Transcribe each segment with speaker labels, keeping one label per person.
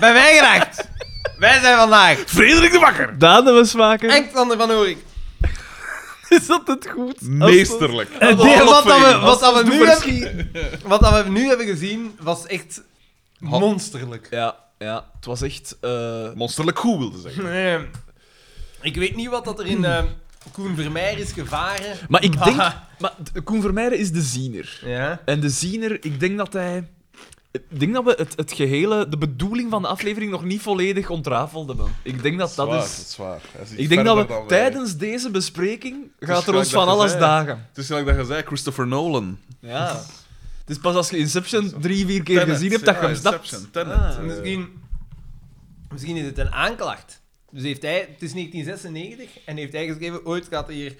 Speaker 1: bij Wijngedacht. Wij zijn vandaag
Speaker 2: Frederik de Bakker.
Speaker 3: Daan de Westmaker.
Speaker 1: Alexander van Oerik.
Speaker 3: Is dat het goed?
Speaker 2: Meesterlijk.
Speaker 3: Eh,
Speaker 1: Wat,
Speaker 3: deel-
Speaker 1: dat we, wat,
Speaker 3: Als-
Speaker 1: dat we
Speaker 3: doe
Speaker 1: nu hebben, wat dat we nu hebben gezien, was echt
Speaker 2: Had-
Speaker 1: monsterlijk.
Speaker 3: Ja, ja. Het was echt... eh,
Speaker 2: Monsterlijk goed wilde zeggen.
Speaker 1: Eh, ik weet niet wat dat er in eh, Koen Vermeer is gevaren. Ah.
Speaker 3: Maar ik denk... Maar d- Koen Vermeijden is de ziener.
Speaker 1: Ja.
Speaker 3: En de ziener, ik denk dat hij... Ik denk dat we het, het gehele, de bedoelling van de aflevering nog niet volledig ontrafeld hebben. Ik denk dat dat
Speaker 2: Zwaar,
Speaker 3: is...
Speaker 2: is zwaar. Hij is iets
Speaker 3: Ik denk dat
Speaker 2: verder
Speaker 3: we
Speaker 2: dan eh, wij.
Speaker 3: tijdens deze bespreking gaat er
Speaker 2: gelijk
Speaker 3: ons van
Speaker 2: dat je
Speaker 3: alles
Speaker 2: zei.
Speaker 3: dagen.
Speaker 2: Het is gelijk dat je zei, Christopher Nolan.
Speaker 3: Ja. Het is Dus pas als je Inception drie, vier keer
Speaker 2: Tenet,
Speaker 3: gezien hebt dat je
Speaker 2: ja,
Speaker 3: hem snapt.
Speaker 2: Inception, Tenet.
Speaker 3: Ah.
Speaker 2: Eh,
Speaker 1: Misschien, misschien is het een aanklacht. Dus heeft hij, het is 1996 en heeft hij geschreven: ooit gaat hier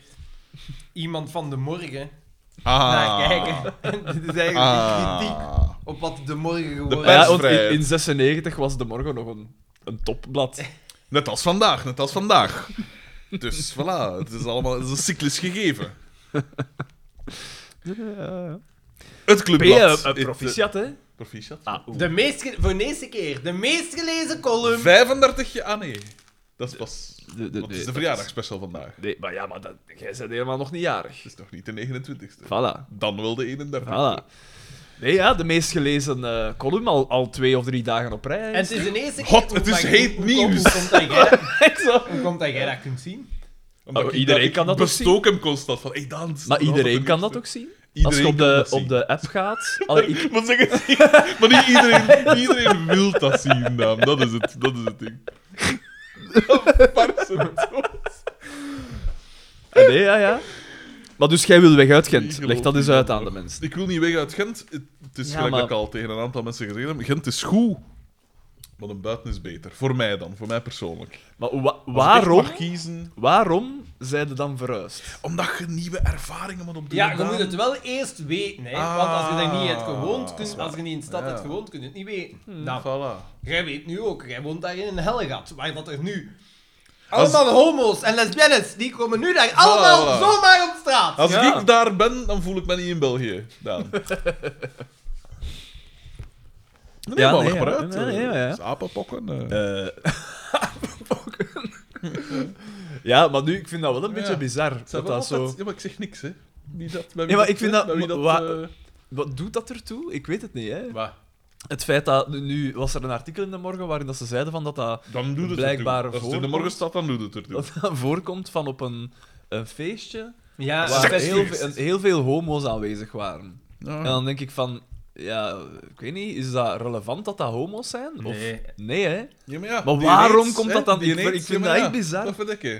Speaker 1: iemand van de morgen
Speaker 2: ah.
Speaker 3: Nou,
Speaker 1: naar kijken. En dit is eigenlijk een kritiek
Speaker 2: Ah.
Speaker 1: op wat de morgen
Speaker 2: De
Speaker 1: geworden
Speaker 3: Maar
Speaker 2: pers-
Speaker 1: is.
Speaker 3: ja, want in,
Speaker 2: Persvrijheid.
Speaker 3: in 96 was De Morgen nog een, een topblad.
Speaker 2: Net als vandaag, net als vandaag. Dus voilà, het is allemaal het is een cyclus gegeven. Het clubblad.
Speaker 3: Eh, eh, proficiat, hè?
Speaker 2: Het, eh, proficiat.
Speaker 3: Ah, oeh.
Speaker 1: De meest ge- voor de eerste keer, de meest gelezen column.
Speaker 2: 35 jaar... Ah nee, dat is pas...
Speaker 3: De- de-
Speaker 2: want het is
Speaker 3: de-
Speaker 2: de verjaardagspecial vandaag.
Speaker 3: Nee, maar ja, maar dat, jij bent helemaal nog niet jarig.
Speaker 2: Het is nog niet de 29 e
Speaker 3: Voilà.
Speaker 2: Dan wel de 31
Speaker 3: voilà. Nee, ja, de meest gelezen eh, column al, al twee of drie dagen op rij.
Speaker 1: En het is de eerste keer.
Speaker 2: God, het
Speaker 1: hoe-
Speaker 2: is
Speaker 1: hoe-
Speaker 2: heet
Speaker 1: hoe-
Speaker 2: nieuws.
Speaker 1: Hoe komt dat jij-
Speaker 3: Zo.
Speaker 1: hoe komt dat jij dat kunt zien?
Speaker 2: Omdat
Speaker 3: Oh,
Speaker 2: ik-
Speaker 3: iedereen
Speaker 2: ik
Speaker 3: kan dat toch
Speaker 2: bestook hem constant van, hey, dan...
Speaker 3: Maar iedereen kan dat ook zien. Als je
Speaker 2: Iedereen
Speaker 3: op
Speaker 2: kan
Speaker 3: de,
Speaker 2: dat zien.
Speaker 3: op de app gaat... Allee, ik,
Speaker 2: Maar, zeg het niet. maar niet iedereen, niet iedereen wil dat zien, Daan. Dat is het, dat is het ding. Parsen dood.
Speaker 3: Ah, nee, ja, ja. Maar dus jij wil weg uit
Speaker 2: Ik
Speaker 3: Gent.
Speaker 2: geloof
Speaker 3: Leg dat eens
Speaker 2: niet
Speaker 3: uit
Speaker 2: dat
Speaker 3: aan de
Speaker 2: dat-
Speaker 3: mensen.
Speaker 2: Dus Ik wil niet weg uit Gent. Het het is
Speaker 3: Ja,
Speaker 2: gelijk
Speaker 3: maar-
Speaker 2: dat ik al tegen een aantal mensen gezegd heb. Gent is goed. Maar een buiten is beter. Voor mij dan, voor mij persoonlijk.
Speaker 3: Maar wa-
Speaker 2: Als ik echt
Speaker 3: waarom,
Speaker 2: mag kiezen,
Speaker 3: waarom zijn ze dan verhuisd?
Speaker 2: omdat je nieuwe ervaringen moet opdoen.
Speaker 1: Ja, je
Speaker 2: Daan.
Speaker 1: moet het wel eerst weten. Hè? Want als je daar niet hebt gewoond,
Speaker 2: Ah,
Speaker 1: kun, als je niet in de stad
Speaker 2: Ja. Hmm.
Speaker 1: hebt gewoond, kun je het niet weten. Nou,
Speaker 2: Voilà.
Speaker 1: Jij weet nu ook, jij woont daar in een hellegat, waar dat er nu... Allemaal homo's en lesbiennes, die komen nu daar allemaal
Speaker 2: voilà.
Speaker 1: zomaar op straat.
Speaker 2: Als
Speaker 3: Ja.
Speaker 2: ik daar ben, dan voel ik me niet in België, Daan. Nee,
Speaker 3: Ja,
Speaker 2: maar
Speaker 3: nee,
Speaker 2: leg maar
Speaker 3: ja.
Speaker 2: uit.
Speaker 3: Nee, nee, ja, ja.
Speaker 2: Dus apenpokken. eh.
Speaker 3: ja, maar nu, ik vind dat wel een beetje
Speaker 2: Ja.
Speaker 3: bizar.
Speaker 2: Zijn
Speaker 3: Dat
Speaker 2: wel
Speaker 3: dat zo...
Speaker 2: altijd- Ja, maar ik zeg niks, hè. Wie dat, bij wie
Speaker 3: Ja, maar
Speaker 2: dat-
Speaker 3: ik vind dat-
Speaker 2: bij wie dat,
Speaker 3: wa-
Speaker 2: eh,
Speaker 3: Wat doet dat ertoe? Ik weet het niet, hè. Het feit dat... Nu, nu was er een artikel in de morgen waarin dat ze zeiden van dat dat,
Speaker 2: Dan doet het
Speaker 3: Blijkbare
Speaker 2: ertoe. Als het in de
Speaker 3: voorkomst.
Speaker 2: morgen staat, dan doet het ertoe.
Speaker 3: dat dat voorkomt van op een, een feestje
Speaker 1: Ja,
Speaker 3: waar
Speaker 2: Seksfeest.
Speaker 3: heel, ve- een- heel veel homo's aanwezig waren.
Speaker 2: Ja.
Speaker 3: En dan denk ik van... Ja, ik weet niet, is dat relevant dat dat homo's zijn?
Speaker 1: Nee.
Speaker 3: Of, nee, hè?
Speaker 2: Ja, maar ja,
Speaker 3: Maar
Speaker 2: die
Speaker 3: waarom
Speaker 2: aids,
Speaker 3: komt
Speaker 2: hè,
Speaker 3: dat dan-
Speaker 2: die
Speaker 3: ik-
Speaker 2: aids,
Speaker 3: ik vind
Speaker 2: maar
Speaker 3: dat echt bizar.
Speaker 2: Dat vind ik, hè.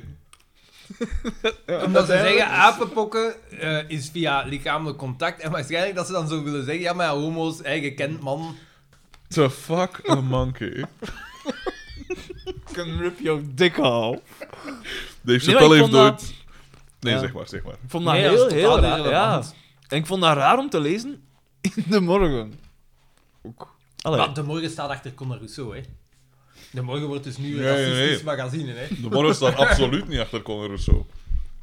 Speaker 1: Omdat ze zeggen, apenpokken eh, is via lichamelijk contact. En waarschijnlijk dat ze dan zo willen zeggen, ja maar ja, homo's, hey, je kent man.
Speaker 2: The fuck a monkey.
Speaker 3: Can rip your dick off.
Speaker 2: Dave
Speaker 3: Nee, maar ik
Speaker 2: Chappelle heeft
Speaker 3: vond dat-
Speaker 2: nooit... Nee,
Speaker 3: Ja.
Speaker 2: zeg maar, zeg maar.
Speaker 3: Ik vond dat
Speaker 1: Nee, dat
Speaker 3: heel,
Speaker 1: is
Speaker 3: heel
Speaker 1: totaal
Speaker 3: raar. Ja.
Speaker 1: irrelevant.
Speaker 3: En ik vond dat raar om te lezen in de morgen. Ook. Allee.
Speaker 1: Maar de morgen staat achter Conor Rousseau, hè. De morgen wordt dus nu een
Speaker 2: Nee,
Speaker 1: racistisch
Speaker 2: nee.
Speaker 1: magazine, hè.
Speaker 2: De morgen staat absoluut niet achter Conor Rousseau.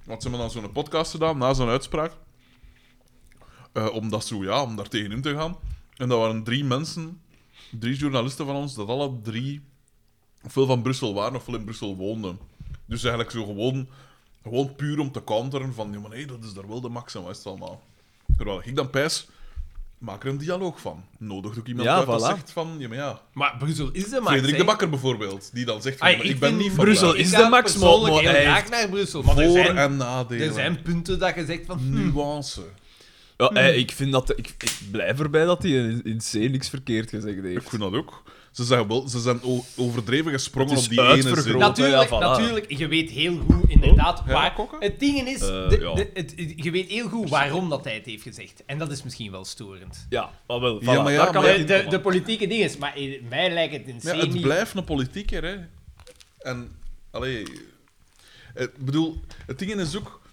Speaker 2: Want ze hebben dan zo'n podcast gedaan, na zo'n uitspraak. eh, om dat zo, ja, om daar tegenin te gaan. En dat waren drie mensen, drie journalisten van ons, dat alle drie ofwel van Brussel waren ofwel in Brussel woonden. Dus eigenlijk zo gewoon, gewoon puur om te counteren van, ja maar nee, dat is daar wel de max en wat is het allemaal. Terwijl ik dan pijs, maak er een dialoog van. Nodig ook iemand
Speaker 3: Ja,
Speaker 2: uit dat
Speaker 3: voilà.
Speaker 2: zegt van, ja maar ja.
Speaker 1: Maar Brussel is de max,
Speaker 2: Frederik
Speaker 1: hè.
Speaker 2: de Bakker bijvoorbeeld, die dan zegt van,
Speaker 1: Ai,
Speaker 2: ja, maar ik ben
Speaker 1: vind
Speaker 2: niet van
Speaker 3: Brussel
Speaker 2: daar.
Speaker 1: Ik
Speaker 3: is
Speaker 1: ga
Speaker 3: de max, maar-
Speaker 1: persoonlijk
Speaker 3: maar
Speaker 1: heel
Speaker 3: hij
Speaker 1: graag
Speaker 3: heeft
Speaker 1: naar Brussel. Maar er
Speaker 2: Voor-
Speaker 1: zijn,
Speaker 2: en nadelen.
Speaker 1: er zijn punten dat je zegt van... hm,
Speaker 2: nuance.
Speaker 3: Ja, eh, ik, vind dat, ik, ik blijf erbij dat hij in, in C niks verkeerd gezegd
Speaker 2: Ik
Speaker 3: heeft.
Speaker 2: vind dat ook. Ze zijn, wel, ze zijn o- overdreven gesprongen
Speaker 3: Het
Speaker 2: op
Speaker 3: is
Speaker 2: die ene
Speaker 3: uitvergroot.
Speaker 2: zin.
Speaker 3: Dat-
Speaker 1: Natuurlijk,
Speaker 3: Ja, voilà.
Speaker 1: natuurlijk, je weet heel goed inderdaad
Speaker 2: ja,
Speaker 1: waar.
Speaker 2: kokken?
Speaker 1: Het ding is, de-
Speaker 3: Eh, ja.
Speaker 1: de- het, je weet heel goed waarom dat hij het heeft gezegd. En dat is misschien wel storend.
Speaker 3: Ja, maar wel. Voilà,
Speaker 2: Ja, maar ja,
Speaker 3: daar kan
Speaker 2: maar-
Speaker 3: ik
Speaker 1: De,
Speaker 3: in
Speaker 1: de,
Speaker 3: komen.
Speaker 1: de politieke ding is, maar eh, mij lijkt het in
Speaker 2: Ja,
Speaker 1: C
Speaker 2: het
Speaker 1: niet.
Speaker 2: blijft een politieker, hè. En, allee... eh, Ik bedoel, het ding is ook...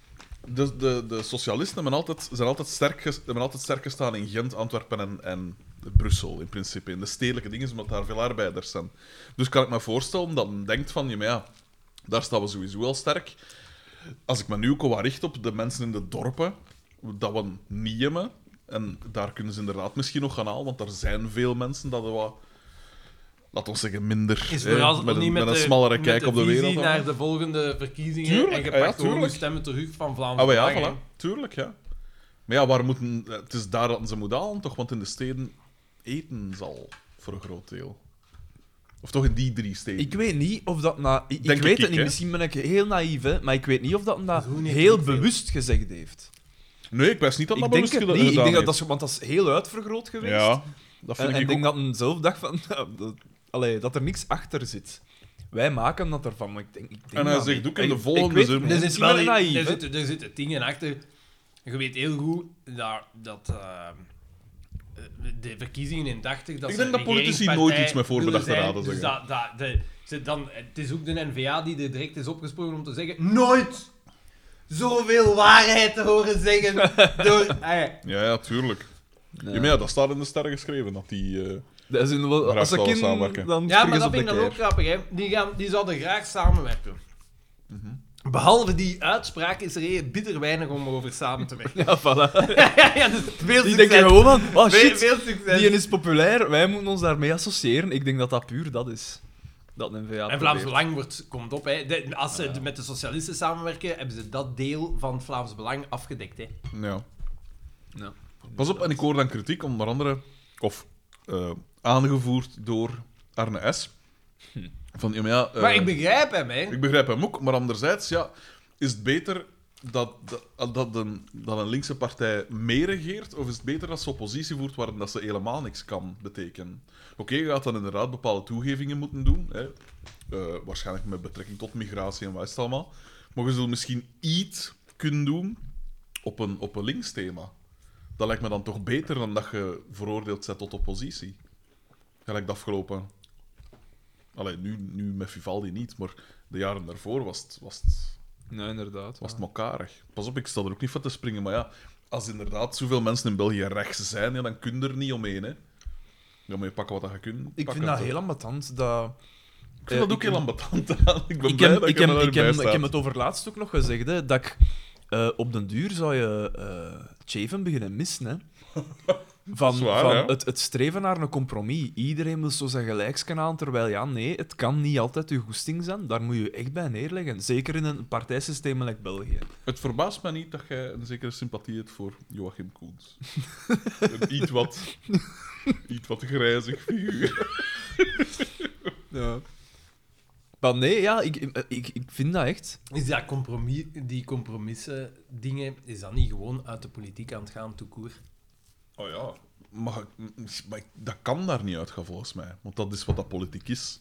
Speaker 2: De, de, de socialisten hebben altijd, zijn altijd sterk, ges- hebben altijd sterk gestaan in Gent, Antwerpen en, en Brussel, in principe. In de stedelijke dingen, omdat daar veel arbeiders zijn. Dus kan ik me voorstellen dat men denkt van, ja, maar ja, daar staan we sowieso al sterk. Als ik me nu ook wel richt op de mensen in de dorpen, dat we niet hebben, en daar kunnen ze inderdaad misschien nog gaan halen, want er zijn veel mensen dat er wat laat ons zeggen, minder.
Speaker 1: Is
Speaker 2: hè,
Speaker 1: vooral
Speaker 2: met,
Speaker 1: niet
Speaker 2: een,
Speaker 1: met,
Speaker 2: met een
Speaker 1: de-
Speaker 2: smallere
Speaker 1: met
Speaker 2: kijk op de
Speaker 1: visie
Speaker 2: wereld. hè.
Speaker 1: naar de volgende verkiezingen
Speaker 2: Tuurlijk,
Speaker 1: en je
Speaker 2: ah ja,
Speaker 1: pakt gewoon de
Speaker 2: tuurlijk.
Speaker 1: stemmen terug van
Speaker 2: Ah, maar
Speaker 1: Vlaanderen.
Speaker 2: ja, voilà. Tuurlijk, ja. Maar ja, waar moeten... Het is daar dat ze moeten halen, toch? Want in de steden eten zal voor een groot deel. Of toch in die drie steden.
Speaker 3: Ik weet niet of dat... Na, ik
Speaker 2: Denk
Speaker 3: ik weet
Speaker 2: ik,
Speaker 3: het niet,
Speaker 2: hè?
Speaker 3: misschien ben ik heel naïef, hè, maar ik weet niet of dat hem dat
Speaker 1: Groen heeft
Speaker 3: heel
Speaker 1: niet veel.
Speaker 3: bewust gezegd heeft.
Speaker 2: Nee, ik wist niet dat dat
Speaker 3: ik denk
Speaker 2: bewust
Speaker 3: het
Speaker 2: geda-
Speaker 3: niet. Ik
Speaker 2: gedaan
Speaker 3: denk dat dat,
Speaker 2: heeft.
Speaker 3: is- want dat is heel uitvergroot geweest.
Speaker 2: Ja, dat
Speaker 3: en
Speaker 2: vind
Speaker 3: en
Speaker 2: ik
Speaker 3: ik denk
Speaker 2: ook.
Speaker 3: dat hem zelf dacht van... nou, dat, allee, dat er niks achter zit. Wij maken dat ervan, maar ik denk, ik denk
Speaker 2: En hij
Speaker 3: dat
Speaker 2: zegt
Speaker 3: niet.
Speaker 2: ook in
Speaker 3: Ik-
Speaker 2: de
Speaker 3: ik
Speaker 2: volgende
Speaker 3: weet-
Speaker 2: zin-
Speaker 3: ik ben
Speaker 2: Er
Speaker 1: Er, zit
Speaker 3: wel
Speaker 1: wel
Speaker 3: naïef,
Speaker 1: er,
Speaker 3: hè.
Speaker 1: zit, er zitten dingen achter. Je weet heel goed dat, dat eh, de verkiezingen in 80... Dat
Speaker 2: Ik
Speaker 1: ze
Speaker 2: denk dat politici
Speaker 1: regeringspartij
Speaker 2: nooit iets met voorbedachte
Speaker 1: willen zijn.
Speaker 2: raden
Speaker 1: Dus
Speaker 2: zeggen.
Speaker 1: dat, dat, de, ze dan, het is ook de N-VA die er direct is opgesprongen om te zeggen... Nooit zoveel waarheid te horen zeggen door... Ah, ja.
Speaker 2: Ja, ja, tuurlijk. Ja.
Speaker 3: Ja.
Speaker 2: maar ja, dat staat in de sterren geschreven, dat die... eh,
Speaker 3: Dat is een- wel-
Speaker 2: Graag
Speaker 3: als ik
Speaker 2: zouden
Speaker 3: in,
Speaker 2: samenwerken.
Speaker 3: dan
Speaker 1: Ja, maar
Speaker 3: springen ze
Speaker 1: dat
Speaker 3: op de
Speaker 1: vind ik dan ook
Speaker 3: keer.
Speaker 1: grappig, hè. Die, gaan, die zouden graag samenwerken.
Speaker 3: Mhm.
Speaker 1: Behalve die uitspraak is er heel bitter weinig om over samen te werken.
Speaker 3: Ja, voilà.
Speaker 1: ja, ja, dus veel
Speaker 3: Die
Speaker 1: succes.
Speaker 3: denken gewoon van,
Speaker 1: veel,
Speaker 3: oh shit,
Speaker 1: veel succes.
Speaker 3: die is populair, wij moeten ons daarmee associëren. Ik denk dat dat puur dat is. Dat een va
Speaker 1: en Vlaams Belang wordt, komt op. Hè. De- als ze met de socialisten samenwerken, hebben ze dat deel van Vlaams Belang afgedekt. Hè.
Speaker 2: ja.
Speaker 3: Ja.
Speaker 2: Pas op, en ik hoor dan kritiek, onder andere... Of eh, aangevoerd door Arne S. Van, ja, maar ja... eh,
Speaker 1: maar ik begrijp hem, hè.
Speaker 2: Ik begrijp hem ook, maar anderzijds, ja, is het beter dat, dat, dat, een, dat een linkse partij mee regeert, of is het beter dat ze oppositie voert waarin dat ze helemaal niks kan betekenen? Oké, je gaat dan inderdaad bepaalde toegevingen moeten doen, hè. Eh, waarschijnlijk met betrekking tot migratie en wat is het allemaal, maar je zult misschien iets kunnen doen op een, op een links thema. Dat lijkt me dan toch beter dan dat je veroordeeld zet tot oppositie. Gelijk de afgelopen Allee, nu, nu met Vivaldi niet, maar de jaren daarvoor was het, was het,
Speaker 3: Nee, inderdaad.
Speaker 2: was het mekarig. Pas op, ik sta er ook niet van te springen, maar ja, als inderdaad zoveel mensen in België rechts zijn, ja, dan kun je er niet omheen, hè. Ja, maar je pakken wat dat je kunt.
Speaker 3: Ik
Speaker 2: pakken,
Speaker 3: vind dat
Speaker 2: toch?
Speaker 3: heel ambetant. Dat...
Speaker 2: Ik vind
Speaker 3: eh,
Speaker 2: dat ook
Speaker 3: ik-
Speaker 2: heel ambetant aan. Ik ben
Speaker 3: Ik
Speaker 2: blij
Speaker 3: heb,
Speaker 2: dat
Speaker 3: ik,
Speaker 2: je
Speaker 3: heb,
Speaker 2: er
Speaker 3: ik,
Speaker 2: erbij
Speaker 3: heb,
Speaker 2: staat.
Speaker 3: ik heb het over laatst ook nog gezegd, hè, dat ik eh, op den duur zou je eh Cheven beginnen missen. Hè. Van,
Speaker 2: Zwaar,
Speaker 3: van
Speaker 2: hè?
Speaker 3: het, het streven naar een compromis. Iedereen wil zo zijn gelijkskanaal, terwijl ja, nee, het kan niet altijd je goesting zijn. Daar moet je echt bij neerleggen. Zeker in een partijsysteem als België.
Speaker 2: Het verbaast me niet dat jij een zekere sympathie hebt voor Joachim Koens. een iets wat, iets wat grijzig figuur.
Speaker 3: Ja. Maar nee, ja, ik, ik, ik vind dat echt.
Speaker 1: Is dat compromis, die compromissen dingen, is dat niet gewoon uit de politiek aan het gaan, toekoer?
Speaker 2: Oh ja. Maar, maar ik- dat kan daar niet uitgaan, volgens mij. Want dat is wat dat politiek is.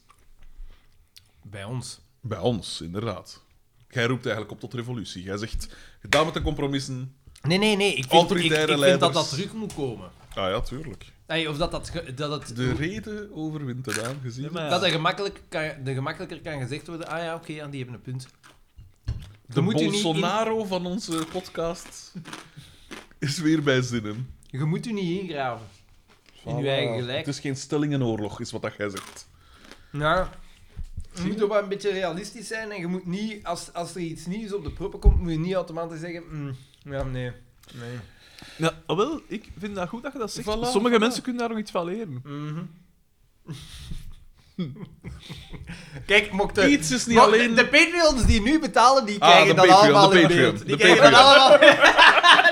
Speaker 1: Bij ons.
Speaker 2: Bij ons, inderdaad. Jij roept eigenlijk op tot revolutie. Jij zegt, gedaan met de compromissen.
Speaker 1: Nee, nee, nee. Ik vind, ik, ik
Speaker 2: Autoritaire
Speaker 1: vind dat
Speaker 2: leiders.
Speaker 1: dat terug moet komen.
Speaker 2: Ah ja, tuurlijk.
Speaker 1: Nee, of dat, dat, ge- dat het
Speaker 2: De reden overwint het aangezien.
Speaker 3: Ja, maar ja.
Speaker 1: Dat er gemakkelijk kan, de gemakkelijker kan gezegd worden, ah ja, oké, ja, die hebben een punt.
Speaker 2: De
Speaker 1: Dan moet je niet in-
Speaker 2: Bolsonaro van onze podcast is weer bij zinnen.
Speaker 1: Je moet u niet ingraven. In uw eigen gelijk.
Speaker 2: Het is geen stellingenoorlog, is wat dat jij zegt.
Speaker 1: Ja. Je moet ook wel een beetje realistisch zijn en je moet niet, als, als er iets nieuws op de proppen komt, moet je niet automatisch zeggen, "Mm, ja, nee. Nee.
Speaker 3: Ja, ah, wel, ik vind dat goed dat je dat zegt.
Speaker 2: Voilà,
Speaker 3: Sommige
Speaker 2: voilà.
Speaker 3: mensen kunnen daar nog iets van leren.
Speaker 4: Mm.
Speaker 1: Mhm. Kijk, mocht de,
Speaker 2: Iets is niet
Speaker 1: mocht
Speaker 2: alleen-
Speaker 1: de, de Patreons die nu betalen, die
Speaker 2: Ah,
Speaker 1: krijgen
Speaker 2: de
Speaker 1: dat
Speaker 2: Patreon,
Speaker 1: allemaal
Speaker 2: de
Speaker 1: in
Speaker 2: Patreon,
Speaker 1: beeld. Die
Speaker 2: de
Speaker 1: krijgen dat allemaal.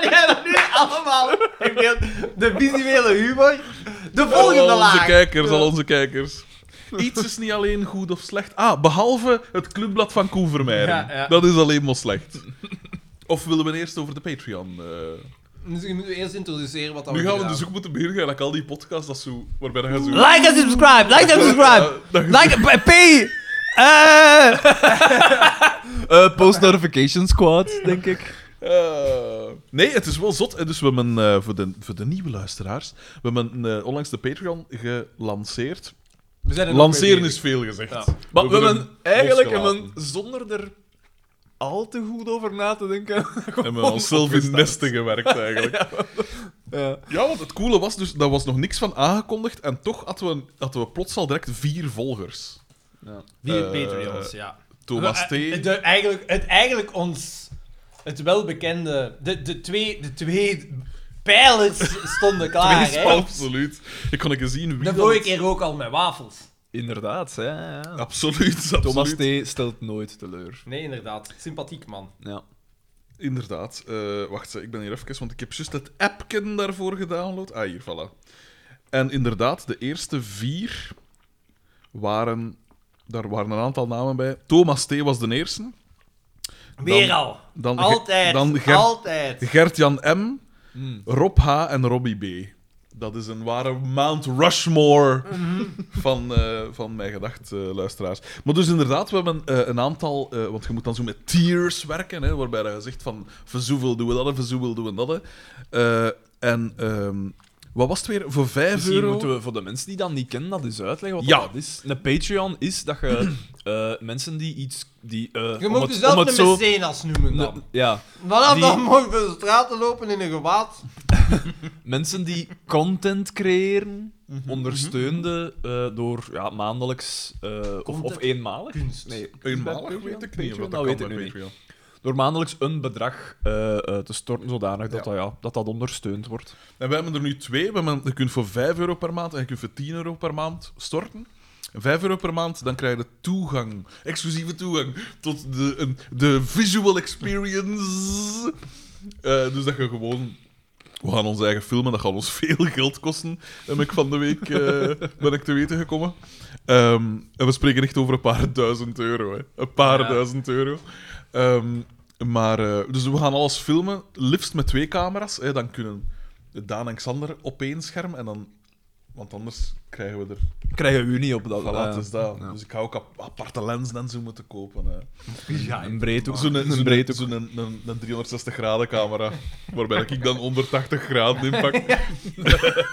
Speaker 1: die krijgen dat nu allemaal in beeld. De visuele humor. De volgende
Speaker 2: al Oh, onze
Speaker 1: laag.
Speaker 2: kijkers, al onze kijkers. Iets is niet alleen goed of slecht. Ah, behalve het clubblad van Koen Vermeijden.
Speaker 1: Ja, ja.
Speaker 2: Dat is alleen maar slecht. Of willen we eerst over de Patreon... eh,
Speaker 1: Oh, Misschien moeten we eerst introduceren wat dat
Speaker 2: Nu gaan we
Speaker 1: gedaan.
Speaker 2: dus ook moeten beginnen, gelijk al die podcasts, dat zo, waarbij dan gaan zo...
Speaker 4: Like and subscribe. Like and subscribe.
Speaker 2: Eh, dat je
Speaker 4: Like p- pay. Uh,
Speaker 3: Eh, post notification squad, denk ik.
Speaker 2: Eh, nee, het is wel zot. En dus we hebben, eh, voor, de, voor de nieuwe luisteraars, we hebben eh, onlangs de Patreon gelanceerd.
Speaker 1: We zijn er nog
Speaker 2: Lanceren
Speaker 1: mee
Speaker 2: is veel gezegd.
Speaker 1: Ja.
Speaker 3: Maar we
Speaker 2: hebben
Speaker 3: hebben eigenlijk
Speaker 2: losgelaten.
Speaker 3: hebben zonder er al te goed over na te denken.
Speaker 2: We hebben onszelf in nesten gewerkt, eigenlijk. ja.
Speaker 3: Ja.
Speaker 2: want het coole was dus, daar was nog niks van aangekondigd. En toch hadden we, hadden we plots al direct vier volgers.
Speaker 1: Via
Speaker 2: Eh,
Speaker 1: Patreons, ja.
Speaker 2: Thomas
Speaker 1: Eh,
Speaker 2: T.
Speaker 1: de- eigenlijk, het, eigenlijk ons... Het welbekende... De, de, twee, de twee pijlers stonden klaar,
Speaker 2: Wees-
Speaker 1: Ah, hè.
Speaker 2: absoluut. Ik kon ik zien wie
Speaker 1: De
Speaker 2: dat-
Speaker 1: vorige keer ook al met wafels.
Speaker 3: Inderdaad, hè, ja, ja.
Speaker 2: Absoluut, absoluut.
Speaker 3: Thomas T. stelt nooit teleur.
Speaker 1: Nee, inderdaad. Sympathiek man.
Speaker 3: Ja.
Speaker 2: Inderdaad. Eh, wacht, ik ben hier even, want ik heb juist het appken daarvoor gedownload. Ah, hier, voilà. En inderdaad, de eerste vier waren... Daar waren een aantal namen bij. Thomas T. was de eerste.
Speaker 1: Weer al.
Speaker 2: Dan Ge-
Speaker 1: Altijd.
Speaker 2: dan Ger-
Speaker 1: Altijd.
Speaker 2: Gert-Jan M.,
Speaker 3: Mm.
Speaker 2: Rob H. en Robbie B. Dat is een ware Mount Rushmore
Speaker 3: Mhm.
Speaker 2: van, eh, van mijn gedacht, eh, luisteraars. Maar dus inderdaad, we hebben eh, een aantal... eh, want je moet dan zo met tiers werken, hè, waarbij je zegt van... Verzoeveel doen we dat, en verzoeveel doen we dat. hè. Eh, en ehm, wat was het weer? Voor 5
Speaker 3: Misschien
Speaker 2: euro...
Speaker 3: moeten we voor de mensen die dat niet kennen, dat eens uitleggen wat
Speaker 2: Ja.
Speaker 3: dat is. Een Patreon is dat je eh, mensen die iets... Die, eh,
Speaker 1: Je
Speaker 3: om
Speaker 1: mag
Speaker 3: het-
Speaker 1: jezelf
Speaker 3: om het
Speaker 1: een
Speaker 3: zo-
Speaker 1: mecenas noemen dan.
Speaker 3: Ne- ja,
Speaker 1: Vanaf
Speaker 3: die-
Speaker 1: dan mogen we de straten lopen in een gewaad.
Speaker 3: mensen die content creëren, ondersteunde eh, door ja, maandelijks eh, of, of
Speaker 1: Content?
Speaker 3: eenmalig.
Speaker 1: Kunst.
Speaker 3: Nee, bij
Speaker 2: Eenmalig
Speaker 3: Patreon?
Speaker 2: weet ik niet.
Speaker 3: Patreon,
Speaker 2: wat
Speaker 3: dat
Speaker 2: kan
Speaker 3: weet ik
Speaker 2: bij
Speaker 3: nu niet.
Speaker 2: Patreon.
Speaker 3: Door maandelijks een bedrag eh, eh, te storten zodanig dat, dat, ja, dat dat ondersteund wordt.
Speaker 2: En we hebben er nu twee. We hebben, je kunt voor 5 euro per maand en je kunt voor 10 euro per maand storten. 5 euro per maand, dan krijg je toegang, exclusieve toegang, tot de, een- de visual experience. Eh, dus dat je gewoon. We gaan onze eigen filmen, dat gaat ons veel geld kosten. Heb ik van de week eh, ben ik te weten gekomen. Ehm, en we spreken echt over een paar duizend euro. Hè. Een paar
Speaker 3: Ja.
Speaker 2: duizend euro. Ehm, maar, eh, dus we gaan alles filmen, liefst met twee camera's. Hè. Dan kunnen Daan en Xander op één scherm en dan. Want anders krijgen we er
Speaker 3: Krijgen we niet op dat.
Speaker 2: Voilà,
Speaker 3: eh,
Speaker 2: het is dat.
Speaker 3: ja.
Speaker 2: Dus ik ga ook ap- aparte lenzen en zo moeten kopen. hè.
Speaker 3: Een breedhoek.
Speaker 2: Zo'n
Speaker 3: Een
Speaker 2: zo'n-
Speaker 3: breedhoek.
Speaker 2: zo'n- een, een, 360 graden camera, waarbij ik dan 180 graden inpak.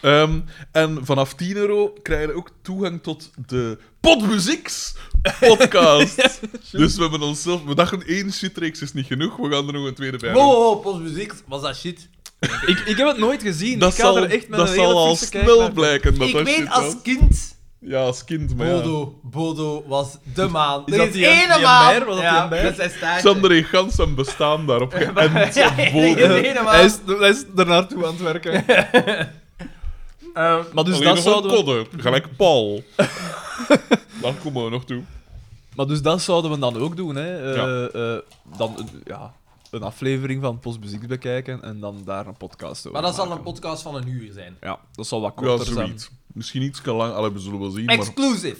Speaker 2: Ehm, en vanaf 10 euro krijg je ook toegang tot de Podmuzieks podcast. dus we hebben onszelf... We dachten één shitreeks is niet genoeg, we gaan er nog een tweede bij
Speaker 1: Wow,
Speaker 2: doen.
Speaker 1: wow, wow, postmuziek. Was dat shit?
Speaker 3: Ik, ik heb het nooit gezien.
Speaker 2: Dat
Speaker 3: ik ga
Speaker 2: zal,
Speaker 3: er echt met
Speaker 2: dat
Speaker 3: een
Speaker 2: zal
Speaker 3: hele
Speaker 2: al
Speaker 3: frisse kijk naar-
Speaker 2: snel blijken dat
Speaker 1: ik
Speaker 2: dat
Speaker 1: weet
Speaker 2: shit was.
Speaker 1: als kind...
Speaker 2: Ja, als kind, maar ja.
Speaker 1: Bodo, Bodo was de maan.
Speaker 3: Is
Speaker 1: Er
Speaker 3: dat
Speaker 1: is
Speaker 3: die-
Speaker 1: ene
Speaker 3: die
Speaker 1: maan.
Speaker 3: bijer? Was dat
Speaker 1: ja,
Speaker 3: die bijer?
Speaker 1: met zijn staartje.
Speaker 2: Xander heeft gans zijn bestaan daarop geënt.
Speaker 1: Ja,
Speaker 2: op
Speaker 1: er is
Speaker 2: bodem.
Speaker 1: ene maan.
Speaker 3: Hij is, hij is ernaartoe aan het werken. maar, dus
Speaker 2: Alleen
Speaker 3: dat
Speaker 2: nog een
Speaker 3: zouden we,
Speaker 2: kodder, gelijk Paul. Daar komen we nog toe.
Speaker 3: maar dus dat zouden we dan ook doen. Hè. Eh,
Speaker 2: Ja.
Speaker 3: eh, dan een- ja, een aflevering van Postmuziek bekijken en dan daar een podcast over
Speaker 1: Maar dat zal een
Speaker 3: maken.
Speaker 1: podcast van een uur zijn.
Speaker 3: Ja, dat zal wat
Speaker 2: Ja,
Speaker 3: korter zijn.
Speaker 2: zoiets. Misschien iets lang, allee, we zullen wel zien. Maar
Speaker 1: Exclusive.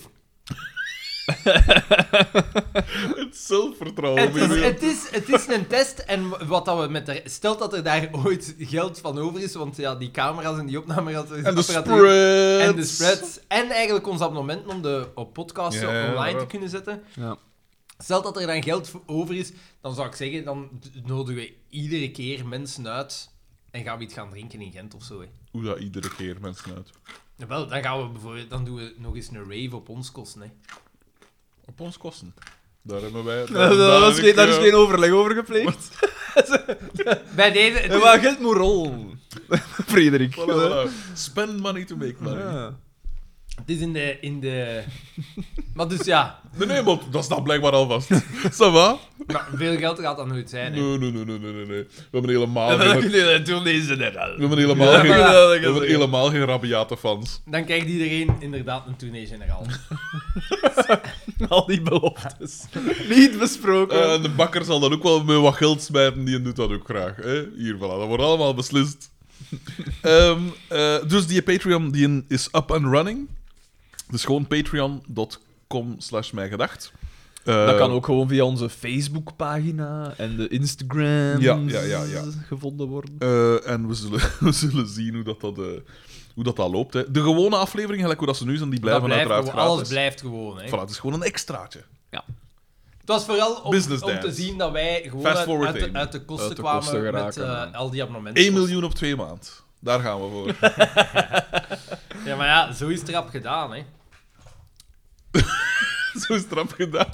Speaker 2: het zelfvertrouwen.
Speaker 1: Het is,
Speaker 2: weer.
Speaker 1: het, is, het is een test en wat dat we met de, stelt dat er daar ooit geld van over is, want ja, die camera's en die opnameapparatuur
Speaker 2: En de
Speaker 1: apparatuur
Speaker 2: spreads.
Speaker 1: en de spreads en eigenlijk ons abonnement om de op podcasts
Speaker 2: Ja, ja,
Speaker 1: online te
Speaker 2: inderdaad.
Speaker 1: kunnen zetten.
Speaker 3: Ja.
Speaker 1: Stelt dat er dan geld voor over is, dan zou ik zeggen, dan d- nodigen we iedere keer mensen uit en gaan we iets gaan drinken in Gent of zo. Hè.
Speaker 2: Hoe dat iedere keer mensen uit.
Speaker 1: Wel, dan gaan we bijvoorbeeld, dan doen we nog eens een rave op ons kosten. Hè.
Speaker 2: Op ons kosten. Daar hebben wij.
Speaker 3: Daar, is geen, daar is
Speaker 2: eh,
Speaker 3: geen overleg over gepleegd.
Speaker 1: Bij deze, het
Speaker 3: En
Speaker 1: is-
Speaker 3: waar geld moet rollen. Frederik.
Speaker 2: Spend money to make money.
Speaker 3: Ja.
Speaker 1: het is in de, in de... Maar dus ja,
Speaker 2: Nee, nee, maar dat staat blijkbaar alvast. Ça va?
Speaker 1: maar veel geld gaat dat nooit zijn. Hè.
Speaker 2: Nee, nee, nee, nee, nee, nee. nee. We hebben helemaal
Speaker 3: En dan
Speaker 2: geen,
Speaker 3: kun
Speaker 2: we
Speaker 3: je dat doen deze net al.
Speaker 2: hebben helemaal
Speaker 3: Ja,
Speaker 2: geen,
Speaker 3: maar ja, dat kan
Speaker 2: we hebben
Speaker 3: zeggen.
Speaker 2: helemaal geen rabiate fans.
Speaker 1: Dan krijgt iedereen inderdaad een tournee-generaal.
Speaker 3: Al die beloftes. Niet besproken.
Speaker 2: Eh, en de bakker zal dan ook wel met wat geld smijten, die doet dat ook graag. Hè? Hier, voilà, dat wordt allemaal beslist. Ehm, eh, dus die Patreon die is up and running. Dus gewoon patreon.com slash mijgedacht. Eh,
Speaker 3: dat kan ook gewoon via onze Facebookpagina en de Instagram
Speaker 2: Ja, ja, ja, ja.
Speaker 3: gevonden worden.
Speaker 2: eh, en we zullen, we zullen zien hoe dat, dat, eh, hoe dat, dat loopt. Hè. De gewone afleveringen, gelijk hoe dat ze nu zijn, die blijven
Speaker 1: Dat blijft
Speaker 2: uiteraard
Speaker 1: gewoon-
Speaker 2: gratis.
Speaker 1: alles blijft gewoon. Hè.
Speaker 2: Voilà, het is gewoon een extraatje.
Speaker 1: Het was vooral om,
Speaker 2: Business
Speaker 1: om te
Speaker 2: dance.
Speaker 1: zien dat wij gewoon
Speaker 2: Fast
Speaker 1: uit,
Speaker 2: forward
Speaker 1: uit
Speaker 2: aim.
Speaker 1: de, uit de kosten
Speaker 3: Uit de
Speaker 1: kwamen
Speaker 3: kosten
Speaker 1: met
Speaker 3: geraken,
Speaker 1: eh,
Speaker 3: ja.
Speaker 1: al die abonnementen.
Speaker 2: 1 miljoen op twee maand. Daar gaan we voor.
Speaker 1: Ja, maar ja, zo is het rap gedaan. Hè.
Speaker 2: zo straf gedaan.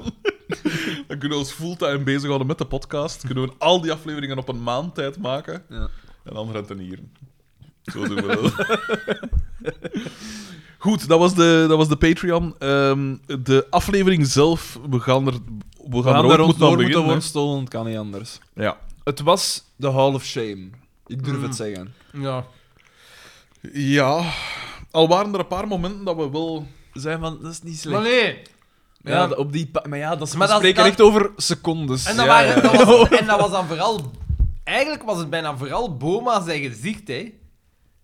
Speaker 2: Dan kunnen we ons fulltime bezighouden met de podcast. Kunnen we al die afleveringen op een maand tijd maken.
Speaker 3: Ja.
Speaker 2: En dan rentenieren. Zo doen we dat. Goed, dat was de, dat was de Patreon. Ehm, de aflevering zelf, we gaan er, we gaan
Speaker 3: We
Speaker 2: er
Speaker 3: gaan
Speaker 2: ook
Speaker 3: er ons
Speaker 2: moeten
Speaker 3: door
Speaker 2: aan
Speaker 3: moeten
Speaker 2: beginnen. hè.
Speaker 3: worstelen, het kan niet anders.
Speaker 2: Ja.
Speaker 3: Het was de Hall of Shame. Ik durf het zeggen.
Speaker 1: Ja.
Speaker 2: ja, al waren er een paar momenten dat we wel
Speaker 3: zijn van, dat is niet slecht.
Speaker 1: Maar nee.
Speaker 3: Maar ja, op die pa- maar ja, dat ze
Speaker 1: Maar dat-
Speaker 3: spreken
Speaker 1: dat-
Speaker 3: echt over secondes.
Speaker 1: En dat,
Speaker 2: Ja,
Speaker 1: waren,
Speaker 2: ja.
Speaker 1: dat was, en dat was dan vooral... Eigenlijk was het bijna vooral Boma zijn gezicht, hè.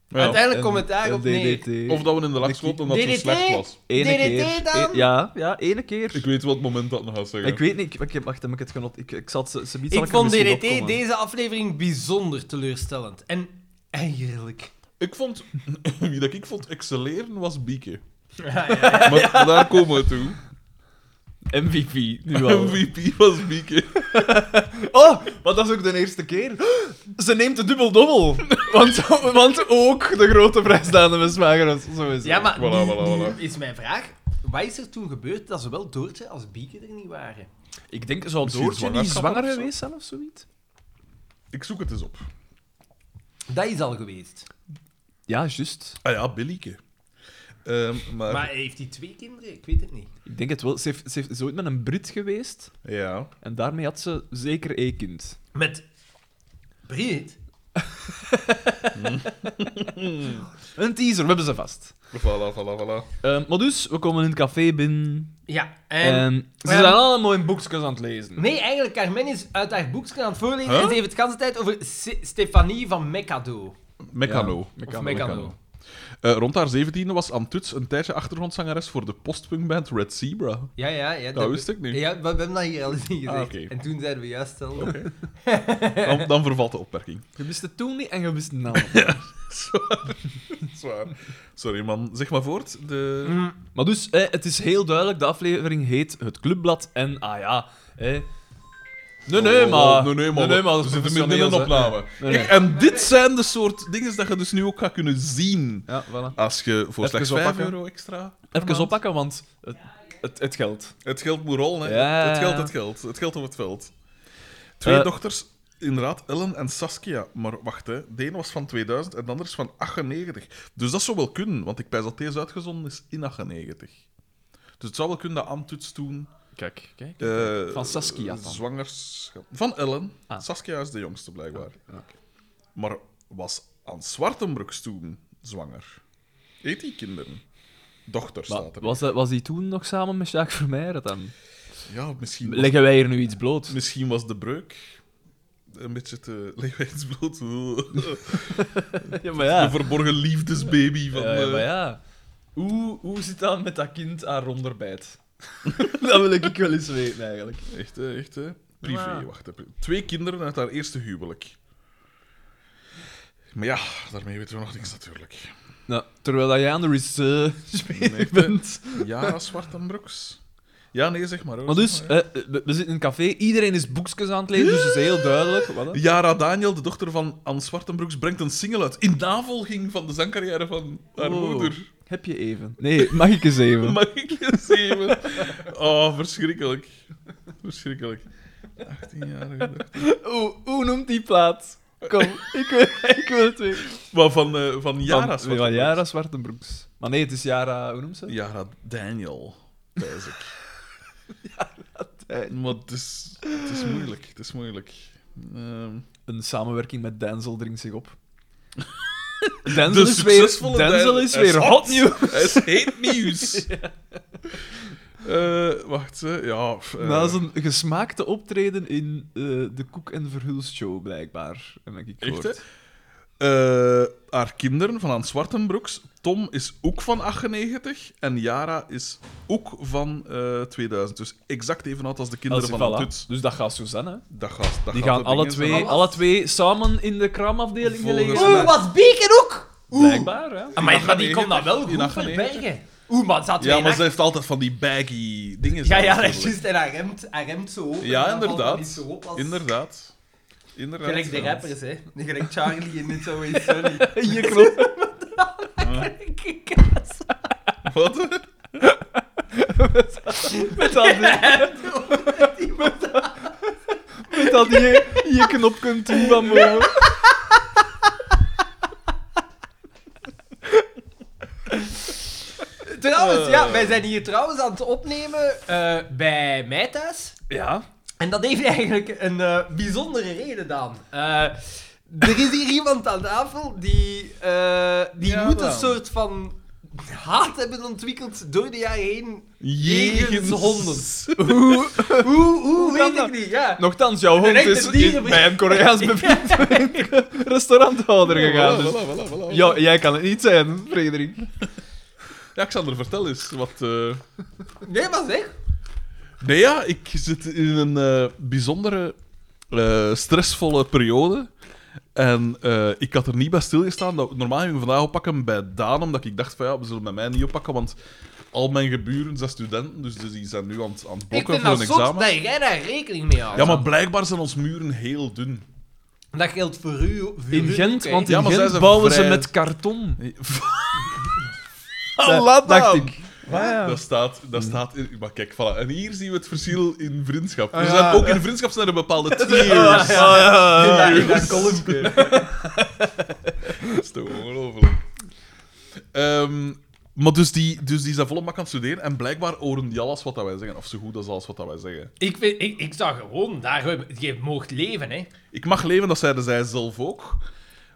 Speaker 2: Ja.
Speaker 1: Uiteindelijk
Speaker 3: En-
Speaker 1: komt het
Speaker 3: en
Speaker 1: daarop neer.
Speaker 3: DDT.
Speaker 2: Of dat we in de lak schoten omdat het zo
Speaker 1: DDT?
Speaker 2: slecht was.
Speaker 3: Ene
Speaker 1: DDT
Speaker 3: keer.
Speaker 1: dan?
Speaker 3: E- ja, ja, ene keer.
Speaker 2: Ik
Speaker 3: Ik,
Speaker 2: weet wat moment dat nog gaat zeggen.
Speaker 3: weet niet, ik, ik, wacht, heb ik het genot. Ik, ik zat ze, ze biedt, zal
Speaker 1: Ik
Speaker 3: er
Speaker 1: vond
Speaker 3: misschien
Speaker 1: DDT
Speaker 3: opkomen.
Speaker 1: deze aflevering bijzonder teleurstellend. En eigenlijk.
Speaker 2: Ik vond, wie dat ik vond excelleren was Bieke.
Speaker 1: Ja, ja, ja.
Speaker 2: Maar daar komen we toe.
Speaker 3: MVP, nu al.
Speaker 2: MVP was Bieke.
Speaker 3: Oh, want dat is ook de eerste keer. Ze neemt de dubbel-dobbel. Want, want ook de grote prijsdaande mismager. Zo is het.
Speaker 1: Ja, maar
Speaker 2: Voilà,
Speaker 1: nu-
Speaker 2: voilà,
Speaker 1: nu
Speaker 2: voilà.
Speaker 1: is mijn vraag. Wat is er toen gebeurd dat zowel Doortje als Bieke er niet waren?
Speaker 3: Ik denk, zou
Speaker 2: Misschien
Speaker 3: Doortje niet
Speaker 2: zwangerschap
Speaker 3: zwanger
Speaker 2: of zo?
Speaker 3: geweest zijn of zoiets?
Speaker 2: Ik zoek het eens op.
Speaker 1: Dat is al geweest.
Speaker 3: Ja, juist.
Speaker 2: Ah ja, Billieke. Ehm, maar,
Speaker 1: Maar heeft hij twee kinderen? Ik weet het niet.
Speaker 3: Ik denk het wel. Ze, heeft, ze, heeft, ze is ooit met een Brit geweest.
Speaker 2: ja.
Speaker 3: En daarmee had ze zeker één kind.
Speaker 1: Met Brigitte?
Speaker 3: Een teaser, we hebben ze vast.
Speaker 2: Voilà, voilà, voilà.
Speaker 3: Ehm, maar dus, we komen in het café binnen.
Speaker 1: Ja.
Speaker 3: En,
Speaker 1: En...
Speaker 2: Ehm.
Speaker 3: ze
Speaker 1: en-
Speaker 3: zijn allemaal mooie boekjes aan het lezen.
Speaker 1: Nee, eigenlijk, Carmen is uit haar boekje aan het voorlezen
Speaker 2: Huh?
Speaker 1: en ze heeft het de hele tijd over Se- Stefanie van Mekado.
Speaker 2: Meccano.
Speaker 1: Of Mekano.
Speaker 2: Eh, rond haar 17e was Antuts een tijdje achtergrondzangeres voor de postpunkband Red Zebra.
Speaker 1: Ja, ja, ja.
Speaker 2: Dat wist ik niet.
Speaker 1: Ja, we, we hebben dat hier al eens niet gezegd.
Speaker 2: Ah, oké.
Speaker 1: En toen zeiden we juist al...
Speaker 2: Dan, dan vervalt de opmerking.
Speaker 3: Je wist het toen niet en je wist het nou.
Speaker 2: Zwaar. Zwaar. Sorry, man. Zeg maar voort. De...
Speaker 1: Mm,
Speaker 3: Maar dus, eh, het is heel duidelijk, de aflevering heet Het Clubblad en, ah ja, eh... Nee, nee,
Speaker 2: Oh,
Speaker 3: maar...
Speaker 2: nee, nee, maar.
Speaker 3: dat
Speaker 2: we
Speaker 3: is
Speaker 2: zitten midden in een
Speaker 3: professioneel, hè.
Speaker 2: opname.
Speaker 3: Nee, nee.
Speaker 2: Kijk, En dit zijn de soort dingen dat je dus nu ook gaat kunnen zien.
Speaker 3: Ja, voilà.
Speaker 2: Als je voor
Speaker 3: Even
Speaker 2: slechts 5
Speaker 3: oppakken.
Speaker 2: euro extra... per
Speaker 3: Even
Speaker 2: maand-
Speaker 3: oppakken, want het, het, het geldt.
Speaker 2: Het geld moet rollen, hè.
Speaker 3: Ja.
Speaker 2: Het geld, het geld. Het geld op het veld. Twee
Speaker 3: Eh.
Speaker 2: dochters, inderdaad, Ellen en Saskia. Maar wacht, hè. De een was van 2000 en de ander is van 98. Dus dat zou wel kunnen, want ik pijs dat deze uitgezonden is in 98. Dus het zou wel kunnen dat Antuts toen...
Speaker 3: Kijk, kijk.
Speaker 2: eh,
Speaker 3: Van Saskia dan.
Speaker 2: Zwangerschap... Van Ellen.
Speaker 3: Ah.
Speaker 2: Saskia is de jongste, blijkbaar.
Speaker 3: Oké.
Speaker 2: Maar was Anne Zwartenbroeks toen zwanger? Eet die kinderen? Dochter
Speaker 3: Maar
Speaker 2: staat er.
Speaker 3: was, dat- was die toen nog samen met Jacques Vermeijeren dan?
Speaker 2: Ja, misschien... was-
Speaker 3: Leggen wij hier nu iets bloot?
Speaker 2: Misschien was de breuk een beetje te lichaamsbloot.
Speaker 3: Ja, maar ja.
Speaker 2: De verborgen liefdesbaby van...
Speaker 3: Ja, ja,
Speaker 2: eh,
Speaker 3: maar ja. Hoe, hoe zit dat met dat kind aan ronderbijt? dat wil ik wel eens weten, eigenlijk.
Speaker 2: Echt, hè, echt, hè. Privé,
Speaker 3: Ja.
Speaker 2: wacht. hè. Twee kinderen uit haar eerste huwelijk. Maar ja, daarmee weten we nog niks natuurlijk.
Speaker 3: Nou, terwijl dat jij aan de research bezig bent.
Speaker 2: Ja, Zwartenbroeks. Ja, nee, zeg maar. hoor,
Speaker 3: Maar
Speaker 2: zeg
Speaker 3: dus,
Speaker 2: maar,
Speaker 3: eh, we, we zitten in een café, iedereen is boekjes aan het lezen, dus het is heel duidelijk. Wat dan?
Speaker 2: Yara Daniel, de dochter van Anne Zwartenbroeks, brengt een single uit. In navolging van de zangcarrière van haar
Speaker 3: Oh.
Speaker 2: moeder.
Speaker 3: Heb je even? Nee, mag ik eens even?
Speaker 2: Mag ik eens even? Oh, verschrikkelijk. Verschrikkelijk. 18-jarige dochter.
Speaker 3: Hoe, hoe noemt die plaat? Kom, ik wil, ik wil het weten.
Speaker 2: Maar van, eh, van Yara
Speaker 3: Van-
Speaker 2: Zwartenbroeks.
Speaker 3: Van Jara Zwartenbroeks. Maar nee, het is Jara, hoe noemt ze?
Speaker 2: Yara Daniel, pijs ik.
Speaker 3: eh,
Speaker 2: Maar het is, het is moeilijk. Het is moeilijk. Ehm,
Speaker 3: Een samenwerking met Denzel dringt zich op. Denzel
Speaker 2: de
Speaker 3: is weer,
Speaker 2: succesvolle
Speaker 3: Denzel
Speaker 2: Dan-
Speaker 3: is
Speaker 2: hij is
Speaker 3: weer
Speaker 2: hot.
Speaker 3: hot nieuw.
Speaker 2: Hij is heet nieuws. Eh, wacht, hè. ja. f- eh,
Speaker 3: Na zijn gesmaakte optreden in eh, de Koek en Verhulst show, blijkbaar. Heb ik
Speaker 2: Echt,
Speaker 3: gehoord.
Speaker 2: hè? Eh, haar kinderen van aan Zwartenbroeks. Tom is ook van 98 en Yara is ook van eh, 2000. Dus exact even oud als de kinderen
Speaker 3: Als-
Speaker 2: van
Speaker 3: voilà.
Speaker 2: voilà. Tuts.
Speaker 3: Dus dat gaat Suzanne. hè.
Speaker 2: Dat gaat, dat
Speaker 3: Die
Speaker 2: gaat
Speaker 3: gaan
Speaker 2: de
Speaker 3: alle
Speaker 2: dingen zijn.
Speaker 3: twee, alle twee samen in de kramafdeling
Speaker 2: Volgens
Speaker 3: liggen.
Speaker 2: mij.
Speaker 1: Dus Oeh, was Bieke ook? Oeh. Ah,
Speaker 3: Blijkbaar, ja.
Speaker 1: Maar, maar die kon dat wel
Speaker 2: In
Speaker 1: goed
Speaker 2: 98.
Speaker 1: verbergen. Oeh, maar zat
Speaker 2: Ja,
Speaker 1: ja,
Speaker 2: maar ze heeft altijd van die baggy dingen.
Speaker 1: Ja, ja, dat
Speaker 2: natuurlijk.
Speaker 1: is juist. En hij remt, hij remt zo op.
Speaker 2: Ja,
Speaker 1: en dan valt dat niet
Speaker 2: inderdaad.
Speaker 1: zo op als-
Speaker 2: Inderdaad. Inderdaad.
Speaker 1: Gelijk de
Speaker 2: inderdaad.
Speaker 1: rappers, hè. Gelijk Charlie en It's Always Sunny.
Speaker 3: Hier klopt.
Speaker 2: Wat?
Speaker 3: Met dat, met dat je, je knop kunt doen van boven.
Speaker 1: Trouwens, ja, wij zijn hier trouwens aan het opnemen eh, bij mij thuis.
Speaker 3: Ja.
Speaker 1: En dat heeft eigenlijk een eh, bijzondere reden, Daan. Eh, er is hier iemand aan tafel die, eh, die
Speaker 2: Ja,
Speaker 1: moet een
Speaker 2: Daan.
Speaker 1: soort van haat hebben ontwikkeld door de jaren heen.
Speaker 2: Jegens-
Speaker 1: Jegens honden. Hoe, hoe
Speaker 3: kan
Speaker 1: weet
Speaker 3: dat?
Speaker 1: ik niet, ja.
Speaker 3: Nochtans, jouw hond
Speaker 1: echte
Speaker 3: is in-
Speaker 1: dierenvriend.
Speaker 3: bij een Koreaans bevriend restauranthouder gegaan. Dus.
Speaker 2: Voilà, voilà, voilà, voilà.
Speaker 3: Ja, jij kan het niet zijn, Frederik.
Speaker 2: Ja, Xander, vertel eens wat... eh,
Speaker 1: Nee, maar zeg.
Speaker 2: Nee, ja, ik zit in een eh, bijzondere, eh, stressvolle periode. En eh, ik had er niet bij stilgestaan. Dat, normaal ging ik vandaag oppakken bij Daan, omdat ik dacht van ja, we zullen met mij niet oppakken, want al mijn geburen zijn studenten, dus, dus die zijn nu aan, het- aan het
Speaker 1: Ik
Speaker 2: blokken
Speaker 1: vind
Speaker 2: voor
Speaker 1: dat
Speaker 2: een
Speaker 1: zot
Speaker 2: examen.
Speaker 1: dat jij daar rekening mee houdt.
Speaker 2: Ja, maar blijkbaar zijn ons muren heel dun.
Speaker 1: Dat geldt voor u. Voor
Speaker 3: In
Speaker 1: u
Speaker 3: Gent,
Speaker 1: ook,
Speaker 3: want
Speaker 1: hè.
Speaker 2: Ja,
Speaker 3: in
Speaker 2: maar zij
Speaker 3: Gent
Speaker 2: zijn
Speaker 3: bouwen
Speaker 2: vrij-
Speaker 3: ze met karton.
Speaker 2: Ah,
Speaker 3: Dat dacht
Speaker 2: dan.
Speaker 3: ik. ja.
Speaker 2: Dat staat, dat staat in, maar kijk, voilà. En hier zien we het verschil in vriendschap.
Speaker 3: Ah,
Speaker 2: er
Speaker 3: ja.
Speaker 2: zijn ook in vriendschap zijn er bepaalde tiers.
Speaker 1: In dat- in dat kolompje.
Speaker 2: Dat is toch ongelooflijk. Ehm, maar dus die, dus die zijn volle mak aan het studeren en blijkbaar horen die alles wat dat wij zeggen. Of zo goed als alles wat dat wij zeggen.
Speaker 1: Ik, vind, ik, ik zou gewoon daar... Je mocht leven, hè.
Speaker 2: Ik mag leven, dat zeiden zij zelf ook.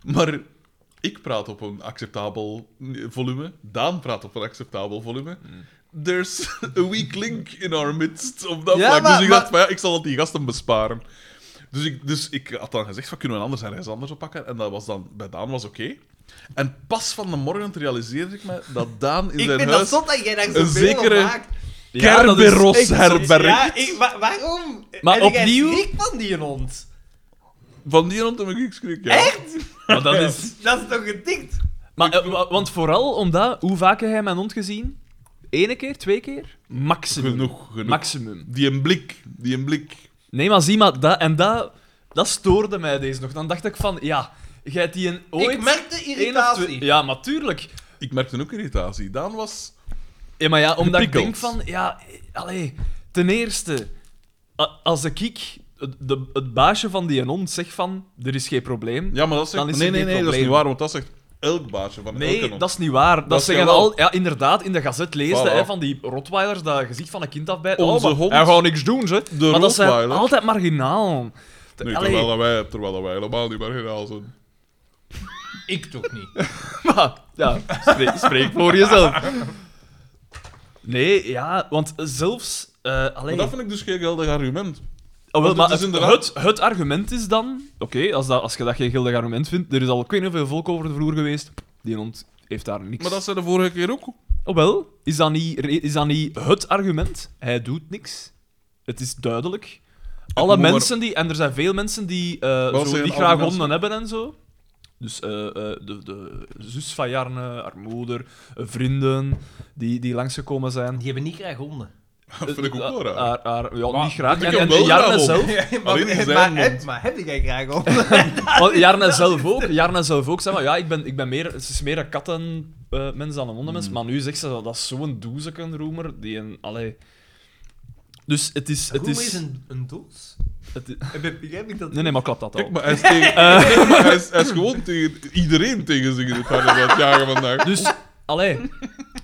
Speaker 2: Maar ik praat op een acceptabel eh, volume. Daan praat op een acceptabel volume. There's a weak link in our midst op dat
Speaker 1: Ja,
Speaker 2: vlak.
Speaker 1: maar-
Speaker 2: dus ik
Speaker 1: maar-
Speaker 2: dacht, van, ja, ik zal het die gasten besparen. Dus ik, dus ik had dan gezegd, van, kunnen we een anders ergens anders oppakken? En dat was dan, bij Daan was oké. En pas van de morgen realiseerde ik me dat Daan in
Speaker 1: Ik
Speaker 2: zijn
Speaker 1: vind dat
Speaker 2: huis
Speaker 1: zot dat jij daar
Speaker 2: een
Speaker 1: zoveel op
Speaker 2: zekere-
Speaker 1: maakt.
Speaker 3: Ja, dat is
Speaker 2: Kerberos
Speaker 3: echt zo.
Speaker 2: herbergt.
Speaker 1: Ja, ik, wa- waarom?
Speaker 3: Maar
Speaker 1: En jij
Speaker 3: opnieuw-
Speaker 1: schrikt van die hond.
Speaker 2: Van die rond heb ik schrik, ja.
Speaker 1: Echt?
Speaker 3: Maar dat is...
Speaker 1: Dus- Dat is toch gedikt?
Speaker 3: Maar, eh, wa- want vooral omdat, hoe vaak heb jij mijn hond gezien? Ene keer, twee keer? Maximum.
Speaker 2: Genoeg, genoeg.
Speaker 3: Maximum.
Speaker 2: Die een blik, die een blik.
Speaker 3: Nee, maar zie maar, dat, en dat, dat stoorde mij deze nog. Dan dacht ik van, ja, jij hebt die een ooit...
Speaker 1: Ik merk de
Speaker 3: één of
Speaker 1: irritatie.
Speaker 3: twee- Ja, maar tuurlijk.
Speaker 2: Ik merkte ook irritatie. Daan was...
Speaker 3: Ja, maar ja, omdat ik denk
Speaker 2: Geprikkeld.
Speaker 3: van, ja, eh, allee, ten eerste, a- als ik, ik het, de, het baasje van die hond zeg van, er is geen probleem.
Speaker 2: Ja, maar dat zegt...
Speaker 3: Dan is
Speaker 2: nee,
Speaker 3: er
Speaker 2: nee,
Speaker 3: geen
Speaker 2: nee, dat is
Speaker 3: probleem.
Speaker 2: niet waar, want dat zegt elk baasje van elke
Speaker 3: Nee,
Speaker 2: hond.
Speaker 3: dat is niet waar. Dat,
Speaker 2: Dat
Speaker 3: zeggen
Speaker 2: jawel.
Speaker 3: al, ja, inderdaad, in de gazet leesde
Speaker 2: Voilà.
Speaker 3: hè, van die Rotweilers dat gezicht van een kind afbijt.
Speaker 2: Onze
Speaker 3: oh, maar
Speaker 2: hond.
Speaker 3: Hij gaat niks doen, ze.
Speaker 2: De
Speaker 3: maar dat zijn
Speaker 2: Rottweiler.
Speaker 3: altijd marginaal. Allee,
Speaker 2: Nee, terwijl dat wij, terwijl dat wij helemaal niet marginaal zijn.
Speaker 1: Ik toch niet.
Speaker 3: Maar, ja, spreek, spreek voor jezelf. Nee, ja, want zelfs... eh
Speaker 2: Maar
Speaker 3: allee,
Speaker 2: dat vind ik dus geen geldig argument.
Speaker 3: Oh, wel,
Speaker 2: want
Speaker 3: maar
Speaker 2: het
Speaker 3: het,
Speaker 2: is inderdaad-
Speaker 3: het, het argument is dan... Oké, als, dat- als je dat geen geldig argument vindt, er is al ik weet niet hoeveel volk over de vloer geweest. Die hond heeft daar niks.
Speaker 2: Maar dat zei de vorige keer ook.
Speaker 3: Oh, wel, is dat, niet, re- is dat niet het argument? Hij doet niks. Het is duidelijk. Alle
Speaker 2: moet maar-
Speaker 3: mensen die... En er zijn veel mensen die, eh,
Speaker 2: Wel
Speaker 3: zo,
Speaker 2: zeggen
Speaker 3: die
Speaker 2: alle
Speaker 3: graag
Speaker 2: mensen-
Speaker 3: honden hebben en zo. Dus eh, eh, de, de zus van Jarne, haar moeder, eh, vrienden die, die langsgekomen zijn.
Speaker 1: Die hebben niet graag honden.
Speaker 2: Dat vind ik ook wel
Speaker 3: Eh,
Speaker 2: raar.
Speaker 3: haar- haar- ja,
Speaker 2: Maar-
Speaker 3: niet graag.
Speaker 2: Ik
Speaker 3: En,
Speaker 2: heb
Speaker 3: en
Speaker 2: wel
Speaker 3: Jarne
Speaker 2: graag honden.
Speaker 3: zelf...
Speaker 1: maar,
Speaker 2: Alleen in
Speaker 1: maar,
Speaker 2: zijn
Speaker 1: maar,
Speaker 2: mond.
Speaker 1: heb, maar heb jij graag honden?
Speaker 3: Want Jarna Oh, zelf ook. Jarna zelf ook. Zeg maar, ja, ik ben, ik ben meer, ze is meer een kattenmens dan een hondenmens. Maar nu zegt ze dat dat is zo'n doezekenroemer. Die een, allee. Dus het is... Het
Speaker 1: Hoe is,
Speaker 3: is,
Speaker 1: een, een doos?
Speaker 3: het i-
Speaker 1: Heb- Begrijp ik dat?
Speaker 3: nee, nee, maar klopt dat al.
Speaker 2: Kijk, maar hij is, tegen,
Speaker 3: Eh.
Speaker 2: hij, is, hij is gewoon tegen iedereen tegen zich in het hart aan het jagen vandaag.
Speaker 3: Dus, allee.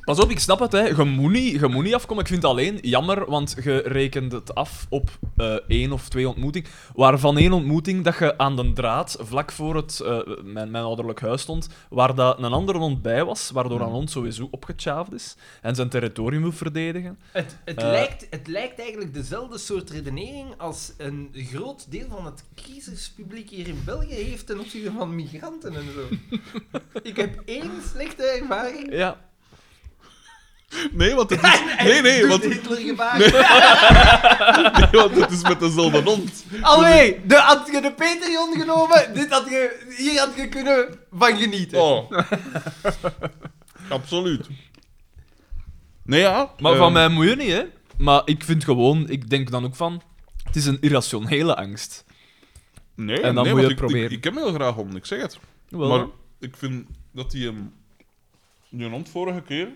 Speaker 3: Pas op, ik snap het, hè. Je moet niet, je moet niet afkomen. Ik vind het alleen jammer, want je rekent het af op eh, één of twee ontmoetingen. Waarvan één ontmoeting dat je aan de draad, vlak voor het, eh, mijn, mijn ouderlijk huis stond, waar dat een andere hond bij was, waardoor een hond sowieso opgetjaafd is en zijn territorium wil verdedigen.
Speaker 1: Het, het,
Speaker 3: Eh.
Speaker 1: lijkt, het lijkt eigenlijk dezelfde soort redenering als een groot deel van het kiezerspubliek hier in België heeft ten opzichte van migranten en zo. ik heb één slechte ervaring.
Speaker 3: Ja.
Speaker 2: Nee, want het is... Nee, nee,
Speaker 1: Doet
Speaker 2: want, nee,
Speaker 1: Hitler Dus gebaar.
Speaker 2: want het is met dezelfde hond.
Speaker 1: Allee, Oh, de, had je de Patreon genomen, dit had je, hier had je kunnen van genieten.
Speaker 2: Oh. Absoluut. Nee, ja.
Speaker 3: Maar
Speaker 2: eh,
Speaker 3: van mij moet je niet, hè. Maar ik vind gewoon, ik denk dan ook van, het is een irrationele angst.
Speaker 2: Nee,
Speaker 3: En dan
Speaker 2: nee,
Speaker 3: moet je
Speaker 2: want
Speaker 3: het
Speaker 2: ik-
Speaker 3: proberen.
Speaker 2: Ik, ik heb heel graag honden, ik zeg het.
Speaker 3: Wel,
Speaker 2: Maar ik vind dat die... ehm, die hond vorige keer,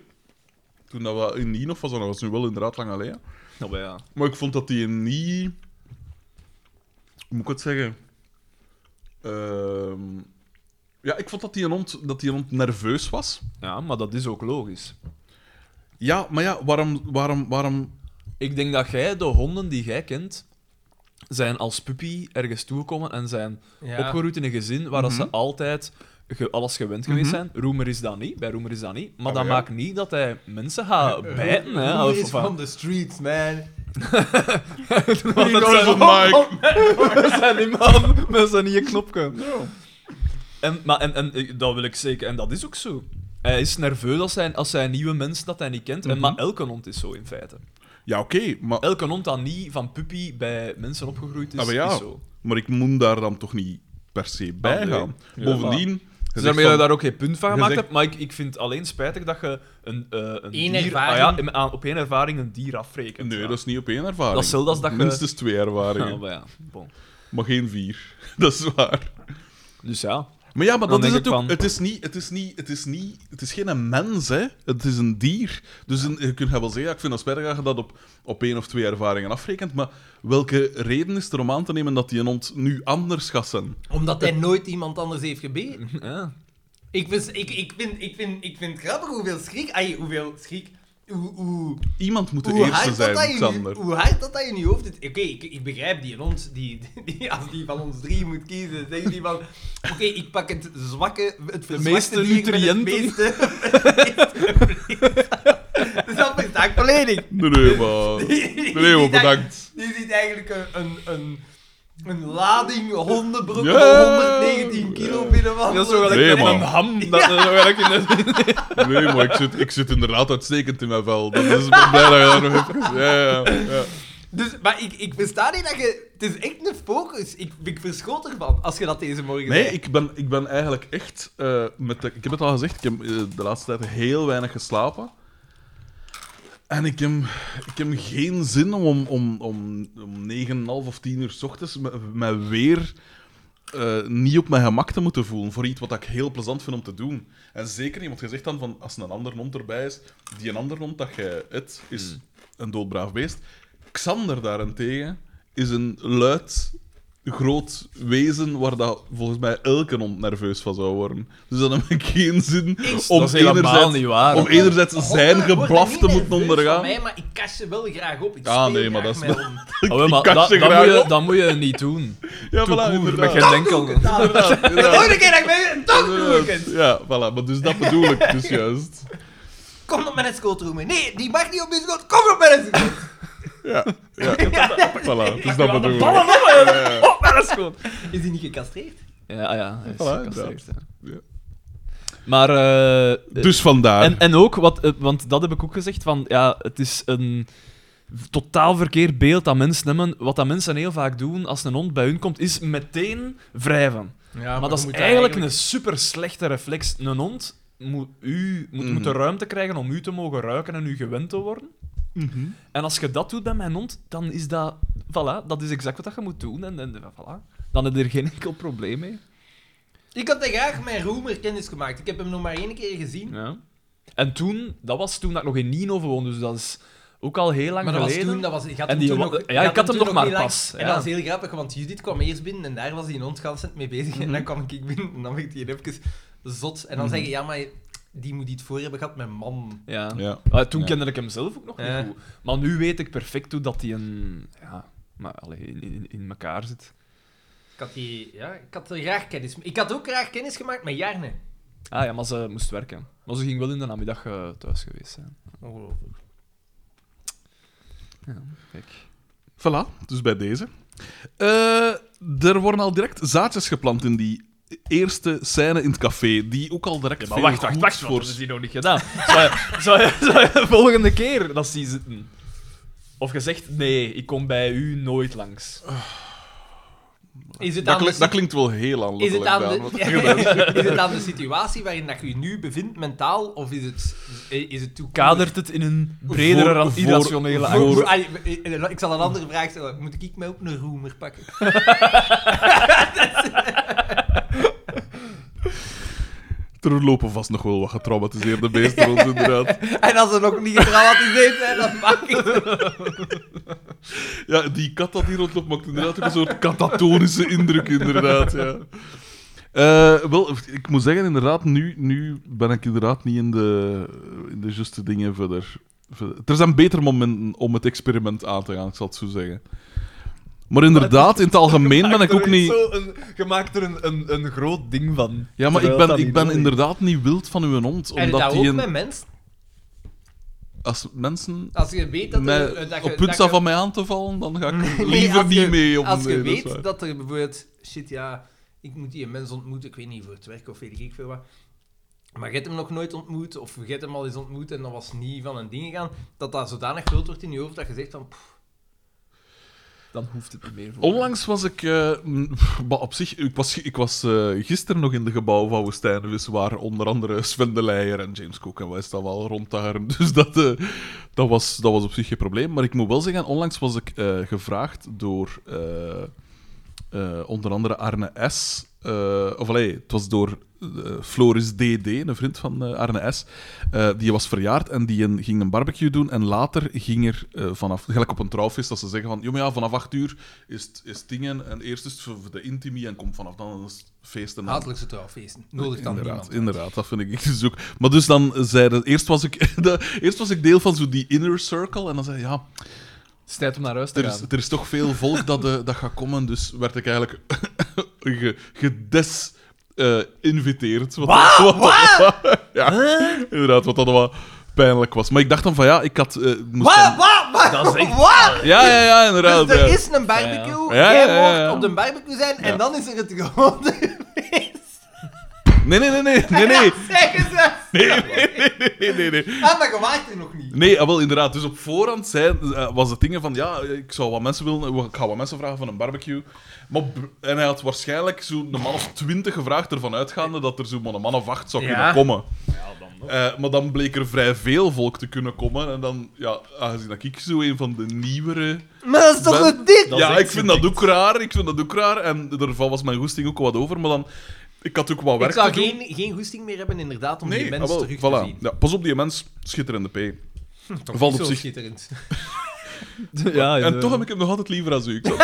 Speaker 2: toen dat we in Ninof was, dat was nu wel inderdaad lang alleen.
Speaker 3: nou, maar ja.
Speaker 2: Maar ik vond dat die niet... Hoe moet ik het zeggen? Ehm, ja, ik vond dat die hond, dat die hond nerveus was.
Speaker 3: ja, maar dat is ook logisch.
Speaker 2: Ja, maar ja, waarom... waarom, waarom
Speaker 3: Ik denk dat jij, de honden die jij kent, zijn als puppy ergens toegekomen en zijn
Speaker 1: Ja.
Speaker 3: opgeroeid in een gezin waar dat ze altijd ge- alles gewend geweest zijn. Roemer is dat niet, bij Roemer is dat niet. Maar
Speaker 2: Ah,
Speaker 3: dat
Speaker 2: ja.
Speaker 3: maakt niet dat hij mensen gaat bijten. Hè,
Speaker 1: Who
Speaker 3: of,
Speaker 1: is
Speaker 3: of-
Speaker 1: from the streets, man?
Speaker 3: Want dat zijn- We zijn niet man, we zijn niet een knopje. En, maar, en, en eh, dat wil ik zeker, en dat is ook zo. Hij is nerveus als hij, als hij nieuwe mensen dat hij niet kent. en, maar elke hond is zo in feite.
Speaker 2: Ja, oké, maar,
Speaker 3: Elke hond dat niet van puppy bij mensen opgegroeid is,
Speaker 2: Ah, maar ja.
Speaker 3: is zo.
Speaker 2: maar ik moet daar dan toch niet per se bij
Speaker 3: Ah, nee.
Speaker 2: gaan.
Speaker 3: Ja,
Speaker 2: Bovendien... je
Speaker 3: Dus
Speaker 2: zegt
Speaker 3: daarmee
Speaker 2: van-
Speaker 3: dat je daar ook geen punt van
Speaker 2: Je
Speaker 3: gemaakt
Speaker 2: zegt-
Speaker 3: hebt, maar ik, ik vind het alleen spijtig dat je een, eh een
Speaker 1: Eén
Speaker 3: dier...
Speaker 1: ervaring.
Speaker 3: ah ja, in- aan- op één ervaring een dier afrekent.
Speaker 2: Nee,
Speaker 3: ja.
Speaker 2: dat is niet op één ervaring.
Speaker 3: Dat is hetzelfde als dat je-
Speaker 2: Minstens twee ervaringen.
Speaker 3: Ja, maar Ah, ja, bon.
Speaker 2: Maar geen vier. Dat is waar.
Speaker 3: Dus ja,
Speaker 2: Maar ja, maar
Speaker 3: Dan
Speaker 2: dat is
Speaker 3: denk
Speaker 2: het
Speaker 3: ik
Speaker 2: ook.
Speaker 3: van-
Speaker 2: Het is niet, het is niet, het is niet, het is geen mens, hè. Het is een dier. Dus een- je kunt wel zeggen, ja, ik vind dat spijtig dat je dat op, op één of twee ervaringen afrekent, maar welke reden is er om aan te nemen dat die een hond nu anders gaat zijn?
Speaker 1: Omdat hij nooit iemand anders heeft gebeten.
Speaker 3: ja.
Speaker 1: Ik vind, ik, ik vind, ik vind, ik vind het grappig hoeveel schrik... Ay, hoeveel schrik... Hoe, hoe,
Speaker 2: Iemand moet de
Speaker 1: hoe,
Speaker 2: eerste
Speaker 1: hard dat dat
Speaker 2: zijn,
Speaker 1: in,
Speaker 2: Xander.
Speaker 1: hoe hard dat dat in je hoofd zit. Oké, ik, ik begrijp die in ons. Die, die, als die van ons drie moet kiezen, zegt die van... Oké, ik pak het zwakke, het verzwakte
Speaker 3: meeste
Speaker 1: dier met
Speaker 3: nutriënten.
Speaker 1: Het meeste, dus dat versta ik volledig.
Speaker 2: Nee, nee, maar... Nee, nee, maar bedankt.
Speaker 1: Die ziet eigenlijk een, een, een, een lading hondenbroek
Speaker 2: Ja.
Speaker 1: van 119 kilo binnenwandelen.
Speaker 3: Dat is zo
Speaker 2: Nee,
Speaker 3: gelijk met
Speaker 2: man.
Speaker 3: een ham. Dat is zo gelijk in het...
Speaker 2: Nee, maar ik zit, ik zit inderdaad uitstekend in mijn vel. Dat is ik ben blij dat je daar nog even... Ja, ja, ja.
Speaker 1: Dus, maar ik, ik versta niet dat je... Het is echt een focus. Ik, ik verschoot ervan, als je dat deze morgen
Speaker 2: Nee,
Speaker 1: zei.
Speaker 2: ik ben, ik ben eigenlijk echt... eh, met de, ik heb het al gezegd, ik heb eh, de laatste tijd heel weinig geslapen. En ik heb, ik heb geen zin om om, om, om, om 9, of 10 uur s ochtends me, mij weer eh, niet op mijn gemak te moeten voelen voor iets wat ik heel plezant vind om te doen. En zeker iemand gezegd dan van als een ander hond erbij is, die een ander hond dat jij het is
Speaker 3: Hmm.
Speaker 2: een doodbraaf beest. Xander daarentegen is een luid, groot wezen waar dat volgens mij elke hond nerveus van zou worden. Dus dan heb ik geen zin om
Speaker 3: dat is helemaal
Speaker 2: enerzijds-
Speaker 3: niet waar.
Speaker 2: om enerzijds
Speaker 1: Honden
Speaker 2: zijn
Speaker 1: worden
Speaker 2: geblaf
Speaker 1: niet
Speaker 2: te moeten
Speaker 1: nerveus van
Speaker 2: ondergaan.
Speaker 1: Mij, maar ik kast ze wel graag op. Ik
Speaker 2: Ah,
Speaker 1: speel
Speaker 2: nee, maar
Speaker 1: graag
Speaker 2: dat is
Speaker 1: met
Speaker 2: wel-
Speaker 1: honden.
Speaker 3: Oh, ja, maar
Speaker 2: kast
Speaker 3: dat,
Speaker 2: ze
Speaker 3: dat,
Speaker 2: graag
Speaker 3: moet je,
Speaker 2: op.
Speaker 3: dat moet je niet doen.
Speaker 2: Ja,
Speaker 3: Toen koer,
Speaker 2: voilà,
Speaker 3: met
Speaker 2: inderdaad.
Speaker 3: geen denkel.
Speaker 2: Inderdaad,
Speaker 1: De
Speaker 2: inderdaad.
Speaker 1: volgende keer Oh, dat ik ben, toch doe ik het.
Speaker 2: Ja, voilà, maar dus dat bedoel ik dus juist.
Speaker 1: Kom op mijn schooltroom. Nee, die mag niet op mijn schoot. Kom op mijn schoot.
Speaker 2: Ja, ja. Voilà, dus dat bedoel ik.
Speaker 3: Oh, maar dat is goed.
Speaker 1: Is die niet gecastreerd?
Speaker 3: Ja, ah ja. hij is
Speaker 2: Voilà,
Speaker 3: gecastreerd,
Speaker 2: inderdaad.
Speaker 3: hè.
Speaker 2: Ja.
Speaker 3: Maar... eh,
Speaker 2: Dus vandaar.
Speaker 3: En, en ook, wat, eh, want dat heb ik ook gezegd, van, ja, het is een totaal verkeerd beeld dat mensen hebben. Wat dat mensen heel vaak doen als een hond bij hun komt, is meteen wrijven.
Speaker 1: Ja,
Speaker 3: maar, dat is eigenlijk, een super slechte reflex. Een hond moet, u, moet, moet de
Speaker 2: Mhm.
Speaker 3: ruimte krijgen om u te mogen ruiken en u gewend te worden. En als je dat doet bij mijn hond, dan is dat... Voilà, dat is exact wat dat je moet doen. En, en voilà. Dan heb je er geen enkel probleem mee.
Speaker 1: Ik had daar graag mijn roemer kennis gemaakt. Ik heb hem nog maar één keer gezien.
Speaker 3: Ja. En toen, dat was toen dat ik nog in Nino woonde, dus dat is ook al heel lang
Speaker 1: maar dat
Speaker 3: geleden.
Speaker 1: was toen, dat was, je had
Speaker 3: En
Speaker 1: hem
Speaker 3: die
Speaker 1: toen
Speaker 3: wa-
Speaker 1: nog,
Speaker 3: ja,
Speaker 1: je
Speaker 3: ik had hem
Speaker 1: toen
Speaker 3: nog maar
Speaker 1: heel lang-
Speaker 3: pas,
Speaker 1: En
Speaker 3: ja.
Speaker 1: dat was heel grappig, want Judith kwam eerst binnen en daar was die hond constant mee bezig.
Speaker 3: Mhm.
Speaker 1: En dan kwam ik binnen en dan werd hij even zot. En dan zeggen, ja, maar die moet iets voor hebben gehad met man.
Speaker 3: Ja.
Speaker 2: Ja.
Speaker 3: Ah, toen
Speaker 2: Ja.
Speaker 3: kende ik hem zelf ook nog
Speaker 1: Ja.
Speaker 3: niet goed. Maar nu weet ik perfect hoe dat hij een... Ja, maar allee, in, in, in elkaar zit.
Speaker 1: Ik had, die, ja, ik had er graag kennis Ik had ook graag kennis gemaakt met Jarne.
Speaker 3: Ah ja, maar ze moest werken. Maar ze ging wel in de namiddag eh, thuis geweest zijn.
Speaker 1: Ongelooflijk.
Speaker 3: Kijk.
Speaker 2: Voilà, dus bij deze. Eh, er worden al direct zaadjes geplant in die eerste scène in het café, die ook al direct veel goeds voor...
Speaker 3: is die nog niet gedaan. Zou je, zou je- zou je de volgende keer dat zien zitten? Of gezegd, nee, ik kom bij u nooit lanks.
Speaker 1: Is het
Speaker 2: Dat,
Speaker 1: aan de
Speaker 2: klink- dat klinkt wel heel
Speaker 1: Is
Speaker 2: aanlokkelijk.
Speaker 1: het, aan
Speaker 2: Daan, wat-
Speaker 1: de, is het aan de situatie waarin dat je je nu bevindt, mentaal, of is het... Is het hoe-
Speaker 3: Kadert het in een bredere,
Speaker 2: Voor- voor-
Speaker 3: irrationele
Speaker 1: hoe-
Speaker 3: angst?
Speaker 1: hoe- ah, eh, eh, Ik zal een andere vraag stellen. Moet ik mij ook een roemer pakken?
Speaker 2: Er lopen vast nog wel wat getraumatiseerde beesten rond, inderdaad.
Speaker 1: En als ze nog niet getraumatiseerd zijn, dan pak ik ze.
Speaker 2: Ja, die kat dat hier rondloopt maakt inderdaad ook een soort katatonische indruk, inderdaad. Ja. Eh, wel, ik moet zeggen, inderdaad, nu, nu ben ik inderdaad niet in de, in de juiste dingen verder. verder. Er zijn betere momenten om het experiment aan te gaan, ik zal het zo zeggen. Maar inderdaad, in het algemeen ben ik ook niet...
Speaker 3: Zo een, je maakt er een, een, een groot ding van.
Speaker 2: Ja, maar ik
Speaker 3: Terwijl
Speaker 2: ben,
Speaker 3: dat
Speaker 2: ik
Speaker 3: niet
Speaker 2: ben
Speaker 3: nodig is.
Speaker 2: inderdaad niet wild van uw hond.
Speaker 1: En dat
Speaker 2: Omdat
Speaker 1: ook
Speaker 2: die
Speaker 1: met
Speaker 2: een,
Speaker 1: mensen.
Speaker 2: als mensen
Speaker 1: Als je weet dat, er,
Speaker 2: mij,
Speaker 1: eh, dat je,
Speaker 2: op punt
Speaker 1: dat
Speaker 2: staan
Speaker 1: je-
Speaker 2: van mij aan te vallen, dan ga ik
Speaker 1: Nee,
Speaker 2: liever
Speaker 1: als je-
Speaker 2: niet mee. Op
Speaker 1: Als je
Speaker 2: nee, dat is
Speaker 1: weet
Speaker 2: waar.
Speaker 1: dat er bijvoorbeeld... Shit, ja, ik moet die mens ontmoeten. Ik weet niet, voor het werk of weet ik veel wat. Maar je hebt hem nog nooit ontmoet, of je hebt hem al eens ontmoet en dat was niet van een ding gegaan, dat dat zodanig groot wordt in je hoofd dat je zegt van... pff,
Speaker 3: Dan hoeft het niet meer voor
Speaker 2: Onlangs was ik... eh, mm, maar op zich, ik was, ik was eh, gisteren nog in de gebouwen van Woestijnvis, waar onder andere Sven de Leijer en James Cook en wij staan wel rond daar. Dus dat, eh, dat, was, dat was op zich geen probleem. Maar ik moet wel zeggen, onlangs was ik eh, gevraagd door eh, eh, onder andere Arne S. eh, of allee, het was door eh, Floris DD, een vriend van eh, Arne S. eh, die was verjaard en die een- ging een barbecue doen. En later ging er eh, vanaf, gelijk op een trouwfeest, dat ze zeggen van, "Jo, maar ja, vanaf 8 uur is het is het dingen. En eerst is het voor de intimie en komt vanaf dan een feest. En dan
Speaker 1: Hatelijkse trouwfeesten. Nodig dan
Speaker 2: inderdaad,
Speaker 1: niemand.
Speaker 2: Inderdaad, dat vind ik dus ook. Maar dus dan zeiden... Eerst was ik, de, eerst was ik deel van zo die inner circle. En dan zei je, ja,
Speaker 3: Het is tijd om naar huis te
Speaker 2: er is,
Speaker 3: gaan.
Speaker 2: er is toch veel volk dat, eh, dat gaat komen. Dus werd ik eigenlijk ge- gedes... eh, inviteerd. Wat, wat, wat? Ja, inderdaad, wat dat wel pijnlijk was. Maar ik dacht dan van ja, ik had. eh, ik moest
Speaker 1: Wat?
Speaker 2: dan-
Speaker 1: Wat? Wat?
Speaker 3: Dat is echt-
Speaker 1: Wat?
Speaker 2: Ja, ja, ja, inderdaad.
Speaker 1: Dus er
Speaker 2: ja.
Speaker 1: is een barbecue,
Speaker 2: Ja, ja. Ja,
Speaker 1: jij
Speaker 2: ja, ja, ja.
Speaker 1: mocht op de barbecue zijn,
Speaker 2: Ja.
Speaker 1: en dan is er het gewone feest.
Speaker 2: Nee, nee, nee, nee, nee, nee,
Speaker 1: Ja, zeggen ze.
Speaker 2: nee, nee, nee.
Speaker 1: Ah, maar je waait er nog niet.
Speaker 2: Nee, ah, wel inderdaad. Dus op voorhand zei, eh, was het ding van ja, ik zou wat mensen willen, ik ga wat mensen vragen van een barbecue. Maar, br- en hij had waarschijnlijk zo'n man of twintig gevraagd, ervan uitgaande dat er zo'n man- een man of acht zou
Speaker 1: Ja.
Speaker 2: kunnen komen. Eh, maar dan bleek er vrij veel volk te kunnen komen. En dan, ja, aangezien dat ik zo een van de nieuwere
Speaker 1: Maar dat is toch
Speaker 2: Ben-
Speaker 1: een dik?
Speaker 3: Dat is
Speaker 2: ja,
Speaker 3: echt
Speaker 2: ik vind dat ook raar. Ik vind dat ook raar. En daarvan was mijn goesting ook wat over. Maar dan... Ik had ook wat werk
Speaker 1: Ik zou
Speaker 2: te doen.
Speaker 1: geen, geen goesting meer hebben inderdaad om die
Speaker 2: ah,
Speaker 1: mensen
Speaker 2: wel,
Speaker 1: terug te
Speaker 2: voilà.
Speaker 1: zien.
Speaker 2: Ja, pas op die mens. Schitterende P.
Speaker 1: Toch
Speaker 2: Valt
Speaker 1: niet
Speaker 2: op
Speaker 1: zo
Speaker 2: zich.
Speaker 1: schitterend.
Speaker 3: Ja, ja,
Speaker 1: Eh,
Speaker 2: En toch heb ik hem nog altijd liever als u. Ik zou-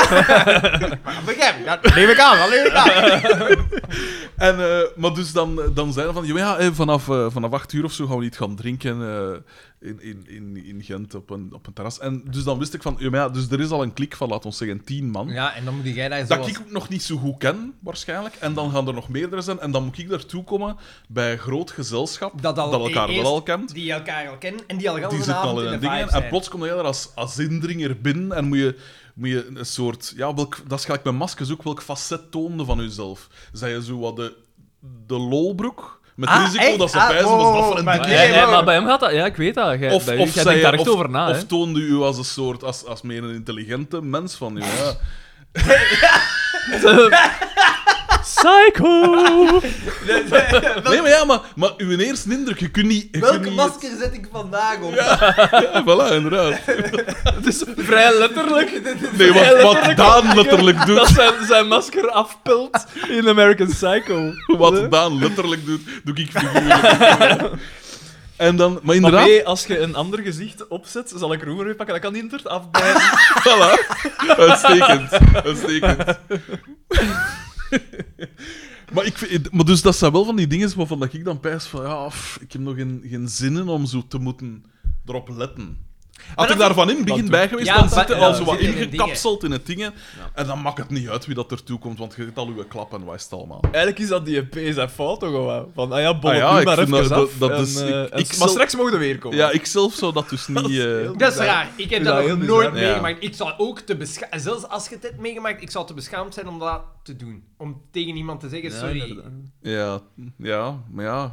Speaker 1: Begrijp, dat neem ik aan, dat neem ik aan.
Speaker 2: en, eh, maar dus dan, dan zijn we van... Ja, ja, eh, vanaf, eh, vanaf acht uur of zo gaan we niet gaan drinken eh, in, in, in, in Gent op een, op een terras. En dus dan wist ik van... Ja, maar ja, dus er is al een klik van, laat ons zeggen, tien man.
Speaker 1: Ja, en dan moet jij daar zo
Speaker 2: Dat ik ook nog niet zo goed ken, waarschijnlijk. En dan gaan er nog meerdere zijn. En dan moet ik daartoe komen bij een groot gezelschap dat,
Speaker 1: Dat al e-
Speaker 2: elkaar
Speaker 1: eerst-
Speaker 2: wel al kent.
Speaker 1: Die elkaar al kennen en die al
Speaker 2: Die
Speaker 1: gaan
Speaker 2: zitten
Speaker 1: avond
Speaker 2: al in
Speaker 1: in de
Speaker 2: een ding.
Speaker 1: vibe
Speaker 2: En
Speaker 1: zijn.
Speaker 2: plots kom je daar als, als indringer binnen en moet je, moet je een soort... Ja, welk, dat is gelijk met maskers ook. Welk facet toonde van jezelf? Zij je zo wat de, de lolbroek? Met
Speaker 1: Ah,
Speaker 2: risico
Speaker 1: echt?
Speaker 2: dat ze
Speaker 1: Ah,
Speaker 2: bij zijn,
Speaker 1: wow,
Speaker 2: was dat voor een
Speaker 1: maar
Speaker 2: dikke
Speaker 1: nee,
Speaker 3: Ja, ja,
Speaker 1: maar-
Speaker 3: maar bij hem gaat dat... Ja, ik weet dat. Jij,
Speaker 2: of,
Speaker 3: bij u-
Speaker 2: of
Speaker 3: jij
Speaker 2: zei
Speaker 3: denkt daar
Speaker 2: je-
Speaker 3: echt
Speaker 2: of-
Speaker 3: over na,
Speaker 2: of
Speaker 3: hè.
Speaker 2: toonde u als een soort, als, als meer een intelligente mens van u. Ja.
Speaker 3: Psycho!
Speaker 2: Nee, maar ja, maar, maar uw eerste indruk, je kunt niet... je kunt
Speaker 1: Welke
Speaker 2: niet-
Speaker 1: masker zet ik vandaag op?
Speaker 2: Ja, voilà, inderdaad.
Speaker 3: Het is vrij letterlijk.
Speaker 2: Nee, wat, wat Daan letterlijk
Speaker 3: Dat
Speaker 2: doet,
Speaker 3: zijn, zijn masker afpelt in American Psycho.
Speaker 2: wat Daan letterlijk doet, doe ik figuurlijk. En dan, maar
Speaker 3: Maar
Speaker 2: inderdaad,
Speaker 3: nee, als je een ander gezicht opzet, zal ik roemer weer pakken. Dat kan niet het afbijten.
Speaker 2: voilà. Uitstekend, uitstekend. Maar, ik vind, maar dus dat zijn wel van die dingen waarvan dat ik dan pijs van, ja, pff, ik heb nog geen, geen zin in om zo te moeten erop letten. Had ik
Speaker 1: dat-
Speaker 2: daarvan in het begin bij geweest,
Speaker 1: ja,
Speaker 2: dan
Speaker 1: maar-
Speaker 2: zit je
Speaker 1: ja,
Speaker 2: al
Speaker 1: dat
Speaker 2: zo wat
Speaker 1: zit in de
Speaker 2: ingekapseld in het dingen. En dan maakt het niet uit wie dat ertoe komt, want je zit al uw klap en wat is het allemaal.
Speaker 3: Eigenlijk is dat die EP zijn fout toch gewoon. Van, ah ja, bol
Speaker 2: Ah ja,
Speaker 3: nu
Speaker 2: ik
Speaker 3: maar
Speaker 2: vind
Speaker 3: even
Speaker 2: dat-
Speaker 3: af.
Speaker 2: dat- dat
Speaker 3: en,
Speaker 2: is-
Speaker 3: eh,
Speaker 2: ik-
Speaker 3: en-
Speaker 2: ik zal-
Speaker 3: Maar straks mogen we weer komen.
Speaker 2: Ja, ik zelf zou dat dus niet...
Speaker 3: Dat is
Speaker 2: eh,
Speaker 3: heel-
Speaker 1: Dat is
Speaker 3: Ja.
Speaker 1: raar. Ik heb
Speaker 3: Ja,
Speaker 1: dat
Speaker 3: heel
Speaker 1: nog
Speaker 3: bizar.
Speaker 1: nooit
Speaker 2: Ja.
Speaker 1: meegemaakt. Ik zou ook te beschaamd... Zelfs als je het hebt meegemaakt, ik zou te beschaamd zijn om dat te doen. Om tegen iemand te zeggen,
Speaker 3: Ja,
Speaker 1: sorry.
Speaker 3: inderdaad.
Speaker 2: Ja, ja, maar ja.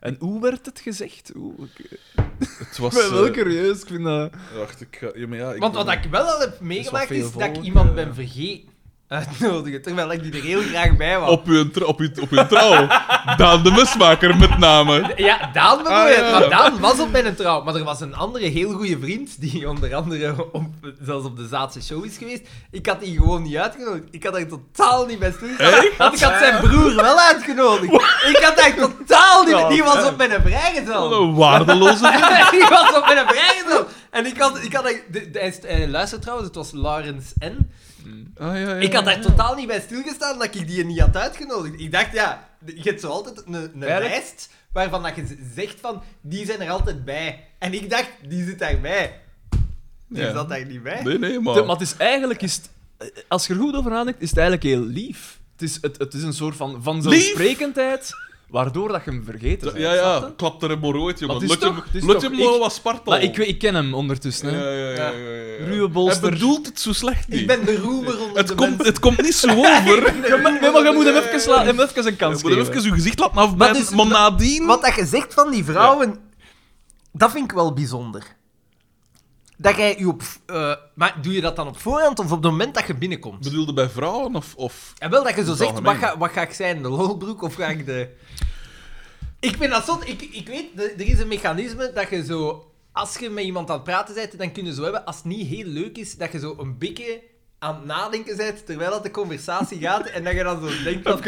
Speaker 3: En hoe werd het gezegd? Oeh, ik-
Speaker 2: Het
Speaker 3: ik
Speaker 2: was.
Speaker 3: ben wel
Speaker 2: eh,
Speaker 3: curieus. Ik vind dat...
Speaker 2: Wacht, ik ga. Ja, maar ja, ik
Speaker 1: Want
Speaker 2: ben-
Speaker 1: wat ik wel al heb meegemaakt,
Speaker 3: veel
Speaker 1: is, dat ik
Speaker 3: volk,
Speaker 1: iemand
Speaker 3: eh.
Speaker 1: ben vergeten uitnodigen. Terwijl ik die er heel graag bij was.
Speaker 2: Op uw, tr- op, uw, op uw trouw. Daan de Mesmaker, met name.
Speaker 1: Ja, Daan bedoel
Speaker 2: Ah,
Speaker 1: je,
Speaker 2: ja.
Speaker 1: maar Daan was op mijn trouw. Maar er was een andere heel goede vriend, die onder andere op, zelfs op de Zaatse show is geweest. Ik had die gewoon niet uitgenodigd. Ik had daar totaal niet bij stilgestaan. Want ik had zijn broer wel uitgenodigd. Ik had daar totaal niet... Die was op mijn
Speaker 2: Wat
Speaker 1: vrijgezel.
Speaker 2: een waardeloze.
Speaker 1: die was op mijn vrijgezel. En ik had... Ik had daar- de- de- hij is- eh, luister trouwens, het was Lawrence N.
Speaker 2: Ah, ja, ja,
Speaker 1: Ik had
Speaker 2: ja.
Speaker 1: daar totaal niet bij stilgestaan dat ik die niet had uitgenodigd. Ik dacht, ja, je hebt zo altijd een, een
Speaker 3: Eigenlijk-
Speaker 1: lijst waarvan dat je z- zegt van, die zijn er altijd bij. En ik dacht, die zit daarbij. Die
Speaker 2: Ja.
Speaker 1: zat daar niet bij.
Speaker 2: Nee, nee,
Speaker 3: De-
Speaker 2: maar.
Speaker 3: maar het is eigenlijk is het als je er goed over nadenkt, is het eigenlijk heel lief. Het is, het, het is een soort van vanzelfsprekendheid, waardoor dat je hem vergeten bent.
Speaker 2: Ja,
Speaker 3: snap
Speaker 2: ja,
Speaker 3: je?
Speaker 2: klapt er hem ooit, jongen.
Speaker 3: Dat is
Speaker 2: Lut
Speaker 3: toch-
Speaker 2: hem-
Speaker 3: het is
Speaker 2: lut
Speaker 3: toch-
Speaker 2: hem
Speaker 3: ik-
Speaker 2: wel wat Sparta.
Speaker 3: Maar ik, ik ken hem ondertussen.
Speaker 2: Ja,
Speaker 3: Hè.
Speaker 2: ja, ja, ja, ja, ja.
Speaker 3: Ruwe bolster.
Speaker 2: Hij bedoelt het zo slecht niet.
Speaker 1: Ik ben de roemer onder
Speaker 2: het,
Speaker 1: de
Speaker 2: komt,
Speaker 1: mensen. Eh,
Speaker 2: het komt niet zo over.
Speaker 3: Ja, maar, nee, maar je moet hem even, la- hem even een
Speaker 2: Je
Speaker 3: kans
Speaker 2: moet hem
Speaker 3: geven.
Speaker 2: even uw gezicht laten afbijten,
Speaker 1: Wat is-
Speaker 2: maar nadien...
Speaker 1: Wat dat je zegt van die vrouwen, dat vind ik wel bijzonder. Dat jij je op... eh, maar doe je dat dan op voorhand of op het moment dat je binnenkomt?
Speaker 2: Bedoelde bij vrouwen of... of...
Speaker 1: En wel dat je zo
Speaker 2: Het
Speaker 1: zegt, wat
Speaker 2: algemeen.
Speaker 1: ga, wat ga ik zijn, de lolbroek of ga ik de... Ik vind dat zot, ik, ik weet, de- er is een mechanisme dat je zo... Als je met iemand aan het praten bent, dan kun je zo hebben, als het niet heel leuk is, dat je zo een beetje aan het nadenken bent terwijl dat de conversatie gaat en dat je dan zo denkt van...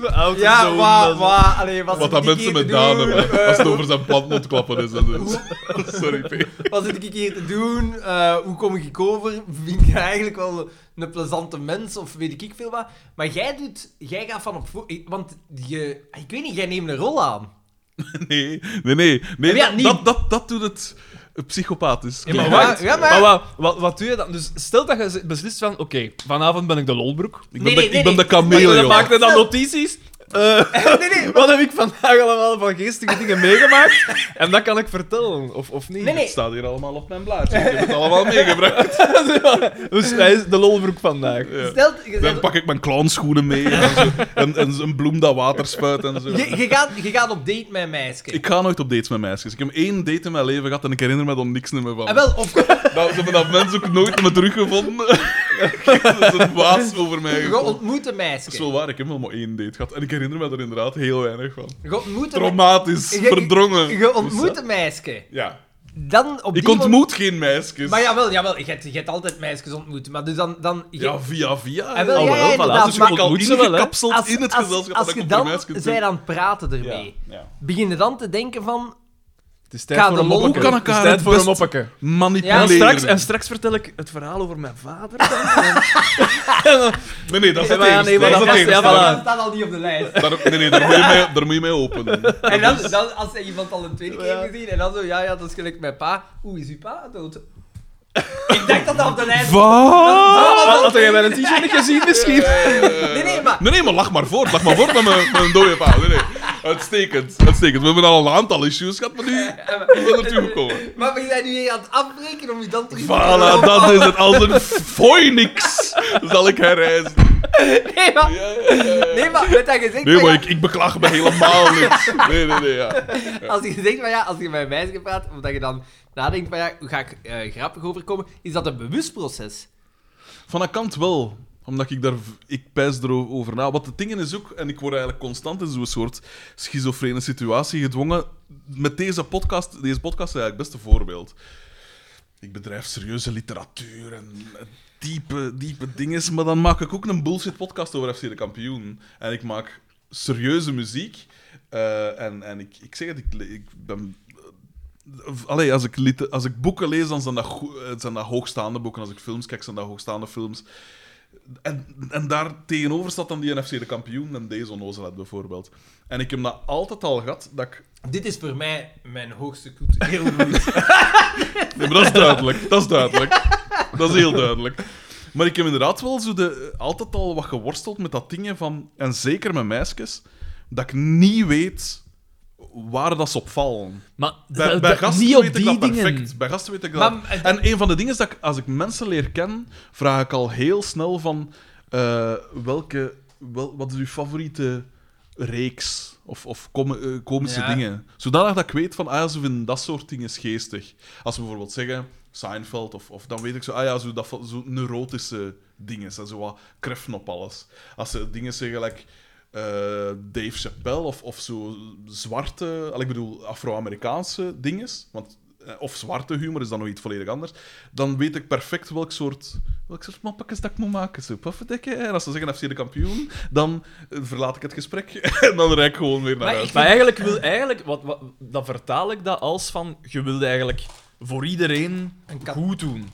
Speaker 3: De auto
Speaker 1: Ja,
Speaker 3: zo,
Speaker 1: wa,
Speaker 3: dat-
Speaker 1: wa, allee, wat
Speaker 2: Wat
Speaker 1: zit
Speaker 2: dat
Speaker 1: ik
Speaker 2: mensen
Speaker 1: hier
Speaker 2: met
Speaker 1: te
Speaker 2: Daan
Speaker 1: doen?
Speaker 2: hebben,
Speaker 1: Eh,
Speaker 2: als het over zijn plant moet klappen is. Dat is. Sorry, P.
Speaker 1: Wat zit ik hier te doen? Eh, hoe kom ik over? Vind je eigenlijk wel een plezante mens of weet ik veel wat? Maar jij doet, jij gaat van op voor, ik- want je, ik weet niet, jij neemt een rol aan.
Speaker 2: Nee, nee, nee. nee
Speaker 1: Ja,
Speaker 2: dat,
Speaker 1: niet.
Speaker 2: dat, dat, dat doet het eh, psychopathisch.
Speaker 3: Ja, maar
Speaker 1: Ja,
Speaker 3: wacht.
Speaker 1: ja, maar-
Speaker 3: maar wat, wat, wat doe je dan? Dus stel dat je z- beslist van, oké, vanavond ben ik de lolbroek.
Speaker 2: Ik ben,
Speaker 1: Nee,
Speaker 2: de,
Speaker 1: nee,
Speaker 2: ik
Speaker 1: nee,
Speaker 2: ben de
Speaker 1: nee.
Speaker 2: kameel,
Speaker 3: Maar
Speaker 2: jongen.
Speaker 3: dan maak je dan notities. Eh,
Speaker 1: Nee, nee,
Speaker 3: wat heb ik vandaag allemaal van geestige dingen meegemaakt? En dat kan ik vertellen, of, of niet?
Speaker 1: Nee, nee.
Speaker 2: Het staat hier allemaal op mijn blaadje. Ik heb het allemaal meegebracht.
Speaker 3: Dus hij is de lolbroek vandaag.
Speaker 2: Ja.
Speaker 1: Stel, je,
Speaker 2: Dan
Speaker 1: bent-
Speaker 2: pak ik mijn clownschoenen mee en, zo, en, en een bloem dat water spuit en zo.
Speaker 1: je, je gaat, je gaat op date met een meisje.
Speaker 2: Ik ga nooit op dates met meisjes. Ik heb één date in mijn leven gehad en ik herinner me dan niks meer van.
Speaker 1: Ah, wel, of
Speaker 2: Nou, ze hebben dat mens ook nooit meer teruggevonden. dat is een waas over mij
Speaker 1: je
Speaker 2: gekomen.
Speaker 1: ontmoet een
Speaker 2: Dat is wel
Speaker 1: meisje.
Speaker 2: waar, ik heb wel maar één date gehad. En ik herinner me er inderdaad heel weinig van.
Speaker 1: Je ontmoet een,
Speaker 2: Traumatisch,
Speaker 1: Je- je-
Speaker 2: verdrongen. Dus, eh,
Speaker 1: je ontmoet een meisje.
Speaker 2: Ja.
Speaker 1: Dan op
Speaker 2: Ik
Speaker 1: die moment-
Speaker 2: ontmoet geen meisjes.
Speaker 1: Maar jawel, jawel, je hebt, je hebt altijd meisjes ontmoet. Maar dus dan... dan je-
Speaker 2: Ja, via via.
Speaker 1: Ah, wel,
Speaker 2: hè.
Speaker 1: ja,
Speaker 2: Al
Speaker 1: ja, inderdaad,
Speaker 2: Dus ik
Speaker 1: maar-
Speaker 2: ben al
Speaker 3: Ontmoet ze wel, hè.
Speaker 2: ingekapseld
Speaker 1: als,
Speaker 2: in het
Speaker 1: als-
Speaker 2: gezelschap
Speaker 1: als
Speaker 2: dat ik
Speaker 1: je
Speaker 2: op de
Speaker 1: dan
Speaker 2: meisjes
Speaker 1: zij
Speaker 2: zit.
Speaker 1: aan het praten ermee,
Speaker 2: ja.
Speaker 1: begin je dan te denken van...
Speaker 3: Het is
Speaker 1: Ga
Speaker 3: tijd voor
Speaker 1: de
Speaker 3: een
Speaker 1: lol-
Speaker 3: moppeke.
Speaker 1: Hoe kan
Speaker 2: ik
Speaker 3: Het is
Speaker 2: haar
Speaker 3: tijd
Speaker 2: het
Speaker 3: voor een
Speaker 2: best-
Speaker 3: moppeke.
Speaker 2: Manipuleren.
Speaker 3: En straks, en straks vertel ik het verhaal over mijn vader.
Speaker 2: Nee, nee, dat is
Speaker 3: Ja,
Speaker 2: het
Speaker 3: maar ja,
Speaker 2: eerste.
Speaker 3: nee, maar
Speaker 2: dat is
Speaker 3: dat
Speaker 2: het
Speaker 3: is- ja,
Speaker 2: eerste.
Speaker 3: voilà.
Speaker 1: Dat nou?" staat al niet op de lijst.
Speaker 2: Daar, nee, nee, daar moet je mee, daar moet je mee openen.
Speaker 1: En dan, dan als hij iemand al een tweede keer heeft gezien, en dan zo, ja, ja, dat is gelijk mijn pa. Oeh, is uw pa dood? Ik dacht dat dat op de lijst...
Speaker 3: Oh.
Speaker 1: Ah,
Speaker 2: Wat?
Speaker 3: Ah, Had had jij mijn t-shirt niet gezien misschien?
Speaker 1: Nee, nee, maar...
Speaker 2: Nee, nee, maar lach maar voort. Lach maar voort met mijn, met mijn dode pa. Nee, nee. Uitstekend. Uitstekend. We hebben al een aantal issues gehad, maar nu is dat ertoe gekomen.
Speaker 1: Maar ben jij nu hier aan het afbreken om je dan terug
Speaker 2: Voilà, dat is het. Als een phoenix zal ik herreizen.
Speaker 1: Nee, maar...
Speaker 2: Ja, ja, ja, ja.
Speaker 1: Nee, maar met dat gezegd...
Speaker 2: Nee, maar ik, ik beklag me helemaal niks. Nee, nee, nee, ja.
Speaker 1: Als je denkt van ja, als je met een meisje praat, of dat je dan nadenkt van ja, hoe ga ik eh, grappig overkomen, is dat een bewust proces.
Speaker 2: Van een kant wel. Omdat ik daar... Ik pijs erover na. Wat de dingen is ook... En ik word eigenlijk constant in zo'n soort schizofrene situatie gedwongen. Met deze podcast... Deze podcast is eigenlijk best een voorbeeld. Ik bedrijf serieuze literatuur en diepe, diepe dingen. Maar dan maak ik ook een bullshit podcast over FC de Kampioen. En ik maak serieuze muziek. Eh, en en ik, ik zeg het, ik, le- ik ben Allee, als ik, liter- als ik boeken lees, dan zijn dat, goe- eh, zijn dat hoogstaande boeken. Als ik films kijk, zijn dat hoogstaande films. En, en daar tegenover staat dan die NFC de kampioen en deze onnozelheid bijvoorbeeld. En ik heb dat altijd al gehad. Dat ik...
Speaker 1: Dit is voor mij mijn hoogste culturele
Speaker 2: Nee, maar dat is duidelijk. Dat is duidelijk. Dat is heel duidelijk. Maar ik heb inderdaad wel zo de, eh, altijd al wat geworsteld met dat ding van... En zeker met meisjes. Dat ik niet weet waar dat ze op vallen.
Speaker 3: Maar
Speaker 2: Bij,
Speaker 3: dat-
Speaker 2: bij
Speaker 3: dat-
Speaker 2: gasten
Speaker 3: niet op
Speaker 2: weet
Speaker 3: die
Speaker 2: ik dat
Speaker 3: dingen.
Speaker 2: perfect. Bij gasten weet ik dat.
Speaker 1: Maar, eh, dat-
Speaker 2: En een van de dingen is dat ik, als ik mensen leer kennen, vraag ik al heel snel van eh, welke, wel, wat is uw favoriete reeks of, of com- eh, komische
Speaker 1: Ja.
Speaker 2: dingen. Zodanig dat ik weet van, ah ja, ze vinden dat soort dingen geestig. Als ze bijvoorbeeld zeggen Seinfeld of, of dan weet ik zo, ah ja, zo, dat, van- zo neurotische dingen, zo zo wat kreffen op alles. Als ze dingen zeggen, like, eh, Dave Chappelle of, of zo zwarte, al, ik bedoel Afro-Amerikaanse dingen, want, eh, of zwarte humor is dan nog iets volledig anders, dan weet ik perfect welk soort, welk soort mappetjes dat ik moet maken. Zo, pufferdikke. En als ze zeggen FC de kampioen, dan eh, verlaat ik het gesprek en dan rijd ik gewoon weer naar
Speaker 1: Maar
Speaker 2: huis.
Speaker 1: ik-
Speaker 3: Maar eigenlijk wil eigenlijk, wat, wat, dan vertaal ik dat als van je wilde eigenlijk voor iedereen
Speaker 1: Een kat.
Speaker 3: goed doen.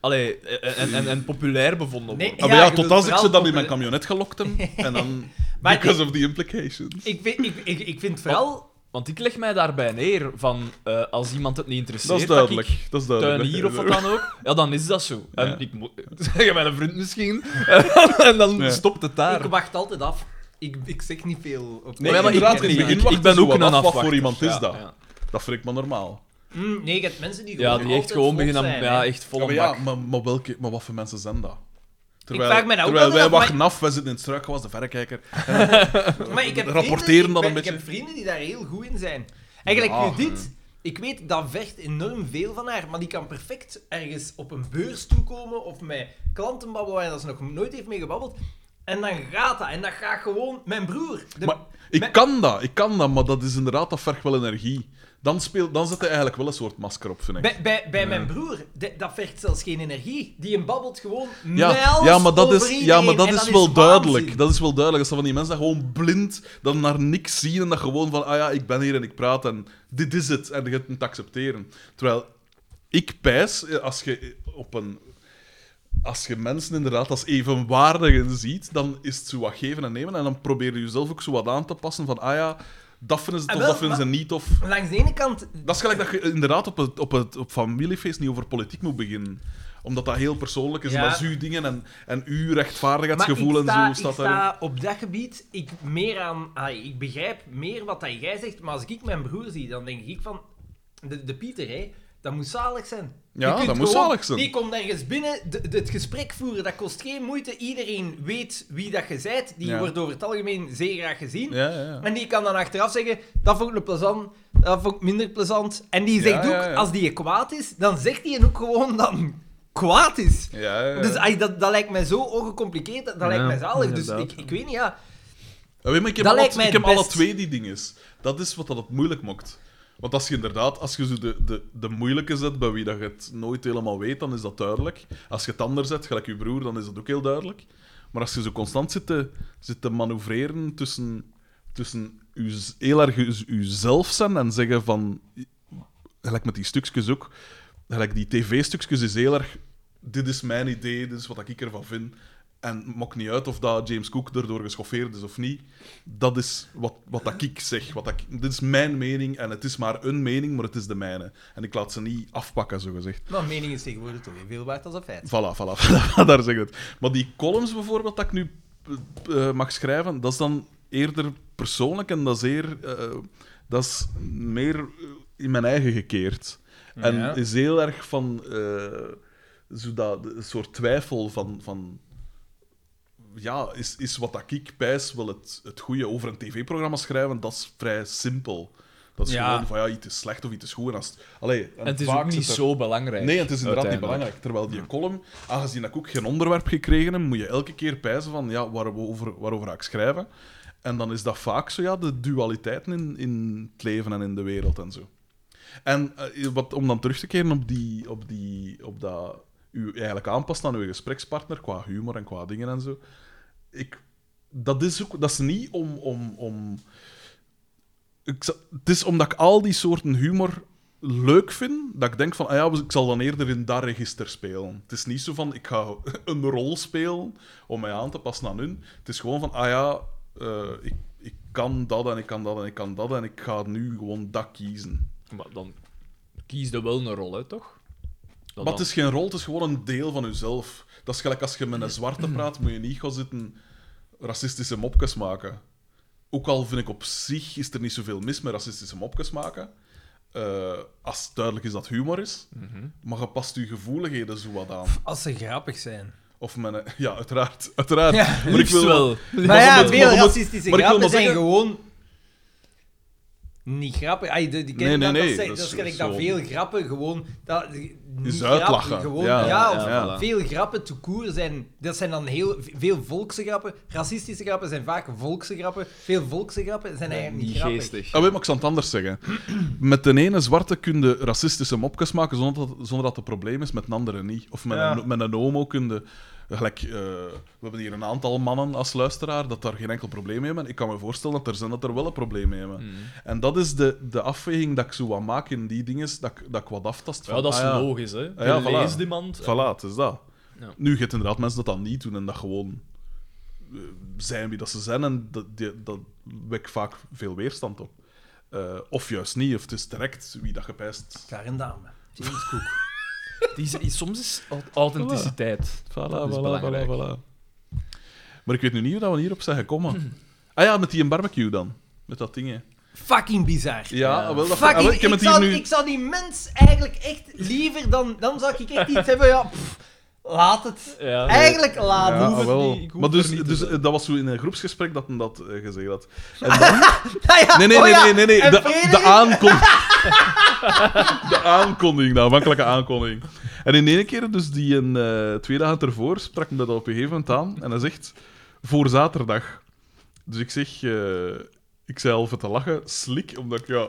Speaker 3: Allee, en, en, en, en populair bevonden
Speaker 1: Nee,
Speaker 3: worden.
Speaker 2: Ah, maar
Speaker 1: Ja,
Speaker 2: ja,
Speaker 1: je
Speaker 2: tot
Speaker 1: wilt
Speaker 2: als ik ze
Speaker 1: vooral
Speaker 2: dan in mijn
Speaker 1: populair-
Speaker 2: camionet gelokt heb en dan...
Speaker 1: Maar
Speaker 2: because of the implications.
Speaker 1: ik, vind, ik, ik, ik vind vooral...
Speaker 3: Want Want ik leg mij daarbij neer van eh, als iemand het niet interesseert.
Speaker 2: Dat is duidelijk. Dat is
Speaker 3: Dat ik
Speaker 2: duidelijk.
Speaker 3: tuin hier of wat dan ook. Ja, dan is dat zo. En
Speaker 2: Ja.
Speaker 3: ik moet zeggen, mijn vriend misschien. en dan
Speaker 2: Ja.
Speaker 3: stopt het daar.
Speaker 1: Ik wacht altijd af. Ik, ik zeg niet veel. Op
Speaker 2: Nee,
Speaker 3: Maar ja, maar
Speaker 2: inderdaad,
Speaker 3: ik-
Speaker 2: in het
Speaker 3: ik-
Speaker 2: begin
Speaker 3: ik
Speaker 2: wacht
Speaker 3: ben
Speaker 2: je zo
Speaker 3: ook
Speaker 2: wat
Speaker 3: een
Speaker 2: af, Wat voor
Speaker 3: afwachter.
Speaker 2: iemand is
Speaker 3: Ja,
Speaker 2: dat?
Speaker 3: ja.
Speaker 2: Dat vind ik maar normaal.
Speaker 1: Mm, nee, je hebt mensen die gewoon
Speaker 3: Ja, die echt
Speaker 1: altijd
Speaker 3: gewoon
Speaker 1: vlot
Speaker 3: beginnen
Speaker 1: zijn,
Speaker 3: ja,
Speaker 1: hè.
Speaker 3: echt
Speaker 2: Ja,
Speaker 3: volle
Speaker 2: maar,
Speaker 3: bak.
Speaker 2: ja, maar, maar, welke, maar wat voor mensen zijn dat?
Speaker 1: vraag mij dat ook
Speaker 2: terwijl
Speaker 1: altijd
Speaker 2: wij
Speaker 1: af, maar-
Speaker 2: wachten af, wij zitten in het struikgewas, de verrekijker.
Speaker 1: Maar ik heb
Speaker 2: Rapporteren
Speaker 1: vrienden,
Speaker 2: dan
Speaker 1: ik ben-
Speaker 2: een beetje. Ah.
Speaker 1: Ik heb vrienden die daar heel goed in zijn. Eigenlijk
Speaker 2: Ja,
Speaker 1: nu dit. Ik weet, dat vergt enorm veel van haar, maar die kan perfect ergens op een beurs toekomen of met klanten babbelen waar ze nog nooit heeft mee gebabbeld. En dan gaat dat. En dat gaat gewoon... Mijn broer... de-
Speaker 2: Maar ik
Speaker 1: mijn-
Speaker 2: kan dat, ik kan dat, maar dat is inderdaad, dat vergt wel energie. Dan, speelt, dan zet hij eigenlijk wel een soort masker op, vind ik.
Speaker 1: Bij, bij, bij mijn broer, de- dat vergt zelfs geen energie. Die een babbelt gewoon
Speaker 2: Ja,
Speaker 1: mijls
Speaker 2: ja, maar dat
Speaker 1: over
Speaker 2: is, ja,
Speaker 1: iedereen
Speaker 2: maar dat
Speaker 1: en
Speaker 2: is wel duidelijk.
Speaker 1: waanzin.
Speaker 2: Dat is wel duidelijk. Dat zijn van die mensen dat gewoon blind dan naar niks zien en dat gewoon van, ah ja, ik ben hier en ik praat en dit is het. En je hebt het te accepteren. Terwijl ik pijs, eh, als je op een... Als je mensen inderdaad als evenwaardigen ziet, dan is het zo wat geven en nemen. En dan probeer je jezelf ook zo wat aan te passen van, ah ja, dat vinden ze
Speaker 1: Ah,
Speaker 2: tof,
Speaker 1: wel,
Speaker 2: dat vinden ze niet tof.
Speaker 1: Langs de ene kant...
Speaker 2: Dat is gelijk dat je inderdaad op het, op het op familiefeest niet over politiek moet beginnen. Omdat dat heel persoonlijk is.
Speaker 1: Ja.
Speaker 2: En dat is uw dingen en, en uw
Speaker 1: Maar ik
Speaker 2: rechtvaardigheidsgevoel
Speaker 1: sta,
Speaker 2: en zo
Speaker 1: ik
Speaker 2: staat daarin.
Speaker 1: sta op dat gebied, ik, meer aan, ah, ik begrijp meer wat dat jij zegt, maar als ik mijn broer zie, dan denk ik van... De, de Pieter, hè, dat moet zalig zijn.
Speaker 2: Ja,
Speaker 1: Je kunt
Speaker 2: dat moet
Speaker 1: gewoon-
Speaker 2: zalig zijn.
Speaker 1: Die komt ergens binnen, de- de- het gesprek voeren, dat kost geen moeite. Iedereen weet wie dat je bent. Die
Speaker 2: Ja.
Speaker 1: wordt over het algemeen zeer graag gezien.
Speaker 2: Ja, ja, ja.
Speaker 1: En die kan dan achteraf zeggen, dat vond ik een plezant, dat vond ik minder plezant. En die zegt
Speaker 2: Ja, ja, ja.
Speaker 1: ook, als die kwaad is, dan zegt die ook gewoon dat hem kwaad is.
Speaker 2: Ja, ja, ja.
Speaker 1: Dus ay, dat, dat lijkt mij zo ongecompliceerd, dat, dat
Speaker 3: Ja,
Speaker 1: lijkt mij zalig. Dus
Speaker 3: inderdaad.
Speaker 1: ik, ik weet niet, ja.
Speaker 2: Ja, weet je, Ah, maar ik heb,
Speaker 1: dat
Speaker 2: alle,
Speaker 1: lijkt mij
Speaker 2: ik heb
Speaker 1: het
Speaker 2: alle
Speaker 1: best.
Speaker 2: twee die dingen. Dat is wat dat het moeilijk maakt. Want als je inderdaad, als je zo de, de, de moeilijke zet bij wie dat je het nooit helemaal weet, dan is dat duidelijk. Als je het anders zet, gelijk je broer, dan is dat ook heel duidelijk. Maar als je zo constant zit te, zit te manoeuvreren tussen, tussen je, heel erg je- jezelf zijn en zeggen van... Gelijk met die stukjes ook. Gelijk die tv-stukjes is heel erg... Dit is mijn idee, dit is wat ik ervan vind. En het maakt niet uit of dat James Cook erdoor geschoffeerd is of niet. Dat is wat, wat dat ik zeg. Wat dat ik- dit is mijn mening en het is maar een mening, maar het is de mijne. En ik laat ze niet afpakken, zogezegd.
Speaker 1: Maar mening is tegenwoordig toch veel waard als een feit.
Speaker 2: Voilà, voilà, voilà, daar zeg ik het. Maar die columns bijvoorbeeld dat ik nu eh, eh, mag schrijven, dat is dan eerder persoonlijk en dat is, eer, eh, dat is meer eh, in mijn eigen gekeerd. En
Speaker 3: Ja.
Speaker 2: is heel erg van eh, zo dat, een soort twijfel van... van ja, is, is wat dat ik pijs wel het, het goede over een tv-programma schrijven, dat is vrij simpel. Dat is
Speaker 3: Ja.
Speaker 2: gewoon van, ja, iets is slecht of iets is goed. En als, het- allee,
Speaker 3: En het is
Speaker 2: vaak
Speaker 3: ook niet
Speaker 2: zit er-
Speaker 3: zo belangrijk.
Speaker 2: Nee, het is inderdaad niet
Speaker 3: uiteindelijk.
Speaker 2: belangrijk. Terwijl die column, aangezien ik ook geen onderwerp gekregen heb, moet je elke keer pijzen van ja, waarover, waarover ga ik schrijven. En dan is dat vaak zo, ja, de dualiteiten in, in het leven en in de wereld en zo. En eh, wat, om dan terug te keren op, die, op, die, op dat u eigenlijk aanpast aan uw gesprekspartner qua humor en qua dingen en zo. Ik, dat, is ook, dat is niet om. om, om ik, za- het is omdat ik al die soorten humor leuk vind, dat ik denk van, ah ja, ik zal dan eerder in dat register spelen. Het is niet zo van, ik ga een rol spelen om mij aan te passen aan hun. Het is gewoon van, ah ja, eh, ik, ik kan dat en ik kan dat en ik kan dat en ik ga nu gewoon dat kiezen.
Speaker 3: Maar dan kies je wel een rol, hè, toch? Dan
Speaker 2: maar het is geen rol, het is gewoon een deel van jezelf. Dat is gelijk als je met een
Speaker 3: Mm.
Speaker 2: zwarte praat, moet je niet gaan zitten racistische mopjes maken. Ook al vind ik op zich is er niet zoveel mis met racistische mopjes maken. eh, als het duidelijk is dat humor is.
Speaker 3: Mhm.
Speaker 2: Maar je past je gevoeligheden zo wat aan.
Speaker 1: Als ze grappig zijn.
Speaker 2: Of met een- Ja, uiteraard. uiteraard.
Speaker 3: dan...
Speaker 2: maar ik wil
Speaker 3: wel.
Speaker 1: Maar ja,
Speaker 2: omdat-
Speaker 1: veel
Speaker 2: maar omdat-
Speaker 1: racistische
Speaker 2: maar ik wil
Speaker 1: grappen
Speaker 2: maar
Speaker 1: zijn
Speaker 2: zeggen-
Speaker 1: gewoon... Niet grappig. Ay, de, die
Speaker 2: Nee,
Speaker 1: kinderen
Speaker 2: nee,
Speaker 1: dat-
Speaker 2: nee,
Speaker 1: Dat,
Speaker 2: dat
Speaker 1: dat,
Speaker 2: is-
Speaker 1: dat ken ik
Speaker 2: dat is
Speaker 1: dat
Speaker 2: gewoon-
Speaker 1: veel grappen gewoon... Dat, niet
Speaker 2: Is
Speaker 1: grappen,
Speaker 2: uitlachen.
Speaker 1: Gewoon,
Speaker 2: Ja,
Speaker 1: ja,
Speaker 2: ja,
Speaker 1: of
Speaker 2: ja.
Speaker 1: Veel grappen te koer zijn... Dat zijn dan heel veel volkse grappen. Racistische grappen zijn vaak volkse grappen. Veel volkse grappen zijn eigenlijk niet
Speaker 3: Niet
Speaker 1: grappig.
Speaker 3: geestig.
Speaker 2: Ah, weet, maar ik zal het anders zeggen. Met de ene zwarte kun je racistische mopjes maken zonder dat, zonder dat het probleem is, met een andere niet. Of met,
Speaker 1: Ja.
Speaker 2: een, met een homo kun je... Gelijk, eh, we hebben hier een aantal mannen als luisteraar dat daar geen enkel probleem mee hebben. Ik kan me voorstellen dat er zijn dat er wel een probleem mee
Speaker 3: Mm.
Speaker 2: hebben. En dat is de, de afweging dat ik zo wat maak in die dingen, dat, ik- dat ik wat aftast.
Speaker 3: Ja,
Speaker 2: van,
Speaker 3: dat is
Speaker 2: ah ja,
Speaker 3: logisch, hè. Je
Speaker 2: Ah, ja, voilà.
Speaker 3: leest iemand...
Speaker 2: Voilà, het is dat.
Speaker 3: Ja.
Speaker 2: Nu gaat inderdaad mensen dat dan niet doen en dat gewoon eh, zijn wie dat ze zijn. En dat, die- dat wekt vaak veel weerstand op. eh, of juist niet, of het is direct wie dat gepijst.
Speaker 1: Karin Dame. James Cook.
Speaker 3: Die is- is- soms is aut- authenticiteit.
Speaker 2: Voilà,
Speaker 3: is
Speaker 2: voilà, voilà,
Speaker 3: belangrijk.
Speaker 2: voilà. Maar ik weet nu niet hoe dat we hierop zijn gekomen. Ah ja, met die een barbecue dan. Met dat ding, hè.
Speaker 1: Fucking bizar.
Speaker 2: Ja,
Speaker 3: Ja.
Speaker 2: ah, wel, dat ah, wel,
Speaker 1: Fucking,
Speaker 2: ik
Speaker 1: ik,
Speaker 2: heb het hier
Speaker 1: zou,
Speaker 2: nu...
Speaker 1: ik zou die mens eigenlijk echt liever dan... Dan zou ik echt iets hebben, ja... pff, laat het.
Speaker 3: Ja.
Speaker 1: Eigenlijk laat
Speaker 2: Ja,
Speaker 1: het.
Speaker 3: hoef
Speaker 2: ah,
Speaker 3: het
Speaker 2: wel.
Speaker 3: niet, ik hoef
Speaker 2: maar dus,
Speaker 3: er niet te
Speaker 2: dus
Speaker 3: zijn.
Speaker 2: eh, dat was zo in een groepsgesprek dat men dat eh, gezegd had. En dan-
Speaker 1: Ah ja,
Speaker 2: nee, nee,
Speaker 1: oh
Speaker 2: nee,
Speaker 1: ja,
Speaker 2: nee, nee, nee.
Speaker 1: en
Speaker 2: De, de
Speaker 1: Frederik-
Speaker 2: aankondiging. de aankondiging, de aanvankelijke aankondiging. En in één keer, dus die een, eh, twee dagen ervoor, sprak me dat op een gegeven moment aan. En hij zegt, voor zaterdag. Dus ik zeg, eh, ik zei al even te lachen, slik, omdat ik, ja,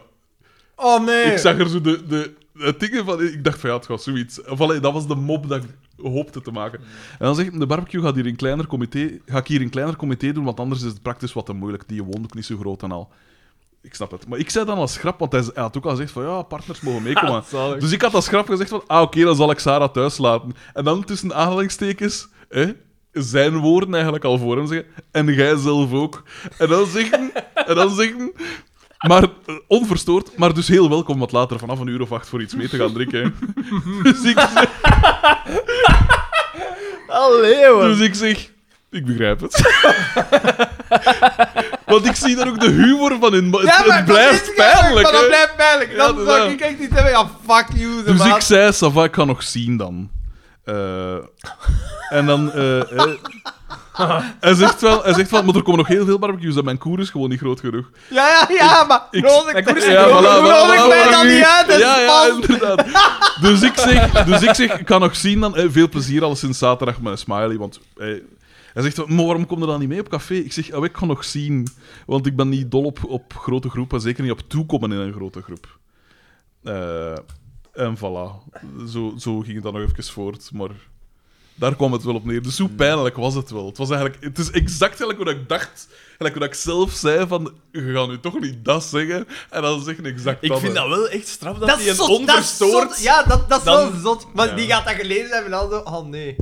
Speaker 1: Oh nee.
Speaker 2: ik zag er zo de, de, het ding van. Ik dacht van ja, het gaat zoiets. Of allee, dat was de mop dat ik hoopte te maken. En dan zeg ik, de barbecue gaat hier in kleiner comité, ga ik hier in kleiner comité doen, want anders is het praktisch wat te moeilijk. Die woont ook niet zo groot en al. Ik snap het. Maar ik zei dan als grap, want hij, hij had ook al gezegd van ja, partners mogen meekomen.
Speaker 3: Zalig.
Speaker 2: dus ik had als grap gezegd van ah, oké, dan zal ik Sarah thuis laten. En dan tussen aanhalingstekens, hè, zijn woorden eigenlijk al voor hem zeggen. En jij zelf ook. En dan zeggen, en dan zeggen maar eh, onverstoord, maar dus heel welkom wat later vanaf een uur of acht voor iets mee te gaan drinken. hè. dus, ik zeg,
Speaker 1: Allee, hoor.
Speaker 2: dus ik zeg, ik begrijp het. Want ik zie daar ook de humor van in, maar het, het
Speaker 1: maar dat
Speaker 2: blijft
Speaker 1: is gek,
Speaker 2: pijnlijk.
Speaker 1: Maar
Speaker 2: hè.
Speaker 1: dat blijft pijnlijk.
Speaker 2: Ja,
Speaker 1: Dan
Speaker 2: dat
Speaker 1: zou
Speaker 2: is
Speaker 1: ik echt niet hebben. Ja, fuck you, de
Speaker 2: Dus ik
Speaker 1: maat.
Speaker 2: zei, Sava, ik ga nog zien dan. Eh, en dan... eh, eh, hij, zegt wel, hij zegt wel, maar er komen nog heel veel barbecues en mijn koer is gewoon niet groot genoeg.
Speaker 1: Ja, ja, ja, maar...
Speaker 2: ik-
Speaker 1: nodig
Speaker 3: ik-
Speaker 1: nodig
Speaker 3: ja, voilà, voilà,
Speaker 1: nodig
Speaker 3: voilà,
Speaker 1: mij
Speaker 3: voilà,
Speaker 1: dan
Speaker 3: nu.
Speaker 1: niet uit, dat is
Speaker 2: ja, ja,
Speaker 1: pas-
Speaker 2: inderdaad. Dus ik zeg, dus ik, zeg ik kan nog zien dan. Eh, veel plezier al sinds zaterdag met een smiley. Want eh, hij zegt, maar waarom kom je dan niet mee op café? Ik zeg, oh, ik kan nog zien. Want ik ben niet dol op, op grote groepen. Zeker niet op toekomen in een grote groep. Eh, en voilà. Zo, zo ging het dan nog even voort. Maar daar kwam het wel op neer. Dus
Speaker 1: Hmm.
Speaker 2: hoe pijnlijk was het wel? Het, was eigenlijk, het is exact gelijk wat ik dacht. Gelijk wat ik zelf zei van, je gaat nu toch niet dat zeggen? En dan zeg je exact
Speaker 3: Ik
Speaker 2: dat,
Speaker 3: vind
Speaker 2: hè.
Speaker 3: dat wel echt straf dat,
Speaker 1: Dat
Speaker 3: hij
Speaker 1: is
Speaker 3: een
Speaker 1: zot, dat is
Speaker 3: onverstoord...
Speaker 1: zot. Ja, dat, dat is
Speaker 3: Dan-
Speaker 1: wel zot. Maar
Speaker 2: Ja.
Speaker 1: die gaat dat gelezen hebben en dan zo... Oh, nee.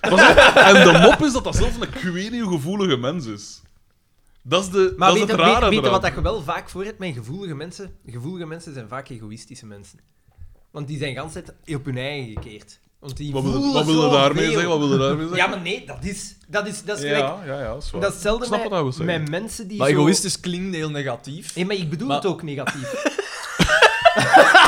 Speaker 2: En de mop is dat dat zelf een queenie gevoelige mens is. Dat is, de,
Speaker 1: Maar
Speaker 2: dat
Speaker 1: weet,
Speaker 2: is
Speaker 1: je-
Speaker 2: het
Speaker 1: weet,
Speaker 2: rare
Speaker 1: weet je
Speaker 2: eraan.
Speaker 1: wat dat je wel vaak voor hebt met gevoelige mensen? Gevoelige mensen zijn vaak egoïstische mensen. Want die zijn de hele tijd op hun eigen gekeerd. Want die
Speaker 2: Wat wil,
Speaker 1: voelen
Speaker 2: wat wil je
Speaker 1: zoveel.
Speaker 2: daarmee zeggen? Wat wil je daarmee zeggen?
Speaker 1: Ja, maar nee, dat is... Dat is, dat is gelijk...
Speaker 2: ja, ja, ja, dat is waar.
Speaker 1: Dat is hetzelfde
Speaker 2: Ik snap wat
Speaker 1: met,
Speaker 2: dat wil zeggen.
Speaker 1: met mensen die
Speaker 3: Maar
Speaker 1: zo...
Speaker 3: egoïstisch klinkt heel negatief.
Speaker 1: Nee, maar ik bedoel
Speaker 3: Maar-
Speaker 1: het ook negatief.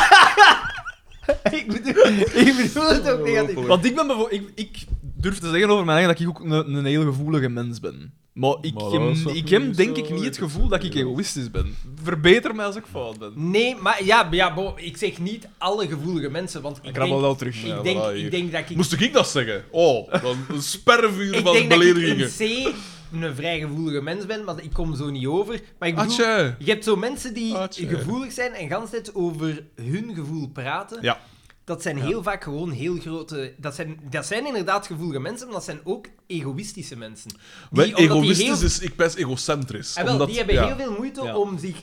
Speaker 1: ik, bedoel, ik bedoel het ook negatief.
Speaker 3: Want ik ben bijvoorbeeld... Ik, ik durf te zeggen over mijn eigen dat ik ook een, een heel gevoelige mens ben. Maar ik,
Speaker 2: Maar dat is wat
Speaker 3: ik
Speaker 2: niet
Speaker 3: heb denk
Speaker 2: zo-
Speaker 3: ik niet
Speaker 2: weet
Speaker 3: het
Speaker 2: ik
Speaker 3: gevoel dat ik egoïstisch ben. Verbeter mij als ik fout ben.
Speaker 1: Nee, maar ja, ja bo, ik zeg niet alle gevoelige mensen, want ik
Speaker 3: Ik
Speaker 1: denk,
Speaker 3: rabbel wel terug.
Speaker 2: Ja,
Speaker 1: ik, denk,
Speaker 2: voilà, hier.
Speaker 1: ik denk dat ik...
Speaker 2: Moest ik dat zeggen? Oh, dan een spervuur
Speaker 1: ik
Speaker 2: van
Speaker 1: denk dat ik in
Speaker 2: beledigingen.
Speaker 1: C een vrij gevoelige mens ben, want ik kom zo niet over. Maar ik bedoel,
Speaker 2: Atje.
Speaker 1: je hebt zo mensen die
Speaker 2: Atje.
Speaker 1: gevoelig zijn en gans tijd over hun gevoel praten.
Speaker 2: Ja.
Speaker 1: Dat zijn heel vaak gewoon heel grote. Dat zijn, dat zijn inderdaad gevoelige mensen, maar dat zijn ook egoïstische mensen. Die,
Speaker 2: Wij-
Speaker 1: omdat die
Speaker 2: egoïstisch
Speaker 1: heel-
Speaker 2: is, ik ben egocentrisch.
Speaker 1: Ah, wel,
Speaker 2: omdat,
Speaker 1: die hebben
Speaker 2: ja.
Speaker 1: heel veel moeite
Speaker 3: Ja.
Speaker 1: om zich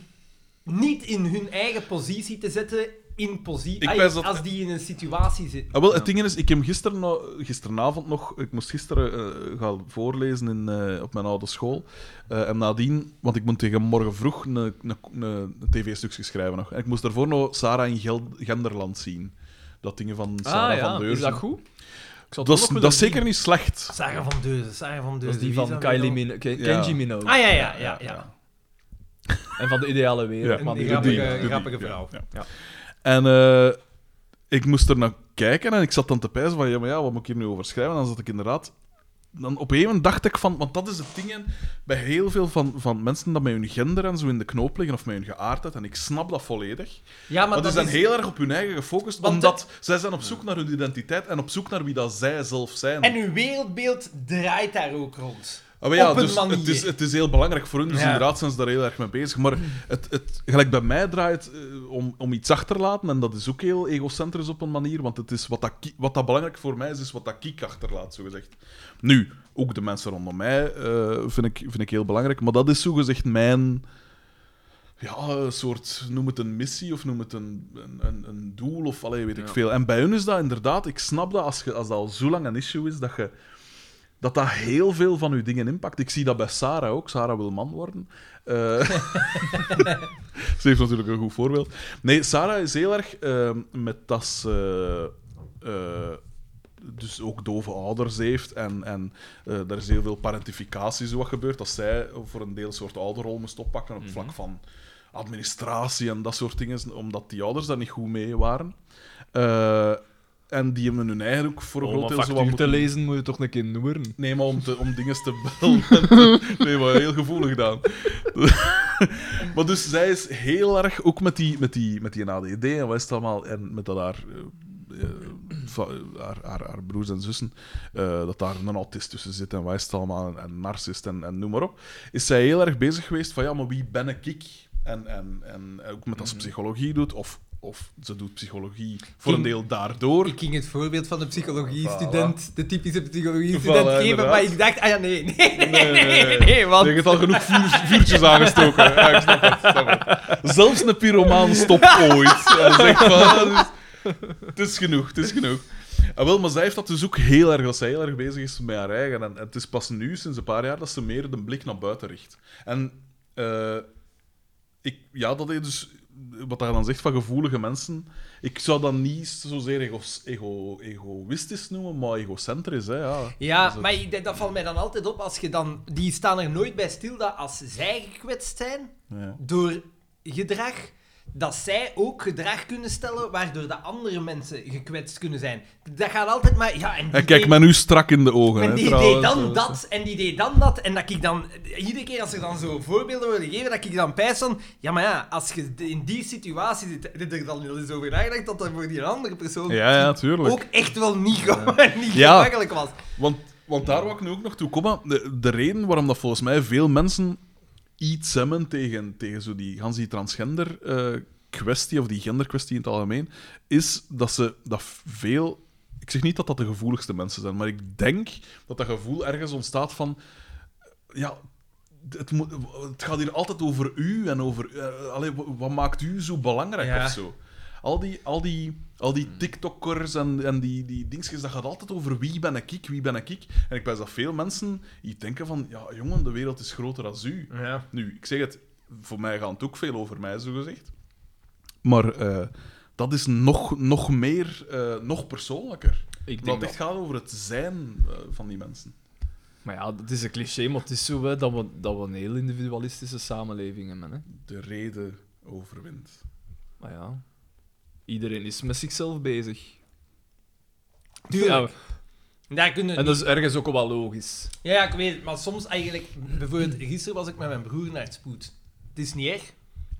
Speaker 1: niet in hun eigen positie te zetten. In positie.
Speaker 2: Ik
Speaker 1: ah,
Speaker 2: wijs dat-
Speaker 1: Als die in een situatie zitten.
Speaker 2: Ah, wel, het ding is, ik heb gisteren, no- gisteravond nog, ik moest gisteren eh, gaan voorlezen in, eh, op mijn oude school. Eh, en nadien, want ik moet tegen morgen vroeg een, een, een tv-stukje schrijven nog. En ik moest daarvoor nog Sarah in Gel- Genderland zien. Dat dingen van Sarah
Speaker 3: ah ja,
Speaker 2: van
Speaker 3: is
Speaker 2: Deurzen.
Speaker 3: dat goed? Ik zal
Speaker 2: Dat,
Speaker 3: het
Speaker 2: is-
Speaker 3: wel nog
Speaker 2: dat is
Speaker 3: willen
Speaker 2: zeker niet slecht.
Speaker 1: Sarah van Deuze, Sarah van
Speaker 3: zien. Dat
Speaker 1: Deuze.
Speaker 3: is die
Speaker 1: wie
Speaker 3: van
Speaker 1: zou dat
Speaker 3: Kylie
Speaker 1: dan-
Speaker 3: Minogue, Ken-
Speaker 2: Ja.
Speaker 3: Kenji Minogue.
Speaker 1: Ah ja, ja, ja. ja.
Speaker 3: En van de ideale wereld.
Speaker 2: Ja.
Speaker 3: man.
Speaker 1: Die
Speaker 2: De
Speaker 1: grappige-
Speaker 2: die, de die,
Speaker 1: grappige
Speaker 2: ja,
Speaker 1: vrouw.
Speaker 2: ja.
Speaker 3: Ja.
Speaker 2: En eh, ik moest er naar kijken en ik zat dan te pijzen van, ja, maar ja, wat moet ik hier nu over schrijven? En dan zat ik inderdaad... Dan op een gegeven moment dacht ik van, want dat is het ding hè, bij heel veel van, van mensen dat met hun gender en zo in de knoop liggen of met hun geaardheid. En ik snap dat volledig.
Speaker 1: Ja, maar
Speaker 2: Maar die
Speaker 1: dat
Speaker 2: zijn
Speaker 1: is...
Speaker 2: heel erg op hun eigen gefocust,
Speaker 1: Want
Speaker 2: omdat zij zijn op zoek naar hun identiteit en op zoek naar wie dat zij zelf zijn.
Speaker 1: En uw wereldbeeld draait daar ook rond.
Speaker 2: Ah, maar ja,
Speaker 1: op een
Speaker 2: dus
Speaker 1: manier.
Speaker 2: Het is, het is heel belangrijk voor hun, dus
Speaker 1: Ja.
Speaker 2: inderdaad zijn ze daar heel erg mee bezig. Maar het, het, gelijk bij mij draait eh, om, om iets achterlaten, en dat is ook heel egocentrisch op een manier, want het is wat, dat, ki- wat dat belangrijk voor mij is, is wat dat kiek achterlaat, zogezegd. Nu, ook de mensen rondom mij eh, vind, ik, vind ik heel belangrijk, maar dat is zogezegd mijn... Ja, een soort, noem het een missie of noem het een, een, een, een doel of allee, weet ik
Speaker 3: Ja.
Speaker 2: veel. En bij hun is dat inderdaad, ik snap dat als, je, als dat al zo lang een issue is, dat je dat dat heel veel van uw dingen impact. Ik zie dat bij Sarah ook. Sarah wil man worden. Eh, ze heeft natuurlijk een goed voorbeeld. Nee, Sarah is heel erg ehm, met dat ze, eh, dus ook dove ouders heeft. En, en eh, daar is heel veel parentificatie zo wat gebeurt. Dat zij voor een deel een soort ouderrol moest oppakken op
Speaker 3: Mhm.
Speaker 2: het vlak van administratie en dat soort dingen. Omdat die ouders daar niet goed mee waren. Eh, en die hebben hun eigen ook voor een
Speaker 3: Om
Speaker 2: groot
Speaker 3: een
Speaker 2: deel zo wat
Speaker 3: factuur te
Speaker 2: moeten
Speaker 3: lezen moet je toch een keer noeren.
Speaker 2: Nee, maar om, te, om dingen te bellen. en te- nee, maar heel gevoelig gedaan. maar dus zij is heel erg, ook met die, met die, met die ADD en wat is het allemaal, en met dat haar, eh, eh, va- haar, haar, haar broers en zussen, eh, dat daar een autist tussen zit en wat is het allemaal, en, en narcist en, en noem maar op, is zij heel erg bezig geweest van, ja, maar wie ben ik? En, en, en eh, ook met dat ze psychologie doet, of, of ze doet psychologie voor een
Speaker 1: Kim-
Speaker 2: deel daardoor.
Speaker 1: Ik ging het voorbeeld van de psychologie-student, de typische psychologie-student
Speaker 2: Voilà,
Speaker 1: geven,
Speaker 2: inderdaad.
Speaker 1: maar ik dacht, ah ja, nee, nee, nee,
Speaker 2: Nee,
Speaker 1: nee,
Speaker 2: nee,
Speaker 1: nee,
Speaker 2: nee.
Speaker 1: nee, want...
Speaker 2: Je hebt al genoeg vuur- vuurtjes aangestoken. Ja, ik snap het, snap het. Zelfs een pyromaan stopt ooit. Ja, zeg van, dat is- het is genoeg, het is genoeg. Ah, wel, maar zij heeft dat dus ook heel erg, dat zij heel erg bezig is met haar eigen. En, en het is pas nu, sinds een paar jaar, dat ze meer de blik naar buiten richt. En eh, ik, ja, dat is dus wat hij dan zegt van gevoelige mensen. Ik zou dat niet zozeer egos- ego, egoïstisch noemen, maar egocentrisch. Hè, ja. Dat
Speaker 1: Ja,
Speaker 2: is het.
Speaker 1: maar ik denk- dat valt mij dan altijd op als je dan... Die staan er nooit bij stil dat als zij gekwetst zijn
Speaker 2: Ja.
Speaker 1: door gedrag, dat zij ook gedrag kunnen stellen waardoor de andere mensen gekwetst kunnen zijn. Dat gaat altijd maar... Ja, en die
Speaker 2: Hij kijkt
Speaker 1: deed-
Speaker 2: mij nu strak in de ogen.
Speaker 1: en
Speaker 2: hè,
Speaker 1: die
Speaker 2: trouwens.
Speaker 1: deed dan dat, en die deed dan dat. En dat ik dan, iedere keer als er dan zo voorbeelden worden gegeven, dat ik dan pijs van, ja maar ja, als je in die situatie zit, heb je er dan wel eens over nagedacht dat dat voor die andere persoon
Speaker 2: Ja, ja, tuurlijk.
Speaker 1: ook echt wel niet, ge- niet
Speaker 2: Ja.
Speaker 1: gemakkelijk was.
Speaker 2: Want, want daar wou ik nu ook nog toe komen. De, de reden waarom dat volgens mij veel mensen iets hebben tegen, tegen zo die, gans die transgender eh, kwestie, of die genderkwestie in het algemeen, is dat ze dat veel... Ik zeg niet dat dat de gevoeligste mensen zijn, maar ik denk dat dat gevoel ergens ontstaat van... Ja, het, moet, het gaat hier altijd over u en over... eh, allee, wa- wat maakt u zo belangrijk
Speaker 1: Ja.
Speaker 2: of zo? Al die, al die, al die TikTokkers en, en die, die dingetjes, dat gaat altijd over wie ben ik, ik, wie ben ik. ik. En ik wijs dat veel mensen iets denken van... Ja, jongen, de wereld is groter dan u.
Speaker 1: Ja.
Speaker 2: Nu, ik zeg het, voor mij gaat het ook veel over mij, zo gezegd. Maar eh, dat is nog, nog meer, eh, nog persoonlijker.
Speaker 3: Ik
Speaker 2: dat
Speaker 3: denk
Speaker 2: het
Speaker 3: dat.
Speaker 2: echt gaat over het zijn eh, van die mensen.
Speaker 3: Maar ja, dat is een cliché, maar het is zo hè, dat, we, dat we een heel individualistische samenleving hebben. Hè.
Speaker 2: De reden overwint.
Speaker 3: Maar ja, iedereen is met zichzelf bezig.
Speaker 1: Tuurlijk.
Speaker 3: Ja,
Speaker 1: Daar kunnen,
Speaker 3: en dat is ergens ook wel logisch.
Speaker 1: ja, ja, ik weet het, maar soms eigenlijk, bijvoorbeeld gisteren was ik met mijn broer naar het spoed. Het is niet erg.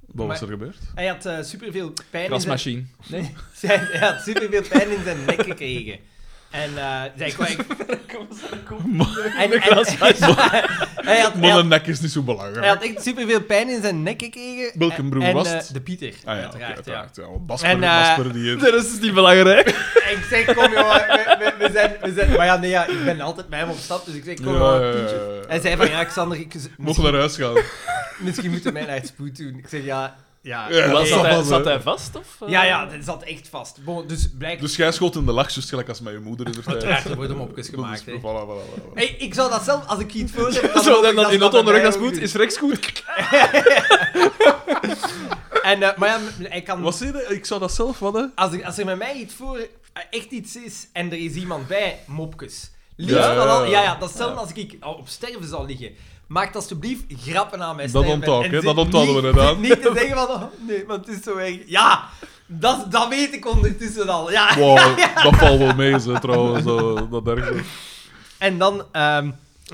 Speaker 2: Wat was
Speaker 1: Maar-
Speaker 2: er gebeurd?
Speaker 1: Hij had eh, superveel pijn in zijn...
Speaker 3: Krasmachine.
Speaker 1: Nee, zij, hij had superveel pijn in zijn nek gekregen. En eh, zij kwam... En, en- hij, had, hij,
Speaker 2: Maar
Speaker 1: had,
Speaker 2: de nek is niet zo belangrijk. Ah
Speaker 1: hij had echt superveel pijn in zijn nek gekregen.
Speaker 2: Welke
Speaker 1: En-
Speaker 2: broer
Speaker 1: en,
Speaker 2: was
Speaker 1: eh,
Speaker 2: het?
Speaker 1: de Pieter,
Speaker 2: Ah ja, oké,
Speaker 1: uiteraard. ja.
Speaker 2: uiteraard. Ja. want Basper,
Speaker 1: En, eh,
Speaker 2: Basper die...
Speaker 3: De rest is niet belangrijk.
Speaker 1: Ik zeg, kom jongen, we, we, we zijn, we zijn... Maar ja, nee, ja, ik ben altijd bij hem op stap, dus ik zeg, kom
Speaker 2: Ja,
Speaker 1: jongen,
Speaker 2: ja, ja,
Speaker 1: tientje.
Speaker 2: ja, ja.
Speaker 1: Hij zei van, ja, Xander, ik,
Speaker 2: Mocht naar huis gaan.
Speaker 1: misschien moeten wij naar het spoed doen. Ik zeg, ja... Ja,
Speaker 2: Ja,
Speaker 1: oké.
Speaker 2: dat is
Speaker 3: zat,
Speaker 2: wel
Speaker 3: hij,
Speaker 2: zo.
Speaker 3: zat hij vast? Of, eh?
Speaker 1: ja, ja, dat zat echt vast. Bon, dus blijkbaar...
Speaker 2: Dus jij schoot in de lach, juist gelijk als met je moeder in de tijd.
Speaker 1: Uiteraard, er worden mopjes gemaakt,
Speaker 2: Dat is-
Speaker 1: hè.
Speaker 2: voilà, voilà, voilà, voilà.
Speaker 1: Hey, ik zou dat zelf, als ik iets voor heb... dan
Speaker 3: Zo,
Speaker 1: hoop ik
Speaker 3: dan, dan
Speaker 1: ze
Speaker 3: in
Speaker 1: dat
Speaker 3: auto
Speaker 1: bij
Speaker 3: onderweg
Speaker 1: mij
Speaker 3: naar
Speaker 1: ook
Speaker 3: spoed,
Speaker 1: doen.
Speaker 3: is rechts goed.
Speaker 1: En, eh, maar ja, ik kan...
Speaker 2: Wat zei je? Ik zou dat zelf wat, hè?
Speaker 1: als, er, als er met mij iets voor eh, echt iets is en er is iemand bij, mopjes. Liefst
Speaker 2: Ja, ja,
Speaker 1: wel al,
Speaker 2: ja.
Speaker 1: ja, ja, dat is hetzelfde als ik al op sterven zal liggen. Maak alsjeblieft grappen aan mij
Speaker 2: Dat onthoud ik, hè, dat onthouden we inderdaad.
Speaker 1: Niet te zeggen van, oh, nee, want het is zo erg. Ja, dat, dat weet ik ondertussen al. Ja.
Speaker 2: Wow, dat valt wel mee, ze, trouwens. Dat, dat erg.
Speaker 1: En dan, ehm,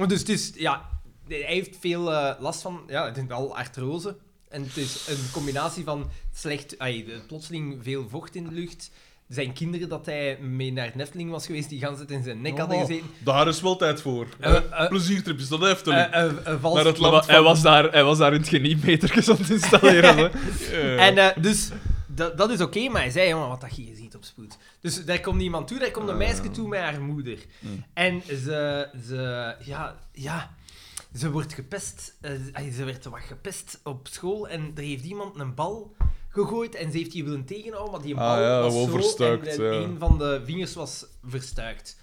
Speaker 1: dus het is, ja, hij heeft veel eh, last van, ja, het is wel artrose. En het is een combinatie van slecht, ai, de- plotseling veel vocht in de lucht. Zijn kinderen dat hij mee naar Nefteling was geweest, die gans het in zijn nek hadden
Speaker 2: Oh,
Speaker 1: gezeten.
Speaker 2: Daar is wel tijd voor.
Speaker 1: Eh, eh,
Speaker 2: Pleziertripjes, dat
Speaker 1: Eh,
Speaker 2: Efteling.
Speaker 1: eh, eh, vals-
Speaker 2: Naar het land.
Speaker 3: Maar Hij was, daar, hij was daar in het genietmeter aan het installeren. hè.
Speaker 2: Eh,
Speaker 1: En eh, dus, dat, dat is oké, maar hij zei, jongen, wat dat je hier ziet op spoed. Dus daar komt iemand toe, daar komt
Speaker 2: Eh.
Speaker 1: een meisje toe met haar moeder.
Speaker 2: Mm.
Speaker 1: En ze, ze, ja, ja, ze wordt gepest. Eh, ze- ay, ze werd wat gepest op school en er heeft iemand een bal gegooid en ze heeft die willen tegenhouden, maar die
Speaker 2: Ah,
Speaker 1: bal
Speaker 2: ja,
Speaker 1: was
Speaker 2: gewoon
Speaker 1: zo
Speaker 2: verstuikt,
Speaker 1: en, en
Speaker 2: ja.
Speaker 1: een van de vingers was verstuikt.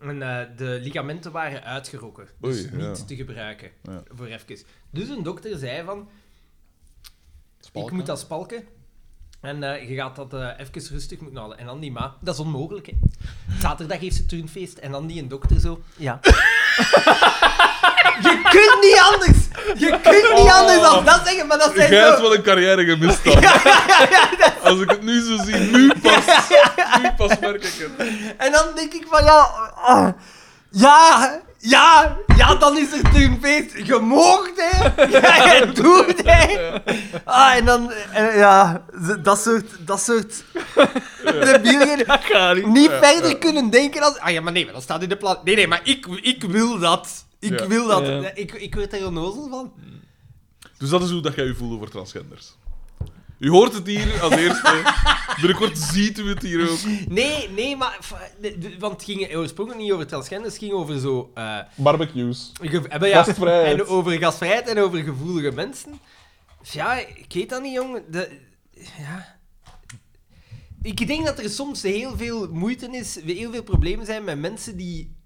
Speaker 1: En eh, de ligamenten waren uitgerokken. Dus
Speaker 2: Oei, ja.
Speaker 1: niet te gebruiken.
Speaker 2: Ja.
Speaker 1: Voor even. Dus een dokter zei van, ik moet dat spalken. En eh, je gaat dat eh, even rustig moeten halen. En dan die ma, dat is onmogelijk, hè. Zaterdag heeft ze turnfeest. En dan die een dokter zo, ja. je kunt niet anders! Je kunt niet
Speaker 2: Oh.
Speaker 1: anders dan dat zeggen, maar dat zijn
Speaker 2: Jij hebt
Speaker 1: zo...
Speaker 2: wel een carrière gemist dan. Als ik het nu zo zie, nu pas, nu pas merk ik het.
Speaker 1: En dan denk ik van, ja... ah, ja, ja, ja, dan is er turnfeest. Je moogt, hè. Ja, je doet, hè. Ah, en dan... en, ja, z- dat soort... Dat soort... debielen. niet verder kunnen denken als... Ah ja, maar nee, maar dat staat in de plan. Nee, nee, maar ik, ik wil dat. Ik
Speaker 2: Ja.
Speaker 1: wil dat.
Speaker 3: Ja.
Speaker 1: Ik, ik word daar onnozel van.
Speaker 2: Dus dat is hoe dat jij je voelt over transgenders. U hoort het hier als eerste. Binnenkort ziet u het hier ook.
Speaker 1: Nee, nee, maar... f- de- de- Want het ging oorspronkelijk niet over transgenders. Het ging over zo... eh,
Speaker 2: Barbecues.
Speaker 1: Ge- eh, maar ja,
Speaker 2: Gastvrijheid.
Speaker 1: En over gastvrijheid en over gevoelige mensen. Dus Ja, ik weet dat niet, jongen. De, ja. Ik denk dat er soms heel veel moeite is, heel veel problemen zijn met mensen die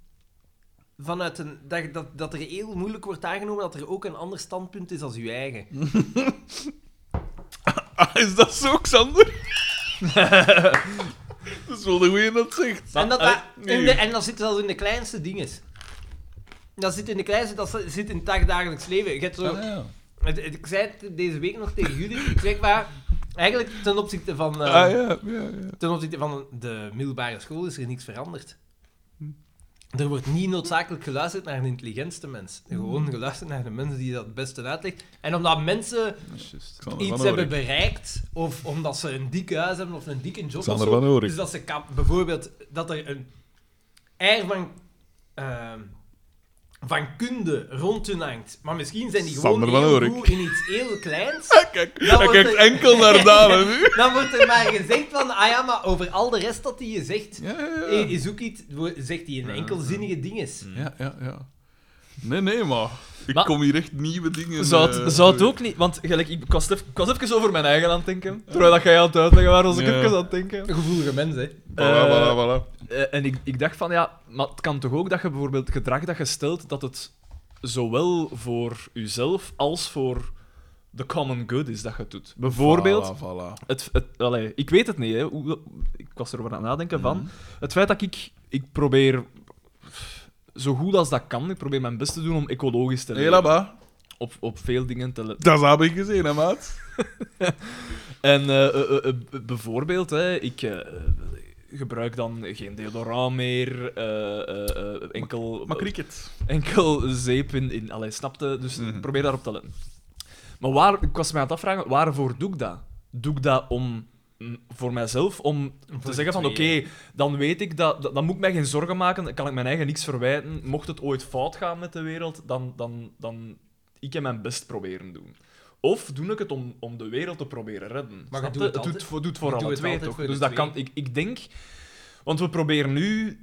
Speaker 1: vanuit een... Dat, dat, dat er heel moeilijk wordt aangenomen dat er ook een ander standpunt is als uw eigen.
Speaker 2: Ah, is dat zo, Xander? dat is wel de goeie dat zegt. Ah,
Speaker 1: en, dat,
Speaker 3: allee,
Speaker 2: eh,
Speaker 1: dat- in de- en dat zit zelfs in de kleinste dingen. Dat zit in de kleinste, dat zit in het dagdagelijks leven. Je hebt
Speaker 2: Ah.
Speaker 1: zo... Het- het- ik zei het deze week nog tegen jullie. Ik zeg maar, eigenlijk ten opzichte van, eh,
Speaker 2: Ah, ja, ja, ja.
Speaker 1: ten opzichte van de middelbare school is er niks veranderd.
Speaker 2: Hm.
Speaker 1: Er wordt niet noodzakelijk geluisterd naar de intelligentste mens. Er Gewoon geluisterd naar de mensen die dat het beste uitlegt. En omdat mensen
Speaker 2: Xander
Speaker 1: iets
Speaker 2: van
Speaker 1: hebben
Speaker 2: Oorik.
Speaker 1: bereikt, of omdat ze een dikke huis hebben of een dikke job
Speaker 2: Xander
Speaker 1: of zo,
Speaker 2: van Oorik.
Speaker 1: Dus dat ze kap- bijvoorbeeld dat er een eier van, ehm, van kunde rond hun hangt. Maar misschien zijn die gewoon
Speaker 2: Xander van
Speaker 1: heel
Speaker 2: Oorik.
Speaker 1: goed in iets heel kleins.
Speaker 2: Kijk,
Speaker 1: Ja,
Speaker 2: hij
Speaker 1: want
Speaker 2: kijkt
Speaker 1: de-
Speaker 2: enkel naar dames nu.
Speaker 1: Dan wordt er maar gezegd van, ah ja, maar over al de rest dat hij je zegt,
Speaker 2: Ja, ja,
Speaker 1: eh,
Speaker 2: ja.
Speaker 1: is ook iets, wo- zegt hij in enkelzinnige dinges.
Speaker 2: Ja, ja, ja. Nee, nee, maar ik
Speaker 3: Maar-
Speaker 2: kom hier echt nieuwe dingen...
Speaker 3: Zou het,
Speaker 2: eh,
Speaker 3: zou het ook niet... Want gelijk, ik, ik, was even, ik was even over mijn eigen aan het denken. Terwijl dat jij aan het uitleggen waar was ik
Speaker 2: Ja.
Speaker 3: even aan het denken.
Speaker 1: Gevoelige mens, hè.
Speaker 2: Voilà,
Speaker 3: eh,
Speaker 2: voilà, voilà.
Speaker 3: Eh, en ik, ik dacht van, ja, maar het kan toch ook dat je bijvoorbeeld gedrag dat je stelt, dat het zowel voor jezelf als voor de common good is dat je het doet. Bijvoorbeeld...
Speaker 2: Voilà, voilà.
Speaker 3: Het, het, allee, ik weet het niet, hè. Hoe, ik was erover aan het nadenken van.
Speaker 2: Mhm.
Speaker 3: Het feit dat ik, ik probeer zo goed als dat kan, ik probeer mijn best te doen om ecologisch te
Speaker 2: Hé,
Speaker 3: leven.
Speaker 2: Labba.
Speaker 3: op, op veel dingen te letten.
Speaker 2: Dat heb ik gezien, hè, maat?
Speaker 3: En eh, eh, eh, eh, bijvoorbeeld, hè, ik eh, gebruik dan geen deodorant meer, eh, eh, eh, enkel,
Speaker 2: Maar cricket.
Speaker 3: enkel zeep in, in allee, snapte, dus
Speaker 2: Mhm.
Speaker 3: probeer daarop te letten. Maar waar, ik was mij aan het afvragen, waarvoor doe ik dat? Doe ik dat om, mm, voor mijzelf, om te
Speaker 1: de
Speaker 3: zeggen van oké,
Speaker 1: tweeën.
Speaker 3: dan weet ik dat, dat- dan moet ik mij geen zorgen maken, dan kan ik mijn eigen niks verwijten. Mocht het ooit fout gaan met de wereld, dan, dan, dan ik en mijn best proberen doen. Of doe ik het om, om de wereld te proberen redden?
Speaker 1: Maar je
Speaker 3: Snap
Speaker 1: doet het
Speaker 3: doet
Speaker 1: altijd-
Speaker 3: voor, doet voor
Speaker 1: je
Speaker 3: alle
Speaker 1: doet het
Speaker 3: twee
Speaker 1: altijd
Speaker 3: toch?
Speaker 1: voor de
Speaker 3: Dus dat
Speaker 1: twee.
Speaker 3: kan, ik, ik denk, want we proberen nu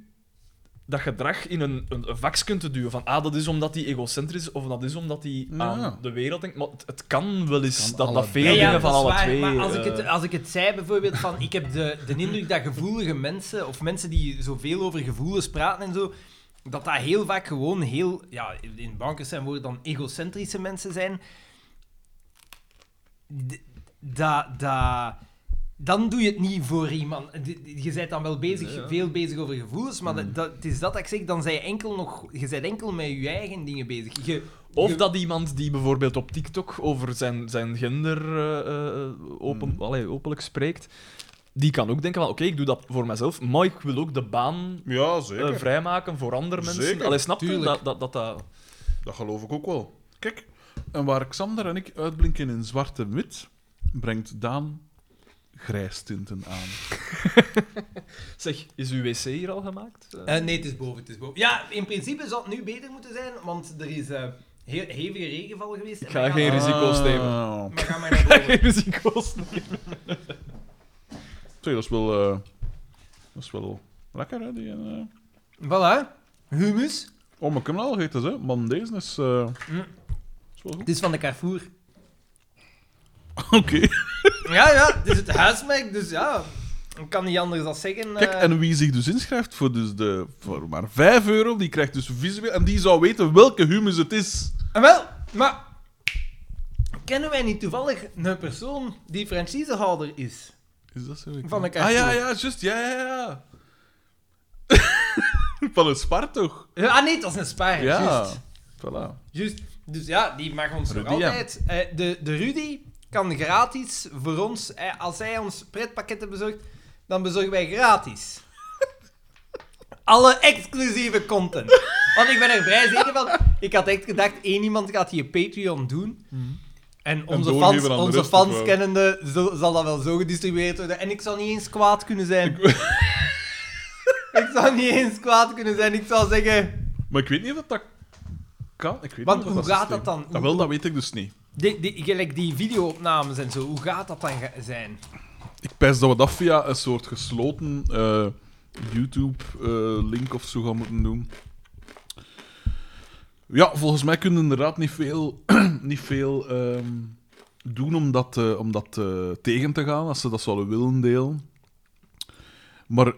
Speaker 3: dat gedrag in een, een, een vakje te duwen. Van, ah, dat is omdat hij egocentrisch is, of dat is omdat hij
Speaker 2: Ja.
Speaker 3: aan de wereld denkt. Maar het, het kan wel eens
Speaker 2: Kan
Speaker 3: dat,
Speaker 2: alle
Speaker 3: dat veel
Speaker 2: Ja, ja,
Speaker 3: dingen
Speaker 1: dat
Speaker 3: van
Speaker 1: is
Speaker 3: alle
Speaker 1: waar,
Speaker 3: twee...
Speaker 1: Maar als ik, het,
Speaker 3: eh,
Speaker 1: als ik het zei bijvoorbeeld van, ik heb de, de indruk dat gevoelige mensen, of mensen die zoveel over gevoelens praten en zo, dat dat heel vaak gewoon heel, ja, in bankers zijn woorden dan egocentrische mensen zijn. D- Da, da, dan doe je het niet voor iemand. D- d- Je bent dan wel bezig,
Speaker 2: Nee, ja.
Speaker 1: veel bezig over gevoelens, maar
Speaker 3: Hmm.
Speaker 1: dat, dat- het is dat dat ik zeg, dan zijn je enkel nog, je bent enkel met je eigen dingen bezig. Je,
Speaker 3: Of
Speaker 1: je-
Speaker 3: dat iemand die bijvoorbeeld op TikTok over zijn, zijn gender eh, eh, open,
Speaker 2: Mm.
Speaker 3: allee, openlijk spreekt, die kan ook denken van oké, ik doe dat voor mezelf, maar ik wil ook de baan
Speaker 2: Ja,
Speaker 3: eh,
Speaker 2: zeker.
Speaker 3: vrijmaken voor andere mensen.
Speaker 2: Zeker,
Speaker 3: Allee, snap je?
Speaker 2: tuurlijk.
Speaker 3: Dat, dat, dat, dat...
Speaker 2: Dat geloof ik ook wel. Kijk, en waar Xander en ik uitblinken in zwart en wit, brengt Daan grijstinten aan.
Speaker 3: Zeg, is uw wc hier al gemaakt? Eh,
Speaker 1: Eh, nee, het is boven, het is boven. Ja, in principe zou het nu beter moeten zijn, want er is eh, he- hevige regenval geweest. en
Speaker 3: Ik ga
Speaker 1: wij gaan-
Speaker 3: geen risico- risico's nemen.
Speaker 2: Ah.
Speaker 1: Maar ga maar naar boven.
Speaker 3: Risico's.
Speaker 2: Zeg, dat is wel... eh, dat is wel lekker, hè, die... eh.
Speaker 1: voilà. Humus.
Speaker 2: Oh, maar ik heb hem al gegeten, hè. Man, deze is... eh,
Speaker 3: Hm.
Speaker 1: Mm.
Speaker 2: is wel goed.
Speaker 1: Het is van de Carrefour.
Speaker 2: Oké.
Speaker 1: Ja, ja, het is het huismerk, dus ja. Ik kan niet anders dan zeggen.
Speaker 2: Kijk,
Speaker 1: eh,
Speaker 2: en wie zich dus inschrijft voor, dus de, voor maar 5 euro, die krijgt dus visueel... En die zou weten welke humus het is.
Speaker 1: En Ah, wel, maar kennen wij niet toevallig een persoon die franchisehouder is?
Speaker 2: Is dat zo? Ik
Speaker 1: Van een
Speaker 2: ah, ja,
Speaker 1: cartoon.
Speaker 2: ja, juist. Ja, ja, ja. Van een spar, toch?
Speaker 1: Eh, Ah nee, dat is een spaar.
Speaker 2: Ja.
Speaker 1: Juist.
Speaker 2: Voilà.
Speaker 1: Juist. Dus ja, die mag ons nog
Speaker 2: Rudy, ja.
Speaker 1: altijd. Eh, de, de Rudy kan gratis voor ons, eh, als hij ons pretpakketten bezorgt, dan bezorgen wij gratis. Alle exclusieve content. Want ik ben er vrij zeker van. Ik had echt gedacht, één iemand gaat hier Patreon doen. En onze
Speaker 2: Mhm. doorgeven aan
Speaker 1: fans, onze
Speaker 2: de rest, of
Speaker 1: fans
Speaker 2: wel?
Speaker 1: kennende, zo- zal dat wel zo gedistribueerd worden. En ik zal niet eens kwaad kunnen zijn. ik zou niet eens kwaad kunnen zijn. Ik zou zeggen,
Speaker 2: Maar ik weet niet of dat kan. Ik weet
Speaker 1: Want
Speaker 2: niet of
Speaker 1: hoe
Speaker 2: dat
Speaker 1: gaat
Speaker 2: systeem-
Speaker 1: dat dan?
Speaker 2: Dat wel, dat weet ik dus niet.
Speaker 1: Die, die, gelijk die videoopnames en zo, hoe gaat dat dan ge- zijn?
Speaker 2: Ik pijs dat we dat via een soort gesloten eh, YouTube-link of zo gaan moeten doen. Ja, volgens mij kunnen inderdaad niet veel, niet veel ehm, doen om dat, eh, om dat eh, tegen te gaan, als ze dat zouden willen delen. Maar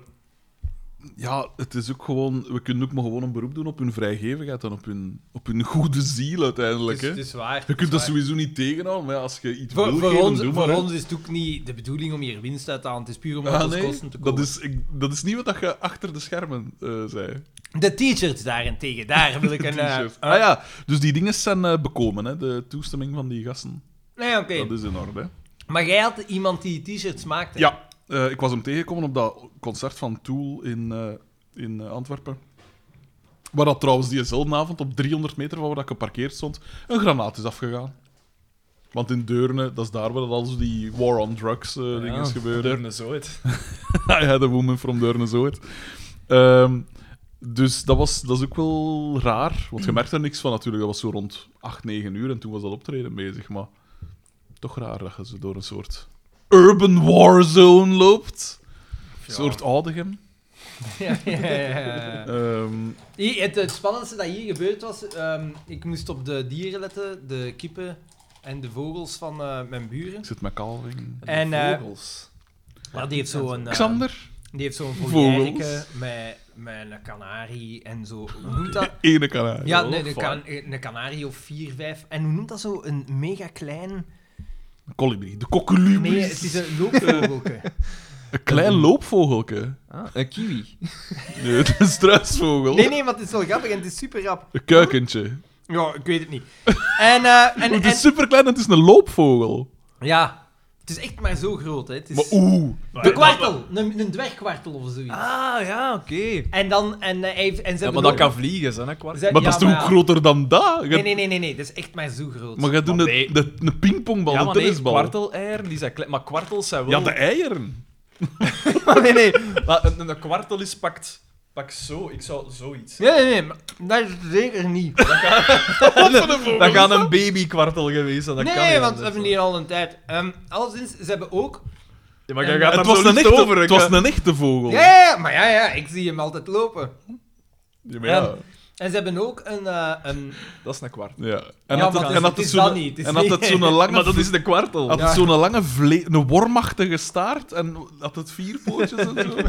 Speaker 2: ja, het is ook gewoon... We kunnen ook maar gewoon een beroep doen op hun vrijgevigheid en op hun, op hun goede ziel uiteindelijk.
Speaker 1: Dus,
Speaker 2: hè.
Speaker 1: het is waar.
Speaker 2: Je
Speaker 1: het is
Speaker 2: kunt dat
Speaker 1: waar.
Speaker 2: sowieso niet tegenhouden, maar ja, als je iets
Speaker 1: Voor,
Speaker 2: wil
Speaker 1: voor
Speaker 2: geven,
Speaker 1: ons,
Speaker 2: doe maar.
Speaker 1: voor
Speaker 2: hè.
Speaker 1: ons is het ook niet de bedoeling om hier winst uit te halen. Het is puur om
Speaker 2: Ah,
Speaker 1: uit ons
Speaker 2: nee,
Speaker 1: kosten te komen.
Speaker 2: dat, is, ik, dat is niet wat dat je achter de schermen eh, zei.
Speaker 1: De t-shirts daarentegen, daar wil ik een... eh,
Speaker 2: T-shirt. ah ja, dus die dingen zijn eh, bekomen, hè, de toestemming van die gasten.
Speaker 1: Nee, oké.
Speaker 2: Dat is in orde. hè.
Speaker 1: Maar jij had iemand die t-shirts maakte.
Speaker 2: Ja, eh, ik was hem tegengekomen op dat concert van Tool in, eh, in eh, Antwerpen. Waar dat trouwens diezelfde avond op 300 meter van waar dat geparkeerd stond, een granaat is afgegaan. Want in Deurne, dat is daar waar dat al zo die war on drugs eh, dingen gebeuren.
Speaker 3: Deurne zoiet.
Speaker 2: Ah ja, de woman from Deurne, zo het. Ehm, dus dat, was, dat is ook wel raar, want je merkt er niks van natuurlijk. Dat was zo rond 8, 9 uur en toen was dat optreden bezig. Maar toch raar dat je zo door een soort urban warzone loopt. Een soort Oudegem.
Speaker 1: Ja, ja, ja.
Speaker 2: Ehm,
Speaker 1: Hier, Het, het spannendste dat hier gebeurd was, ehm, ik moest op de dieren letten, de kippen en de vogels van eh, mijn buren.
Speaker 2: ik zit met Calving.
Speaker 1: En eh,
Speaker 3: Vogels.
Speaker 1: maar die heeft zo'n... eh,
Speaker 2: Xander,
Speaker 1: Die heeft zo'n
Speaker 2: Vogels.
Speaker 1: voljaarlijke met, met een kanarie en zo. Hoe noemt dat?
Speaker 2: ene kanaal.
Speaker 3: Oh,
Speaker 1: Ja, nee, een, kan, een kanarie of vier, vijf. En hoe noemt dat zo? Een mega klein...
Speaker 2: Colibri, de kokolubris.
Speaker 1: Nee, het is een loopvogelke.
Speaker 2: Een klein loopvogelke.
Speaker 3: Ah, een kiwi.
Speaker 2: Nee, het is een struisvogel.
Speaker 3: Oh.
Speaker 1: Nee, nee, maar het is wel grappig en het is super rap.
Speaker 2: Een kuikentje.
Speaker 1: Ja, ik weet het niet. En, eh, en,
Speaker 3: Oh,
Speaker 2: Het
Speaker 1: en...
Speaker 3: dus-
Speaker 2: is superklein en het is een loopvogel.
Speaker 1: Ja, het is echt maar zo groot, hè. Het is...
Speaker 2: Maar oeh.
Speaker 1: Een kwartel, een, een dwergkwartel of zoiets.
Speaker 3: Ah, ja, oké.
Speaker 1: En dan... En, eh, hij heeft- en ze
Speaker 3: Ja, maar
Speaker 1: hebben
Speaker 3: dat
Speaker 1: ook-
Speaker 3: kan vliegen, zijn hè, kwart.
Speaker 1: ze-
Speaker 2: Maar
Speaker 1: ja,
Speaker 2: dat is toch ook
Speaker 1: ja.
Speaker 2: groter dan dat? Je-
Speaker 1: Nee, nee, nee, nee, nee, dat is echt maar zo groot.
Speaker 2: Maar jij doet
Speaker 3: Maar
Speaker 2: de, de, een pingpongbal,
Speaker 3: Ja,
Speaker 2: een
Speaker 3: maar nee,
Speaker 2: tennisbal.
Speaker 3: kwarteleieren, die zijn klein. Maar kwartels zijn wel...
Speaker 2: Ja, de eieren.
Speaker 3: nee, nee. Maar een, een kwartel is pakt, pakt zo. Ik zou zoiets.
Speaker 1: Nee, nee, nee, maar dat is het zeker niet.
Speaker 3: Dat gaat een babykwartel geweest zijn. Dat
Speaker 1: nee,
Speaker 3: kan
Speaker 1: nee,
Speaker 3: niet
Speaker 1: want we
Speaker 3: anders.
Speaker 1: hebben die al een tijd. Ehm alleszins, ze hebben ook...
Speaker 3: Ja, maar jij gaat
Speaker 2: het,
Speaker 3: hem
Speaker 2: was
Speaker 3: zo
Speaker 2: een
Speaker 3: licht
Speaker 2: echte,
Speaker 3: over.
Speaker 2: het
Speaker 3: hè.
Speaker 2: was een echte vogel.
Speaker 1: Ja, ja, ja, maar ja, ja, ik zie hem altijd lopen.
Speaker 2: Ja, maar ja.
Speaker 1: Ja. En ze hebben ook een... eh, een
Speaker 3: Dat is een kwartel.
Speaker 2: Ja. En
Speaker 1: Ja, maar
Speaker 2: had het-
Speaker 1: het
Speaker 2: en
Speaker 1: is-
Speaker 2: had
Speaker 1: het
Speaker 2: het
Speaker 1: is dat
Speaker 2: zo'n-
Speaker 1: niet, het is
Speaker 2: en had
Speaker 1: niet-
Speaker 2: het zo'n lange...
Speaker 3: Maar dat
Speaker 2: vle-
Speaker 3: is de kwartel.
Speaker 2: Had
Speaker 1: Ja.
Speaker 2: het zo'n lange vle... Een wormachtige staart en had het vier pootjes en zo. Dat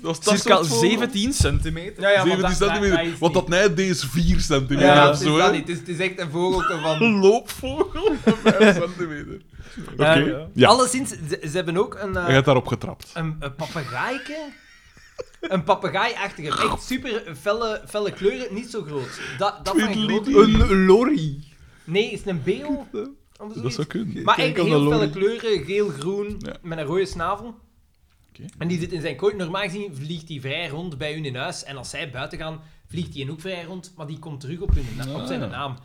Speaker 2: was dat
Speaker 3: Circa
Speaker 2: soort vogel.
Speaker 3: 17 centimeter.
Speaker 1: ja, ja, want
Speaker 2: 17 centimeter.
Speaker 1: is
Speaker 2: Want dat
Speaker 1: niet.
Speaker 2: nijdt deze 4 centimeter
Speaker 1: Ja,
Speaker 2: of
Speaker 1: het is
Speaker 2: zo,
Speaker 1: dat
Speaker 2: hè.
Speaker 1: niet. Het is, het is echt een vogelke van...
Speaker 2: Een loopvogel van 5 centimeter. Oké.
Speaker 1: Ehm,
Speaker 2: Ja,
Speaker 1: Alleszins, ze, ze hebben ook een... eh,
Speaker 2: je hebt daarop getrapt.
Speaker 1: een, een papegaaike. Een papegaaiachtige. Echt super felle, felle kleuren, niet zo groot. Dat, dat van
Speaker 2: Tweede
Speaker 1: groot.
Speaker 2: liedje.
Speaker 3: Een lorry.
Speaker 1: Nee, is het een beel? Of
Speaker 2: Dat
Speaker 1: zoiets?
Speaker 2: zou kunnen.
Speaker 1: Maar
Speaker 2: Kijk
Speaker 1: echt
Speaker 2: aan de
Speaker 1: heel
Speaker 2: lorry.
Speaker 1: felle kleuren, geel, groen,
Speaker 2: Ja.
Speaker 1: met een rode snavel.
Speaker 2: Oké.
Speaker 1: En die zit in zijn kooi. Normaal gezien vliegt hij vrij rond bij hun in huis. En als zij buiten gaan, vliegt hij ook vrij rond. Maar die komt terug op, hun na- op zijn
Speaker 2: Ah.
Speaker 1: naam.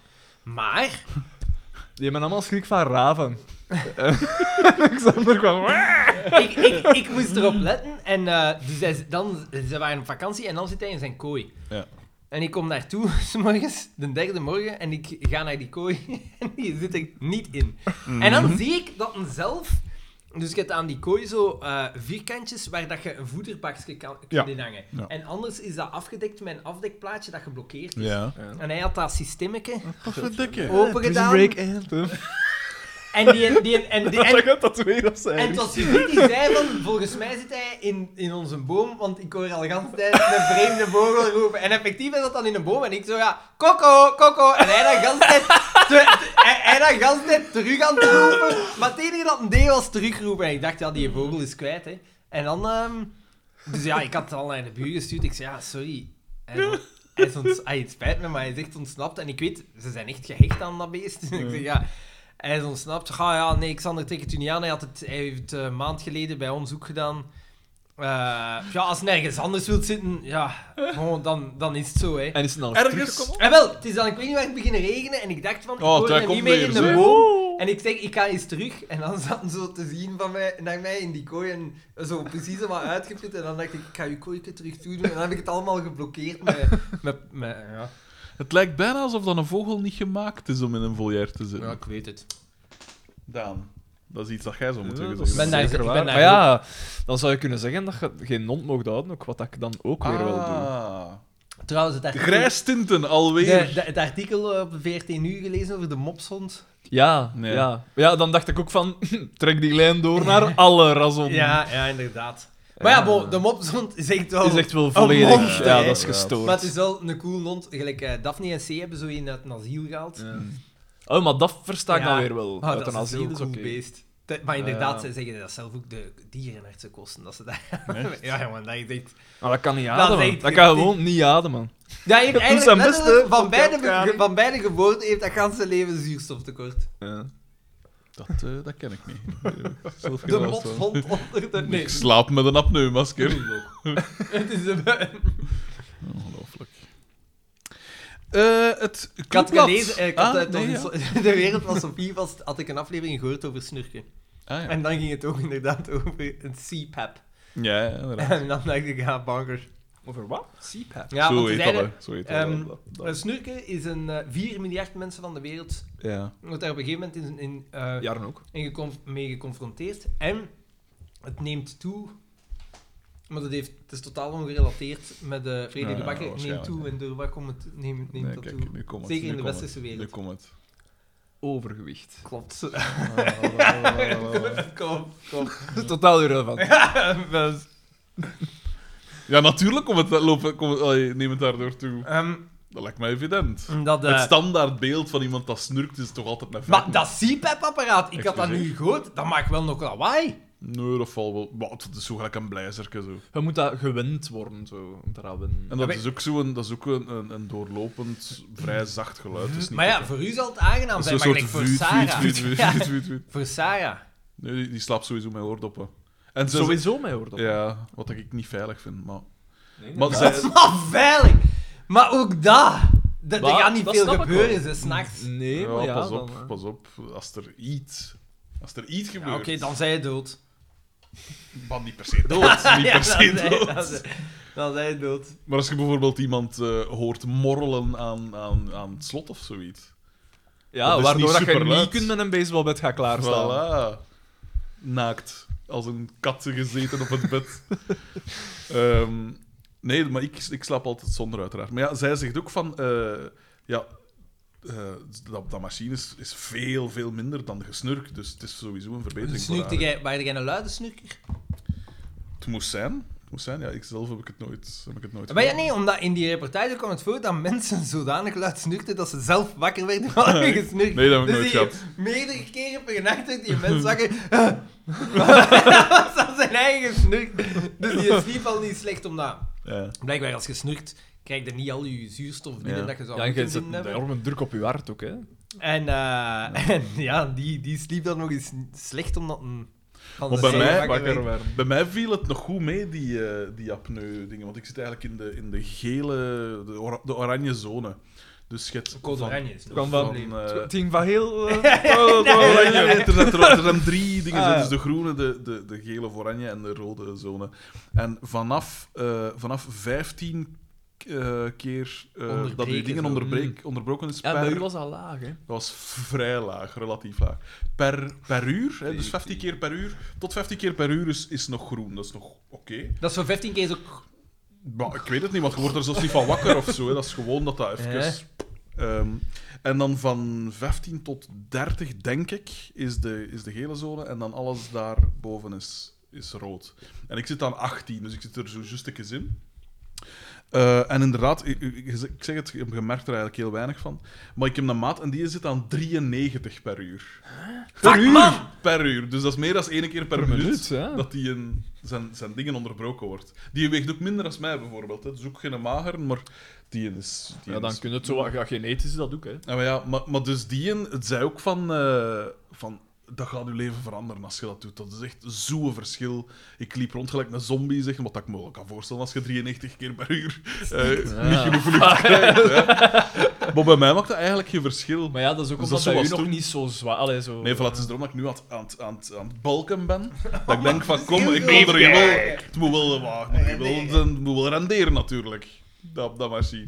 Speaker 1: Maar,
Speaker 3: Die hebben allemaal schrik van raven. Eh, Alexander kwam...
Speaker 1: ik, ik, ik moest erop letten. En eh, dus hij, z- dan, ze waren op vakantie en dan zit hij in zijn kooi.
Speaker 2: Ja.
Speaker 1: En ik kom daartoe, 's morgens, de derde morgen, en ik ga naar die kooi en die zit er niet in.
Speaker 2: Mm.
Speaker 1: En dan zie ik dat een zelf... Dus je hebt aan die kooi zo eh, vierkantjes waar dat je een voederbakje kan,
Speaker 2: Ja.
Speaker 1: kan hangen.
Speaker 2: Ja.
Speaker 1: En anders is dat afgedekt met een afdekplaatje dat geblokkeerd is.
Speaker 2: Ja.
Speaker 1: En hij had dat systeemmetje
Speaker 3: Dus
Speaker 2: Wat voor dikke.
Speaker 1: open gedaan.
Speaker 3: anthem.
Speaker 1: En die... die, en, die en,
Speaker 3: gaat dat weer op
Speaker 2: eh,
Speaker 3: zijn.
Speaker 1: en het was Judith die zei van, volgens mij zit hij in, in onze boom, want ik hoor al de hele tijd een vreemde vogel roepen. En effectief is dat dan in een boom en ik zo, ja, koko, koko. En hij dan de hele tijd, te- te- hij- hij dan de hele tijd terug aan het roepen. Maar het enige dat een deed was terugroepen. En ik dacht, ja, die vogel is kwijt, hè. En dan, ehm, dus ja, ik had het al naar de buur gestuurd. Ik zei, ja, sorry. En dan- hij is ons, ah, het spijt me, maar hij is echt ontsnapt. En ik weet, ze zijn echt gehecht aan dat beest. ik zeg, ja, hij is ontsnapt. Ah ja, nee, Xander trekt het u niet aan. Hij, had het, hij heeft het eh, een maand geleden bij ons ook gedaan. Eh, ja, als hij nergens anders wilt zitten, ja, gewoon, dan, dan is het zo, hè.
Speaker 3: En is het nou
Speaker 2: Ergens...
Speaker 1: En wel, het is dan, ik weet niet waar het beginnen regenen. En ik dacht van, ik
Speaker 2: Oh,
Speaker 1: hoor
Speaker 2: daar
Speaker 1: hem niet
Speaker 2: komt
Speaker 1: meer
Speaker 2: weer,
Speaker 1: in de
Speaker 2: zeg.
Speaker 1: boom. En ik zeg, ik ga eens terug. En dan zat hij zo te zien van mij, naar mij in die kooi. En zo precies wat uitgeput. En dan dacht ik, ik ga je kooitje terug toedoen. En dan heb ik het allemaal geblokkeerd met... met, met ja.
Speaker 2: Het lijkt bijna alsof dan een vogel niet gemaakt is om in een volière te zitten.
Speaker 1: ik weet het.
Speaker 2: Daan, dat is iets dat jij zou moeten
Speaker 3: Ja, dat
Speaker 2: zeggen.
Speaker 3: is
Speaker 1: Ik ben daar- ik
Speaker 3: zeker
Speaker 1: ben
Speaker 3: waar.
Speaker 1: daar
Speaker 3: Maar ja, dan zou je kunnen zeggen dat je geen mond mocht houden, ook, wat ik dan ook weer wel doe.
Speaker 2: Ah.
Speaker 1: Trouwens, het artikel,
Speaker 2: Grijs tinten, alweer.
Speaker 1: de- de- het artikel op 14 uur gelezen over de mopshond.
Speaker 3: Ja,
Speaker 2: Nee.
Speaker 3: ja. ja, dan dacht ik ook van, trek die lijn door naar alle razonnen.
Speaker 1: Ja, ja, inderdaad. Maar ja, bo, de mopshond is echt wel...
Speaker 3: Is echt wel volledig.
Speaker 1: monster,
Speaker 3: ja,
Speaker 1: hè.
Speaker 3: dat is
Speaker 1: Maar het
Speaker 3: gestoord.
Speaker 1: is wel een cool hond. Gelijk, eh, Daphne en C hebben zo in uit een asiel gehaald.
Speaker 3: Oh, maar dat versta ik
Speaker 1: Ja.
Speaker 3: dan weer wel.
Speaker 1: Oh, dat is een
Speaker 3: Euthanasie
Speaker 1: heel
Speaker 3: ook,
Speaker 1: cool Ah,
Speaker 3: oké.
Speaker 1: beest. Te- maar inderdaad,
Speaker 3: Ja.
Speaker 1: zij zeggen dat zelf ook de dierenartsen kosten. Dat ze daar... ja, man, dat is echt...
Speaker 3: Maar dat kan niet
Speaker 1: Dat
Speaker 3: ademen.
Speaker 1: is echt-
Speaker 3: Dat, kan gewoon niet ademen.
Speaker 1: Ja, je hebt
Speaker 3: Doe
Speaker 1: eigenlijk
Speaker 3: zijn
Speaker 1: letterlijk
Speaker 3: best, hè,
Speaker 1: van,
Speaker 3: voor
Speaker 1: beide,
Speaker 3: elkaar.
Speaker 1: ge- van beide geboorten heeft dat ganse leven zuurstoftekort.
Speaker 2: Dat, eh, dat ken ik niet. Zelf
Speaker 1: De
Speaker 2: geen last van.
Speaker 1: mopshond onder de... Nee,
Speaker 2: Ik slaap met een apneumasker.
Speaker 1: het is een...
Speaker 2: Ongelooflijk. Eh het
Speaker 1: Ik had
Speaker 2: clubblad.
Speaker 1: gelezen, eh, ik had,
Speaker 2: ah,
Speaker 1: eh,
Speaker 2: nee,
Speaker 1: toch
Speaker 2: ja.
Speaker 1: eens- de wereld van Sophie vast, had ik een aflevering gehoord over snurken.
Speaker 2: Ah, ja.
Speaker 1: En dan ging het ook inderdaad over een CPAP.
Speaker 2: ja, ja, inderdaad.
Speaker 1: En dan dacht ik, ja, bankers.
Speaker 3: Over wat? CPAP.
Speaker 1: Ja,
Speaker 2: Zo
Speaker 1: want ze
Speaker 2: heet dat,
Speaker 1: zeiden,
Speaker 2: hè. Zo heet
Speaker 1: ehm,
Speaker 2: dat. dat-
Speaker 1: eh,
Speaker 2: dat-
Speaker 1: snurken is een eh, 4 miljard mensen van de wereld,
Speaker 2: Ja.
Speaker 1: wordt daar op een gegeven moment in, in, eh,
Speaker 3: Jaren ook.
Speaker 1: in gecon- mee geconfronteerd. En het neemt toe, maar dat heeft, het is totaal ongerelateerd met de Vrede
Speaker 2: Ja,
Speaker 1: de Bakker. Het neemt
Speaker 2: waarschijnlijk,
Speaker 1: toe
Speaker 2: ja.
Speaker 1: en door wat komt het, neemt, neemt
Speaker 2: Nee,
Speaker 1: dat
Speaker 2: kijk,
Speaker 1: toe.
Speaker 2: nu komt het.
Speaker 1: Zeker
Speaker 2: nu
Speaker 1: in de
Speaker 2: komt
Speaker 1: westerse
Speaker 2: het,
Speaker 1: wereld.
Speaker 2: Nu komt het.
Speaker 3: Overgewicht.
Speaker 1: Klopt.
Speaker 2: Ah.
Speaker 1: Kom, kom.
Speaker 3: Totaal irrelevant.
Speaker 1: Dat is-
Speaker 2: ja, natuurlijk komt het, lopen, komt het, allee, neem het daardoor toe.
Speaker 1: Ehm,
Speaker 2: Dat lijkt mij evident.
Speaker 1: Omdat, eh,
Speaker 2: Het standaardbeeld van iemand dat snurkt is toch altijd met
Speaker 1: maar
Speaker 2: vetten?
Speaker 1: dat CPAP-apparaat, ik had dat
Speaker 2: Excuseer.
Speaker 1: nu gehoord, dat maakt wel nog lawaai.
Speaker 2: Nee, dat valt wel. Maar het is zo gelijk een blijzerke zo.
Speaker 3: Je moet dat gewend worden, zo. Je moet eraan wennen.
Speaker 2: En
Speaker 1: Ja,
Speaker 2: dat
Speaker 1: maar-
Speaker 2: is ook zo een, dat is ook een, een, een doorlopend, vrij zacht geluid. Het is niet
Speaker 1: Maar ja, voor u zal het aangenaam zijn,
Speaker 2: zo'n
Speaker 1: maar gelijk
Speaker 2: soort
Speaker 1: voor
Speaker 2: vuut,
Speaker 1: Sarah.
Speaker 2: vuut, vuut, vuut,
Speaker 1: Ja,
Speaker 2: vuut, vuut, vuut.
Speaker 1: voor Sarah.
Speaker 2: Nee, die, die slaapt sowieso met oordoppen. En ze-
Speaker 3: Sowieso mij hoor dat.
Speaker 2: Ja, wat ik niet veilig vind, maar...
Speaker 3: Nee,
Speaker 2: Maar
Speaker 3: nee.
Speaker 2: zij-
Speaker 1: Maar veilig! Maar ook dat! Dat er
Speaker 3: Maar,
Speaker 1: gaat niet
Speaker 3: dat
Speaker 1: veel
Speaker 3: snap ik
Speaker 1: gebeuren,
Speaker 3: wel.
Speaker 1: ze s'nachts.
Speaker 3: Nee, maar
Speaker 2: ja,
Speaker 3: ja,
Speaker 2: pas
Speaker 3: dan,
Speaker 2: op,
Speaker 3: eh.
Speaker 2: pas op. Als er iets... Als er iets
Speaker 1: Ja,
Speaker 2: gebeurt...
Speaker 1: Oké, dan zij je dood.
Speaker 2: Maar niet per se dood. niet
Speaker 1: Ja,
Speaker 2: per
Speaker 1: dan
Speaker 2: se
Speaker 1: zij-
Speaker 2: dood.
Speaker 1: dan zij- Dan zij je dood.
Speaker 2: Maar als je bijvoorbeeld iemand eh, hoort morrelen aan, aan, aan het slot of zoiets. Dat
Speaker 3: Ja,
Speaker 2: is
Speaker 3: waardoor
Speaker 2: niet
Speaker 3: dat je
Speaker 2: superluid.
Speaker 3: niet kunt met een baseballbed gaan klaarstaan.
Speaker 2: Voilà. Naakt. Als een kat gezeten op het bed. Ehm, nee, maar ik, ik slaap altijd zonder, uiteraard. Maar ja, zij zegt ook van... eh, ja, eh, dat, dat machine is, is veel, veel minder dan gesnurk. Dus het is sowieso een verbetering voor haar.
Speaker 1: Snurkte jij, waren jij een luide snurker?
Speaker 2: Het moest zijn. Het moest zijn. Ja, ik zelf heb ik het nooit, heb ik het nooit
Speaker 1: Maar ja,
Speaker 2: gedaan.
Speaker 1: nee, omdat in die reportage kwam het voor dat mensen zodanig luid snurkten dat ze zelf wakker werden van hun gesnurk.
Speaker 2: Nee, dat
Speaker 1: dus
Speaker 2: heb ik nooit
Speaker 1: die-
Speaker 2: gehad.
Speaker 1: Meerdere keren per nacht werd die mens wakker. dat was dan zijn eigen snurk. Dus die sliep al niet slecht, omdat...
Speaker 2: Ja.
Speaker 1: Blijkbaar, als je snurkt, krijg je niet al je zuurstof binnen
Speaker 2: Ja.
Speaker 1: dat je zou
Speaker 3: Ja, en je
Speaker 1: moeten
Speaker 3: zet
Speaker 1: binnen
Speaker 3: een
Speaker 1: hebben.
Speaker 3: enorme druk op je hart ook, hè.
Speaker 1: En, eh, en ja, die, die sliep dan nog eens slecht, omdat... Een, van
Speaker 2: Maar
Speaker 1: de
Speaker 2: bij mij-
Speaker 1: zee wakker werd.
Speaker 3: werden.
Speaker 2: Bij mij viel het nog goed mee, die, eh, die apneu-dingen. Want ik zit eigenlijk in de, in de gele, de, ora- de oranje zone. Dus je hebt
Speaker 1: Code
Speaker 2: van-
Speaker 1: oranje is nog
Speaker 3: Van-
Speaker 1: een
Speaker 3: van-
Speaker 1: probleem.
Speaker 2: eh,
Speaker 3: Het ging van heel... eh,
Speaker 2: oranje. Er, zijn, er, er zijn drie dingen.
Speaker 3: Ah, ja.
Speaker 2: Dus de groene, de, de, de gele voor oranje en de rode zone. En vanaf, eh, vanaf 15 eh, keer eh, dat je
Speaker 1: Onderbreken,
Speaker 2: dingen
Speaker 1: zo. Mm.
Speaker 2: onderbreek, onderbroken is
Speaker 3: Ja,
Speaker 2: per...
Speaker 3: bij u was dat laag, hè.
Speaker 2: Dat was vrij laag, relatief laag. Per, per uur, hè, dus 15 keer per uur. Tot 15 keer per uur is, is nog groen. Dat is nog oké.
Speaker 1: Dat is voor 15 keer ook...
Speaker 2: Maar ik weet het niet, want je wordt er zelfs niet van wakker of zo. Hè. Dat is gewoon dat dat even...
Speaker 1: Eh?
Speaker 2: Ehm, en dan van 15 tot 30, denk ik, is de, is de gele zone. En dan alles daarboven is, is rood. En ik zit aan 18, dus ik zit er zo juist in. Eh, en inderdaad, ik, ik- ik zeg het, je merkt er eigenlijk heel weinig van. Maar ik heb een maat en die zit aan 93 per uur. Per uur? Per uur. Dus dat is meer dan één keer per,
Speaker 3: Per
Speaker 2: minuut,
Speaker 3: minuut, ja.
Speaker 2: dat die een, zijn, zijn dingen onderbroken wordt. Die weegt ook minder als mij bijvoorbeeld. Hè. Dus ook geen mager, maar die is... Die
Speaker 3: Ja, dan
Speaker 2: is
Speaker 3: kun je het zo wat ja, genetisch dat ook, hè.
Speaker 2: ja, maar, ja, maar, maar dus die een, het zei ook van, eh, van. Dat gaat je leven veranderen als je dat doet. Dat is echt zo'n verschil. Ik liep rond gelijk een zombie, zeg, wat dat ik me wel kan voorstellen als je 93 keer per uur eh, niet genoeg lucht krijgt. hè. Maar bij mij maakt dat eigenlijk geen verschil.
Speaker 3: Maar ja, dat is ook
Speaker 2: Dus
Speaker 3: omdat
Speaker 2: dat
Speaker 3: bij
Speaker 2: is
Speaker 3: u
Speaker 2: zoals
Speaker 3: nog
Speaker 2: toen.
Speaker 3: niet zo zwaar... Allee, zo...
Speaker 2: Nee, voilà, het is erom dat ik nu aan het, aan het, aan het, aan het balken ben. Dat ik denk van, kom, ik
Speaker 1: heel
Speaker 2: wil er
Speaker 1: veel.
Speaker 2: wel... Het moet wel, eh, wat, het moet wel, het moet wel renderen, natuurlijk. Dat, dat machine.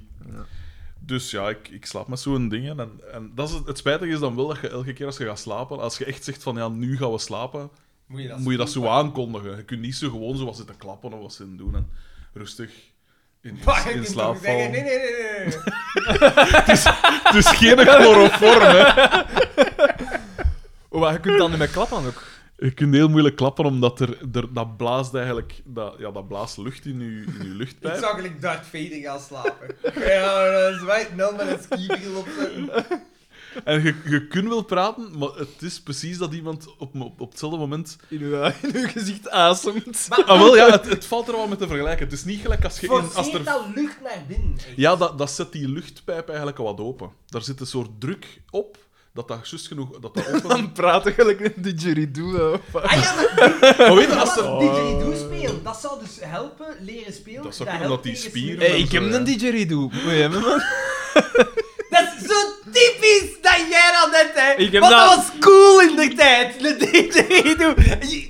Speaker 2: Dus ja, ik, ik slaap met zo'n dingen. En, en dat is, het- het spijtige is dan wel dat je elke keer als je gaat slapen, als je echt zegt van, ja, nu gaan we slapen,
Speaker 1: Moet je dat
Speaker 2: moet je dat zo aankondigen. Je kunt niet zo gewoon zo wat zitten klappen of wat zitten doen. En rustig in,
Speaker 1: Maar je
Speaker 2: in,
Speaker 1: kunt toch
Speaker 2: slaap
Speaker 1: zeggen,
Speaker 2: vallen.
Speaker 1: Nee, nee, nee, nee.
Speaker 2: Het is geen chloroform, hè.
Speaker 3: Oh, maar je kunt dan niet met klappen ook.
Speaker 2: Je kunt heel moeilijk klappen, omdat er, er, dat blaast eigenlijk dat, ja, dat blaast lucht in je, in je
Speaker 1: Ik
Speaker 2: luchtpijp.
Speaker 1: zou gelijk Darth Vader gaan slapen. ja, dat is waar. Nou, met een skibril opzetten.
Speaker 2: En je, je kunt wel praten, maar het is precies dat iemand op, op, op hetzelfde moment...
Speaker 3: In uw, in uw gezicht asemt.
Speaker 2: Ah, wel, ja, het, het valt er wel mee te vergelijken. Het is niet gelijk als je... In, als
Speaker 1: Forceert
Speaker 2: er,
Speaker 1: dat lucht naar binnen. echt.
Speaker 2: ja, dat, dat zet die luchtpijp eigenlijk wat open. Daar zit een soort druk op, dat dat juist genoeg... Dat dat open...
Speaker 3: Dan praat ik gelijk een didgeridoo. hè.
Speaker 1: Ah ja, maar
Speaker 2: maar weet je, als
Speaker 1: als
Speaker 2: er...
Speaker 1: dat didgeridoo spelen, dat zou dus helpen, leren spelen.
Speaker 2: Dat zou kunnen,
Speaker 1: helpt
Speaker 2: dat die
Speaker 1: tegen
Speaker 2: spieren-
Speaker 1: sneu-
Speaker 3: Hey, ik heb een didgeridoo. Moet je hebben, man?
Speaker 1: Dat is zo typisch dat jij dat net hè.
Speaker 3: Ik heb
Speaker 1: Want dat
Speaker 3: dat-
Speaker 1: was cool in de tijd, de didgeridoo. Je-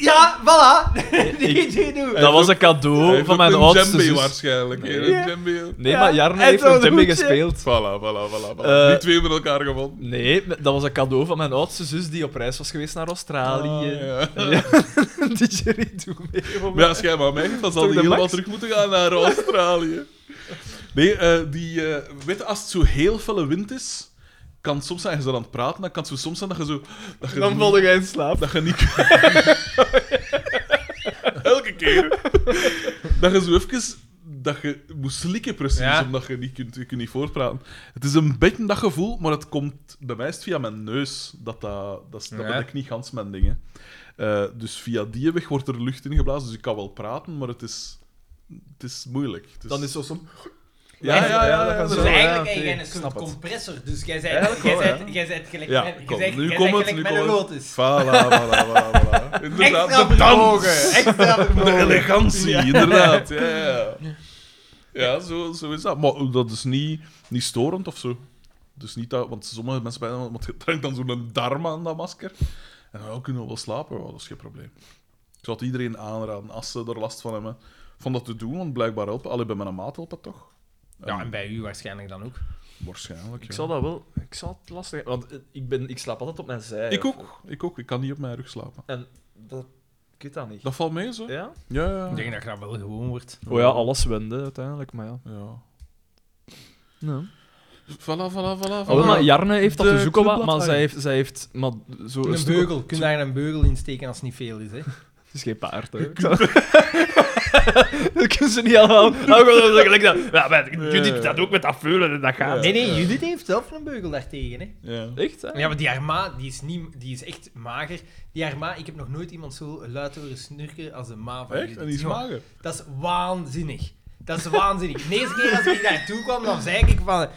Speaker 1: Ja, voilà, didgeridoo.
Speaker 3: Dat was een
Speaker 2: Hij
Speaker 3: cadeau
Speaker 2: heeft
Speaker 3: van
Speaker 2: ook
Speaker 3: mijn
Speaker 2: een
Speaker 3: oudste
Speaker 2: djembe
Speaker 3: zus.
Speaker 2: waarschijnlijk. hè,
Speaker 3: Ja.
Speaker 2: Een djembe.
Speaker 3: Nee,
Speaker 1: Ja,
Speaker 3: maar Jarno
Speaker 1: en
Speaker 3: heeft
Speaker 1: zo'n
Speaker 3: een djembe
Speaker 1: hoedje.
Speaker 3: gespeeld.
Speaker 2: Voilà, voilà, voilà. voilà.
Speaker 3: Eh,
Speaker 2: Die twee met elkaar gevonden.
Speaker 3: Nee, dat was een cadeau van mijn oudste zus die op reis was geweest naar Australië.
Speaker 2: Ah, ja.
Speaker 3: Ja, een didgeridoo mee. om-
Speaker 2: Maar ja, schijnbaar mij, dan
Speaker 3: Toch
Speaker 2: zal die
Speaker 3: de
Speaker 2: helemaal
Speaker 3: max?
Speaker 2: terug moeten gaan naar Australië. Nee, eh, die, eh, weet je, als het zo heel felle wind is, kan het soms zijn dat je zo aan het praten, dan kan het zo soms zijn dat je zo... Dat je,
Speaker 3: Dan
Speaker 2: niet-
Speaker 3: valde jij in slaap.
Speaker 2: dat je niet... Elke keer. dat je zo even... Dat je moet slikken precies,
Speaker 3: Ja.
Speaker 2: omdat je niet kunt, je kunt niet voortpraten. Het is een beetje dat gevoel, maar het komt bij mij is het via mijn neus. Dat, dat, dat, is- dat
Speaker 3: Ja.
Speaker 2: ben ik niet gans mijn dingen. dus via die weg wordt er lucht ingeblazen, dus ik kan wel praten, maar het is, het is moeilijk. Het
Speaker 3: Dan is zo soms...
Speaker 2: Ja, ja, ja.
Speaker 3: dat
Speaker 2: ja,
Speaker 3: gaat
Speaker 1: Dus
Speaker 3: zo,
Speaker 2: ja.
Speaker 3: ja,
Speaker 1: eigenlijk heb
Speaker 3: oké,
Speaker 1: jij een
Speaker 3: ik
Speaker 1: soort
Speaker 3: snap het.
Speaker 1: compressor. Dus jij
Speaker 3: Eigenlijk
Speaker 1: bent
Speaker 3: wel,
Speaker 1: jij
Speaker 3: ja.
Speaker 1: bent- jij bent gelijk
Speaker 2: Ja,
Speaker 1: met- jij
Speaker 2: kom,
Speaker 1: bent-
Speaker 2: nu
Speaker 1: jij
Speaker 2: komt
Speaker 1: bent
Speaker 2: het,
Speaker 1: gelijk
Speaker 2: nu
Speaker 1: met
Speaker 2: komt
Speaker 1: een
Speaker 2: het.
Speaker 1: lotus.
Speaker 2: Voilà, voilà, voilà, voilà. Inderdaad,
Speaker 1: Extra
Speaker 2: de dans.
Speaker 1: vermogen, extra
Speaker 2: De
Speaker 1: vermogen.
Speaker 2: elegantie, inderdaad. Ja, ja. ja zo, zo is dat. Maar dat is niet, niet storend of zo. Dus niet dat, want sommige mensen bij want je trekt dan zo'n darm aan dat masker. En dan kunnen we wel slapen, maar dat is geen probleem. Ik zou het iedereen aanraden, als ze er last van hebben, van dat te doen, want blijkbaar helpen. Alleen bij mijn maat helpt dat toch?
Speaker 1: Ja, en bij u waarschijnlijk dan ook.
Speaker 2: Waarschijnlijk, ja.
Speaker 3: Ik zal dat wel... Ik zal het lastig... Want eh, ik, ben, ik slaap altijd op mijn zij.
Speaker 2: ik
Speaker 3: of-
Speaker 2: ook, ik ook. Ik kan niet op mijn rug slapen.
Speaker 3: En dat... Ik weet dat niet.
Speaker 2: Dat valt mee, zo?
Speaker 3: Ja?
Speaker 2: Ja, ja.
Speaker 1: Ik denk dat je dat wel gewoon wordt.
Speaker 3: Oh ja, alles wende uiteindelijk, maar ja.
Speaker 2: ja.
Speaker 3: ja.
Speaker 2: Voilà, voilà,
Speaker 3: Oh,
Speaker 2: voilà. voilà.
Speaker 3: maar Jarne heeft dat
Speaker 2: Ah, De
Speaker 3: dus ook al wat, maar
Speaker 2: clubbladder.
Speaker 3: zij heeft, zij heeft maar zo
Speaker 1: Een
Speaker 3: stuk-
Speaker 1: beugel. Kun je daar een beugel in steken als het niet veel is, hè?
Speaker 3: Het is geen paard, hè. Ik zou- Dat kunnen ze niet allemaal... Nou, gewoon zo gelijk dat... Ja, maar
Speaker 2: Eh.
Speaker 3: Judith dat ook met dat vullen en dat gaat.
Speaker 1: Nee, nee, Judith heeft zelf een beugel daartegen, hè?
Speaker 2: Ja.
Speaker 3: Echt, hè?
Speaker 1: Ja, maar die Arma, die is, niet, die is echt mager. Die Arma, ik heb nog nooit iemand zo luid horen snurken als de ma van
Speaker 2: Echt?
Speaker 1: Judith.
Speaker 2: En die is
Speaker 1: Jongen,
Speaker 2: mager.
Speaker 1: Dat is waanzinnig. Dat is waanzinnig. De eerste keer als ik daartoe kwam, dan zei ik van...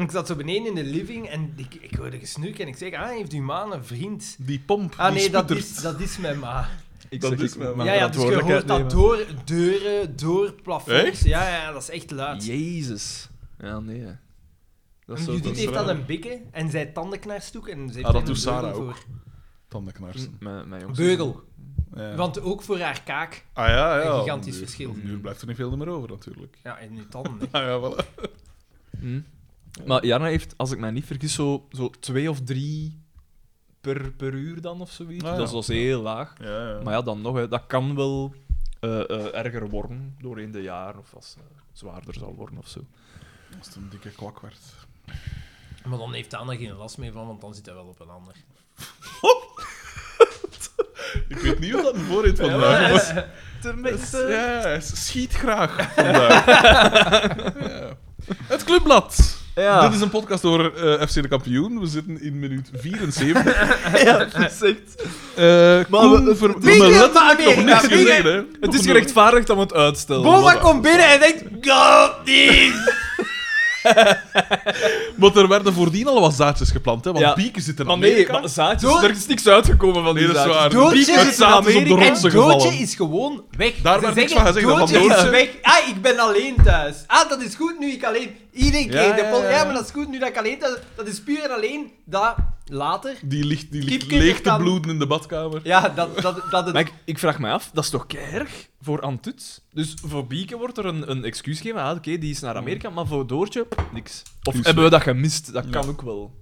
Speaker 1: Ik zat zo beneden in de living en ik, ik hoorde gesnurken en ik zeg, ah, heeft uw ma een vriend?
Speaker 2: Die pomp.
Speaker 1: Ah
Speaker 2: die
Speaker 1: nee, dat
Speaker 2: sputtert.
Speaker 1: is, dat is mijn ma.
Speaker 3: Ik
Speaker 2: Dat
Speaker 3: zeg,
Speaker 2: is
Speaker 3: ik
Speaker 2: mijn-
Speaker 3: moet
Speaker 1: ja, ja, dus je hoort
Speaker 3: verantwoordelijkheid
Speaker 1: dat
Speaker 3: nemen.
Speaker 1: door deuren, door plafonds.
Speaker 2: Echt?
Speaker 1: Ja, ja, dat is echt luid.
Speaker 3: Jezus. Ja, nee. hè. Dat
Speaker 1: En
Speaker 3: zo-
Speaker 1: Judith
Speaker 2: is
Speaker 1: heeft
Speaker 2: raar.
Speaker 1: dan een bikke en zij tandenknarstoek en ze heeft
Speaker 2: Ah, dat
Speaker 1: daar een
Speaker 2: doet Sarah
Speaker 1: beugel
Speaker 2: ook.
Speaker 1: voor.
Speaker 2: Tandenknarsen.
Speaker 3: Mijn, mijn jongens.
Speaker 1: Beugel.
Speaker 2: Ja.
Speaker 1: Mm. Want ook voor haar kaak.
Speaker 2: ah, ja, ja.
Speaker 1: een gigantisch
Speaker 2: Nu-
Speaker 1: verschil.
Speaker 2: Nu blijft er niet veel meer over, natuurlijk.
Speaker 1: Ja, en nu tanden. hè.
Speaker 2: Ah ja, voilà.
Speaker 3: Hm. Maar Jarne heeft, als ik mij niet vergis, zo, zo twee of drie per, per uur dan of zoiets.
Speaker 2: Ah, ja.
Speaker 3: Dat is, dat is heel laag.
Speaker 2: Ja, ja.
Speaker 3: Maar ja, dan nog, hè, dat kan wel eh, eh, erger worden doorheen de jaren. Of als eh, zwaarder zal worden of zo.
Speaker 2: Als het een dikke kwak werd.
Speaker 1: Maar dan heeft de ander geen last meer van, want dan zit hij wel op een ander.
Speaker 2: Ik weet niet of dat een voorreet vandaag was. Ja, hij schiet graag vandaag. ja. Het Clubblad.
Speaker 3: Ja,
Speaker 2: Dit is een podcast over eh, FC de Kampioen. We zitten in minuut 74.
Speaker 3: dat is echt...
Speaker 2: Eh
Speaker 3: Maar
Speaker 2: Koen
Speaker 3: we-
Speaker 2: ver-
Speaker 1: Wie
Speaker 2: maar
Speaker 1: wil
Speaker 2: letterlijk
Speaker 1: naar Amerika?
Speaker 2: nog niks
Speaker 1: Wie wil-
Speaker 2: gezegd, hè.
Speaker 3: Het is gerechtvaardigd dat we het uitstellen.
Speaker 1: Boma komt binnen en denkt... God, niet!
Speaker 2: Maar er werden voordien al wat zaadjes geplant, hè? Want
Speaker 3: Ja.
Speaker 2: Bieken zit in
Speaker 3: Maar nee,
Speaker 2: Amerika.
Speaker 3: maar zaadjes,
Speaker 1: Doe-
Speaker 3: er is niks uitgekomen van
Speaker 2: Nee,
Speaker 3: die
Speaker 2: dat is
Speaker 3: zaadjes.
Speaker 2: waar.
Speaker 1: Doodje
Speaker 2: Bieken-
Speaker 1: zit
Speaker 2: het
Speaker 1: in
Speaker 2: zaad is dus op de
Speaker 3: Amerika.
Speaker 2: rotsen
Speaker 1: En Doodje
Speaker 2: gevallen.
Speaker 1: is gewoon weg.
Speaker 2: Daar
Speaker 1: Ze
Speaker 2: werd niks
Speaker 1: zeggen,
Speaker 2: van gezegd, hè, van
Speaker 1: Doodje
Speaker 2: Doodje.
Speaker 1: is weg. Ah, ik ben alleen thuis. Ah, dat is goed nu ik alleen... Iedereen
Speaker 2: Ja,
Speaker 1: kreeg de
Speaker 2: ja,
Speaker 1: pol.
Speaker 2: ja.
Speaker 1: Ja, maar dat is goed nu dat ik alleen thuis... Dat is puur en alleen dat later...
Speaker 2: Die ligt, die ligt
Speaker 1: Kiepkikker
Speaker 2: leeg te
Speaker 1: kan-
Speaker 2: bloeden in de badkamer.
Speaker 1: Ja, dat, dat, dat het...
Speaker 3: Maar ik, ik vraag me af, dat is toch erg voor Antut? Dus voor Bieke wordt er een, een excuus gegeven. Ah, oké, die is naar Amerika, maar voor Doortje, pff, niks. Of
Speaker 2: Niks
Speaker 3: hebben we dat gemist? Dat
Speaker 2: Ja.
Speaker 3: kan ook wel.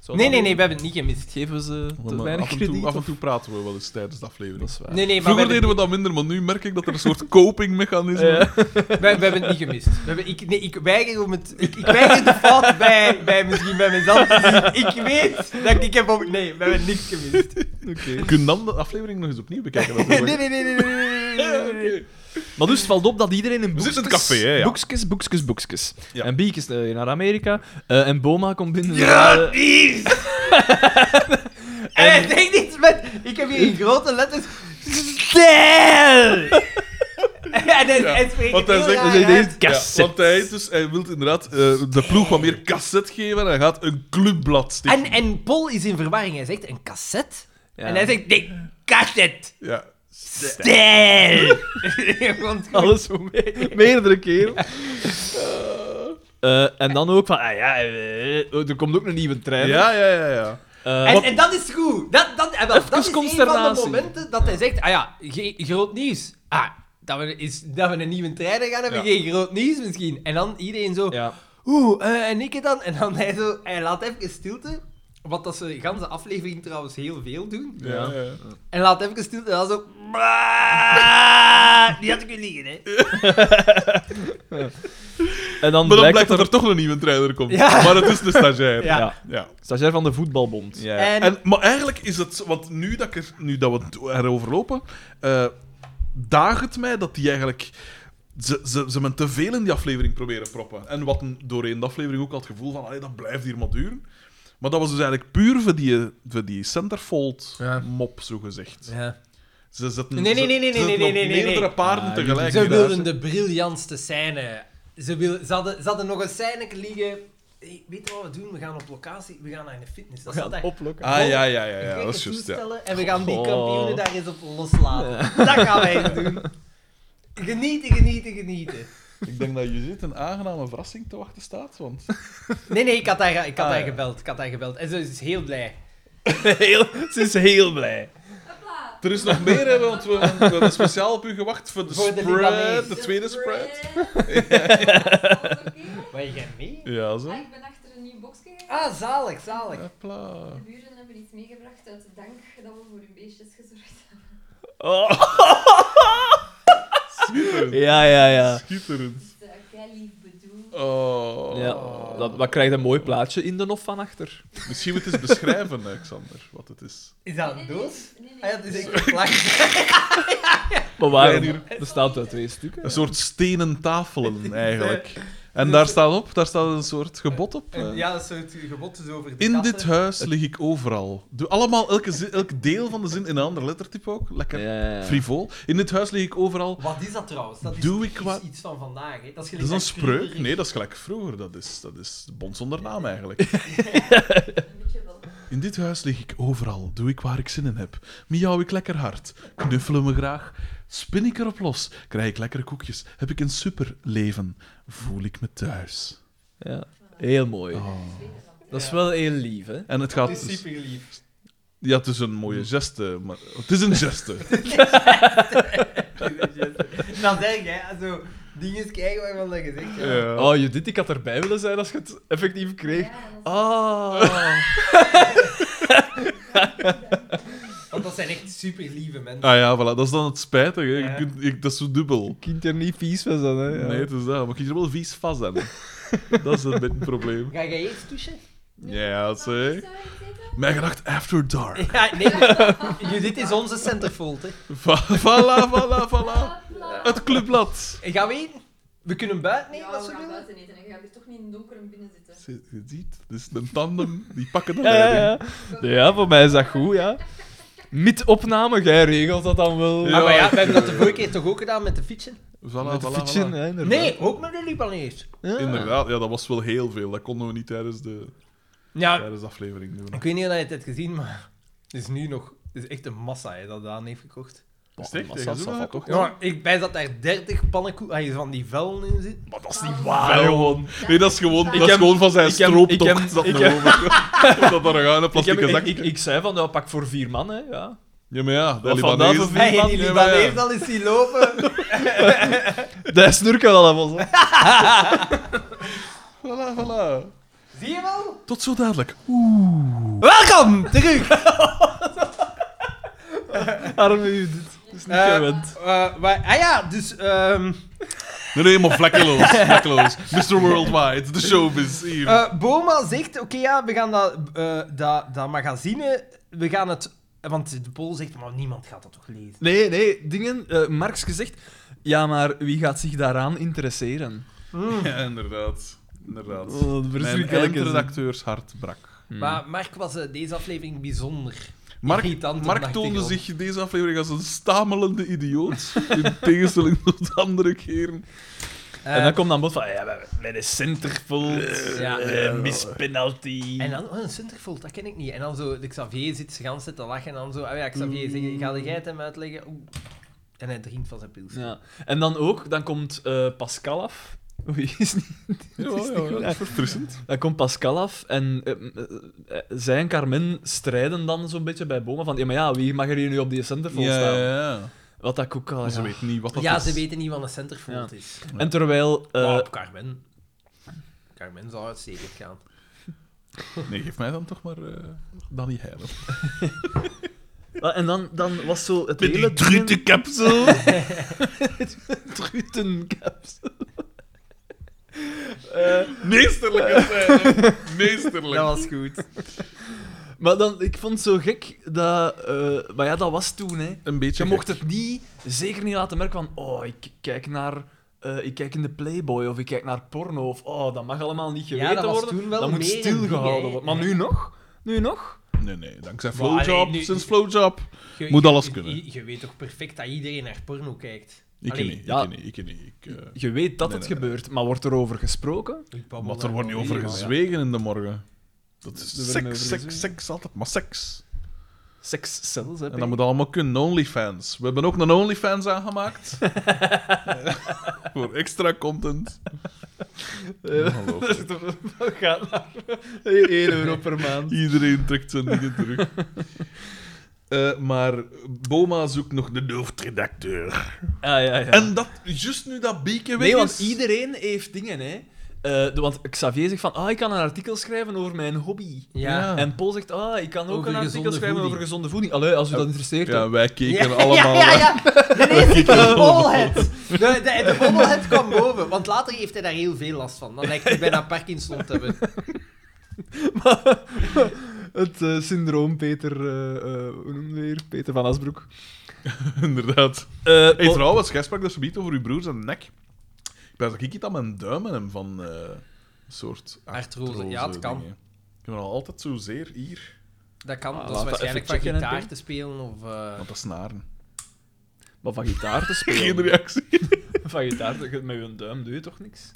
Speaker 3: Zou
Speaker 1: Nee,
Speaker 3: dat
Speaker 1: nee, nee,
Speaker 3: ook-
Speaker 1: we hebben het niet gemist.
Speaker 3: Geven we ze
Speaker 2: Want,
Speaker 3: te
Speaker 2: eh,
Speaker 3: weinig
Speaker 2: af, en toe,
Speaker 3: krediet?
Speaker 2: af en
Speaker 3: of-
Speaker 2: toe praten we wel eens tijdens de aflevering.
Speaker 3: Dat is waar.
Speaker 1: Nee, nee, maar we
Speaker 2: Vroeger
Speaker 1: hebben,
Speaker 2: deden we dat minder, maar nu merk ik dat er een soort copingmechanisme
Speaker 3: Eh,
Speaker 1: we, we hebben het niet gemist. We hebben, ik, nee, ik weiger om het... Ik, ik weiger de fout bij, bij misschien bij mezelf te zien. Ik weet dat ik heb... Op, nee, we hebben niks gemist.
Speaker 3: oké.
Speaker 2: Kun je dan de aflevering nog eens opnieuw bekijken? Dat is
Speaker 1: Nee,
Speaker 2: wel-
Speaker 1: nee, nee, nee, nee, nee, nee, nee, nee, nee.
Speaker 3: Maar dus het valt op dat iedereen in
Speaker 2: We
Speaker 3: boekjes...
Speaker 2: zitten in het café, hè, ja.
Speaker 3: Boekjes, boekjes, boekjes.
Speaker 2: Ja.
Speaker 3: En Bieke is eh, naar Amerika. eh, en Boma komt binnen.
Speaker 1: Ja,
Speaker 3: Eh,
Speaker 1: is. En hij denkt iets met... Ik heb hier in grote letters... Stel! en hij,
Speaker 2: Ja,
Speaker 1: hij spreekt
Speaker 2: want
Speaker 1: heel
Speaker 2: hij zegt-
Speaker 1: raar
Speaker 3: hij zegt
Speaker 1: uit.
Speaker 3: eerst
Speaker 2: Ja,
Speaker 3: cassette.
Speaker 2: want hij, is dus, hij wil inderdaad eh, de ploeg wat meer cassette geven en hij gaat een clubblad stichten.
Speaker 1: En, en Paul is in verwarring. Hij zegt een cassette.
Speaker 3: Ja.
Speaker 1: En hij zegt, nee, cassette.
Speaker 2: Ja.
Speaker 1: Stel! Want
Speaker 3: Alles voor me- meerdere keer. Eh, en dan ook van, ah ja, eh, er komt ook een nieuwe trein.
Speaker 2: ja, ja, ja, ja.
Speaker 3: Eh,
Speaker 1: En, en dat is goed. Dat, dat, eh, wel,
Speaker 3: Even
Speaker 1: dat is een van de
Speaker 3: consternatie.
Speaker 1: momenten dat hij zegt: Ah ja, ge- groot nieuws. Ah, dat we, is, dat we een nieuwe trainer gaan hebben,
Speaker 2: Ja.
Speaker 1: geen groot nieuws misschien. En dan iedereen zo:
Speaker 3: ja.
Speaker 1: Oeh, eh, en ik het dan? En dan hij zo: Hij laat even stilte. Wat dat ze de ganse aflevering trouwens heel veel doen.
Speaker 2: ja, ja.
Speaker 1: En laat even stilte. En dan zo: "Bah." Die had ik kunnen liggen, hè?
Speaker 3: En dan
Speaker 2: Maar dan
Speaker 3: blijkt,
Speaker 2: blijkt dat
Speaker 3: dat
Speaker 2: er toch een nieuwe trainer komt.
Speaker 1: Ja.
Speaker 2: Maar het is de stagiair.
Speaker 1: Ja.
Speaker 3: Ja.
Speaker 2: Ja.
Speaker 3: er... Stagiair van de voetbalbond.
Speaker 2: Ja.
Speaker 1: En-
Speaker 2: En... maar eigenlijk is het... Want nu dat, ik er, nu dat we het erover lopen, eh daagt het mij dat die eigenlijk... Ze, ze, ze men te veel in die aflevering proberen proppen. En wat een- doorheen de aflevering ook al het gevoel van... Allee, dat blijft hier maar duren. Maar dat was dus eigenlijk puur voor die, voor die
Speaker 1: Ja.
Speaker 2: centerfold-mop, zogezegd. Ze zetten,
Speaker 1: Nee, nee,
Speaker 2: ze-
Speaker 1: nee, nee,
Speaker 2: ze
Speaker 1: nee,
Speaker 2: zetten
Speaker 1: nee,
Speaker 2: op
Speaker 1: nee, nee, nee.
Speaker 2: meerdere paarden
Speaker 3: Ah,
Speaker 2: tegelijk.
Speaker 1: Ze
Speaker 2: in
Speaker 1: wilden
Speaker 2: huis.
Speaker 1: de briljantste scène. Ze, wil, ze, hadden, ze hadden nog een scène liggen. Hey, weet je wat we doen? We gaan op locatie, we gaan naar de fitness. Dat zat daar.
Speaker 3: Oplokken.
Speaker 2: Ah, ja, ja, ja,
Speaker 1: We
Speaker 2: ja,
Speaker 1: gaan
Speaker 2: dat is
Speaker 1: het
Speaker 2: juist, ja. Oh.
Speaker 1: toestellen En we gaan die
Speaker 3: Goh.
Speaker 1: kampioenen daar eens op loslaten. Dat gaan wij eens doen. Genieten, genieten, genieten.
Speaker 2: Ik denk dat je zit een aangename verrassing te wachten staat, want...
Speaker 1: Nee, nee, ik had haar, ik had
Speaker 2: Ah,
Speaker 1: haar
Speaker 2: ja.
Speaker 1: gebeld. Ik had haar gebeld. En ze is heel blij.
Speaker 3: heel, ze is heel blij.
Speaker 2: Er is nog meer, hè, want we, we hebben speciaal op u gewacht voor de
Speaker 1: Voor de
Speaker 2: spread,
Speaker 1: Libanees.
Speaker 2: de, tweede spread.
Speaker 1: Wat jij mee?
Speaker 2: Ja, zo.
Speaker 5: Ah, ik ben achter een nieuw boxje gegaan.
Speaker 1: Ah, zalig, zalig.
Speaker 2: Hopla.
Speaker 5: De buren hebben iets meegebracht uit de dank dat we voor hun beestjes gezorgd hebben.
Speaker 3: Oh.
Speaker 2: Schitterend.
Speaker 3: Ja, ja, ja.
Speaker 2: Schitterend.
Speaker 5: Dus eh, kei lief bedoeld.
Speaker 2: Oh.
Speaker 3: ja. Dat, wat krijgt een mooi plaatje in de hof van achter?
Speaker 2: Misschien moet je het eens beschrijven, Alexander, wat het is.
Speaker 1: Is dat
Speaker 5: Nee,
Speaker 1: een
Speaker 5: nee,
Speaker 1: doos?
Speaker 5: Nee, nee.
Speaker 1: Ah, ja, dat is echt een plak.
Speaker 3: Maar waarom?
Speaker 2: Ja, hier.
Speaker 3: bestaat uit twee stukken.
Speaker 2: Een soort stenen tafelen, eigenlijk. En daar staat op, daar staat een soort gebod op. eh.
Speaker 1: Ja, een soort gebottes over de
Speaker 2: In
Speaker 1: kassen.
Speaker 2: dit huis lig ik overal. Doe allemaal elke zin- elk deel van de zin in een ander lettertype ook.
Speaker 3: Ja,
Speaker 2: Lekker
Speaker 3: ja, ja.
Speaker 2: frivol. In dit huis lig ik overal.
Speaker 1: Wat is dat trouwens? Dat is,
Speaker 2: Doe ik
Speaker 1: is
Speaker 2: wat-
Speaker 1: iets van vandaag. Hè? Dat is,
Speaker 2: Dat
Speaker 1: gelijk
Speaker 2: is een
Speaker 1: dat
Speaker 2: spreuk.
Speaker 1: Kruger-
Speaker 2: Nee, dat is gelijk vroeger. Dat is, dat is de bond zonder naam eigenlijk.
Speaker 5: Een beetje wel.
Speaker 2: In dit huis lig ik overal, doe ik waar ik zin in heb. Miauw ik lekker hard, knuffelen me graag. Spin ik erop los, krijg ik lekkere koekjes, heb ik een superleven, voel ik me thuis. Oh.
Speaker 3: Ja. Heel mooi. Dat is wel heel lief, hè?
Speaker 2: En het
Speaker 1: Dat
Speaker 2: gaat...
Speaker 1: is
Speaker 2: Dus,
Speaker 1: super lief.
Speaker 2: ja, het is een mooie geste, maar het is een geste.
Speaker 1: Dan zeg jij zo dingen krijgen waarvan dat je zegt. Ja.
Speaker 2: Ja.
Speaker 3: Oh, Judith, ik had erbij willen zijn als je het effectief kreeg.
Speaker 5: Ja, dat
Speaker 1: Oh.
Speaker 3: Ah.
Speaker 1: Want dat zijn echt super lieve mensen.
Speaker 2: Ah ja, voilà, dat is dan het spijtige. hè. Je
Speaker 1: Ja.
Speaker 2: kunt- ik- dat is zo dubbel.
Speaker 3: Kind er niet vies van zijn, hè?
Speaker 2: Nee, het is dat. Maar je kunt er wel vies vast aan. Dat is een beetje een probleem.
Speaker 1: Ga jij eerst douchen?
Speaker 2: Ja, zeg.
Speaker 5: Zou je het eten?
Speaker 2: Mij gedacht After Dark.
Speaker 1: Ja, nee. maar- Judith is onze centerfold, hè.
Speaker 2: Va- Voilà, voilà, voilà.
Speaker 5: Hopla.
Speaker 2: Het clubblad.
Speaker 1: En gaan we in? We kunnen buiten nemen,
Speaker 5: ja,
Speaker 1: als
Speaker 5: we
Speaker 1: we
Speaker 5: gaan
Speaker 1: willen.
Speaker 5: buiten eten en je gaat hier toch niet in het donker en binnen zitten.
Speaker 2: Je je ziet, dit is een tandem. Die pakken de
Speaker 3: Ja, ja,
Speaker 2: leiding.
Speaker 3: ja. Ja, voor mij is dat goed, ja. Met opname, jij regelt dat dan wel.
Speaker 2: Ja.
Speaker 1: Ah, maar ja, we hebben dat de vorige keer toch ook gedaan met de fietsen?
Speaker 2: Voilà,
Speaker 3: Met de
Speaker 2: voilà,
Speaker 3: fietsen,
Speaker 2: voilà.
Speaker 3: hè, inderdaad.
Speaker 1: Nee, ook met de Libanees.
Speaker 3: Ja.
Speaker 2: Inderdaad, ja, dat was wel heel veel. Dat konden we niet tijdens de,
Speaker 1: Ja,
Speaker 2: tijdens de aflevering doen.
Speaker 1: ik weet niet of je het hebt gezien, maar het is nu nog... Het is echt een massa hè, dat Daan heeft gekocht.
Speaker 2: Is het echt?
Speaker 3: Maar
Speaker 2: Jij
Speaker 3: dat
Speaker 2: doet
Speaker 3: zal
Speaker 2: dat
Speaker 3: toch-
Speaker 2: ook?
Speaker 1: Ja, ik bij dat daar 30 pannenkoeken van die vellen in zit.
Speaker 2: Maar dat is
Speaker 5: niet
Speaker 2: waar, gewoon. Nee, dat is gewoon, dat is
Speaker 3: heb-
Speaker 2: gewoon van zijn
Speaker 3: ik heb-
Speaker 2: strooptocht.
Speaker 3: ik heb-
Speaker 2: dat
Speaker 3: ik
Speaker 2: naar
Speaker 3: heb-
Speaker 2: boven komt. dat daar
Speaker 3: Ik,
Speaker 2: gaan, een
Speaker 3: heb,
Speaker 2: plastic
Speaker 3: ik,
Speaker 2: zak.
Speaker 3: ik, ik zei van, nou, pak voor vier man, hè. Ja.
Speaker 2: Ja, maar ja, de
Speaker 3: Wat vandaag
Speaker 2: Libanees...
Speaker 3: voor vier
Speaker 1: Hey,
Speaker 3: man?
Speaker 1: die
Speaker 2: ja,
Speaker 1: Libanees
Speaker 2: maar ja.
Speaker 1: al is die lopen.
Speaker 3: Dat snurken wel allemaal. zo.
Speaker 2: Voilà, voilà.
Speaker 1: Zie je wel?
Speaker 2: Tot zo dadelijk.
Speaker 1: Welkom terug.
Speaker 3: Arme Judith. Dat is niet
Speaker 1: Eh,
Speaker 3: gewend.
Speaker 1: eh, maar- ah ja, dus... ehm,
Speaker 2: Nee, nee, maar vlekkeloos. vlekkeloos. Mr. Worldwide, de showbiz. Hier.
Speaker 1: Eh, Boma zegt, oké ja, we gaan dat, eh, dat, dat magazine, we gaan het... Want de Pool zegt, maar niemand gaat dat toch lezen?
Speaker 3: Nee, nee, dingen. eh, Marx gezegd. Ja, maar wie gaat zich daaraan interesseren? Ehm.
Speaker 2: Ja, inderdaad. Inderdaad.
Speaker 3: Oh, dat
Speaker 2: Mijn
Speaker 3: verschrikkelijk
Speaker 2: elke
Speaker 3: is het.
Speaker 2: redacteurs hart brak.
Speaker 1: Maar Mark was eh, deze aflevering bijzonder.
Speaker 2: Hmm. Mark,
Speaker 1: Irritant op
Speaker 2: Mark
Speaker 1: nachtigal.
Speaker 2: toonde zich deze aflevering als een stamelende idioot. In tegenstelling tot andere keren.
Speaker 1: Eh,
Speaker 3: en dan komt dan bod van. Ja, maar met een centerfold.
Speaker 1: Ja.
Speaker 3: eh, mispenalty.
Speaker 1: en dan, oh, een Sintervold, dat ken ik niet. En dan zo, de Xavier zit ze gaan zitten lachen en dan zo, ah ja, Xavier, zeg,
Speaker 2: Mm.
Speaker 1: ga jij het hem uitleggen? Oeh. En hij drinkt van zijn pils.
Speaker 3: Ja. En dan ook, dan komt eh, Pascal af. Oei, is niet...
Speaker 2: Ja, ja, ja, dat is verfrissend.
Speaker 3: Dan komt Pascal af en eh, eh, eh, zij en Carmen strijden dan zo'n beetje bij Boma van ja, maar ja, wie mag er hier nu op die centerfold staan?
Speaker 2: ja.
Speaker 3: Wat dat ook al
Speaker 2: Maar ze
Speaker 3: ja.
Speaker 2: weten niet wat dat
Speaker 1: Ja,
Speaker 2: is.
Speaker 1: ze weten niet wat een Sintervold
Speaker 3: Ja.
Speaker 1: is.
Speaker 3: En terwijl... eh,
Speaker 1: Oh, op Carmen. Carmen zal uitstekend gaan.
Speaker 2: Nee, geef mij dan toch maar eh Danny Heijlen.
Speaker 3: wel, en dan, dan was zo het
Speaker 2: Met
Speaker 3: hele...
Speaker 2: die drutenkapsel.
Speaker 3: Trutencaps.
Speaker 2: Meesterlijk is hij. Meesterlijk.
Speaker 1: Dat was goed.
Speaker 3: Maar dan, ik vond het zo gek dat... eh, maar ja, dat was toen, hè.
Speaker 2: Een beetje
Speaker 3: Je
Speaker 2: gek.
Speaker 3: mocht het niet, zeker niet laten merken van... Oh, ik kijk naar... eh, ik kijk in de Playboy of ik kijk naar porno of... Oh, dat mag allemaal niet geweten
Speaker 1: dat was
Speaker 3: worden.
Speaker 1: toen wel
Speaker 3: dat moet
Speaker 1: meer een ding, hè.
Speaker 3: stilgehouden worden. Maar nu nog? Nu nog?
Speaker 2: Nee, nee, dankzij
Speaker 1: Maar allee,
Speaker 2: Flowjob.
Speaker 1: nu-
Speaker 2: Sinds Flowjob.
Speaker 1: Je-
Speaker 2: Moet
Speaker 1: je-
Speaker 2: alles
Speaker 1: je-
Speaker 2: kunnen.
Speaker 1: Je, je weet toch perfect dat iedereen naar porno kijkt?
Speaker 2: Ik
Speaker 1: Allee,
Speaker 2: niet,
Speaker 3: ja.
Speaker 2: ik niet, ik niet. Ik, eh,
Speaker 3: Je weet dat
Speaker 2: Nee,
Speaker 3: het
Speaker 2: nee, nee.
Speaker 3: gebeurt, maar wordt erover gesproken?
Speaker 1: ik babbel
Speaker 2: Want er
Speaker 1: daar
Speaker 2: wordt niet
Speaker 1: wel
Speaker 2: over
Speaker 1: mee, maar ja.
Speaker 2: gezwegen in de morgen. Dat
Speaker 3: Er
Speaker 2: is
Speaker 3: wordt niet over
Speaker 2: seks, seks,
Speaker 3: gezwegen.
Speaker 2: seks altijd. Maar seks.
Speaker 3: Seks zelfs, hè.
Speaker 2: En dat moet allemaal kunnen. Onlyfans. We hebben ook een Onlyfans aangemaakt. Eh, Voor extra content.
Speaker 3: Eh, Oh,
Speaker 2: Ongelooflijk.
Speaker 3: gaat naar 1 euro per maand.
Speaker 2: Iedereen trekt zijn dingen terug. Eh, maar Boma zoekt nog de hoofdredacteur.
Speaker 3: Ah, ja, ja.
Speaker 2: En dat, juist nu dat Bieke weg
Speaker 3: nee, want
Speaker 2: is-
Speaker 3: iedereen heeft dingen, hè. Eh, de- want Xavier zegt van, ah, ik kan een artikel schrijven over mijn hobby.
Speaker 1: Ja.
Speaker 2: Ja.
Speaker 3: En Paul zegt, ah, ik kan ook
Speaker 1: Over
Speaker 3: een artikel
Speaker 1: gezonde
Speaker 3: schrijven
Speaker 1: voeding.
Speaker 3: over gezonde voeding. Allee, als u dat interesseert. hè.
Speaker 2: Oh, Ja, wij keken
Speaker 1: Ja,
Speaker 2: allemaal...
Speaker 1: Ja, ja, ja. Nee, nee, de
Speaker 2: allemaal.
Speaker 1: bobblehead. De, de, de bobblehead kwam boven. Want later heeft hij daar heel veel last van. Dan lijkt hij bijna Parkinson te hebben.
Speaker 3: Het eh, syndroom Peter... eh, eh, hoe noemen we weer? Peter van Asbroek.
Speaker 2: Inderdaad.
Speaker 3: Eh,
Speaker 2: Hey,
Speaker 1: Oh.
Speaker 3: Paul-
Speaker 2: trouwens, jij sprak daar zo'n beetje over uw broers en nek. Ik ben dat ik iets aan mijn duimen hem van eh, een soort
Speaker 1: Artrose. Ja, het kan.
Speaker 2: dingen. Ik heb al altijd zozeer hier
Speaker 1: Dat kan.
Speaker 3: Ah,
Speaker 1: dat is
Speaker 3: laat dat
Speaker 1: waarschijnlijk
Speaker 3: even
Speaker 1: van
Speaker 3: checken, hè,
Speaker 1: gitaar
Speaker 3: Pim.
Speaker 1: te spelen of... eh,
Speaker 2: aan te snaren.
Speaker 3: Maar van gitaar te
Speaker 2: Geen
Speaker 3: spelen.
Speaker 2: reactie.
Speaker 3: van gitaar, te- met je duim doe je toch niks?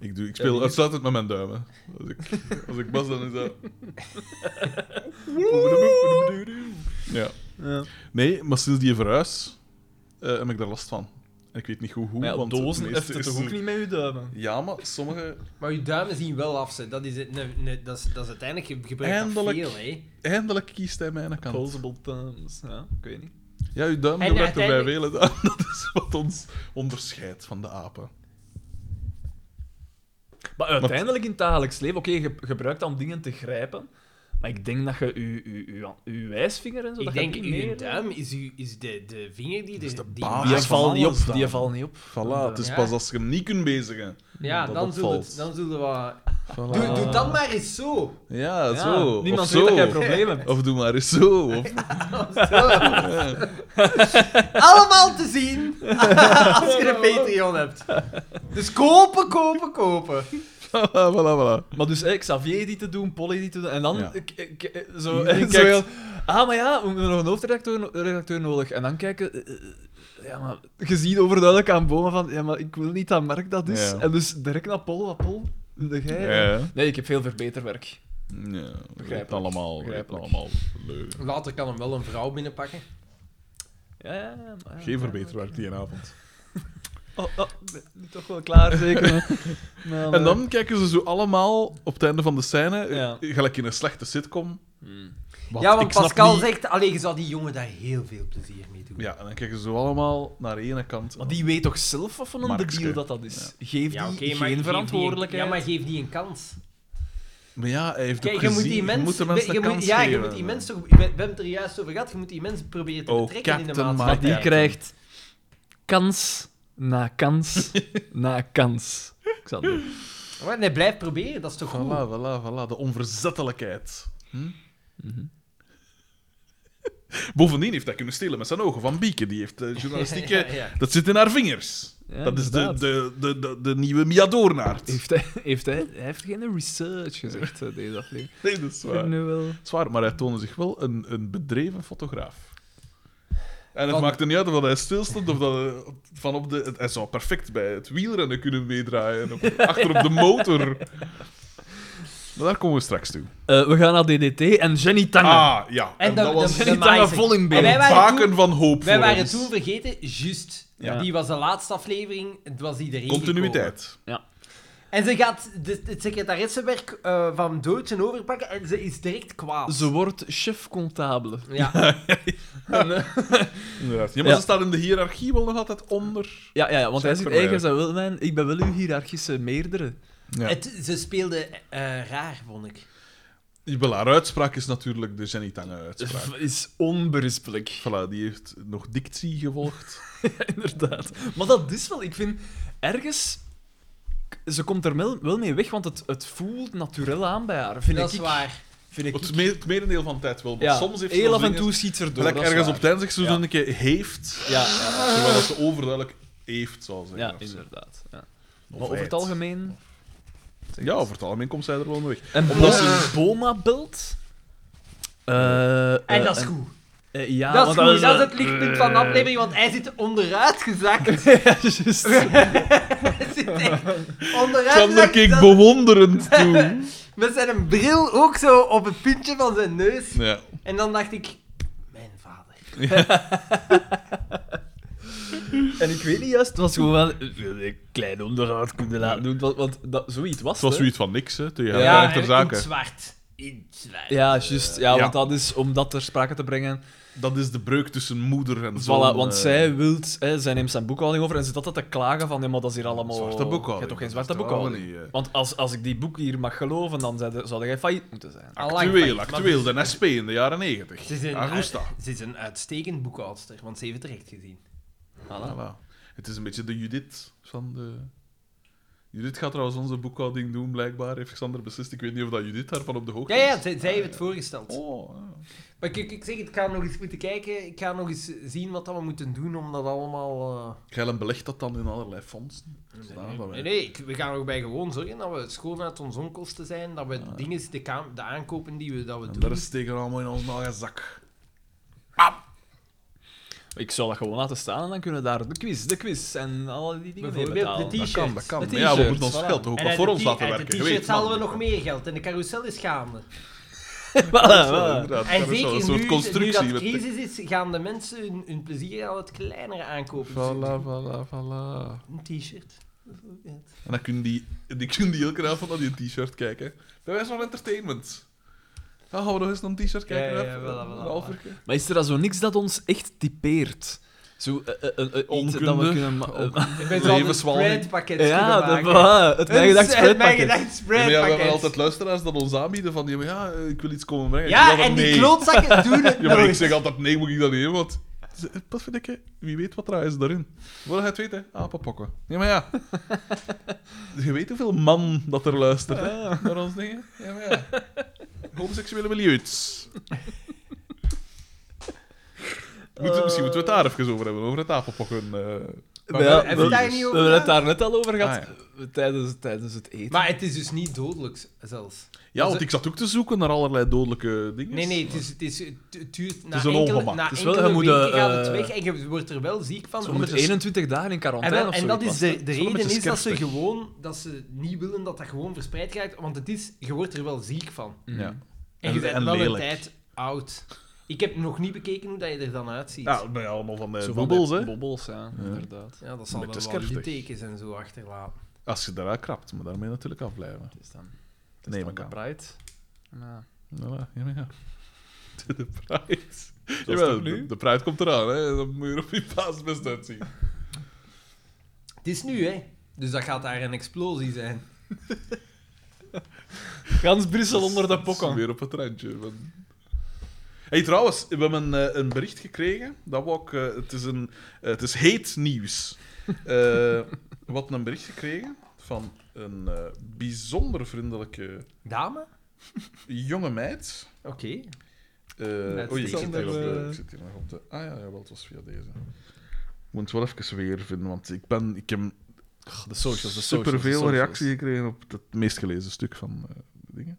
Speaker 2: Ik, doe, ik
Speaker 3: Ja,
Speaker 2: speel
Speaker 3: die-
Speaker 2: uitsluitend met mijn duimen. Als ik, als ik bas, dan is dat... Ja.
Speaker 3: Ja.
Speaker 2: Nee, maar sinds die verhuis eh, heb ik daar last van. En ik weet niet goed hoe,
Speaker 3: Maar ja,
Speaker 2: want
Speaker 3: dozen
Speaker 2: het meeste
Speaker 3: heeft het
Speaker 2: is-
Speaker 3: toch ook niet met je duimen?
Speaker 2: Ja, maar sommige...
Speaker 1: Maar je duimen zien wel af. ze. Dat is, het, ne, ne- dat is, dat is uiteindelijk ge- gebruikt
Speaker 2: Eindelijk.
Speaker 1: dat veel. Hè.
Speaker 2: Eindelijk kiest hij mijn kant.
Speaker 3: Plausible thumbs, ja, ik weet niet.
Speaker 2: Ja, uw duim
Speaker 1: En
Speaker 2: gebruikt er bij
Speaker 1: uiteindelijk-
Speaker 2: velen. Dat is wat ons onderscheidt van de apen.
Speaker 3: Maar uiteindelijk in het dagelijks leven, oké, je gebruikt dan dingen te grijpen, Maar ik denk dat je je, je, je, je wijsvinger en zo...
Speaker 1: Ik
Speaker 3: dat
Speaker 1: denk,
Speaker 3: je die
Speaker 1: uw
Speaker 3: meer-
Speaker 1: duim is, uw, is de, de vinger die...
Speaker 2: is de
Speaker 1: die
Speaker 2: basis.
Speaker 3: Die
Speaker 2: Ah, van
Speaker 3: valt niet
Speaker 2: alles
Speaker 3: op. Die
Speaker 2: dan.
Speaker 3: valt niet op.
Speaker 2: Voilà, het is
Speaker 1: Ja.
Speaker 2: pas als je hem niet kunt bezigen.
Speaker 1: Ja,
Speaker 2: Dat
Speaker 1: dan zullen
Speaker 2: opvalt.
Speaker 1: dan zullen we wat...
Speaker 2: Voilà.
Speaker 1: Doe, doe dat maar eens zo.
Speaker 2: Ja,
Speaker 3: Ja,
Speaker 2: zo.
Speaker 3: Niemand
Speaker 2: of
Speaker 3: weet
Speaker 2: zo.
Speaker 3: dat jij problemen hebt.
Speaker 2: Of doe maar eens zo. Of...
Speaker 1: Zo. Allemaal te zien als je een Patreon hebt. Dus kopen, kopen, kopen.
Speaker 2: voilà, voilà.
Speaker 3: Maar dus eh, Xavier die te doen, Polly die te doen. En dan
Speaker 2: Ja.
Speaker 3: ik, ik- ik- zo,
Speaker 2: Ja,
Speaker 3: en
Speaker 2: kijk.
Speaker 3: zo heel, Ah, maar ja, we hebben nog een hoofdredacteur redacteur nodig. En dan kijken... eh, eh, ja, maar je ziet overduidelijk aan Boma van... Ja, maar ik wil niet dat Mark dat is.
Speaker 2: Ja.
Speaker 3: En dus direct naar Pol. Wat Pol? Wil jij? eh?"
Speaker 2: Ja.
Speaker 3: Nee, ik heb veel verbeterwerk.
Speaker 2: Ja,
Speaker 3: Begrijpelijk.
Speaker 2: begrijp allemaal. Begrijp
Speaker 3: Begrijpelijk.
Speaker 2: allemaal. Leuk.
Speaker 1: Later kan hem wel een vrouw binnenpakken.
Speaker 3: Ja, ja, ja, maar ja.
Speaker 2: Geen verbeterwerk die avond.
Speaker 3: Oh, oh, ben- toch wel klaar, zeker. Maar, eh,
Speaker 2: En dan kijken ze zo allemaal op het einde van de scène,
Speaker 3: Ja.
Speaker 2: eh, gelijk in een slechte sitcom.
Speaker 3: Hmm.
Speaker 1: ja, want
Speaker 2: ik snap
Speaker 1: Pascal
Speaker 2: niet-
Speaker 1: zegt, alleen je zou die jongen daar heel veel plezier mee doen.
Speaker 2: Ja, en dan kijken ze zo allemaal naar de ene kant.
Speaker 3: Maar die weet toch zelf wat van een
Speaker 2: Markske.
Speaker 3: debiel dat dat is? Geef die
Speaker 1: Ja, oké, maar geef die
Speaker 3: geen
Speaker 1: een-
Speaker 3: verantwoordelijkheid.
Speaker 1: ja, maar geef die een kans.
Speaker 2: Maar ja, hij heeft ook
Speaker 1: Kijk, je moet
Speaker 2: gezien-
Speaker 1: die mens...
Speaker 2: je moet de mensen
Speaker 1: je
Speaker 2: een
Speaker 1: moet-
Speaker 2: kans
Speaker 1: ja, je
Speaker 2: geven.
Speaker 1: moet die mens toch... We we hebben het er juist over gehad. Je moet die mensen proberen te
Speaker 2: Oh,
Speaker 1: betrekken in de
Speaker 2: Captain
Speaker 3: Maar
Speaker 1: maatschappij.
Speaker 3: die
Speaker 2: Ja.
Speaker 3: krijgt kans na kans na kans. Xander.
Speaker 1: Maar nee, blijf proberen. Dat is toch goed.
Speaker 2: Voilà, voilà, voilà. De onverzettelijkheid. Hm?
Speaker 3: Mhm.
Speaker 2: Bovendien heeft hij kunnen stelen met zijn ogen van Bieke. Die heeft eh, journalistieke...
Speaker 1: Ja, ja.
Speaker 2: Dat zit in haar vingers.
Speaker 3: Ja,
Speaker 2: dat is de,
Speaker 3: inderdaad.
Speaker 2: de, de, de, de nieuwe Mia Doornaert.
Speaker 3: Heeft hij, heeft hij, hij heeft geen research gezegd eh, deze aflevering.
Speaker 2: Nee, dat is
Speaker 3: Ik vind
Speaker 2: waar.
Speaker 3: nu wel.
Speaker 2: Zwaar, maar hij toonde zich wel een, een bedreven fotograaf. En het
Speaker 1: Van-
Speaker 2: maakte niet uit of hij stilstond of dat hij, van op de... Hij zou perfect bij het wielrennen kunnen meedraaien. Of achter op de motor. Maar daar komen we straks toe.
Speaker 3: Eh, we gaan naar DDT en Jenny Tange.
Speaker 2: Ah, ja. En,
Speaker 1: En
Speaker 2: dat
Speaker 1: dan-
Speaker 2: was
Speaker 1: dan-
Speaker 2: een
Speaker 3: Jenny Tange
Speaker 1: amazing.
Speaker 3: vol in beeld.
Speaker 1: En wij waren
Speaker 2: baken
Speaker 1: toen-
Speaker 2: van hoop
Speaker 1: Wij
Speaker 2: voor
Speaker 1: waren
Speaker 2: ons.
Speaker 1: toen vergeten, juist.
Speaker 3: Ja.
Speaker 1: Die was de laatste aflevering. Het was iedereen
Speaker 2: Continuïteit.
Speaker 1: gekomen. En ze gaat de, het secretaressenwerk eh, van Doodje overpakken en ze is direct kwaad.
Speaker 3: Ze wordt chef comptabele.
Speaker 1: Ja.
Speaker 3: En, eh,
Speaker 2: Inderdaad. Ja, maar
Speaker 3: Ja.
Speaker 2: ze staat in de hiërarchie wel nog altijd onder.
Speaker 3: ja, ja, ja, want hij
Speaker 2: Chef
Speaker 3: zit
Speaker 2: erbij.
Speaker 3: eigen zijn wil mijn. Ik ben wel uw hiërarchische meerdere.
Speaker 2: Ja.
Speaker 1: Het, ze speelde eh, raar, vond ik.
Speaker 2: Wel, haar uitspraak is natuurlijk de Jenny Tange uitspraak.
Speaker 3: Is onberispelijk.
Speaker 2: Voilà, die heeft nog dictie gevolgd.
Speaker 3: Inderdaad. Maar dat is wel, ik vind ergens. Ze komt er wel, wel mee weg, want het, het voelt natuurlijk aan bij haar. Vind
Speaker 1: dat
Speaker 3: ik,
Speaker 1: is waar.
Speaker 3: Vind ik.
Speaker 2: Het, me- het merendeel van de tijd wel, maar
Speaker 3: ja,
Speaker 2: soms heeft ze
Speaker 3: heel
Speaker 2: wel
Speaker 3: af en
Speaker 2: dingen-
Speaker 3: toe schiet ze erdoor.
Speaker 2: Gelijk
Speaker 3: dat is
Speaker 2: ergens op
Speaker 3: waar.
Speaker 2: het einde zegt ze
Speaker 3: Ja.
Speaker 2: zo'n een keer heeft,
Speaker 3: Ja, ja,
Speaker 2: terwijl dat ze overduidelijk heeft, zou zeggen.
Speaker 3: ja,
Speaker 2: of zo.
Speaker 3: inderdaad. Ja.
Speaker 2: Of
Speaker 3: Maar over het
Speaker 2: het.
Speaker 3: algemeen.
Speaker 2: Ja, over het algemeen komt zij er wel mee weg.
Speaker 3: En
Speaker 2: Omdat
Speaker 3: omdat
Speaker 2: ze-
Speaker 3: ze Boma belt. eh, eh,
Speaker 1: En dat is goed.
Speaker 3: eh, ja,
Speaker 1: dat is
Speaker 3: want
Speaker 1: goed. Dat is,
Speaker 3: eh,
Speaker 1: het lichtpunt van de aflevering, want hij zit onderuit gezakt.
Speaker 3: ja, juist.
Speaker 1: hij zit echt onderuit
Speaker 2: Xander
Speaker 1: gezakt.
Speaker 2: keek
Speaker 1: Dat-
Speaker 2: bewonderend toe.
Speaker 1: Met zijn bril ook zo op het puntje van zijn neus.
Speaker 2: Ja.
Speaker 1: En dan dacht ik, mijn vader.
Speaker 3: En ik weet niet juist, het was gewoon wel eh, een klein onderhoud kunnen laten doen, want, want dat, zoiets was
Speaker 2: Het was
Speaker 3: het, hè?
Speaker 2: zoiets van niks, hè, tegen
Speaker 3: Ja,
Speaker 2: haar
Speaker 1: en
Speaker 2: ter
Speaker 1: in het
Speaker 2: zake.
Speaker 1: zwart. In het zwart.
Speaker 3: Ja, juist. Ja,
Speaker 2: ja.
Speaker 3: want dat is om dat ter sprake te brengen.
Speaker 2: Dat is de breuk tussen moeder en zoon.
Speaker 3: Voilà, want
Speaker 2: eh,
Speaker 3: zij wilt, hè, zij neemt zijn boekhouding over en ze zat dat te klagen van, ja, maar dat is hier allemaal...
Speaker 2: Zwarte boekhouding.
Speaker 3: Je hebt toch geen zwarte
Speaker 2: Dat is toch allemaal
Speaker 3: boekhouding?
Speaker 2: niet,
Speaker 3: Want als, als ik die boek hier mag geloven, dan zou zou jij failliet moeten zijn.
Speaker 1: Allang
Speaker 2: Actueel,
Speaker 1: feit,
Speaker 2: actueel.
Speaker 1: maar
Speaker 2: De SP in de jaren negentig.
Speaker 1: Ze is, een,
Speaker 2: Augusta.
Speaker 1: uit- ze is een uitstekend boekhoudster, want ze heeft het recht gezien.
Speaker 3: Voilà.
Speaker 2: Voilà. Het is een beetje de Judith van de... Judith gaat trouwens onze boekhouding doen, blijkbaar. Heeft Xander beslist. Ik weet niet of dat Judith daarvan op de hoogte
Speaker 1: Ja, ja,
Speaker 2: is.
Speaker 1: zij, zij heeft het voorgesteld.
Speaker 2: Oh, ja.
Speaker 1: Maar kijk, ik zeg het, ik ga nog eens moeten kijken. Ik ga nog eens zien wat dat we moeten doen om dat allemaal... eh,
Speaker 2: Geilen belegt dat dan in allerlei fondsen. Zodanig dat
Speaker 1: Nee,
Speaker 2: wij-
Speaker 1: nee, ik- we gaan er ook bij gewoon zorgen dat we schoon uit onze onkosten zijn, dat we dingen, de, kaam- de aankopen die we, dat we
Speaker 2: En daar
Speaker 1: doen...
Speaker 2: steken we allemaal in ons eigen zak.
Speaker 3: Ik zou dat gewoon laten staan en dan kunnen daar de quiz, de quiz en al die dingen mee betalen.
Speaker 1: Bijvoorbeeld de
Speaker 2: Dat kan, dat
Speaker 1: t-shirts.
Speaker 2: kan.
Speaker 3: Met
Speaker 2: Maar ja, we
Speaker 3: t-shirts,
Speaker 2: moeten ons
Speaker 3: voilà.
Speaker 2: geld toch ook
Speaker 1: En
Speaker 2: wat
Speaker 1: uit
Speaker 2: voor
Speaker 1: de
Speaker 2: ons
Speaker 1: t-
Speaker 2: laten
Speaker 1: uit de
Speaker 2: werken. je
Speaker 1: t-shirts
Speaker 2: weet,
Speaker 1: halen we
Speaker 2: man.
Speaker 1: nog meer geld en de carousel is gaande.
Speaker 3: Voilà,
Speaker 2: Wel,
Speaker 3: voilà.
Speaker 2: inderdaad,
Speaker 1: Ah, En
Speaker 2: dat is wel
Speaker 1: zeker
Speaker 2: een
Speaker 1: nu,
Speaker 2: soort
Speaker 1: nu
Speaker 2: constructie.
Speaker 1: dat
Speaker 2: met-
Speaker 1: crisis is, gaan de mensen hun, hun plezier aan het kleinere aankopen. Dus
Speaker 2: Voilà, voilà, voilà.
Speaker 1: Een t-shirt.
Speaker 2: En dan kunnen die, die, kunnen die elke avond naar die t-shirt kijken. Dat is wel entertainment. Dan gaan we nog eens naar een t-shirt kijken.
Speaker 1: Ja, ja,
Speaker 2: hè?
Speaker 1: ja, voilà, voilà,
Speaker 2: Een half uurtje.
Speaker 3: Maar is er dan zo niks dat ons echt typeert? Zo, eh, eh, eh, eh, iets
Speaker 2: Onkunde.
Speaker 3: dat we kunnen... ma- eh,
Speaker 1: Ik ben zo'n
Speaker 2: Levenswalging.
Speaker 1: spreadpakket
Speaker 3: ja,
Speaker 1: kunnen
Speaker 3: dat,
Speaker 1: maken.
Speaker 3: voilà, het
Speaker 1: Een
Speaker 3: bijgedacht
Speaker 1: s- het
Speaker 3: spreadpakket.
Speaker 1: bijgedacht
Speaker 2: Ja, maar ja, we hebben
Speaker 1: spreadpakket.
Speaker 2: altijd luisteraars dat ons aanbieden van, ja, maar ja, eh, ik wil iets komen brengen. Ik zeg
Speaker 1: Ja,
Speaker 2: altijd
Speaker 1: en die
Speaker 2: nee.
Speaker 1: klootzakken doen het
Speaker 2: Ja, maar ik
Speaker 1: nooit.
Speaker 2: zeg altijd nee, moet ik dat niet doen, want... Pas vind ik, hè. wie weet wat er is daarin. Wil je het weten? Apenpokken. Ja, maar ja. Je weet hoeveel man dat er luistert, hè, naar ons dingen. Ja, maar ja. Homoseksuele milieus. Moeten, misschien moeten we het daar even over hebben, over het apenpokken. eh,
Speaker 3: Ja,
Speaker 1: Heb je
Speaker 3: dat-
Speaker 1: daar niet
Speaker 3: We
Speaker 1: over
Speaker 3: hebben het
Speaker 1: gedaan?
Speaker 3: daar net al over gehad,
Speaker 2: Ah,
Speaker 3: tijdens, tijdens het eten.
Speaker 1: Maar het is dus niet dodelijk zelfs.
Speaker 2: Ja, want ik zat ook te zoeken naar allerlei dodelijke dingen.
Speaker 1: Nee, nee, het, is, het, is, het duurt na
Speaker 2: is een
Speaker 1: enkele,
Speaker 2: ongemak.
Speaker 1: na
Speaker 3: Het is wel- je
Speaker 1: enkele
Speaker 3: moet,
Speaker 1: weken
Speaker 3: eh,
Speaker 1: gaat het weg en je wordt er wel ziek van.
Speaker 3: Zo
Speaker 1: omdat
Speaker 3: moet
Speaker 1: het-
Speaker 3: 21 dagen in
Speaker 1: En,
Speaker 3: quarantaine
Speaker 1: wel-
Speaker 3: of
Speaker 1: en
Speaker 3: zo.
Speaker 1: dat is de, de
Speaker 2: wel een
Speaker 1: reden
Speaker 2: beetje
Speaker 1: is dat ze
Speaker 2: scherpig.
Speaker 1: gewoon dat ze niet willen dat dat gewoon verspreid raakt, want het is, je wordt er wel ziek van.
Speaker 2: Ja.
Speaker 1: En,
Speaker 2: En-
Speaker 1: je bent
Speaker 2: en
Speaker 1: wel een
Speaker 2: lelijk.
Speaker 1: tijd oud. Ik heb nog niet bekeken hoe dat je er dan uitziet.
Speaker 2: Ja, dat ben je allemaal van de
Speaker 3: Zo van
Speaker 2: bobbels,
Speaker 3: die
Speaker 2: hè.
Speaker 3: Bobbels, ja, inderdaad.
Speaker 1: Ja, dat zal
Speaker 2: Met de
Speaker 1: wel wat
Speaker 2: scherpte.
Speaker 1: littekens en zo achterlaten.
Speaker 2: Als je daaruit krapt, maar daarmee natuurlijk afblijven.
Speaker 3: Het is dan, het is
Speaker 2: Nee,
Speaker 3: dan
Speaker 2: maar
Speaker 3: de
Speaker 2: kan.
Speaker 3: Pride. Ja.
Speaker 2: Voilà, Nou, ja, maar ja. De Pride.
Speaker 3: het
Speaker 2: Jawel,
Speaker 3: toch nu?
Speaker 2: de, de Pride komt eraan, hè. Dan moet je er op je paas best uitzien.
Speaker 1: Het is nu, hè. Dus dat gaat daar een explosie zijn.
Speaker 3: Gans Brussel onder de
Speaker 2: Dat is
Speaker 3: pokken.
Speaker 2: Weer op het randje. van- hey, trouwens, we hebben een, eh, een bericht gekregen. Dat wou ik, eh, het, is een, eh, het is heet nieuws. Eh wat een bericht gekregen van een eh, bijzonder vriendelijke
Speaker 1: Dame?
Speaker 2: jonge meid.
Speaker 1: Oké.
Speaker 2: Eh
Speaker 1: Net
Speaker 2: oei, ik
Speaker 1: iets
Speaker 2: zit, hier op de,
Speaker 3: anders,
Speaker 2: ik zit hier nog op de... Ah ja, jawel, het was via deze. Ik moet het wel even weer vinden, want ik, ben, ik heb
Speaker 3: De socials, de socials. de
Speaker 2: superveel
Speaker 3: socials.
Speaker 2: reactie gekregen op het meest gelezen stuk van eh, dingen.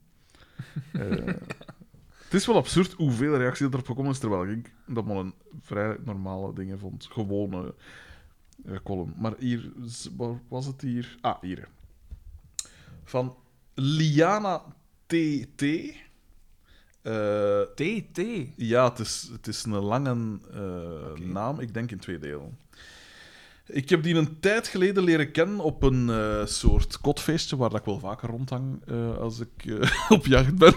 Speaker 2: Eh, het is wel absurd hoeveel reacties er op gekomen is, terwijl ik dat maar een vrij normale dingen vond. Gewone eh, column. Maar hier, z- waar was het hier? Ah, hier. Van Liana TT. Eh,
Speaker 3: TT.
Speaker 2: ja, het is, het is een lange eh, naam. Ik denk in twee delen. Ik heb die een tijd geleden leren kennen op een eh, soort kotfeestje, waar dat ik wel vaker rondhang eh, als ik eh, op jacht ben.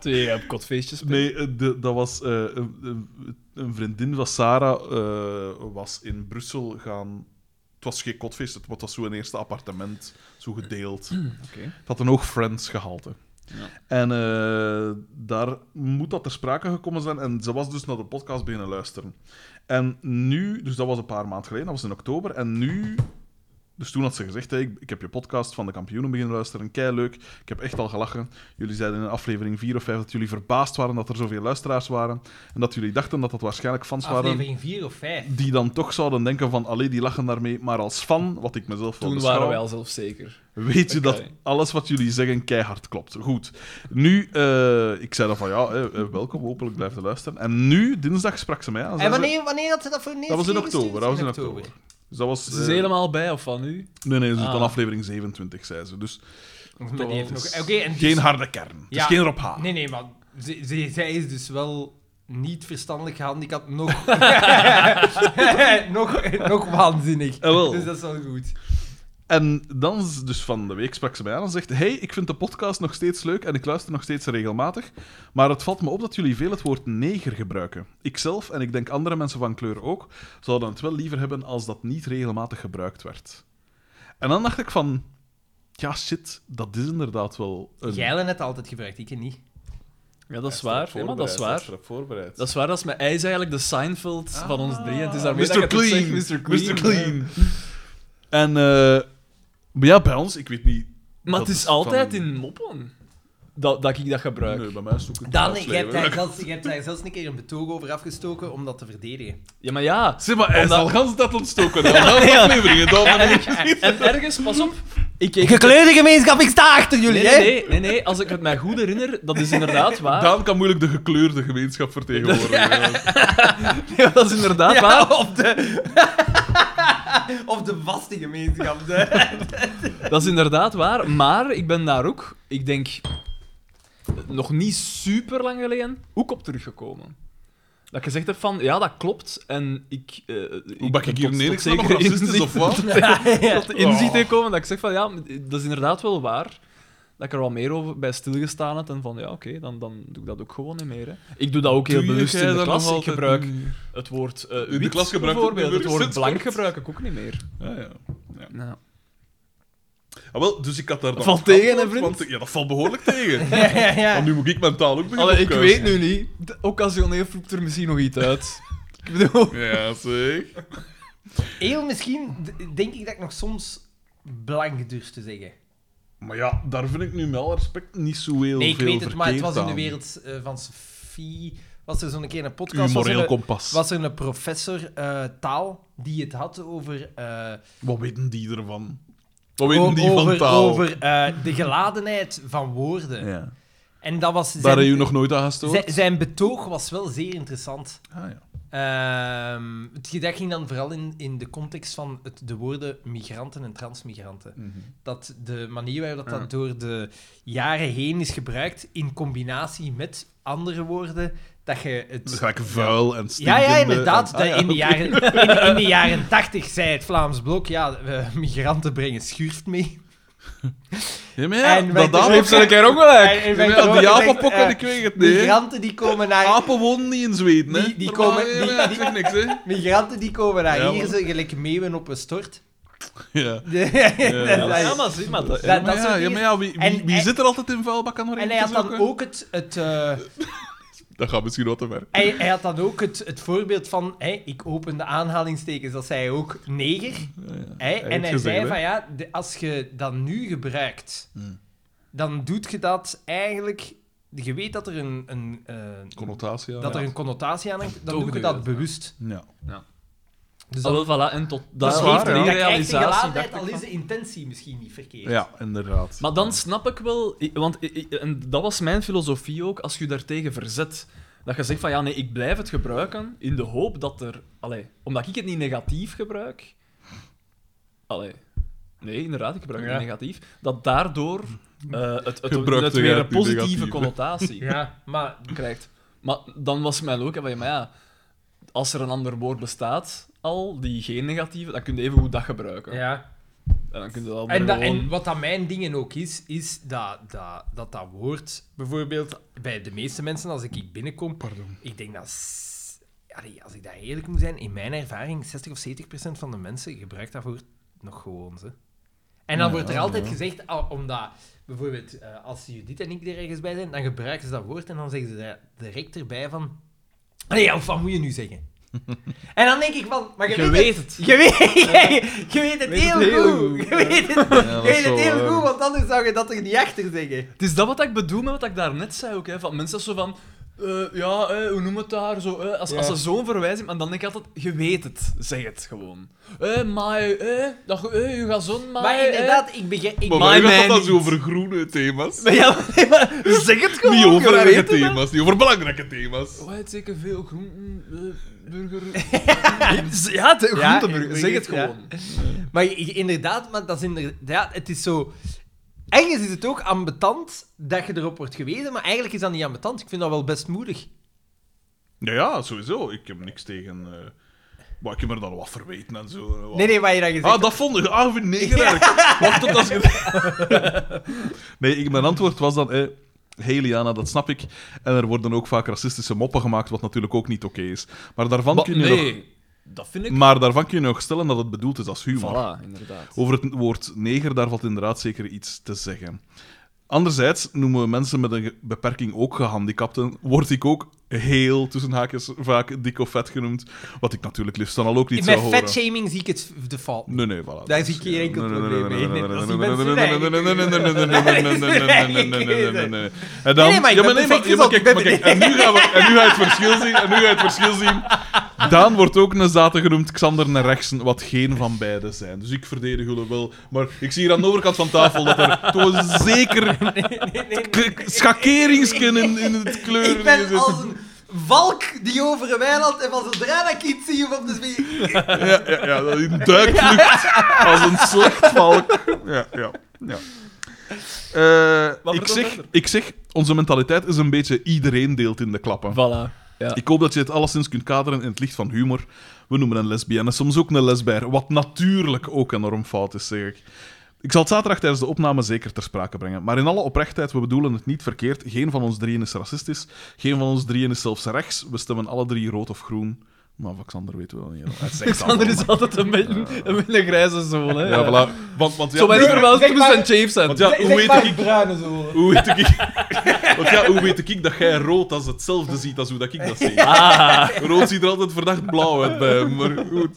Speaker 3: Twee eh, kotfeestjes.
Speaker 2: Nee, eh, de, dat was eh, een, een- een vriendin van Sarah eh, was in Brussel gaan. Het was geen kotfeest, het was zo'n eerste appartement, zo gedeeld.
Speaker 3: Oké.
Speaker 2: Het had een hoog Friends gehalte.
Speaker 3: Ja.
Speaker 2: En eh, daar moet dat ter sprake gekomen zijn. En ze was dus naar de podcast beginnen luisteren. En nu, dus dat was een paar maanden geleden, dat was in oktober. En nu, dus toen had ze gezegd: hey, ik, ik heb je podcast van de kampioenen beginnen luisteren. Kei leuk. Ik heb echt al gelachen. Jullie zeiden in aflevering 4 of 5 dat jullie verbaasd waren dat er zoveel luisteraars waren. En dat jullie dachten dat dat waarschijnlijk fans waren.
Speaker 1: Aflevering 4 of 5.
Speaker 2: Die dan toch zouden denken van, allee, die lachen daarmee, maar als fan, wat ik mezelf wel
Speaker 3: Toen
Speaker 2: beschouw-
Speaker 3: waren wij al zelfzeker.
Speaker 2: Weet je
Speaker 3: Oké.
Speaker 2: dat alles wat jullie zeggen keihard klopt? Goed. Nu, eh, ik zei dan van ja, eh, eh, welkom, hopelijk blijf je luisteren. En nu, dinsdag, sprak ze mij aan. zei
Speaker 1: En
Speaker 2: ze-
Speaker 1: wanneer, wanneer had ze dat voor het
Speaker 2: Dat was in
Speaker 1: eerst
Speaker 2: oktober. Dat was in
Speaker 1: gestuurd?
Speaker 2: oktober. Dus dat was.
Speaker 3: Ze is
Speaker 2: eh,
Speaker 3: helemaal bij, of van nu?
Speaker 2: Nee, nee, dat is
Speaker 3: Ah.
Speaker 2: dan aflevering 27, zei ze. Dus
Speaker 1: Maar die heeft nog...
Speaker 2: het is
Speaker 1: Oké, en
Speaker 2: geen
Speaker 1: dus-
Speaker 2: harde kern. Het
Speaker 1: Ja.
Speaker 2: is geen Rob H.
Speaker 1: Nee, nee, maar ze, ze- zij is dus wel niet verstandelijk gehandicapt, nog, nog, nog waanzinnig.
Speaker 2: Eh, wel.
Speaker 1: Dus dat is wel goed.
Speaker 2: En dan, z- dus van de week sprak ze mij aan en zegt: Hey, ik vind de podcast nog steeds leuk en ik luister nog steeds regelmatig. Maar het valt me op dat jullie veel het woord neger gebruiken. Ikzelf en ik denk andere mensen van kleur ook, zouden het wel liever hebben als dat niet regelmatig gebruikt werd. En dan dacht ik van. Ja, shit, dat is inderdaad wel een.
Speaker 1: Jij hebt het altijd gebruikt, ik niet.
Speaker 3: Ja, dat is waar. Ja, maar dat is waar.
Speaker 2: voorbereid. Ah.
Speaker 3: Dat is waar, dat is mijn ijs eigenlijk de Seinfeld van ons drie. En het is daarmee
Speaker 2: Mr.
Speaker 3: dat ik het
Speaker 2: Clean.
Speaker 3: zeg, Mr. Clean.
Speaker 2: Mr. Clean. En, eh, maar ja, bij ons, ik weet niet.
Speaker 3: Maar
Speaker 2: dat
Speaker 3: het is
Speaker 2: van
Speaker 3: altijd
Speaker 2: een-
Speaker 3: in moppen dat, dat ik dat gebruik.
Speaker 2: Nee, bij mij is het ook een
Speaker 1: Dan,
Speaker 2: thuisleven.
Speaker 1: je, hebt daar zelfs, je hebt daar zelfs een keer een betoog over afgestoken om dat te verdedigen.
Speaker 3: Ja, maar ja.
Speaker 2: Zeg maar, hij is
Speaker 3: Omdat-
Speaker 2: al gans dat ontstoken. Al gans afleveringen, dan
Speaker 3: En,
Speaker 2: ben ik-
Speaker 3: en- en ergens, pas op. Ik keek...
Speaker 4: Gekleurde gemeenschap, ik sta achter jullie,
Speaker 3: Nee,
Speaker 4: hè?
Speaker 3: nee, nee, nee, als ik het mij goed herinner, dat is inderdaad waar.
Speaker 2: Daan kan moeilijk de gekleurde gemeenschap vertegenwoordigen.
Speaker 3: Ja, dat is inderdaad
Speaker 2: oh,
Speaker 3: waar.
Speaker 1: of de... of de vaste gemeenschap. hè.
Speaker 3: Dat is inderdaad waar. Maar ik ben daar ook, ik denk, nog niet super lang geleden, ook op teruggekomen. Dat je zegt hebt van, ja, dat klopt. En ik... eh,
Speaker 2: Hoe bak
Speaker 3: ben
Speaker 2: ik hier
Speaker 3: tot-
Speaker 2: neer?
Speaker 3: tot
Speaker 2: Ik ben nog
Speaker 3: zekere
Speaker 2: racist,
Speaker 3: inzicht-
Speaker 2: of wat?
Speaker 3: tot inzicht gekomen dat ik zeg van, ja, dat is inderdaad wel waar. dat ik er wat meer over bij stilgestaan had. En van ja, oké, dan, dan doe ik dat ook gewoon niet meer. Hè. Ik doe dat ook heel
Speaker 2: Doe
Speaker 3: bewust
Speaker 2: jij
Speaker 3: in de
Speaker 2: dat
Speaker 3: klas.
Speaker 2: nog
Speaker 3: Ik
Speaker 2: altijd
Speaker 3: gebruik
Speaker 2: niet?
Speaker 3: het woord eh
Speaker 2: de
Speaker 3: wit,
Speaker 2: klas gebruik ik ook
Speaker 3: bijvoorbeeld.
Speaker 2: niet
Speaker 3: Het
Speaker 2: meer,
Speaker 3: woord
Speaker 2: sinds
Speaker 3: blank
Speaker 2: kort.
Speaker 3: gebruik ik ook niet meer.
Speaker 2: Ja, ja.
Speaker 3: Ja.
Speaker 2: Ah, wel, dus ik had daar dan...
Speaker 3: Valt
Speaker 2: op
Speaker 3: tegen, hè,
Speaker 2: geantwoord,
Speaker 3: vriend?
Speaker 2: want- Ja, dat valt behoorlijk tegen.
Speaker 4: Ja, ja, ja.
Speaker 2: Want nu moet ik mentaal ook beginnen
Speaker 3: Allee, ik
Speaker 2: opkuisen.
Speaker 3: weet nu niet. De- Occasioneel vloept er misschien nog iets uit. ik bedoel...
Speaker 2: Ja, zeg.
Speaker 1: Heel misschien d- denk ik dat ik nog soms blank durf te zeggen.
Speaker 2: Maar ja, daar vind ik nu met alle respect niet zo heel
Speaker 1: Nee, ik
Speaker 2: veel
Speaker 1: weet het, maar het was in de
Speaker 2: verkeerd aan.
Speaker 1: wereld eh, van Sophie. Was er zo'n keer een
Speaker 2: Uw
Speaker 1: podcast? Was er
Speaker 2: moreel
Speaker 1: een,
Speaker 2: kompas.
Speaker 1: was er een professor eh, taal die het had over. eh,
Speaker 2: Wat weten die ervan? Wat weten die
Speaker 1: over,
Speaker 2: van taal?
Speaker 1: over eh, de geladenheid van woorden.
Speaker 2: Ja.
Speaker 1: En dat was. Zijn,
Speaker 2: Daar heb je nog nooit aan gestoord?
Speaker 1: zijn, zijn betoog was wel zeer interessant.
Speaker 2: Ah, ja.
Speaker 1: Ehm, het dat ging dan vooral in, in de context van het, de woorden migranten en transmigranten. Dat de manier waarop dat,
Speaker 3: Ja.
Speaker 1: door de jaren heen is gebruikt, in combinatie met andere woorden, dat je
Speaker 2: Dus
Speaker 1: het...
Speaker 2: ga ik vuil en
Speaker 1: Ja,
Speaker 2: stinkende...
Speaker 1: ja, inderdaad.
Speaker 2: en- ah,
Speaker 1: dat
Speaker 2: ja,
Speaker 1: in, de
Speaker 2: oké.
Speaker 1: jaren, in, in de jaren tachtig zei het Vlaams Blok, ja, eh, migranten brengen schurft mee.
Speaker 2: Ja, maar ja,
Speaker 1: En wij-
Speaker 2: dat daar
Speaker 1: Heeft ze een
Speaker 2: keer ook
Speaker 1: En- en
Speaker 2: Ja,
Speaker 1: wij-
Speaker 2: maar ja, die
Speaker 1: ook-
Speaker 2: apenpokken,
Speaker 1: eh,
Speaker 2: ik weet het niet. hè. Ah.
Speaker 1: Migranten die komen naar
Speaker 2: Apen wonen niet in Zweden, hè.
Speaker 1: Die- die
Speaker 2: Maar,
Speaker 1: komen-
Speaker 2: ah, ja,
Speaker 1: die-
Speaker 2: ja, ik
Speaker 1: die-
Speaker 2: zeg niks, hè.
Speaker 1: Migranten die komen naar
Speaker 2: Ja,
Speaker 1: hier,
Speaker 2: man.
Speaker 1: ze gelijk meeuwen op een stort.
Speaker 2: Ja.
Speaker 3: Ja, maar zie maar. dat-
Speaker 1: Ja,
Speaker 2: maar
Speaker 1: dat
Speaker 2: ja,
Speaker 1: soort
Speaker 2: ja,
Speaker 1: dingen.
Speaker 2: maar ja, wie, wie,
Speaker 1: En-
Speaker 2: wie
Speaker 1: en-
Speaker 2: zit er altijd in vuilbakken nog
Speaker 1: En hij
Speaker 2: eentje
Speaker 1: had dan
Speaker 2: zoeken?
Speaker 1: ook het... het eh,
Speaker 2: Dat gaat misschien wat te ver.
Speaker 1: Hij, hij had dan ook het, het voorbeeld van, hè, ik open de aanhalingstekens, dat zei hij ook neger.
Speaker 2: Ja, ja.
Speaker 1: Hè, en
Speaker 2: heeft
Speaker 1: hij
Speaker 2: gezegd,
Speaker 1: zei
Speaker 2: hè.
Speaker 1: van ja, de- als je dat nu gebruikt,
Speaker 2: Hmm.
Speaker 1: dan doet je dat eigenlijk. Je weet dat er een, een, eh,
Speaker 2: Connotatie, ja.
Speaker 1: dat er
Speaker 2: ja.
Speaker 1: een connotatie aan hangt, dan
Speaker 3: Toch
Speaker 1: doe je
Speaker 3: bedoeld,
Speaker 1: dat bewust.
Speaker 2: Ja.
Speaker 1: Dus
Speaker 3: Ah,
Speaker 1: dat,
Speaker 3: wel, voilà, en tot
Speaker 1: dat
Speaker 3: daar
Speaker 1: geeft
Speaker 3: heeft
Speaker 2: waar, ja.
Speaker 1: een
Speaker 3: die
Speaker 1: dat krijgt de
Speaker 3: realisatie.
Speaker 1: gelatenheid,
Speaker 3: dacht
Speaker 1: al
Speaker 3: ik
Speaker 1: is
Speaker 3: van.
Speaker 1: de intentie misschien niet verkeerd.
Speaker 2: ja, inderdaad.
Speaker 3: Maar dan snap ik wel, i- want i- i- en dat was mijn filosofie ook, als je daartegen verzet. Dat je zegt van ja, nee, ik blijf het gebruiken in de hoop dat er. Allee, omdat ik het niet negatief gebruik. Allee. Nee, inderdaad, ik gebruik het
Speaker 1: Ja.
Speaker 3: niet negatief. Dat daardoor eh, het, het, het,
Speaker 2: Gebruikte jij
Speaker 3: weer een
Speaker 2: het niet
Speaker 3: positieve
Speaker 2: negatief, hè?
Speaker 3: connotatie
Speaker 1: Ja, maar
Speaker 3: krijgt. Maar dan was mijn ook, hè, van, ja, maar ja, als er een ander woord bestaat al, die geen negatieve, dan kun je even goed dat gebruiken.
Speaker 1: ja.
Speaker 3: En dan kun je dat
Speaker 1: En, dat-
Speaker 3: gewoon...
Speaker 1: en wat dat mijn dingen ook is, is dat dat, dat dat woord bijvoorbeeld bij de meeste mensen, als ik hier binnenkom,
Speaker 2: Pardon.
Speaker 1: ik denk dat, s- allee, als ik daar eerlijk moet zijn, in mijn ervaring 60 of 70 procent van de mensen gebruikt dat woord nog gewoon. Ze. En dan
Speaker 2: Ja,
Speaker 1: wordt er altijd
Speaker 2: ja.
Speaker 1: gezegd, ah, omdat bijvoorbeeld eh, als Judith en ik er ergens bij zijn, dan gebruiken ze dat woord en dan zeggen ze daar direct erbij van, allee, ja, wat moet je nu zeggen? en dan denk ik van, maar je, weet het.
Speaker 3: het.
Speaker 1: Je weet, je weet het heel goed. Je weet het
Speaker 2: Ja,
Speaker 1: ik weet het
Speaker 2: wel
Speaker 1: heel
Speaker 2: waar.
Speaker 1: goed, want anders zou je dat er niet achter zeggen.
Speaker 3: Het is dat wat ik bedoel met wat ik daarnet zei ook. Hè, van mensen zo van. eh, ja, eh, hoe noem het daar? Zo, eh, als, als ze zo'n verwijzing. En dan denk ik altijd: je weet het, zeg het gewoon. Eh, maar, eh, dat, eh, je gaat zo'n maar.
Speaker 1: Maar
Speaker 3: eh.
Speaker 1: inderdaad, ik begrijp... Ik
Speaker 2: Maar
Speaker 3: My
Speaker 2: wij
Speaker 3: man
Speaker 2: gaan dat
Speaker 3: niet.
Speaker 2: zo over groene thema's.
Speaker 3: Maar ja, nee, maar zeg het gewoon.
Speaker 2: Niet
Speaker 3: je
Speaker 2: over
Speaker 3: weet
Speaker 2: erge
Speaker 3: het, hè.
Speaker 2: thema's, niet over belangrijke thema's.
Speaker 3: Oh, het zeker veel groenten, eh, burger. ja, de
Speaker 1: Ja,
Speaker 3: groenteburger.
Speaker 1: ik
Speaker 3: zeg
Speaker 1: weet
Speaker 3: het
Speaker 1: het, ja.
Speaker 3: gewoon.
Speaker 1: Maar i- inderdaad, maar dat is inderdaad... Het is zo... Ergens is het ook ambetant dat je erop wordt gewezen, maar eigenlijk is dat niet ambetant. Ik vind dat wel best moedig.
Speaker 2: Ja, ja, sowieso. Ik heb niks tegen... eh, Maar ik heb er dan wat verweten en zo. eh, wat-
Speaker 1: Nee, nee, wat je dan gezegd
Speaker 2: Ah, dat vond ik. Ah, vind ik eigenlijk. Wacht tot als je... nee, ik, mijn antwoord was dan... Eh, hey Liana, dat snap ik. En er worden ook vaak racistische moppen gemaakt, wat natuurlijk ook niet oké is. Maar daarvan,
Speaker 3: Maar
Speaker 2: kun je
Speaker 3: nee, dat vind ik.
Speaker 2: nog, maar daarvan kun je nog stellen dat het bedoeld is als humor.
Speaker 3: Voilà, inderdaad.
Speaker 2: Over het woord neger, daar valt inderdaad zeker iets te zeggen. Anderzijds noemen we mensen met een ge- beperking ook gehandicapten. Word ik ook heel, tussen haakjes, vaak dik of vet genoemd. Wat ik natuurlijk liefst dan al ook niet
Speaker 1: Met
Speaker 2: zou horen.
Speaker 1: fatshaming zie ik het v- de fout.
Speaker 2: Nee, nee, voilà.
Speaker 1: Daar zie ik geen enkel probleem mee. Nee, als die mensen hun eigen keuze-
Speaker 2: En dan...
Speaker 1: Nee, nee, maar ik
Speaker 2: ja,
Speaker 1: ben
Speaker 2: maar nee, maar,
Speaker 1: perfect
Speaker 2: ja, maar
Speaker 1: gezond,
Speaker 2: kijk,
Speaker 1: ik ben
Speaker 2: maar kijk, en nu gaan we... En nu ga je het verschil zien, en nu ga je het verschil zien. Daan wordt ook een zaten genoemd, Xander en Rexen, wat geen van beiden zijn. Dus ik verdedig jullie wel. Maar ik zie hier aan de overkant van tafel dat er toch een zeker k- schakeringsken in, in het kleuren
Speaker 1: Ik ben
Speaker 2: zit.
Speaker 1: als een valk die over een weiland en van zodra dat ik iets zie dus of op de zee...
Speaker 2: Ja, ja, ja, dat hij een duik vlucht als een slecht valk. Ja, ja, ja. Eh,
Speaker 3: Wat
Speaker 2: ik,
Speaker 3: vertelt
Speaker 2: zeg,
Speaker 3: verder?
Speaker 2: ik zeg, onze mentaliteit is een beetje iedereen deelt in de klappen.
Speaker 3: Voilà. Ja.
Speaker 2: Ik hoop dat je het alleszins kunt kaderen in het licht van humor. We noemen een lesbienne soms ook een lesbier, wat natuurlijk ook enorm fout is, zeg ik. Ik zal het zaterdag tijdens de opname zeker ter sprake brengen. Maar in alle oprechtheid, we bedoelen het niet verkeerd. Geen van ons drieën is racistisch. Geen van ons drieën is zelfs rechts. We stemmen alle drie rood of groen. Maar van Xander weten we wel niet. Hij zegt
Speaker 3: Xander
Speaker 2: allemaal,
Speaker 3: is altijd een beetje een, beetje een grijze zoon. Hè.
Speaker 2: maar- Ja, voilà. Want, want, ja,
Speaker 3: Zo weinig
Speaker 2: nee,
Speaker 3: verwelkomst
Speaker 1: maar-
Speaker 3: en James zijn.
Speaker 2: want ja, hoe weet ik...
Speaker 1: bruine zo.
Speaker 2: Hoe weet ik... Want ja, hoe weet ik dat jij rood als hetzelfde ziet als hoe dat ik dat zie? Rood ziet er altijd verdacht blauw uit bij hem, maar goed.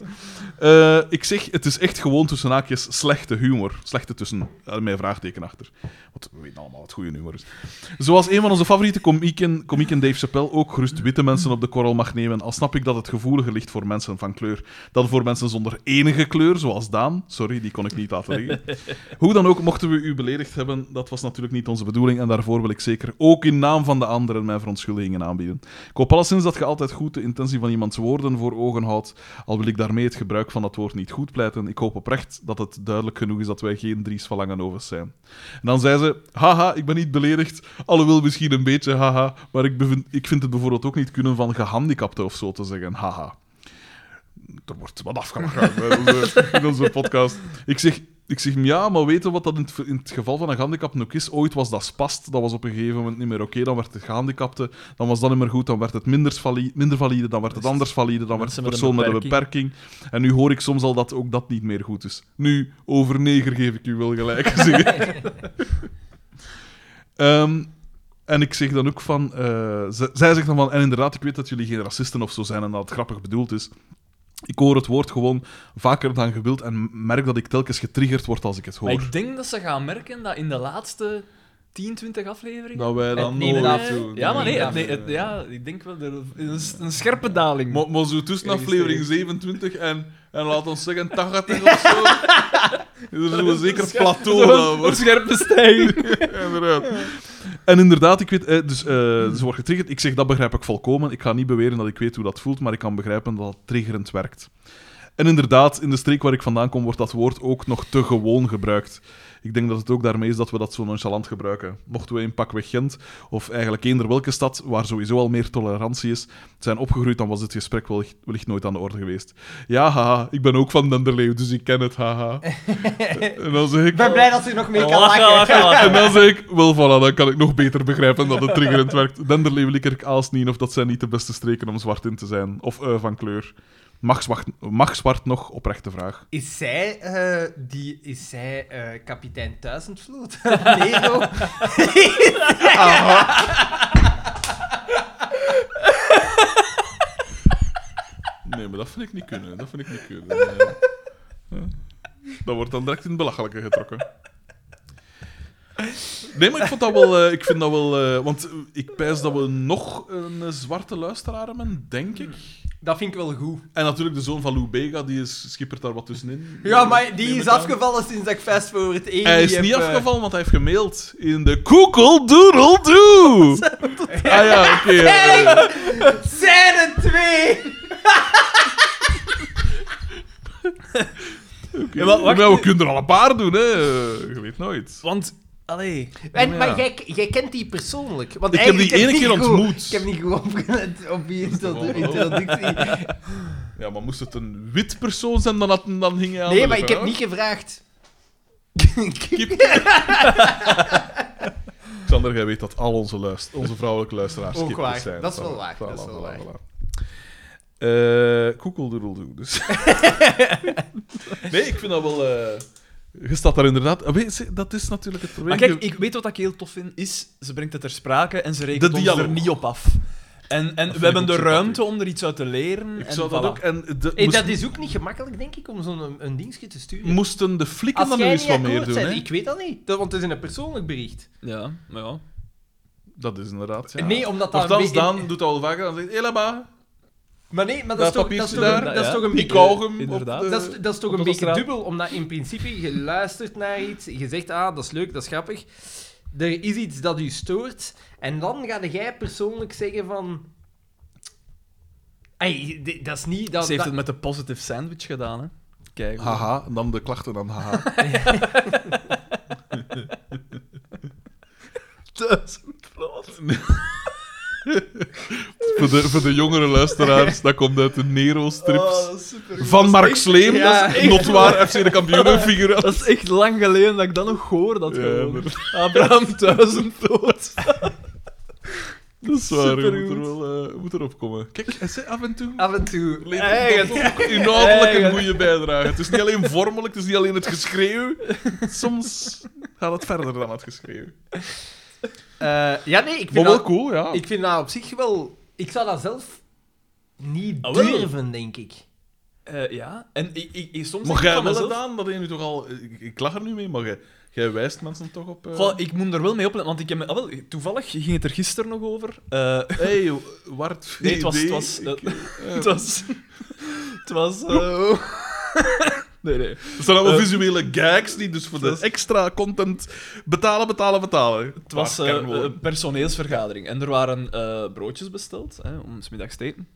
Speaker 2: Eh, ik zeg, het is echt gewoon tussen haakjes slechte humor. Slechte tussen, daarmee vraagteken achter. Want we weten allemaal wat goede humor is. Zoals een van onze favoriete komieken, komieken Dave Chappelle ook gerust witte mensen op de korrel mag nemen, al snap ik dat het gevoeliger ligt voor mensen van kleur dan voor mensen zonder enige kleur, zoals Daan. Sorry, die kon ik niet laten liggen. Hoe dan ook, mochten we u beledigd hebben, dat was natuurlijk niet onze bedoeling en daarvoor wil ik zeker ook in naam van de anderen mijn verontschuldigingen aanbieden. Ik hoop alleszins dat je altijd goed de intentie van iemands woorden voor ogen houdt, al wil ik daarmee het gebruik van dat woord niet goed pleiten. Ik hoop oprecht dat het duidelijk genoeg is dat wij geen Dries van Langenhoven zijn. En dan zei ze, haha, ik ben niet beledigd, alhoewel misschien een beetje, haha, maar ik, bevind, ik vind het bijvoorbeeld ook niet kunnen van gehandicapten of zo te zeggen, haha. Er wordt wat afgemaakt hè, in onze- in onze podcast. Ik zeg, ik zeg, ja, maar weten wat dat in het, ver- in het geval van een gehandicapte ook is? Ooit was dat spast, dat was op een gegeven moment niet meer oké, dan werd het gehandicapte, dan was dat niet meer goed, dan werd het minder, vali- minder valide, dan werd het anders valide, dan werd
Speaker 3: Mensen
Speaker 2: het
Speaker 3: met een
Speaker 2: persoon met een beperking. En nu hoor ik soms al dat ook dat niet meer goed is. Nu, over neger geef ik u wel gelijk. zeg ik. Ehm, en ik zeg dan ook van... eh, z- zij zegt dan van... En inderdaad, ik weet dat jullie geen racisten of zo zijn en dat het grappig bedoeld is. Ik hoor het woord gewoon vaker dan gewild en merk dat ik telkens getriggerd word als ik het
Speaker 3: Maar
Speaker 2: hoor.
Speaker 3: ik denk dat ze gaan merken dat in de laatste 10, 20 afleveringen.
Speaker 2: Dat wij dan
Speaker 1: Het nemen
Speaker 2: nooit-
Speaker 1: af. toe.
Speaker 3: Ja, maar nee, het,
Speaker 1: Inderdaad.
Speaker 3: nee het- ja, ik denk wel er, een, een scherpe daling.
Speaker 2: Maar, maar zo tussen
Speaker 3: Ergens
Speaker 2: aflevering 27 en, en laat ons zeggen 80 of zo. is er zo'n zeker plateau dan
Speaker 3: Zo'n- een
Speaker 2: wordt.
Speaker 3: scherpe stijging.
Speaker 2: Inderdaad. En inderdaad, ik weet, eh, dus, eh, ze wordt getriggerd. Ik zeg dat begrijp ik volkomen. Ik ga niet beweren dat ik weet hoe dat voelt, maar ik kan begrijpen dat het triggerend werkt. En inderdaad, in de streek waar ik vandaan kom, wordt dat woord ook nog te gewoon gebruikt. Ik denk dat het ook daarmee is dat we dat zo nonchalant gebruiken. Mochten we in pakweg Gent, of eigenlijk eender welke stad, waar sowieso al meer tolerantie is, zijn opgegroeid, dan was dit gesprek wellicht, wellicht nooit aan de orde geweest. Ja, haha, ik ben ook van Denderleeuw, dus ik ken het, haha. en dan zeg ik...
Speaker 1: Ik ben blij dat ze er nog mee kan
Speaker 3: Lachen,
Speaker 1: lachen.
Speaker 3: lachen, lachen.
Speaker 2: En dan zeg ik, wel voilà, dan kan ik nog beter begrijpen dat het triggerend werkt. Denderleeuw, Likkerk, Aalsnien, of dat zijn niet de beste streken om zwart in te zijn. Of eh, van kleur. Mag zwart, mag zwart nog? Oprechte vraag.
Speaker 1: Is zij, eh, die, is zij eh, kapitein Duizendvloed? Nero?
Speaker 2: Nee, maar dat vind ik niet kunnen. Dat vind ik niet kunnen. Eh, eh, Dat wordt dan direct in het belachelijke getrokken. Nee, maar ik, vond dat wel, eh, ik vind dat wel... eh, want ik pijs dat we nog een eh, zwarte luisteraar hebben, denk ik.
Speaker 1: Dat vind ik wel goed.
Speaker 2: En natuurlijk de zoon van Lou Bega, die is, schippert daar wat tussenin.
Speaker 1: Ja, maar die
Speaker 2: Neem
Speaker 1: is
Speaker 2: ik aan.
Speaker 1: afgevallen sinds dat ik Fast Forward 1
Speaker 2: Hij
Speaker 1: niet
Speaker 2: is
Speaker 1: heb,
Speaker 2: niet
Speaker 1: eh,
Speaker 2: afgevallen, want hij heeft gemaild in de koekeldoedeldoe. Ah ja, oké. ja, ja.
Speaker 1: Zijn er twee!
Speaker 2: Oké.
Speaker 3: Ja, maar wacht.
Speaker 2: Nou, we kunnen er al een paar doen, hè. Je weet nooit.
Speaker 3: Want, allee.
Speaker 1: En,
Speaker 2: Ja.
Speaker 1: Maar jij, jij kent die persoonlijk. Want
Speaker 2: Ik heb
Speaker 1: eigenlijk
Speaker 2: die
Speaker 1: ik
Speaker 2: ene
Speaker 1: niet
Speaker 2: keer
Speaker 1: goed-
Speaker 2: ontmoet.
Speaker 1: Ik heb niet goed opgelet op die
Speaker 2: wel
Speaker 1: introdu-
Speaker 2: wel.
Speaker 1: introductie.
Speaker 2: Ja, maar moest het een wit persoon zijn, dan, had, dan ging hij aan
Speaker 1: Nee,
Speaker 2: de
Speaker 1: maar ik heb
Speaker 2: lippen, hè.
Speaker 1: niet gevraagd.
Speaker 2: Xander, jij weet dat al onze, luist- onze vrouwelijke luisteraars
Speaker 1: Ook
Speaker 2: kippers
Speaker 1: waar.
Speaker 2: zijn.
Speaker 1: Dat is wel
Speaker 2: Voilà,
Speaker 1: waar, dat is
Speaker 2: voilà,
Speaker 1: wel
Speaker 2: voilà,
Speaker 1: waar.
Speaker 2: voilà. Eh, koekeldoedeldoe, dus. nee, ik vind dat wel... eh, Je staat daar inderdaad... Ah, weet je, Dat is natuurlijk het probleem.
Speaker 3: Maar kijk, ik weet wat ik heel tof vind, is ze brengt het ter sprake en ze rekent
Speaker 2: De
Speaker 3: ons
Speaker 2: dialoog.
Speaker 3: er niet op af. En, en
Speaker 2: ik
Speaker 3: we hebben
Speaker 2: ook
Speaker 3: de
Speaker 2: sympathiek.
Speaker 3: ruimte om er iets uit te leren.
Speaker 2: Ik
Speaker 3: en
Speaker 2: zou dat
Speaker 3: voilà.
Speaker 2: ook... En de,
Speaker 1: Hey,
Speaker 2: moest-
Speaker 1: dat is ook niet gemakkelijk, denk ik, om zo'n een, een dingetje te sturen.
Speaker 2: moesten de flikken
Speaker 1: Als
Speaker 2: dan nu
Speaker 1: jij
Speaker 2: eens
Speaker 1: niet
Speaker 2: wat meer
Speaker 1: akkoord
Speaker 2: doen.
Speaker 1: bent,
Speaker 2: Hè?
Speaker 1: ik weet dat niet. Dat- want het is een persoonlijk bericht.
Speaker 3: Ja, maar ja.
Speaker 2: Dat is inderdaad. Ja.
Speaker 1: Nee, omdat dat...
Speaker 2: Nochtans,
Speaker 1: een be-
Speaker 2: Daan doet dat al vaker. Dan zegt hij, maar,
Speaker 1: Maar nee, maar dat,
Speaker 2: dat
Speaker 1: is toch, dat, is
Speaker 2: papiertje
Speaker 1: toch een,
Speaker 2: daar,
Speaker 1: dat is
Speaker 3: ja.
Speaker 1: toch een
Speaker 2: die
Speaker 1: beetje...
Speaker 2: kauwgum op
Speaker 3: inderdaad.
Speaker 2: de-
Speaker 1: Dat is, dat is toch
Speaker 3: Op
Speaker 1: een
Speaker 3: de
Speaker 1: beetje
Speaker 3: straat.
Speaker 1: dubbel, omdat in principe je luistert naar iets, je zegt, ah, dat is leuk, dat is grappig. Er is iets dat u stoort, en dan ga jij persoonlijk zeggen van... Hey, di- dat is niet... Dat,
Speaker 3: Ze heeft
Speaker 1: dat-
Speaker 3: het met de positive sandwich gedaan, hè. Kijk. hoe-
Speaker 2: Haha, en dan de klachten, dan haha.
Speaker 3: Duizend brood.
Speaker 2: voor, de, voor de jongere luisteraars, dat komt uit de
Speaker 1: Oh,
Speaker 2: Nero-strips.
Speaker 3: is Oh, super.
Speaker 2: Van Mark Sleem,
Speaker 3: ja,
Speaker 2: dat is notwaar FC de kampioenenfiguur.
Speaker 3: Dat is echt lang geleden dat ik dat nog hoor. Dat
Speaker 2: Ja,
Speaker 3: gewoon.
Speaker 2: maar-
Speaker 3: Abraham duizend dood.
Speaker 2: Dat is waar, je moet er
Speaker 3: Supergoed.
Speaker 2: wel eh, je moet erop komen. Kijk, hij zei af en toe...
Speaker 1: Af en toe. Eh,
Speaker 2: levert
Speaker 3: Eigen-
Speaker 2: dat ook inhoudelijk een
Speaker 3: eigen-
Speaker 2: goede bijdrage. Het is niet alleen vormelijk, het is niet alleen het geschreeuw. Soms gaat het verder dan het geschreeuw.
Speaker 1: Eh, ja, nee, ik vind,
Speaker 2: Maar wel
Speaker 1: dat,
Speaker 2: cool, ja.
Speaker 1: ik vind dat op zich wel... Ik zou dat zelf niet
Speaker 3: Ah, wel.
Speaker 1: durven, denk ik.
Speaker 3: Eh, ja, en ik, ik, ik- soms
Speaker 2: Maar
Speaker 3: denk ik
Speaker 2: jij
Speaker 3: van
Speaker 2: wel
Speaker 3: mezelf-
Speaker 2: gedaan, dat je nu toch al... Ik, ik lach er nu mee, maar jij, jij wijst mensen toch op... eh,
Speaker 3: Goh, ik moet er wel mee opletten, want ik heb me, ah, wel, toevallig ging het er gisteren nog over. Eh,
Speaker 2: hey, Wart
Speaker 3: Nee, het was- het
Speaker 2: VD,
Speaker 3: was, eh,
Speaker 2: ik, eh,
Speaker 3: het was... Het was... eh, nee, nee.
Speaker 2: Het zijn allemaal
Speaker 3: eh,
Speaker 2: visuele gags die dus voor de extra content betalen, betalen, betalen.
Speaker 3: Het was eh,
Speaker 2: kernwoorden.
Speaker 3: een personeelsvergadering en er waren eh, broodjes besteld hè, om 's middags te eten.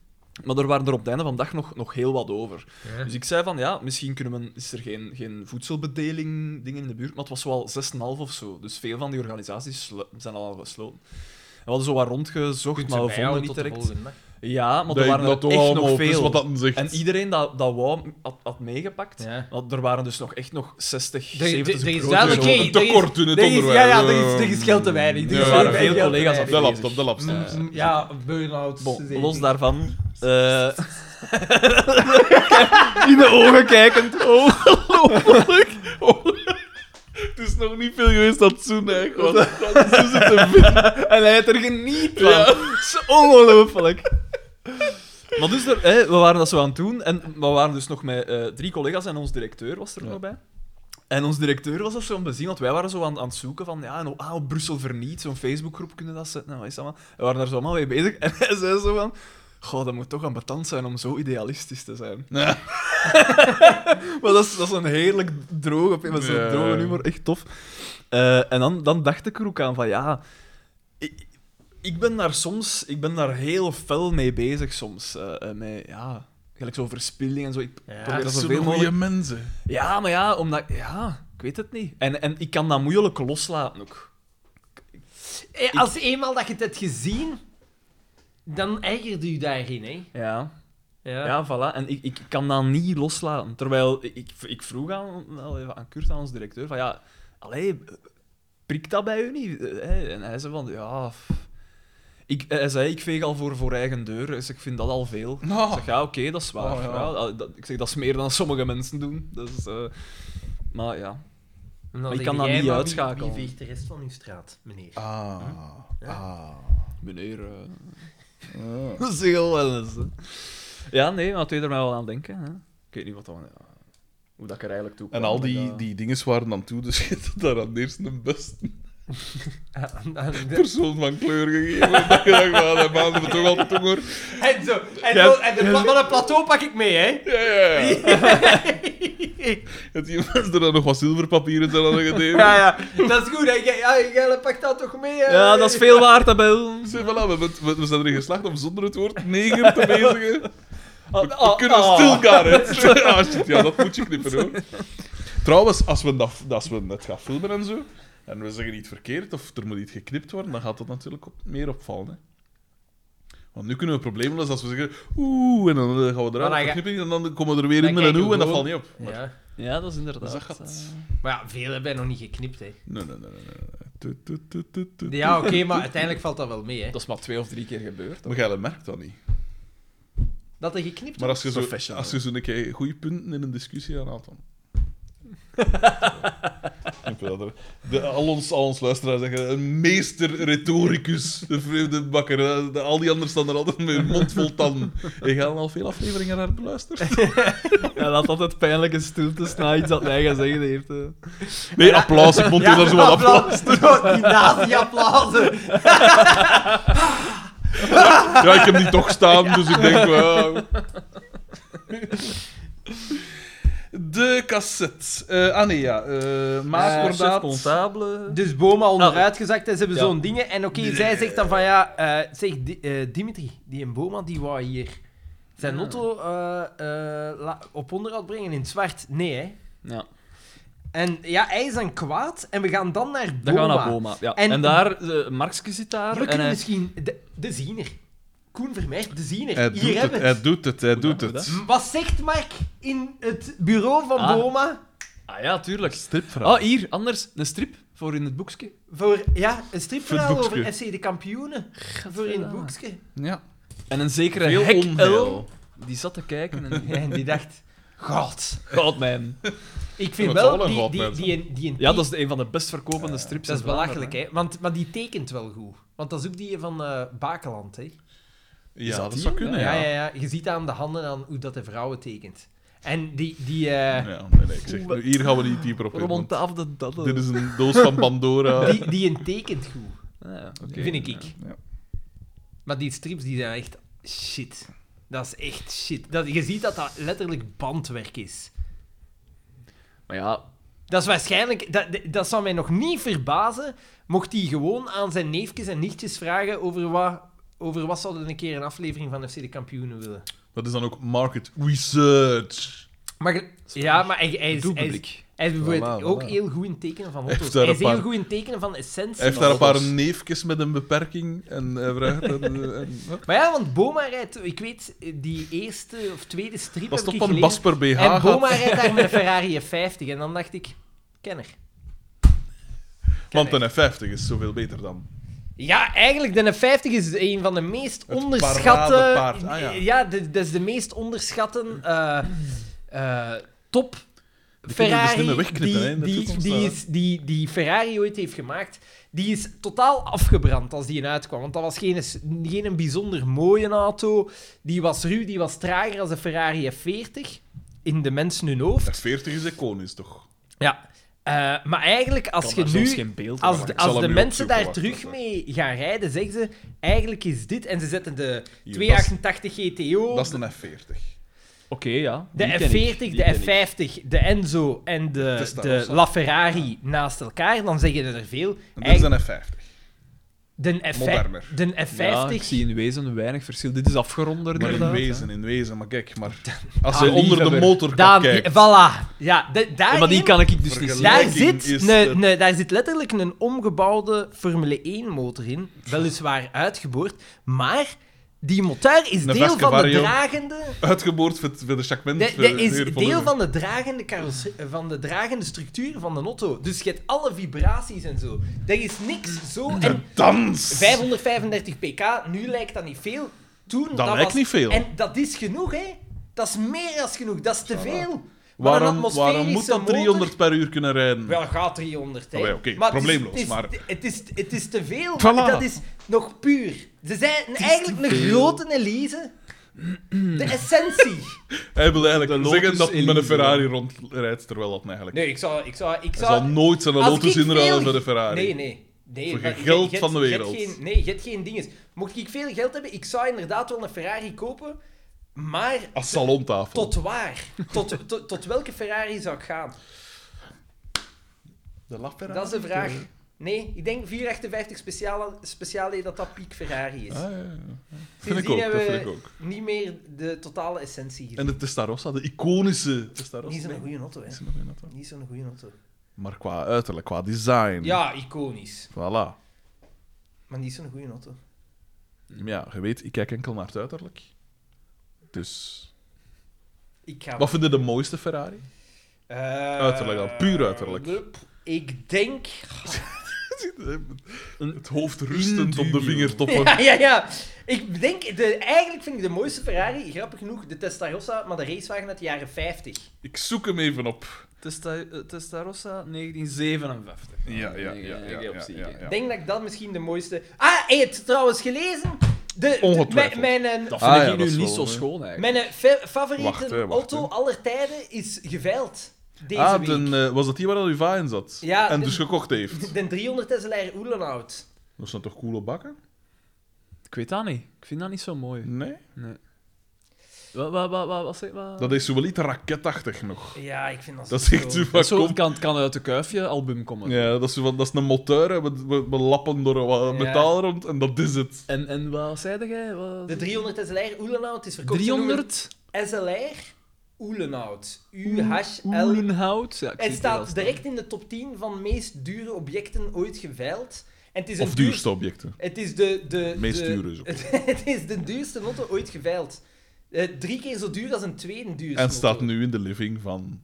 Speaker 3: Maar er waren er op het einde van de dag nog, nog heel wat over. Dus ik zei van ja, misschien kunnen we, is er geen, geen voedselbedeling dingen in de buurt, maar het was wel 6,5 of zo. Dus veel van die organisaties slu- zijn al gesloten. En we hadden zo wat rondgezocht, maar we vonden niet direct. Ja, maar
Speaker 2: Dat
Speaker 3: er
Speaker 2: je
Speaker 3: waren er
Speaker 2: dat toch
Speaker 3: echt
Speaker 2: allemaal
Speaker 3: nog
Speaker 2: op is
Speaker 3: veel.
Speaker 2: wat dat dan zegt.
Speaker 3: En iedereen dat, dat wou had, had meegepakt.
Speaker 1: Ja.
Speaker 3: Want er waren dus nog echt nog 60,
Speaker 1: er-
Speaker 3: 70
Speaker 1: er is
Speaker 3: broodjes
Speaker 1: duidelijk
Speaker 3: over.
Speaker 1: geen-
Speaker 2: een tekort in het
Speaker 1: er is-
Speaker 2: onderwijs.
Speaker 1: ja, ja, er is- er is geld te weinig. Er
Speaker 2: Ja,
Speaker 1: is
Speaker 2: er
Speaker 1: veel
Speaker 2: waren
Speaker 1: te
Speaker 3: veel
Speaker 1: veel
Speaker 3: collega's
Speaker 1: te
Speaker 3: op
Speaker 1: weinig.
Speaker 2: De
Speaker 3: bezig.
Speaker 2: laptop, de laptop.
Speaker 1: Mm, Ja, burn-out.
Speaker 3: Bon,
Speaker 1: zeker.
Speaker 3: los daarvan. eh, in de ogen kijkend. Oh.
Speaker 2: Het is nog niet veel geweest dat Zoen eigenlijk was. Dat is het een beetje-
Speaker 3: En hij had er geniet van. Dat is ongelooflijk. Maar dus, er, hè, we waren dat zo aan het doen. En we waren dus nog met eh, drie collega's en ons directeur was er
Speaker 2: Ja.
Speaker 3: nog bij. En ons directeur was dat zo aan het bezien, want wij waren zo aan, aan het zoeken van, ja, en, ah, op Brussel verniet, zo'n Facebookgroep kunnen dat zetten, nou, wat is dat allemaal. We waren daar zo allemaal mee bezig. En hij zei zo van, goh, dat moet toch aan betant zijn om zo idealistisch te zijn.
Speaker 2: Ja.
Speaker 3: maar dat is, dat is een heerlijk droge, dat is een
Speaker 2: Ja.
Speaker 3: droge humor, echt tof. Eh, en dan, dan dacht ik er ook aan van, ja, ik, ik ben daar soms, ik ben daar heel fel mee bezig soms. eh, eh, met, ja, gelijk zo verspilling en zo. Ik
Speaker 1: Ja,
Speaker 3: probeer dat
Speaker 2: Dat
Speaker 3: zoveel
Speaker 2: zijn
Speaker 3: mogelijk.
Speaker 2: goede mensen.
Speaker 3: Ja, maar ja, omdat, ja, ik weet het niet. En, en ik kan dat moeilijk loslaten ook.
Speaker 1: Eh, Als eenmaal dat je het hebt gezien, dan eigerde je daarin, hè?
Speaker 3: Ja. Ja, voilà. En ik, ik kan dat niet loslaten. Terwijl ik- ik, ik vroeg aan, aan Kurt, aan ons directeur, van ja, allee, prikt dat bij u niet? Eh, hè? En hij zei van, ja... f- Ik, hij zei, ik veeg al voor, voor eigen deur, dus ik vind dat al veel. Ik
Speaker 2: Ah.
Speaker 3: zeg, ja, oké, dat is waar.
Speaker 2: Oh, ja.
Speaker 3: Ja, dat- dat- ik zeg, dat is meer dan sommige mensen doen. Dus, eh, maar ja.
Speaker 1: En dan
Speaker 3: ik
Speaker 1: zeg
Speaker 3: kan dat
Speaker 1: jij,
Speaker 3: niet
Speaker 1: maar wie-
Speaker 3: uitschakelen.
Speaker 1: Wie veegt de rest van uw straat, meneer?
Speaker 2: Ah. Ah.
Speaker 3: Meneer... eh, dat is heel wel eens, hè. Ja, nee, maar dat deed er mij wel aan denken. Hè. Ik weet niet wat dan... ja, hoe dat ik er eigenlijk toe kwam,
Speaker 2: En al
Speaker 3: maar
Speaker 2: die,
Speaker 3: ja.
Speaker 2: die dingen waren dan toe, dus je hebt daar aan de eerste en beste
Speaker 1: en
Speaker 2: persoon van kleur gegeven. Dat je dacht, "Ah, dat maanden we toch altijd honger.
Speaker 1: zo. En,
Speaker 3: Ja.
Speaker 1: zo, en de, pla- maar dat plateau pak ik mee, hè?
Speaker 2: Ja, ja, ja. Dat die mensen er dan nog wat zilverpapieren zijn aan gegeven.
Speaker 1: Ja, ja. Dat is goed, hè? Jij- Ja, jij pakt dat toch mee? hè?
Speaker 3: Ja, dat is veel waard, dat bij ons.
Speaker 2: Zeg, voilà, we, we, we zijn erin geslaagd om zonder het woord neger te bezigen.
Speaker 3: Ah,
Speaker 2: We, we
Speaker 3: ah,
Speaker 2: kunnen
Speaker 3: ah.
Speaker 2: stilgaan, hè. Ah, shit, ja, dat moet je knippen, hoor. Trouwens, als we, dat, als we het gaan filmen en zo, en we zeggen iets verkeerd of er moet iets geknipt worden, dan gaat dat natuurlijk op, meer opvallen, hè. Want nu kunnen we problemen lossen als we zeggen oeh, en dan eh, gaan we
Speaker 1: Maar
Speaker 2: eruit
Speaker 1: dan
Speaker 2: en
Speaker 1: ga-
Speaker 2: knippen en dan komen we er weer in
Speaker 1: dan
Speaker 2: met een
Speaker 1: kijken
Speaker 2: oeh en dat
Speaker 1: we
Speaker 2: valt niet op. Maar-
Speaker 1: Ja.
Speaker 3: Ja, dat is inderdaad.
Speaker 2: Dus dat gaat.
Speaker 3: eh,
Speaker 1: Maar ja, veel hebben wij nog niet geknipt, hè?
Speaker 2: Nee, nee, nee. nee, nee. Tu, tu, tu, tu, tu, tu.
Speaker 1: Ja, oké, maar uiteindelijk valt dat wel mee, hè?
Speaker 3: dat is maar twee of drie keer gebeurd.
Speaker 2: Maar jij merkt dat niet.
Speaker 1: Dat er geknipt
Speaker 2: Maar
Speaker 1: wordt.
Speaker 2: als je zo,
Speaker 3: Professional.
Speaker 2: als je zo een keer goede punten in een discussie aanhaalt, dan... Ik vind dat er- de, al, ons, al ons luisteraars zeggen, een meester retoricus, de vreemde bakker. hè. De- al die anderen staan er altijd met hun mond vol tanden. Ik ga al veel afleveringen naar beluisteren.
Speaker 3: Ja, dat altijd pijnlijke stiltes na iets dat hij gezegd heeft. hè.
Speaker 2: Nee, applaus. Ik vond
Speaker 1: Ja,
Speaker 2: daar zo wat applaus.
Speaker 1: Zo, Die nazi-applausen.
Speaker 2: Ja, ik heb die toch staan, dus ik denk wel. De cassette. Eh ah nee, ja. eh
Speaker 3: Chef
Speaker 2: Maaskordaat.
Speaker 3: Comptable.
Speaker 1: Dus Boma onderuitgezakt en ze hebben
Speaker 3: Ah. Ja.
Speaker 1: zo'n dingen. En oké, zij zegt dan van ja, eh, zeg Di- eh, Dimitri, die en Boma die wou hier zijn
Speaker 3: Ja.
Speaker 1: auto eh, eh, la- op onderhoud brengen in het zwart. Nee, hè?
Speaker 3: Ja.
Speaker 1: En ja, hij is dan kwaad en we gaan dan naar Boma.
Speaker 3: Dan gaan we naar Boma. Ja.
Speaker 1: En-
Speaker 3: En, daar, uh, Markske zit daar.
Speaker 1: Ja, we
Speaker 3: en
Speaker 1: kunnen
Speaker 3: hij-
Speaker 1: misschien... De, de ziener. Koen Vermeer, de ziener.
Speaker 2: Hij
Speaker 1: Hier
Speaker 2: doet het,
Speaker 1: hebben we
Speaker 2: hij
Speaker 1: het.
Speaker 2: doet het, hij
Speaker 3: Hoe
Speaker 2: doet
Speaker 3: dat, hoe
Speaker 2: het.
Speaker 1: Wat zegt Mark in het bureau van
Speaker 3: Ah.
Speaker 1: Boma?
Speaker 3: Ah ja, tuurlijk.
Speaker 2: Stripvraag.
Speaker 3: Ah, hier, anders. Een strip voor in het boekje.
Speaker 1: Voor ja, een stripverhaal
Speaker 2: Voor het
Speaker 1: over
Speaker 2: boekske.
Speaker 1: FC de kampioenen. Voor in het boekje.
Speaker 2: Ja.
Speaker 3: En een zekere
Speaker 2: Veel
Speaker 3: Hek
Speaker 2: onheil.
Speaker 3: L, Die zat te kijken en...
Speaker 1: En die dacht... God.
Speaker 3: God, man.
Speaker 1: Ik
Speaker 2: Ja,
Speaker 1: vind
Speaker 2: dat
Speaker 1: wel
Speaker 2: zal wel
Speaker 1: die,
Speaker 2: wat
Speaker 1: die,
Speaker 2: mensen.
Speaker 1: die, die, die
Speaker 3: Ja, dat is een van de best verkopende strips.
Speaker 1: Dat is
Speaker 3: in Vlaanderen,
Speaker 1: belachelijk, hè? Want, maar die tekent wel goed. Want dat is ook die van eh, Bakeland, hè?
Speaker 2: Ja,
Speaker 3: dat
Speaker 2: dat
Speaker 3: die?
Speaker 2: zou kunnen,
Speaker 1: Ja,
Speaker 2: ja.
Speaker 1: ja, ja. Je ziet aan de handen aan hoe dat de vrouwen tekent. En die... die eh,
Speaker 2: Ja, nee, nee, ik zeg,
Speaker 3: Oeh,
Speaker 2: hier gaan we niet dieper op in.
Speaker 3: Waarom
Speaker 2: want
Speaker 3: ontafelde de dadden?
Speaker 2: Dit is een doos van Pandora.
Speaker 1: Die, die een tekent goed,
Speaker 3: Ah, ja.
Speaker 1: vind ik. ik.
Speaker 2: ja.
Speaker 1: Maar die strips die zijn echt shit. Dat is echt shit. Dat, je ziet dat dat letterlijk bandwerk is.
Speaker 3: Maar ja,
Speaker 1: Dat is waarschijnlijk... Dat, dat zou mij nog niet verbazen mocht hij gewoon aan zijn neefjes en nichtjes vragen over wat, over wat zouden een keer een aflevering van FC de Kampioenen willen.
Speaker 2: Dat is dan ook market research.
Speaker 1: Maar, ge- ja, maar hij, hij, is, hij, is,
Speaker 3: doelpubliek.
Speaker 1: hij is bijvoorbeeld
Speaker 2: Voilà, voilà.
Speaker 1: ook heel goed in tekenen van
Speaker 2: Heeft
Speaker 1: auto's.
Speaker 2: daar
Speaker 1: Hij
Speaker 2: een
Speaker 1: is heel
Speaker 2: paar-
Speaker 1: goed in tekenen van essenties.
Speaker 2: Hij heeft daar een
Speaker 1: van
Speaker 2: paar
Speaker 1: auto's.
Speaker 2: neefjes met een beperking en eh, hij vraagt... En, en,
Speaker 1: Maar ja, want Boma rijdt, ik weet, die eerste of tweede strip
Speaker 2: dat
Speaker 1: heb
Speaker 2: is toch
Speaker 1: ik
Speaker 2: van
Speaker 1: gelezen.
Speaker 2: Basper BH
Speaker 1: En
Speaker 2: gaat.
Speaker 1: Boma rijdt daar met een Ferrari F50. En dan dacht ik, kenner.
Speaker 2: Want
Speaker 1: Kenner.
Speaker 2: een F50 is zoveel beter dan.
Speaker 1: Ja, eigenlijk, de F50 is een van de meest
Speaker 2: Het
Speaker 1: onderschatte...
Speaker 2: paradepaard, ah ja.
Speaker 1: de- dat is de meest onderschatten eh, eh, top
Speaker 2: Die kunnen we dus niet
Speaker 1: Ferrari
Speaker 2: meer wegknippen,
Speaker 1: die,
Speaker 2: hè, in de
Speaker 1: die,
Speaker 2: toekomst,
Speaker 1: die,
Speaker 2: hè.
Speaker 1: is, die, die Ferrari ooit heeft gemaakt, die is totaal afgebrand als die uitkwam. Want dat was geen, geen een bijzonder mooie auto. Die was ruw, die was trager als de Ferrari F40 in de mensen hun hoofd.
Speaker 2: F40 is iconisch, toch?
Speaker 1: Ja. Eh, maar eigenlijk, als je nu...
Speaker 3: geen beeld
Speaker 1: Als
Speaker 2: Maar
Speaker 1: de,
Speaker 2: ik zal
Speaker 1: als
Speaker 2: hem
Speaker 1: de
Speaker 2: nu
Speaker 1: mensen
Speaker 2: opzoeken,
Speaker 1: daar
Speaker 2: wacht,
Speaker 1: terug
Speaker 2: wacht,
Speaker 1: mee gaan rijden, zeggen ze... Eigenlijk is dit... En ze zetten de E
Speaker 2: Hier,
Speaker 1: 288 GTO,
Speaker 2: Dat is een F40.
Speaker 3: Oké, ja.
Speaker 1: de
Speaker 3: die
Speaker 1: F40,
Speaker 3: ken ik, die
Speaker 1: de
Speaker 3: ken ik.
Speaker 1: F50, de Enzo en de,
Speaker 2: Testarossa.
Speaker 1: de LaFerrari naast elkaar. Dan zeggen er veel.
Speaker 2: En dit is
Speaker 1: Eigenlijk,
Speaker 2: een F50.
Speaker 1: de, F
Speaker 2: moderner.
Speaker 1: de
Speaker 3: Ja, ik
Speaker 1: F50...
Speaker 3: zie in wezen weinig verschil. Dit is afgeronder,
Speaker 2: Maar in
Speaker 3: inderdaad.
Speaker 2: wezen, in wezen. Maar kijk, maar als
Speaker 3: Ah,
Speaker 2: je onder de
Speaker 3: liefhebber.
Speaker 2: motor
Speaker 1: daar,
Speaker 2: gaat kijken...
Speaker 1: voilà. Ja, de-
Speaker 3: Ja,
Speaker 1: daarin,
Speaker 3: maar die kan ik dus niet
Speaker 2: Vergelijk-
Speaker 3: zien.
Speaker 1: daar,
Speaker 2: vergelijking
Speaker 1: zit
Speaker 2: is
Speaker 1: een-
Speaker 2: dat-
Speaker 1: een- daar zit letterlijk een omgebouwde Formule 1-motor in. Weliswaar uitgeboord. Maar die motor is
Speaker 2: Een
Speaker 1: deel van de
Speaker 2: Vespa-vario.
Speaker 1: dragende...
Speaker 2: Uitgeboord voor voor de Jacquemin.
Speaker 1: Dat is deel van de, dragende carrosserie- van de dragende structuur van de auto. Dus je hebt alle vibraties en zo. Dat is niks zo. En
Speaker 2: Dans!
Speaker 1: 535 pk, nu lijkt dat niet veel. Toen, dat,
Speaker 2: lijkt
Speaker 1: was-
Speaker 2: niet veel.
Speaker 1: En dat is genoeg, hè? Dat is meer dan genoeg. Dat is te veel. Maar een
Speaker 2: Waarom,
Speaker 1: atmosferische
Speaker 2: waarom moet dat
Speaker 1: motor-
Speaker 2: 300 per uur kunnen rijden?
Speaker 1: Wel, gaat 300, hè.
Speaker 2: Allee, oké,
Speaker 1: Maar het is-
Speaker 2: probleemloos,
Speaker 1: het is-
Speaker 2: maar-
Speaker 1: Het is, het is te veel.
Speaker 2: Voilà.
Speaker 1: Dat is nog puur. Ze zijn eigenlijk een grote Elise. De essentie.
Speaker 2: Hij wil eigenlijk
Speaker 3: De
Speaker 2: zeggen
Speaker 3: Lotus
Speaker 2: dat men met een
Speaker 3: Elise.
Speaker 2: Ferrari rondrijdt, terwijl dat eigenlijk...
Speaker 1: Nee, ik zou... Ik zou, ik
Speaker 2: Hij
Speaker 1: zou
Speaker 2: zal nooit zijn
Speaker 1: Als
Speaker 2: Lotus
Speaker 1: ik
Speaker 2: inruilen
Speaker 1: veel-
Speaker 2: voor de Ferrari.
Speaker 1: Nee, nee. nee
Speaker 2: Voor
Speaker 1: maar
Speaker 2: geen geld
Speaker 1: je- je-
Speaker 2: van de
Speaker 1: je- je-
Speaker 2: wereld.
Speaker 1: je- nee, je hebt geen dinges. Mocht ik veel geld hebben, ik zou inderdaad wel een Ferrari kopen, maar
Speaker 2: Als salontafel.
Speaker 1: tot waar? tot, tot, tot welke Ferrari zou ik gaan?
Speaker 2: De La Ferrari.
Speaker 1: Dat is de vraag.
Speaker 2: Ah,
Speaker 1: Nee, ik denk 458 speciale, speciale dat dat piek Ferrari is.
Speaker 2: Ah, ja, ja, ja. Vind ik
Speaker 1: Sindsdien
Speaker 2: ook, dat
Speaker 1: hebben
Speaker 2: vind ik
Speaker 1: we
Speaker 2: ook.
Speaker 1: niet meer de totale essentie gezien.
Speaker 2: En de Testarossa, de iconische Testarossa.
Speaker 1: Niet zo'n goede auto, hè.
Speaker 2: Is er nog een auto?
Speaker 1: Niet zo'n goede auto.
Speaker 2: Maar qua uiterlijk, qua design.
Speaker 1: Ja, iconisch.
Speaker 2: Voilà.
Speaker 1: Maar niet zo'n goede auto.
Speaker 2: Ja, je weet, ik kijk enkel naar het uiterlijk. Dus...
Speaker 1: Ik ga...
Speaker 2: Wat vind je de mooiste Ferrari?
Speaker 1: Eh,
Speaker 2: Uiterlijk dan, puur uiterlijk.
Speaker 1: lup. Ik denk...
Speaker 2: Het hoofd rustend op de
Speaker 3: Indubio.
Speaker 2: vingertoppen.
Speaker 1: Ah, Ja, ja, ja. Ik denk... De, eigenlijk vind ik de mooiste Ferrari, grappig genoeg, de Testarossa, maar de racewagen uit de jaren 50.
Speaker 2: Ik zoek hem even op.
Speaker 3: Testa- eh, Testarossa 1957.
Speaker 2: Ja, ja, ja,
Speaker 3: Ik-
Speaker 2: ja,
Speaker 3: ik-
Speaker 2: ja,
Speaker 3: ik- op zich,
Speaker 2: ja,
Speaker 3: ik-
Speaker 1: Ik denk dat ik dat misschien de mooiste... Ah, hey, het trouwens gelezen. De,
Speaker 2: Ongetwijfeld.
Speaker 1: de- mijn, mijn,
Speaker 3: Dat
Speaker 2: Ah,
Speaker 3: vind ik
Speaker 2: ja, dat
Speaker 3: nu
Speaker 2: is
Speaker 3: niet
Speaker 2: wel,
Speaker 3: zo
Speaker 2: hè.
Speaker 3: schoon, eigenlijk.
Speaker 1: mijn eh, fa- favoriete
Speaker 2: Wacht, hè, wacht,
Speaker 1: auto
Speaker 2: hè.
Speaker 1: aller tijden is geveild. Deze
Speaker 2: ah,
Speaker 1: week.
Speaker 2: den, eh, was dat die waar dat uw va in zat?
Speaker 1: Ja,
Speaker 2: en
Speaker 1: de-
Speaker 2: dus gekocht heeft.
Speaker 1: De 300 SLR Oelenhout.
Speaker 2: Dat zijn toch coole bakken?
Speaker 3: Ik weet dat niet. Ik vind dat niet zo mooi.
Speaker 2: Nee?
Speaker 3: Wat, wat, wat, wat, wat zeg wat?
Speaker 2: Dat is zo wel iets raketachtig nog.
Speaker 1: Ja, ik vind dat,
Speaker 2: Dat is echt
Speaker 1: zo...
Speaker 2: zo
Speaker 3: Dat
Speaker 2: van...
Speaker 3: is zo,
Speaker 2: kom-
Speaker 3: het kan, het kan uit de kuifje album komen.
Speaker 2: Ja, dat is, zo van, dat is een motor, hè. we, we, we lappen door wat
Speaker 1: Ja.
Speaker 2: metaal rond en dat is het.
Speaker 3: En, en wat zei jij? Wat...
Speaker 1: De 300 SLR Oelenhout is verkocht
Speaker 3: 300?
Speaker 1: SLR Oelenhout. U-H-L.
Speaker 3: Oelenhout. Ja, ik zie
Speaker 1: Het
Speaker 3: wel
Speaker 1: staat direct in de top 10 van meest dure objecten ooit geveild. En het is
Speaker 2: Of
Speaker 1: een
Speaker 2: duurste objecten.
Speaker 1: Het is de... de
Speaker 2: Meest
Speaker 1: de-
Speaker 2: dure is ook.
Speaker 1: Het is de duurste motto ooit geveild. Eh, drie keer zo duur als een tweede duurste
Speaker 2: En staat
Speaker 1: motto.
Speaker 2: nu in de living van,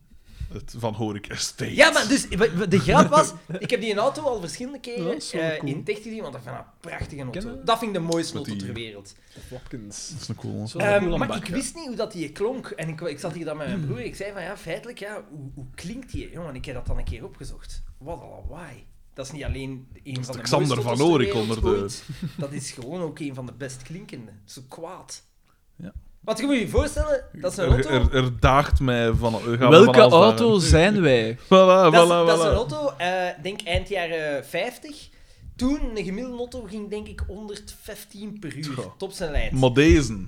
Speaker 2: het, van Horik Estate.
Speaker 1: Ja, maar dus, w- w- de grap was, ik heb die auto al verschillende
Speaker 3: Ja,
Speaker 1: keren
Speaker 3: dat is wel
Speaker 1: eh,
Speaker 3: cool.
Speaker 1: in ticht gezien, want dat vind ik een prachtige auto.
Speaker 3: Kennen?
Speaker 1: Dat vind ik de mooiste
Speaker 2: Met
Speaker 1: auto
Speaker 2: die-
Speaker 1: ter wereld.
Speaker 3: Watkins.
Speaker 2: Dat is een cool.
Speaker 3: Zo.
Speaker 2: Ja. Hmm.
Speaker 3: een
Speaker 1: Ehm,
Speaker 3: coole
Speaker 1: maar
Speaker 3: bak,
Speaker 1: ik
Speaker 3: ja.
Speaker 1: wist niet hoe dat die klonk. En ik, ik zat hier dan met mijn broer. Ik zei van ja, feitelijk, ja, hoe, hoe klinkt die? Jongen, ik heb dat dan een keer opgezocht. Wat een lawaai. Dat is niet alleen een van de
Speaker 2: Xander
Speaker 1: mooiste
Speaker 2: van
Speaker 1: auto's ter
Speaker 2: Oorik
Speaker 1: wereld
Speaker 2: onder de-
Speaker 1: ooit. Dat is gewoon ook een van de best klinkende. Zo kwaad.
Speaker 2: Ja.
Speaker 1: Want je moet je voorstellen, dat is een
Speaker 2: Er,
Speaker 1: auto.
Speaker 2: er, er daagt mij van. er gaan we
Speaker 3: Welke
Speaker 2: van alles
Speaker 3: auto
Speaker 2: dagen.
Speaker 3: zijn wij?
Speaker 2: Voilà,
Speaker 1: dat, is,
Speaker 2: voilà,
Speaker 1: dat is een
Speaker 2: voilà.
Speaker 1: auto, eh, denk eind jaren 50. Toen een gemiddelde auto ging denk ik 115 per uur.
Speaker 2: Tja.
Speaker 1: Top zijn lijn.
Speaker 2: Maar deze.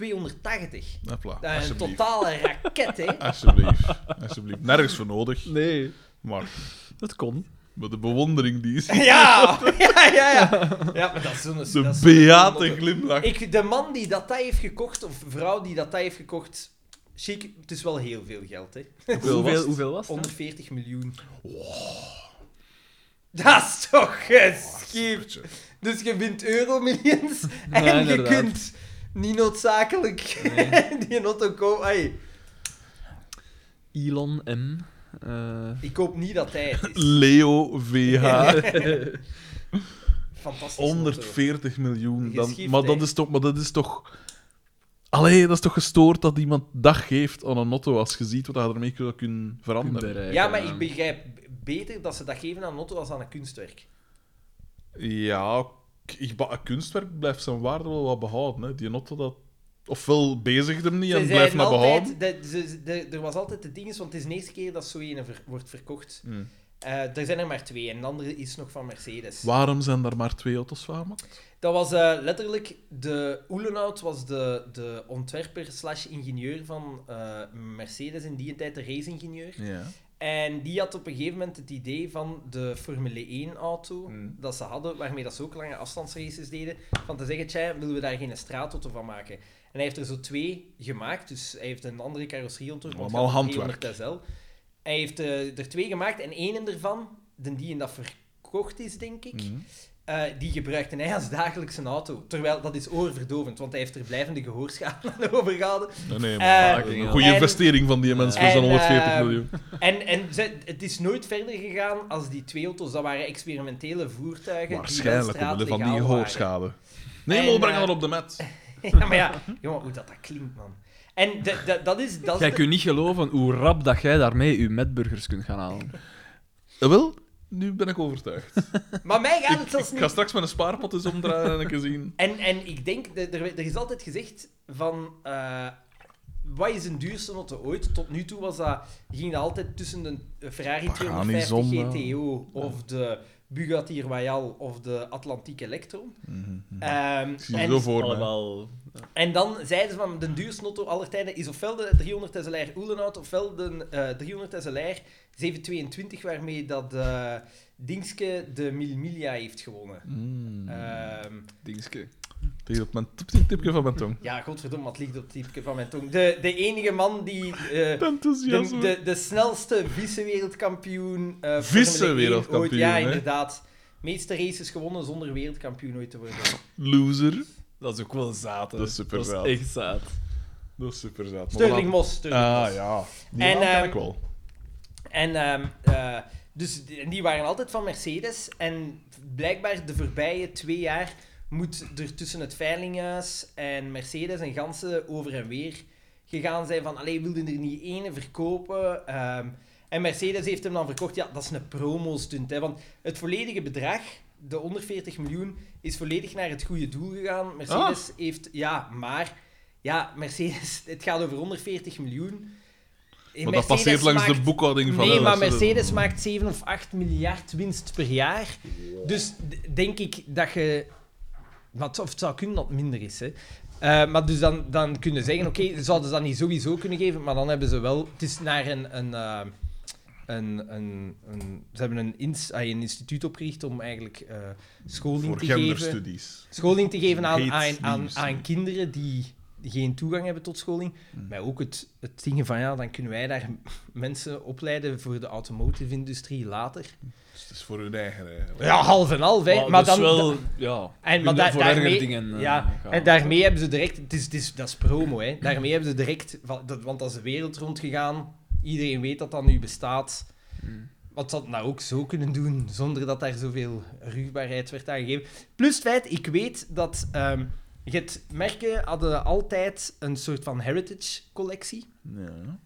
Speaker 1: 280.
Speaker 2: Hopla,
Speaker 1: Dat is een
Speaker 2: alsjeblieft.
Speaker 1: totale raket, hè.
Speaker 2: Alsjeblieft. Alsjeblieft. Nergens voor nodig.
Speaker 3: Nee,
Speaker 2: Maar
Speaker 3: dat kon.
Speaker 2: maar de bewondering die is.
Speaker 1: Ja, ja, ja, ja. Ja, maar dat is zo'n... dat
Speaker 2: De
Speaker 1: is zo'n
Speaker 2: beate
Speaker 1: motto.
Speaker 2: glimlach.
Speaker 1: Ik, de man die dat dat heeft gekocht, of vrouw die dat dat heeft gekocht... Chic, het is wel heel veel geld, hè.
Speaker 2: Hoeveel was het?
Speaker 3: was het?
Speaker 1: 140 miljoen. Dat is toch geschikt.
Speaker 2: Tje.
Speaker 1: Dus je wint euromillions en
Speaker 3: Ja,
Speaker 1: je
Speaker 3: inderdaad.
Speaker 1: kunt niet noodzakelijk die auto kopen. Ai,
Speaker 3: Elon M. Eh,
Speaker 1: ik koop niet dat hij het is.
Speaker 2: Leo VH.
Speaker 1: Fantastisch.
Speaker 2: 140 miljoen. Dan,
Speaker 1: Geschift,
Speaker 2: maar, dat
Speaker 1: hè.
Speaker 2: is toch, maar dat is toch. Allee, dat is toch gestoord dat iemand dag geeft aan een auto als je ziet wat je ermee zou kunnen veranderen.
Speaker 3: bereiken,
Speaker 1: Ja, maar
Speaker 3: eh.
Speaker 1: ik begrijp beter dat ze dat geven aan een auto als aan een kunstwerk.
Speaker 2: Ja, k- ik, ba- een kunstwerk blijft zijn waarde wel wat behouden. Hè. Die auto dat. Ofwel bezigt hem niet
Speaker 1: Ze
Speaker 2: en blijft
Speaker 1: zeiden
Speaker 2: dat behouden.
Speaker 1: altijd, dat- ze- ze- de- er was altijd de dinges, want het is de eerste keer dat zo een ver- wordt verkocht.
Speaker 2: Hmm.
Speaker 1: Eh, er zijn er maar twee en de andere is nog van Mercedes.
Speaker 2: Waarom zijn daar maar twee auto's van gemaakt?
Speaker 1: Dat was eh, letterlijk de Oelenhout was de, de ontwerper slash ingenieur van eh, Mercedes in die tijd de race-ingenieur.
Speaker 2: Ja.
Speaker 1: En die had op een gegeven moment het idee van de Formule 1-auto
Speaker 2: Hmm.
Speaker 1: dat ze hadden, waarmee dat ze ook lange afstandsraces deden, van te zeggen, tja, willen we daar geen straatauto van maken? En hij heeft er zo twee gemaakt, dus hij heeft een andere carrosserie ontworpen. want
Speaker 2: Allemaal
Speaker 1: hij had een 300 SL. Hij heeft eh, er twee gemaakt en één ervan, de die in dat verkocht is, denk ik,
Speaker 2: Mhm.
Speaker 1: eh, die gebruikte hij als dagelijkse auto. Terwijl, dat is oorverdovend, want hij heeft er blijvende gehoorschade aan overgehouden.
Speaker 2: Nee, nee, maar
Speaker 1: Eh,
Speaker 2: een goede
Speaker 1: en-
Speaker 2: investering van die mensen voor
Speaker 1: en,
Speaker 2: zo'n 140
Speaker 1: ehm,
Speaker 2: miljoen.
Speaker 1: En, en ze- het is nooit verder gegaan als die twee auto's. Dat waren experimentele voertuigen.
Speaker 2: Waarschijnlijk
Speaker 1: die wel
Speaker 2: omwille van die
Speaker 1: straatlegaal waren.
Speaker 2: gehoorschade. Nee, maar we
Speaker 1: eh, En,
Speaker 2: brengen
Speaker 1: eh,
Speaker 2: dat op de mat.
Speaker 1: Ja, maar ja, jongen, hoe dat, dat klinkt, man. En de- de- dat is. Dat
Speaker 3: Jij
Speaker 1: is de-
Speaker 3: kunt niet geloven hoe rap dat jij daarmee je metburgers kunt gaan halen.
Speaker 2: Eh, Wel, nu ben ik overtuigd.
Speaker 1: Maar mij gaat het zelfs
Speaker 2: Ik ga
Speaker 1: niet.
Speaker 2: straks mijn spaarpot eens omdraaien en een keer zien.
Speaker 1: En, en ik denk, dat er, er is altijd gezegd van. eh, wat is een duurste auto ooit? Tot nu toe was dat, ging dat altijd tussen de eh, Ferrari
Speaker 2: Pagani
Speaker 1: 250
Speaker 2: Zonda.
Speaker 1: GTO of de Bugatti Royale of de Atlantique Electron.
Speaker 2: Eh,
Speaker 1: Ehm,
Speaker 2: Ik zie je
Speaker 1: en-
Speaker 2: zo
Speaker 3: Oh,
Speaker 2: voor me.
Speaker 3: Allemaal.
Speaker 1: En dan zeiden ze van de duurste auto aller tijden is ofwel de 300 SLR Oelenhout ofwel de eh, 300 SLR 722 waarmee dat eh Dingske de Mil Miglia heeft gewonnen.
Speaker 2: Mm.
Speaker 1: Ehm,
Speaker 3: Dingske.
Speaker 2: Tegen op mijn tip- tipje van mijn tong.
Speaker 1: ja, godverdomme, wat ligt op het tipje van mijn tong. De, de enige man die eh, de,
Speaker 2: Enthousiasme.
Speaker 1: de, de snelste vice-wereldkampioen... eh, Formule 1
Speaker 2: Vice-wereldkampioen,
Speaker 1: ooit- Ja,
Speaker 2: hè?
Speaker 1: inderdaad. meeste races gewonnen zonder wereldkampioen ooit te worden.
Speaker 2: Loser.
Speaker 3: Dat is ook wel zaad. hè.
Speaker 2: Dat is super
Speaker 3: Dat
Speaker 2: zaad.
Speaker 3: is echt zaad.
Speaker 2: Dat is super zaad. Maar
Speaker 1: Sterling
Speaker 2: voilà.
Speaker 1: Moss. Sterling Moss.
Speaker 2: Ah ja, die
Speaker 1: En,
Speaker 2: naam ken
Speaker 1: ehm,
Speaker 2: ik wel.
Speaker 1: En ehm, eh, dus die- en die waren altijd van Mercedes. En blijkbaar de voorbije twee jaar moet er tussen het Veilinghuis en Mercedes en Gansen over en weer gegaan zijn van, allee, wilden er niet ene verkopen? Ehm, en Mercedes heeft hem dan verkocht. Ja, dat is een promo-stunt, hè, want het volledige bedrag, de 140 miljoen, is volledig naar het goede doel gegaan. Mercedes
Speaker 2: Ah.
Speaker 1: heeft, ja, maar... Ja, Mercedes, het gaat over 140 miljoen.
Speaker 2: Maar
Speaker 1: Mercedes
Speaker 2: dat passeert langs
Speaker 1: maakt-
Speaker 2: de boekhouding van...
Speaker 1: Nee,
Speaker 2: de
Speaker 1: maar
Speaker 2: mensen.
Speaker 1: Mercedes maakt 7 of 8 miljard winst per jaar. Dus d- denk ik dat je. Maar het- of het zou kunnen dat het minder is. Hè. Eh, maar dus dan, dan kunnen ze zeggen: oké, zouden ze dat niet sowieso kunnen geven? Maar dan hebben ze wel. Het is naar een. een, eh, een, een, een ze hebben een, ins, ah, een instituut opgericht om eigenlijk eh, scholing
Speaker 2: Voor
Speaker 1: te geven
Speaker 2: genderstudies.
Speaker 1: scholing te geven aan,
Speaker 2: Heet
Speaker 1: aan, aan,
Speaker 2: nieuws.
Speaker 1: aan kinderen die geen toegang hebben tot scholing.
Speaker 3: Hmm.
Speaker 1: Maar ook het, het ding van, ja, dan kunnen wij daar mensen opleiden voor de automotive-industrie later.
Speaker 2: Dus het is voor hun eigen eigenlijk.
Speaker 1: Ja, half en half, hè. Maar,
Speaker 3: maar dat
Speaker 1: dan...
Speaker 3: is wel, ja.
Speaker 1: en, maar
Speaker 3: minder
Speaker 1: da-
Speaker 3: voor
Speaker 1: daarmee,
Speaker 3: erger dingen. eh,
Speaker 1: ja,
Speaker 3: gaan.
Speaker 1: en daarmee hebben ze direct... Het is, het is, dat is promo, hè. Daarmee hebben ze direct... van- dat- Want dat is de wereld rondgegaan. Iedereen weet dat dat nu bestaat.
Speaker 3: Mm.
Speaker 1: Wat ze dat nou ook zo kunnen doen, zonder dat daar zoveel ruwbaarheid werd aan gegeven. Plus het feit, ik weet dat... ehm, je hebt- merken hadden altijd een soort van heritage-collectie.
Speaker 2: Ja.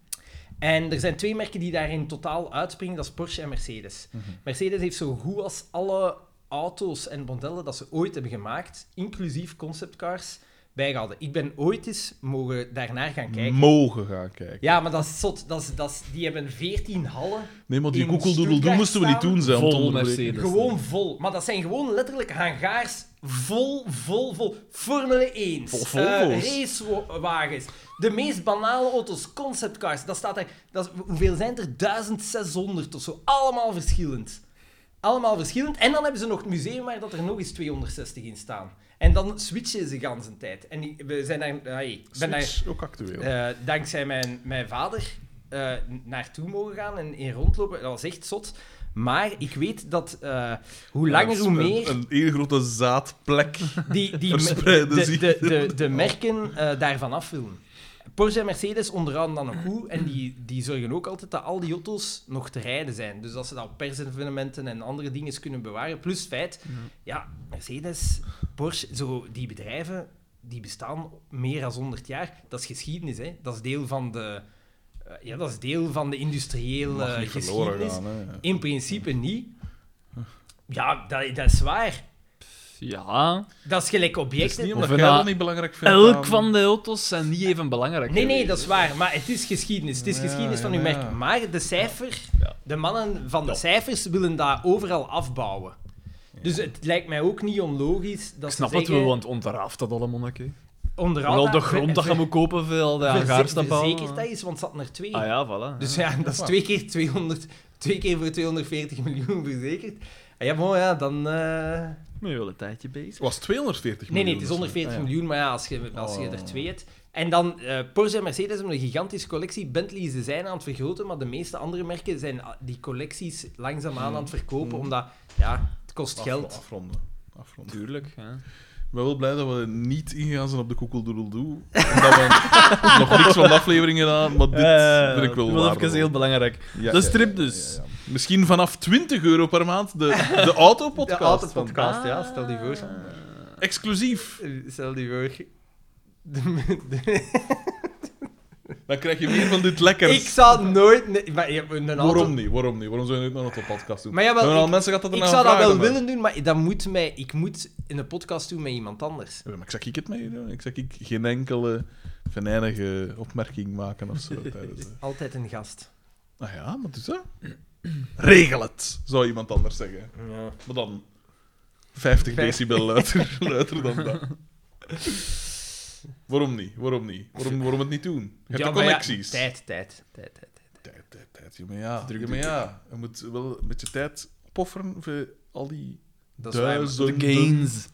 Speaker 1: En er zijn twee merken die daarin totaal uitspringen, dat is Porsche en Mercedes.
Speaker 2: Mhm.
Speaker 1: Mercedes heeft zo goed als alle auto's en modellen dat ze ooit hebben gemaakt, inclusief conceptcars, bijgehouden. Ik ben ooit eens mogen daarnaar gaan kijken.
Speaker 2: Mogen gaan kijken.
Speaker 1: ja, maar dat is zot. Dat is, dat is, die hebben 14 hallen,
Speaker 2: Nee, maar die
Speaker 1: In
Speaker 2: koekeldoedeldoe
Speaker 1: Stuttgart
Speaker 2: moesten we niet
Speaker 1: staan.
Speaker 2: doen, zijn. om te
Speaker 3: Vol
Speaker 2: onderbreken.
Speaker 3: Mercedes.
Speaker 1: gewoon vol. Maar dat zijn gewoon letterlijk hangaars vol, vol, vol. Formule 1,
Speaker 2: Vol Volvo's.
Speaker 1: eh racewagens, de meest banale auto's, conceptcars. Dat staat er, dat is, hoeveel zijn er? 1600 of zo. Allemaal verschillend. Allemaal verschillend. En dan hebben ze nog het museum waar dat er nog eens 260 in staan. En dan switchen ze de hele tijd. En die- we zijn daar, ah, ik ben daar
Speaker 2: Switch, ook actueel.
Speaker 1: eh, dankzij mijn, mijn vader eh, naartoe mogen gaan en in rondlopen. Dat was echt zot. Maar ik weet dat eh, hoe langer, hoe
Speaker 2: Een-
Speaker 1: meer Eh,
Speaker 2: Een, een hele grote zaadplek.
Speaker 1: die, die
Speaker 2: verspreiden
Speaker 1: de,
Speaker 2: zich.
Speaker 1: de, de, de merken eh, daarvan af willen. Porsche en Mercedes onderaan dan nog goed. En die, die zorgen ook altijd dat al die auto's nog te rijden zijn. Dus dat ze dat op persevenementen en andere dingen kunnen bewaren. Plus het feit, ja, Mercedes, Porsche, zo, die bedrijven die bestaan meer dan 100 jaar. Dat is geschiedenis, hè. Dat is deel van de, eh, ja, dat is deel van de industriële
Speaker 2: Mag niet verloren
Speaker 1: geschiedenis.
Speaker 2: gaan, hè.
Speaker 1: In principe niet. Ja, dat, dat is waar.
Speaker 3: Ja. ehm,
Speaker 1: Dat is gelijk
Speaker 2: Het is
Speaker 1: objecten.
Speaker 2: niet
Speaker 3: Of
Speaker 2: omdat
Speaker 3: een
Speaker 2: jij dat
Speaker 3: na-
Speaker 2: niet belangrijk vindt.
Speaker 3: Elk
Speaker 2: aan-
Speaker 3: van de auto's zijn niet even belangrijk.
Speaker 1: Nee, nee,
Speaker 3: geweest.
Speaker 1: dat is waar. Maar het is geschiedenis. Het is
Speaker 2: Ja,
Speaker 1: geschiedenis van
Speaker 2: ja,
Speaker 1: uw merk.
Speaker 2: ja.
Speaker 1: Maar de cijfer,
Speaker 3: Ja.
Speaker 1: de mannen van de
Speaker 3: Ja.
Speaker 1: cijfers willen dat overal afbouwen. Dus het lijkt mij ook niet onlogisch dat
Speaker 3: Ik snap
Speaker 1: ze
Speaker 3: het
Speaker 1: zeggen,
Speaker 3: wel, want ontraaft dat allemaal een keer.
Speaker 1: onder
Speaker 3: Vooral de
Speaker 1: andere-
Speaker 3: grond eh, dat je moet kopen, veel de
Speaker 1: verze-
Speaker 3: hangaars dat bouwen.
Speaker 1: Verzekerd dat is, want het zat er twee.
Speaker 3: Ah ja, voilà.
Speaker 1: Dus ja, dat is
Speaker 2: Ja.
Speaker 1: twee keer, 200, twee keer voor 240 miljoen verzekerd. Ah Ja, bon, ja, dan... eh,
Speaker 3: ben je wel een tijdje bezig.
Speaker 2: Was 240
Speaker 1: Nee, nee,
Speaker 2: miljoen
Speaker 1: het is
Speaker 2: of zo.
Speaker 1: 140
Speaker 2: Ah, ja.
Speaker 1: miljoen, maar ja, als je, als je
Speaker 2: Oh.
Speaker 1: er twee hebt. En dan eh, Porsche en Mercedes hebben een gigantische collectie. Bentley ze zijn aan het vergroten, maar de meeste andere merken zijn a- die collecties langzaamaan aan het verkopen, omdat ja, het kost
Speaker 2: Hmm. Af-
Speaker 1: geld.
Speaker 2: Afronden. afronden.
Speaker 3: Tuurlijk. Ja.
Speaker 2: Ik ben wel blij dat we niet ingegaan zijn op de koekeldoedeldoe. Omdat we nog niks van de aflevering gedaan, maar dit
Speaker 3: Eh,
Speaker 2: vind ik wel
Speaker 3: Dat
Speaker 2: waardevol.
Speaker 3: is heel belangrijk.
Speaker 2: Ja,
Speaker 3: de
Speaker 2: ja,
Speaker 3: strip
Speaker 2: ja,
Speaker 3: dus.
Speaker 2: ja, ja. Misschien vanaf 20 euro per maand de, de autopodcast.
Speaker 1: De autopodcast, ja, stel die voor.
Speaker 2: van- Exclusief.
Speaker 1: Eh, Stel die voor. De- de-
Speaker 2: Dan krijg je meer van dit lekkers.
Speaker 1: ik zou nooit... ne- Maar, je hebt een auto-
Speaker 2: Waarom niet? Waarom niet? Waarom zou je niet naar een autopodcast doen?
Speaker 1: Maar jawel,
Speaker 2: Hebben we al
Speaker 1: ik-
Speaker 2: mensen gaat dat
Speaker 1: Ik
Speaker 2: ernaar
Speaker 1: zou dat wel
Speaker 2: vragen, maar-
Speaker 1: willen doen, maar dat moet mij, ik moet in een podcast doen met iemand anders.
Speaker 2: Ja, maar ik zag ik het mee doen. Ik zag ik geen enkele venijnige opmerking maken of zo. Tijdens, eh.
Speaker 1: Altijd een gast.
Speaker 2: Ah ja, wat is dat? Regel het, zou iemand anders zeggen.
Speaker 1: Ja.
Speaker 2: Maar dan 50 decibel luider, luider dan dat. Waarom niet? Waarom niet? Waarom, waarom het niet doen? Je hebt
Speaker 1: Ja,
Speaker 2: de
Speaker 1: maar ja,
Speaker 2: connecties.
Speaker 1: tijd, tijd, tijd, tijd.
Speaker 2: tijd, tijd, tijd. Ja, maar ja. Ja, maar ja. Je moet wel een beetje tijd opofferen voor al die
Speaker 1: Dat is waar, maar-
Speaker 2: duizenden,
Speaker 3: Gains.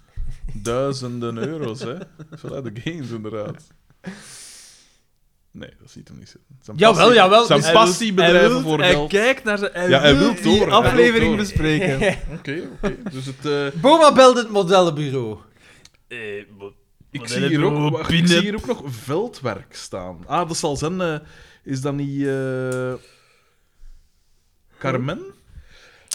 Speaker 2: duizenden euro's. Hè? Vanuit de gains, inderdaad. Nee, dat ziet hem niet zitten. Zijn
Speaker 1: Jawel,
Speaker 2: passie-
Speaker 1: jawel.
Speaker 2: Zijn
Speaker 1: Hij
Speaker 2: passiebedrijven voor
Speaker 3: Hij
Speaker 2: geld. Oké,
Speaker 3: kijkt naar zijn... Hij
Speaker 2: Ja, hij wil
Speaker 3: die
Speaker 2: door, hij wil
Speaker 3: aflevering
Speaker 2: door.
Speaker 3: bespreken.
Speaker 2: oké. Dus het... eh,
Speaker 1: Boma belde het modellenbureau.
Speaker 2: Ik
Speaker 3: Maar
Speaker 2: zie,
Speaker 3: dan
Speaker 2: hier
Speaker 3: hebben we
Speaker 2: ook, wacht, ik
Speaker 3: binnen-
Speaker 2: zie hier ook nog veldwerk staan. Ah, dat zal zijn... eh, is dat niet... eh, Carmen?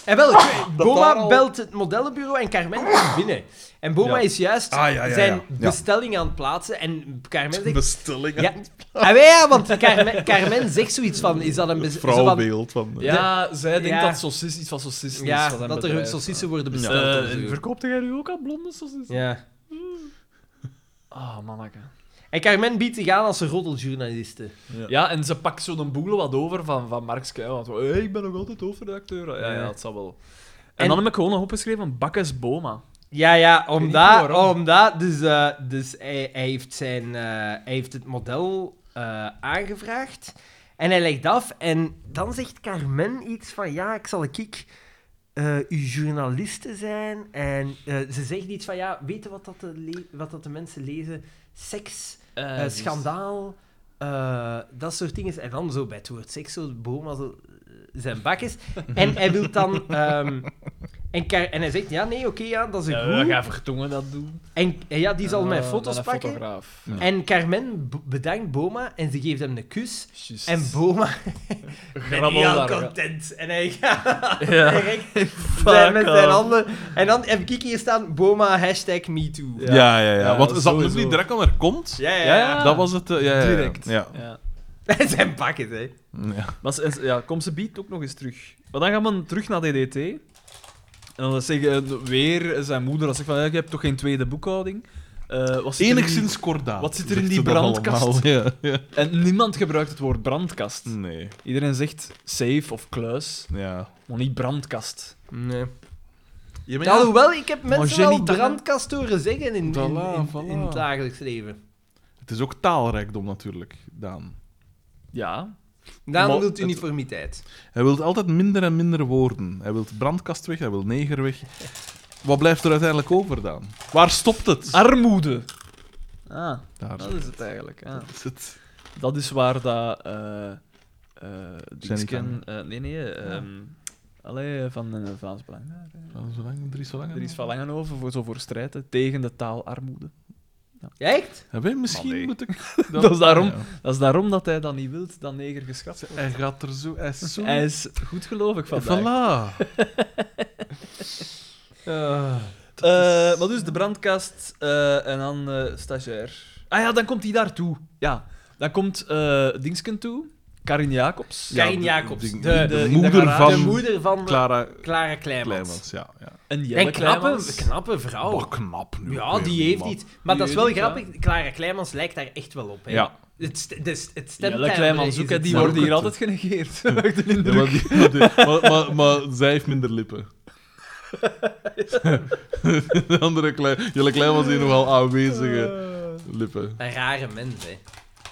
Speaker 1: En wel,
Speaker 2: Ah,
Speaker 1: het- Boma
Speaker 2: daar al-
Speaker 1: belt het modellenbureau en Carmen komt binnen. En Boma
Speaker 2: Ja.
Speaker 1: is juist
Speaker 2: Ah, ja, ja, ja.
Speaker 1: zijn
Speaker 2: Ja.
Speaker 1: bestelling aan het plaatsen en Carmen zegt...
Speaker 2: Bestelling.
Speaker 1: Ja. Ah, wij, ja, want Carmen, Carmen zegt zoiets van... Is dat een
Speaker 2: Het
Speaker 1: bes- zo van,
Speaker 2: vrouwbeeld van... eh,
Speaker 3: Ja, zij denkt
Speaker 1: Ja.
Speaker 3: dat sausis iets van sausis
Speaker 1: Ja,
Speaker 3: is.
Speaker 1: dat er saucissen worden besteld.
Speaker 3: Uh,
Speaker 1: of zo.
Speaker 3: verkoopt jij nu ook al blonde sausissen?
Speaker 1: ja.
Speaker 3: Ah, manneke.
Speaker 1: En Carmen biedt zich aan als een roddeljournaliste.
Speaker 3: Ja, en ze pakt zo'n boel wat over van, van Marx Kuij, want hey, ik ben nog altijd hoofdredacteur. Ja, ja,
Speaker 1: Ja.
Speaker 3: dat zal wel. En,
Speaker 1: En-
Speaker 3: dan heb ik gewoon nog opgeschreven van Bakkes Boma.
Speaker 1: Ja, ja,
Speaker 3: niet
Speaker 1: omdat...
Speaker 3: waarom.
Speaker 1: omdat dus eh, dus hij, hij, heeft zijn, eh, hij heeft het model eh, aangevraagd. En hij legt af. En dan zegt Carmen iets van... Ja, ik zal ik eh uw journaliste zijn. En eh, ze zegt iets van... Ja, weet je wat dat de, le- wat dat de mensen lezen? seks,
Speaker 3: Eh,
Speaker 1: eh,
Speaker 3: juist.
Speaker 1: schandaal, eh, dat soort dingen. En dan zo bij het woord seks, zo Boma zo eh, zijn bakjes. en hij wil dan... ehm, en, Kar- en hij zegt, ja, nee, oké, ja, dat is een
Speaker 3: Ja,
Speaker 1: goed.
Speaker 3: gaat Vertongen dat doen.
Speaker 1: En en ja, die zal mijn
Speaker 3: Eh,
Speaker 1: foto's
Speaker 3: met een
Speaker 1: pakken.
Speaker 3: fotograaf.
Speaker 2: Ja.
Speaker 1: En Carmen b- bedankt Boma en ze geeft hem een kus.
Speaker 3: Juist.
Speaker 1: En Boma ben
Speaker 3: Grabbel
Speaker 1: heel
Speaker 3: daar,
Speaker 1: content. En hij gaat
Speaker 3: Ja.
Speaker 1: direct zijn met zijn
Speaker 3: off.
Speaker 1: handen. En dan heb ik hier staan, Boma, hashtag MeToo.
Speaker 3: Ja.
Speaker 2: Ja, ja, ja.
Speaker 3: Ja,
Speaker 2: Want is dat
Speaker 3: sowieso.
Speaker 2: nummer die direct al er komt?
Speaker 1: Ja, ja,
Speaker 3: Ja,
Speaker 1: ja.
Speaker 3: ja.
Speaker 2: Dat was het... eh, ja, ja, ja.
Speaker 3: Direct.
Speaker 2: Ja.
Speaker 3: Ja.
Speaker 1: Het zijn pakken, hè.
Speaker 2: Ja.
Speaker 3: Maar ze- ja, kom ze biedt ook nog eens terug. Maar dan gaan we terug naar DDT. En dan zeggen eh, weer zijn moeder dat zegt van, ja, je hebt toch geen tweede boekhouding? Eh, wat zit er in-
Speaker 2: Enigszins kordaat.
Speaker 3: wat zit er in
Speaker 2: zegt
Speaker 3: die
Speaker 2: ze dat
Speaker 3: brandkast?
Speaker 2: allemaal. Ja, ja.
Speaker 3: En niemand gebruikt het woord brandkast.
Speaker 2: Nee,
Speaker 3: Iedereen zegt safe of kluis,
Speaker 2: ja.
Speaker 3: maar niet brandkast.
Speaker 1: Nee.
Speaker 2: Je bent-
Speaker 1: Alhoewel, ik heb mensen
Speaker 3: Jenny
Speaker 1: wel
Speaker 3: Tange-
Speaker 1: brandkast horen zeggen in, in,
Speaker 2: Voilà,
Speaker 1: in-
Speaker 2: voilà.
Speaker 1: in het dagelijks leven.
Speaker 2: Het is ook taalrijkdom natuurlijk, Daan.
Speaker 3: Ja.
Speaker 1: Daarom
Speaker 3: Maar
Speaker 1: wil
Speaker 3: het-
Speaker 1: uniformiteit.
Speaker 2: Hij wil altijd minder en minder woorden. Hij wil brandkast weg, hij wil neger weg. Wat blijft er uiteindelijk over, Daan? Waar stopt het?
Speaker 3: Armoede. Ah,
Speaker 2: Daar
Speaker 3: dat is het eigenlijk. ja.
Speaker 2: is het.
Speaker 3: Dat is waar dat... eh eh Dingsken...
Speaker 2: Tange.
Speaker 3: eh, nee, nee. ehm allee, van eh, Vlaams Belang. daar, eh.
Speaker 2: Zolang, Dries van Langen.
Speaker 3: Er is van Langenhoven voor zo voor strijden tegen de taalarmoede.
Speaker 1: Echt?
Speaker 2: Hebben we misschien
Speaker 3: Maar nee.
Speaker 2: moet ik...
Speaker 3: Dat is daarom.
Speaker 2: Ja.
Speaker 3: Dat is daarom dat hij dat niet wil, dat neger geschat wordt.
Speaker 2: Hij gaat er zo... Hij is zo...
Speaker 3: Hij is goed gelovig vandaag.
Speaker 2: Voilà.
Speaker 3: Eh, maar dus de brandkast eh, en dan eh, stagiair. Ah ja, dan komt hij daartoe. Ja, dan komt eh Dingsken toe, Karin Jacobs.
Speaker 2: Ja,
Speaker 1: Karin
Speaker 2: de-
Speaker 1: Jacobs.
Speaker 2: de-
Speaker 1: De,
Speaker 2: de
Speaker 1: de
Speaker 2: moeder
Speaker 3: garage.
Speaker 2: van-
Speaker 1: moeder van
Speaker 2: Clara
Speaker 1: Clara Kleimans.
Speaker 2: Kleimans, ja. ja.
Speaker 3: En Jelle
Speaker 1: En knappe,
Speaker 3: Kleimans.
Speaker 1: knappe vrouw.
Speaker 2: Oh, knap nu.
Speaker 1: Ja,
Speaker 2: ook weer,
Speaker 1: die heeft
Speaker 2: man.
Speaker 1: iets. Maar dat is wel
Speaker 3: heeft iets,
Speaker 1: grappig. Clara Kleimans lijkt daar echt wel op. Hè.
Speaker 2: Ja.
Speaker 1: Het, st- dus het stemt
Speaker 3: Jelle Kleimans ook, hè, die
Speaker 2: Maar
Speaker 3: worden
Speaker 2: ook
Speaker 3: hier
Speaker 2: het-
Speaker 3: altijd genegeerd. heb ik de
Speaker 2: Ja,
Speaker 3: indruk.
Speaker 2: maar, die- maar, die- maar, maar- maar zij heeft minder lippen. De andere klein, Jelle Klein was hier nogal aanwezige lippen.
Speaker 1: Een rare mens, hè.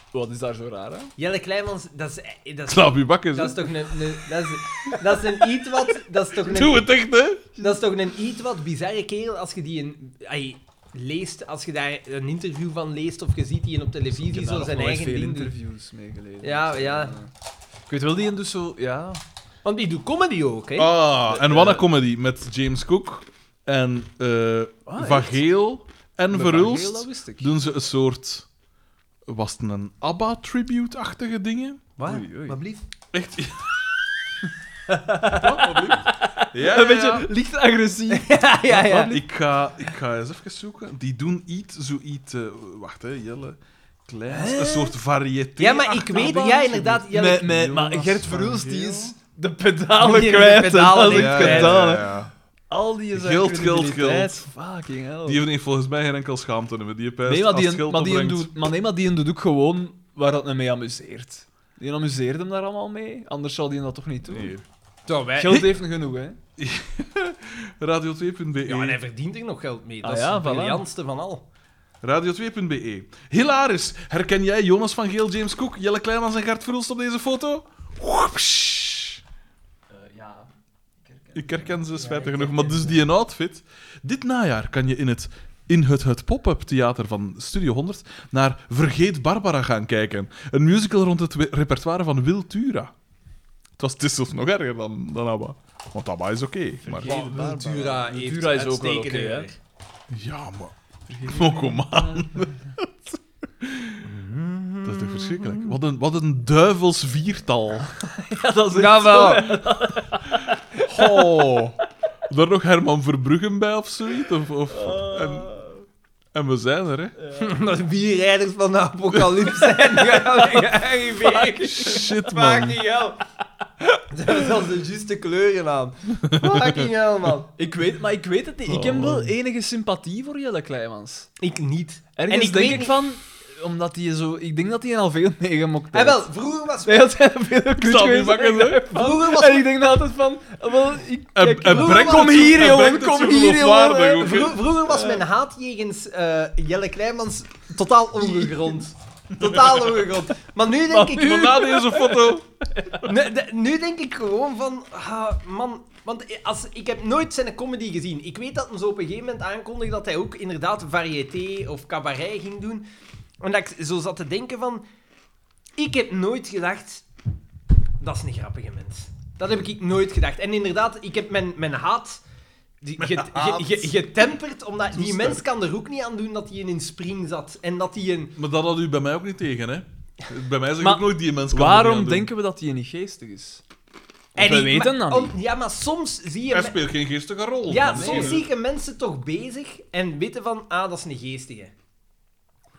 Speaker 3: Oh, Wat is daar zo raar aan?
Speaker 1: Jelle Kleinmans, dat is, dat is,
Speaker 2: Slaap je bakken,
Speaker 1: dat is
Speaker 2: zeg.
Speaker 1: toch een, een- dat, is, dat is een iets wat... Dat is toch
Speaker 2: Doe
Speaker 1: een,
Speaker 2: het echt, hè?
Speaker 1: dat is toch een iets wat bizarre kerel als je die een, ai, leest, als je daar een interview van leest of je ziet die een op televisie zo zijn eigen
Speaker 3: veel
Speaker 1: ding doet.
Speaker 3: interviews mee gelezen. Dus, eh,
Speaker 1: Ja, ja.
Speaker 3: Ik weet wel die een dus zo... Ja.
Speaker 1: Want die doet comedy ook, hè.
Speaker 2: Ah, en
Speaker 3: Eh,
Speaker 2: wat
Speaker 3: eh.
Speaker 2: een comedy met James Cook en eh
Speaker 3: Ah,
Speaker 2: Van
Speaker 3: echt?
Speaker 2: Geel en
Speaker 3: Met Van Geel,
Speaker 2: Verhulst.
Speaker 3: Dat wist ik.
Speaker 2: Doen ze een soort... Was het een ABBA-tribute-achtige dingen?
Speaker 1: Wat?
Speaker 3: Oei, oei.
Speaker 1: Wat blieft?
Speaker 2: Echt? Wat, wat lief? Ja,
Speaker 3: Een
Speaker 2: ja, ja.
Speaker 3: beetje licht agressief.
Speaker 1: ja, ja.
Speaker 2: Wat? Ik ga, ik ga eens even zoeken. Die doen iets, zoiets. eh, wacht, hè, Jelle. Kleins. Een soort variëteit.
Speaker 1: Ja, maar ik
Speaker 3: Ah,
Speaker 1: weet... Ja, inderdaad. Jelle-
Speaker 3: Met- met- maar
Speaker 2: Jonas
Speaker 3: Gert
Speaker 2: van
Speaker 3: Verhulst
Speaker 2: Geel.
Speaker 3: die is de pedalen
Speaker 1: Die is de
Speaker 3: kwijt. hè.
Speaker 1: pedalen
Speaker 3: Dat is
Speaker 1: niet
Speaker 3: het
Speaker 2: ja,
Speaker 1: kwijt.
Speaker 3: gedaan, hè.
Speaker 2: ja, ja.
Speaker 3: Al die zijn
Speaker 2: Geld, geld,
Speaker 3: credibiliteit. Fucking hell.
Speaker 2: Die heeft nee, volgens mij geen enkel schaamte meer. Die pijst
Speaker 3: nee, maar
Speaker 2: als
Speaker 3: die,
Speaker 2: het geld
Speaker 3: maar, die
Speaker 2: opbrengt.
Speaker 3: doet, maar nee, maar die doet ook gewoon waar dat hem mee amuseert. Die amuseert hem daar allemaal mee, anders zou die dat toch niet doen.
Speaker 2: Nee.
Speaker 1: Zo, wij-
Speaker 3: Geld heeft hem genoeg, hè.
Speaker 2: Radio2.be.
Speaker 1: Ja, en hij verdient er nog geld mee.
Speaker 3: Ah
Speaker 1: Dat is
Speaker 3: ja,
Speaker 1: het
Speaker 3: voilà.
Speaker 1: briljantste van al.
Speaker 2: Radio2.be. Hilaris! E. Herken jij Jonas van Geel, James Cook, Jelle Kleinmans en Gert Verhulst op deze foto? Woepsch.
Speaker 3: ja.
Speaker 2: Ik herken ze spijtig
Speaker 1: ik
Speaker 2: genoeg, maar dus die een outfit. Dit najaar kan je in het, in het, het pop-up theater van Studio 100 naar Vergeet Barbara gaan kijken. Een musical rond het we- repertoire van Wiltura. Het, was, het is zelfs nog erger dan, dan ABBA. Want ABBA is oké. maar,
Speaker 1: Natura heeft
Speaker 3: Natura is ook wel
Speaker 1: uitstekende
Speaker 3: oké, hè.
Speaker 1: werk.
Speaker 2: ja, maar... Oh, kom aan. Dat is toch verschrikkelijk. Wat een, wat een duivels viertal.
Speaker 3: dat is
Speaker 1: Ja, wel.
Speaker 2: Oh. Daar nog Herman Verbruggen bij of zoiets? Of, of, en, en we zijn er, hè.
Speaker 1: Omdat vier rijders van de apocalypse zijn gearriveerd.
Speaker 2: Shit, man.
Speaker 1: Fucking hell. Ze hebben zelfs de juiste kleuren aan. Fucking hell, man.
Speaker 3: Ik weet, maar ik weet het niet. Ik heb wel enige sympathie voor Jelle Kleimans.
Speaker 1: Ik niet.
Speaker 3: Ergens
Speaker 1: En ik
Speaker 3: denk
Speaker 1: weet
Speaker 3: ik
Speaker 1: niet-
Speaker 3: van, omdat hij zo... Ik denk dat hij al veel meegemokt
Speaker 1: En
Speaker 3: heeft.
Speaker 1: Ah, wel, vroeger was...
Speaker 3: Wij had zijn veel kut
Speaker 2: zal
Speaker 3: geweest.
Speaker 2: niet bakken,
Speaker 3: en ik dacht van-
Speaker 1: Vroeger was...
Speaker 3: En ik denk altijd van... Wel, ik,
Speaker 2: En-
Speaker 3: ik-
Speaker 2: en
Speaker 3: ik-
Speaker 2: brengt
Speaker 3: kom
Speaker 2: het zo-
Speaker 3: hier,
Speaker 2: en
Speaker 3: jongen.
Speaker 2: brengt het
Speaker 3: Kom
Speaker 2: zo
Speaker 3: hier,
Speaker 2: geloofwaardig
Speaker 3: jongen.
Speaker 2: ook.
Speaker 1: Vro- vroeger was mijn haat jegens eh, Jelle Kleimans totaal ongegrond. Totaal ongegrond. Maar nu denk ik...
Speaker 2: Maar na deze foto...
Speaker 1: Nu, de- nu denk ik gewoon van, ah, man, want als, ik heb nooit zijn comedy gezien. Ik weet dat hem zo op een gegeven moment aankondigde dat hij ook inderdaad variété of cabaret ging doen. En dat ik zo zat te denken van, ik heb nooit gedacht, dat is een grappige mens. Dat heb ik nooit gedacht. En inderdaad, ik heb mijn, mijn haat die- ge- ge- ge- getemperd, omdat die
Speaker 2: sterk.
Speaker 1: mens kan er ook niet aan doen dat hij in een spring zat. En dat hij een...
Speaker 2: Maar dat had u bij mij ook niet tegen, hè? Bij mij zeg
Speaker 3: Maar
Speaker 2: ik nooit die mensen.
Speaker 3: Waarom denken we dat die niet geestig is?
Speaker 1: En
Speaker 3: we
Speaker 1: ik-
Speaker 3: weten
Speaker 1: maar-
Speaker 3: dat niet.
Speaker 1: om- Ja, maar soms zie je...
Speaker 2: Hij
Speaker 1: me-
Speaker 2: speelt geen geestige rol.
Speaker 1: Ja,
Speaker 2: Nee.
Speaker 1: soms zie ik een mensen toch bezig en weten van, ah, dat is een geestige.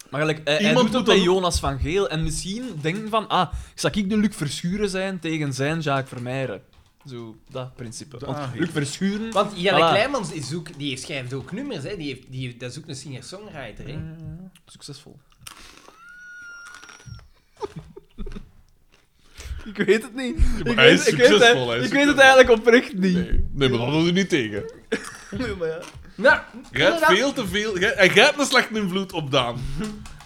Speaker 3: Maar gelijk, eh, hij, hij
Speaker 2: Iemand
Speaker 3: doet dat bij
Speaker 2: moet dat doen.
Speaker 3: Jonas van Geel en misschien denken van, ah, zou ik de Luc Verschuren zijn tegen zijn Jacques Vermeijeren? Zo, dat principe.
Speaker 2: Daar
Speaker 3: Want
Speaker 2: hier.
Speaker 3: Luc Verschuren...
Speaker 1: Want Jelle
Speaker 3: Voilà.
Speaker 1: Kleinmans is ook, die schrijft ook nummers, hè. Die, heeft, die, dat is ook een singer-songwriter, hè.
Speaker 3: Succesvol. ik weet het niet. Ik
Speaker 2: maar hij
Speaker 3: weet-
Speaker 2: is
Speaker 3: ik weet het-
Speaker 2: succesvol, hij is
Speaker 3: Ik weet het
Speaker 2: succesvol.
Speaker 3: eigenlijk oprecht niet.
Speaker 2: Nee, nee, maar dat hadden we niet tegen.
Speaker 1: Nou,
Speaker 2: Jij hebt
Speaker 1: inderdaad.
Speaker 2: veel te veel. Jij, en jij hebt een slechte invloed op Daan.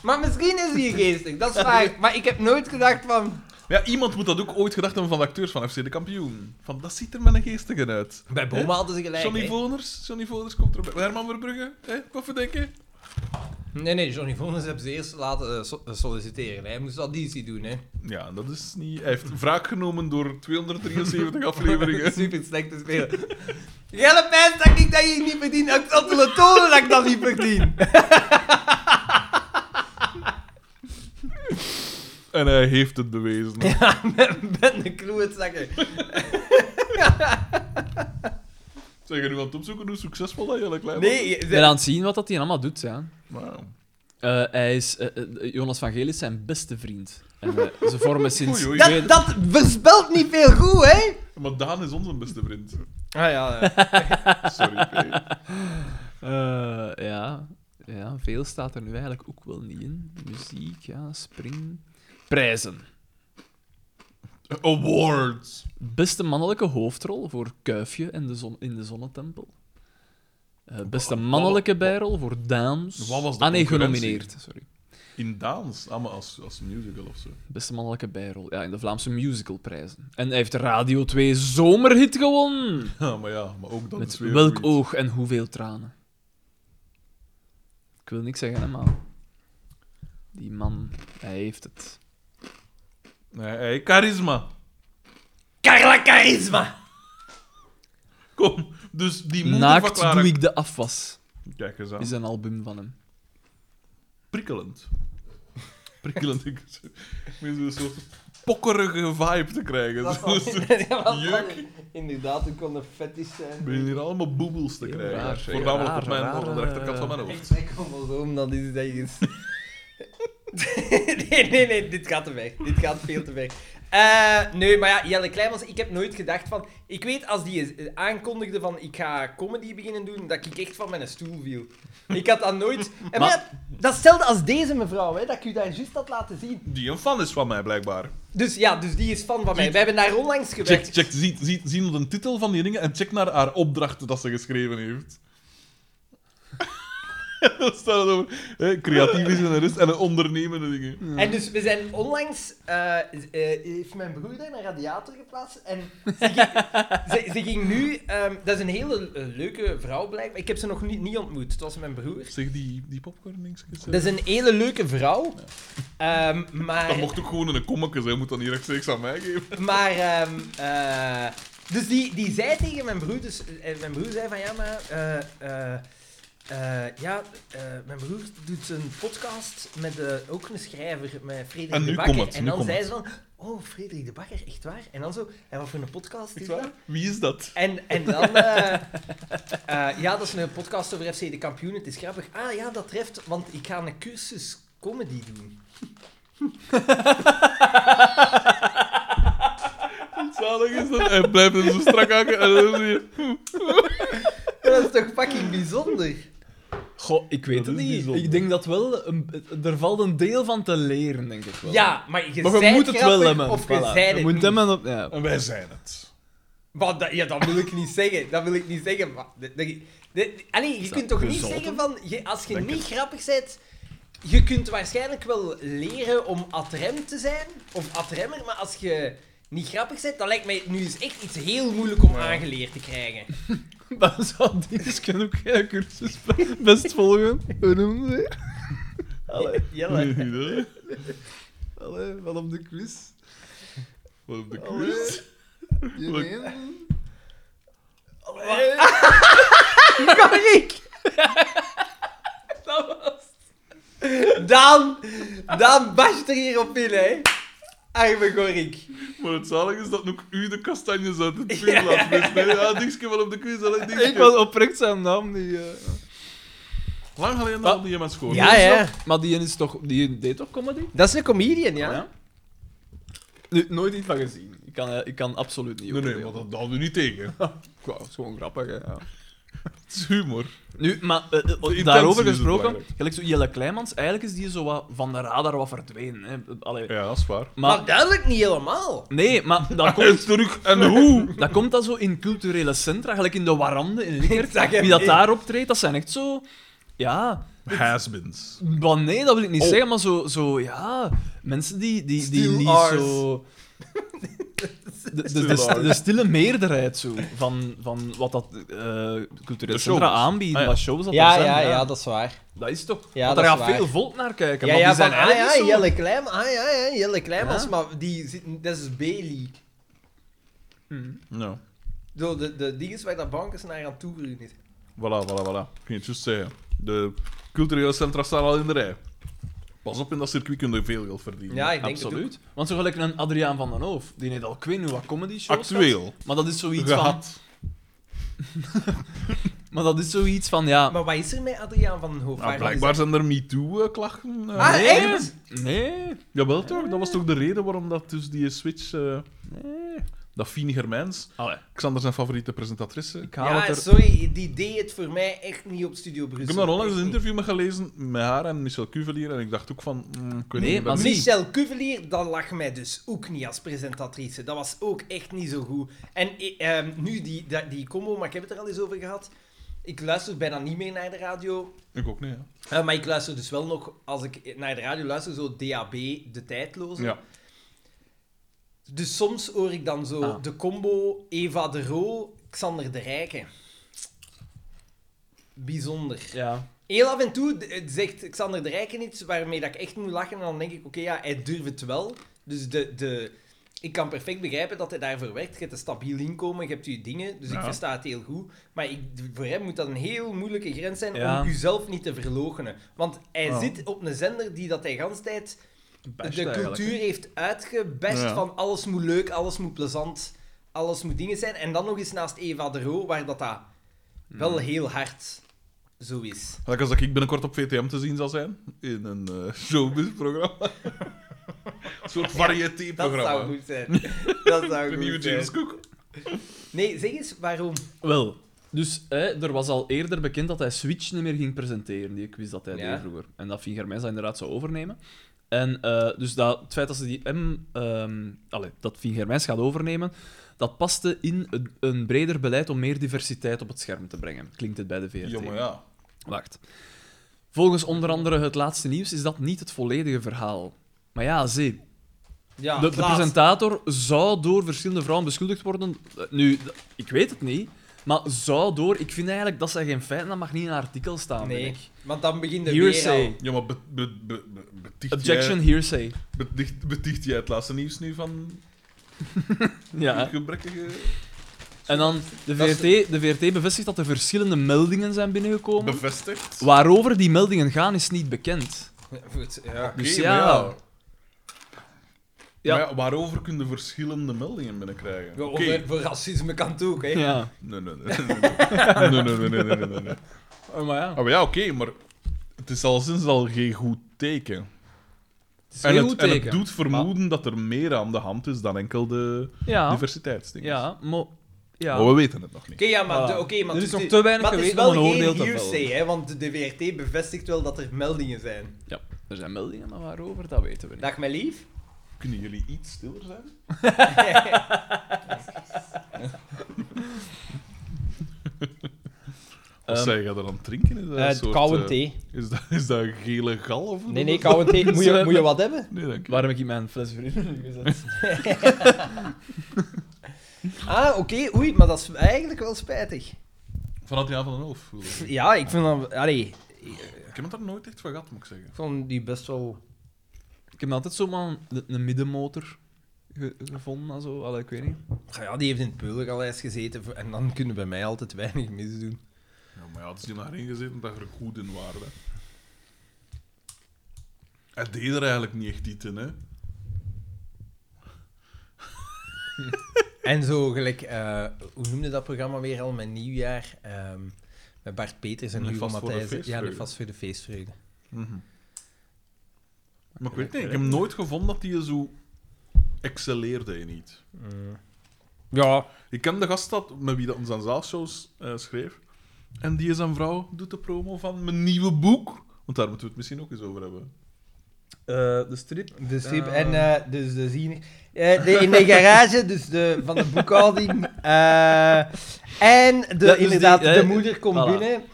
Speaker 1: Maar misschien is die geestig, dat is waar. Maar ik heb nooit gedacht van...
Speaker 2: Ja, iemand moet dat ook ooit gedacht hebben van de acteurs van FC de Kampioen. Van dat ziet er met een geestige uit.
Speaker 1: Bij Boma hadden ze gelijk,
Speaker 2: Johnny
Speaker 1: hè.
Speaker 2: Voners, Johnny Voners komt erbij. Herman Verbrugge, hè? Wat verdenken?
Speaker 1: Nee, nee, Johnny Voners hebben ze eerst laten eh, so- eh, solliciteren. hè. Hij moest auditie doen, hè.
Speaker 2: Ja, dat is niet. Hij heeft wraak genomen door 273 afleveringen.
Speaker 1: Super slecht te spelen. Jelle pest dat ik dat hier niet verdien. Ik zal willen tonen dat ik dat niet verdien.
Speaker 2: En hij heeft het bewezen.
Speaker 1: Ja, ben, ben de klootzakker.
Speaker 2: Zijn je nu aan het opzoeken hoe succesvol dat Jelle Klein
Speaker 1: Nee, je-
Speaker 3: Ik ben aan het zien wat dat hij allemaal doet, ja.
Speaker 2: Wauw.
Speaker 3: Eh, hij is, eh, eh, Jonas van Geel is zijn beste vriend. En, eh, ze vormen sinds...
Speaker 2: Oei, oei.
Speaker 1: Dat, dat voorspelt niet veel goed, hè?
Speaker 2: Maar Daan is onze beste vriend.
Speaker 1: Ah ja,
Speaker 2: Sorry, P.
Speaker 3: Eh, ja. ja, veel staat er nu eigenlijk ook wel niet in. Muziek, ja, spring. Prijzen.
Speaker 2: Awards.
Speaker 3: Beste mannelijke hoofdrol voor Kuifje en de zon, in de Zonnetempel. Eh, beste mannelijke bijrol voor Daams.
Speaker 2: Wat was de
Speaker 3: ah nee,
Speaker 2: concurrentie?
Speaker 3: genomineerd. Sorry.
Speaker 2: In Daans, allemaal als, als musical of zo.
Speaker 3: Beste mannelijke bijrol. Ja, in de Vlaamse musicalprijzen. En hij heeft Radio 2 Zomerhit gewonnen.
Speaker 2: Ja, Ah, maar ja, maar ook dat
Speaker 3: Met
Speaker 2: is weer
Speaker 3: welk
Speaker 2: zoiets.
Speaker 3: oog en hoeveel tranen? Ik wil niks zeggen, hè, maar... Die man, hij heeft het.
Speaker 2: Nee, hey, charisma.
Speaker 1: Carla Charisma.
Speaker 2: Kom, dus die moeder van
Speaker 3: Naakt
Speaker 2: Clara...
Speaker 3: doe ik de afwas,
Speaker 2: Kijk eens aan.
Speaker 3: is een album van hem.
Speaker 2: Prikkelend. Prikkelend. ik meen zo'n soort pokkerige vibe te krijgen. Zo'n soort- Jeuk.
Speaker 1: Inderdaad, ik kon een fetish eh. zijn.
Speaker 2: Ik begin hier allemaal boebels te
Speaker 3: Heel
Speaker 2: krijgen.
Speaker 3: raar, heel
Speaker 2: Voornamelijk
Speaker 3: raar,
Speaker 2: op, mijn,
Speaker 3: raar,
Speaker 2: op de rechterkant van mijn hoofd.
Speaker 1: eh, Echt, ik kom wel zo om, dat is het ergens. nee, nee, nee, dit gaat te ver. Dit gaat veel te ver. Eh, nee, maar ja, Jelle Kleinmans, ik heb nooit gedacht van... Ik weet, als die eh, aankondigde van ik ga comedy beginnen doen, dat ik echt van mijn stoel viel. Ik had dat nooit... En maar,
Speaker 3: Maar-
Speaker 1: ja, dat stelde als deze mevrouw, hè, dat ik u daar juist had laten zien.
Speaker 2: Die een fan is van mij, blijkbaar.
Speaker 1: Dus ja, dus die is fan van mij. We hebben daar onlangs
Speaker 2: Check,
Speaker 1: gewerkt.
Speaker 2: check, zie, zie, zie de titel van die dingen en check naar haar opdrachten dat ze geschreven heeft. dat staat het over hè, creatief is en er is en een ondernemende dingen.
Speaker 1: En dus we zijn onlangs... eh, eh, heeft mijn broer daar een radiator geplaatst. En ze ging, ze, ze ging nu... ehm, dat is een hele eh, leuke vrouw, blijkbaar. Ik heb ze nog niet, niet ontmoet. Het was mijn broer.
Speaker 2: Zeg die, die popcorn dingetjes. hè.
Speaker 1: Dat is een hele leuke vrouw. Ehm, maar...
Speaker 2: Dat mocht ook gewoon in een kommetje zijn, moet dat niet rechtstreeks aan mij geven.
Speaker 1: Maar, ehm, eh, dus die, die zei tegen mijn broer, dus eh, mijn broer zei van ja, maar, eh, eh, eh, ja, eh, mijn broer doet een podcast met eh, ook een schrijver, met Frederik
Speaker 2: En nu
Speaker 1: de Bakker.
Speaker 2: komt het,
Speaker 1: en
Speaker 2: nu
Speaker 1: dan
Speaker 2: komt
Speaker 1: zei
Speaker 2: het.
Speaker 1: ze van, oh, Frederik de Bakker, echt waar? En dan zo, en wat voor een podcast is
Speaker 2: Echt
Speaker 1: dat?
Speaker 2: waar? Wie is dat?
Speaker 1: En, en dan, eh, eh, ja, dat is een podcast over FC de kampioen, het is grappig. Ah ja, dat treft, want ik ga een cursus comedy doen.
Speaker 2: Zalig is dat? Hij blijft er zo strak hakken en dan zie je...
Speaker 1: Dat is toch fucking bijzonder?
Speaker 3: Goh, ik weet
Speaker 2: Dat
Speaker 3: het
Speaker 2: is
Speaker 3: niet.
Speaker 2: bijzonder.
Speaker 3: Ik denk dat wel... Een, er valt een deel van te leren, denk ik wel.
Speaker 1: Ja, maar je,
Speaker 3: Maar je
Speaker 1: zijt
Speaker 3: moet het
Speaker 1: grappig
Speaker 3: wel hebben.
Speaker 1: Of je
Speaker 3: Voilà.
Speaker 1: zijt
Speaker 3: Je
Speaker 1: het
Speaker 3: moet
Speaker 1: niet.
Speaker 3: hem op... Ja.
Speaker 2: En wij zijn het.
Speaker 1: Maar dat, ja, dat wil ik niet zeggen. Dat wil ik niet zeggen. Maar, de, de- de- allee, je
Speaker 3: dat
Speaker 1: kunt toch niet
Speaker 3: gezouten?
Speaker 1: zeggen van... je- als je
Speaker 2: Denk
Speaker 1: niet grappig bent... je kunt waarschijnlijk wel leren om atrem te zijn, of atremmer, maar als je niet grappig bent, dan lijkt mij nu is echt iets heel moeilijk om aangeleerd te krijgen.
Speaker 3: Dan zou die kunnen ook Oh, geen cursus best volgen. Hoe noemen ze?
Speaker 6: Allee,
Speaker 2: Nee, nee.
Speaker 6: allee, wat op de quiz.
Speaker 2: Wat op de
Speaker 1: Oh,
Speaker 6: Allee.
Speaker 2: quiz?
Speaker 6: Je
Speaker 2: Wat-
Speaker 6: meen?
Speaker 1: Dan, dan basht er hier op in, hè. Arme Gorik.
Speaker 2: Maar het zalige is dat nog u de kastanjes uit het vuur laat wisten. Ja, dingetje wel op de quiz, dat dingetje.
Speaker 3: Ik was oprecht zijn naam niet. eh.
Speaker 2: Lang geleden
Speaker 3: Wat?
Speaker 2: dat die iemand schoon.
Speaker 1: Ah. Ja, ja.
Speaker 3: Maar die is toch, die deed toch comedy?
Speaker 1: Dat is een comedian,
Speaker 3: Oh
Speaker 1: ja.
Speaker 3: Nu, nooit iets van gezien. Ik kan, eh, ik kan absoluut niet.
Speaker 2: Nee, nee, maar
Speaker 3: oordelen.
Speaker 2: dat houden we niet tegen.
Speaker 1: Ah.
Speaker 3: Ja, dat is gewoon grappig. Hè, ja.
Speaker 2: Het is humor.
Speaker 3: Nu, maar eh, eh,
Speaker 2: intentie
Speaker 3: daarover
Speaker 2: is het
Speaker 3: gesproken,
Speaker 2: belangrijk.
Speaker 3: gelijk zo Jelle Kleimans, eigenlijk is die zo wat van de radar wat verdwenen. Hè. Allee,
Speaker 2: Ja, dat is waar.
Speaker 1: Maar,
Speaker 3: maar,
Speaker 1: duidelijk niet helemaal.
Speaker 3: nee, maar dat
Speaker 2: Hij is
Speaker 3: komt,
Speaker 2: terug en hoe?
Speaker 3: dat komt dan zo in culturele centra, gelijk in de Warande in Likert.
Speaker 1: zag hem
Speaker 3: Wie dat
Speaker 1: niet.
Speaker 3: daar optreedt, dat zijn echt zo... Ja,
Speaker 2: Has-beens.
Speaker 3: maar nee, dat wil ik niet
Speaker 2: Oh.
Speaker 3: zeggen, maar zo, zo, ja... Mensen die, die, die
Speaker 6: Still
Speaker 3: niet
Speaker 6: ours.
Speaker 3: zo... De, de, de,
Speaker 2: Still ours.
Speaker 3: de stille meerderheid zo, van, van wat dat eh culturele
Speaker 2: De
Speaker 3: centra
Speaker 2: shows.
Speaker 3: aanbieden,
Speaker 2: Ah, ja.
Speaker 3: wat shows dat
Speaker 1: Ja,
Speaker 3: er zijn.
Speaker 1: ja, ja, dat is waar.
Speaker 3: Dat is toch...
Speaker 1: Ja, dat
Speaker 3: want daar
Speaker 1: is
Speaker 3: gaat
Speaker 1: waar.
Speaker 3: veel volk naar kijken.
Speaker 1: Ja,
Speaker 3: maar
Speaker 1: ja,
Speaker 3: die zijn
Speaker 1: van, ah,
Speaker 3: eigenlijk
Speaker 1: ja,
Speaker 3: niet zo...
Speaker 1: Jelle Kleim, ah ja, ja, Jelle Kleim,
Speaker 3: Ja.
Speaker 1: als maar die zitten, dat is B-League.
Speaker 3: Hmm.
Speaker 2: Ja.
Speaker 1: Zo, de, de dingen waar dat bankers naar aan toegeruimd is.
Speaker 2: Voilà, voilà, voilà. Ik ging het juist zeggen. De culturele centra staan al in de rij. Pas op, in dat circuit kun je veel geld verdienen.
Speaker 1: Ja, ik denk het ook.
Speaker 3: Absoluut. Want zo gelijk een Adriaan van den Hoof, die net al kwijt nu wat comedy shows
Speaker 2: Actueel.
Speaker 3: had, maar dat is zoiets van...
Speaker 2: Gehad.
Speaker 3: Maar dat is zoiets van, ja...
Speaker 1: Maar wat is er met Adriaan van den Hoofd?
Speaker 2: Nou,
Speaker 1: Waar
Speaker 2: blijkbaar zijn er MeToo-klachten.
Speaker 1: Ah,
Speaker 3: nee,
Speaker 1: echt?
Speaker 3: Nee.
Speaker 2: eh. Jawel toch? Dat was toch de reden waarom dat dus die switch... eh, Dat Fien Germijns,
Speaker 3: Allee,
Speaker 2: Xander zijn favoriete presentatrice.
Speaker 3: ik
Speaker 2: Ik
Speaker 3: haal
Speaker 1: Ja,
Speaker 3: het er...
Speaker 1: sorry, die deed het voor mij echt niet op Studio Brussel.
Speaker 2: heb daar onlangs
Speaker 1: Echt
Speaker 2: een
Speaker 1: niet.
Speaker 2: interview mee gelezen met haar en Michel Cuvelier en ik dacht ook van... mm, ik weet
Speaker 3: Nee,
Speaker 2: niet,
Speaker 3: maar
Speaker 2: ben-
Speaker 3: zie-
Speaker 1: Michel Cuvelier, dat lag mij dus ook niet als presentatrice. Dat was ook echt niet zo goed. En eh, ehm, nu die, die, die combo, maar ik heb het er al eens over gehad. Ik luister bijna niet meer naar de radio.
Speaker 2: Ik ook niet, ja.
Speaker 1: Eh, maar ik luister dus wel nog, als ik naar de radio luister, zo DAB, de tijdloze.
Speaker 2: ja.
Speaker 1: Dus soms hoor ik dan zo
Speaker 3: Ah.
Speaker 1: de combo Eva de Roo, Xander de Rijken. Bijzonder.
Speaker 3: Ja.
Speaker 1: Heel af en toe d- eh, zegt Xander de Rijken iets waarmee dat ik echt moet lachen. En dan denk ik, oké, ja, hij durft het wel. Dus de, de, ik kan perfect begrijpen dat hij daarvoor werkt. Je hebt een stabiel inkomen, je hebt je dingen. Dus ik
Speaker 2: Ja.
Speaker 1: versta het heel goed. Maar ik, voor hem moet dat een heel moeilijke grens zijn
Speaker 3: Ja.
Speaker 1: om jezelf niet te verlogenen. Want hij
Speaker 2: Ja.
Speaker 1: zit op een zender die dat hij gans tijd
Speaker 3: Bashed
Speaker 1: de
Speaker 3: eigenlijk,
Speaker 1: cultuur heeft uitgebest
Speaker 2: Ja.
Speaker 1: van alles moet leuk, alles moet plezant, alles moet dingen zijn. En dan nog eens naast Eva de Roo, waar dat, dat
Speaker 2: Hmm.
Speaker 1: wel heel hard zo is.
Speaker 2: Gelijk als dat ik binnenkort op VTM te zien zal zijn, in een eh, showbiz-programma. een soort
Speaker 1: Dat
Speaker 2: variété-programma.
Speaker 1: zou goed zijn. Dat
Speaker 2: De
Speaker 1: zou
Speaker 2: nieuwe
Speaker 1: goed zijn.
Speaker 2: James Cook.
Speaker 1: Nee, zeg eens waarom.
Speaker 3: Wel, dus hè, er was al eerder bekend dat hij Switch niet meer ging presenteren, die quiz dat hij
Speaker 1: Ja.
Speaker 3: deed vroeger. En dat Fien Germijn zou inderdaad zou overnemen. En eh, dus dat, het feit dat ze die M, ehm allee, dat Fien Germijns gaat overnemen, dat paste in een, een breder beleid om meer diversiteit op het scherm te brengen. Klinkt het bij de VRT?
Speaker 2: Ja, maar ja.
Speaker 3: Wacht. Volgens onder andere het laatste nieuws is dat niet het volledige verhaal. Maar ja, zie.
Speaker 1: Ja,
Speaker 3: De, de
Speaker 1: laat.
Speaker 3: presentator zou door verschillende vrouwen beschuldigd worden. Eh, Nu, d- ik weet het niet. Maar zou door... Ik vind eigenlijk dat zij geen feiten... Dat mag niet in een artikel staan, vind
Speaker 1: Nee,
Speaker 3: ik.
Speaker 1: want dan begint de weer al.
Speaker 3: Hearsay.
Speaker 2: Ja, maar be, be, be- be- beticht,
Speaker 3: Objection hearsay.
Speaker 2: Jij, beticht, beticht jij het laatste nieuws nu van
Speaker 3: Ja.
Speaker 2: gebrekkige...
Speaker 3: En dan, de
Speaker 1: Dat is-
Speaker 3: VRT, de VRT bevestigt dat er verschillende meldingen zijn binnengekomen.
Speaker 2: bevestigd?
Speaker 3: Waarover die meldingen gaan, is niet bekend.
Speaker 1: Goed, ja.
Speaker 2: Oké,
Speaker 3: Dus
Speaker 2: maar
Speaker 3: ja.
Speaker 2: Ja.
Speaker 3: Ja.
Speaker 2: Maar ja, waarover kun je verschillende meldingen binnenkrijgen?
Speaker 1: Ja,
Speaker 2: Oké.
Speaker 1: of, eh, Voor racisme kan het ook, hè.
Speaker 3: Ja.
Speaker 2: Nee, nee, nee. Nee, nee, nee, nee, nee, nee, nee, nee.
Speaker 3: Oh, maar ja.
Speaker 2: Ah, maar ja, oké, maar het is al sinds al geen goed teken.
Speaker 3: Het is
Speaker 2: En
Speaker 3: geen
Speaker 2: het,
Speaker 3: goed
Speaker 2: en het
Speaker 3: teken.
Speaker 2: doet vermoeden dat er meer aan de hand is dan enkel de
Speaker 3: Ja.
Speaker 2: diversiteitsdingen.
Speaker 3: Ja, maar... Ja.
Speaker 2: Maar we weten het nog niet.
Speaker 1: Oké, ja, maar,
Speaker 3: Voilà.
Speaker 1: de- oké, maar
Speaker 3: Ah. Er is
Speaker 1: het
Speaker 3: nog te weinig
Speaker 1: maar het is
Speaker 3: geweten om
Speaker 1: wel
Speaker 3: een
Speaker 1: geen
Speaker 3: oordeel te
Speaker 1: hearsay,
Speaker 3: vellen.
Speaker 1: hè, want de VRT bevestigt wel dat er meldingen zijn.
Speaker 3: ja. Er zijn meldingen, maar waarover, dat weten we niet.
Speaker 1: Dag, mijn lief.
Speaker 2: Kunnen jullie iets stiller zijn? Wat
Speaker 3: Ehm,
Speaker 2: zijn jij dan aan het drinken? Is dat
Speaker 7: Eh,
Speaker 2: een soort,
Speaker 7: koude
Speaker 2: eh,
Speaker 7: thee.
Speaker 2: Is dat, is dat gele gal? Of
Speaker 7: Nee, nee, koude thee. Moet je,
Speaker 3: Zo-
Speaker 7: moet je wat hebben?
Speaker 2: Nee, dank je.
Speaker 3: Waarom heb ik mijn fles vrienden gezet?
Speaker 1: Ah, oké, oei, maar dat is eigenlijk wel spijtig.
Speaker 2: Vanuit de avond en elf. voelde ik.
Speaker 1: Ja, ik vind dat... Allee,
Speaker 2: Ik heb het daar nooit echt van gehad, moet ik zeggen.
Speaker 1: ik vond die best wel...
Speaker 3: Ik heb altijd zomaar een, een middenmotor ge- gevonden, en zo. Allee, ik weet niet.
Speaker 1: Ah Ja, die heeft in het peulergaleis gezeten voor- en dan kunnen bij mij altijd weinig misdoen.
Speaker 2: Ja, maar ja, het is niet naar ingezeten dat je er goed in waren. hè. Hij deed er eigenlijk niet echt iets in, hè.
Speaker 1: En zo gelijk, eh, hoe noemde dat programma weer al, mijn nieuwjaar? ehm, met Bart Peters en
Speaker 2: Nu
Speaker 1: Hugo
Speaker 2: vast voor de
Speaker 1: Matthijs. Ja, nu
Speaker 2: feestvreugde.
Speaker 1: vast voor de feestvreugde.
Speaker 2: Maar ik weet niet, ik heb nooit gevonden dat hij zo excelleerde in iets.
Speaker 1: Mm. Ja,
Speaker 2: Ik ken de gast dat, met wie dat ons aan zaalshows eh, schreef. En die is een vrouw, doet de promo van mijn nieuwe boek. Want daar moeten we het misschien ook eens over hebben.
Speaker 3: Eh, de strip?
Speaker 1: de strip en eh, dus de ziener. Eh, de, in de garage, dus de, van de boekhouding. eh, en de,
Speaker 3: dus die,
Speaker 1: inderdaad,
Speaker 3: eh,
Speaker 1: de moeder komt
Speaker 3: voilà.
Speaker 1: binnen.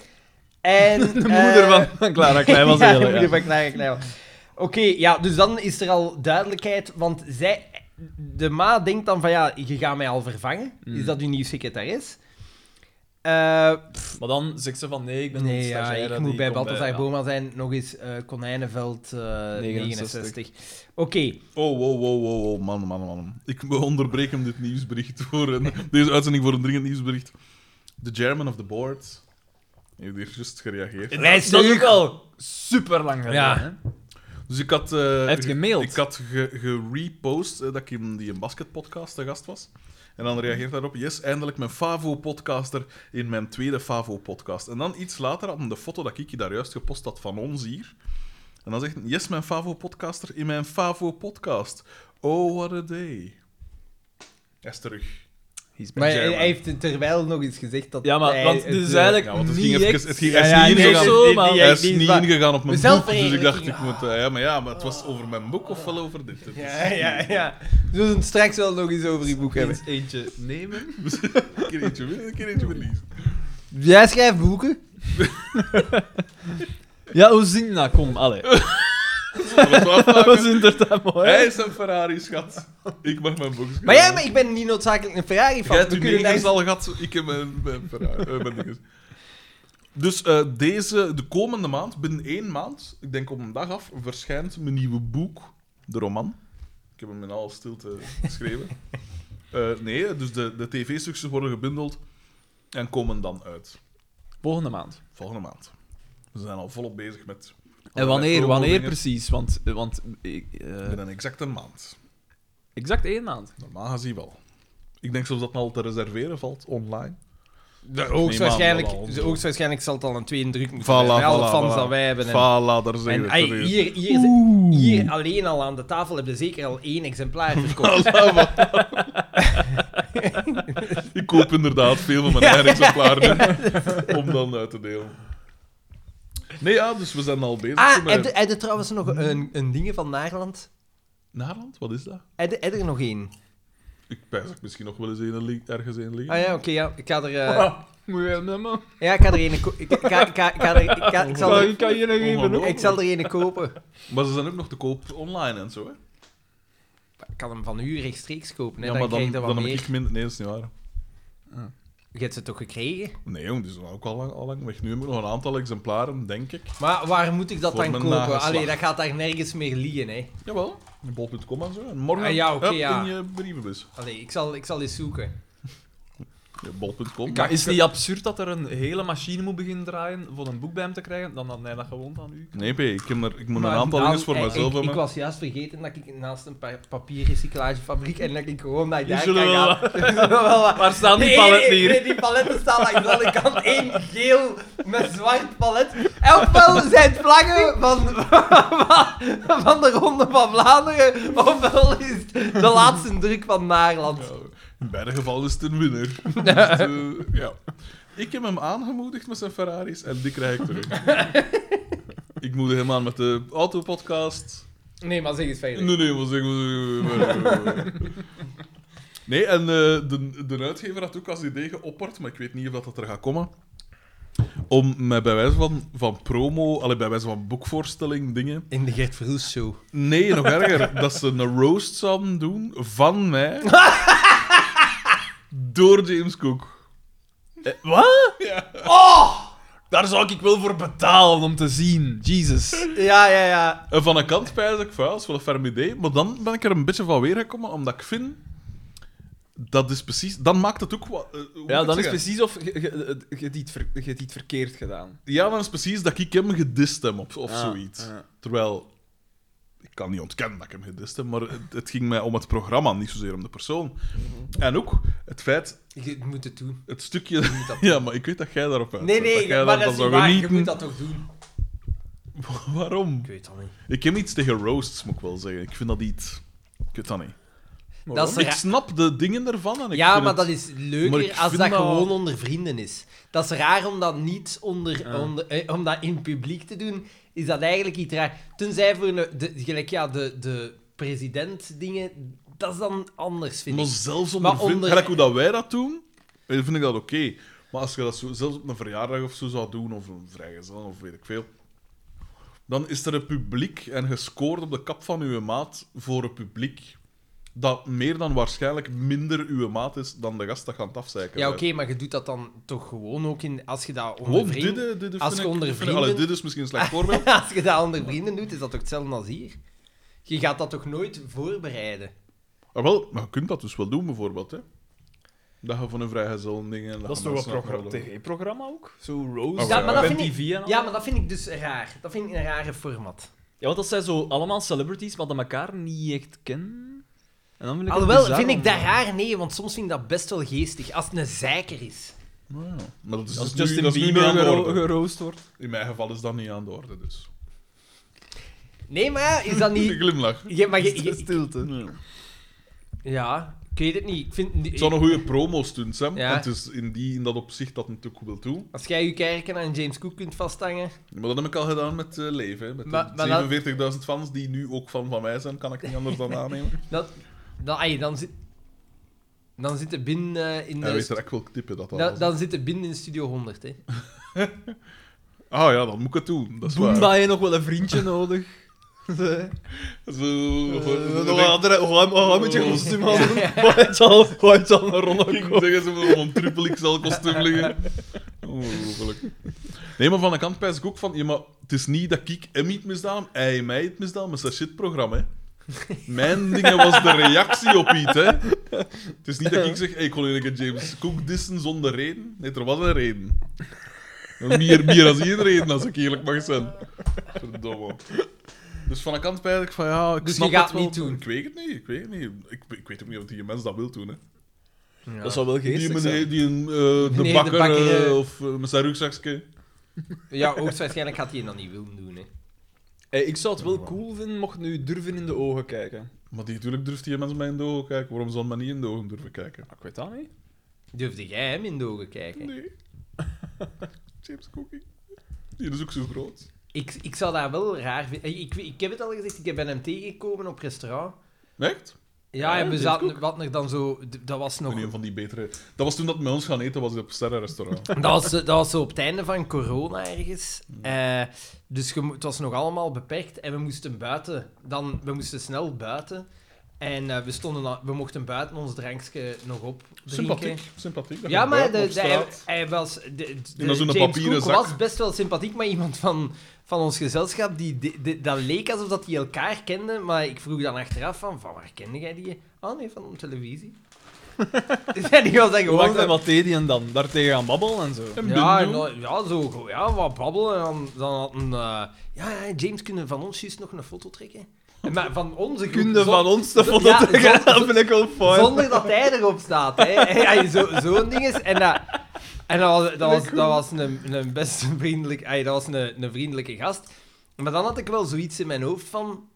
Speaker 1: En, eh, de
Speaker 3: moeder van, van Clara Klein was
Speaker 1: ja,
Speaker 3: heel
Speaker 1: de moeder
Speaker 3: ja.
Speaker 1: van Clara Knijl. Oké, ja, dus dan is er al duidelijkheid, want zij, de ma denkt dan van ja, je gaat mij al vervangen.
Speaker 3: Mm.
Speaker 1: Is dat uw nieuw secretaris? Eh,
Speaker 3: Maar dan zegt ze van nee, ik ben een
Speaker 1: nee, ja,
Speaker 3: stagiaire.
Speaker 1: ik
Speaker 3: die
Speaker 1: moet bij
Speaker 3: komt eh,
Speaker 1: Balthazar
Speaker 3: ja.
Speaker 1: Boma zijn. Nog eens eh, Konijnenveld eh, 69.
Speaker 3: 69.
Speaker 1: Oké,
Speaker 2: Oh, wow, wow, wow, wow, man, man, man. Ik onderbreek hem dit nieuwsbericht voor een, deze uitzending voor een dringend nieuwsbericht. De chairman of the board heeft hier juist gereageerd.
Speaker 3: Dat is
Speaker 1: terug.
Speaker 3: ook al super lang geleden.
Speaker 1: Ja.
Speaker 3: hè?
Speaker 2: Dus ik had... eh,
Speaker 3: heeft gemaild.
Speaker 2: Ik had ge- gerepost eh, dat ik in die basketpodcast te gast was. En dan reageert daarop, yes, eindelijk mijn Favo-podcaster in mijn tweede Favo-podcast. En dan iets later had hij de foto dat ik je daar juist gepost had van ons hier. En dan zegt hij, yes, mijn Favo-podcaster in mijn Favo-podcast. Oh, what a day. Hij is terug.
Speaker 3: He's back.
Speaker 1: maar hij,
Speaker 2: German.
Speaker 1: hij heeft terwijl nog eens gezegd dat
Speaker 3: Ja, maar
Speaker 1: hij
Speaker 3: want
Speaker 1: het,
Speaker 3: dit is
Speaker 1: eh,
Speaker 3: eigenlijk
Speaker 2: Ja, want het
Speaker 3: niet
Speaker 2: ging
Speaker 3: echt-
Speaker 2: even... Het ging, hij is
Speaker 1: Ja, ja,
Speaker 2: niet
Speaker 1: nee,
Speaker 2: ingegaan.
Speaker 1: nee, nee,
Speaker 3: maar-
Speaker 1: nee,
Speaker 2: hij is
Speaker 1: die
Speaker 2: niet
Speaker 1: waar.
Speaker 2: ingegaan op mijn boek, dus ik
Speaker 1: Zelfverheerlijking.
Speaker 2: dacht, ik moet... eh, ja, maar ja, maar het was over mijn boek of wel over dit. Het is-
Speaker 1: Ja, ja, ja. We zullen het straks wel nog eens over die boek hebben.
Speaker 3: Eens eentje nemen.
Speaker 2: Een keer eentje winnen, een keer eentje verliezen.
Speaker 1: Jij schrijft boeken.
Speaker 3: Ja, hoe zing dat? Kom, allee.
Speaker 2: Zullen we het
Speaker 3: Dat
Speaker 2: afmaken?
Speaker 3: was inderdaad mooi.
Speaker 2: Hij is een Ferrari, schat. Ik mag mijn box.
Speaker 1: Maar ja, maar ik ben niet noodzakelijk een Ferrari
Speaker 2: Jij
Speaker 1: fan.
Speaker 2: hebt
Speaker 1: We
Speaker 2: uw
Speaker 1: kunnen daar
Speaker 2: negers al gehad, ik heb mijn, mijn Ferrari. eh, mijn dinges. Dus eh, deze, de komende maand, binnen één maand, ik denk op een dag af, verschijnt mijn nieuwe boek, de roman. Ik heb hem in alle stilte geschreven. Eh, nee, dus de, de tv-stukjes worden gebundeld en komen dan uit.
Speaker 3: Volgende maand.
Speaker 2: Volgende maand. We zijn al volop bezig met...
Speaker 3: En wanneer, wanneer
Speaker 2: precies?
Speaker 3: precies? Want, eh, want ik, eh,
Speaker 2: Binnen exact een maand.
Speaker 3: exact één maand.
Speaker 2: Normaal gezien wel. Ik denk zelfs dat het al te reserveren valt online.
Speaker 1: De-
Speaker 2: waarschijnlijk.
Speaker 1: hoogstwaarschijnlijk, de- hoogstwaarschijnlijk zal het al een tweede druk moeten
Speaker 2: Voilà,
Speaker 1: zijn. Met alle
Speaker 2: voilà,
Speaker 1: fans
Speaker 2: voilà.
Speaker 1: dat wij hebben. En,
Speaker 2: Voilà, daar zijn
Speaker 1: en,
Speaker 2: we
Speaker 1: ai,
Speaker 2: terug.
Speaker 1: hier, hier, hier alleen al aan de tafel hebben ze zeker al één exemplaar verkocht.
Speaker 2: Ik koop inderdaad veel van mijn eigen exemplaren om dan uit te delen. Nee, ja, dus we zijn al bezig.
Speaker 1: ah,
Speaker 2: met...
Speaker 1: heb je- heb je trouwens nog een, een ding van Naarland?
Speaker 2: Naarland, wat is dat?
Speaker 1: Heb je- heb je er nog één?
Speaker 2: Ik pijs dat ik misschien nog wel eens een li- ergens een liggen.
Speaker 1: Ah ja, oké, ja. Ik ga er... eh,
Speaker 3: Moet je hem nemen?
Speaker 1: ja, ik ga er één... ko- Ik, ik, ga- ik, ga- ik, ga er- ik, ga- ik zal er...
Speaker 3: Ik kan je nog even
Speaker 2: Ongelooflijk.
Speaker 3: doen.
Speaker 1: Ik zal er één kopen.
Speaker 2: Maar ze zijn ook nog te koop online en zo, hè?
Speaker 1: Ik kan hem van u rechtstreeks kopen. Hè?
Speaker 2: ja, maar
Speaker 1: dan,
Speaker 2: dan,
Speaker 1: krijg je
Speaker 2: dan,
Speaker 1: er wat
Speaker 2: heb
Speaker 1: meer.
Speaker 2: ik minder... Nee, dat is niet waar.
Speaker 1: Je hebt ze toch gekregen?
Speaker 2: Nee, jong, die zijn ook al lang, al lang weg. Nu heb ik nog een aantal exemplaren, denk ik.
Speaker 1: Maar waar moet ik dat
Speaker 2: Voor
Speaker 1: dan
Speaker 2: mijn
Speaker 1: kopen?
Speaker 2: nageslacht.
Speaker 1: Allee, dat gaat daar nergens meer liggen, hè.
Speaker 2: Jawel, in bol.com en zo. En morgen
Speaker 1: Ah, ja, oké,
Speaker 2: hup,
Speaker 1: ja.
Speaker 2: in je brievenbus.
Speaker 1: Allee, ik zal, ik zal eens zoeken.
Speaker 2: Ja, bol.com.
Speaker 3: Maar is het niet absurd dat er een hele machine moet beginnen draaien voor een boek bij hem te krijgen, dan dat hij dat gewoon aan u
Speaker 2: Nee, P, ik, heb er, ik moet
Speaker 1: Maar
Speaker 2: een aantal
Speaker 1: dan-
Speaker 2: dingen voor
Speaker 1: eh,
Speaker 2: mezelf
Speaker 1: ik, ik
Speaker 2: hebben.
Speaker 1: was juist vergeten dat ik naast een pa- papierrecyclagefabriek en dat ik gewoon naar daar kan
Speaker 3: zullen wel-
Speaker 1: gaan. Zullen we wel wat-
Speaker 3: Waar staan die
Speaker 1: Nee,
Speaker 3: paletten
Speaker 1: nee,
Speaker 3: hier?
Speaker 1: Nee, die paletten staan langs de andere kant. één geel met zwart palet. En ofwel zijn het vlaggen van, van, de Ronde van Vlaanderen, ofwel is het de laatste druk van Naarland.
Speaker 2: Ja, in beide gevallen is het een winnaar. Dus, eh, ja. Ik heb hem aangemoedigd met zijn Ferraris en die krijg ik terug. ik moedig hem aan met de autopodcast.
Speaker 1: Nee, maar zeg eens verder.
Speaker 2: Nee, nee, was ik. Nee, en eh, de, de uitgever had ook als idee geopperd, maar ik weet niet of dat, dat er gaat komen. om mij bij wijze van, van promo, allee, bij wijze van boekvoorstelling dingen.
Speaker 1: In de Gert Verhoes show.
Speaker 2: Nee, nog erger, dat ze een roast zouden doen van mij door James Cook.
Speaker 3: Wat? Oh! Daar zou ik wel voor betalen om te zien. Jesus.
Speaker 1: Ja, ja, ja.
Speaker 2: En van een kant pijs ik vuil, dat is wel een ferm idee, maar dan ben ik er een beetje van weergekomen, omdat ik vind dat is precies, dan maakt het ook wat. eh, hoe moet ik
Speaker 3: Ja,
Speaker 2: het
Speaker 3: dan is
Speaker 2: zeggen?
Speaker 3: precies of je- je je hebt iets ver- je hebt iets verkeerd gedaan.
Speaker 2: Ja, dan is precies dat ik hem gedist heb of, of
Speaker 1: Ah,
Speaker 3: Ja,
Speaker 2: zoiets.
Speaker 3: ja.
Speaker 2: Terwijl, ik kan niet ontkennen dat ik hem gedist heb, maar het, het ging mij om het programma, niet zozeer om de persoon.
Speaker 1: Mhm.
Speaker 2: En ook het feit,
Speaker 1: Je moet het doen.
Speaker 2: het stukje. Ja, maar ik weet dat jij daarop uit.
Speaker 1: Nee,
Speaker 2: bent,
Speaker 1: nee,
Speaker 2: jij
Speaker 1: maar dat
Speaker 2: daarvan
Speaker 1: is niet
Speaker 2: zou
Speaker 1: waar. Je
Speaker 2: genieten.
Speaker 1: moet dat toch doen?
Speaker 2: Waarom?
Speaker 1: Ik weet dat niet.
Speaker 2: Ik heb iets tegen roasts, moet ik wel zeggen. Ik vind dat iets. Ik weet dat niet.
Speaker 1: Dat is
Speaker 2: Ik
Speaker 1: raar.
Speaker 2: snap de dingen ervan en ik
Speaker 1: ja,
Speaker 2: vind
Speaker 1: maar dat
Speaker 2: het-
Speaker 1: is
Speaker 2: maar ik
Speaker 1: leuker als
Speaker 2: vind
Speaker 1: dat
Speaker 2: dat-
Speaker 1: gewoon onder vrienden is. Dat is raar om dat niet onder, onder- eh, om dat in publiek te doen, is dat eigenlijk iets raar. Tenzij voor een, de, gelijk ja, de, de president dingen, dat is dan anders, vind
Speaker 2: Maar
Speaker 1: ik.
Speaker 2: zelfs onder,
Speaker 1: Maar
Speaker 2: vrienden-
Speaker 1: onder-
Speaker 2: gelijk hoe dat wij dat doen, eh, vind ik dat oké. Maar als je dat zo, zelfs op een verjaardag of zo zou doen, of een vrijgezel, of weet ik veel, dan is er een publiek en je scoort op de kap van uw maat voor een publiek dat meer dan waarschijnlijk minder uw maat is dan de gast dat gaat afzeiken.
Speaker 1: Ja, oké,
Speaker 2: bent.
Speaker 1: maar je doet dat dan toch gewoon ook in... Als je dat onder
Speaker 2: Gewoon
Speaker 1: vrienden...
Speaker 2: dit, eh, dit,
Speaker 1: als
Speaker 2: vind
Speaker 1: je
Speaker 2: ik-
Speaker 1: onder
Speaker 2: vind ik-
Speaker 1: vrienden-
Speaker 2: allee, dit is misschien een slecht voorbeeld.
Speaker 1: Als je dat onder vrienden doet, is dat toch hetzelfde als hier? Je gaat dat toch nooit voorbereiden?
Speaker 2: Ah, wel, maar je kunt dat dus wel doen, bijvoorbeeld. Hè? Dat je van een vrijgezel en dingen... en
Speaker 3: Dat is
Speaker 2: je
Speaker 3: toch een
Speaker 2: mensen
Speaker 3: programma-
Speaker 2: uitnodigt.
Speaker 3: tv-programma ook? Zo Rose,
Speaker 2: Oh, ja.
Speaker 1: maar Dus dat
Speaker 3: Ben
Speaker 1: vind ik-
Speaker 3: TV en al.
Speaker 1: Ja, maar dat vind ik dus raar. Dat vind ik een rare format.
Speaker 3: Ja, want dat zijn zo allemaal celebrities, maar dat elkaar niet echt kennen. En dan wil ik het
Speaker 1: Alhoewel,
Speaker 3: bizar eh,
Speaker 1: vind ik dat
Speaker 3: omdraaien.
Speaker 1: raar? Nee, want soms vind ik dat best wel geestig. Als het een zeiker is.
Speaker 2: Nou ja, Maar dat is,
Speaker 3: Als
Speaker 2: dus nu-
Speaker 3: Justin
Speaker 2: dat is nu
Speaker 3: Bieber
Speaker 2: niet aan de
Speaker 3: gero-
Speaker 2: orde.
Speaker 3: geroost wordt.
Speaker 2: In mijn geval is dat niet aan de orde, dus.
Speaker 1: Nee, maar ja, is dat
Speaker 2: Een
Speaker 1: niet...
Speaker 2: glimlach.
Speaker 1: Je, maar je- je-
Speaker 3: Stilte.
Speaker 1: ja, ik weet het niet. Ik vind...
Speaker 2: Het zou een goede promo stunt zijn.
Speaker 1: Ja.
Speaker 2: En het is in, die, in dat opzicht dat natuurlijk wil toe.
Speaker 1: Als jij je kerken aan James Cook kunt vasthangen...
Speaker 2: Maar dat heb ik al gedaan met eh, Leven. hè. Met
Speaker 1: Maar- maar dat-
Speaker 2: de 47.000 fans die nu ook fan van mij zijn, kan ik niet anders dan aannemen.
Speaker 1: Dat, dan, ai, dan zit... Dan zit de bin eh, in
Speaker 2: Hij
Speaker 1: de...
Speaker 2: weet er echt wel knippen dat dat
Speaker 1: dan,
Speaker 2: was.
Speaker 1: dan zit de bin in Studio 100, hè.
Speaker 2: Ah ja, dan moet ik het doen. Dat is
Speaker 3: Boem,
Speaker 2: waar.
Speaker 3: dat je nog wel een vriendje nodig. eh,
Speaker 2: Zo,
Speaker 3: Waarom moet je
Speaker 2: Oh.
Speaker 3: kostuum halen? Waar het al- waar het al een ronde
Speaker 2: Ik zeggen ze wel om een triple XL kostuum liggen. Ongelooflijk. Nee, maar van de kant pijs ik ook van... Ja, maar het is niet dat ik hem iets misdaan heb, hij mij iets misdaan, maar dat shitprogramma, hè. Mijn dingen was de reactie op iets, hè. Het is niet dat ik zeg, hey, ik kon eigenlijk een James Cook dissen zonder reden. Nee, er was een reden. Meer, meer als één reden, als ik eerlijk mag zijn. Verdomme. Dus van de kant pijs ik van, ja, ik
Speaker 1: Dus je
Speaker 2: snap
Speaker 1: gaat
Speaker 2: het wel.
Speaker 1: niet doen?
Speaker 2: Ik weet het niet, ik weet het niet. Ik, ik weet ook niet of die mens dat wil doen, hè.
Speaker 3: Dat zou wel
Speaker 2: Die
Speaker 3: geestig
Speaker 2: meneer,
Speaker 3: zijn.
Speaker 2: die een, eh, de
Speaker 1: Meneer de
Speaker 2: bakker,
Speaker 1: bakker,
Speaker 2: eh,
Speaker 1: eh.
Speaker 2: of eh, met zijn rugzakje.
Speaker 1: Ja, hoogstwaarschijnlijk gaat hij dat niet willen doen, hè.
Speaker 3: Hey, ik zou het wel cool vinden mocht nu durven in de ogen kijken.
Speaker 2: Maar die, natuurlijk durft die mensen mij in de ogen kijken. Waarom zou men niet in de ogen durven kijken?
Speaker 3: Ik weet dat niet.
Speaker 1: Durfde jij hem in de ogen kijken?
Speaker 2: Nee. James Cookie. Die is ook zo groot.
Speaker 1: Ik, ik zou dat wel raar vinden. Ik, ik, ik heb het al gezegd, ik ben hem tegengekomen op restaurant.
Speaker 2: Echt?
Speaker 1: Ja,
Speaker 2: Ja,
Speaker 1: en we
Speaker 2: James
Speaker 1: zaten, wat er dan zo... d- Dat was nog...
Speaker 2: In een van die betere... Dat was toen dat we met ons gaan eten was op het sterrenrestaurant.
Speaker 1: Dat was, eh, dat was zo op het einde van corona ergens.
Speaker 2: Mm.
Speaker 1: Eh, dus je mo- het was nog allemaal beperkt. En we moesten buiten. Dan, we moesten snel buiten. En eh, we, stonden al- we mochten buiten ons drankje nog op
Speaker 2: sympathiek. Sympathiek. dat
Speaker 1: Ja,
Speaker 2: je
Speaker 1: maar
Speaker 2: buiten
Speaker 1: de,
Speaker 2: op
Speaker 1: de- hij,
Speaker 2: straat-
Speaker 1: hij was... De, de-
Speaker 2: En dan zo'n
Speaker 1: James
Speaker 2: papieren
Speaker 1: Cook
Speaker 2: zak.
Speaker 1: was best wel sympathiek, maar iemand van, van ons gezelschap, die, die- die- dat leek alsof dat die elkaar kenden, maar ik vroeg dan achteraf van, van waar kende jij die? Ah nee, van de televisie. dus ja, die was dan
Speaker 3: Hoe
Speaker 1: gewoon...
Speaker 3: maakt
Speaker 1: zo-
Speaker 3: hij wat deed hij en dan? Daartegen aan babbelen en zo.
Speaker 2: En
Speaker 1: ja,
Speaker 2: Bindu.
Speaker 1: en dan- ja, zo, gewoon, ja, wat babbelen. En dan, dan had een... eh, ja, ja, James, kunnen van ons juist nog een foto trekken? En Maar van onze groep,
Speaker 3: Kunde
Speaker 1: zon-
Speaker 3: van ons de
Speaker 1: zo-
Speaker 3: foto
Speaker 1: ja,
Speaker 3: trekken,
Speaker 1: zon-
Speaker 3: dat vind ik wel fijn.
Speaker 1: Zonder dat hij erop staat, hè. Ja, zo- Zo'n ding is. En dat, en dat was, dat was, dat was een, een best vriendelijk... ay, dat was een, een vriendelijke gast. Maar dan had ik wel zoiets in mijn hoofd van...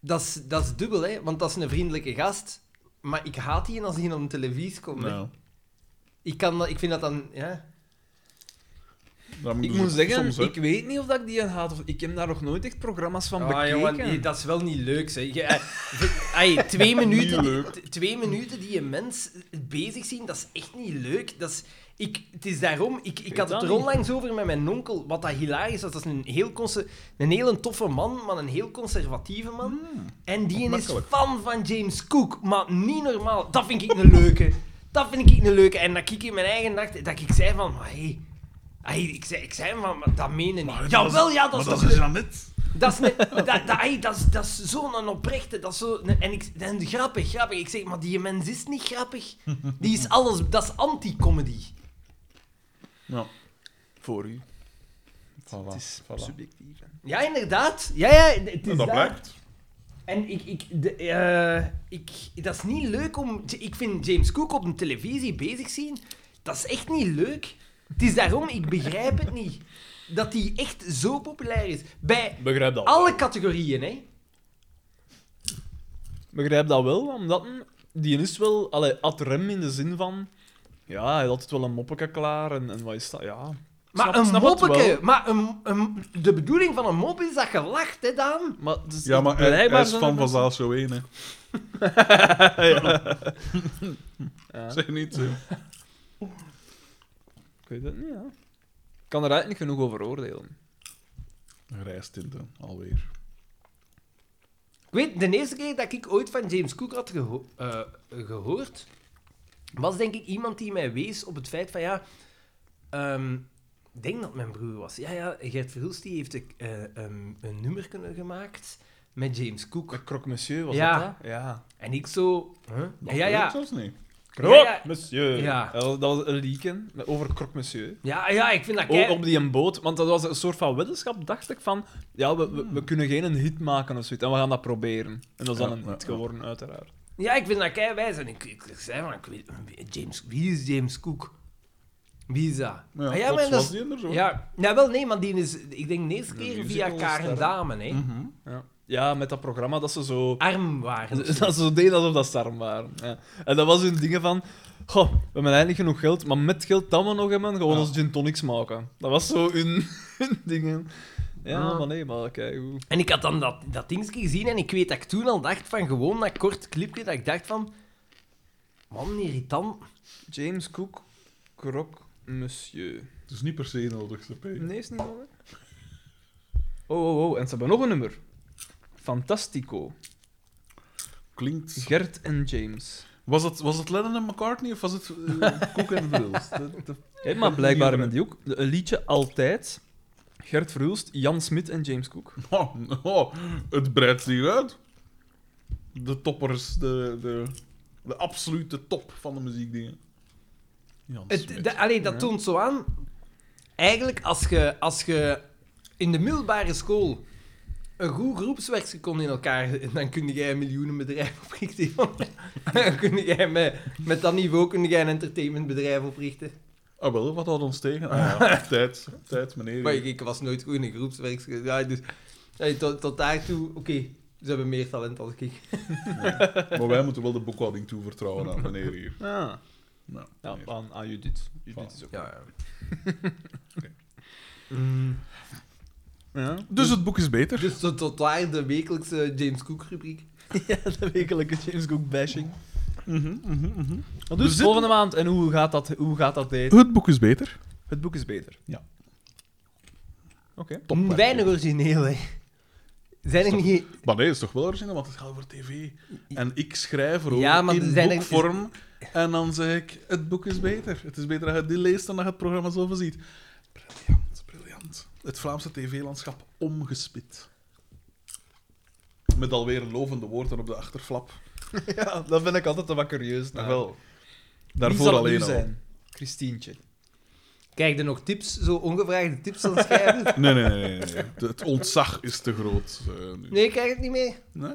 Speaker 1: Dat is, dat is dubbel, hè. Want dat is een vriendelijke gast. Maar ik haat die als die op televisie komt, hè.
Speaker 2: Nou,
Speaker 1: Ik, kan, dat- ik vind dat dan... Ja.
Speaker 2: dat
Speaker 3: Ik
Speaker 2: dus
Speaker 3: moet
Speaker 2: ook
Speaker 3: zeggen,
Speaker 2: soms, hè.
Speaker 3: ik weet niet of dat ik die haat. Of, ik heb daar nog nooit echt programma's van
Speaker 1: Ah,
Speaker 3: bekeken.
Speaker 1: jongen, die- dat is wel niet leuk, zeg. Je, eh, v- ay, twee, minuten,
Speaker 2: leuk.
Speaker 1: t- twee minuten die je mens bezig zien, dat is echt niet leuk. Dat is, Ik, het is daarom, ik, ik had
Speaker 3: dat
Speaker 1: het er
Speaker 3: niet.
Speaker 1: onlangs over met mijn onkel, wat dat hilarisch was. Dat is een heel, conser- een heel toffe man, maar een heel conservatieve man. en die is
Speaker 2: opmerkelijk.
Speaker 1: fan van James Cook, maar niet normaal. Dat vind ik een leuke. Dat vind ik een leuke. En dat ik in mijn eigen dacht, dat ik zei van, maar hey, hey, ik, zei, ik zei van, maar dat meen je niet. Jawel, ja, dat is toch
Speaker 2: dat is
Speaker 1: een-
Speaker 2: Janet.
Speaker 1: dat is, ne- dat, dat, ey, dat is, dat is zo'n oprechte. Dat is zo, ne- en ik, en grappig, grappig. Ik zeg, maar die mens is niet grappig. Die is alles, dat is anti-comedy.
Speaker 2: Ja.
Speaker 8: Voor u.
Speaker 2: Voilà,
Speaker 8: Het
Speaker 1: Ah,
Speaker 8: is
Speaker 2: voilà.
Speaker 8: subjectief. hè.
Speaker 1: Ja, inderdaad. Ja, ja, het is
Speaker 2: En dat blijkt.
Speaker 1: En ik, ik, de, eh, ik, dat is niet leuk om... Ik vind James Cook op de televisie bezig zien, dat is echt niet leuk. Het is daarom, ik begrijp het niet. Dat hij echt zo populair is. Bij
Speaker 3: Begrijp dat.
Speaker 1: alle categorieën, hè.
Speaker 3: Begrijp dat wel, omdat hem- die is wel allee, ad rem in de zin van. Ja, hij had altijd wel een moppeke klaar en, en wat is dat? Ja.
Speaker 1: Maar
Speaker 3: Snap-
Speaker 1: een
Speaker 3: snap het
Speaker 1: moppeke,
Speaker 3: wel.
Speaker 1: maar een, een, de bedoeling van een mop is dat je lacht, hè, Daan?
Speaker 3: Maar, het is-
Speaker 2: Ja, maar hij,
Speaker 3: blijkbaar
Speaker 2: hij is
Speaker 3: zijn
Speaker 2: fan
Speaker 3: er
Speaker 2: van
Speaker 3: mensen-
Speaker 2: Zaal Show 1, hè.
Speaker 3: Ja,
Speaker 2: Zeg niet, eh. hè.
Speaker 3: ik weet het niet, ja. Ik kan er eigenlijk niet genoeg over oordelen.
Speaker 2: Rijstinten, alweer.
Speaker 1: Ik weet, de eerste keer dat ik ooit van James Cook had geho- eh, gehoord, was denk ik iemand die mij wees op het feit van, ja... ehm, ik denk dat mijn broer was. Ja, ja, Gert Verhulst die heeft een, eh, een, een nummer kunnen gemaakt met James Cook.
Speaker 3: Croque Monsieur
Speaker 1: was
Speaker 3: ja.
Speaker 1: dat,
Speaker 3: Ja.
Speaker 1: En ik zo... huh?
Speaker 2: Dat
Speaker 1: Ja,
Speaker 2: weet ik
Speaker 1: ja.
Speaker 2: zelfs niet.
Speaker 1: Ja, ja.
Speaker 3: Monsieur.
Speaker 1: Ja.
Speaker 3: Dat was een leaken over Croque Monsieur.
Speaker 1: Ja, ja, ik vind dat
Speaker 3: Ook
Speaker 1: kei...
Speaker 3: op die een boot, want dat was een soort van weddenschap, dacht ik, van... Ja, we, we, we kunnen geen een hit maken of zoiets, en we gaan dat proberen. En dat is dan
Speaker 2: Ja,
Speaker 3: een
Speaker 2: ja,
Speaker 3: hit
Speaker 2: ja.
Speaker 3: geworden, uiteraard.
Speaker 1: Ja, ik vind dat kei wijs. En ik, ik, ik zei van, ik weet, James, wie is James Cook? Wie is dat?
Speaker 2: Ja,
Speaker 1: Ah
Speaker 2: plots
Speaker 1: maar
Speaker 2: was
Speaker 1: dat is-
Speaker 2: die er zo.
Speaker 1: ja, ja, wel nee, maar die is, ik denk de eerste keer via
Speaker 3: musicalster,
Speaker 1: Karen
Speaker 3: hè?
Speaker 1: Damen, hè.
Speaker 2: Mhm.
Speaker 3: Ja. ja, met dat programma dat ze zo...
Speaker 1: Arm waren. of zo.
Speaker 3: Dat ze zo deden alsof dat ze arm waren. Ja. En dat was hun dingen van... Goh, we hebben eigenlijk genoeg geld, maar met geld dat we nog hebben, gewoon
Speaker 2: Ja.
Speaker 3: ons gin tonics maken. Dat was zo hun, hun dingen. Ja,
Speaker 1: Ja.
Speaker 3: maar nee, maar kijk hoe...
Speaker 1: En ik had dan dat, dat dingetje gezien en ik weet dat ik toen al dacht van, gewoon dat kort clipje, dat ik dacht van... Man, irritant.
Speaker 3: James Cook, Croque Monsieur.
Speaker 2: Het is niet per se nodig, CP.
Speaker 3: Nee, is niet nodig. Oh, oh, oh. En ze hebben nog een nummer. Fantastico.
Speaker 2: Klinkt...
Speaker 3: Gert en James.
Speaker 2: Was het, was het Lennon en McCartney of was het eh, Cook en Verhulst? De- de-
Speaker 3: Hé, maar blijkbaar hebben die ook een liedje altijd. Gert Verhulst, Jan Smit en James Cook.
Speaker 2: Oh, oh, het breidt zich uit. De toppers, de, de, de absolute top van de muziekdingen. Jan Smit.
Speaker 1: Het, de- allee, dat toont zo aan. Eigenlijk, als je als je in de middelbare school een goed groepswerkje kon in elkaar, dan kun jij een miljoenenbedrijf oprichten. jongen. dan kun jij met, met dat niveau kun jij een entertainmentbedrijf oprichten.
Speaker 2: Ah, wel, wat had ons tegen? Ah, ja. tijd, tijd, meneer.
Speaker 1: Maar ik, ik was nooit goed in een groepswerkje. Ja, dus allee, tot, tot daartoe, oké, ze hebben meer talent dan ik.
Speaker 2: Maar wij moeten wel de boekhouding toevertrouwen aan meneer hier.
Speaker 3: Ah.
Speaker 2: Nou,
Speaker 3: Ja,
Speaker 2: meneer.
Speaker 3: aan, aan Judith.
Speaker 2: Voilà.
Speaker 3: Judith is ook...
Speaker 1: Ja, ja.
Speaker 3: Ja,
Speaker 2: Dus het boek is beter.
Speaker 1: Dus tot, tot daar de wekelijkse James Cook rubriek.
Speaker 3: de wekelijke James Cook bashing.
Speaker 2: Mhm, mhm, mhm.
Speaker 3: Maar
Speaker 2: We
Speaker 3: dus
Speaker 2: zitten-
Speaker 3: volgende maand. En hoe gaat dat, hoe gaat dat heten?
Speaker 2: Het boek is beter.
Speaker 3: Het boek is beter.
Speaker 2: Ja.
Speaker 3: Oké.
Speaker 2: Topwerk.
Speaker 1: Mm, Weinig origineel, hè. Zijn er niet...
Speaker 2: Maar nee, dat is toch wel origineel, want het gaat over tv. En ik schrijf erover
Speaker 1: Ja, maar
Speaker 2: in
Speaker 1: zijn er-
Speaker 2: boekvorm. En dan zeg ik, het boek is beter. Het is beter dat je die leest dan dat je het programma zelf ziet. Briljant, briljant. Het Vlaamse tv-landschap omgespit. Met alweer lovende woorden op de achterflap.
Speaker 3: Ja, dat ben ik altijd wel curieus naar.
Speaker 2: Nou, wel.
Speaker 3: Wie
Speaker 2: Daarvoor
Speaker 3: zal het nu
Speaker 2: alleen al.
Speaker 3: zijn? Christientje.
Speaker 1: Kijk, er nog tips, zo ongevraagde tips aan het schrijven?
Speaker 2: Nee, nee, nee. nee, nee. Het- Het ontzag is te groot eh, nu.
Speaker 1: Nee, ik krijg het niet mee.
Speaker 2: Nee?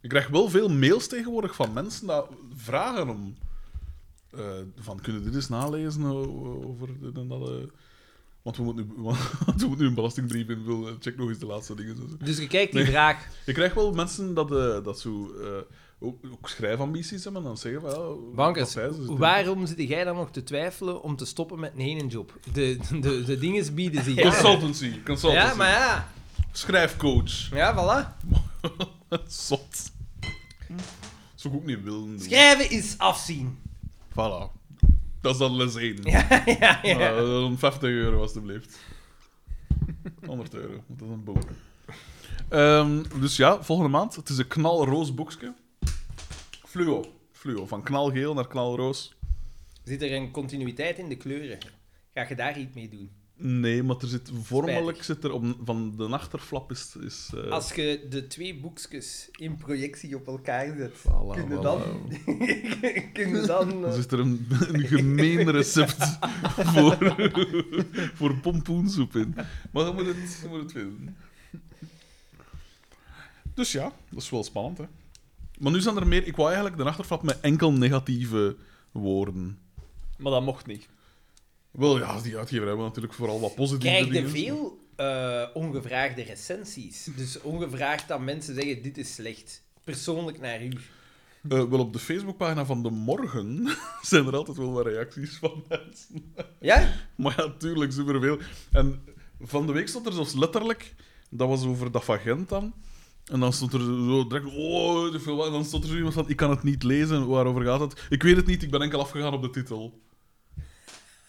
Speaker 2: Ik krijg wel veel mails tegenwoordig van mensen die vragen om... eh, van, kunnen dit eens nalezen o- over dit en dat? eh? want, we moeten nu, want we moeten nu een belastingbrief invullen. Check nog eens de laatste dingen. zo.
Speaker 1: Dus je kijkt die
Speaker 2: Nee.
Speaker 1: vraag.
Speaker 2: Ik krijg wel mensen dat, eh, dat zo... eh, ook, ook schrijfambities hebben en dan zeggen van... Ja,
Speaker 1: Bankers,
Speaker 2: wat zij ze doen.
Speaker 1: waarom zit jij dan nog te twijfelen om te stoppen met een ene job? De, de, de dinges bieden zich aan.
Speaker 2: Consultancy, consultancy.
Speaker 1: Ja, maar ja.
Speaker 2: Schrijfcoach.
Speaker 1: Ja, voilà.
Speaker 2: Zot. Dat zou ik ook niet willen doen.
Speaker 1: Schrijven is afzien.
Speaker 2: Voilà. Dat is dan les 1.
Speaker 4: ja, ja.
Speaker 2: Eh, 50 euro, alstublieft. 100 euro, want dat is een boer. Ehm, dus ja, volgende maand. Het is een knalroos boekje. Fluo. Fluo. Van knalgeel naar knalroos.
Speaker 4: Zit er een continuïteit in de kleuren? Ga je daar iets mee doen?
Speaker 2: Nee, maar er zit vormelijk
Speaker 4: Spijtig.
Speaker 2: zit er om, van de achterflap is. is eh,
Speaker 4: Als je de twee boekjes in projectie op elkaar zet,
Speaker 2: voilà,
Speaker 4: kun je
Speaker 2: voilà.
Speaker 4: dan... kun je dan...
Speaker 2: Dan
Speaker 4: eh,
Speaker 2: Dus is er een, een gemeen recept voor, voor pompoensoep in. Maar je moet het, je moet het vinden. Dus ja, dat is wel spannend, hè. Maar nu zijn er meer... Ik wou eigenlijk de achterflap met enkel negatieve woorden.
Speaker 3: Maar dat mocht niet.
Speaker 2: Wel, ja, die uitgever hebben natuurlijk vooral wat positieve
Speaker 4: Krijg je
Speaker 2: dingen.
Speaker 4: veel eh, ongevraagde recensies? Dus ongevraagd dat mensen zeggen, dit is slecht. Persoonlijk naar u.
Speaker 2: Eh, wel, op de Facebookpagina van De Morgen zijn er altijd wel wat reacties van eh, mensen.
Speaker 4: Ja?
Speaker 2: Maar ja, tuurlijk, superveel. En van de week stond er zelfs letterlijk... Dat was over dat van Gent dan. En dan stond er zo direct... Oh, weet ik veel wat. En dan stond er zo iemand van... Ik kan het niet lezen. Waarover gaat het? Ik weet het niet. Ik ben enkel afgegaan op de titel.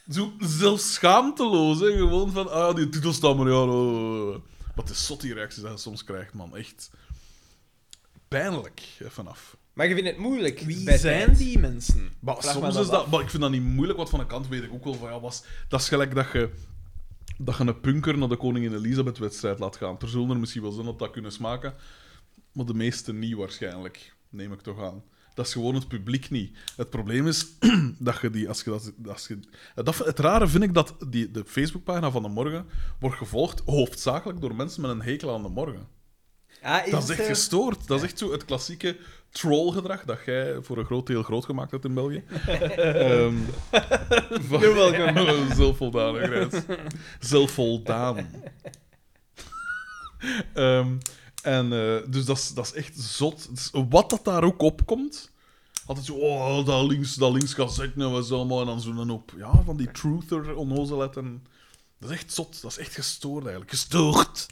Speaker 2: Zo zelfs schaamteloos, hè. Gewoon van... Ah, die titel staat maar... Ja, oh. Wat de zot die reacties dat je soms krijgt, man. Echt... Pijnlijk. Even af.
Speaker 4: Maar je vindt het moeilijk.
Speaker 3: Wie
Speaker 4: bij
Speaker 3: zijn
Speaker 4: fans.
Speaker 3: die mensen?
Speaker 2: Maar
Speaker 3: Vraag
Speaker 2: soms
Speaker 3: me dat
Speaker 2: is dat...
Speaker 3: af.
Speaker 2: Maar ik vind dat niet moeilijk, want van de kant weet ik ook wel van... Ja, was, dat is gelijk dat je, dat je een punker naar de Koningin Elisabeth-wedstrijd laat gaan. Er zullen er misschien wel zijn dat dat kunnen smaken, maar de meesten niet waarschijnlijk. Neem ik toch aan. Dat is gewoon het publiek niet. Het probleem is dat je die... Als je dat, als je, dat, het rare vind ik dat die, de Facebookpagina van de morgen wordt gevolgd hoofdzakelijk door mensen met een hekel aan de morgen.
Speaker 4: Ah, is
Speaker 2: Dat is echt
Speaker 4: het, eh,
Speaker 2: gestoord. Dat is echt zo het klassieke trollgedrag dat jij voor een groot deel groot gemaakt hebt in België. Ehm van, Zelfvoldaanigheid. Zelfvoldaan. Ehm, en, eh, dus dat is, dat is echt zot. Dus wat dat daar ook opkomt. Altijd zo, oh, dat links, dat links gaat zeggen, we zo maar, en dan zo'n op. Ja, van die truther onnozelheid. En... Dat is echt zot. Dat is echt gestoord eigenlijk. Gestoord!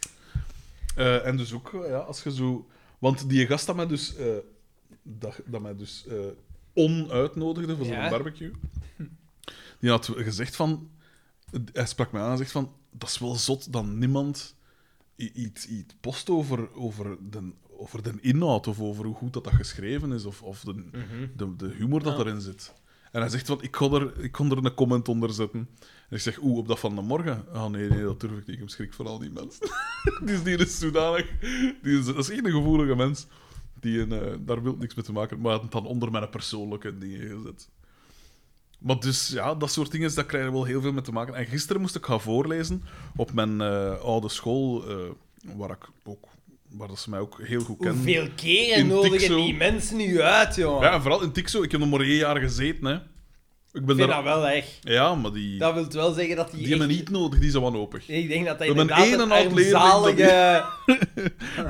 Speaker 2: Eh, en dus ook, eh, ja, als je zo... Want die gast dat mij dus, eh, dat, dat mij dus eh, onuitnodigde voor zo'n
Speaker 4: Ja.
Speaker 2: barbecue, die had gezegd van... Hij sprak mij aan en zegt van, dat is wel zot dat niemand i- iets, iets post over, over, den, over den inhoud of over hoe goed dat, dat geschreven is of, of de, de, de humor dat erin zit. En hij zegt, want ik kon, er, ik kon er een comment onder zetten. En ik zeg, oeh, op dat van de morgen? Ah, nee, nee, dat durf ik niet. Ik heb schrik voor al die mensen. dus die is zodanig... Die is, dat is echt een gevoelige mens. Die een, eh, daar wil niks mee te maken. Maar hij had het dan onder mijn persoonlijke dingen gezet. Maar dus, ja, dat soort dingen, dat krijg je wel heel veel mee te maken. En gisteren moest ik gaan voorlezen op mijn eh, oude school, eh, waar ik ook... Waar dat ze mij ook heel goed kennen.
Speaker 4: Hoeveel
Speaker 2: In
Speaker 4: keren nodigen
Speaker 2: Tixo.
Speaker 4: die mensen nu uit, jongen?
Speaker 2: Ja, en vooral in Tixo. Ik heb nog maar één jaar gezeten, hè. Ik ben
Speaker 4: Ik vind
Speaker 2: daar...
Speaker 4: dat wel erg.
Speaker 2: Ja, maar die...
Speaker 4: Dat wil wel zeggen dat die,
Speaker 2: Die hebben
Speaker 4: echt-
Speaker 2: niet nodig, die zijn wanhopig.
Speaker 4: Ik denk dat hij
Speaker 2: We hebben
Speaker 4: inderdaad
Speaker 2: één
Speaker 4: een,
Speaker 2: en al leerling dat
Speaker 4: armzalige...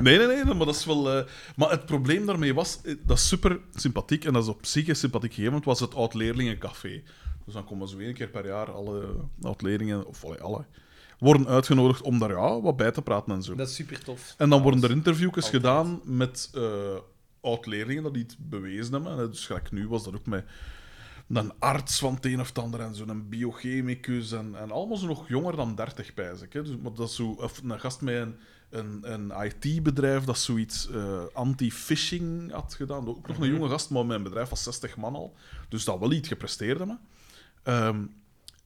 Speaker 2: Nee, nee, nee, maar dat is wel... eh, Maar het probleem daarmee was, eh, dat is super sympathiek, en dat is op zich een sympathiek gegeven, want het was het oud-leerlingencafé. Dus dan komen zo één keer per jaar alle oud-leerlingen, of allee, alle, worden uitgenodigd om daar ja, wat bij te praten en zo.
Speaker 4: Dat is super tof.
Speaker 2: En dan worden er interviewjes gedaan met eh, oud-leerlingen dat die het bewezen hebben. En, eh, Dus gelijk nu was dat ook met een arts van het een of het ander en zo'n biochemicus. En, en allemaal zo nog jonger dan 30, pijs ik. Hè. Dus, maar dat is zo, of een gast met een, een, een IT-bedrijf dat zoiets eh, anti-phishing had gedaan. Ook nog een jonge gast, maar mijn bedrijf was 60 man al. Dus dat wel iets gepresteerd hebben. Ehm,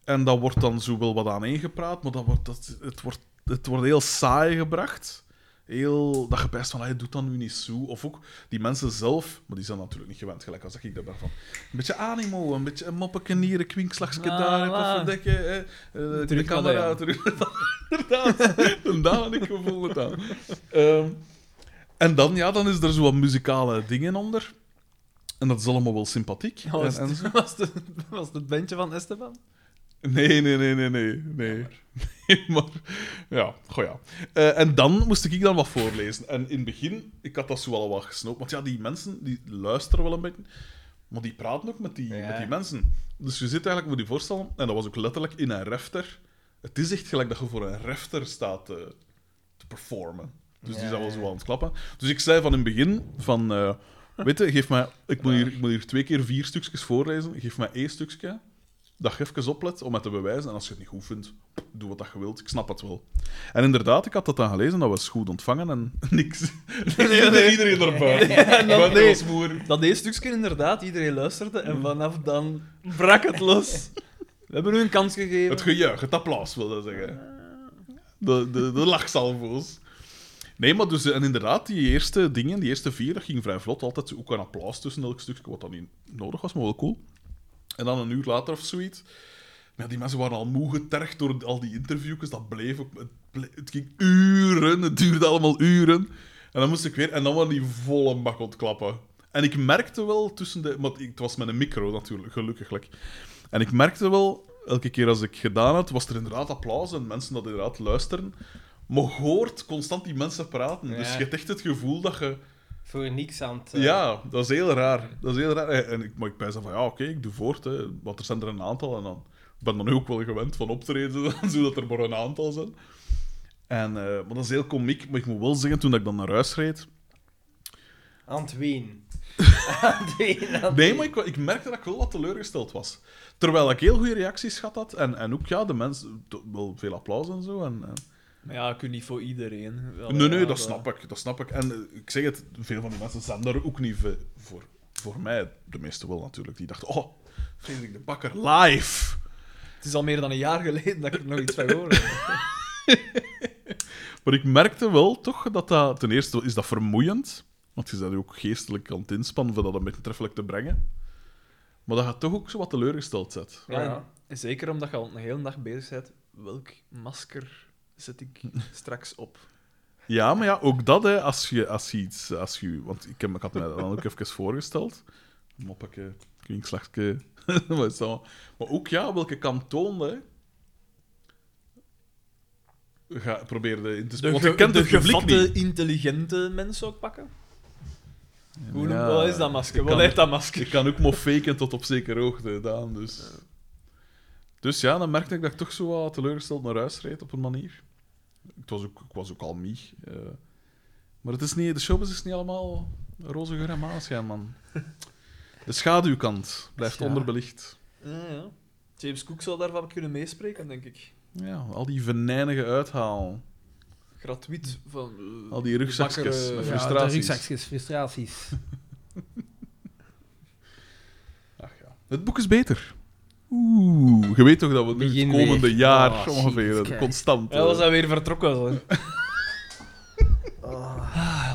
Speaker 2: en dat wordt dan zo wel wat aaneengepraat, maar dat wordt, dat, het, wordt, het wordt heel saai gebracht. Heel, dat je best van, hij doet dat nu niet zo. Of ook die mensen zelf, maar die zijn natuurlijk niet gewend, gelijk als ik daar ben van. Een beetje animo, een beetje een moppeke hier, een kwinkslagske
Speaker 3: Ah,
Speaker 2: daar,
Speaker 3: ah.
Speaker 2: even verdekken. eh, eh, de
Speaker 3: naar de
Speaker 2: camera
Speaker 3: Jan.
Speaker 2: terug. Inderdaad, een dag had ik gevoel het aan. Ehm, en dan, ja, dan is er zo wat muzikale dingen onder. En dat is allemaal wel sympathiek.
Speaker 3: Dat was,
Speaker 2: En- en zo.
Speaker 3: Oh, het, was, het, was het bandje van Esteban?
Speaker 2: Nee, nee, nee, nee, nee. nee. Nee, maar ja, goh ja. Eh, en dan moest ik dan wat voorlezen. En in het begin, ik had dat zo wel wat gesnoopt. Want ja, die mensen die luisteren wel een beetje, maar die praten ook met die,
Speaker 4: Ja.
Speaker 2: met die mensen. Dus je zit eigenlijk, moet je voorstellen, en dat was ook letterlijk in een refter. Het is echt gelijk dat je voor een refter staat te, te performen. Dus die
Speaker 4: Ja,
Speaker 2: zijn wel
Speaker 4: ja.
Speaker 2: zo aan het klappen. Dus ik zei van in het begin van, eh, weet je, geef mij, ik moet, hier, ik moet hier twee keer vier stukjes voorlezen. Geef mij één stukje. dat je even oplet om het te bewijzen. En als je het niet goed vindt, doe wat dat je wilt. Ik snap het wel. En inderdaad, ik had dat dan gelezen, dat was goed ontvangen en niks. Iedereen erbij.
Speaker 3: dan-
Speaker 2: Maar
Speaker 3: nee.
Speaker 2: dat was moer.
Speaker 3: Dat deze stukje inderdaad, iedereen luisterde en vanaf dan brak het los. We hebben nu een kans gegeven.
Speaker 2: Het gejuich, het applaus wil dat zeggen. De, de, de lachsalvo's. Nee, maar dus, en inderdaad, die eerste dingen, die eerste vier, dat ging vrij vlot. Altijd zo ook een applaus tussen elk stukje, wat dan niet nodig was, maar wel cool. En dan een uur later of zoiets. Ja, die mensen waren al moe getergd door al die interviewjes. Dat bleef ook... Het, ble- het ging uren, het duurde allemaal uren. En dan moest ik weer... En dan waren die volle bak ontklappen. En ik merkte wel tussen de... Maar het was met een micro natuurlijk, gelukkig. like. En ik merkte wel, elke keer als ik gedaan had, was er inderdaad applaus en mensen dat inderdaad luisteren. Maar je hoort constant die mensen praten. Dus
Speaker 1: Ja.
Speaker 2: je hebt echt het gevoel dat je...
Speaker 1: Voor niks aan het... eh,
Speaker 2: Ja, dat is heel raar. Dat is heel raar. Eh, En ik, maar ik ben zo van, ja, oké, ik doe voort. Hè. Want er zijn er een aantal. En dan ik ben dan ook wel gewend van optreden, zodat er maar een aantal zijn. En, eh, maar dat is heel komiek. Maar ik moet wel zeggen, toen ik dan naar huis reed...
Speaker 1: Aan het ween. aan het ween. aan het
Speaker 2: Nee, maar ik, wa- ik merkte dat ik wel wat teleurgesteld was. Terwijl ik heel goede reacties gehad had. En, en ook, ja, de mensen... to- Wel veel applaus en zo. En, en-
Speaker 3: Maar ja, kun niet voor iedereen. Wel, eh.
Speaker 2: Nee, nee,
Speaker 3: ja,
Speaker 2: dat snap ik. Dat snap ik. En eh, ik zeg het, veel van die mensen zijn daar ook niet voor- voor. Voor mij, de meeste wel natuurlijk. Die dachten, oh, Frederik de Bakker, live!
Speaker 3: Het is al meer dan een jaar geleden dat ik er nog iets van hoorde.
Speaker 2: Maar ik merkte wel toch dat dat... Ten eerste is dat vermoeiend. Want je bent ook geestelijk aan het inspannen om dat een beetje treffelijk te brengen. Maar dat gaat toch ook zo wat teleurgesteld zet.
Speaker 3: Ja,
Speaker 1: Ja.
Speaker 3: en zeker omdat je al een hele dag bezig bent. Welk masker zet ik straks op?
Speaker 2: Ja, maar ja, ook dat, hè, als je, als je iets... Als je, want ik, heb, ik had me dat dan ook even voorgesteld. Moppakje, kwinkslagje, wat is dat? Maar ook, ja, welke kant toonde, hè? Ga, probeer de in te spelen. Want je kent het publiek niet.
Speaker 3: intelligente mensen ook pakken? Hoe noem-
Speaker 2: Ja,
Speaker 3: wat is dat masker? Wat
Speaker 2: kan-
Speaker 3: heeft dat masker?
Speaker 2: Ik kan ook maar faken tot op zekere hoogte, Daan, dus... Dus ja, dan merkte ik dat ik toch zo wat teleurgesteld naar huis reed, op een manier. Ik was ook, ik was ook al mieg. eh. maar het is niet, de showbiz is niet allemaal roze geur en maneschijn, man. De schaduwkant blijft
Speaker 3: Ja.
Speaker 2: onderbelicht.
Speaker 3: Ja, ja. James Cook zou daarvan kunnen meespreken, denk ik.
Speaker 2: Ja, al die venijnige uithaal.
Speaker 3: Gratuit van... eh,
Speaker 2: Al die rugzakjes
Speaker 3: de bakker, eh,
Speaker 2: met
Speaker 1: Ja,
Speaker 2: frustraties.
Speaker 1: de rugzakjes, frustraties.
Speaker 2: Ach, ja. Het boek is beter. Oeh, je weet toch dat we nu
Speaker 1: Begin
Speaker 2: het komende
Speaker 1: weer.
Speaker 2: jaar
Speaker 1: Oh,
Speaker 2: ongeveer
Speaker 1: Jesus
Speaker 2: eh,
Speaker 1: Christ.
Speaker 2: constant...
Speaker 3: Ja, was
Speaker 2: eh,
Speaker 3: hij weer vertrokken? Zo.
Speaker 4: Oh.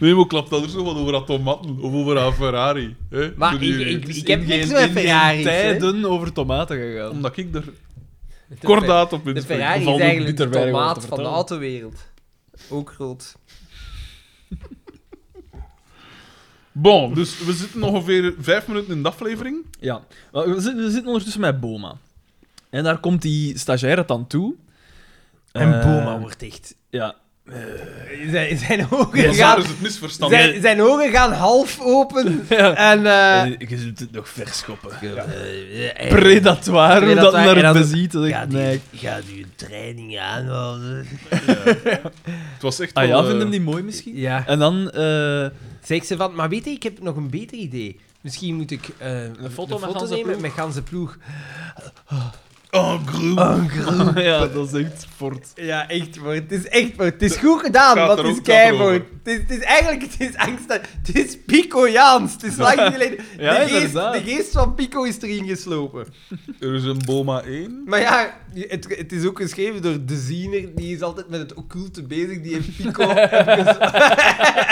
Speaker 2: Nee, maar klapt dat er zo wat over haar tomaten of over haar Ferrari. Hè?
Speaker 1: Maar
Speaker 2: Doe die-
Speaker 1: ik- ik-
Speaker 3: Het is
Speaker 1: heb
Speaker 3: in
Speaker 1: niks
Speaker 3: geen-
Speaker 1: met
Speaker 3: in geen
Speaker 1: Ferraris, hè.
Speaker 3: tijden over tomaten gegaan.
Speaker 2: Omdat ik er
Speaker 1: De Fer-
Speaker 2: kordaat op in
Speaker 1: De Ferrari is eigenlijk de tomaat van de autowereld. Ook groot.
Speaker 2: Bon, dus we zitten ongeveer vijf minuten in de aflevering.
Speaker 3: Ja, Maar we zitten, we zitten ondertussen met Boma. En daar komt die stagiaire dan toe.
Speaker 1: En
Speaker 3: Eh,
Speaker 1: Boma wordt echt... eh,
Speaker 3: Ja.
Speaker 1: Zijn, zijn ogen
Speaker 2: Want daar
Speaker 1: gaan...
Speaker 2: is het misverstand.
Speaker 1: Zijn, zijn ogen gaan half open. En... eh,
Speaker 3: Eh, je zult het nog verschoppen.
Speaker 1: eh, eh,
Speaker 3: Predatoir, hoe dat
Speaker 1: Predatoir, en
Speaker 3: naar
Speaker 1: dan-
Speaker 3: het beziet. dat ik-
Speaker 1: Gaat
Speaker 3: nee.
Speaker 1: u, gaat u een training aanhouden?
Speaker 2: Het was echt
Speaker 3: Ah
Speaker 2: wel,
Speaker 3: ja,
Speaker 2: eh,
Speaker 3: vind hem die mooi misschien?
Speaker 1: Ja.
Speaker 3: En dan... eh,
Speaker 1: Zeg ze van, maar weet je, ik heb nog een beter idee. Misschien moet ik eh, een
Speaker 3: foto met ganse
Speaker 1: nemen
Speaker 3: ploeg?
Speaker 1: met ganse ploeg.
Speaker 2: Oh, groen.
Speaker 3: Ah,
Speaker 1: Oh,
Speaker 3: ja, dat is echt fort.
Speaker 1: Ja, echt hoor. Het is echt hoor. Het is goed gedaan,
Speaker 2: Gaat
Speaker 1: want
Speaker 2: er
Speaker 1: het is
Speaker 2: ook- gaat er
Speaker 1: keihard.
Speaker 2: over.
Speaker 1: Het is, het is eigenlijk het is angst. Het is Pico-Jaans. Het is lang geleden.
Speaker 3: Ja,
Speaker 1: de, geest,
Speaker 3: inderdaad.
Speaker 1: de geest van Pico is erin geslopen.
Speaker 2: Er is een Boma 1.
Speaker 1: Maar ja, het, het is ook geschreven door de ziener. Die is altijd met het occulte bezig. Die heeft Pico even,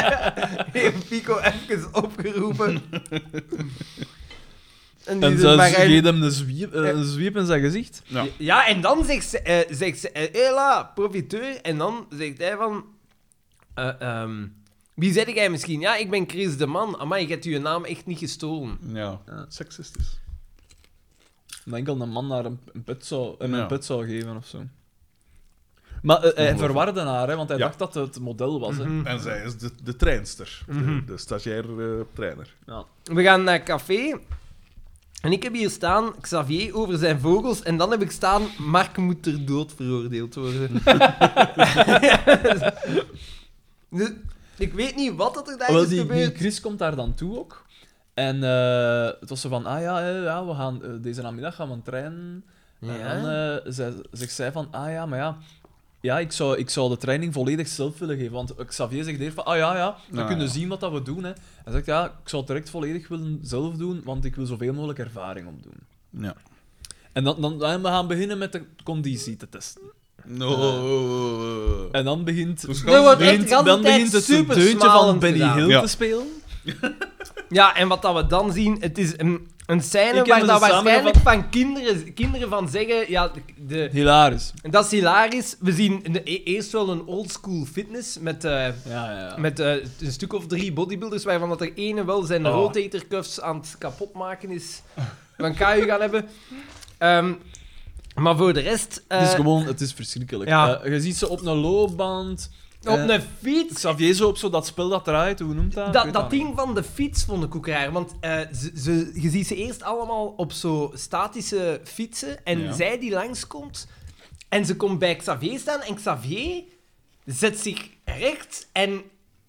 Speaker 1: heeft Pico even opgeroepen. En
Speaker 3: En
Speaker 1: zegt,
Speaker 3: ze
Speaker 1: maar
Speaker 3: ze
Speaker 1: hij-
Speaker 3: geeft hem een zwiep, eh, een zwiep in zijn gezicht.
Speaker 2: Ja.
Speaker 1: Ja, en dan zegt ze, eh, zegt ze eh, Ela, profiteur. En dan zegt hij van... eh, ehm, wie zet jij misschien? Ja, ik ben Chris de Man. Amai, je hebt je naam echt niet gestolen.
Speaker 2: Ja, seksistisch.
Speaker 3: En enkel een man naar een, een, put, zou, hem
Speaker 2: Ja.
Speaker 3: een put zou geven of zo. Maar eh, hij
Speaker 2: Ongelooflijk.
Speaker 3: verwarde haar, hè, want hij
Speaker 2: Ja.
Speaker 3: dacht dat het model was. Hè.
Speaker 2: En zij is de, de treinster.
Speaker 1: Mhm.
Speaker 2: De, de stagiair eh, trainer.
Speaker 3: Ja.
Speaker 1: We gaan naar café. En ik heb hier staan Xavier over zijn vogels. En dan heb ik staan Mark moet ter dood veroordeeld worden. dus, ik weet niet wat dat er daar
Speaker 3: Wel,
Speaker 1: is
Speaker 3: die, die
Speaker 1: gebeurd.
Speaker 3: Chris komt daar dan toe ook. En eh, het was zo van, ah ja, eh, ja we gaan, eh, deze namiddag gaan we een trein. En dan eh, ze- zegt zij van, ah ja, maar ja, ja ik, zou, ik zou de training volledig zelf willen geven. Want Xavier zegt eerst van, ah ja, ja, dan
Speaker 2: Ah,
Speaker 3: kunnen
Speaker 2: ja.
Speaker 3: zien wat dat we doen. Hè. Hij zegt, ja, ik zou het direct volledig willen zelf doen, want ik wil zoveel mogelijk ervaring opdoen.
Speaker 2: Ja.
Speaker 3: En dan, dan, dan we gaan beginnen met de conditie te testen.
Speaker 2: No.
Speaker 3: En dan begint,
Speaker 2: Dus
Speaker 1: Er wordt echt
Speaker 3: begint,
Speaker 1: de hele
Speaker 3: dan
Speaker 1: tijd
Speaker 3: begint het deuntje van
Speaker 1: supersmalend
Speaker 3: Benny
Speaker 1: gedaan.
Speaker 3: Hill
Speaker 2: Ja.
Speaker 3: te spelen.
Speaker 1: Ja, en wat dat we dan zien, het is een, een scène
Speaker 3: Ik heb
Speaker 1: waar
Speaker 3: dus
Speaker 1: dat
Speaker 3: een
Speaker 1: waarschijnlijk van kinderen, kinderen van zeggen... Ja, de,
Speaker 3: Hilarisch.
Speaker 1: dat is hilarisch. We zien een- e- eerst wel een oldschool fitness met... eh,
Speaker 3: Ja, ja, ja.
Speaker 1: met eh, een stuk of drie bodybuilders, waarvan dat er ene wel zijn
Speaker 3: Oh.
Speaker 1: rotator cuffs aan het kapotmaken is. Van KU gaan hebben. Ehm, maar voor de rest... eh,
Speaker 3: het is Dus gewoon, het is verschrikkelijk.
Speaker 1: ja.
Speaker 3: Eh, je ziet ze op een loopband.
Speaker 1: op
Speaker 3: eh,
Speaker 1: een fiets
Speaker 3: Xavier zo op zo dat spel dat draait, hoe noemt dat? Ik
Speaker 1: Dat,
Speaker 3: weet
Speaker 1: dat
Speaker 3: niet.
Speaker 1: ding van de fiets vond ik ook raar. Want eh, ze, ze, je ziet ze eerst allemaal op zo statische fietsen. En
Speaker 2: Ja.
Speaker 1: zij die langskomt. En ze komt bij Xavier staan. En Xavier zet zich recht en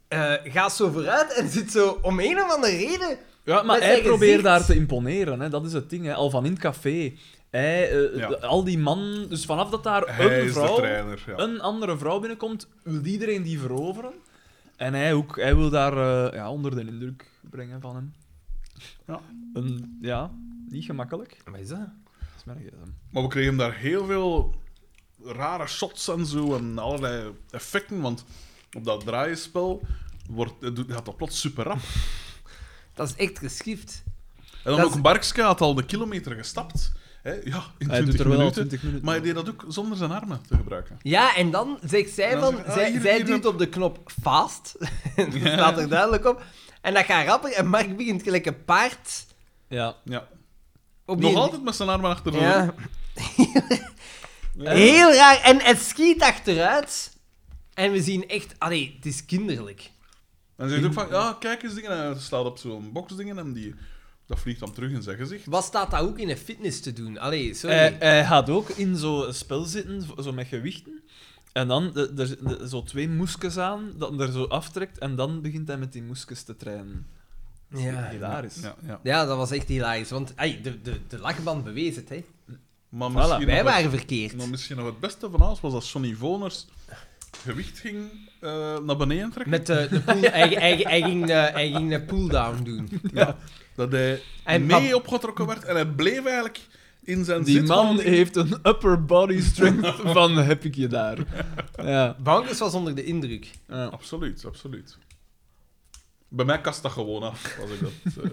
Speaker 1: eh, gaat zo vooruit. En zit zo om een of andere reden.
Speaker 3: Ja, maar
Speaker 1: met
Speaker 3: hij
Speaker 1: zijn
Speaker 3: probeert
Speaker 1: gezicht.
Speaker 3: daar te imponeren, hè. dat is het ding. Hè. Al van in het café. Hij, eh,
Speaker 2: Ja.
Speaker 3: de- al die man, dus vanaf dat daar
Speaker 2: Hij
Speaker 3: een
Speaker 2: is de
Speaker 3: vrouw,
Speaker 2: trainer. Ja.
Speaker 3: een andere vrouw binnenkomt, wil iedereen die veroveren. En hij ook, hij wil daar eh, ja, onder de indruk brengen van hem.
Speaker 2: Ja.
Speaker 3: Een- ja, niet gemakkelijk.
Speaker 1: Wat is dat?
Speaker 3: Dat is mijn gsm.
Speaker 2: Maar we kregen daar heel veel rare shots en zo en allerlei effecten, want op dat draaienspel wordt, het doet- gaat dat plots super rap.
Speaker 1: Dat is echt geschift.
Speaker 2: En dan
Speaker 1: Dat is-
Speaker 2: ook Barkska had al de kilometer gestapt. Hè? Ja, in
Speaker 3: Hij doet
Speaker 2: 20
Speaker 3: er wel al
Speaker 2: minuten.
Speaker 3: 20 minuten.
Speaker 2: Maar hij deed dat ook zonder zijn armen te gebruiken.
Speaker 1: Ja, en dan zegt zij
Speaker 2: En dan
Speaker 1: van...
Speaker 2: zegt hij, ah,
Speaker 1: zij
Speaker 2: hier,
Speaker 1: zij
Speaker 2: hier,
Speaker 1: duwt op de knop fast. dat staat er duidelijk op. En dat gaat rapper. En Mark begint gelijk een paard...
Speaker 3: Ja.
Speaker 2: Ja.
Speaker 1: Op
Speaker 2: Nog
Speaker 1: die-
Speaker 2: altijd met zijn armen achter de rug.
Speaker 1: Ja.
Speaker 2: Ja.
Speaker 1: Heel raar. En het schiet achteruit. En we zien echt... Allee, het is kinderlijk.
Speaker 2: En ze zegt ook van, ja, kijk eens dingen. En hij slaat op zo'n boxdingen en die, dat vliegt dan terug in zijn gezicht.
Speaker 1: Wat staat dat ook in een fitness te doen? Allee, sorry.
Speaker 2: Eh,
Speaker 3: Hij, hij gaat ook in zo'n spel zitten, v- zo met gewichten. En dan eh, er, zitten, eh, zo twee moeskes aan, dat hij er zo aftrekt. En dan begint hij met die moeskes te trainen.
Speaker 1: ja.
Speaker 3: Hilarisch.
Speaker 2: Ja, ja.
Speaker 1: ja, dat was echt hilarisch. Want ai, de, de, de lachband bewees het, hè.
Speaker 2: Maar
Speaker 3: Voilà,
Speaker 2: misschien
Speaker 1: Wij
Speaker 2: nog het-
Speaker 1: waren verkeerd.
Speaker 2: Maar misschien nog het beste van alles was dat Sonny Voners gewicht ging eh, naar beneden trekken.
Speaker 1: Met eh, de, de pool... hij, hij, hij ging de, hij ging de pull-down doen.
Speaker 2: Dat hij
Speaker 1: En
Speaker 2: mee
Speaker 1: pap-
Speaker 2: opgetrokken werd en hij bleef eigenlijk in zijn
Speaker 3: Die
Speaker 2: zit
Speaker 3: man
Speaker 2: houden.
Speaker 3: heeft een upper body strength van heb ik je daar. Ja.
Speaker 1: Bankers was onder de indruk.
Speaker 3: ja.
Speaker 2: Absoluut, absoluut. Bij mij kast dat gewoon af, als ik dat...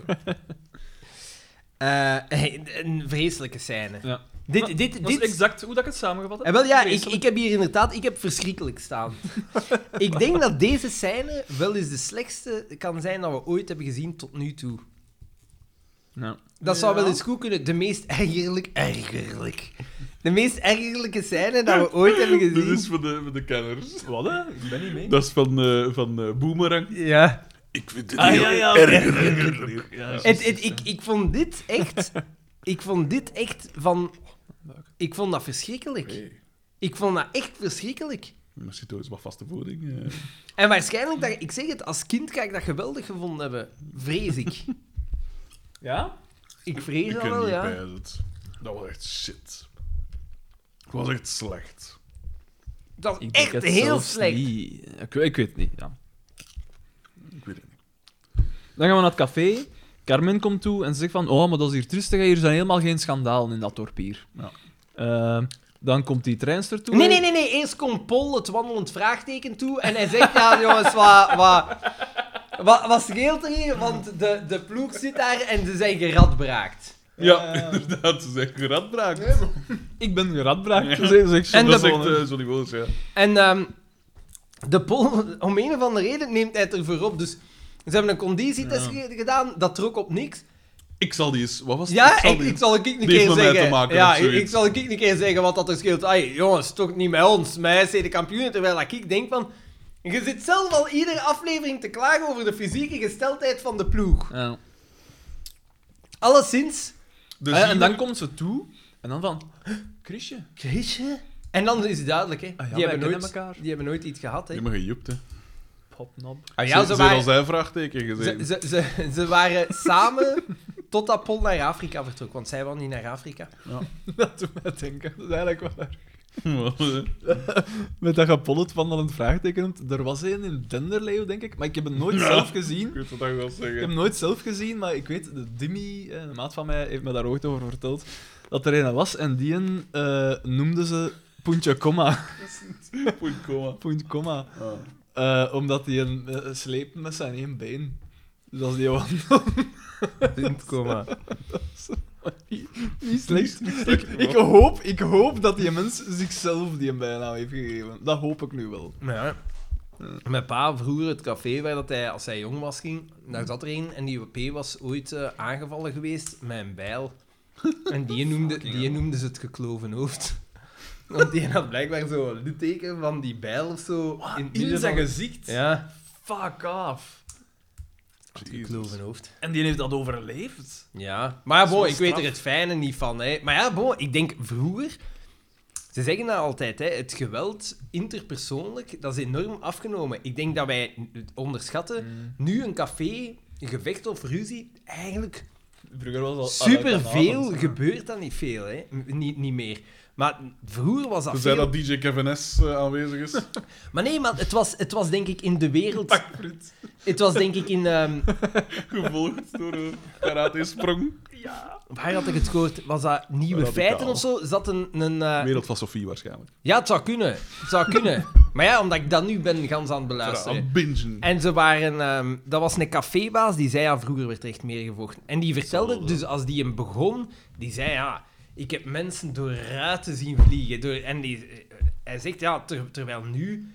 Speaker 2: eh,
Speaker 1: Eh, een vreselijke scène.
Speaker 3: Ja.
Speaker 1: Dit,
Speaker 3: Maar-
Speaker 1: dit,
Speaker 3: Dat is
Speaker 1: dit,
Speaker 3: exact hoe dat ik het samengevat
Speaker 1: En
Speaker 3: heb.
Speaker 1: wel, ja, ik,
Speaker 3: Vreselijk.
Speaker 1: ik heb hier inderdaad, ik heb verschrikkelijk staan. ik denk dat deze scène wel eens de slechtste kan zijn dat we ooit hebben gezien tot nu toe.
Speaker 3: Ja.
Speaker 1: Dat zou
Speaker 2: Ja.
Speaker 1: wel eens goed kunnen. De meest ergerlijk, ergerlijk. De meest ergerlijke scène dat we ooit hebben
Speaker 2: Dit
Speaker 1: gezien.
Speaker 2: is voor de, voor de kenners.
Speaker 3: Wat, hè? Ik ben niet mee.
Speaker 2: Dat is van, eh, van eh, Boomerang.
Speaker 1: Ja.
Speaker 2: Ik vind het
Speaker 3: Ah,
Speaker 2: heel
Speaker 3: ja, ja.
Speaker 2: erg.
Speaker 3: Ja, juist.
Speaker 1: Het, het, ik, ik vond dit echt... Ik vond dit echt van... Ik vond dat verschrikkelijk.
Speaker 2: Nee,
Speaker 1: Ik vond dat echt verschrikkelijk.
Speaker 2: maar zit toch eens wat vaste voeding. eh.
Speaker 1: En waarschijnlijk, dat, ik zeg het, als kind ga ik dat geweldig gevonden hebben. Vrees ik.
Speaker 3: Ja?
Speaker 1: Ik vrees
Speaker 2: Ik
Speaker 1: dat
Speaker 2: kan
Speaker 1: wel,
Speaker 2: niet
Speaker 1: ja.
Speaker 2: bij het. Dat was echt shit. Het was echt slecht.
Speaker 1: Dat is
Speaker 3: Ik denk
Speaker 1: echt
Speaker 3: het
Speaker 1: heel
Speaker 3: zelfs
Speaker 1: slecht.
Speaker 3: niet. Ik, ik weet het niet, ja.
Speaker 2: Ik weet het niet.
Speaker 3: Dan gaan we naar het café. Carmen komt toe en ze zegt van, oh, maar dat is hier tristig. hè. Hier zijn helemaal geen schandalen in dat dorp hier.
Speaker 2: Ja.
Speaker 3: Eh, dan komt die treinster toe.
Speaker 1: Nee, nee, nee, nee. Eerst komt Paul het wandelend vraagteken toe en hij zegt, ja jongens, wat, wat, wat, wat scheelt er hier? Want de, de ploeg zit daar en ze zijn geradbraakt.
Speaker 2: Ja, inderdaad. Ze zegt geradbraak.
Speaker 3: Ik ben geradbraakt. Ze zegt,
Speaker 1: En
Speaker 2: dat
Speaker 1: de-
Speaker 2: zegt eh, Johnny Woos, ja.
Speaker 1: En ehm, de Paul, om een of andere reden, neemt hij het ervoor op. Dus ze hebben een conditietest ge- gedaan, dat trok op niks.
Speaker 2: Ik zal die eens... Wat was het?
Speaker 1: Ja,
Speaker 2: zal
Speaker 1: ik,
Speaker 2: die-
Speaker 1: ik zal ik een
Speaker 2: heeft
Speaker 1: keer
Speaker 2: met mij
Speaker 1: zeggen.
Speaker 2: te maken,
Speaker 1: ja,
Speaker 2: of
Speaker 1: ik,
Speaker 2: zoiets.
Speaker 1: ik zal ik een keer zeggen wat dat er scheelt. Ai, jongens, toch niet met ons. Mij zijn de kampioenen. Terwijl dat ik denk van. Je zit zelf al iedere aflevering te klagen over de fysieke gesteldheid van de ploeg.
Speaker 3: Ja.
Speaker 1: Alleszins.
Speaker 2: De
Speaker 3: Eh, en
Speaker 2: ziener-
Speaker 3: dan komt ze toe en dan van, Chrisje.
Speaker 1: Chrisje? En dan is het duidelijk, hè?
Speaker 3: Ah ja,
Speaker 1: die,
Speaker 3: wij
Speaker 1: hebben
Speaker 3: kennen
Speaker 1: nooit,
Speaker 3: elkaar.
Speaker 1: die hebben nooit iets gehad, hè?
Speaker 2: Je hebt me gejoept, hè.
Speaker 3: hopnob.
Speaker 1: Ah, ja, ze,
Speaker 2: ze zijn al
Speaker 1: waren,
Speaker 2: zijn vraagteken
Speaker 1: ze,
Speaker 2: gezeten.
Speaker 1: ze, ze, ze waren samen totdat Paul naar Afrika vertrok, want zij wou niet naar Afrika.
Speaker 3: Dat doet mij denken. Dat is eigenlijk waar.
Speaker 2: Wat, eh?
Speaker 3: Met dat gepollet van dan een vraagteken. noemt. Er was één in Denderleeuw, denk ik. Maar ik heb hem nooit
Speaker 2: Ja.
Speaker 3: zelf gezien.
Speaker 2: Ik weet wat ik wil
Speaker 3: Ik heb
Speaker 2: zeggen.
Speaker 3: hem nooit zelf gezien, maar ik weet, de Dimmy, eh, een maat van mij, heeft me daar ooit over verteld. Dat er een was en die een, eh noemde ze Puntje Comma.
Speaker 2: Goed, kom maar.
Speaker 3: Punt Comma.
Speaker 2: Ah.
Speaker 3: Eh, omdat hij een sleept met zijn één been. Dus als die wandelt, niet slecht. Ik, ik, hoop, ik hoop dat die mens zichzelf die een bijnaam heeft gegeven. Dat hoop ik nu wel.
Speaker 1: Ja. Mijn pa vroeger het café waar dat hij, als hij jong was, ging, daar zat er een en die P was ooit eh, aangevallen geweest met een bijl. En die noemde, die noemde ze het gekloven hoofd. Want die had blijkbaar zo een litteken van die bijl of zo.
Speaker 3: In,
Speaker 1: het midden
Speaker 3: zijn
Speaker 1: van-
Speaker 3: gezicht?
Speaker 1: Ja,
Speaker 3: Fuck off.
Speaker 1: het gekloven hoofd.
Speaker 3: En die heeft dat overleefd.
Speaker 1: Ja, maar ja,
Speaker 3: Dat
Speaker 1: bon,
Speaker 3: is
Speaker 1: ik
Speaker 3: wel
Speaker 1: weet er
Speaker 3: straf.
Speaker 1: het fijne niet van. Hè. Maar ja, bon, ik denk vroeger... Ze zeggen dat altijd, hè, het geweld interpersoonlijk, dat is enorm afgenomen. Ik denk dat wij n- onderschatten, nu een café, een gevecht of ruzie, eigenlijk
Speaker 3: Vroeger was dat
Speaker 1: superveel gebeurt dat niet veel, hè. M- Niet, niet meer. Maar vroeger was dat
Speaker 2: Tenzij
Speaker 1: veel...
Speaker 2: dat DJ Kevin S eh, aanwezig is.
Speaker 1: Maar nee, maar het was, het was denk ik in de wereld... Het was denk ik in... ehm,
Speaker 2: Gevolgd door eh, een karate-sprong.
Speaker 1: Waar had ik het gehoord? Was dat Nieuwe
Speaker 2: Radicaal.
Speaker 1: Feiten of zo? Zat een... een eh,
Speaker 2: Wereld van Sofie waarschijnlijk.
Speaker 1: Ja, het zou kunnen. Het zou kunnen. maar ja, omdat ik dat nu ben gans aan het
Speaker 2: Aan
Speaker 1: beluisteren.
Speaker 2: het bingen.
Speaker 1: En ze waren... ehm, dat was een cafébaas, die zei ja, vroeger werd er echt meer gevochten. En die vertelde, dus als die hem begon, die zei ja, ik heb mensen door ruiten zien vliegen. Door, en die, eh, hij zegt ja, ter- terwijl nu...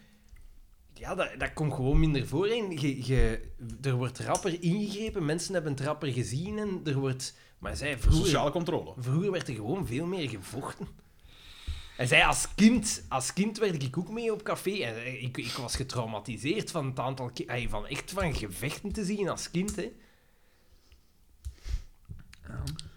Speaker 1: Ja, dat, dat komt gewoon minder voor. En je, je, er wordt rapper ingegrepen, mensen hebben het rapper gezien en er wordt... Maar hij zei vroeger...
Speaker 2: Sociale controle.
Speaker 1: Vroeger werd er gewoon veel meer gevochten. Hij zei, als kind, als kind werd ik ook mee op café. En eh, ik, ik was getraumatiseerd van het aantal ki- ay, van echt van gevechten te zien als kind. Hè.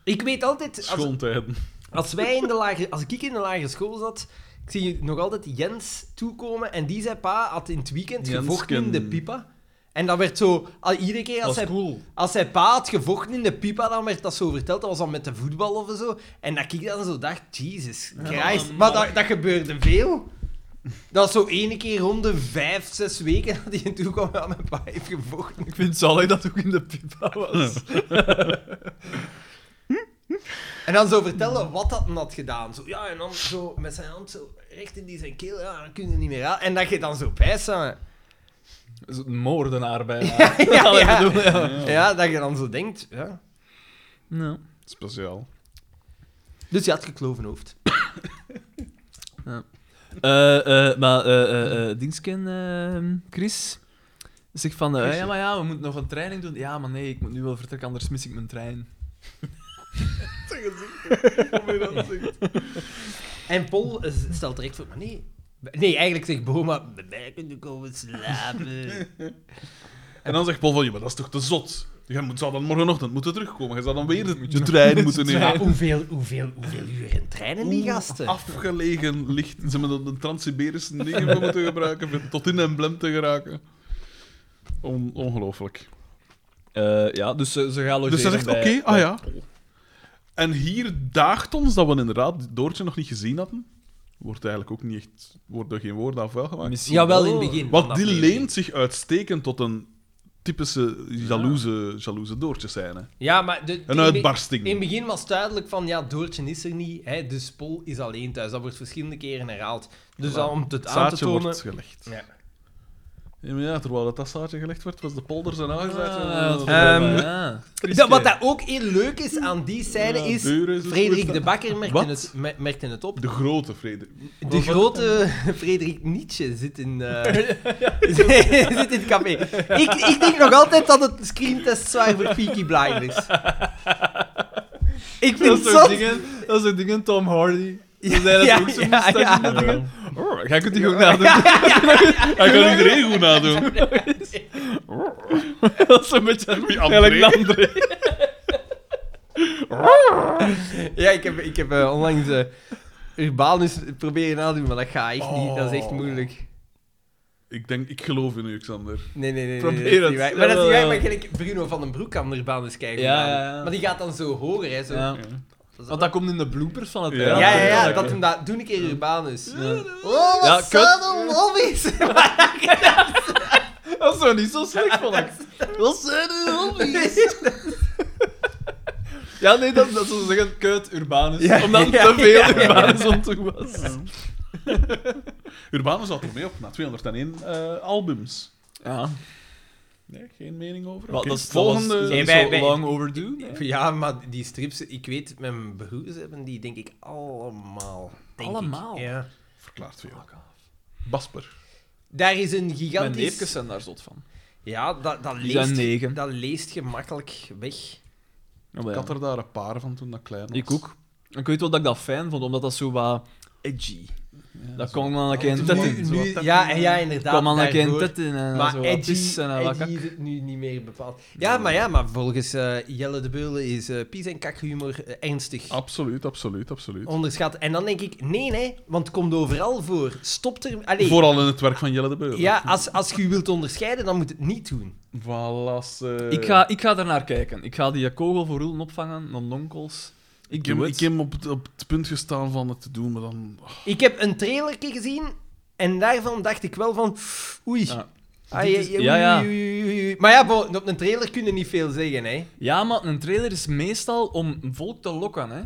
Speaker 1: Ik weet altijd, als,
Speaker 2: Schoontijden.
Speaker 1: als, wij in de lagere, als ik in de lagere school zat, ik zie nog altijd Jens toekomen. En die zijn pa had in het weekend
Speaker 2: Jensken.
Speaker 1: gevochten in de pipa. En dat werd zo, al, iedere keer als hij
Speaker 3: cool.
Speaker 1: als hij pa had gevochten in de pipa, dan werd dat zo verteld. Dat was dan met de voetbal of zo. En dat ik dan zo dacht, Jesus Christ.
Speaker 3: man.
Speaker 1: maar dat, dat gebeurde veel. Dat was zo ene keer rond de vijf, zes weken dat hij toe kwam aan mijn pa heeft gevochten.
Speaker 3: Ik vind het zalig dat het ook in de pipa was.
Speaker 1: En dan zo vertellen wat dat hem had gedaan. Zo, ja, en dan zo met zijn hand zo recht in die zijn keel. Ja, dan kun je niet meer aan. En dat je dan zo pijst aan.
Speaker 3: Dat is een moordenaar bijna.
Speaker 1: Ja, ja,
Speaker 3: Dat
Speaker 1: ja.
Speaker 3: bedoel ik, ja.
Speaker 1: Ja, dat je dan zo denkt. Ja.
Speaker 2: Speciaal.
Speaker 1: Dus je had gekloven hoofd.
Speaker 3: Eh, eh, maar eh eh, eh, Dingsken, eh, Chris, zegt van, eh, ja, maar ja, we moeten nog een training doen. Ja, maar nee, ik moet nu wel vertrekken, anders mis ik mijn trein.
Speaker 1: En Paul eh, stelt direct voor, maar nee. Nee, eigenlijk zegt Boma, bij mij kunnen komen slapen.
Speaker 2: En dan zegt Paul van, ja, maar dat is toch te zot? Jij moet, zou dan morgenochtend moeten terugkomen. Jij zou dan weer de, de trein moeten
Speaker 1: Maar
Speaker 2: nemen.
Speaker 1: hoeveel, hoeveel, hoeveel uren trainen die gasten?
Speaker 2: Afgelegen licht. Ze hebben dan de Trans-Siberische dingen voor moeten gebruiken om tot in emblem te geraken. On- ongelooflijk.
Speaker 3: Eh, ja, dus ze, ze gaan logeren
Speaker 2: Dus hij zegt, oké,
Speaker 3: bij-
Speaker 2: ah ja. En hier daagt ons dat we inderdaad Doortje nog niet gezien hadden. Wordt eigenlijk ook niet echt... Worden geen woorden aan vuil gemaakt.
Speaker 3: Misschien
Speaker 1: Jawel, in het begin.
Speaker 2: Want
Speaker 1: van
Speaker 2: die
Speaker 1: aflevering.
Speaker 2: leent zich uitstekend tot een typische jaloeze, jaloeze doortje scène.
Speaker 1: Ja, maar... De,
Speaker 2: Een
Speaker 1: in-
Speaker 2: uitbarsting.
Speaker 1: In het begin was het duidelijk van, ja, Doortje is er niet, hè, dus Paul is alleen thuis. Dat wordt verschillende keren herhaald. Dus
Speaker 2: Voilà.
Speaker 1: dan om het
Speaker 2: Het
Speaker 1: aan te
Speaker 2: zaadje
Speaker 1: tonen...
Speaker 2: wordt gelegd.
Speaker 1: Ja.
Speaker 2: Ja, maar ja, terwijl dat, dat zaadje gelegd werd, was de polder zijn eh, aangezet.
Speaker 3: Ah, wat
Speaker 1: Ehm,
Speaker 3: voorbij, ja.
Speaker 1: Dat, wat daar ook heel leuk is aan die scène
Speaker 2: Ja,
Speaker 1: is...
Speaker 2: deuren is het
Speaker 1: Frederik
Speaker 2: goed.
Speaker 1: de Bakker merkte
Speaker 2: Wat?
Speaker 1: het, mer- merkte het op.
Speaker 2: de grote vrede.
Speaker 1: De grote Frederik Nietzsche zit in, eh, zit in het café. Ik, ik denk nog altijd dat het een screentest zwaar voor Peaky Blinders is. Ik vind het
Speaker 3: Dat soort
Speaker 1: zot.
Speaker 3: dingen, dat soort dingen, Tom Hardy. Ze zijn
Speaker 1: Ja,
Speaker 3: dat ook
Speaker 1: ja,
Speaker 3: zo'n moustache
Speaker 1: ja.
Speaker 3: en dat dingen. Oh, jij kunt die ook nadoen.
Speaker 2: Hij kan iedereen goed nadoen.
Speaker 3: dat is een beetje
Speaker 2: Wie,
Speaker 3: eigenlijk
Speaker 2: André?
Speaker 3: een André.
Speaker 1: Ja, ik heb, ik heb eh, onlangs eh, Urbanus proberen nadoen, maar dat gaat echt niet. Dat is echt
Speaker 2: Oh.
Speaker 1: moeilijk.
Speaker 2: Ik denk, ik geloof in u, Xander.
Speaker 1: Nee, nee, nee.
Speaker 3: Probeer
Speaker 1: nee, dat is
Speaker 3: het.
Speaker 1: niet waar. Maar dat is niet waar,
Speaker 3: Eh,
Speaker 1: maar gelijk Bruno van den Broek aan de baan eens kijken.
Speaker 3: Ja,
Speaker 1: gaan.
Speaker 3: ja, ja.
Speaker 1: Maar die gaat dan zo hoger, hè. Zo.
Speaker 3: Ja. Want dat komt in de bloopers van het
Speaker 2: Ja.
Speaker 1: Ja,
Speaker 3: eiland.
Speaker 1: ja, ja,
Speaker 2: Ja,
Speaker 1: dat hem dat doen een keer Urbanus.
Speaker 3: Ja.
Speaker 1: Oh,
Speaker 3: Ja,
Speaker 1: wat
Speaker 3: kut.
Speaker 1: subtle lobby's.
Speaker 3: Dat is zo niet zo slecht, vond ik. Wat zijn de Ja, nee, dat, dat zou zeggen, keut Urbanus.
Speaker 1: Ja,
Speaker 3: omdat
Speaker 1: ja,
Speaker 3: te veel
Speaker 1: ja, ja.
Speaker 3: Urbanus om toe was.
Speaker 2: Urbanus had er mee op na 201 eh, albums.
Speaker 3: Ja.
Speaker 2: Nee, geen mening over.
Speaker 3: Wat,
Speaker 2: Oké,
Speaker 3: dat is,
Speaker 2: volgende.
Speaker 3: volgende...
Speaker 1: Nee,
Speaker 3: is
Speaker 1: wij-
Speaker 3: zo
Speaker 1: wij-
Speaker 3: lang overdue. nee?
Speaker 1: Ja, maar die strips, ik weet, mijn broers hebben die denk ik allemaal. denk ik.
Speaker 3: Allemaal?
Speaker 1: Ja.
Speaker 2: Verklaart veel. Basper.
Speaker 1: Daar is een
Speaker 3: Mijn
Speaker 1: gigantisch...
Speaker 3: neefjes zijn daar zot van.
Speaker 1: Ja, dat, dat,
Speaker 3: Die zijn
Speaker 1: leest,
Speaker 3: negen.
Speaker 1: dat leest gemakkelijk weg.
Speaker 2: Ik had er daar een paar van toen dat klein was.
Speaker 3: Ik ook. Ik weet wel dat ik dat fijn vond, omdat dat zo wat edgy. dat kwam dan een keer een
Speaker 2: Zo
Speaker 3: tet
Speaker 2: wat-
Speaker 3: in.
Speaker 2: zo
Speaker 1: Nu-
Speaker 2: wat tet
Speaker 1: ja,
Speaker 2: in.
Speaker 1: en ja, inderdaad.
Speaker 3: kwam dan een keer een
Speaker 1: daarvoor.
Speaker 3: tet in en
Speaker 1: Maar
Speaker 3: zo wat
Speaker 1: edgy,
Speaker 3: pissen en wat kak.
Speaker 1: edgy is het nu niet meer bepaald. Ja, maar, ja, maar volgens eh, Jelle de Beulen is eh pies en kakhumor eh, ernstig
Speaker 2: Absoluut, absoluut, absoluut.
Speaker 1: onderschat. En dan denk ik, nee, nee, want het komt overal voor. Stop er... Allee,
Speaker 2: Vooral in het werk van Jelle de Beulen.
Speaker 1: ja, als, als je je wilt onderscheiden, dan moet het niet doen.
Speaker 2: Voilà, eh,
Speaker 3: Ik ga, ik ga ernaar kijken. Ik ga die kogel voor roelen opvangen, non nonkels. Ik
Speaker 2: Ik
Speaker 3: doe
Speaker 2: heb,
Speaker 3: het.
Speaker 2: ik heb op, het, op het punt gestaan van het te doen, maar dan... oh,
Speaker 1: Ik heb een trailerke gezien en daarvan dacht ik wel van... Oei.
Speaker 3: Ja.
Speaker 1: Ai,
Speaker 3: Dit is-
Speaker 1: ai,
Speaker 3: ja, ja.
Speaker 1: oei, oei, oei, oei. Maar ja, bo- op een trailer kun je niet veel zeggen, hè.
Speaker 3: Ja, maar een trailer is meestal om volk te lokken, hè.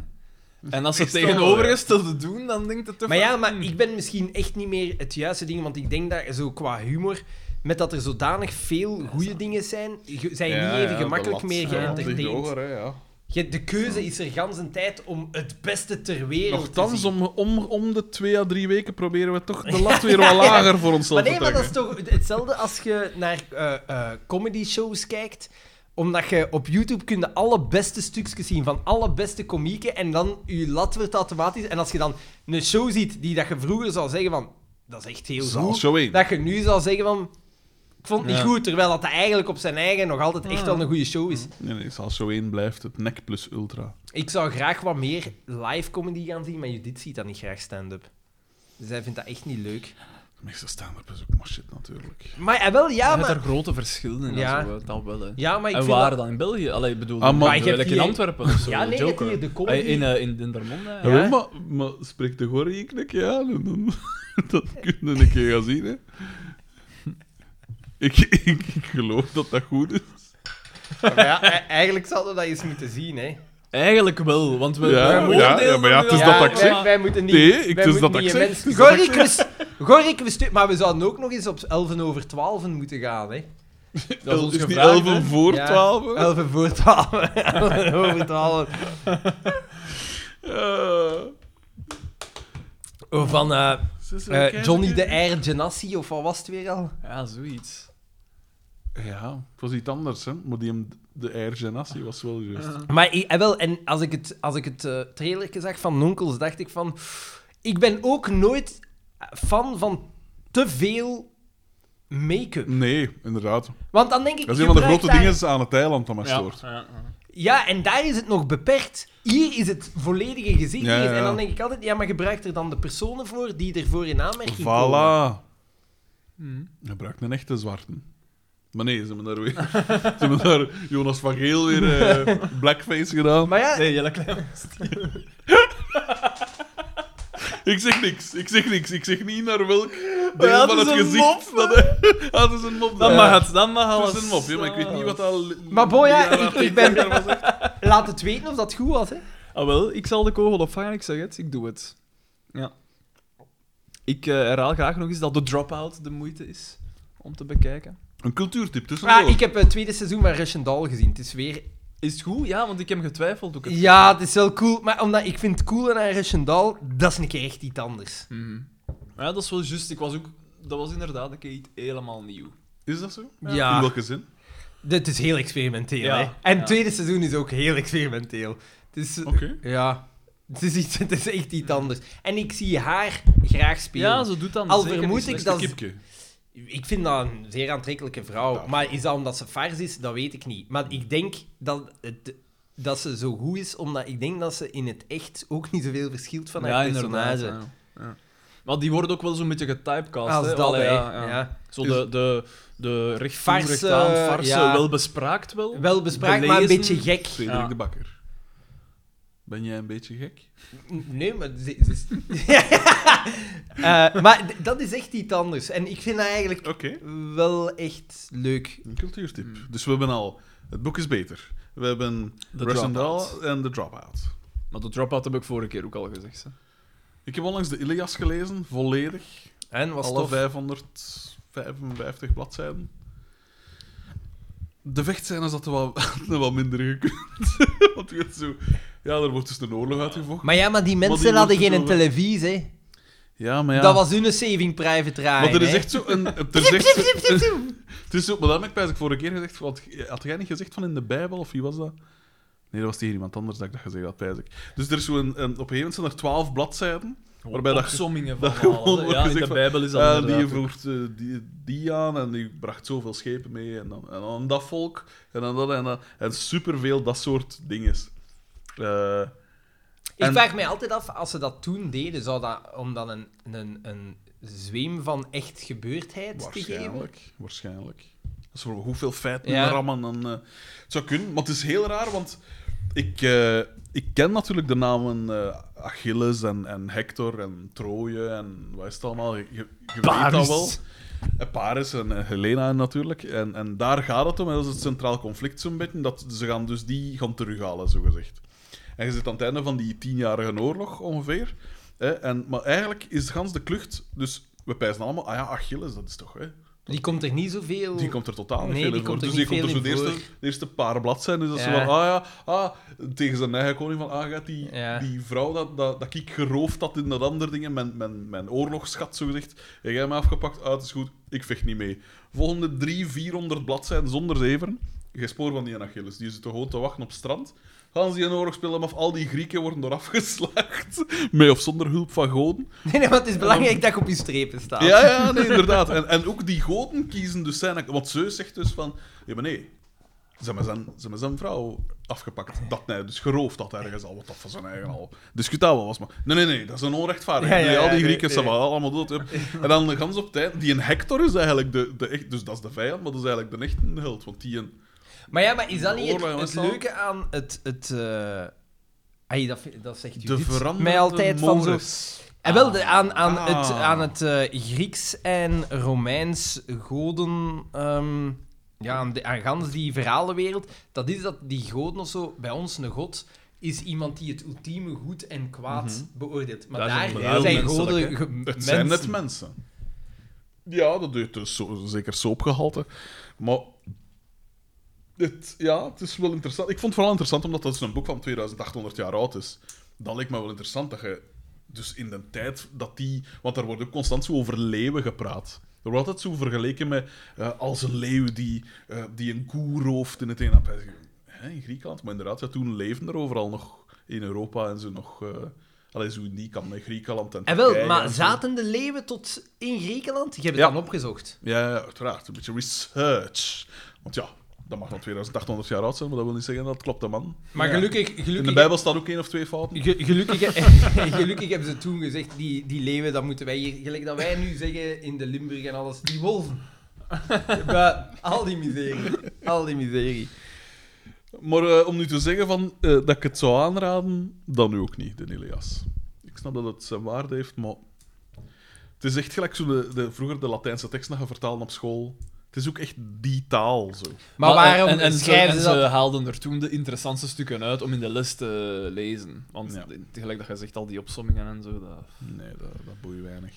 Speaker 3: En als ze het tegenovergestelde doen, dan denkt het toch...
Speaker 1: Maar
Speaker 3: wel,
Speaker 1: ja, maar
Speaker 3: hmm.
Speaker 1: ik ben misschien echt niet meer het juiste ding, want ik denk dat zo qua humor, met dat er zodanig veel goede dingen zijn, ge- zijn
Speaker 2: ja,
Speaker 1: niet even
Speaker 2: ja,
Speaker 1: gemakkelijk
Speaker 2: de
Speaker 1: meer
Speaker 2: lat- ja, ligt
Speaker 1: geëntertaind.
Speaker 2: hoger, hè, ja.
Speaker 1: Je- de keuze is er gans een tijd om het beste ter wereld te
Speaker 2: Nochtans,
Speaker 1: zien.
Speaker 2: om, om, om de twee à drie weken proberen we toch de lat weer wat lager voor onszelf
Speaker 1: Maar nee,
Speaker 2: te
Speaker 1: maar
Speaker 2: trekken.
Speaker 1: dat is toch hetzelfde als je naar eh, comedy shows kijkt omdat je op YouTube kun je alle beste stukjes zien van alle beste komieken en dan je lat wordt automatisch. En als je dan een show ziet die dat je vroeger zou zeggen van, dat is echt heel
Speaker 2: Zaal
Speaker 1: goed.
Speaker 2: show één.
Speaker 1: dat je nu zal zeggen van... Ik vond het niet
Speaker 2: Ja.
Speaker 1: goed, terwijl dat eigenlijk op zijn eigen nog altijd
Speaker 3: Ah.
Speaker 1: echt wel een goede show
Speaker 3: Mm.
Speaker 1: is.
Speaker 2: Nee, nee, Zaal show 1 blijft het nek plus ultra.
Speaker 1: Ik zou graag wat meer live comedy gaan zien, maar Judith ziet dat niet graag stand-up. Zij vindt dat echt niet leuk.
Speaker 2: De meeste stand-up is ook maar shit, natuurlijk.
Speaker 1: Maar ja, wel, ja,
Speaker 3: Er zijn
Speaker 1: maar...
Speaker 3: er grote verschillen in,
Speaker 1: Ja.
Speaker 3: ja. zo, hè. dat wel, hè.
Speaker 1: Ja, maar ik
Speaker 3: en
Speaker 1: vind
Speaker 3: waar
Speaker 1: dat-
Speaker 3: dan? In België? Allee, ik bedoel,
Speaker 2: Ah, maar- Maar
Speaker 3: maar
Speaker 1: je hebt
Speaker 3: in
Speaker 1: die-
Speaker 3: Antwerpen of zo,
Speaker 1: Ja, nee, je hebt
Speaker 3: Joker.
Speaker 1: hier de comedy-
Speaker 3: Ah, In, eh, in Dendermonde, ja.
Speaker 2: Ja? maar, maar spreek de gorie ik nek, ja. En dan, dat kunnen we een keer gaan zien, hè. Ik, ik, ik geloof dat dat goed is.
Speaker 1: Maar ja, e- eigenlijk zouden we dat eens moeten zien, hè.
Speaker 3: Eigenlijk wel, want we...
Speaker 2: Ja,
Speaker 3: we
Speaker 2: maar ja,
Speaker 3: oordelen
Speaker 2: ja, maar ja, het is
Speaker 3: nu
Speaker 2: dat
Speaker 3: al,
Speaker 2: dat ik zeg.
Speaker 1: wij, wij moeten niet...
Speaker 2: Nee, ik-
Speaker 1: wij
Speaker 2: het is dat
Speaker 1: moeten
Speaker 2: ik
Speaker 1: niet
Speaker 2: zeg.
Speaker 1: immens-
Speaker 2: Het is dat
Speaker 1: Gorik, we stu- Gorik, we stu- Maar we zouden ook nog eens op 11 over 12 moeten gaan, hè.
Speaker 3: Dat is ons
Speaker 2: niet
Speaker 3: gevraagd,
Speaker 2: 11
Speaker 3: hè.
Speaker 2: voor
Speaker 1: Ja,
Speaker 2: 12?
Speaker 1: 11 voor 12. 11 over 12. Eh, Oh, Van eh, eh, Johnny de Air Genassi, of wat was het weer al?
Speaker 3: Ja, zoiets.
Speaker 2: Ja, het was iets anders, hè. Maar die hem, de Air Genassi was wel juist.
Speaker 1: Maar ik- eh, wel, en als ik het, als ik het eh, trailertje zag van Nonkels, dacht ik van... Ik ben ook nooit fan van te veel make-up.
Speaker 2: Nee, inderdaad.
Speaker 1: Want dan denk ik...
Speaker 2: Dat is
Speaker 1: je
Speaker 2: een van de
Speaker 1: gebruikt
Speaker 2: grote
Speaker 1: daar-
Speaker 2: dingen aan het eiland dat mij
Speaker 3: Ja,
Speaker 2: stoort.
Speaker 3: ja, ja.
Speaker 1: Ja, en daar is het nog beperkt. Hier is het volledige gezicht.
Speaker 2: Ja, ja, ja.
Speaker 1: En dan denk ik altijd, ja, maar gebruik er dan de personen voor die ervoor in aanmerking komen.
Speaker 2: Voilà.
Speaker 3: Hmm.
Speaker 2: Hij gebruikt een echte zwarte. Maar nee, ze hebben daar weer... ze hebben daar Jonas van Geel weer eh, blackface gedaan.
Speaker 1: Oh. Maar ja,
Speaker 3: Nee, Jelle Klein.
Speaker 2: Ik zeg niks, ik zeg niks. Ik zeg niet naar welk deel
Speaker 3: ja,
Speaker 2: van
Speaker 3: het
Speaker 2: het
Speaker 3: is een
Speaker 2: gezicht...
Speaker 3: mop,
Speaker 2: dat hij- Ah, het is een mop.
Speaker 3: Dat
Speaker 2: ja.
Speaker 3: mag het, dat mag alles.
Speaker 2: Het is een mop, ja, maar ik weet niet wat dat... li-
Speaker 1: Maar boy, ja,
Speaker 2: li-
Speaker 1: ik- ik ben- laat het weten of dat goed was, hè.
Speaker 3: Ah, wel, ik zal de kogel opvangen, ik zeg het, ik doe het. Ja. Ik eh, herhaal graag nog eens dat de drop-out de moeite is om te bekijken.
Speaker 2: Een cultuurtip tussendoor.
Speaker 1: Ah, ik heb het tweede seizoen van Russian Doll gezien. Het is weer...
Speaker 3: Is het goed? Ja, want ik heb getwijfeld ook.
Speaker 1: Ja, het is wel cool. Maar omdat ik vind het cool aan Russian Doll, dat is een keer echt iets anders.
Speaker 3: Mhm. Ja, dat is wel juist. Ik was ook... Dat was inderdaad een keer iets helemaal nieuw.
Speaker 2: Is dat zo?
Speaker 1: Ja.
Speaker 2: In welke zin?
Speaker 1: Het is heel experimenteel,
Speaker 3: Ja,
Speaker 1: hè. En
Speaker 3: ja.
Speaker 1: het tweede seizoen is ook heel experimenteel. Het is...
Speaker 2: Oké.
Speaker 1: Ja. Het is, iets, het is echt iets anders. En ik zie haar graag spelen.
Speaker 3: Ja, ze doet dan
Speaker 1: Al
Speaker 3: zeker
Speaker 1: vermoed
Speaker 3: niet
Speaker 1: ik
Speaker 3: slecht.
Speaker 1: dat-
Speaker 2: Kipke.
Speaker 1: Ik vind dat een zeer aantrekkelijke vrouw.
Speaker 2: Ja.
Speaker 1: Maar is dat omdat ze fars is? Dat weet ik niet. Maar ik denk dat, het, dat ze zo goed is, omdat ik denk dat ze in het echt ook niet zoveel verschilt van haar
Speaker 3: inderdaad,
Speaker 1: personage.
Speaker 3: ja. Maar die worden ook wel zo'n beetje getypecast.
Speaker 1: Als
Speaker 3: hè?
Speaker 1: dat,
Speaker 3: Allee,
Speaker 1: hè.
Speaker 3: ja, ja.
Speaker 1: Ja. Dus
Speaker 3: Zo de, de, de recht toe,
Speaker 1: Farse,
Speaker 3: recht aan, farse,
Speaker 1: ja.
Speaker 3: wel bespraakt wel.
Speaker 1: Wel bespraakt, maar een
Speaker 3: Belezen.
Speaker 1: beetje gek.
Speaker 2: Frederik
Speaker 3: Ja.
Speaker 2: de Bakker. Ben jij een beetje gek?
Speaker 1: Nee, maar... Ze, ze is- Eh, maar d- dat is echt iets anders. En ik vind dat eigenlijk
Speaker 2: Oké.
Speaker 1: wel echt leuk.
Speaker 2: Een cultuurtip. Dus we hebben al... Het boek is beter. We hebben
Speaker 3: De
Speaker 2: Russian
Speaker 3: Dropout.
Speaker 2: Doll en The Dropout.
Speaker 3: Maar de drop-out heb ik vorige keer ook al gezegd. Hè.
Speaker 2: Ik heb onlangs de Ilias gelezen, volledig.
Speaker 1: En was
Speaker 2: alle
Speaker 1: tof.
Speaker 2: 555 bladzijden. De vechtscènes hadden wel, hadden wel minder gekund. Want je weet zo... Ja, er wordt dus een oorlog uitgevochten.
Speaker 1: Maar ja, maar die mensen
Speaker 2: wordt
Speaker 1: hadden geen
Speaker 2: het over-
Speaker 1: televisie. hè.
Speaker 2: Ja, maar ja...
Speaker 1: Dat was hun saving private Ryan.
Speaker 2: maar er is
Speaker 1: hè.
Speaker 2: echt zo een... Er is echt zo- Het is zo... Maar dat heb ik bijna vorige keer gezegd. Had, had jij niet gezegd van in de Bijbel, of wie was dat? Nee, dat was tegen iemand anders dat ik dat gezegd had, pijs ik. Dus er is zo een, een- op een gegeven moment zijn er twaalf bladzijden. Waarbij dat-
Speaker 3: Opsommingen
Speaker 2: dat
Speaker 3: van
Speaker 2: gewoon
Speaker 3: alles.
Speaker 2: wordt
Speaker 3: Ja, in
Speaker 2: gezegd
Speaker 3: de
Speaker 2: van,
Speaker 3: Bijbel is dat
Speaker 2: Ja, die
Speaker 3: inderdaad ook.
Speaker 2: voert eh, die, die aan en die bracht zoveel schepen mee. En dan, en dan dat volk. En dan dat en dat. En superveel dat soort dingen. Eh,
Speaker 1: Ik
Speaker 2: En-
Speaker 1: vraag mij altijd af, als ze dat toen deden, zou dat om dan een, een, een zweem van echt gebeurdheid te geven?
Speaker 2: waarschijnlijk. Waarschijnlijk. Als we hoeveel feiten
Speaker 1: Ja.
Speaker 2: rammen, dan... eh, het zou kunnen, maar het is heel raar, want ik, eh, ik ken natuurlijk de namen eh, Achilles en, en Hector en Troje en wat is het allemaal. Je, je weet dat
Speaker 3: Paris.
Speaker 2: wel. En Paris en eh, Helena natuurlijk. En, en daar gaat het om. En dat is het centraal conflict zo'n beetje. Dat, ze gaan dus die gaan terughalen, zogezegd. En je zit aan het einde van die tienjarige oorlog ongeveer. Hè? En, maar eigenlijk is gans de klucht... Dus we pijzen allemaal, ah ja, Achilles, dat is toch... Hè?
Speaker 1: Die komt er niet zoveel...
Speaker 2: Die komt er totaal niet
Speaker 1: Nee,
Speaker 2: veel
Speaker 1: die
Speaker 2: in voor.
Speaker 1: komt er
Speaker 2: Dus die
Speaker 1: niet
Speaker 2: komt er
Speaker 1: veel
Speaker 2: zo de
Speaker 1: in
Speaker 2: eerste,
Speaker 1: voor.
Speaker 2: de eerste paar bladzijden. Dus dat ze
Speaker 1: Ja.
Speaker 2: van, ah ja, ah, tegen zijn eigen koning van, ah, gaat die,
Speaker 1: Ja.
Speaker 2: die vrouw dat, dat, dat ik geroofd had in dat andere dingen, mijn, mijn, mijn oorlogsschat zogezegd, heb jij mij afgepakt, ah, het is goed, ik vecht niet mee. Volgende drie, vierhonderd bladzijden zonder zeven, geen spoor van die Achilles. Die zitten gewoon te wachten op het strand. Gaan ze een oorlog spelen af, al die Grieken worden eraf geslaagd. Met of zonder hulp van goden.
Speaker 1: Nee, nee, want het is belangrijk dat je op je strepen staat.
Speaker 2: Ja, ja, nee, inderdaad. En, en ook die goden kiezen dus zijn... Want Zeus zegt dus van... Ja, maar nee. Ze hebben zijn, ze hebben zijn vrouw afgepakt. Dat nee, dus geroofd dat ergens al. Wat dat van zijn eigen al discutabel was. Maar nee, nee, nee. Dat is een onrechtvaardigheid.
Speaker 1: Ja, ja,
Speaker 2: Nee, al die
Speaker 1: ja,
Speaker 2: Grieken
Speaker 1: nee,
Speaker 2: zijn wel allemaal dood. hup. En dan de gans op tijd... Die een Hector is eigenlijk de, de echt... Dus dat is de vijand, maar dat is eigenlijk de echte held. Want die een...
Speaker 1: Maar ja, maar is dat niet het,
Speaker 2: Oorlog,
Speaker 1: het
Speaker 2: jongens,
Speaker 1: leuke aan het... het eh, Ai, dat, vind- dat zegt
Speaker 2: De
Speaker 1: Judith
Speaker 2: veranderde
Speaker 1: mij altijd van zo...
Speaker 2: Mores.
Speaker 1: En wel, de- aan, aan
Speaker 2: Ah.
Speaker 1: het, aan het eh, Grieks en Romeins goden... ehm, ja, aan, de, aan gans die verhalenwereld. Dat is dat die goden of zo, bij ons een god, is iemand die het ultieme goed en kwaad beoordeelt. Maar
Speaker 3: Dat is
Speaker 1: daar,
Speaker 3: inderdaad
Speaker 1: zijn
Speaker 3: heel
Speaker 1: goden
Speaker 3: menselijk,
Speaker 1: ge-
Speaker 2: Het
Speaker 1: mensen.
Speaker 2: zijn net mensen. Ja, dat doet dus zo, zeker soapgehalte. Maar het, ja, het is wel interessant. Ik vond het vooral interessant omdat dat dus een boek van 2800 jaar oud is. Dat leek me wel interessant dat je dus in de tijd dat die... Want daar wordt ook constant zo over leeuwen gepraat. Er wordt altijd zo vergeleken met eh, als een leeuw die, eh, die een koe rooft in het een. Hè, in Griekenland, maar inderdaad, ja, toen leefden er overal nog in Europa en zo nog... eh Alleen zo in die kan met Griekenland en
Speaker 1: En wel,
Speaker 2: Turkije
Speaker 1: maar
Speaker 2: en zo.
Speaker 1: zaten de leeuwen tot in Griekenland? Je hebt het
Speaker 2: Ja.
Speaker 1: dan opgezocht.
Speaker 2: Ja, ja, uiteraard. Een beetje research. Want ja, dat mag nog 2800 jaar oud zijn, maar dat wil niet zeggen dat het klopt, hè, man.
Speaker 1: Maar
Speaker 2: Ja.
Speaker 1: gelukkig, gelukkig...
Speaker 2: In de Bijbel staat ook één of twee fouten.
Speaker 1: Ge- gelukkig, gelukkig hebben ze toen gezegd, die, die leeuwen, dat moeten wij hier, gelijk dat wij nu zeggen in de Limburg en alles, die wolven. Bij al die miserie. Al die miserie.
Speaker 2: Maar eh, om nu te zeggen van, eh, dat ik het zou aanraden, dan nu ook niet, de Ilias. Ik snap dat het zijn waarde heeft, maar... Het is echt gelijk zo de, de, vroeger de Latijnse tekst dat je vertaalde op school. Het is ook echt die taal, zo.
Speaker 1: Maar, waarom
Speaker 3: eh, en, en
Speaker 1: schrijven
Speaker 3: en
Speaker 1: ze dat?
Speaker 3: haalden er toen de interessantste stukken uit om in de les te lezen. Want
Speaker 2: Ja.
Speaker 3: tegelijk dat je zegt, al die opsommingen en zo. Dat...
Speaker 2: Nee, dat, dat boeit weinig.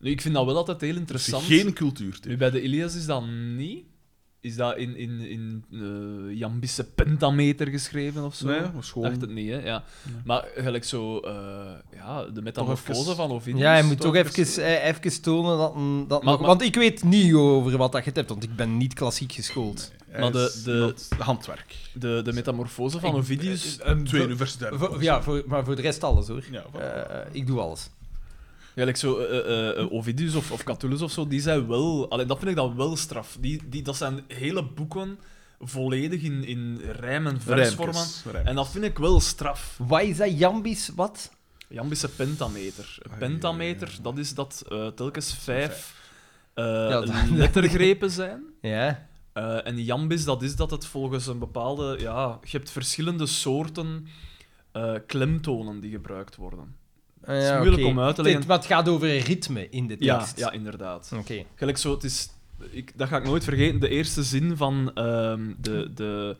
Speaker 3: Nu, ik vind dat wel altijd heel
Speaker 2: Het is
Speaker 3: interessant.
Speaker 2: geen cultuurtip.
Speaker 3: Nu, bij de Ilias is dat niet. Is dat in, in, in eh, Jambische pentameter geschreven of zo?
Speaker 2: Nee, maar school.
Speaker 3: dacht het niet, hè? Ja. Maar gelijk zo, eh, ja, de
Speaker 2: Toch
Speaker 3: metamorfose
Speaker 2: even-
Speaker 3: van Ovidius.
Speaker 1: Ja, je moet toch
Speaker 2: even-
Speaker 1: even, eh, even tonen dat... een- dat
Speaker 3: Maar-
Speaker 1: nog-
Speaker 3: maar-
Speaker 1: want ik weet niet over wat dat je het hebt, want ik ben niet klassiek geschoold.
Speaker 2: Hij
Speaker 3: maar de-
Speaker 2: is
Speaker 3: de-
Speaker 2: iemand- handwerk. eh,
Speaker 3: De, de eh, metamorfose van Ovidius.
Speaker 1: Ehm,
Speaker 2: Twee
Speaker 1: voor-
Speaker 2: universiteiten.
Speaker 1: voor- ja, voor, maar voor de rest alles, hoor.
Speaker 2: Ja, voilà.
Speaker 1: Eh, ik doe alles.
Speaker 3: Gelijk zo, eh, eh, eh, Ovidius of, of Catullus of zo, die zijn wel... Allee, dat vind ik dan wel straf. Die, die, dat zijn hele boeken volledig in, in rijm- en versvormen.
Speaker 2: Rijmpjes, rijmpjes.
Speaker 3: En dat vind ik wel straf.
Speaker 1: Wat is dat, Jambis? Wat?
Speaker 3: Jambische pentameter. Een
Speaker 2: Ah,
Speaker 3: pentameter,
Speaker 2: ja, ja.
Speaker 3: dat is dat eh, telkens vijf eh,
Speaker 9: dat-
Speaker 3: lettergrepen zijn.
Speaker 1: Ah,
Speaker 9: Ja.
Speaker 3: Eh, en jambis, dat is dat het volgens een bepaalde... Ja, je hebt verschillende soorten eh, klemtonen die gebruikt worden.
Speaker 9: Ah,
Speaker 3: Het is
Speaker 9: ja,
Speaker 3: moeilijk
Speaker 9: oké.
Speaker 3: om uit te
Speaker 1: Dit,
Speaker 3: leggen.
Speaker 1: maar het gaat over een ritme in de
Speaker 3: Ja,
Speaker 1: tekst.
Speaker 3: ja, inderdaad.
Speaker 1: Oké.
Speaker 3: Gelijk zo, het is... Ik, dat ga ik nooit vergeten. De eerste zin van ehm, de... de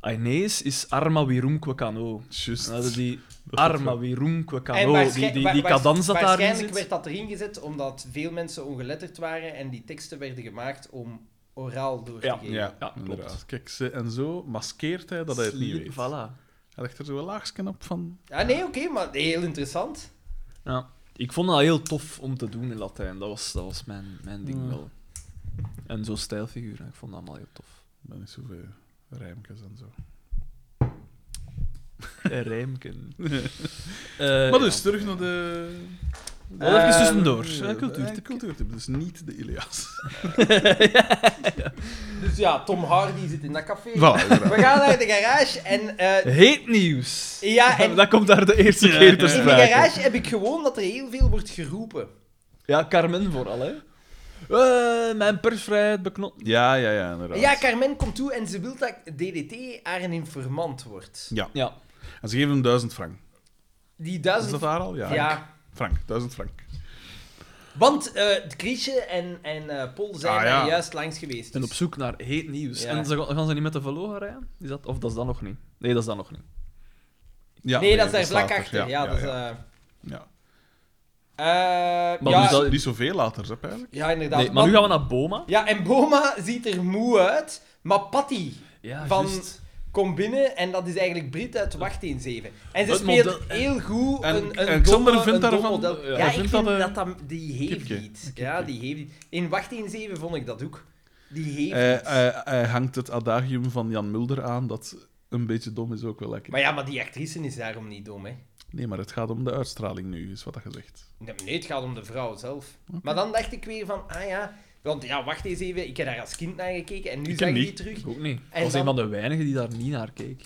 Speaker 3: Aenees is arma virumque cano.
Speaker 2: Just.
Speaker 3: Nou, dat die arma virumque
Speaker 1: En
Speaker 3: cano, die, die, die cadans dat daarin
Speaker 1: Waarschijnlijk werd
Speaker 3: zit.
Speaker 1: dat erin gezet omdat veel mensen ongeletterd waren en die teksten werden gemaakt om oraal door te
Speaker 3: Ja.
Speaker 1: geven.
Speaker 2: Ja,
Speaker 3: Ja,
Speaker 2: inderdaad.
Speaker 3: klopt.
Speaker 2: Kijk, ze- en zo maskeert hij dat hij het niet
Speaker 3: Slim,
Speaker 2: weet.
Speaker 3: Voilà.
Speaker 2: Hij legt er zo een laagje op van...
Speaker 1: Ah, nee, oké, maar heel interessant.
Speaker 3: Ja. Ik vond dat heel tof om te doen in Latijn. Dat was, dat was mijn, mijn ding
Speaker 2: Ja.
Speaker 3: wel. En zo'n stijlfiguur, ik vond dat allemaal heel tof.
Speaker 2: Dan is zoveel rijmpjes en zo.
Speaker 3: Rijmken. Eh,
Speaker 2: maar dus, terug naar de...
Speaker 3: Wel even
Speaker 1: Ehm,
Speaker 2: Eh,
Speaker 3: tussendoor.
Speaker 2: eh,
Speaker 3: Een cultuurtip.
Speaker 2: eh, cultuurtip, dus niet de Ilias.
Speaker 1: Dus ja, Tom Hardy zit in dat café.
Speaker 2: Voilà, inderdaad.
Speaker 1: We gaan naar de garage en... eh,
Speaker 3: Heet nieuws.
Speaker 1: ja, en
Speaker 3: Dat komt daar de eerste
Speaker 2: Ja,
Speaker 3: keer te
Speaker 2: ja.
Speaker 1: in de
Speaker 3: sprake.
Speaker 1: garage heb ik gewoon dat er heel veel wordt geroepen.
Speaker 3: Ja, Carmen vooral, hè. Eh, mijn persvrijheid beknot.
Speaker 2: Ja, ja, ja, inderdaad.
Speaker 1: Ja, Carmen komt toe en ze wil dat DDT haar een informant wordt.
Speaker 3: Ja.
Speaker 2: En ze geven hem 1000 frank.
Speaker 1: Die
Speaker 2: Is dat
Speaker 1: duizend...
Speaker 2: daar al? Ja.
Speaker 1: Ja,
Speaker 2: Frank, 1000 frank.
Speaker 1: want eh Kriesje en, en eh, Paul zijn
Speaker 2: Ah,
Speaker 1: daar
Speaker 2: ja.
Speaker 1: juist langs geweest.
Speaker 3: En
Speaker 1: dus-
Speaker 3: op zoek naar heet nieuws.
Speaker 1: Ja.
Speaker 3: En ze, gaan- gaan ze niet met de Velo gaan rijden? Is dat, of dat is dan nog niet? Nee, dat is dan nog niet.
Speaker 2: Ja,
Speaker 1: nee, dat is daar vlak
Speaker 2: later.
Speaker 1: achter. Ja, dat is...
Speaker 2: ja.
Speaker 1: eh,
Speaker 2: Ja.
Speaker 1: eh,
Speaker 3: Maar
Speaker 1: ja,
Speaker 3: dus dat-
Speaker 2: Niet zoveel later, hè, eigenlijk.
Speaker 1: ja, inderdaad.
Speaker 3: Nee, maar nu
Speaker 1: Want-
Speaker 3: gaan we naar Boma.
Speaker 1: Ja, en Boma ziet er moe uit, maar Patty
Speaker 3: Ja,
Speaker 1: Van-
Speaker 3: juist.
Speaker 1: komt binnen en dat is eigenlijk Brit uit Wacht in 7. En ze
Speaker 3: Het
Speaker 1: speelt
Speaker 3: model- en-
Speaker 1: heel goed
Speaker 2: en-
Speaker 1: een, een
Speaker 2: en Xander
Speaker 1: domme-
Speaker 2: vindt
Speaker 1: een
Speaker 2: daarvan-
Speaker 1: dom model.
Speaker 3: ja,
Speaker 1: Ja,
Speaker 3: hij
Speaker 1: ik
Speaker 2: vindt
Speaker 1: vind
Speaker 2: dat,
Speaker 1: dat,
Speaker 2: eh,
Speaker 1: dat- die heeft
Speaker 2: kipje.
Speaker 1: niet. Ja, die heeft niet. In Wacht in 7 vond ik dat ook. Die heeft
Speaker 2: Hij,
Speaker 1: iets.
Speaker 2: hij- hij Eh, hangt het adagium van Jan Mulder aan, dat een beetje dom is ook wel lekker.
Speaker 1: Maar ja, maar die actrice is daarom niet dom, hè.
Speaker 2: Nee, maar het gaat om de uitstraling nu, is wat dat gezegd.
Speaker 1: Nee, nee, het gaat om de vrouw zelf. Maar dan dacht ik weer van, ah ja... Want ja, wacht eens even, ik heb daar als kind naar gekeken en nu
Speaker 2: Ik
Speaker 1: zag ik
Speaker 2: niet.
Speaker 1: die terug.
Speaker 3: Ook niet.
Speaker 1: En
Speaker 3: Ik was
Speaker 1: dan-
Speaker 3: een van de weinigen die daar niet naar keek.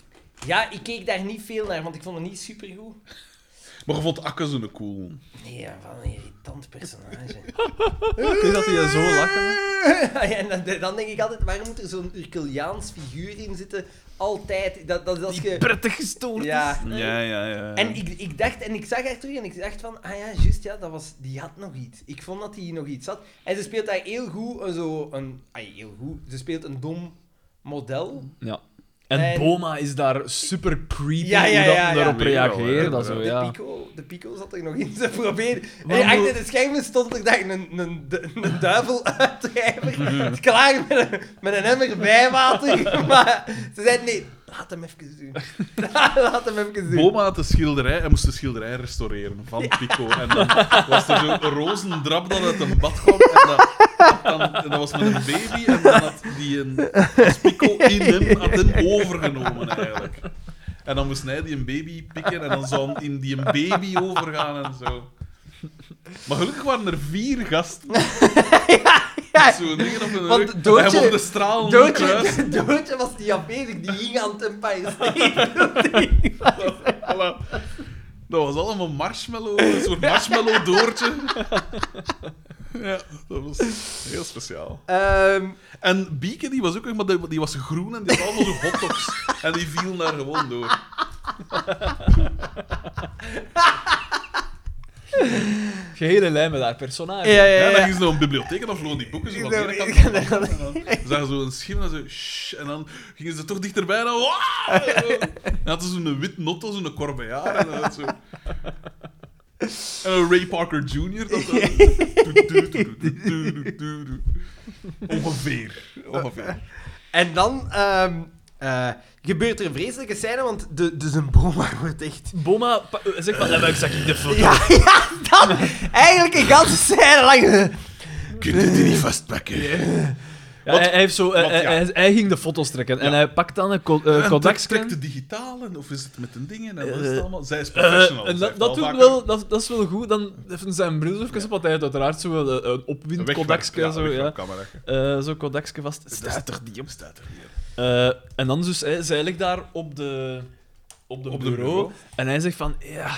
Speaker 1: Ja, ik keek daar niet veel naar, want ik vond het niet supergoed.
Speaker 2: Maar je vond Akke zo'n cool.
Speaker 1: Nee, ja, wat een irritant personage.
Speaker 3: Het is dat hij zo lachen.
Speaker 1: Ja, en dan, dan denk ik altijd, waarom moet er zo'n Urkeliaans figuur in zitten? Altijd. Dat, dat is als je...
Speaker 3: Prettig gestoord.
Speaker 1: Ja.
Speaker 2: Ja, ja, ja.
Speaker 1: En ik, ik dacht, en ik zag haar terug en ik dacht van, ah ja, juist, ja, dat was, die had nog iets. Ik vond dat die nog iets had. En ze speelt daar heel goed een, zo, een, ay, heel goed, ze speelt een dom model.
Speaker 3: Ja. En,
Speaker 1: En-
Speaker 3: Boma is daar super creepy
Speaker 1: Ja, ja,
Speaker 3: hoe dat
Speaker 1: ja,
Speaker 3: hem
Speaker 1: ja.
Speaker 3: daarop reageert. Dat
Speaker 2: Ja,
Speaker 3: zo,
Speaker 1: De,
Speaker 3: Oh, ja.
Speaker 1: pico, de pico zat er nog in te proberen.
Speaker 3: Waarom
Speaker 1: En achter de schermen stond er daar een, een, du- een duivel uitdrijver. Klaar met een, met een emmer bijwater. Maar ze zeiden nee, laat hem even doen. laat hem even doen.
Speaker 2: Boma had de schilderij, hij moest de schilderij restaureren van Pico. En dan was er zo'n rozendrap dat uit een bad kwam. En dat, dan, en dat was met een baby. En dan had die een, was Pico in hem, had hem overgenomen eigenlijk. En dan moest hij die een baby pikken en dan zou hij in die een baby overgaan en zo. Maar gelukkig waren er vier gasten. Met Zo'n dingen op hun
Speaker 1: Want
Speaker 2: rug.
Speaker 1: Doodje-
Speaker 2: Hij mocht de straal kruis.
Speaker 1: Doodje, Doodje was niet afwezig, die ging aan het Empire State.
Speaker 2: Voilà. Dat was allemaal marshmallow, een soort marshmallow doortje. Ja, dat was heel speciaal.
Speaker 1: Ehm,
Speaker 2: En Bieke, die was ook, maar die, die was groen en die had allemaal zo hotdogs. En die viel daar gewoon door.
Speaker 3: Gehele lijn met haar personage.
Speaker 1: ja,
Speaker 2: Ja,
Speaker 1: ja,
Speaker 2: en dan
Speaker 1: ja.
Speaker 2: ging ze naar een bibliotheek en dan vlogen die boeken zo van de ene kant naar de andere. En dan zagen ze zo'n schim en zo... "Shh," en dan gingen ze toch dichterbij en dan... "Wah!" En dan hadden ze zo'n wit notto, zo'n corbejaar en dan had zo... En een Ray Parker Jr. Dat zo- Ongeveer. Ongeveer.
Speaker 1: En dan ehm, eh, gebeurt er een vreselijke scène, want de, dus een broma wordt echt
Speaker 3: Boma pa- eh, zegt van, ja, maar ik zag hier de foto.
Speaker 1: Ja, ja, dat. Eigenlijk een ganse scène lang.
Speaker 2: Kun je die niet vastpakken?
Speaker 3: Ja, hij, hij heeft zo, eh,
Speaker 2: want
Speaker 3: eh,
Speaker 2: ja.
Speaker 3: hij, hij ging de foto's trekken en
Speaker 2: Ja.
Speaker 3: hij pakt dan een co- eh,
Speaker 2: Contact
Speaker 3: contactscan.
Speaker 2: trekt de digitale of is het met een ding en wat is
Speaker 3: Eh,
Speaker 2: het allemaal? Zij is
Speaker 3: Eh,
Speaker 2: professional.
Speaker 3: en
Speaker 2: zij
Speaker 3: dat,
Speaker 2: heeft
Speaker 3: dat,
Speaker 2: al
Speaker 3: doet
Speaker 2: vaker-
Speaker 3: wel, dat, dat is wel goed. Dan heeft hij zijn bril even op, want hij heeft uiteraard zo wel, eh, een
Speaker 2: Een
Speaker 3: opwind
Speaker 2: wegwerp-
Speaker 3: contactje.
Speaker 2: ja,
Speaker 3: zo, ja.
Speaker 2: een wegwerpcamera.
Speaker 3: Eh, Zo'n contactje vast.
Speaker 2: Staat er die op? Staat er die op?
Speaker 3: Eh, en dan dus, hij, zij ligt daar op de, op de
Speaker 2: Op de
Speaker 3: bureau,
Speaker 2: bureau. Ah,
Speaker 3: en hij zegt van, ja,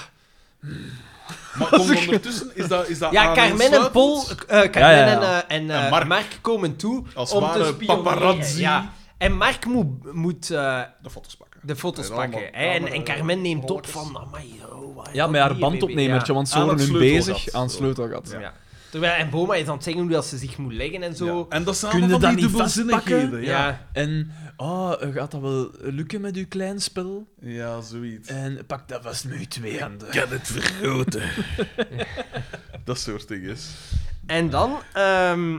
Speaker 2: Maar kom, ondertussen is dat, is dat
Speaker 1: Ja,
Speaker 2: aan
Speaker 1: Carmen en
Speaker 2: aansluitend?
Speaker 1: Paul, eh, Carmen
Speaker 3: Ja, ja, ja.
Speaker 1: en, eh, en, eh,
Speaker 2: En Mark.
Speaker 1: Mark. komen toe
Speaker 2: Als
Speaker 1: om
Speaker 2: ware
Speaker 1: te spioneren.
Speaker 2: paparazzi.
Speaker 1: Ja. En Mark moet, moet eh,
Speaker 2: De foto's pakken.
Speaker 1: de foto's
Speaker 2: En allemaal
Speaker 1: pakken. hè. En, en
Speaker 2: camera-
Speaker 1: Carmen neemt op
Speaker 2: rolletjes.
Speaker 1: van, amai, oh, wat is
Speaker 3: Ja,
Speaker 1: dat
Speaker 3: met haar
Speaker 1: hier,
Speaker 3: bandopnemertje,
Speaker 1: baby?"
Speaker 3: want ze
Speaker 2: Aan
Speaker 3: waren
Speaker 2: het
Speaker 3: nu
Speaker 2: sleutelgat.
Speaker 3: bezig aan het sleutelgat.
Speaker 1: Ja. Ja. Terwijl, en Boma is aan het zeggen hoe dat ze zich moet leggen en zo.
Speaker 2: En dat zijn
Speaker 3: Kun je
Speaker 2: allemaal van
Speaker 3: dat
Speaker 2: die
Speaker 3: niet
Speaker 2: dubbelzinnigheden.
Speaker 3: vastpakken?
Speaker 2: Ja.
Speaker 1: ja.
Speaker 3: En, oh, gaat dat wel lukken met uw klein spel?
Speaker 2: ja, zoiets.
Speaker 3: En pak dat vast met uw twee handen.
Speaker 2: kan het vergroten. dat soort dingen.
Speaker 1: En dan ehm,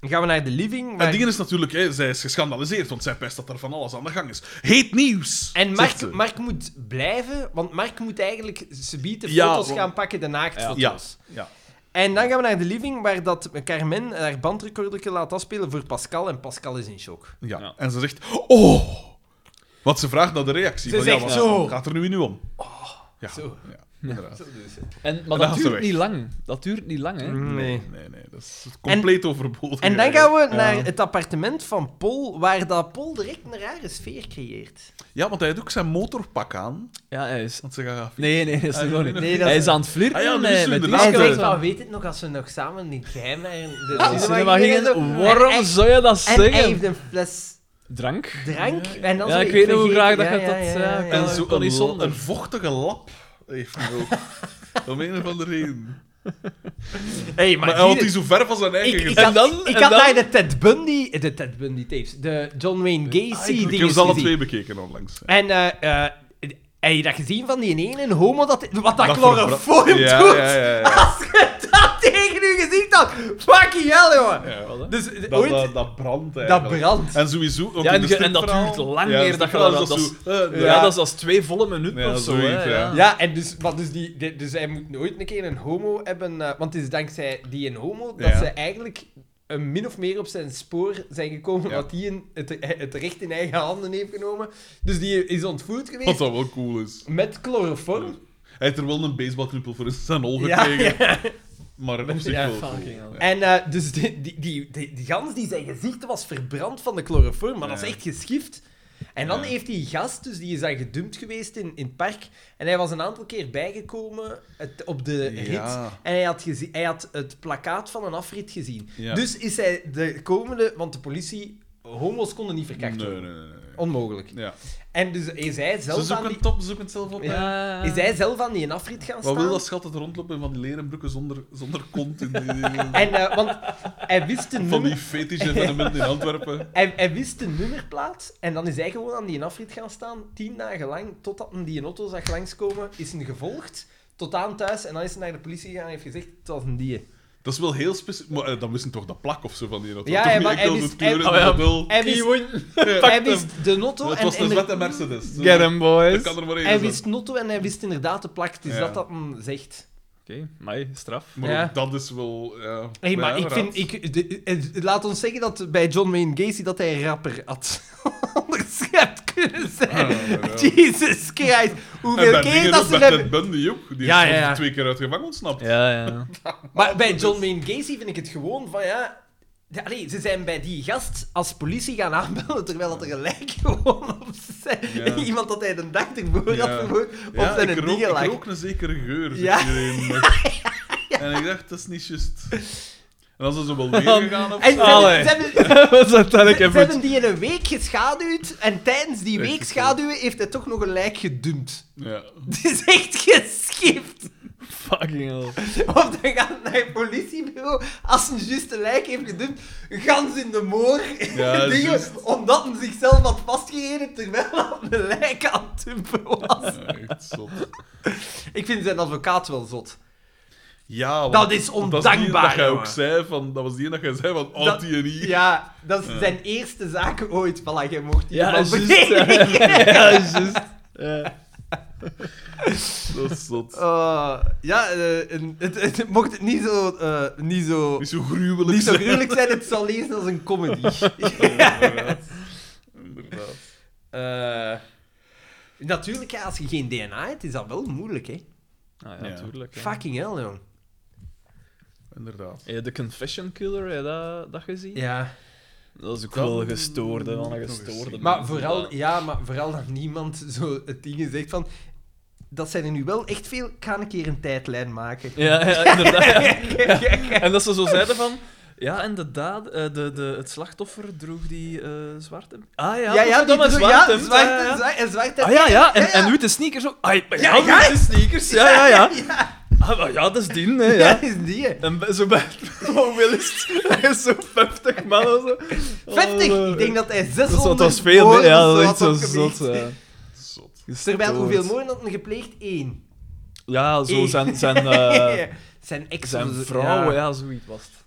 Speaker 1: gaan we naar de living. waar-
Speaker 2: En dingen is natuurlijk, hè, zij is geschandaliseerd, want zij pest dat er van alles aan de gang is. Heet nieuws!
Speaker 1: En
Speaker 2: zegt ze.
Speaker 1: Mark, Mark moet blijven, want Mark moet eigenlijk subiet de
Speaker 2: Ja,
Speaker 1: foto's
Speaker 2: want-
Speaker 1: gaan pakken, de naaktfoto's.
Speaker 2: Ja, ja.
Speaker 1: En dan gaan we naar de living, waar dat Carmen haar bandrecorderke laat afspelen voor Pascal. En Pascal is in shock.
Speaker 2: Ja.
Speaker 3: Ja.
Speaker 2: En ze zegt, oh! Want ze vraagt naar de reactie.
Speaker 1: Ze
Speaker 2: van, ja,
Speaker 1: zegt
Speaker 2: wat
Speaker 1: zo. Oh,
Speaker 2: gaat er nu in nu om? Ja,
Speaker 1: zo.
Speaker 2: ja inderdaad.
Speaker 3: En,
Speaker 2: En
Speaker 3: maar
Speaker 2: dan gaat
Speaker 3: dat
Speaker 2: ze
Speaker 3: duurt
Speaker 2: weg.
Speaker 3: niet lang. Dat duurt niet lang, hè.
Speaker 2: Nee, nee, nee. Dat is compleet overbodig.
Speaker 1: En dan gaan we
Speaker 2: Ja.
Speaker 1: naar het appartement van Paul, waar dat Paul direct een rare sfeer creëert.
Speaker 2: Ja, want hij doet ook zijn motorpak aan.
Speaker 3: Ja, hij is...
Speaker 2: Want ze gaan...
Speaker 3: Nee, nee, dat is
Speaker 2: Ah,
Speaker 3: er
Speaker 2: nee,
Speaker 3: nog niet.
Speaker 2: nee,
Speaker 1: nee, dat
Speaker 3: hij
Speaker 1: is-
Speaker 3: is aan het flirten
Speaker 2: Ah ja, dat is
Speaker 3: met,
Speaker 2: zo,
Speaker 3: met
Speaker 2: inderdaad.
Speaker 1: Hij
Speaker 2: Later.
Speaker 1: zegt,
Speaker 3: disco.
Speaker 1: wat weet het nog als we nog samen in het geheim naar de
Speaker 3: Ah,
Speaker 1: cinema
Speaker 3: cinema
Speaker 1: gingen? en
Speaker 3: gingen,
Speaker 1: zo.
Speaker 3: waarom
Speaker 1: En-
Speaker 3: zou je dat
Speaker 1: En hij
Speaker 3: zeggen?
Speaker 1: heeft een fles
Speaker 3: Drank?
Speaker 1: drank. En dan
Speaker 3: Ja,
Speaker 1: zo,
Speaker 3: ik weet niet hoe
Speaker 1: vergeet-
Speaker 3: graag dat
Speaker 1: ja,
Speaker 3: je
Speaker 1: ja,
Speaker 3: dat,
Speaker 1: ja,
Speaker 3: eh,
Speaker 1: ja, ja.
Speaker 2: En
Speaker 3: Ja,
Speaker 2: zo
Speaker 3: kan
Speaker 2: een,
Speaker 3: niet zonder.
Speaker 2: een vochtige lap heeft hij ook. Om een of andere reden.
Speaker 1: Hey, maar
Speaker 2: Maar hij
Speaker 1: die-
Speaker 2: had die zo ver van zijn eigen
Speaker 1: Ik, ik
Speaker 2: gezet.
Speaker 1: had,
Speaker 3: En dan-
Speaker 1: ik
Speaker 3: en
Speaker 1: had
Speaker 3: dan-
Speaker 1: naar de Ted Bundy... De Ted Bundy tapes. De John Wayne Gacy
Speaker 2: Ah, Ik heb
Speaker 1: dingen
Speaker 2: ze alle
Speaker 1: gezien.
Speaker 2: twee bekeken onlangs.
Speaker 1: En eh, eh, heb je dat gezien van die ene een homo dat... Wat dat, chloroform
Speaker 2: verbrand-
Speaker 1: doet?
Speaker 2: ja, Ja, ja, ja.
Speaker 1: Als je dat tegen uw gezicht had! Fucking hell, jongen!
Speaker 2: Ja, wat, hè?
Speaker 1: Dus eh,
Speaker 2: dat,
Speaker 1: ooit...
Speaker 2: dat, dat brandt
Speaker 1: dat
Speaker 2: eigenlijk.
Speaker 1: brandt.
Speaker 2: En sowieso... want
Speaker 3: Ja,
Speaker 2: in
Speaker 3: en,
Speaker 2: de
Speaker 3: ge- en dat
Speaker 2: stripverhaal-
Speaker 3: duurt lang meer
Speaker 2: Ja,
Speaker 3: dat je dat...
Speaker 2: stripverhaal is
Speaker 3: dat is-
Speaker 2: zo, eh,
Speaker 3: ja, dat is als twee volle minuten
Speaker 2: Ja,
Speaker 3: of zo,
Speaker 2: zoiets,
Speaker 3: hè.
Speaker 2: ja.
Speaker 3: Ja.
Speaker 1: Ja, en dus, wat dus, die, die- dus hij moet nooit een keer een homo hebben... eh, want het is dankzij die een homo dat
Speaker 2: Ja.
Speaker 1: ze eigenlijk... eh, min of meer op zijn spoor zijn gekomen,
Speaker 2: Ja.
Speaker 1: dat hij een- het, het recht in eigen handen heeft genomen. Dus die is ontvoerd geweest.
Speaker 2: Wat dat wel cool is.
Speaker 1: Met chloroform.
Speaker 2: Hij heeft er wel een baseballknuppel voor in zijn hol
Speaker 1: Ja,
Speaker 2: gekregen. Maar op zich
Speaker 1: Ja,
Speaker 2: wel cool.
Speaker 3: fucking hell.
Speaker 2: Ja.
Speaker 1: En eh, dus die, die, die, die, die gans, die zijn gezicht was verbrand van de chloroform, maar dat
Speaker 2: Ja.
Speaker 1: is echt geschift. En dan
Speaker 2: Ja.
Speaker 1: heeft die gast, dus die is dan gedumpt geweest in, in het park. En hij was een aantal keer bijgekomen het- op de rit.
Speaker 2: Ja.
Speaker 1: En hij had, gezien, hij had het plakkaat van een afrit gezien.
Speaker 2: Ja.
Speaker 1: Dus is hij de komende, want de politie, homo's konden niet verkracht
Speaker 2: Nee, nee,
Speaker 1: worden.
Speaker 2: nee. nee.
Speaker 1: Onmogelijk.
Speaker 2: Ja.
Speaker 1: En dus is hij
Speaker 2: Ze
Speaker 1: zelf, aan
Speaker 2: zoeken
Speaker 1: die,
Speaker 2: top, ze zoeken het zelf op. hè.
Speaker 3: Ja.
Speaker 1: is hij zelf aan die afrit gaan
Speaker 2: Wat
Speaker 1: staan.
Speaker 2: wil dat schat het rondlopen van die leren broeken zonder, zonder kont in die,
Speaker 1: En, eh, want hij wist de
Speaker 2: van
Speaker 1: nummer...
Speaker 2: die fetische evenementen in Antwerpen?
Speaker 1: Hij, hij wist de nummerplaat en dan is hij gewoon aan die afrit gaan staan, tien dagen lang, totdat hem die auto zag langskomen, is hem gevolgd, tot aan thuis, en dan is hij naar de politie gegaan en heeft gezegd, het was een die.
Speaker 2: Dat is wel heel specifiek. Maar eh, dan wisten toch dat plak of zo van die auto?
Speaker 1: Ja,
Speaker 2: toch
Speaker 1: ja,
Speaker 2: niet
Speaker 1: maar
Speaker 2: echt
Speaker 1: hij
Speaker 2: als
Speaker 1: wist-
Speaker 2: het kleur
Speaker 1: hij-
Speaker 2: is,
Speaker 3: oh ja,
Speaker 2: maar wel-
Speaker 1: Hij
Speaker 3: Key
Speaker 1: wist,
Speaker 3: win.
Speaker 1: hij wist de notto
Speaker 2: Het
Speaker 1: en,
Speaker 2: was
Speaker 1: en
Speaker 2: een
Speaker 1: de-
Speaker 2: zwarte Mercedes. Dus
Speaker 3: Get him,
Speaker 2: Dat
Speaker 3: boys.
Speaker 2: kan er maar één
Speaker 1: hij
Speaker 2: zijn.
Speaker 1: wist notto en hij wist inderdaad de plak, het is
Speaker 2: Ja.
Speaker 1: dat dat hem zegt.
Speaker 3: Oké, mij straf.
Speaker 2: Maar
Speaker 1: Ja.
Speaker 2: ook dat is wel... Ja,
Speaker 1: Hé,
Speaker 2: Ja,
Speaker 1: maar ik
Speaker 2: raad.
Speaker 1: vind, ik, de- eh, laat ons zeggen dat bij John Wayne Gacy dat hij een rapper had onderschept kunnen zijn.
Speaker 2: Ja, ja, ja.
Speaker 1: Jesus Christ,
Speaker 2: Ah, En
Speaker 1: hoeveel
Speaker 2: bij
Speaker 1: keer
Speaker 2: dingen
Speaker 1: dat
Speaker 2: ook,
Speaker 1: ze
Speaker 2: bij
Speaker 1: hebben...
Speaker 2: Ted Bundy ook. Die
Speaker 1: Ja,
Speaker 2: is
Speaker 1: ja, ja.
Speaker 2: twee keer uit gevangen ontsnapt.
Speaker 3: Ja, ja.
Speaker 2: Oh,
Speaker 1: Maar bij
Speaker 2: dus-
Speaker 1: John Wayne Gacy vind ik het gewoon van ja. ja nee, ze zijn bij die gast als politie gaan aanbellen terwijl dat er gelijk gewoon op zijn.
Speaker 2: Ja.
Speaker 1: Iemand dat hij de dag ervoor
Speaker 2: Ja.
Speaker 1: had vermoord op
Speaker 2: Ja,
Speaker 1: zijn
Speaker 2: ik, rook,
Speaker 1: dingen
Speaker 2: ik
Speaker 1: lag.
Speaker 2: rook een zekere geur.
Speaker 1: Ja.
Speaker 2: Ja. En ik dacht, dat is niet juist. En dan zijn ze wel weer gegaan of
Speaker 1: Oh, En ze,
Speaker 2: zo.
Speaker 3: Allee.
Speaker 1: hebben, ze, hebben,
Speaker 3: Wat is dat
Speaker 1: ze
Speaker 3: eigenlijk
Speaker 1: hebben die in een week geschaduwd en tijdens die
Speaker 2: Echt
Speaker 1: week
Speaker 2: zo.
Speaker 1: schaduwen heeft hij toch nog een lijk gedumpt.
Speaker 2: Ja.
Speaker 1: Het is echt geschift.
Speaker 3: Fucking hell.
Speaker 1: Of dan gaat naar het politiebureau als een juiste lijk heeft gedumpt, gans in de moor.
Speaker 2: Ja,
Speaker 1: dingen,
Speaker 2: juist.
Speaker 1: omdat hij zichzelf had vastgereden terwijl hij de lijk aan het dumpen was.
Speaker 2: Ja, echt zot.
Speaker 1: Ik vind zijn advocaat wel zot.
Speaker 2: Ja, want-
Speaker 1: Dat is
Speaker 2: want Dat, is die
Speaker 1: ondankbaar,
Speaker 2: dat jij ook
Speaker 1: jongen.
Speaker 2: zei van, dat was die dat jij zei van, oh,
Speaker 1: Dat-
Speaker 2: die en die.
Speaker 1: Ja, dat is
Speaker 2: Ja.
Speaker 1: zijn eerste zaak ooit. Voilà, jij mocht die
Speaker 3: Ja,
Speaker 1: man
Speaker 3: juist.
Speaker 1: beledigen.
Speaker 3: Ja, juist. Ja.
Speaker 2: Dat is zot.
Speaker 1: Eh, ja, eh, en het, het- mocht het niet zo, eh, niet zo,
Speaker 2: Niet zo gruwelijk.
Speaker 1: niet zo
Speaker 2: zijn.
Speaker 1: gruwelijk zijn, het zal lezen als een comedy.
Speaker 2: Inderdaad. Inderdaad.
Speaker 1: Eh, natuurlijk, ja, als je geen DNA hebt, is dat wel moeilijk, hè.
Speaker 3: Ah,
Speaker 2: Ja.
Speaker 3: ja, tuurlijk. hè.
Speaker 1: Fucking hell, jong.
Speaker 2: Inderdaad.
Speaker 3: Heb je de Confession Killer, heb je dat, dat gezien?
Speaker 1: Ja.
Speaker 3: Dat is ook
Speaker 2: Dat
Speaker 3: wel gestoord, hè, van
Speaker 2: moet
Speaker 3: een
Speaker 2: ik nog eens
Speaker 3: gestoorde
Speaker 2: zien.
Speaker 1: Maar
Speaker 3: mensen,
Speaker 1: vooral,
Speaker 3: dat-
Speaker 1: ja, maar vooral dat niemand zo het ding zegt van...
Speaker 10: dat zijn er nu wel echt veel. Ik ga een keer een tijdlijn maken.
Speaker 3: Ja, ja, inderdaad. Ja. En dat ze zo zeiden van... Ja, en de daad, eh, de, de, het slachtoffer droeg die eh, zwarte... Ah ja,
Speaker 10: ja, ja,
Speaker 3: dat
Speaker 10: die
Speaker 3: was
Speaker 10: doe-
Speaker 3: zwart.
Speaker 10: ja,
Speaker 3: hè.
Speaker 10: zwart,
Speaker 3: Ja, ja.
Speaker 10: zwart- en zwart.
Speaker 3: Ah ja, ja, en,
Speaker 10: Ja, ja.
Speaker 3: en witte sneakers ook. Ah, ja,
Speaker 10: Ja,
Speaker 3: ja,
Speaker 10: ja.
Speaker 3: witte sneakers, ja, ja, ja. Ah, maar ja, dat is die, hè, ja.
Speaker 10: Ja, is die. hè.
Speaker 3: En bij- zo bij oh, hoeveel is het? Zo'n 50 man of zo. Oh, eh.
Speaker 10: 50! Ik denk dat hij
Speaker 3: dat is
Speaker 10: 600
Speaker 3: wat was veel, hè.
Speaker 10: moorden
Speaker 3: Ja, dat
Speaker 10: zo
Speaker 3: is echt
Speaker 10: had
Speaker 3: zo
Speaker 10: opgepleegd.
Speaker 3: zot. Ja.
Speaker 2: Zot.
Speaker 10: Terwijl, hoeveel
Speaker 3: mooi.
Speaker 10: moorden had hij gepleegd? Eén.
Speaker 3: Ja, zo
Speaker 10: Eén.
Speaker 3: zijn, zijn, eh
Speaker 10: zijn ex
Speaker 3: zijn
Speaker 10: of zo-
Speaker 3: vrouwen,
Speaker 10: ja.
Speaker 3: ja, zoiets was het.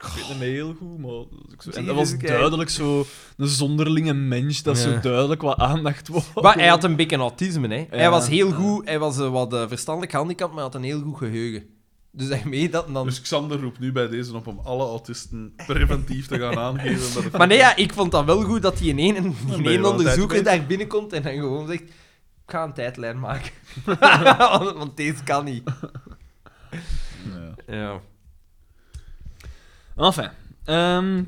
Speaker 3: Ik weet het niet meer heel goed, maar... ik zo- En dat
Speaker 10: Jezus,
Speaker 3: was
Speaker 10: kijk.
Speaker 3: duidelijk zo... Een zonderlinge mens, dat zo
Speaker 1: Ja.
Speaker 3: duidelijk wat aandacht was.
Speaker 1: Maar hij had een beetje autisme, hè.
Speaker 3: Ja.
Speaker 1: Hij was heel goed, hij was eh, wat eh, verstandelijk gehandicapt, maar hij had een heel goed geheugen. Dus daarmee dat en dan...
Speaker 2: Dus Xander roept nu bij deze op om alle autisten preventief te gaan aangeven. Met de
Speaker 1: Maar nee, ja, ik vond dat wel goed dat die in één,
Speaker 2: ben
Speaker 1: in
Speaker 2: je wel
Speaker 1: één
Speaker 2: een
Speaker 1: onderzoeker
Speaker 2: tijd
Speaker 1: daar binnenkomt en dan gewoon zegt... Ik ga een tijdlijn maken. want, want deze kan niet.
Speaker 2: Ja.
Speaker 1: Ja.
Speaker 3: Enfin. ehm,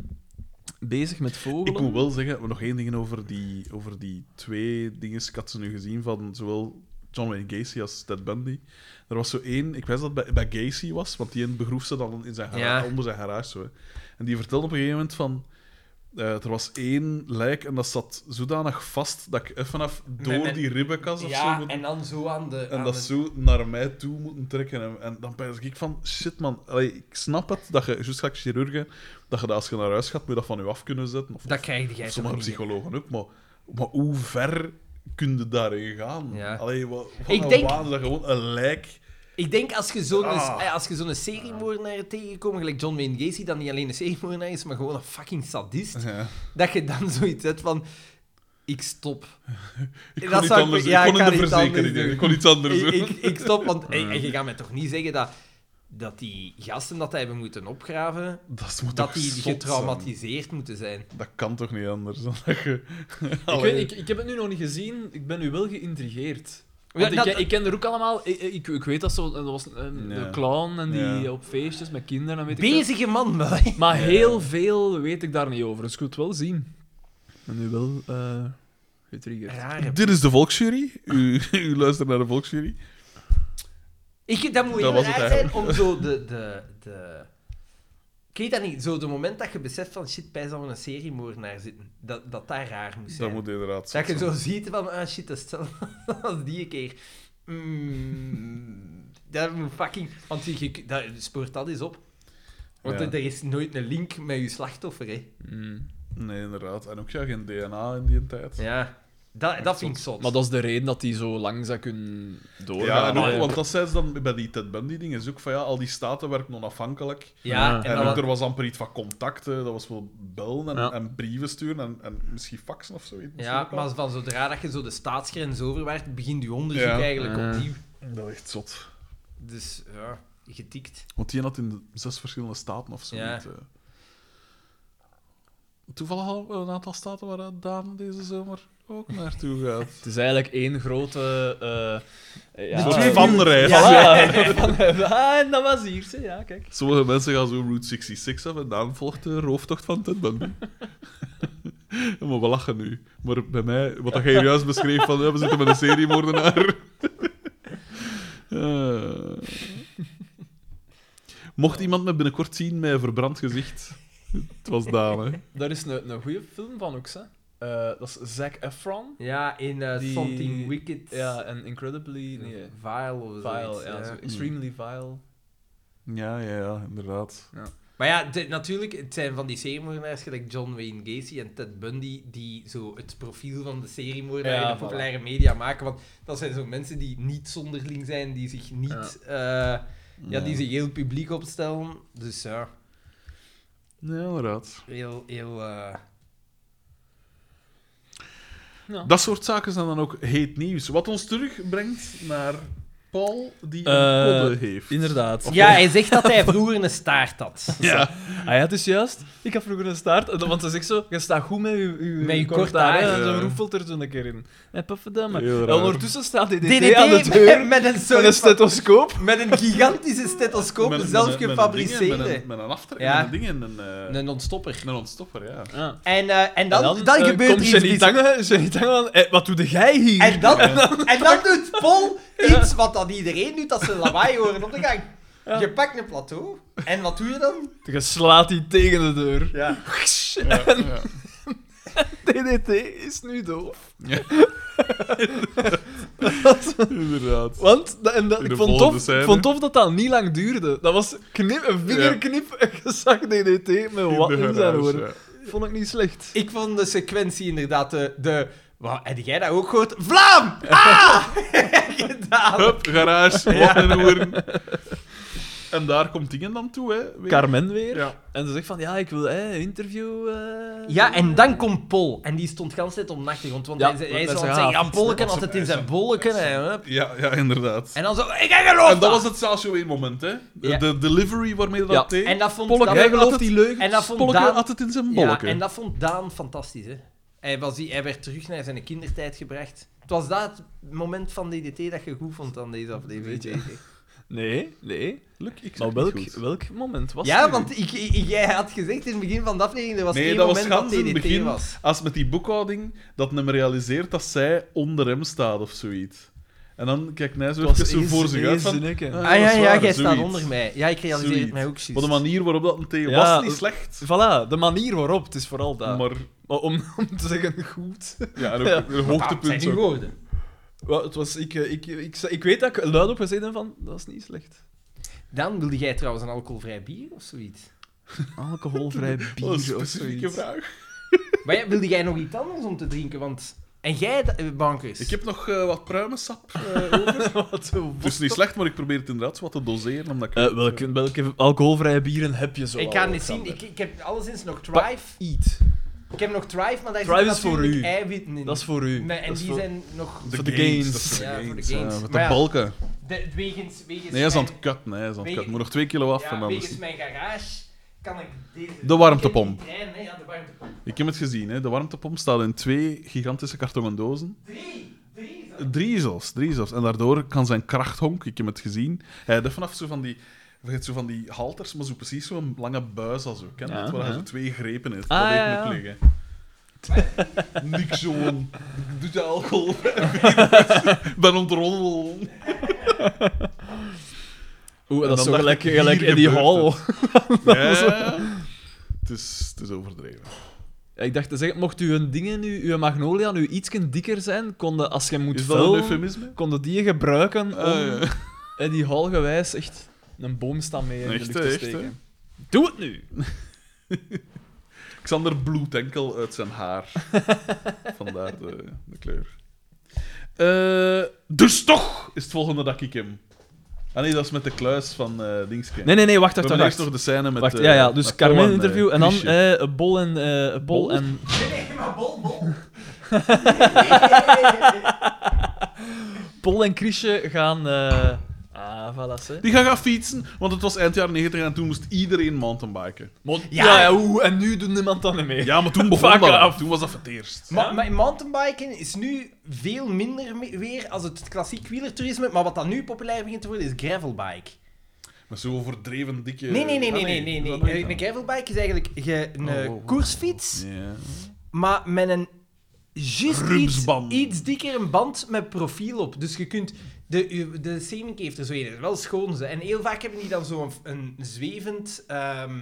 Speaker 3: bezig met vogels.
Speaker 2: Ik moet wel zeggen, nog één ding over die, over die twee dingen. Ik had ze nu gezien van zowel John Wayne Gacy als Ted Bundy. Er was zo één, ik weet dat het bij, bij Gacy was, want die een begroef ze dan in zijn garage,
Speaker 1: Ja.
Speaker 2: onder zijn garage. Zo, hè. En die vertelde op een gegeven moment van. eh, er was één lijk en dat zat zodanig vast dat ik even af door
Speaker 1: met-
Speaker 2: die ribbenkast of zo moet
Speaker 1: en dan zo aan de...
Speaker 2: En dat zo naar mij toe moeten trekken. En, en dan pijs ik van, shit man, allee, ik snap het, dat je, juist als chirurgen, dat je dat als je naar huis gaat, moet je dat van je af kunnen zetten. Of,
Speaker 1: Dat krijg
Speaker 2: of
Speaker 1: jij toch
Speaker 2: sommige
Speaker 1: niet.
Speaker 2: psychologen ook, maar, maar hoe ver kun je daarin gaan?
Speaker 1: Ja.
Speaker 2: Allee, wat, wat
Speaker 1: Ik
Speaker 2: een
Speaker 1: denk-
Speaker 2: waan, dat gewoon een lijk...
Speaker 1: Ik denk als je zo'n
Speaker 2: Ah.
Speaker 1: eh, als je zo'n seriemoordenaar tegenkomt, gelijk John Wayne Gacy, dan niet alleen een seriemoordenaar is, maar gewoon een fucking sadist,
Speaker 2: Ja.
Speaker 1: dat je dan zoiets hebt van... Ik stop.
Speaker 2: Ik
Speaker 1: Dat
Speaker 2: kon niet
Speaker 1: zou ik-
Speaker 2: anders,
Speaker 1: ja,
Speaker 2: ik kon
Speaker 1: ik
Speaker 2: in de
Speaker 1: ga iets anders
Speaker 2: verzekering,
Speaker 1: doen.
Speaker 2: ik kon iets anders
Speaker 1: Ik,
Speaker 2: doen.
Speaker 1: ik, ik stop, want en- en je gaat mij toch niet zeggen dat, dat die gasten dat hebben moeten opgraven,
Speaker 2: dat moet
Speaker 1: dat
Speaker 2: toch
Speaker 1: die
Speaker 2: zot zijn?
Speaker 1: getraumatiseerd moeten zijn.
Speaker 2: Dat kan toch niet anders dan dat je...
Speaker 3: Ik,
Speaker 2: Allee.
Speaker 3: weet, ik, ik heb het nu nog niet gezien, ik ben nu wel geïntrigeerd.
Speaker 1: Ja,
Speaker 3: Want ik,
Speaker 1: dat-
Speaker 3: ken- ik ken er ook allemaal, ik, ik, ik weet dat zo, dat was een,
Speaker 2: Ja.
Speaker 3: een clown en die
Speaker 2: Ja.
Speaker 3: op feestjes met kinderen en weet ik veel.
Speaker 1: Bezige man, maar.
Speaker 3: Maar heel veel weet ik daar niet over, dus ik wil het wel zien. En nu wel eh getriggerd.
Speaker 1: Rare.
Speaker 2: Dit is de Volksjury. U, u luistert naar de Volksjury.
Speaker 1: Ik, dat moet
Speaker 2: Dat
Speaker 1: heel
Speaker 2: was het
Speaker 1: raar zijn om zo de, de, de... Ik weet dat niet, zo de moment dat je beseft van shit, bij zou een seriemoordenaar zitten, dat dat daar raar moet
Speaker 2: Dat
Speaker 1: zijn.
Speaker 2: moet inderdaad
Speaker 1: Dat je
Speaker 2: zot zijn.
Speaker 1: zo ziet van, ah shit, dat is hetzelfde als die keer. Mm, dat moet fucking... Want je, je- dat, spoort dat eens op. Want
Speaker 2: Ja.
Speaker 1: er er is nooit een link met je slachtoffer, hè.
Speaker 3: Mm.
Speaker 2: Nee, inderdaad. En ook ja, geen DNA in die tijd.
Speaker 1: Ja. Dat, dat vind ik zot.
Speaker 3: Maar dat is de reden dat die zo lang zou kunnen doorgaan.
Speaker 2: Ja, en ook,
Speaker 3: hè.
Speaker 2: want dat zei ze dan bij die Ted Bundy-ding, is ook van ja, al die staten werken onafhankelijk.
Speaker 1: Ja,
Speaker 3: Ja.
Speaker 2: En,
Speaker 1: en
Speaker 2: ook,
Speaker 1: dat...
Speaker 2: er was amper iets van contacten, dat was wel bellen en,
Speaker 3: Ja.
Speaker 2: en brieven sturen en, en misschien faxen of zoiets. misschien
Speaker 1: Ja,
Speaker 2: ook
Speaker 1: maar
Speaker 2: wel.
Speaker 1: van zodra dat je zo de staatsgrens overwaart, begint je onderzoek
Speaker 2: Ja.
Speaker 1: eigenlijk
Speaker 3: Ja.
Speaker 1: opnieuw.
Speaker 2: Dat is echt zot.
Speaker 1: Dus ja, getikt.
Speaker 2: Want die had in de zes verschillende staten of zo.
Speaker 1: Ja.
Speaker 2: Toevallig al een aantal staten waar dat Daan deze zomer ook naartoe gaat.
Speaker 3: Het is eigenlijk één grote... eh, ja,
Speaker 2: Een soort
Speaker 3: eh,
Speaker 2: vanreis.
Speaker 3: voilà. Van- Ah, en dat was hier, ze. ja, kijk.
Speaker 2: Sommige mensen gaan zo Route 66 af en dan volgt de rooftocht van Ted Bundy. Ja, maar we lachen nu. Maar bij mij, wat dat jij hier juist beschreef, van ja, we zitten met een seriemoordenaar. Eh. Mocht iemand me binnenkort zien met een verbrand gezicht, het was Daan, hè.
Speaker 3: Daar is een, een goede film van ook, hè. Eh, dat is Zac Efron.
Speaker 1: Ja, in eh,
Speaker 3: Die-
Speaker 1: Something Wicked. eh,
Speaker 3: Ja, en Incredibly... Nee,
Speaker 1: Vile of zoiets.
Speaker 3: vile, ja.
Speaker 1: ja.
Speaker 3: zo extremely vile.
Speaker 2: Ja, ja, ja, inderdaad.
Speaker 1: Maar ja, de- natuurlijk, het zijn van die seriemoordenaars, gelijk John Wayne Gacy en Ted Bundy, die zo het profiel van de seriemoordenaar
Speaker 3: Ja,
Speaker 1: in de
Speaker 3: voilà.
Speaker 1: populaire media maken. Want dat zijn zo mensen die niet zonderling zijn, die zich niet... Ja, ja die zich heel publiek opstellen. Dus ja,
Speaker 2: Ja, inderdaad.
Speaker 1: heel... heel eh,
Speaker 2: Dat soort zaken zijn dan ook heet nieuws. Wat ons terugbrengt naar Paul, die een
Speaker 3: Eh,
Speaker 2: podde heeft.
Speaker 3: Inderdaad.
Speaker 1: Ja, hij zegt dat hij vroeger een staart had.
Speaker 2: Ja.
Speaker 3: Ah ja, het is juist. Ik had vroeger een staart. en dan- Want ze zegt zo, je staat goed met je, je,
Speaker 1: Met je
Speaker 3: kort
Speaker 1: kort
Speaker 3: haar.
Speaker 1: haar.
Speaker 3: hè, En
Speaker 2: Ja.
Speaker 3: zo roefelt er zo een keer in. Hé, pafferdamme.
Speaker 2: Heel
Speaker 3: En
Speaker 2: raar.
Speaker 3: ondertussen staat DDT,
Speaker 1: DDT
Speaker 3: aan de deur.
Speaker 1: met een,
Speaker 3: Met een stethoscoop.
Speaker 1: met een gigantische stethoscoop,
Speaker 2: Met- met-
Speaker 1: zelf
Speaker 2: met- met een
Speaker 1: gefabriceerde.
Speaker 2: ding, Met een, met een aftrek,
Speaker 1: Ja.
Speaker 2: met een ding en een, eh,
Speaker 1: Een ontstopper.
Speaker 2: een ontstopper, ja.
Speaker 3: Ja.
Speaker 1: En, eh, en dan, dan,
Speaker 3: eh,
Speaker 1: gebeurt
Speaker 3: komt
Speaker 1: er iets.
Speaker 3: "Eh, Jenny Tange, Jenny Tange aan, "Hé, wat doe jij hier?
Speaker 1: En dan, en dan doet Paul
Speaker 11: Iets wat dat iedereen doet als ze lawaai horen op de gang. Je pakt een plateau en wat doe je dan?
Speaker 3: Je slaat die tegen de deur.
Speaker 11: Ja.
Speaker 2: Ja, ja.
Speaker 3: DDT is nu doof.
Speaker 2: Inderdaad.
Speaker 3: Want, da- en dat,
Speaker 2: In
Speaker 3: ik
Speaker 2: de
Speaker 3: vond
Speaker 2: volgende
Speaker 3: tof,
Speaker 2: scène.
Speaker 3: ik vond tof dat dat niet lang duurde. Dat was knip, een vingerknip en je zag DDT met wat
Speaker 2: In de
Speaker 3: in zijn
Speaker 2: garage,
Speaker 3: horen.
Speaker 2: ja.
Speaker 3: Vond ik niet slecht.
Speaker 11: Ik vond de sequentie inderdaad
Speaker 1: eh,
Speaker 11: de... de Wauw, heb jij dat ook gehoord? Vlaam! Ah! Gedaan.
Speaker 2: Hup, garage, wat in horen. En daar komt dingen dan toe, hè? weer.
Speaker 3: Carmen weer.
Speaker 2: Ja.
Speaker 3: En ze zegt van, ja, ik wil hè, interview... eh.
Speaker 1: Ja, en dan komt Pol. En die stond de hele tijd om nacht rond. Want
Speaker 3: Ja,
Speaker 1: hij, zei- hij
Speaker 3: dat
Speaker 1: is
Speaker 3: is
Speaker 1: aan het
Speaker 3: raar.
Speaker 1: zeggen, ja, Polken
Speaker 2: Dat is
Speaker 1: altijd
Speaker 2: een-
Speaker 1: in zijn bolken. En, hup.
Speaker 2: Ja, ja, inderdaad.
Speaker 1: en dan zo, ik geloof
Speaker 2: En dat was het Sasho 1 moment, hè? De,
Speaker 1: Ja.
Speaker 2: de delivery waarmee dat
Speaker 3: Ja.
Speaker 2: deed.
Speaker 1: En dat vond
Speaker 3: Polk,
Speaker 1: dat-
Speaker 3: jij
Speaker 2: had
Speaker 3: gelooft
Speaker 2: het-
Speaker 3: die leugen.
Speaker 1: en dat vond
Speaker 2: Polke
Speaker 1: Daan-
Speaker 2: had het in zijn
Speaker 1: Ja,
Speaker 2: bolleke.
Speaker 1: en dat vond Daan fantastisch. Hè? Hij, was die, hij werd terug naar zijn kindertijd gebracht. Het was dat moment van DDT dat je goed vond aan deze aflevering.
Speaker 3: Nee, nee.
Speaker 2: Luc, ik zeg
Speaker 3: Maar
Speaker 2: het
Speaker 3: welk,
Speaker 2: goed.
Speaker 3: welk moment was het
Speaker 11: Ja,
Speaker 3: nu?
Speaker 11: want ik, ik- jij had gezegd in het begin van de aflevering, er was
Speaker 2: Nee,
Speaker 11: één
Speaker 2: dat was
Speaker 11: moment dat
Speaker 2: gans in
Speaker 11: DDT
Speaker 2: het begin.
Speaker 11: was.
Speaker 2: Als met die boekhouding dat hem realiseert dat zij onder hem staat of zoiets. En dan kijkt
Speaker 3: Het
Speaker 2: Nijs weer even
Speaker 3: was
Speaker 2: zo
Speaker 3: één-
Speaker 2: voor zich
Speaker 3: één
Speaker 2: uit van...
Speaker 3: zinnetje.
Speaker 2: ah,
Speaker 11: Ah ja,
Speaker 2: dat is
Speaker 11: ja,
Speaker 2: waar,
Speaker 11: jij staat
Speaker 2: zoiets.
Speaker 11: onder mij. Ja, ik realiseer
Speaker 2: Zoiets.
Speaker 11: het mij ook juist.
Speaker 2: Wat de manier waarop dat een thee
Speaker 3: Ja,
Speaker 2: was, niet
Speaker 3: eh,
Speaker 2: slecht.
Speaker 3: Voilà, de manier waarop, het is vooral dat.
Speaker 2: Maar
Speaker 3: Maar om, om te zeggen, goed.
Speaker 2: ja, en ook
Speaker 3: Ja.
Speaker 2: een
Speaker 1: zijn
Speaker 2: hoogtepunt.
Speaker 1: die
Speaker 2: ook.
Speaker 1: woorden.
Speaker 3: Wel, het was, ik, eh, ik, ik, ik, ik weet dat ik luidop gezegd heb van, dat is niet slecht.
Speaker 1: Dan wilde jij trouwens een alcoholvrij bier of zoiets?
Speaker 3: Alcoholvrij bier
Speaker 2: Wat een
Speaker 3: of
Speaker 2: specifieke
Speaker 3: zoiets.
Speaker 2: vraag.
Speaker 1: Maar ja, wilde jij nog iets anders om te drinken? Want... En jij, da- eh, bankers.
Speaker 2: Ik heb nog eh, wat pruimensap eh, over.
Speaker 3: Wat een
Speaker 2: Het is niet slecht, maar ik probeer het inderdaad wat te doseren. Omdat ik...
Speaker 3: Eh, welke, welke alcoholvrije bieren heb je zo?
Speaker 1: Ik
Speaker 3: al,
Speaker 1: ga niet zien.
Speaker 3: Alexander?
Speaker 1: Ik, ik heb alleszins nog Thrive.
Speaker 3: Eat.
Speaker 1: Ik heb nog Thrive, maar daar
Speaker 3: Thrive
Speaker 1: zitten
Speaker 3: is voor
Speaker 1: natuurlijk
Speaker 3: u.
Speaker 1: eiwitten in.
Speaker 3: Dat is voor u.
Speaker 1: Maar- en
Speaker 3: Dat is
Speaker 1: die
Speaker 3: voor-
Speaker 1: zijn nog...
Speaker 3: voor de gains.
Speaker 2: dat is
Speaker 1: Ja, voor de
Speaker 2: eh,
Speaker 1: gains.
Speaker 2: met de
Speaker 1: Maar ja.
Speaker 2: balken.
Speaker 1: De, wegens... wegens
Speaker 2: Nee, hij is aan
Speaker 1: mijn-
Speaker 2: het cut. Nee, hij is aan het
Speaker 1: Wegen-
Speaker 2: cut. Moet nog twee kilo af. en
Speaker 1: Ja,
Speaker 2: dan is
Speaker 1: wegens mijn garage kan ik deze...
Speaker 2: De warmtepomp.
Speaker 1: Ik heb die trein, hè, Ja, de warmtepomp.
Speaker 2: Ik heb het gezien, hè. de warmtepomp staat in twee gigantische kartonnen dozen.
Speaker 1: Drie! Drie! zo.
Speaker 2: Drie zelfs, drie zelfs. En daardoor kan zijn krachthonk, ik heb het gezien, hij heeft vanaf zo van die, vergeet zo van die halters, maar zo precies zo'n lange buis als ook, hè,
Speaker 3: Ja,
Speaker 2: waar hij
Speaker 3: ja.
Speaker 2: zo twee grepen heeft.
Speaker 3: Ah,
Speaker 2: dat
Speaker 3: ja,
Speaker 2: heeft
Speaker 3: ja.
Speaker 2: moeten liggen. Niks gewoon. Doet de alcohol. ben ontroddel.
Speaker 3: Oeh, dat is zo
Speaker 2: En dan
Speaker 3: gelijk,
Speaker 2: dacht ik,
Speaker 3: gelijk
Speaker 2: hier
Speaker 3: in die
Speaker 2: gebeurt
Speaker 3: hall.
Speaker 2: Ja. Het is, het is overdreven.
Speaker 3: Ja, ik dacht te zeggen, mocht uw dingen nu, uw magnolia nu ietsje dikker zijn, konden, als je moet
Speaker 2: Is dat een
Speaker 3: vullen,
Speaker 2: eufemisme?
Speaker 3: konden die je gebruiken om
Speaker 2: Ah, ja.
Speaker 3: in die hal gewijs echt een boomstam mee in de
Speaker 2: Echt,
Speaker 3: lucht
Speaker 2: hè,
Speaker 3: te
Speaker 2: echt,
Speaker 3: steken. Doe het nu!
Speaker 2: Xander bloedt enkel uit zijn haar. Vandaar de, de kleur. Eh, dus toch is het volgende dat ik hem. Ah nee, dat is met de kluis van eh Dingske.
Speaker 3: Nee, nee, nee, wacht,
Speaker 2: We
Speaker 3: wacht,
Speaker 2: hebben
Speaker 3: wacht.
Speaker 2: eerst nog de scène met...
Speaker 3: Wacht,
Speaker 2: eh,
Speaker 3: ja, ja, dus
Speaker 2: met Paul
Speaker 3: Carmen interview
Speaker 2: eh,
Speaker 3: en dan
Speaker 2: Chrisje.
Speaker 3: eh, Bol en... eh, bol
Speaker 2: Bol?
Speaker 3: en...
Speaker 1: Nee, maar bol, bol.
Speaker 3: Bol en Chrisje gaan... eh, Ah, voilà, ze.
Speaker 2: Die gaan gaan fietsen, want het was eind jaren 90 en toen moest iedereen mountainbiken.
Speaker 3: Ja, ja, oeh, en nu doet niemand dan niet mee.
Speaker 2: Ja, maar toen begon
Speaker 3: Fuck
Speaker 2: dat.
Speaker 3: off.
Speaker 2: Toen was dat voor het eerst.
Speaker 1: Maar, maar mountainbiken is nu veel minder me- weer als het klassiek wielertoerisme. Maar wat dan nu populair begint te worden, is gravelbike.
Speaker 2: Met zo'n overdreven dikke...
Speaker 1: Nee, nee, nee,
Speaker 2: Ah,
Speaker 1: nee, nee. nee,
Speaker 2: dat
Speaker 1: nee.
Speaker 2: weet ik
Speaker 1: Eh, Een
Speaker 2: niet.
Speaker 1: gravelbike is eigenlijk ge- een
Speaker 2: Oh,
Speaker 1: eh,
Speaker 2: oh, oh.
Speaker 1: koersfiets,
Speaker 2: Ja.
Speaker 1: maar met een juist iets,
Speaker 2: Rumsband.
Speaker 1: iets dikker band met profiel op. Dus je kunt... De, de Semink heeft er zo een, wel schoon ze. En heel vaak hebben die dan zo'n een zwevend... ehm,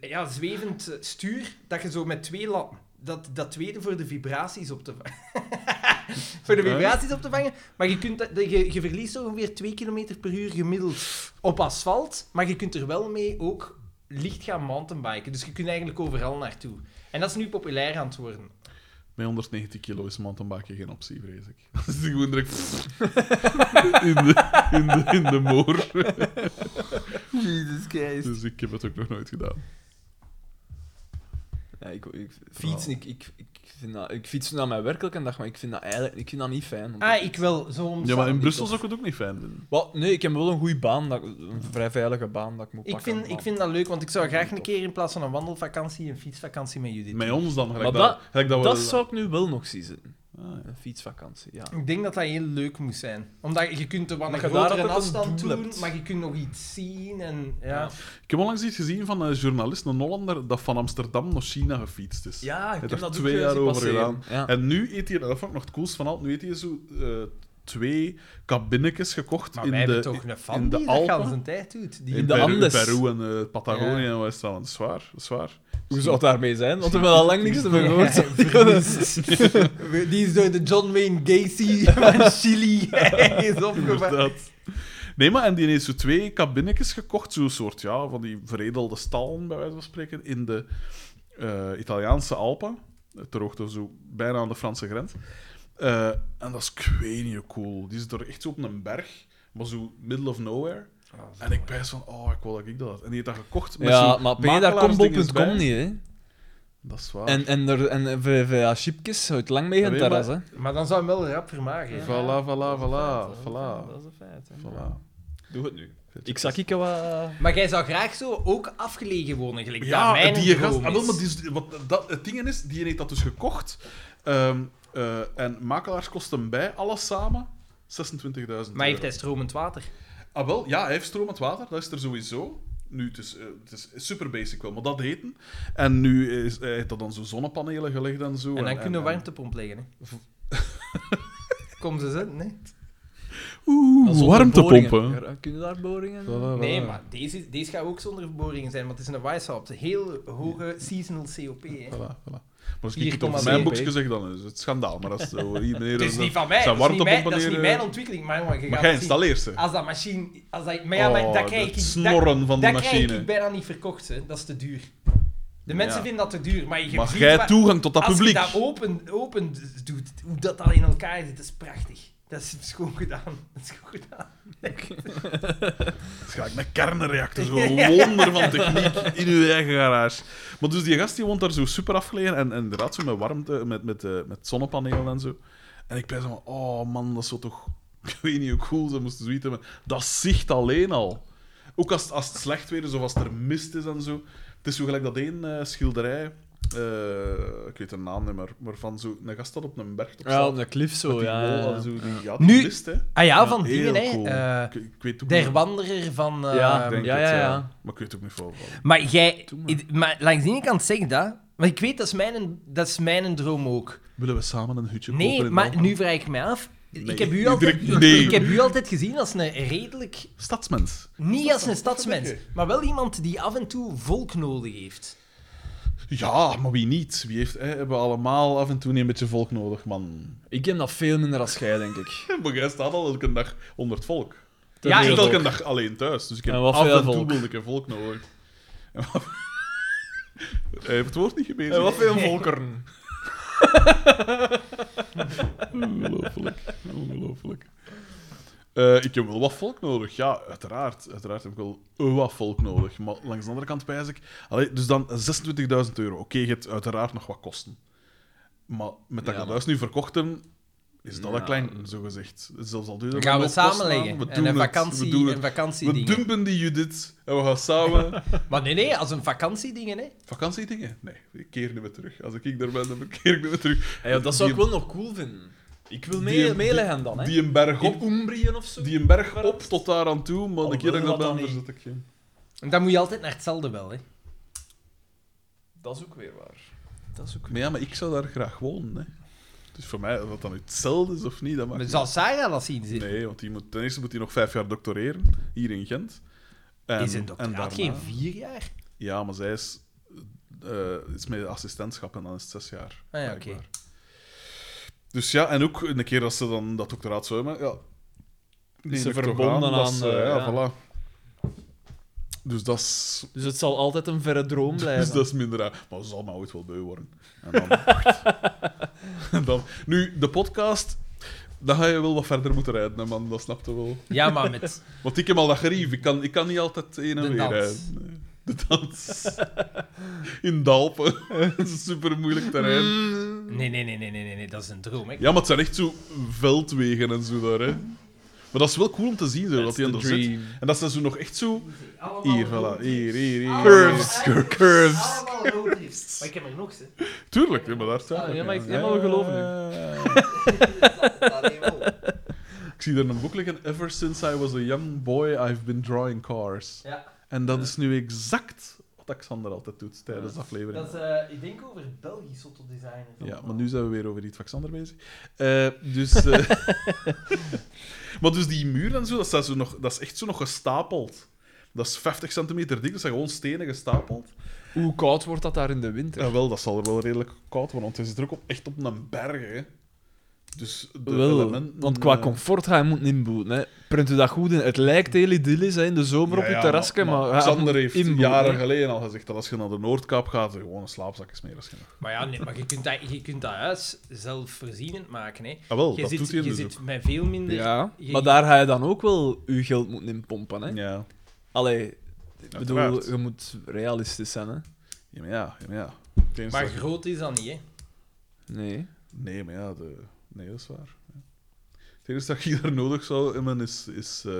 Speaker 1: ja, zwevend stuur, dat je zo met twee latten... Dat, dat tweede voor de vibraties op te vangen. voor de vibraties op te vangen. Maar je, kunt, dat- je, je verliest ongeveer 2 km per uur gemiddeld op asfalt. Maar je kunt er wel mee ook licht gaan mountainbiken. Dus je kunt eigenlijk overal naartoe. En dat is nu populair aan het worden.
Speaker 2: Met 190 kilo is mountainbiken geen optie, vrees ik. Dat is gewoon direct... in, de, in, de, in de moor.
Speaker 11: Jesus Christ.
Speaker 2: Dus ik heb het ook nog nooit gedaan.
Speaker 3: Ja, ik, ik, fietsen, ik, ik, ik, vind dat, ik fiets naar mijn werk elke dag, maar ik vind dat eigenlijk ik vind dat niet fijn. om te
Speaker 1: Ah, ik wel. Zo
Speaker 2: Ja, maar in Brussel zou ik het ook niet fijn vinden.
Speaker 3: Wat? Nee, ik heb wel een goede baan, dat, een vrij veilige baan dat ik moet
Speaker 1: Ik
Speaker 3: pakken.
Speaker 1: vind, ik
Speaker 3: maar-
Speaker 1: vind dat leuk, want ik zou graag een keer in plaats van een wandelvakantie, een fietsvakantie met Judith.
Speaker 2: Met ons dan. Gelijk
Speaker 3: Maar dat-
Speaker 2: dat, gelijk dat, we-
Speaker 3: Dat zou ik nu wel nog zien zitten.
Speaker 2: Ah, ja.
Speaker 3: Een fietsvakantie, ja.
Speaker 1: Ik denk dat dat heel leuk moet zijn. Omdat je kunt er wat een
Speaker 3: Omdat je daar
Speaker 1: grotere
Speaker 3: ook een
Speaker 1: afstand
Speaker 3: doel
Speaker 1: doen,
Speaker 3: hebt.
Speaker 1: maar je kunt nog iets zien en... Ja.
Speaker 3: Ja.
Speaker 2: Ik heb onlangs iets gezien van een journalist, een Hollander, dat van Amsterdam naar China gefietst is.
Speaker 3: Ja, ik
Speaker 2: Hij
Speaker 3: heb
Speaker 2: heeft
Speaker 3: dat
Speaker 2: er twee
Speaker 3: ook, eh,
Speaker 2: jaar
Speaker 3: zien
Speaker 2: over
Speaker 3: passeren.
Speaker 2: gedaan.
Speaker 3: Ja.
Speaker 2: En nu eet hij, dat vond ik nog het coolst van al, nu eet hij zo eh, twee kabinnetjes gekocht
Speaker 1: Maar
Speaker 2: in
Speaker 1: wij
Speaker 2: de,
Speaker 1: hebben toch een fan
Speaker 2: in de
Speaker 1: die dat gaan
Speaker 2: Alpen.
Speaker 1: zijn tijd doet. Die
Speaker 2: In,
Speaker 3: de
Speaker 2: Peru,
Speaker 3: Andes.
Speaker 2: in Peru en eh, Patagonië
Speaker 1: Ja.
Speaker 2: en West-Vlaanderen. Dat is waar, dat is waar.
Speaker 3: Hoe zou het daarmee zijn? Want we hebben al lang niks te gehoord.
Speaker 1: Ja, verlies. Die is door de John Wayne Gacy van Chili is opgevangen.
Speaker 2: Inderdaad. Nee, maar en die heeft zo twee kabinnetjes gekocht, zo'n soort ja, van die veredelde stallen, bij wijze van spreken, in de eh, Italiaanse Alpen. Ter hoogte zo bijna aan de Franse grens. Eh, en dat is kwenje cool. Die is er echt zo op een berg, maar zo middle of nowhere. en ik pijs van, oh, ik wil dat ik dat had. En die heeft dat gekocht met
Speaker 3: Ja,
Speaker 2: zo'n
Speaker 3: maar ben je daar
Speaker 2: makelaarsdinges bij.
Speaker 3: combo.com niet, hè?
Speaker 2: Dat is waar.
Speaker 3: En, en, er, en VVA-chipjes houdt lang mee in het
Speaker 2: Ja,
Speaker 3: terras,
Speaker 2: maar-
Speaker 3: hè?
Speaker 1: Maar dan zou hem wel rap vermagen.
Speaker 2: Voilà, voilà, voilà,
Speaker 1: Dat
Speaker 2: voilà,
Speaker 1: is een feit. hè.
Speaker 2: voilà.
Speaker 3: Doe het nu. Ik zag ik wat...
Speaker 1: Maar jij zou graag zo ook afgelegen wonen, gelijk
Speaker 2: Ja,
Speaker 1: dat mijn
Speaker 2: die
Speaker 1: droom
Speaker 2: gast. Ah, wel,
Speaker 1: is.
Speaker 2: maar die is- wat, dat, het ding is, die heeft dat dus gekocht. Ehm, eh, en makelaars kosten bij, alles samen, 26.000
Speaker 1: Maar heeft dus-
Speaker 2: euro.
Speaker 1: hij stromend water?
Speaker 2: Ah, wel, ja, hij heeft stromend water, dat is er sowieso. Nu, het is, eh, het is super basic wel, maar dat heten. En nu is, hij heeft dat dan zo zonnepanelen gelegd en zo.
Speaker 1: En dan kunnen
Speaker 2: en-
Speaker 1: we warmtepomp leggen, hè. Kom ze zetten, hè.
Speaker 2: Oeh, warmtepompen.
Speaker 3: Boringen. Kunnen daar boringen?
Speaker 1: Nee, maar deze, is- deze gaat ook zonder boringen zijn, want het is een wijshaupt. Heel hoge seasonal COP, hè.
Speaker 2: Voilà, voilà. Maar als ik
Speaker 1: Hier,
Speaker 2: het
Speaker 1: kom
Speaker 2: op
Speaker 1: maar
Speaker 2: mijn
Speaker 1: mee.
Speaker 2: boekje zeg, dan is het schandaal. Maar dat is zo, hier, meneer,
Speaker 1: Het is
Speaker 2: dat-
Speaker 1: niet van mij,
Speaker 2: zijn
Speaker 1: dat is niet, mijn, dat
Speaker 2: warmtepompen
Speaker 1: is niet
Speaker 2: hier,
Speaker 1: mijn
Speaker 2: eh,
Speaker 1: ontwikkeling, maar jongen, je
Speaker 2: Maar
Speaker 1: gaat
Speaker 2: jij
Speaker 1: het zien.
Speaker 2: installeert ze.
Speaker 1: Als dat machine... Als dat, maar ja, maar
Speaker 2: Oh,
Speaker 1: dat krijg
Speaker 2: dat
Speaker 1: ik... dat-
Speaker 2: snorren van die
Speaker 1: dat krijg
Speaker 2: machine.
Speaker 1: ik bijna niet verkocht, hè. Dat is te duur. De mensen
Speaker 2: Ja.
Speaker 1: vinden dat te duur, maar je
Speaker 2: Maar
Speaker 1: ziet
Speaker 2: jij
Speaker 1: wat-
Speaker 2: toegang tot dat
Speaker 1: Als
Speaker 2: publiek.
Speaker 1: je dat open, open doet, hoe dat al in elkaar zit, dat is prachtig. Dat is gewoon gedaan. Dat is goed gedaan.
Speaker 2: Het is gelijk een kernreactor, zo'n wonder van techniek in uw eigen garage. Maar dus die gast die woont daar zo super afgelegen en, en inderdaad zo met warmte, met, met, eh, met zonnepanelen en zo. En ik ben zo van, oh man, dat is zo toch... Ik weet niet hoe cool ze moesten zoiets hebben. Dat zicht alleen al. Ook als, als het slecht weer is of als er mist is en zo. Het is zo gelijk dat één eh, schilderij, eh, ik weet de naam niet meer, maar van zo'n gast dat op een berg op
Speaker 3: Ja,
Speaker 2: staat.
Speaker 3: op de cliff zo,
Speaker 2: Die
Speaker 3: ja.
Speaker 2: wol,
Speaker 3: ja.
Speaker 2: dat zo, die, ja,
Speaker 1: Nu-
Speaker 2: die mist, hè.
Speaker 1: Ah ja, van
Speaker 2: Heel
Speaker 1: dingen, hè.
Speaker 2: cool.
Speaker 1: Eh,
Speaker 2: ik, ik weet ook
Speaker 1: der
Speaker 2: niet-
Speaker 1: Wanderer van... eh,
Speaker 3: Ja,
Speaker 2: ik denk
Speaker 3: ja,
Speaker 2: het,
Speaker 3: ja,
Speaker 2: ja.
Speaker 3: ja.
Speaker 2: Maar ik weet ook niet veel van.
Speaker 1: Maar jij...
Speaker 3: Doe maar.
Speaker 1: Maar. langs de ene kant zeg ik dat, maar ik weet, dat is mijn, dat is mijn droom ook.
Speaker 2: Willen we samen een hutje kopen?
Speaker 1: Nee,
Speaker 2: in
Speaker 1: maar
Speaker 2: Alphen?
Speaker 1: nu vraag ik mij af...
Speaker 2: Nee,
Speaker 1: Ik, heb u
Speaker 2: je
Speaker 1: altijd,
Speaker 2: drukt nee.
Speaker 1: ik heb u altijd gezien als een redelijk...
Speaker 2: Stadsmens.
Speaker 1: Niet als een stadsmens,
Speaker 2: Stadsmens.
Speaker 1: maar wel iemand die af en toe volk nodig heeft.
Speaker 2: Ja, maar wie niet? Wie heeft, hè, hebben we allemaal af en toe niet een beetje volk nodig, man?
Speaker 3: Ik heb dat veel minder als jij, denk ik.
Speaker 2: Maar jij staat al elke dag onder het volk.
Speaker 3: Te
Speaker 1: Ja,
Speaker 2: ik
Speaker 3: veel
Speaker 2: zit
Speaker 3: volk.
Speaker 2: elke dag alleen thuis, dus ik heb
Speaker 3: En wat
Speaker 2: af
Speaker 3: veel
Speaker 2: en toe
Speaker 3: volk.
Speaker 2: wel een keer volk nodig. En wat- Hij heeft het woord niet gebezigd.
Speaker 3: En wat veel volkeren.
Speaker 2: Ongelooflijk. Ongelooflijk. Eh, ik heb wel wat volk nodig. Ja, uiteraard. Uiteraard heb ik wel eh, wat volk nodig. Maar langs de andere kant wijs ik... Allee, dus dan 26.000 euro. Oké, je hebt uiteraard nog wat kosten. Maar met dat
Speaker 3: Ja,
Speaker 2: ik dat
Speaker 3: maar-
Speaker 2: huis nu verkocht heb, is dat
Speaker 3: Ja.
Speaker 2: een klein, zogezegd. Zelfs al duur
Speaker 1: Dan gaan we samenleggen. En een
Speaker 2: nou? We,
Speaker 1: vakantie,
Speaker 2: doen
Speaker 1: een
Speaker 2: het. we
Speaker 1: vakantieding.
Speaker 2: dumpen die Judith en we gaan samen...
Speaker 1: Maar nee, nee, als een vakantiedingen, hè.
Speaker 2: Vakantiedingen? Nee, ik keer niet meer terug. Als ik er ben, dan keer ik niet meer terug.
Speaker 3: Ja, dat zou ik
Speaker 2: Die-
Speaker 3: wel nog cool vinden. Ik wil
Speaker 2: die-
Speaker 3: mee,
Speaker 2: die-
Speaker 3: meeleggen dan, hè.
Speaker 2: Die een berg op
Speaker 3: In Umbriën of zo.
Speaker 2: Die een berg op tot daar aan toe, maar de
Speaker 3: Alhoewel,
Speaker 2: keer dat ik dat
Speaker 3: dat
Speaker 2: ben,
Speaker 3: eh, niet.
Speaker 2: verzet ik geen.
Speaker 1: En Dan moet je altijd naar hetzelfde wel, hè.
Speaker 3: Dat is ook weer waar. Dat is ook
Speaker 2: Maar ja, maar ik zou daar graag wonen. Hè. Dus voor mij, of dat dan hetzelfde is of niet, dat maakt
Speaker 1: Maar
Speaker 2: niet
Speaker 1: zal Sarah dat zien zitten?
Speaker 2: uit. Nee, want die moet, ten eerste moet hij nog vijf jaar doctoreren, hier in Gent. En,
Speaker 1: is een
Speaker 2: en daarna-
Speaker 1: doctoraat geen vier jaar?
Speaker 2: Ja, maar zij is, eh, is met assistentschap en dan is het zes jaar.
Speaker 1: Ah ja, oké.
Speaker 2: blijkbaar. Dus ja, en ook een keer dat ze dan dat doctoraat zou hebben, ja,
Speaker 3: Is ze
Speaker 2: neem ik toch
Speaker 3: verbonden
Speaker 2: dat
Speaker 3: aan,
Speaker 2: ze-
Speaker 3: eh,
Speaker 2: ja,
Speaker 3: ja.
Speaker 2: voilà. Dus dat is
Speaker 3: Dus het zal altijd een verre droom blijven.
Speaker 2: Dus dat is minder raar. Maar ze zal mij ooit wel beu worden. En dan, en dan, nu, de podcast, dan ga je wel wat verder moeten rijden, hè, man. Dat snapte wel.
Speaker 1: Ja, maar met...
Speaker 2: Want ik heb al dat gerief. Ik kan, ik kan niet altijd heen en
Speaker 1: De
Speaker 2: Nou, weer
Speaker 1: dans.
Speaker 2: rijden. Nee. De dans. In Dalpen. dat is super moeilijk terrein.
Speaker 1: Nee, nee, nee, nee, nee, nee, nee, dat is een droom, hè.
Speaker 2: Ja, maar het zijn echt zo veldwegen en zo daar, hè. Maar dat is wel cool om te zien, zo, dat hij er zit. En dat ze zo nog echt zo...
Speaker 1: Allemaal
Speaker 2: Hier,
Speaker 1: roadtrips.
Speaker 2: voilà. Hier, hier, hier.
Speaker 12: Curves,
Speaker 2: Cur- Curves.
Speaker 1: Allemaal roadtrips. Maar ik heb er nog, hè.
Speaker 2: Tuurlijk, ja, maar daar staat
Speaker 3: Ah, ja,
Speaker 2: ook,
Speaker 3: maar ik- ja, maar we geloven u.
Speaker 1: Allee, wow.
Speaker 2: Ik zie er een boek liggen. Ever since I was a young boy, I've been drawing cars.
Speaker 1: Ja.
Speaker 2: En dat is nu exact wat dat Xander altijd doet tijdens de aflevering.
Speaker 1: Dat is, eh, ik denk over Belgisch autodesigners.
Speaker 3: Oh.
Speaker 2: Ja, maar nu zijn we weer over iets van Xander bezig. Eh, dus... eh, maar dus die muur en zo, dat, zijn zo nog, dat is echt zo nog gestapeld. Dat is 50 centimeter dik, dat zijn gewoon stenen gestapeld.
Speaker 3: Hoe koud wordt dat daar in de winter?
Speaker 2: Ja, wel, dat zal er wel redelijk koud worden, want het zit er ook op, echt op een berg, hè. Dus de
Speaker 3: Wel,
Speaker 2: elementen...
Speaker 3: want qua
Speaker 2: eh,
Speaker 3: comfort ga je moeten inboeten. Hè. Print u dat goed in. Het lijkt heel idyllisch hè, in de zomer op
Speaker 2: Ja,
Speaker 3: je
Speaker 2: ja,
Speaker 3: terrasje, maar... ga
Speaker 2: Xander heeft
Speaker 3: inboeten,
Speaker 2: jaren
Speaker 3: hè.
Speaker 2: geleden al gezegd dat als je naar de Noordkaap gaat, er gewoon een slaapzak is meer als genoeg.
Speaker 1: Maar ja, nee, maar je kunt dat, je kunt dat huis zelfvoorzienend maken. Hè.
Speaker 2: Ah, wel,
Speaker 1: Je
Speaker 2: dat
Speaker 1: zit,
Speaker 2: doet hij
Speaker 1: je
Speaker 2: dus
Speaker 1: zit
Speaker 2: ook.
Speaker 1: met veel minder...
Speaker 3: Ja,
Speaker 1: Je-
Speaker 3: maar daar ga je dan ook wel je geld moeten inpompen. Hè.
Speaker 2: Ja,
Speaker 3: Allee, ik
Speaker 2: Uiteraard.
Speaker 3: bedoel, je moet realistisch zijn. Hè.
Speaker 2: ja, maar ja. ja, maar ja. Het enige
Speaker 1: Maar
Speaker 2: dat je-
Speaker 1: groot is dat niet, hè.
Speaker 3: Nee.
Speaker 2: Nee, maar ja, de... nee, dat is waar. Ja. Het enige dat je daar nodig zou hebben is, is, eh,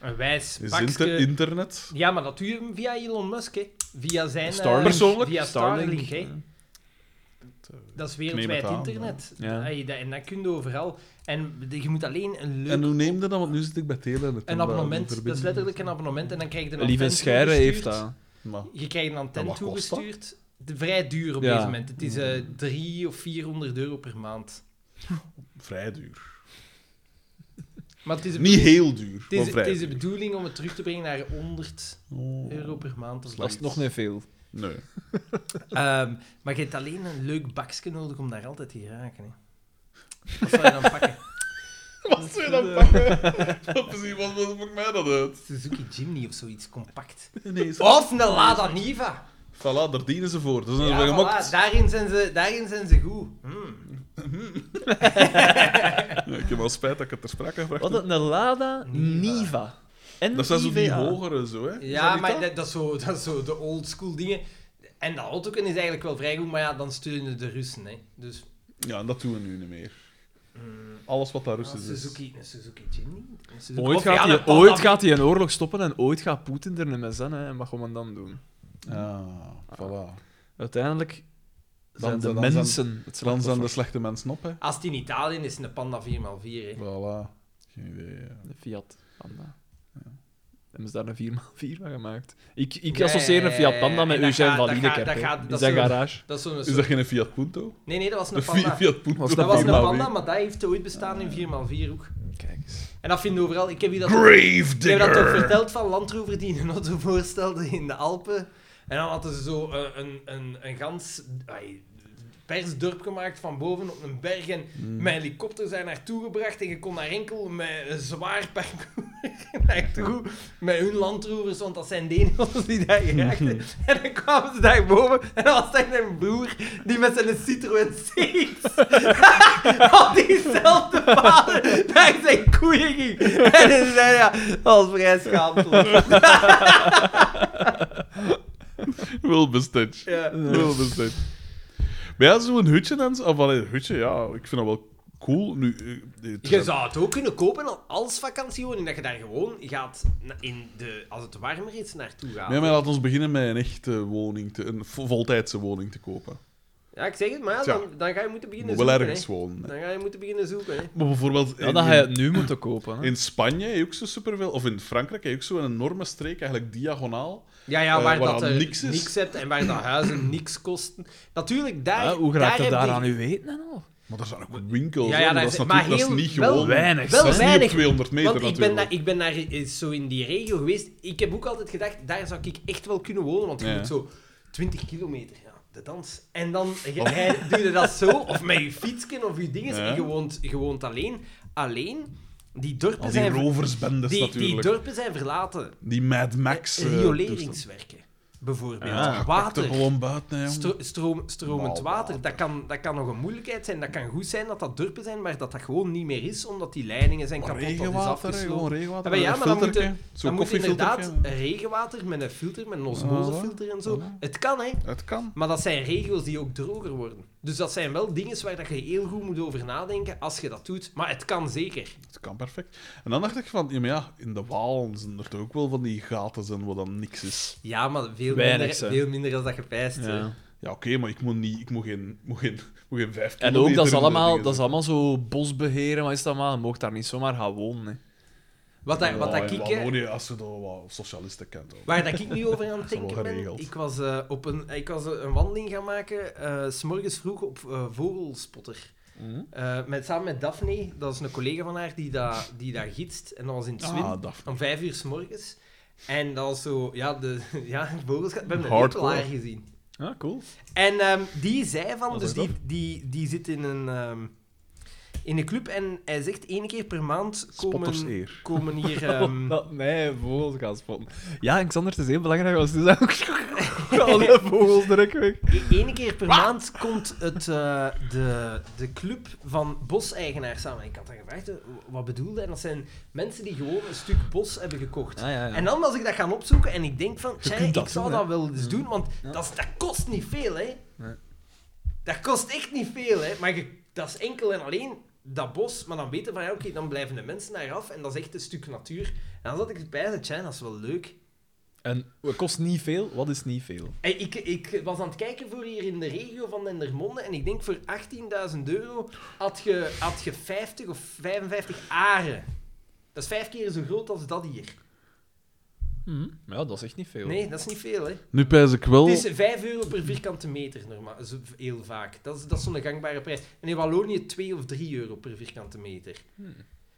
Speaker 1: Een wijs
Speaker 2: is
Speaker 1: pakske.
Speaker 2: inter- internet.
Speaker 1: Ja, maar dat doe je via Elon Musk, hè. Via zijn... eh,
Speaker 3: Starlink.
Speaker 2: Persoonlijk?
Speaker 1: Via Starlink,
Speaker 2: eh,
Speaker 1: hè. Dat is
Speaker 2: Ik
Speaker 1: wereldwijd
Speaker 2: neem het aan,
Speaker 1: internet.
Speaker 3: ja.
Speaker 1: Ah, je- dat- En dat kun je overal. En je moet alleen een leuk...
Speaker 2: En hoe neem je dat? Want nu zit ik bij Telenet. en
Speaker 1: Een
Speaker 2: daar
Speaker 1: abonnement.
Speaker 2: niet
Speaker 1: Dat is
Speaker 2: verbinden.
Speaker 1: letterlijk een abonnement. En dan krijg je een
Speaker 3: Lieve
Speaker 1: antenne
Speaker 3: Scheire heeft
Speaker 1: toegestuurd.
Speaker 3: dat.
Speaker 2: Maar,
Speaker 1: Je krijgt een
Speaker 2: En
Speaker 1: antenne
Speaker 2: wat kost dat?
Speaker 1: toegestuurd. De- Vrij duur op
Speaker 3: Ja.
Speaker 1: deze moment. Het is eh 300 of 400 euro per maand.
Speaker 2: vrij duur.
Speaker 1: Maar het is,
Speaker 2: Niet heel duur,
Speaker 1: het, is,
Speaker 2: maar vrij
Speaker 1: het is de
Speaker 2: duur.
Speaker 1: bedoeling om het terug te brengen naar 100
Speaker 2: Oh,
Speaker 1: euro per maand. Of
Speaker 3: Dat is
Speaker 1: zoiets.
Speaker 3: nog niet veel.
Speaker 2: Nee.
Speaker 1: Ehm, maar je hebt alleen een leuk bakje nodig om daar altijd te raken. Hè. Wat zou je dan pakken?
Speaker 2: Wat zou je dan pakken? Dat precies, wat wat maakt mij dat uit?
Speaker 1: Suzuki Jimny of zoiets, compact.
Speaker 2: Nee, is-
Speaker 1: Of een Lada Niva.
Speaker 2: Voilà, daar dienen ze voor. Dat is
Speaker 1: Ja,
Speaker 2: een gemokt.
Speaker 1: voilà, daarin, zijn ze, daarin zijn ze goed. Hmm.
Speaker 2: Ja, ik heb wel spijt dat ik het ter sprake gebracht
Speaker 3: Wat
Speaker 2: heb.
Speaker 3: een Lada
Speaker 1: Niva.
Speaker 3: Niva. En
Speaker 2: Dat zijn zo die hogere, zo, hè? Is dat
Speaker 1: Ja,
Speaker 2: niet
Speaker 1: maar
Speaker 2: dat?
Speaker 1: dat, dat, is zo, dat is zo de old school dingen. En dat autoken is eigenlijk wel vrij goed, maar ja, dan steunen de Russen. Hè. Dus
Speaker 2: Ja, en dat doen we nu niet meer.
Speaker 1: mm,
Speaker 2: Alles wat daar
Speaker 1: een
Speaker 2: Russisch is.
Speaker 1: Suzuki, een Suzuki Jimny. een Suzuki-
Speaker 3: Ooit
Speaker 1: Of ja,
Speaker 3: gaat,
Speaker 1: een
Speaker 3: hij,
Speaker 1: Panda-
Speaker 3: ooit gaat hij een oorlog stoppen en ooit gaat Poetin er niet mee zijn. Hè. En wat gaan we dan doen?
Speaker 2: Ah, voilà.
Speaker 3: Uiteindelijk zijn de
Speaker 2: zijn- dan
Speaker 3: mensen het
Speaker 2: Dan zijn de
Speaker 3: slachtoffer.
Speaker 2: slechte mensen op, hè.
Speaker 1: Als het in Italië is, een Panda 4x4. Hè.
Speaker 2: Voilà. Geen idee, ja.
Speaker 3: De Fiat Panda. Hebben ze daar een 4x4 van gemaakt? Ik, ik
Speaker 1: Ja,
Speaker 3: associeer
Speaker 1: ja,
Speaker 3: een Fiat
Speaker 1: ja,
Speaker 3: Panda
Speaker 1: ja,
Speaker 3: met
Speaker 1: en dat
Speaker 3: Eugène
Speaker 1: gaat-
Speaker 3: van
Speaker 1: dat
Speaker 3: Liedekerk.
Speaker 1: gaat- dat gaat-
Speaker 3: hè, in
Speaker 1: dat
Speaker 3: zijn
Speaker 1: is een-
Speaker 3: garage.
Speaker 1: Dat is zo'n
Speaker 2: Is dat
Speaker 1: soort-
Speaker 2: geen Fiat Punto?
Speaker 1: Nee, nee, dat was
Speaker 2: De
Speaker 1: een
Speaker 2: Fi-
Speaker 1: Panda.
Speaker 2: Fiat Punto.
Speaker 3: Was
Speaker 1: Dat was een
Speaker 3: Panda
Speaker 1: Panda, maar dat heeft ooit bestaan in 4x4 ook.
Speaker 3: Kijk eens.
Speaker 1: En dat vinden we overal. Ik heb je dat
Speaker 2: Grave
Speaker 1: Ik heb dat toch
Speaker 2: Digger!
Speaker 1: verteld van Land Rover die een auto voorstelde in de Alpen. En dan hadden ze zo eh, een, een, een gans ai, persdorp gemaakt van boven op een berg. En mijn helikopter zijn naartoe gebracht. En je kon daar enkel met een zwaar parcours naartoe. Met hun Land Rovers, want dat zijn de enigste die daar geraakt zijn. En dan kwamen ze daar boven. En dan was daar mijn broer die met zijn Citroën C op diezelfde vader naar zijn koeien ging. En ze zei, ja, dat was vrij schaamteloos.
Speaker 2: Wil bestet.
Speaker 1: Ja.
Speaker 2: Wil bestet. Maar ja, zo'n hutje en zo. Of allee, een hutje, ja, ik vind dat wel cool. Nu, eh, eh, het
Speaker 1: Je
Speaker 2: is-
Speaker 1: zou het ook kunnen kopen als vakantiewoning, dat je daar gewoon gaat, na- in de, als het warmer is, naartoe gaat.
Speaker 2: Nee, maar laten we beginnen met een echte woning, te, een vo- voltijdse woning te kopen.
Speaker 1: Ja, ik zeg het, maar ja,
Speaker 2: Tja.
Speaker 1: dan, dan ga je moeten beginnen
Speaker 2: Moet wel
Speaker 1: zoeken.
Speaker 2: ergens
Speaker 1: Hè.
Speaker 2: wonen. hè.
Speaker 1: Dan ga je moeten beginnen zoeken. Hè.
Speaker 2: Maar bijvoorbeeld
Speaker 3: Ja,
Speaker 2: in-
Speaker 3: dan ga je
Speaker 2: in-
Speaker 3: het nu moeten kopen. Hè.
Speaker 2: In Spanje heb je ook zo superveel, of in Frankrijk heb je ook zo'n enorme streek, eigenlijk diagonaal.
Speaker 1: Ja, ja,
Speaker 2: Eh,
Speaker 1: waar,
Speaker 2: waar
Speaker 1: dat
Speaker 2: dat
Speaker 1: er
Speaker 2: niks
Speaker 1: niks,
Speaker 2: is.
Speaker 1: hebt en waar dat huizen niks kosten. Natuurlijk, daar...
Speaker 3: Ja, hoe gaat
Speaker 1: heb
Speaker 3: het daar
Speaker 1: je-
Speaker 3: aan u weten en al?
Speaker 2: Maar daar zijn ook winkels,
Speaker 1: Ja,
Speaker 2: ja,
Speaker 1: ja,
Speaker 2: maar
Speaker 1: daar
Speaker 2: dat is
Speaker 1: is- maar
Speaker 2: natuurlijk dat is
Speaker 1: heel-
Speaker 2: niet
Speaker 1: wel
Speaker 2: gewoon...
Speaker 3: Weinig.
Speaker 1: Wel
Speaker 2: dat is niet
Speaker 1: weinig.
Speaker 2: op 200 meter
Speaker 1: Want ik ben,
Speaker 2: natuurlijk.
Speaker 1: daar, ik ben daar eh, zo in die regio geweest. Ik heb ook altijd gedacht, daar zou ik echt wel kunnen wonen. Want je
Speaker 2: Ja.
Speaker 1: moet zo 20 kilometer, ja, de dans. En dan je- hij, doe je dat zo, of met je fietsken of je dingen.
Speaker 2: Ja.
Speaker 1: En je woont, je woont alleen. Alleen, die dorpen,
Speaker 2: Al die
Speaker 1: zijn,
Speaker 2: roversbendes
Speaker 1: die, die
Speaker 2: natuurlijk.
Speaker 1: dorpen zijn verlaten.
Speaker 2: Die Mad Max. eh, toestand.
Speaker 1: Rioleringswerken, bijvoorbeeld.
Speaker 2: Ja, water.
Speaker 1: Water.
Speaker 2: er gewoon buiten, hè, jongen.
Speaker 1: Stro- stroom, stromend
Speaker 2: Maar
Speaker 1: water, dat kan, dat kan nog een moeilijkheid zijn. Dat kan goed zijn dat dat dorpen zijn, maar dat dat gewoon niet meer is, omdat die leidingen zijn
Speaker 2: Maar
Speaker 1: kapot. dat
Speaker 2: regenwater, hè,
Speaker 1: is
Speaker 2: gewoon
Speaker 1: afgesloten.
Speaker 2: regenwater.
Speaker 1: Ja, maar ja,
Speaker 2: met een
Speaker 1: maar dan moet
Speaker 2: filtertje,
Speaker 1: Dan
Speaker 2: Zo'n
Speaker 1: moet
Speaker 2: koffiefiltertje.
Speaker 1: inderdaad regenwater met een filter, met een osmosefilter en zo.
Speaker 2: Ah, voilà.
Speaker 1: Het kan, hè.
Speaker 2: Het kan.
Speaker 1: Maar dat zijn regio's die ook droger worden. Dus dat zijn wel dingen waar dat je heel goed moet over nadenken als je dat doet. Maar het kan zeker.
Speaker 2: Het kan perfect. En dan dacht ik van, ja, maar ja, in de Waal zijn er toch ook wel van die gaten zijn waar dan niks is.
Speaker 1: Ja, maar veel,
Speaker 3: Weinig,
Speaker 1: minder,
Speaker 3: zeg.
Speaker 1: veel minder als dat je pijst. hè.
Speaker 3: Ja.
Speaker 2: Ja, oké, maar ik moet niet... Ik moet geen... Moet geen, moet geen vijf
Speaker 3: En ook,
Speaker 2: kilometer
Speaker 3: dat
Speaker 2: in
Speaker 3: is
Speaker 2: de
Speaker 3: allemaal,
Speaker 2: dingen
Speaker 3: dat is allemaal zo bosbeheren, wat is dat maar? Je mag daar niet zomaar gaan wonen. Hè.
Speaker 1: Wat, daar, wat dat ik, eh,
Speaker 2: Wallonië, als je dat wat socialisten kent. ook.
Speaker 1: waar dat ik nu over aan het
Speaker 2: is wel
Speaker 1: denken ben,
Speaker 2: geregeld.
Speaker 1: ik was, eh, op een, ik was een wandeling gaan maken, eh, s s'morgens vroeg op eh, Vogelspotter.
Speaker 2: Mhm.
Speaker 1: Eh, met, samen met Daphne, dat is een collega van haar die dat, die dat gidst. En dat was in het Swin,
Speaker 2: Ah, Daphne.
Speaker 1: om vijf uur s'morgens. En dat was zo, ja, de, ja vogels, we hebben een
Speaker 2: Hardcore.
Speaker 1: lepelaar gezien.
Speaker 3: Ja, Ah, cool.
Speaker 1: En ehm, die zei van,
Speaker 3: Wat
Speaker 1: dus
Speaker 3: is
Speaker 1: die,
Speaker 3: dat?
Speaker 1: die, die zit in een, ehm, in een club en hij zegt één keer per maand
Speaker 13: Spotters
Speaker 1: komen,
Speaker 13: eer.
Speaker 1: komen hier...
Speaker 3: Oh,
Speaker 1: ehm,
Speaker 3: Dat mij vogels gaan spotten. Ja, en Xander, het is heel belangrijk, want ze zijn ook alle vogels direct weg.
Speaker 1: Eén e-, keer per maand komt het, eh, de, de club van boseigenaars samen. Ik had dat gevraagd, eh, wat bedoelde? En dat zijn mensen die gewoon een stuk bos hebben gekocht.
Speaker 3: Ah, ja, ja.
Speaker 1: En dan was ik dat gaan opzoeken en ik denk van, tja,
Speaker 3: kunt
Speaker 1: ik
Speaker 3: dat
Speaker 1: zou
Speaker 3: doen, hè.
Speaker 1: dat wel eens
Speaker 3: Ja.
Speaker 1: doen, want
Speaker 3: Ja.
Speaker 1: dat, is- dat kost niet veel, hè.
Speaker 3: Nee.
Speaker 1: Dat kost echt niet veel, hè. Maar je- dat is enkel en alleen dat bos. Maar dan weten van, ja, oké, dan blijven de mensen daar af en dat is echt een stuk natuur. En dan zat ik erbij en zei, tja, dat is wel leuk.
Speaker 3: En het kost niet veel, wat is niet veel?
Speaker 1: Hey, Ik, ik was aan het kijken voor hier in de regio van Dendermonde en ik denk voor 18.000 euro had je, had je 50 of 55 aren. Dat is vijf keer zo groot als dat hier.
Speaker 3: Maar ja, dat is echt niet veel.
Speaker 1: Nee, dat is niet veel, hè.
Speaker 2: Nu pijs ik wel...
Speaker 1: Het is 5 euro per vierkante meter, normaal, zo- heel vaak. Dat is, dat is zo'n gangbare prijs. En in Wallonië 2 of 3 euro per vierkante meter.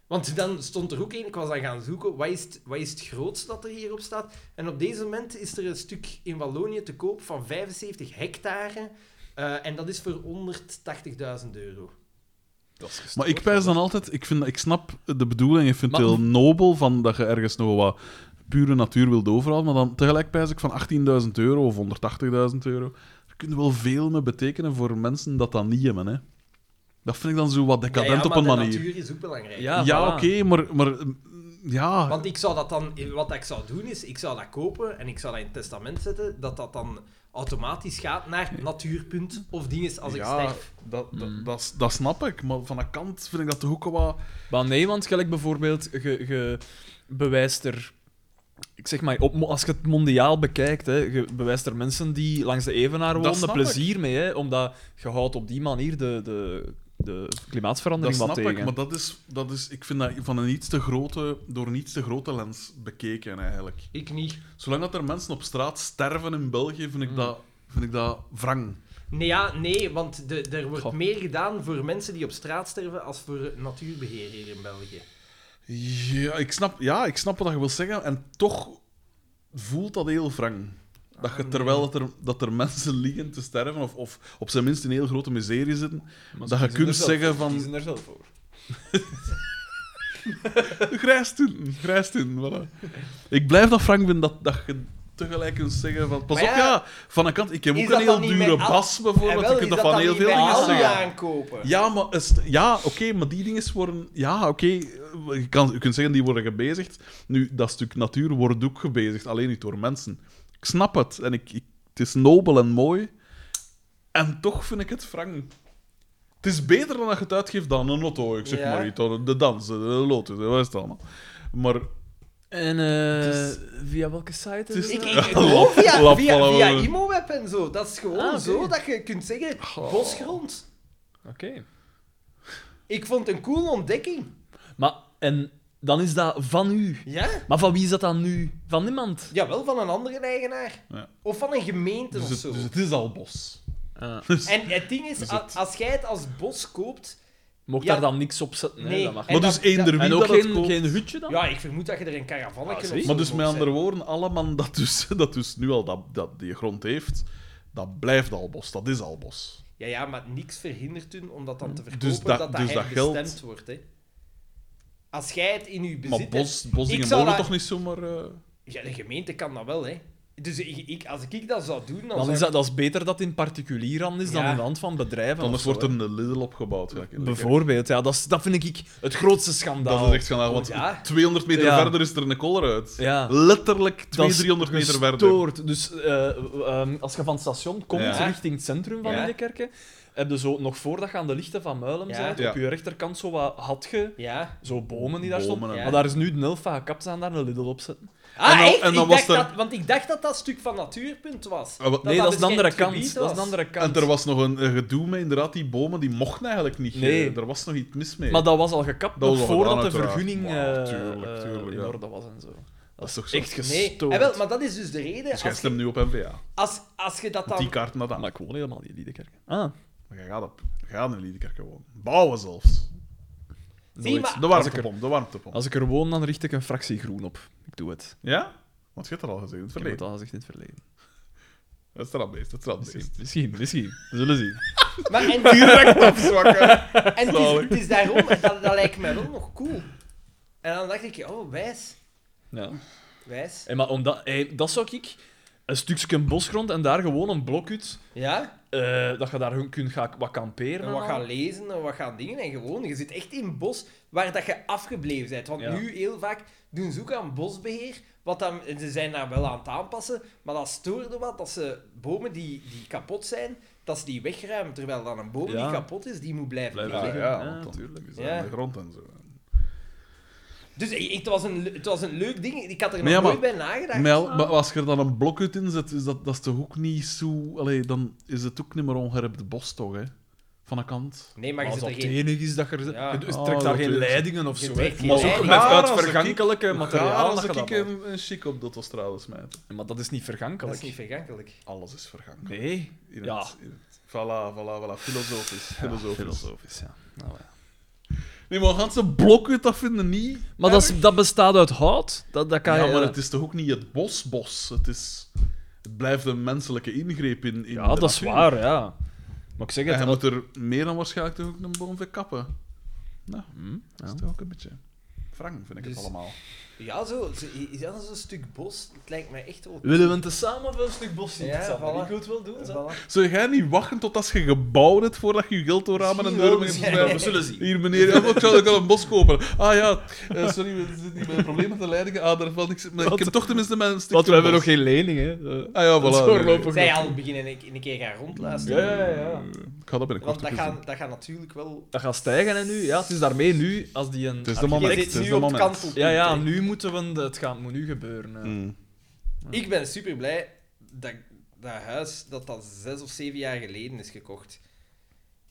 Speaker 1: Want dan stond er ook één, ik was aan gaan zoeken, wat is, het, wat is het grootste dat er hierop staat? En op deze moment is er een stuk in Wallonië te koop van 75 hectare. eh, en dat is voor 180.000 euro.
Speaker 3: Dat is gestoord.
Speaker 2: Maar ik pijs dan altijd, ik, vind, ik snap de bedoeling, ik vind het
Speaker 3: Maar-
Speaker 2: heel nobel van dat je ergens nog wat pure natuur wilt overhalen, maar dan tegelijk pijs ik van 18.000 euro of 180.000 euro. Daar kun je wel veel mee betekenen voor mensen dat dat niet hebben. Hè. Dat vind ik dan zo wat decadent
Speaker 1: Ja, ja,
Speaker 2: op een
Speaker 1: maar
Speaker 2: manier.
Speaker 1: de natuur is ook belangrijk.
Speaker 3: Ja,
Speaker 2: Ja,
Speaker 3: voilà.
Speaker 2: oké, maar, maar mm, ja,
Speaker 1: Want ik zou dat dan, wat ik zou doen is, ik zou dat kopen en ik zou dat in het testament zetten, dat dat dan automatisch gaat naar natuurpunt of dinges als ik
Speaker 2: ja
Speaker 1: sterf.
Speaker 2: Dat, dat,
Speaker 3: Mm.
Speaker 2: dat, s- dat snap ik, maar van de kant vind ik dat toch ook wel wat...
Speaker 3: Maar nee, want gelijk bijvoorbeeld, je je bewijst er... Ik zeg maar, op, mo- als je het mondiaal bekijkt, hè, je bewijst er mensen die langs de Evenaar wonen
Speaker 2: snap
Speaker 3: plezier mee, hè, omdat je houdt op die manier de, de, de
Speaker 2: Dat
Speaker 3: klimaatverandering
Speaker 2: snap
Speaker 3: wat tegen.
Speaker 2: ik, maar dat is, dat is, ik vind dat van een iets te grote, door een iets te grote lens bekeken eigenlijk.
Speaker 1: Ik niet.
Speaker 2: Zolang dat er mensen op straat sterven in België, vind ik dat, vind ik dat wrang.
Speaker 1: Nee, ja, nee want de, er wordt
Speaker 3: Goh.
Speaker 1: meer gedaan voor mensen die op straat sterven als voor natuurbeheer hier in België.
Speaker 2: Ja, ik snap, ja, ik snap wat je wil zeggen. En toch voelt dat heel wrang. Dat je, terwijl dat er, dat er mensen liggen te sterven, of, of op zijn minst in heel grote miserie zitten, dat je kunt zeggen
Speaker 3: Die
Speaker 2: van...
Speaker 3: zijn er zelf voor.
Speaker 2: Grijs toen, grijs toen, voilà. Ik blijf dat wrang vinden, dat, dat je tegelijk kunt zeggen van... Pas
Speaker 1: Maar
Speaker 2: op,
Speaker 1: ja,
Speaker 2: ja, van een kant, ik heb
Speaker 1: is
Speaker 2: ook een
Speaker 1: dat
Speaker 2: heel
Speaker 1: dan niet
Speaker 2: dure
Speaker 1: met al-
Speaker 2: bas,
Speaker 1: En
Speaker 2: bijvoorbeeld.
Speaker 1: wel,
Speaker 2: Je
Speaker 1: is
Speaker 2: kunt dat
Speaker 1: dat dan
Speaker 2: van heel
Speaker 1: niet
Speaker 2: veel
Speaker 1: bij
Speaker 2: dingen
Speaker 1: Aldi
Speaker 2: zeggen.
Speaker 1: aankopen?
Speaker 2: Ja, maar is het- ja, oké, maar die dingen worden. Ja, oké. je, kan, je kunt zeggen die worden gebezigd. Nu, dat stuk natuur wordt ook gebezigd, alleen niet door mensen. Ik snap het en ik, ik- het is nobel en mooi. En toch vind ik het wrang. Het is beter dan dat je het uitgeeft dan een auto, ik zeg
Speaker 1: Ja.
Speaker 2: maar iets. dan De dansen, de lotus, wat is het allemaal. Maar
Speaker 3: En eh, via welke site? is het?
Speaker 2: is-
Speaker 1: Ik,
Speaker 3: nou?
Speaker 1: ik, gewoon via,
Speaker 2: Lap,
Speaker 1: via,
Speaker 2: voilà,
Speaker 1: via
Speaker 2: we-
Speaker 1: Imoweb en zo. Dat is gewoon
Speaker 3: Ah, oké.
Speaker 1: zo dat je kunt zeggen, bosgrond.
Speaker 3: Oké.
Speaker 1: Ik vond het een coole ontdekking.
Speaker 3: Maar, en dan is dat van u.
Speaker 1: Ja?
Speaker 3: Maar van wie is dat dan nu? Van niemand?
Speaker 1: Jawel, van een andere eigenaar.
Speaker 2: Ja.
Speaker 1: Of van een gemeente
Speaker 2: dus
Speaker 1: of
Speaker 2: het,
Speaker 1: zo.
Speaker 2: dus het is al bos.
Speaker 1: En het ding is,
Speaker 2: Dus
Speaker 1: a-
Speaker 2: het-
Speaker 1: als jij het als bos koopt...
Speaker 3: Mocht
Speaker 1: Ja.
Speaker 3: daar dan niks op zetten? Nee,
Speaker 1: Nee.
Speaker 3: dat mag
Speaker 1: En
Speaker 2: Maar
Speaker 1: dat-
Speaker 2: dus eender
Speaker 1: dat-
Speaker 2: wie
Speaker 3: En
Speaker 2: dat
Speaker 3: ook
Speaker 2: het
Speaker 3: geen,
Speaker 2: koopt.
Speaker 3: geen hutje dan?
Speaker 1: Ja, ik vermoed dat je er een
Speaker 3: Ah,
Speaker 1: caravannetje
Speaker 3: zie.
Speaker 1: of zo
Speaker 2: Maar dus
Speaker 1: moet
Speaker 2: met andere
Speaker 1: zetten.
Speaker 2: woorden, allemaal dat dus, dat dus nu al dat, dat die grond heeft, dat blijft al bos. Dat is al bos.
Speaker 1: Ja, ja, maar niks verhindert hun om dat dan te verkopen,
Speaker 2: Dus
Speaker 1: dat
Speaker 2: dat-
Speaker 1: dat
Speaker 2: dus dat
Speaker 1: herbestemd
Speaker 2: geld-
Speaker 1: wordt. Hè. Als jij het in je bezit
Speaker 2: Maar
Speaker 1: hebt...
Speaker 2: bos, bosdingen
Speaker 1: Ik zou
Speaker 2: mogen
Speaker 1: dat-
Speaker 2: toch niet zomaar... eh,
Speaker 1: Ja, de gemeente kan dat wel, hè. Dus ik, ik- als ik dat zou doen, dan,
Speaker 3: Dan
Speaker 1: zou
Speaker 3: is
Speaker 1: ik-
Speaker 3: dat, dat is beter dat in particulier hand is dan
Speaker 1: Ja.
Speaker 3: in de hand van bedrijven.
Speaker 2: Anders
Speaker 3: of zo,
Speaker 2: wordt er
Speaker 3: hè.
Speaker 2: een Lidl opgebouwd. gelijk in Lekker.
Speaker 3: Bijvoorbeeld, ja, dat, is, dat vind ik het grootste schandaal.
Speaker 2: Dat is echt schandaal, want
Speaker 1: ja.
Speaker 2: 200 meter
Speaker 3: Ja.
Speaker 2: verder is er een koller uit.
Speaker 3: Ja.
Speaker 2: Letterlijk
Speaker 3: Dat
Speaker 2: 200,
Speaker 3: is
Speaker 2: 300 meter verder.
Speaker 3: gestoord. Dus eh, ehm, als je van het station komt
Speaker 2: Ja.
Speaker 3: richting het centrum van
Speaker 1: Ja.
Speaker 3: Indekerken, heb je zo, nog voordat je aan de lichten van Muilem
Speaker 1: Ja.
Speaker 3: bent,
Speaker 2: Ja.
Speaker 3: op je rechterkant zo wat had je
Speaker 1: Ja.
Speaker 3: zo bomen die daar stonden.
Speaker 2: Bomen en
Speaker 1: Ja.
Speaker 3: Maar daar is nu de Nelfa gekapt aan daar een Lidl op zetten.
Speaker 1: Ah,
Speaker 2: En dan-
Speaker 1: echt?
Speaker 2: en dan
Speaker 1: ik
Speaker 2: was
Speaker 1: dacht
Speaker 2: er-
Speaker 1: dat, want ik dacht dat dat stuk van Natuurpunt was.
Speaker 2: Ah, wat-
Speaker 3: Nee, dat is een andere
Speaker 1: beschermd
Speaker 3: kant.
Speaker 1: gebied
Speaker 3: Dat is een
Speaker 1: was.
Speaker 3: andere kant.
Speaker 2: En er was nog een, een gedoe mee, inderdaad, die bomen die mochten eigenlijk niet.
Speaker 3: Nee.
Speaker 2: eh, Er was nog iets mis mee.
Speaker 3: Maar dat was al gekapt
Speaker 2: Dat
Speaker 3: nog
Speaker 2: was al
Speaker 3: voordat
Speaker 2: gedaan,
Speaker 3: de
Speaker 2: uiteraard.
Speaker 3: vergunning
Speaker 2: Maar
Speaker 3: eh,
Speaker 2: tuurlijk,
Speaker 3: eh,
Speaker 2: tuurlijk,
Speaker 3: in
Speaker 2: ja.
Speaker 3: orde was en zo.
Speaker 2: Dat is toch zo.
Speaker 3: Echt
Speaker 1: Nee,
Speaker 3: gestoord.
Speaker 1: eh, wel, maar dat is dus de reden.
Speaker 2: Dus jij
Speaker 1: als, je,
Speaker 2: stemt nu op N-VA.
Speaker 1: als, als je dat dan...
Speaker 2: Die kaart naar dat.
Speaker 3: Ah, Maar ik woon helemaal niet in Liedekerk. Ah,
Speaker 2: Maar jij gaat, op, jij gaat in Liedekerk gewoon. Bouwen zelfs.
Speaker 1: Zie, maar-
Speaker 2: De warmtepomp, de warmtepomp.
Speaker 3: als ik er woon, dan richt ik een fractie groen op. Ik doe het.
Speaker 2: Ja? Want je hebt er al gezien in het
Speaker 3: Ik heb het
Speaker 2: verleden.
Speaker 3: al gezegd in het verleden.
Speaker 2: Het strandbeest, het strandbeest.
Speaker 3: Misschien, misschien. misschien. We zullen zien.
Speaker 1: Maar, en en
Speaker 2: Direct opzwakken.
Speaker 1: het, is, het is daarom, dat, dat lijkt mij wel nog cool. En dan dacht ik, oh, wijs.
Speaker 3: Ja.
Speaker 1: Wijs.
Speaker 3: Hey, maar omdat, hey, dat zou ik... Een stukje bosgrond en daar gewoon een blokhut.
Speaker 1: Ja?
Speaker 3: eh dat je daar hun- kunt gaan, wat kamperen.
Speaker 1: En
Speaker 3: en
Speaker 1: wat
Speaker 3: al.
Speaker 1: gaan lezen en wat gaan dingen. En gewoon, je zit echt in een bos waar dat je afgebleven bent. Want
Speaker 3: Ja.
Speaker 1: nu heel vaak doen ze ook aan bosbeheer. Wat dan, en ze zijn daar wel aan het aanpassen, maar dat stoorde wat dat ze bomen die, die kapot zijn, dat ze die wegruimen. Terwijl dan een boom
Speaker 3: Ja.
Speaker 1: die kapot is, die moet blijven,
Speaker 2: Ja,
Speaker 1: liggen.
Speaker 2: ja,
Speaker 3: Ja,
Speaker 2: want dan
Speaker 3: tuurlijk.
Speaker 2: is dat
Speaker 1: Ja.
Speaker 2: in de grond en zo.
Speaker 1: Dus ik, ik- het, was een, le- het was een leuk ding. Ik had er
Speaker 2: Nee,
Speaker 1: nog
Speaker 2: maar-
Speaker 1: nooit bij nagedacht.
Speaker 2: Maar, ja, maar als je er dan een blokhut in zet, is dat, dat is toch ook niet zo... Allee, dan is het ook niet meer ongeherpt bos, toch, hè? Van de kant.
Speaker 1: Nee, maar
Speaker 3: Maar
Speaker 1: je
Speaker 3: als
Speaker 1: zit
Speaker 3: dat
Speaker 1: er
Speaker 3: het
Speaker 1: geen...
Speaker 3: enige is dat je...
Speaker 1: Ja.
Speaker 3: Je
Speaker 2: Ah,
Speaker 3: trekt daar
Speaker 2: dat
Speaker 3: geen
Speaker 2: is-
Speaker 3: leidingen of
Speaker 1: Je
Speaker 3: zo.
Speaker 1: trekt
Speaker 3: hè.
Speaker 1: geen
Speaker 3: Maar ook
Speaker 1: leidingen.
Speaker 3: met
Speaker 2: Raar
Speaker 3: uit
Speaker 2: als ik-
Speaker 3: vergankelijke
Speaker 2: Raar
Speaker 3: materialen.
Speaker 2: als
Speaker 3: dat je
Speaker 2: ik
Speaker 3: dat
Speaker 2: een, een chic op de autostrade smijt.
Speaker 3: maakt. Maar dat is niet
Speaker 1: Dat
Speaker 3: vergankelijk.
Speaker 1: is niet vergankelijk.
Speaker 2: Alles is vergankelijk.
Speaker 3: Nee.
Speaker 2: In
Speaker 3: Ja.
Speaker 2: het- in het- Voilà, voilà, voilà. Filosofisch. Filosofisch.
Speaker 3: Filosofisch, ja. Nou, ja.
Speaker 2: Nee, maar gaan ze blokhut, dat vinden niet...
Speaker 3: Maar dat, is- dat bestaat uit hout. Dat, dat kan
Speaker 2: Ja,
Speaker 3: je...
Speaker 2: maar het is toch ook niet het bosbos. Het is... Het blijft een menselijke ingreep in, in
Speaker 3: ja,
Speaker 2: de
Speaker 3: dat is
Speaker 2: natuur.
Speaker 3: waar, ja. Maar ik zeg
Speaker 2: En
Speaker 3: het...
Speaker 2: hij
Speaker 3: dat-
Speaker 2: moet er meer dan waarschijnlijk toch ook een boom voor kappen. Nou,
Speaker 3: Hm,
Speaker 2: dat
Speaker 3: ja.
Speaker 2: is toch ook een beetje... Frank vind ik
Speaker 1: Dus-
Speaker 2: het allemaal.
Speaker 1: Ja, zo. zo- Is dat zo'n stuk bos? Het lijkt mij echt wel...
Speaker 3: Willen we het samen voor een stuk bos zien?
Speaker 1: Ja,
Speaker 3: Sander?
Speaker 1: voilà.
Speaker 3: Ik wil het wel doen, Sander.
Speaker 1: Voilà.
Speaker 2: Zou jij niet wachten tot als je gebouwd hebt voordat je je geld door ramen en
Speaker 1: Misschien wel,
Speaker 2: deuren mee moet
Speaker 1: misschien wel.
Speaker 2: blijven?
Speaker 1: We
Speaker 3: zullen zien.
Speaker 2: Hier, meneer, ja, maar ik zou ook al een bos kopen. Ah ja, eh, sorry, we zitten hier met een probleem met de leidingen. Ah, daar valt niks... Maar ik
Speaker 3: Wat-
Speaker 2: heb toch tenminste mijn stukje
Speaker 3: Want we hebben nog
Speaker 2: bos.
Speaker 3: geen lening, hè. Eh,
Speaker 2: Ah ja,
Speaker 3: Dat is
Speaker 2: voilà.
Speaker 3: voorlopig.
Speaker 1: Zij al beginnen een, een keer gaan rondluisteren.
Speaker 3: Ja, ja, ja.
Speaker 2: Ik ga dat binnenkort
Speaker 1: Want dat
Speaker 2: even doen.
Speaker 1: gaat dat gaat natuurlijk wel...
Speaker 3: Dat gaat stijgen, hè, nu. Ja, het is daarmee nu, als die een...
Speaker 2: Het is de
Speaker 1: Je
Speaker 2: moment.
Speaker 1: zit
Speaker 2: Het is
Speaker 1: nu
Speaker 2: de
Speaker 1: op het
Speaker 2: moment.
Speaker 1: kantelpunt.
Speaker 3: Ja, ja,
Speaker 1: hè.
Speaker 3: nu moeten we... de- Het gaat, moet nu gebeuren. hè.
Speaker 2: Mm.
Speaker 1: Ik ben super blij dat dat huis dat dat zes of zeven jaar geleden is gekocht.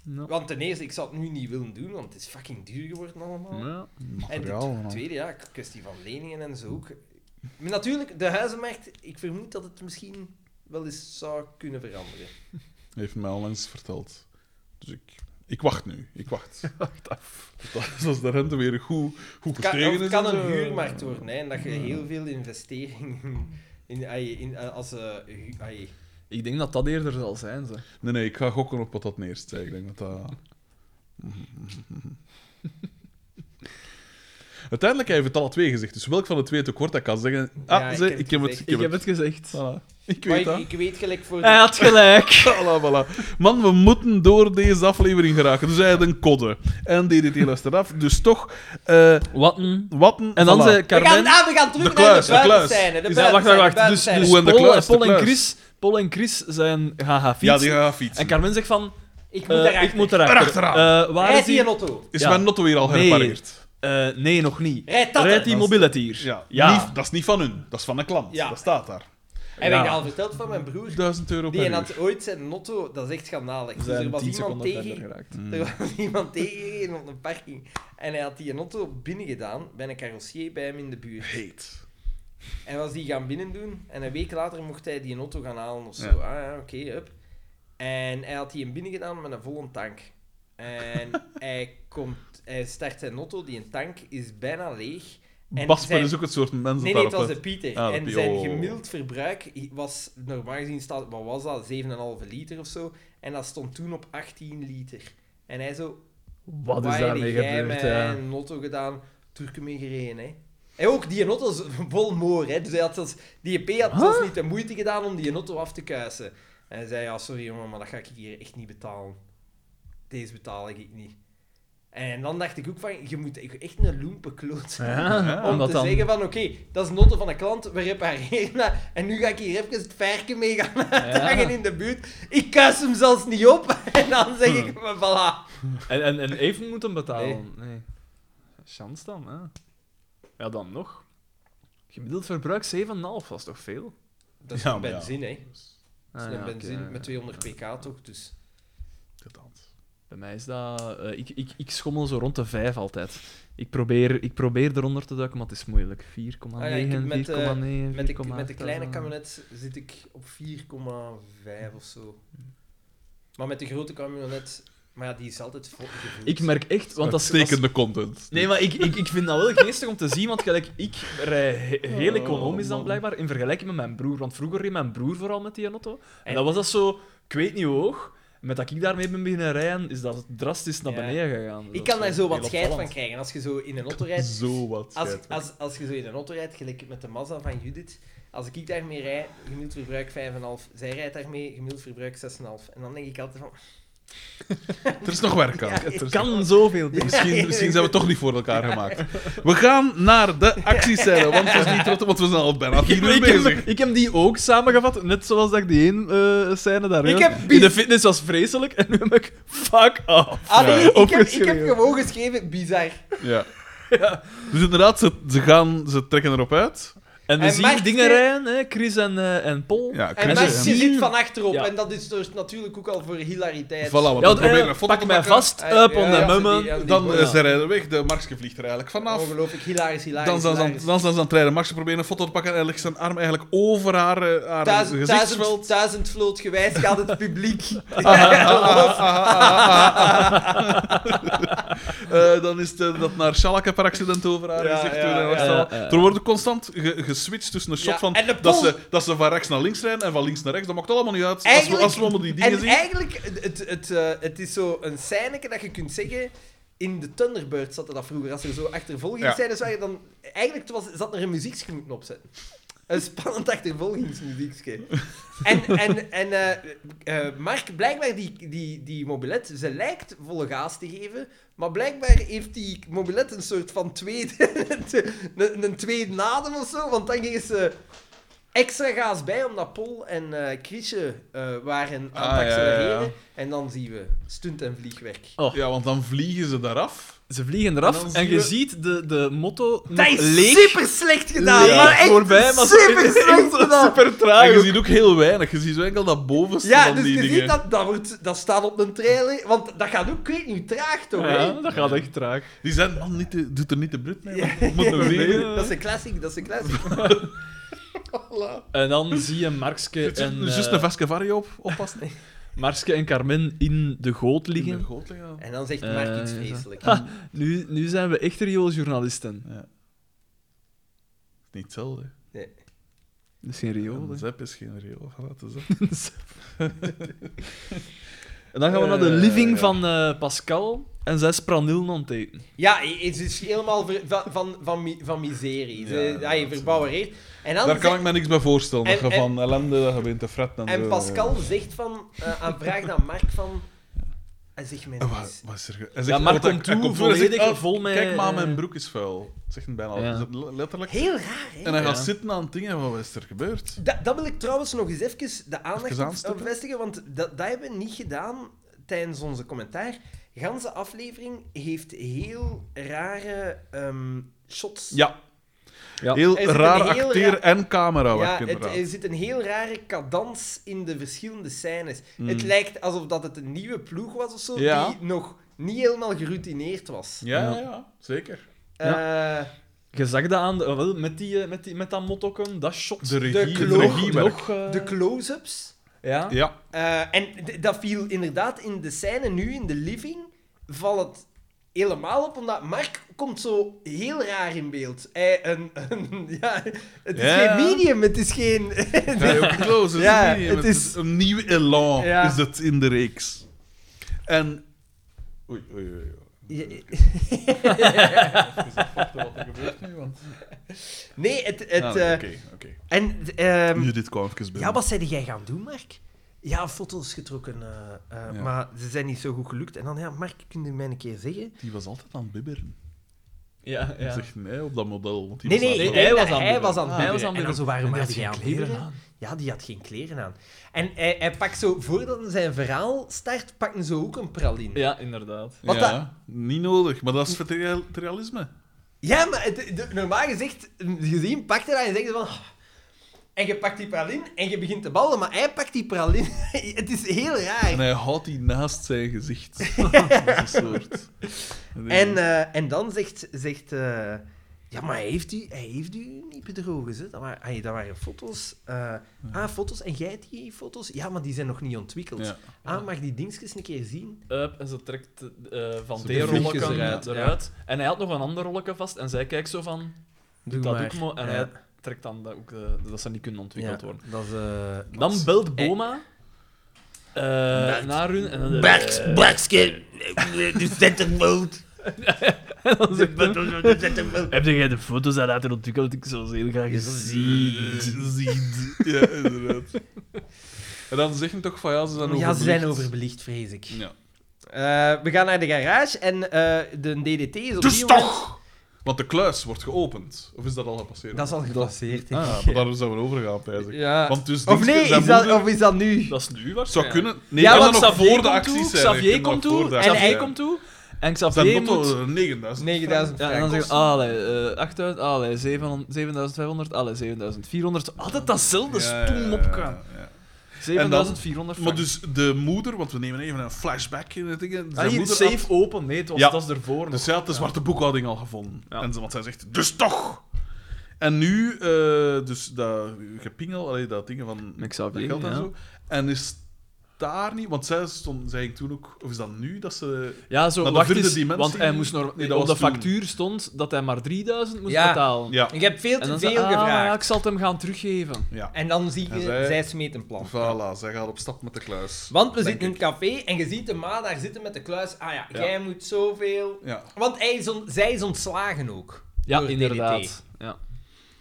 Speaker 3: Ja.
Speaker 1: Want ten eerste, ik zou het nu niet willen doen, want het is fucking duur geworden allemaal.
Speaker 3: Ja.
Speaker 1: En de
Speaker 2: Materiaal,
Speaker 1: tw-
Speaker 2: man.
Speaker 1: tweede, ja, kwestie van leningen en zo ook. Maar natuurlijk, de huizenmarkt, ik vermoed dat het misschien wel eens zou kunnen veranderen.
Speaker 2: heeft mij onlangs verteld. Dus ik, ik wacht nu. Ik wacht. Dat- Zoals de rente weer goed, goed
Speaker 1: Het kan,
Speaker 2: gestegen
Speaker 1: of
Speaker 2: is.
Speaker 1: het kan
Speaker 2: en
Speaker 1: een
Speaker 2: zo.
Speaker 1: huurmarkt worden, hè, en dat je heel veel investeringen in, in, ai- in, eh, als... eh, hu- ai.
Speaker 3: Ik denk dat dat eerder zal zijn, zeg.
Speaker 2: Nee, nee, ik ga gokken op wat dat neerst. zei. Ik denk dat dat... Uiteindelijk heeft het alle twee gezegd. Dus welk van de twee tekort dat kan zeggen... Ah,
Speaker 1: Ja, ik
Speaker 2: ze,
Speaker 1: heb het
Speaker 2: ik heb het...
Speaker 1: gezegd.
Speaker 2: Ik heb het.
Speaker 3: gezegd.
Speaker 2: Voilà. Ik
Speaker 1: Maar
Speaker 2: weet
Speaker 1: ik,
Speaker 2: dat.
Speaker 1: ik weet gelijk voor...
Speaker 3: Hij had gelijk.
Speaker 2: Voilà, voilà. Man, we moeten door deze aflevering geraken. Dus hij had een kodde. En DDT luistert af. Dus toch, eh
Speaker 3: Wat een...
Speaker 2: wat een...
Speaker 3: En dan
Speaker 2: voilà.
Speaker 3: zei
Speaker 1: We gaan,
Speaker 3: Carmen...
Speaker 1: ah, we gaan terug
Speaker 2: De kluis, de
Speaker 1: naar de
Speaker 2: kluis.
Speaker 1: buitenscène. De
Speaker 3: Is dat- wacht,
Speaker 1: buitenscène,
Speaker 3: wacht,
Speaker 1: de
Speaker 3: wacht. Dus, dus
Speaker 1: buitenscène.
Speaker 2: Hoe en de
Speaker 3: Paul,
Speaker 2: kluis, de
Speaker 3: Paul en
Speaker 2: kluis.
Speaker 3: Chris, Paul en Chris zijn gaan gaan
Speaker 2: Ja,
Speaker 3: fietsen.
Speaker 2: die gaan fietsen.
Speaker 3: En Carmen zegt van...
Speaker 1: Ik moet
Speaker 3: eh,
Speaker 1: daar
Speaker 3: ik moet erachter. Eh, waar
Speaker 1: Hij
Speaker 3: is
Speaker 1: is hier
Speaker 3: die...
Speaker 1: een auto.
Speaker 2: Is
Speaker 3: Ja.
Speaker 2: mijn notto weer al
Speaker 3: Nee.
Speaker 2: herpareerd?
Speaker 3: Eh, nee, nog niet.
Speaker 1: Rijd dat
Speaker 3: Rijdt
Speaker 1: er.
Speaker 3: die mobiliteer.
Speaker 2: Ja.
Speaker 3: Ja.
Speaker 2: Niet- dat is niet van hun, dat is van de klant.
Speaker 1: Ja.
Speaker 2: Dat staat daar.
Speaker 1: Heb ik
Speaker 3: Ja.
Speaker 1: dat al verteld van mijn broer?
Speaker 2: 1000 euro per
Speaker 1: Die
Speaker 2: uur.
Speaker 1: had ooit zijn notto, dat is echt schandalig. Dus er was iemand tegen,
Speaker 3: geraakt.
Speaker 2: Mm.
Speaker 1: er was iemand tegengereden op een parking. En hij had die notto binnengedaan bij een carrossier bij hem in de buurt.
Speaker 2: Heet.
Speaker 1: En was die gaan binnen doen en een week later mocht hij die notto gaan halen of zo.
Speaker 2: Ja.
Speaker 1: Ah ja, oké, hup. En hij had die hem binnengedaan met een volle tank. En hij, komt, hij start zijn notto, die een tank is bijna leeg. En
Speaker 2: Basper
Speaker 1: zijn-
Speaker 2: is ook het soort mens
Speaker 1: Nee, nee,
Speaker 2: dat
Speaker 1: het was
Speaker 2: daarop
Speaker 1: de
Speaker 2: let.
Speaker 1: Pieter.
Speaker 2: Ah, de
Speaker 1: en
Speaker 2: Pie-
Speaker 1: zijn
Speaker 2: oh.
Speaker 1: gemiddeld verbruik was normaal gezien, staat, wat was dat, 7,5 liter of zo. En dat stond toen op 18 liter. En hij zo,
Speaker 3: Wat
Speaker 1: "Wai,
Speaker 3: is daarmee
Speaker 1: jij
Speaker 3: gebeurd?
Speaker 1: met
Speaker 3: ja.
Speaker 1: een notto gedaan, Turken mee gereden, hè. En ook, die notto is vol moor, hè. Dus hij had zelfs, die EP had zelfs niet de moeite gedaan om die notto af te kuisen. En hij zei, ja, sorry jongen, maar dat ga ik hier echt niet betalen. Deze betaal ik niet. En dan dacht ik ook van, je moet echt een loempe kloot zijn
Speaker 3: Ja,
Speaker 1: om
Speaker 3: omdat
Speaker 1: te
Speaker 3: dan...
Speaker 1: zeggen van, oké, dat is notte van een klant, we repareren dat, en nu ga ik hier even het verken mee gaan uitdagen in de buurt. Ik kuis hem zelfs niet op, en dan zeg
Speaker 3: Hm.
Speaker 1: ik, me, voilà.
Speaker 3: En, en, en even moeten betalen. Nee. Chance dan, hè. Ja, dan nog. Gemiddeld verbruik 7,5 was toch veel?
Speaker 1: Dat is
Speaker 2: Ja,
Speaker 1: een
Speaker 2: maar ja.
Speaker 1: benzine, hè. Dat is
Speaker 3: Ah,
Speaker 1: een
Speaker 3: ja, oké,
Speaker 1: benzine
Speaker 3: ja, ja.
Speaker 1: Dus met 200 pk toch, dus...
Speaker 3: Bij mij is dat... eh, ik, ik, ik schommel zo rond de 5 altijd. Ik probeer, ik probeer eronder te duiken, maar het is moeilijk. 4,9, 4,9, 4,8.
Speaker 1: Ah ja, ik heb met, eh, Met de, met de
Speaker 3: dat
Speaker 1: kleine
Speaker 3: is, eh,
Speaker 1: camionet zit ik op 4,5 of zo. Maar met de grote camionet, maar ja, die is altijd vol gevuld.
Speaker 3: Ik merk echt... Want dat is, dat is-
Speaker 2: Uitstekende content.
Speaker 3: Nee, maar ik, ik, ik vind dat wel geestig om te zien, want gelijk, ik rij he- heel
Speaker 1: Oh,
Speaker 3: economisch dan blijkbaar in vergelijking met mijn broer. Want vroeger reed mijn broer vooral met die auto. En dan was dat zo, ik weet niet hoe hoog. Met dat ik daarmee ben beginnen rijden, is dat drastisch naar
Speaker 1: Ja.
Speaker 3: beneden gegaan.
Speaker 1: Ik kan daar zo wat scheid van
Speaker 3: krijgen.
Speaker 1: krijgen als je zo in een auto rijdt.
Speaker 2: Zo wat.
Speaker 1: Als, als, als je zo in een auto rijdt, gelijk met de Mazda van Judith, als ik daarmee rijd, gemiddeld verbruik 5,5. Zij rijdt daarmee, gemiddeld verbruik 6,5. En dan denk ik altijd van...
Speaker 2: Er is nog werk aan. Er is
Speaker 3: Het
Speaker 2: nog-
Speaker 3: kan zoveel dingen.
Speaker 2: Misschien, misschien zijn we toch niet voor elkaar gemaakt. We gaan naar de actiecellen, want het is niet trots, want we zijn al bijna vier uur
Speaker 3: Ik heb,
Speaker 2: bezig.
Speaker 3: ik heb die ook samengevat, net zoals dat ik die één eh scène daar
Speaker 1: Ik
Speaker 3: had.
Speaker 1: heb
Speaker 3: In de
Speaker 1: bies-
Speaker 3: fitness was vreselijk en nu heb ik fuck off.
Speaker 1: Ah nee, ik, heb, ik heb
Speaker 3: opgeschreven.
Speaker 1: gewoon geschreven, bizar.
Speaker 2: Ja. Dus inderdaad, ze, ze, gaan, ze trekken erop uit.
Speaker 3: En we
Speaker 1: En
Speaker 3: zien
Speaker 1: Mark-
Speaker 3: dingen rijden, hè, Chris en, eh, en Paul.
Speaker 2: Ja,
Speaker 1: En
Speaker 2: Chris-
Speaker 3: maar-
Speaker 1: Max je
Speaker 3: zien-
Speaker 1: zit van achterop.
Speaker 3: Ja.
Speaker 1: En dat is dus natuurlijk ook al voor hilariteit.
Speaker 2: Voilà, want
Speaker 3: Ja,
Speaker 2: dan
Speaker 3: want, eh,
Speaker 2: proberen we een foto te
Speaker 3: pak mij
Speaker 2: maken.
Speaker 3: vast,
Speaker 1: Eh,
Speaker 3: up on
Speaker 1: ja,
Speaker 3: the
Speaker 1: ja,
Speaker 3: moment.
Speaker 1: die- ja, die-
Speaker 2: Dan eh,
Speaker 1: ja.
Speaker 2: ze rijden weg, de Marske vliegt er eigenlijk vanaf.
Speaker 1: Ongelooflijk, hilarisch, hilarisch.
Speaker 2: Dan zijn ze aan-
Speaker 1: hilarisch.
Speaker 2: dan zijn ze aan het rijden. Marske probeert een foto te pakken en legt zijn arm eigenlijk over haar, eh, haar
Speaker 1: Duizend,
Speaker 2: gezichtsveld. Ah,
Speaker 1: duizend, duizend vloot gewijs gaat het publiek.
Speaker 2: Eh, dan is het eh, dat naar Schalke per accident over haar
Speaker 1: Ja,
Speaker 2: gezicht
Speaker 1: ja,
Speaker 2: doen en
Speaker 1: ja,
Speaker 2: wat
Speaker 3: ja,
Speaker 2: dan.
Speaker 3: ja, ja.
Speaker 2: Er wordt constant ge- geswitcht tussen een shot
Speaker 1: Ja,
Speaker 2: van
Speaker 1: en de
Speaker 2: dat,
Speaker 1: pol-
Speaker 2: ze, dat ze van rechts naar links rijden en van links naar rechts. Dat maakt allemaal niet uit. Als we,
Speaker 1: Eigenlijk-
Speaker 2: als we allemaal die dingen
Speaker 1: en
Speaker 2: zien.
Speaker 1: eigenlijk, het, het, het, eh, het is zo een scèneke dat je kunt zeggen... In de Thunderbird zat dat vroeger. Als er zo
Speaker 2: Ja.
Speaker 1: achtervolgingscènes waren, dan... Eigenlijk was, zat er een muziekje moeten opzetten. Een spannend achtervolgingsmuziekje. En, en, en eh, eh, Mark, blijkbaar die, die, die mobilet, ze lijkt volle gaas te geven, maar blijkbaar heeft die mobilet een soort van tweede, een, een tweede adem of zo, want dan gingen ze extra gaas bij, omdat Paul en eh Chrisje eh, waren aan
Speaker 2: Ah,
Speaker 1: het
Speaker 2: ja, ja, ja.
Speaker 1: accelereren. En dan zien we stunt en vliegwerk.
Speaker 2: Ja, want dan vliegen ze daaraf.
Speaker 3: Ze vliegen
Speaker 2: En dan
Speaker 3: eraf en,
Speaker 2: zien
Speaker 3: je
Speaker 2: we-
Speaker 3: ziet de, de motto
Speaker 1: Dat
Speaker 3: nog
Speaker 1: is
Speaker 3: leeg,
Speaker 1: super slecht gedaan,
Speaker 3: leeg
Speaker 1: maar echt
Speaker 3: voorbij, maar zo-
Speaker 1: super slecht gedaan.
Speaker 3: super
Speaker 2: En je
Speaker 3: traag.
Speaker 2: ziet ook heel weinig. Je ziet zo enkel dat bovenste
Speaker 1: Ja,
Speaker 2: van
Speaker 1: dus
Speaker 2: die
Speaker 1: je
Speaker 2: dingen.
Speaker 1: ziet dat, dat, wordt, dat staat op een trailer, want dat gaat ook, ik weet niet, traag toch, hè?
Speaker 3: Ja, dat gaat echt traag.
Speaker 2: Die zijn, man, niet de- doet er niet de Brit mee.
Speaker 1: Ja.
Speaker 2: man. Moet hem zien.
Speaker 3: Ja.
Speaker 1: Dat is een classic, dat is een classic.
Speaker 3: En dan zie je Markske
Speaker 2: Zit
Speaker 3: en,
Speaker 2: er Just
Speaker 3: eh,
Speaker 2: een Vascavari op, oppassen. In
Speaker 3: Markske en Carmen in de goot
Speaker 2: de
Speaker 3: liggen.
Speaker 2: goot liggen.
Speaker 1: En dan zegt Mark iets
Speaker 3: Eh,
Speaker 1: vreselijk.
Speaker 3: Nu, nu zijn we echt riooljournalisten.
Speaker 2: Niet hetzelfde.
Speaker 3: Dat is geen riool,
Speaker 2: Een
Speaker 3: hè.
Speaker 2: zep is geen riool. Voilà, het is dat.
Speaker 3: En dan gaan we naar de
Speaker 2: Eh,
Speaker 3: living
Speaker 2: ja.
Speaker 3: van eh, Pascal. En zij is pranillen aan het eten.
Speaker 1: Ja, het is dus helemaal ver- van, van, van, mi- van miserie. Ze,
Speaker 2: Ja,
Speaker 1: hij
Speaker 2: dat is-
Speaker 1: verbouwereert. En, dan
Speaker 2: Daar kan
Speaker 1: zegt-
Speaker 2: ik eh, me niks bij voorstellen. Dat
Speaker 1: En-
Speaker 2: je
Speaker 1: en-
Speaker 2: van ellende dat je bent te fretten.
Speaker 1: en
Speaker 2: zo.
Speaker 1: Pascal zegt van, eh aan vraag aan Mark van... Hij zegt mij
Speaker 2: En
Speaker 1: niks.
Speaker 2: Oh, Wat, wat is er... ge- Hij
Speaker 3: Ja,
Speaker 2: zegt-
Speaker 3: Mark
Speaker 2: wat hij-
Speaker 3: komt
Speaker 2: hij
Speaker 3: toe,
Speaker 2: en hij
Speaker 3: volledig
Speaker 2: "Ah,
Speaker 3: vol met...
Speaker 2: Kijk maar, mijn broek is vuil. Zegt hem bijna
Speaker 3: Ja.
Speaker 2: is dat le- letterlijk.
Speaker 1: Heel raar, hè?
Speaker 2: En hij gaat
Speaker 3: Ja.
Speaker 2: zitten aan het ding en wat is er gebeurd?
Speaker 1: Da- dat wil ik trouwens nog eens even de aandacht
Speaker 2: Even
Speaker 1: op-
Speaker 2: aanstippen.
Speaker 1: op vestigen, want dat, dat hebben we niet gedaan tijdens onze commentaar. De ganse aflevering heeft heel rare ehm, shots.
Speaker 2: Ja.
Speaker 3: Ja.
Speaker 2: Heel
Speaker 1: Er zit een
Speaker 2: raar
Speaker 1: heel
Speaker 2: acteer-
Speaker 1: raar-
Speaker 2: en camerawerk,
Speaker 1: Ja, het,
Speaker 2: inderdaad.
Speaker 1: er zit een heel rare cadans in de verschillende scènes. Het lijkt alsof dat het een nieuwe ploeg was of zo,
Speaker 2: Mm. Ja.
Speaker 1: die nog niet helemaal geroutineerd was.
Speaker 2: Ja, ja, ja, zeker.
Speaker 1: Eh,
Speaker 3: Je zag dat aan... de- eh, wel, met, die, eh, met, die, met dat mottoken, dat shot.
Speaker 2: De regie, het
Speaker 1: kloof-
Speaker 2: regiewerk.
Speaker 3: nog, eh,
Speaker 1: de close-ups.
Speaker 3: ja.
Speaker 2: Ja,
Speaker 1: Eh, en d- dat viel inderdaad in de scène nu, in de living, valt het helemaal op, omdat Mark komt zo heel raar in beeld. Hij, een, een- ja, het is
Speaker 2: Ja.
Speaker 1: geen medium, het is geen...
Speaker 2: hij ook close.
Speaker 1: Ja,
Speaker 2: Ja, het,
Speaker 1: het
Speaker 2: is een nieuw elan,
Speaker 1: Ja.
Speaker 2: is het in de reeks. En... Oei, oei, oei. oei. Even wachten wat er gebeurt nu, want...
Speaker 1: nee, het... het
Speaker 2: Ah,
Speaker 1: eh,
Speaker 2: nee, Oké, oké.
Speaker 1: En... ehm,
Speaker 2: Nu dit kwam even binnen.
Speaker 1: ja, wat zei jij gaan doen, Mark? Ja, foto's getrokken, eh, eh,
Speaker 2: Ja.
Speaker 1: maar ze zijn niet zo goed gelukt. En dan, ja, Mark, kun je mij een keer zeggen?
Speaker 2: Die was altijd aan het bibberen.
Speaker 3: Ja, ja.
Speaker 2: Ja. Zeg nee op dat model. Want die
Speaker 1: Nee,
Speaker 2: was
Speaker 1: nee,
Speaker 2: daar
Speaker 3: nee,
Speaker 2: wel-
Speaker 3: hij was aan
Speaker 1: hij
Speaker 3: het
Speaker 1: was aan
Speaker 3: bibberen.
Speaker 1: het
Speaker 3: Hij was
Speaker 1: bibberen. En dan
Speaker 3: aan het bibberen.
Speaker 1: zo, waarom had jij aan het bibberen?
Speaker 3: aan.
Speaker 1: Ja, die had geen kleren aan. En hij, hij pakt zo, voordat hij zijn verhaal start, pakt hij zo ook een praline.
Speaker 3: Ja, inderdaad.
Speaker 1: Wat
Speaker 2: ja, niet nodig, maar dat is het real- het realisme.
Speaker 1: Ja, maar het, de- normaal gezegd, gezien, pakt hij dat en zegt van... "Ah, En je pakt die pralin en je begint te ballen, maar hij pakt die pralin. het is heel raar.
Speaker 2: En hij houdt die naast zijn gezicht. Dat is een soort...
Speaker 1: En,
Speaker 2: Hmm.
Speaker 1: eh, en dan zegt... zegt eh, ja, maar hij heeft u, hij heeft u niet bedrogen. Ze. Dat, waren, ay, dat waren foto's. eh, Ah, foto's. En jij die foto's? Ja, maar die zijn nog niet ontwikkeld.
Speaker 2: Ja.
Speaker 1: Ah, mag die dingetjes een keer zien?
Speaker 3: Up, en ze trekt eh, van
Speaker 2: Ze
Speaker 3: die
Speaker 2: vliegen
Speaker 3: rolletje
Speaker 1: ze
Speaker 3: eruit.
Speaker 1: eruit,
Speaker 3: En hij had nog een ander rolletje vast en zij kijkt zo van...
Speaker 1: Doe
Speaker 3: dat
Speaker 1: maar.
Speaker 3: ook maar. En
Speaker 1: Ja.
Speaker 3: hij trekt dan dat, ook, eh, dat ze niet kunnen ontwikkeld worden.
Speaker 1: dat is... eh, dat
Speaker 3: Dan
Speaker 1: is-
Speaker 3: belt Boma eh, naar hun en dan...
Speaker 14: Blacks,
Speaker 3: eh,
Speaker 14: blackskin, de centerfold.
Speaker 3: en dan zegt hij,
Speaker 14: De centerfold.
Speaker 3: Heb jij de foto's al laten ontwikkeld? Ik zou ze heel graag eens zien.
Speaker 2: Ziet. Ja, inderdaad. En dan zeggen toch van ja, ze zijn
Speaker 1: Ja, ze zijn
Speaker 2: overbelicht.
Speaker 1: overbelicht, vrees ik.
Speaker 2: Ja.
Speaker 1: Eh, we gaan naar de garage en eh, de DDT is op
Speaker 2: Dus
Speaker 1: die
Speaker 2: toch! Want de kluis wordt geopend. Of is dat al gepasseerd?
Speaker 1: Dat is al gepasseerd, denk
Speaker 2: Ah,
Speaker 1: ik.
Speaker 2: maar daar zijn we over gaan, pijs ik.
Speaker 1: Ja.
Speaker 2: Want dus
Speaker 1: Of nee,
Speaker 2: zijn
Speaker 1: is dat,
Speaker 2: moeder-
Speaker 1: of is dat nu?
Speaker 3: Dat is nu
Speaker 2: Zou
Speaker 3: waarschijnlijk.
Speaker 2: kunnen... Nee,
Speaker 1: Ja,
Speaker 2: dat
Speaker 1: want
Speaker 2: kan nog
Speaker 3: Xavier
Speaker 2: voor de
Speaker 3: komt
Speaker 2: actie
Speaker 3: toe,
Speaker 2: zijn.
Speaker 3: Xavier
Speaker 2: Dat kan
Speaker 3: komt
Speaker 2: nog voor
Speaker 3: toe,
Speaker 2: de
Speaker 3: en
Speaker 2: actie
Speaker 3: hij
Speaker 2: zijn.
Speaker 3: komt toe. En
Speaker 2: Zijn
Speaker 3: Xavier moet...
Speaker 2: motto, eh, 9000.
Speaker 1: 9000
Speaker 3: Ja, en dan zeggen allee, eh 8000, allee, 700, 7500, allee, 7400. Altijd datzelfde
Speaker 2: Ja,
Speaker 3: stoem
Speaker 2: ja,
Speaker 3: opgaan.
Speaker 2: ja, ja.
Speaker 3: 7400
Speaker 2: Maar dus de moeder, want we nemen even een flashback in het ding. hè. Zijn
Speaker 3: Ah, hier,
Speaker 2: moeder
Speaker 3: safe
Speaker 2: had-
Speaker 3: open, nee, het was,
Speaker 2: Ja.
Speaker 3: dat is ervoor. nog.
Speaker 2: dus zij had de zwarte boekhouding al gevonden.
Speaker 3: Ja.
Speaker 2: En ze- want zij zegt, dus toch! En nu, eh, dus dat gepingel, allee, dat ding van
Speaker 3: Met Xavier,
Speaker 2: dat geld en
Speaker 3: ja.
Speaker 2: zo. En is daar niet, want zij stond, zij ging toen ook, of is dat nu dat ze.
Speaker 3: Ja, zo,
Speaker 2: Maar de
Speaker 3: wacht
Speaker 2: vierde
Speaker 3: eens,
Speaker 2: dimensie-
Speaker 3: want hij moest nog,
Speaker 2: Nee, dat
Speaker 3: op de
Speaker 2: was toen.
Speaker 3: factuur stond dat hij maar 3000 moest
Speaker 1: Ja.
Speaker 3: betalen.
Speaker 2: Ja,
Speaker 1: Ik heb veel
Speaker 3: En
Speaker 1: te
Speaker 3: dan zei
Speaker 1: veel
Speaker 3: hij, ah, ja,
Speaker 1: gevraagd.
Speaker 3: ik zal het hem gaan teruggeven.
Speaker 2: ja.
Speaker 1: En dan zie je,
Speaker 2: En zij-
Speaker 1: zij smeet een plan.
Speaker 2: Voilà, zij gaat op stap met de kluis.
Speaker 1: Want we
Speaker 2: Denk
Speaker 1: zitten in
Speaker 2: ik.
Speaker 1: het café en je ziet de ma daar zitten met de kluis. Ah ja,
Speaker 2: Ja.
Speaker 1: jij moet zoveel.
Speaker 2: Ja.
Speaker 1: Want hij is on- zij is ontslagen ook.
Speaker 3: Ja,
Speaker 1: Door het DDT.
Speaker 3: inderdaad. Ja.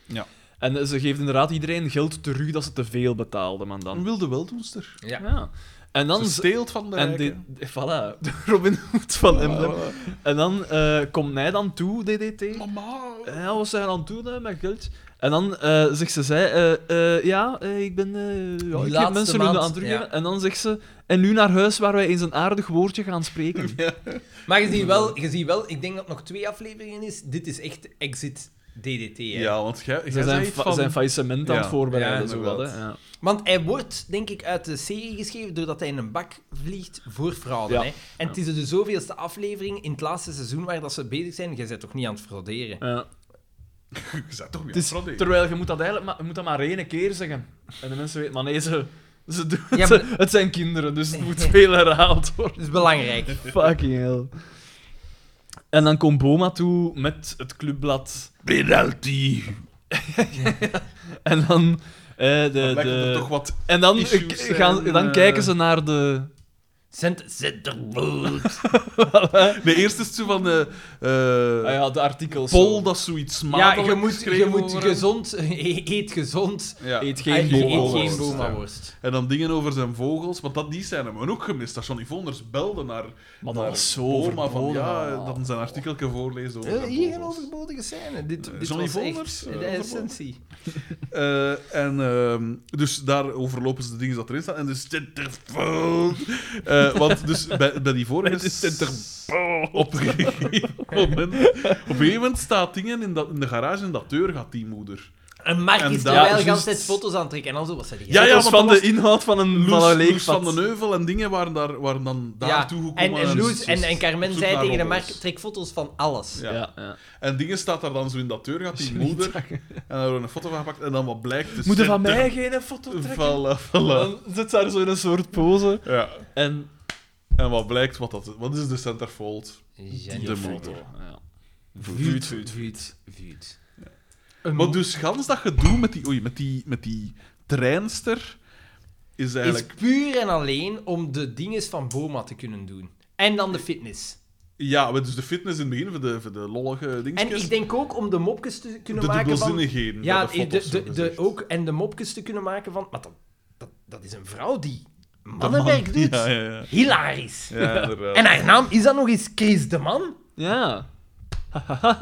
Speaker 2: Ja.
Speaker 3: En eh, ze geeft inderdaad iedereen geld terug dat ze te veel betaalde, man
Speaker 2: Een
Speaker 3: dan.
Speaker 2: wilde weldoenster.
Speaker 1: Ja.
Speaker 3: Ja. En dan...
Speaker 2: Ze
Speaker 3: z-
Speaker 2: steelt van de
Speaker 3: en
Speaker 2: rijken.
Speaker 3: dit- voilà, de Robin Hood van
Speaker 2: Voilà,
Speaker 3: Emden.
Speaker 2: voilà.
Speaker 3: En dan eh, komt hij dan toe, DDT.
Speaker 2: Mama.
Speaker 3: Eh, Ja, wat zijn aan het doen hè, eh, met geld? En dan eh, zegt ze, zij, eh, eh, ja, eh, ik ben eh, ja, ik heb
Speaker 1: laatste
Speaker 3: mensen hun
Speaker 1: maand,
Speaker 3: aan het teruggeven.
Speaker 1: ja.
Speaker 3: En dan zegt ze, en nu naar huis waar wij eens een aardig woordje gaan spreken.
Speaker 1: Maar je ziet, wel, je ziet wel, ik denk dat het nog twee afleveringen is. Dit is echt exit DDT. Hè.
Speaker 2: Ja, want jij, jij
Speaker 3: Ze zijn,
Speaker 2: zei
Speaker 3: fa-
Speaker 2: van...
Speaker 3: zijn faillissement aan het
Speaker 2: Ja,
Speaker 3: voorbereiden.
Speaker 2: ja,
Speaker 3: zo wat, hè.
Speaker 2: inderdaad.
Speaker 3: Ja.
Speaker 1: Want hij wordt, denk ik, uit de serie geschreven doordat hij in een bak vliegt voor fraude.
Speaker 3: Ja.
Speaker 1: Hè? En het is de zoveelste aflevering in het laatste seizoen waar dat ze bezig zijn. Jij bent toch niet aan het frauderen?
Speaker 3: Ja.
Speaker 2: Je bent toch weer
Speaker 3: Het is-
Speaker 2: aan het frauderen.
Speaker 3: terwijl je moet dat eigenlijk maar, je moet dat maar één keer zeggen. En de mensen weten, maar nee, ze, ze doen,
Speaker 1: Ja,
Speaker 3: ze-
Speaker 1: maar-
Speaker 3: het zijn kinderen, dus het moet veel herhaald worden.
Speaker 1: Dat is belangrijk.
Speaker 3: Fucking hell. En dan komt Boma toe met het clubblad.
Speaker 2: Penalty.
Speaker 3: En dan... eh, de,
Speaker 2: Dan blijkt dat
Speaker 3: de-
Speaker 2: er toch wat...
Speaker 3: En dan,
Speaker 2: issues
Speaker 3: eh,
Speaker 2: zijn,
Speaker 3: gaan, dan
Speaker 2: eh.
Speaker 3: kijken ze naar de.
Speaker 1: Cent- Centerfold.
Speaker 2: De eerste is zo van... eh eh,
Speaker 3: Ah ja, de artikels.
Speaker 2: Paul dat zoiets
Speaker 1: Ja,
Speaker 2: maakt.
Speaker 1: je moet, je moet gezond... e- Eet gezond.
Speaker 2: Ja.
Speaker 3: Eet
Speaker 1: Ah,
Speaker 3: geen
Speaker 1: je
Speaker 3: bomen.
Speaker 1: eet geen
Speaker 2: bomaworst, ja.
Speaker 1: bomaworst.
Speaker 2: En dan dingen over zijn vogels, want dat, die zijn hem ook gemist. Dat Johnny Vonders belde naar,
Speaker 3: Maar dat
Speaker 2: naar
Speaker 3: was zo
Speaker 2: Boma van
Speaker 3: overbodig.
Speaker 2: ja, dat hij zijn artikelje voorlezen over
Speaker 1: Eh,
Speaker 2: zijn
Speaker 1: Hier een
Speaker 2: vogels.
Speaker 1: overbodige scène. Dit,
Speaker 2: Eh,
Speaker 1: dit
Speaker 2: Johnny
Speaker 1: was echt
Speaker 2: Volvers, eh,
Speaker 1: de
Speaker 2: overbodig.
Speaker 1: essentie.
Speaker 2: Eh, en ehm, dus daar overlopen ze de dingen dat erin staan. En de Centerfold. Eh, want dus bij, bij die vorige...
Speaker 3: Het is
Speaker 2: Centerfold. Op een gegeven moment, op een gegeven moment staat dingen in, dat, in de garage en dat deur gaat die moeder.
Speaker 1: En Mark
Speaker 2: En
Speaker 1: is
Speaker 2: daar
Speaker 1: terwijl wel
Speaker 2: juist-
Speaker 1: de hele tijd foto's aantrekken. En dan zo was dat
Speaker 2: Ja,
Speaker 3: Ja,
Speaker 2: ja,
Speaker 3: ja,
Speaker 2: want
Speaker 3: van
Speaker 2: dat
Speaker 3: de inhoud van een, van een
Speaker 2: Loes, Loes
Speaker 3: leegvat.
Speaker 2: van den Heuvel en dingen waren, daar, waren dan daartoe
Speaker 1: en,
Speaker 2: gekomen.
Speaker 1: en, Loes, en,
Speaker 2: dus
Speaker 1: en Carmen
Speaker 2: op zoek
Speaker 1: zei
Speaker 2: naar
Speaker 1: tegen de Mark,
Speaker 2: roddels.
Speaker 1: trek foto's van alles.
Speaker 2: Ja.
Speaker 3: Ja, ja.
Speaker 2: En dingen staat daar dan zo in dat deur, gaat die moeder. En daar hebben we een foto van gepakt. En dan wat blijkt. Dus
Speaker 3: Moet er van mij geen foto trekken?
Speaker 2: Voilà, voilà.
Speaker 3: Dan zit ze daar zo in een soort pose.
Speaker 2: Ja.
Speaker 3: En.
Speaker 2: En wat blijkt, wat, dat, wat is de centerfold? De motor.
Speaker 3: Ja.
Speaker 2: Vuut, vuut.
Speaker 1: vuut, vuut.
Speaker 2: Maar dus gans dat gedoe met die, oei, met die, met die treinster is
Speaker 1: Is
Speaker 2: eigenlijk...
Speaker 1: puur en alleen om de dinges van Boma te kunnen doen. En dan de fitness.
Speaker 2: Ja, we- dus de fitness in het begin, voor de, voor de lollige dingetjes.
Speaker 1: En ik denk ook om de mopjes te kunnen
Speaker 2: De
Speaker 1: maken van...
Speaker 2: dubbelzinnigheden.
Speaker 1: Ja,
Speaker 2: bij
Speaker 1: de,
Speaker 2: foto's,
Speaker 1: de, de,
Speaker 2: zogezegd.
Speaker 1: ook, en de mopjes te kunnen maken van... Maar dat, dat, dat is een vrouw die
Speaker 2: De man.
Speaker 1: mannenwerk doet.
Speaker 2: Ja, ja, ja.
Speaker 1: Hilarisch.
Speaker 2: ja inderdaad.
Speaker 1: En haar naam is dan nog eens Chris de Man.
Speaker 3: ja.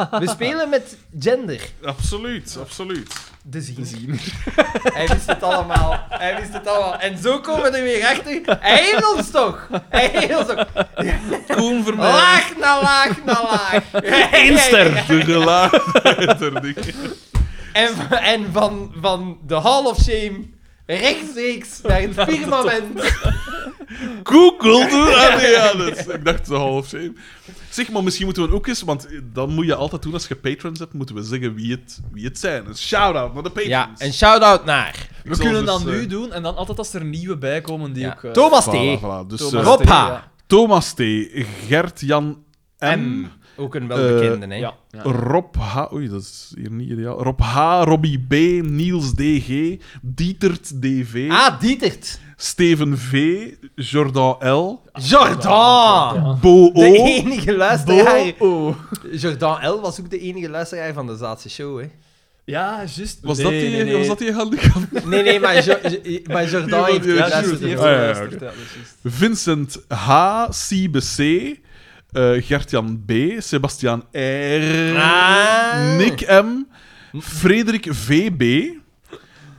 Speaker 1: We spelen met gender.
Speaker 2: Absoluut, absoluut.
Speaker 4: de zien. Hij wist het allemaal. Hij wist het allemaal. En zo komen we er weer achter. Hij heeft ons toch? Hij heeft ons toch?
Speaker 2: Koen Vermeij.
Speaker 4: Laag na laag na laag.
Speaker 3: Inster.
Speaker 2: De gelaagdheid.
Speaker 4: En, en van, van de Hall of Shame rechtstreeks naar het firmament.
Speaker 2: Google doen aan de Janus. Ik dacht zo half shame. Zeg, maar misschien moeten we ook eens, want eh, dan moet je altijd doen als je patrons hebt, moeten we zeggen wie het, wie het zijn. Een shout-out naar de patrons.
Speaker 4: Ja, een shout-out naar
Speaker 2: Ik
Speaker 3: We
Speaker 2: zal
Speaker 3: kunnen
Speaker 2: dus,
Speaker 3: dat
Speaker 2: eh,
Speaker 3: nu doen en dan altijd als er nieuwe bij komen die
Speaker 4: Ja.
Speaker 3: ook... eh,
Speaker 4: Thomas T.
Speaker 2: Voilà, voilà. Dus,
Speaker 3: Thomas
Speaker 2: eh,
Speaker 4: Rob
Speaker 3: T,
Speaker 4: H.
Speaker 3: ja.
Speaker 2: Thomas T, Gert-Jan M,
Speaker 4: M. Ook een welbekende, hè?
Speaker 3: Ja. ja.
Speaker 2: Rob H. Oei, dat is hier niet ideaal. Rob H, Robbie B, Niels DG, Dietert DV,
Speaker 4: Ah, Dietert.
Speaker 2: Steven V, Jordan L,
Speaker 4: Jordan.
Speaker 2: Bo O.
Speaker 4: De enige luisteraar.
Speaker 3: Oh.
Speaker 4: Jordan L. was ook de enige luisteraar van de Zaatse show, hè?
Speaker 3: Ja, juist.
Speaker 2: Was,
Speaker 3: Nee,
Speaker 2: dat die,
Speaker 3: nee, nee.
Speaker 2: was dat die handicap?
Speaker 4: Nee, nee, maar, Jo- Jo- maar Jordan heeft
Speaker 2: Die was-
Speaker 4: geluisterd.
Speaker 2: die
Speaker 4: heeft
Speaker 2: was- Ah, ja,
Speaker 4: geluisterd.
Speaker 2: oké.
Speaker 3: Ja, dat is juist.
Speaker 2: Vincent H, Siebe C, eh, Gertjan B, Sebastian R,
Speaker 4: Ah.
Speaker 2: Nick M, Frederik VB,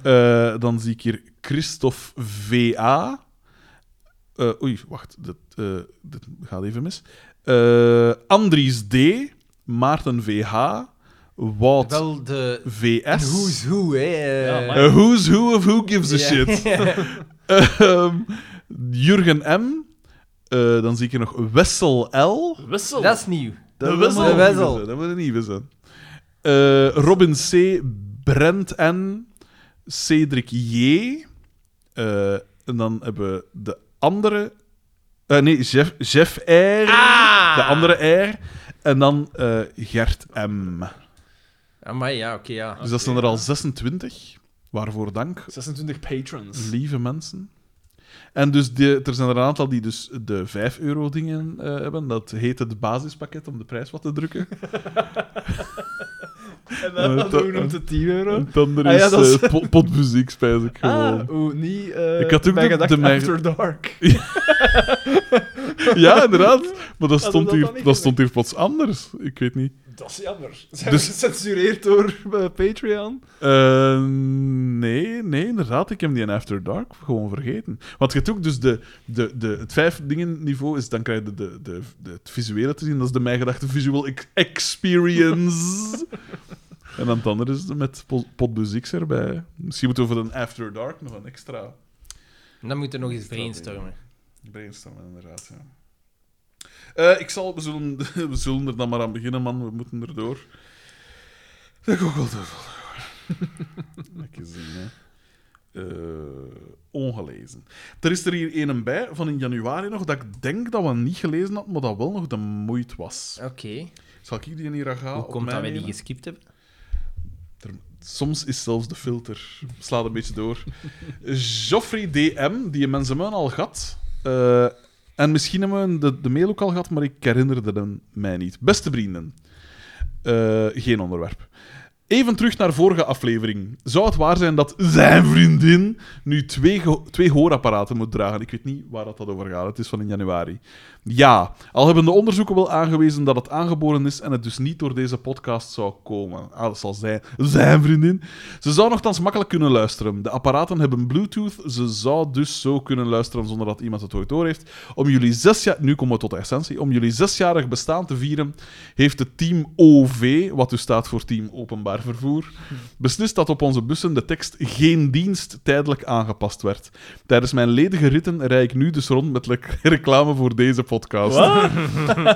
Speaker 2: eh, dan zie ik hier Christophe VA. Eh oei, wacht, dit, eh, dit gaat even mis. Eh, Andries D, Maarten VH, Wout
Speaker 4: Wel de
Speaker 2: VS.
Speaker 4: who's who, hè? eh.
Speaker 3: Ja, maar-
Speaker 2: Eh, who's who of who gives a
Speaker 4: Ja.
Speaker 2: shit? Ehm, Jurgen M. Eh, dan zie ik hier nog Wessel L.
Speaker 3: Wissel.
Speaker 4: Dat is nieuw.
Speaker 2: Dat
Speaker 4: Wessel.
Speaker 2: moet een
Speaker 4: De
Speaker 2: nieuwe
Speaker 4: Wessel.
Speaker 2: zijn, Dat moet een nieuwe zijn. Eh, Robin C. Brent N. Cedric J. Eh, en dan hebben we de andere... eh, nee, Jeff, Jeff R.
Speaker 4: Ah!
Speaker 2: De andere R. En dan eh, Gert M.
Speaker 4: Maar ja, oké, ja.
Speaker 2: Dus dat zijn er al 26. Waarvoor dank.
Speaker 3: 26 patrons.
Speaker 2: Lieve mensen. En dus de, er zijn er een aantal die dus de 5 euro dingen eh, hebben. Dat heet het basispakket om de prijs wat te drukken.
Speaker 3: En
Speaker 2: Eh,
Speaker 3: dan
Speaker 2: dat- Oh.
Speaker 3: doen we hem te 10 euro.
Speaker 2: En dan er
Speaker 3: Ah,
Speaker 2: is
Speaker 3: ja, dat is-
Speaker 2: eh, po- potmuziek, spijs ik gewoon.
Speaker 3: Ah, oeh, niet... eh,
Speaker 2: Ik had ook
Speaker 3: bij
Speaker 2: de-
Speaker 3: gedacht
Speaker 2: de mijn-
Speaker 3: After Dark.
Speaker 2: Ja, inderdaad. Maar Ah, dat stond,
Speaker 3: dat dan
Speaker 2: hier,
Speaker 3: niet
Speaker 2: dat stond hier plots anders. Ik weet niet.
Speaker 3: Dat is jammer. Zijn
Speaker 2: Dus-
Speaker 3: we gecensureerd door eh, Patreon?
Speaker 2: Eh, nee, nee, inderdaad. Ik heb die in After Dark gewoon vergeten. Want je hebt ook dus de, de, de, het vijf dingen niveau is, dan krijg je de, de, de, het visuele te zien. Dat is de mijn gedachte visual ex- experience. en dan het andere is de met po- potmuziek erbij. Misschien moeten we voor een After Dark nog een extra
Speaker 4: Dan moeten we nog eens brainstormen.
Speaker 2: brainstormen, inderdaad. Ja. Eh, ik zal, we zullen, we zullen er dan maar aan beginnen, man. We moeten erdoor. De Google Doodle. Lekker zien, hè. Eh, ongelezen. Er is er hier een bij van in januari nog dat ik denk dat we niet gelezen hadden, maar dat wel nog de moeite was.
Speaker 4: Oké.
Speaker 2: Zal ik die hier aan gaan?
Speaker 4: Hoe
Speaker 2: op
Speaker 4: komt
Speaker 2: mij
Speaker 4: dat wij die
Speaker 2: nemen?
Speaker 4: geskipt hebben?
Speaker 2: Er- soms is zelfs de filter. Slaat een beetje door. Joffrey DM, die een mensenmuin al gehad. Eh, en misschien hebben we de, de mail ook al gehad, maar ik herinnerde hem mij niet. Beste vrienden. Eh, geen onderwerp. Even terug naar vorige aflevering. Zou het waar zijn dat zijn vriendin nu twee, geho- twee hoorapparaten moet dragen? Ik weet niet waar dat dat over gaat. Het is van in januari. Ja, al hebben de onderzoeken wel aangewezen dat het aangeboren is en het dus niet door deze podcast zou komen. Ah, dat zal zijn, zijn vriendin. Ze zou nogthans makkelijk kunnen luisteren. De apparaten hebben Bluetooth. Ze zou dus zo kunnen luisteren zonder dat iemand het ooit doorheeft. Om jullie zes jaar... Nu komen we tot de essentie. Om jullie zesjarig bestaan te vieren, heeft het team OV, wat dus staat voor Team Openbaar Vervoer, beslist dat op onze bussen de tekst geen dienst tijdelijk aangepast werd. Tijdens mijn ledige ritten rij ik nu dus rond met le- reclame voor deze podcast.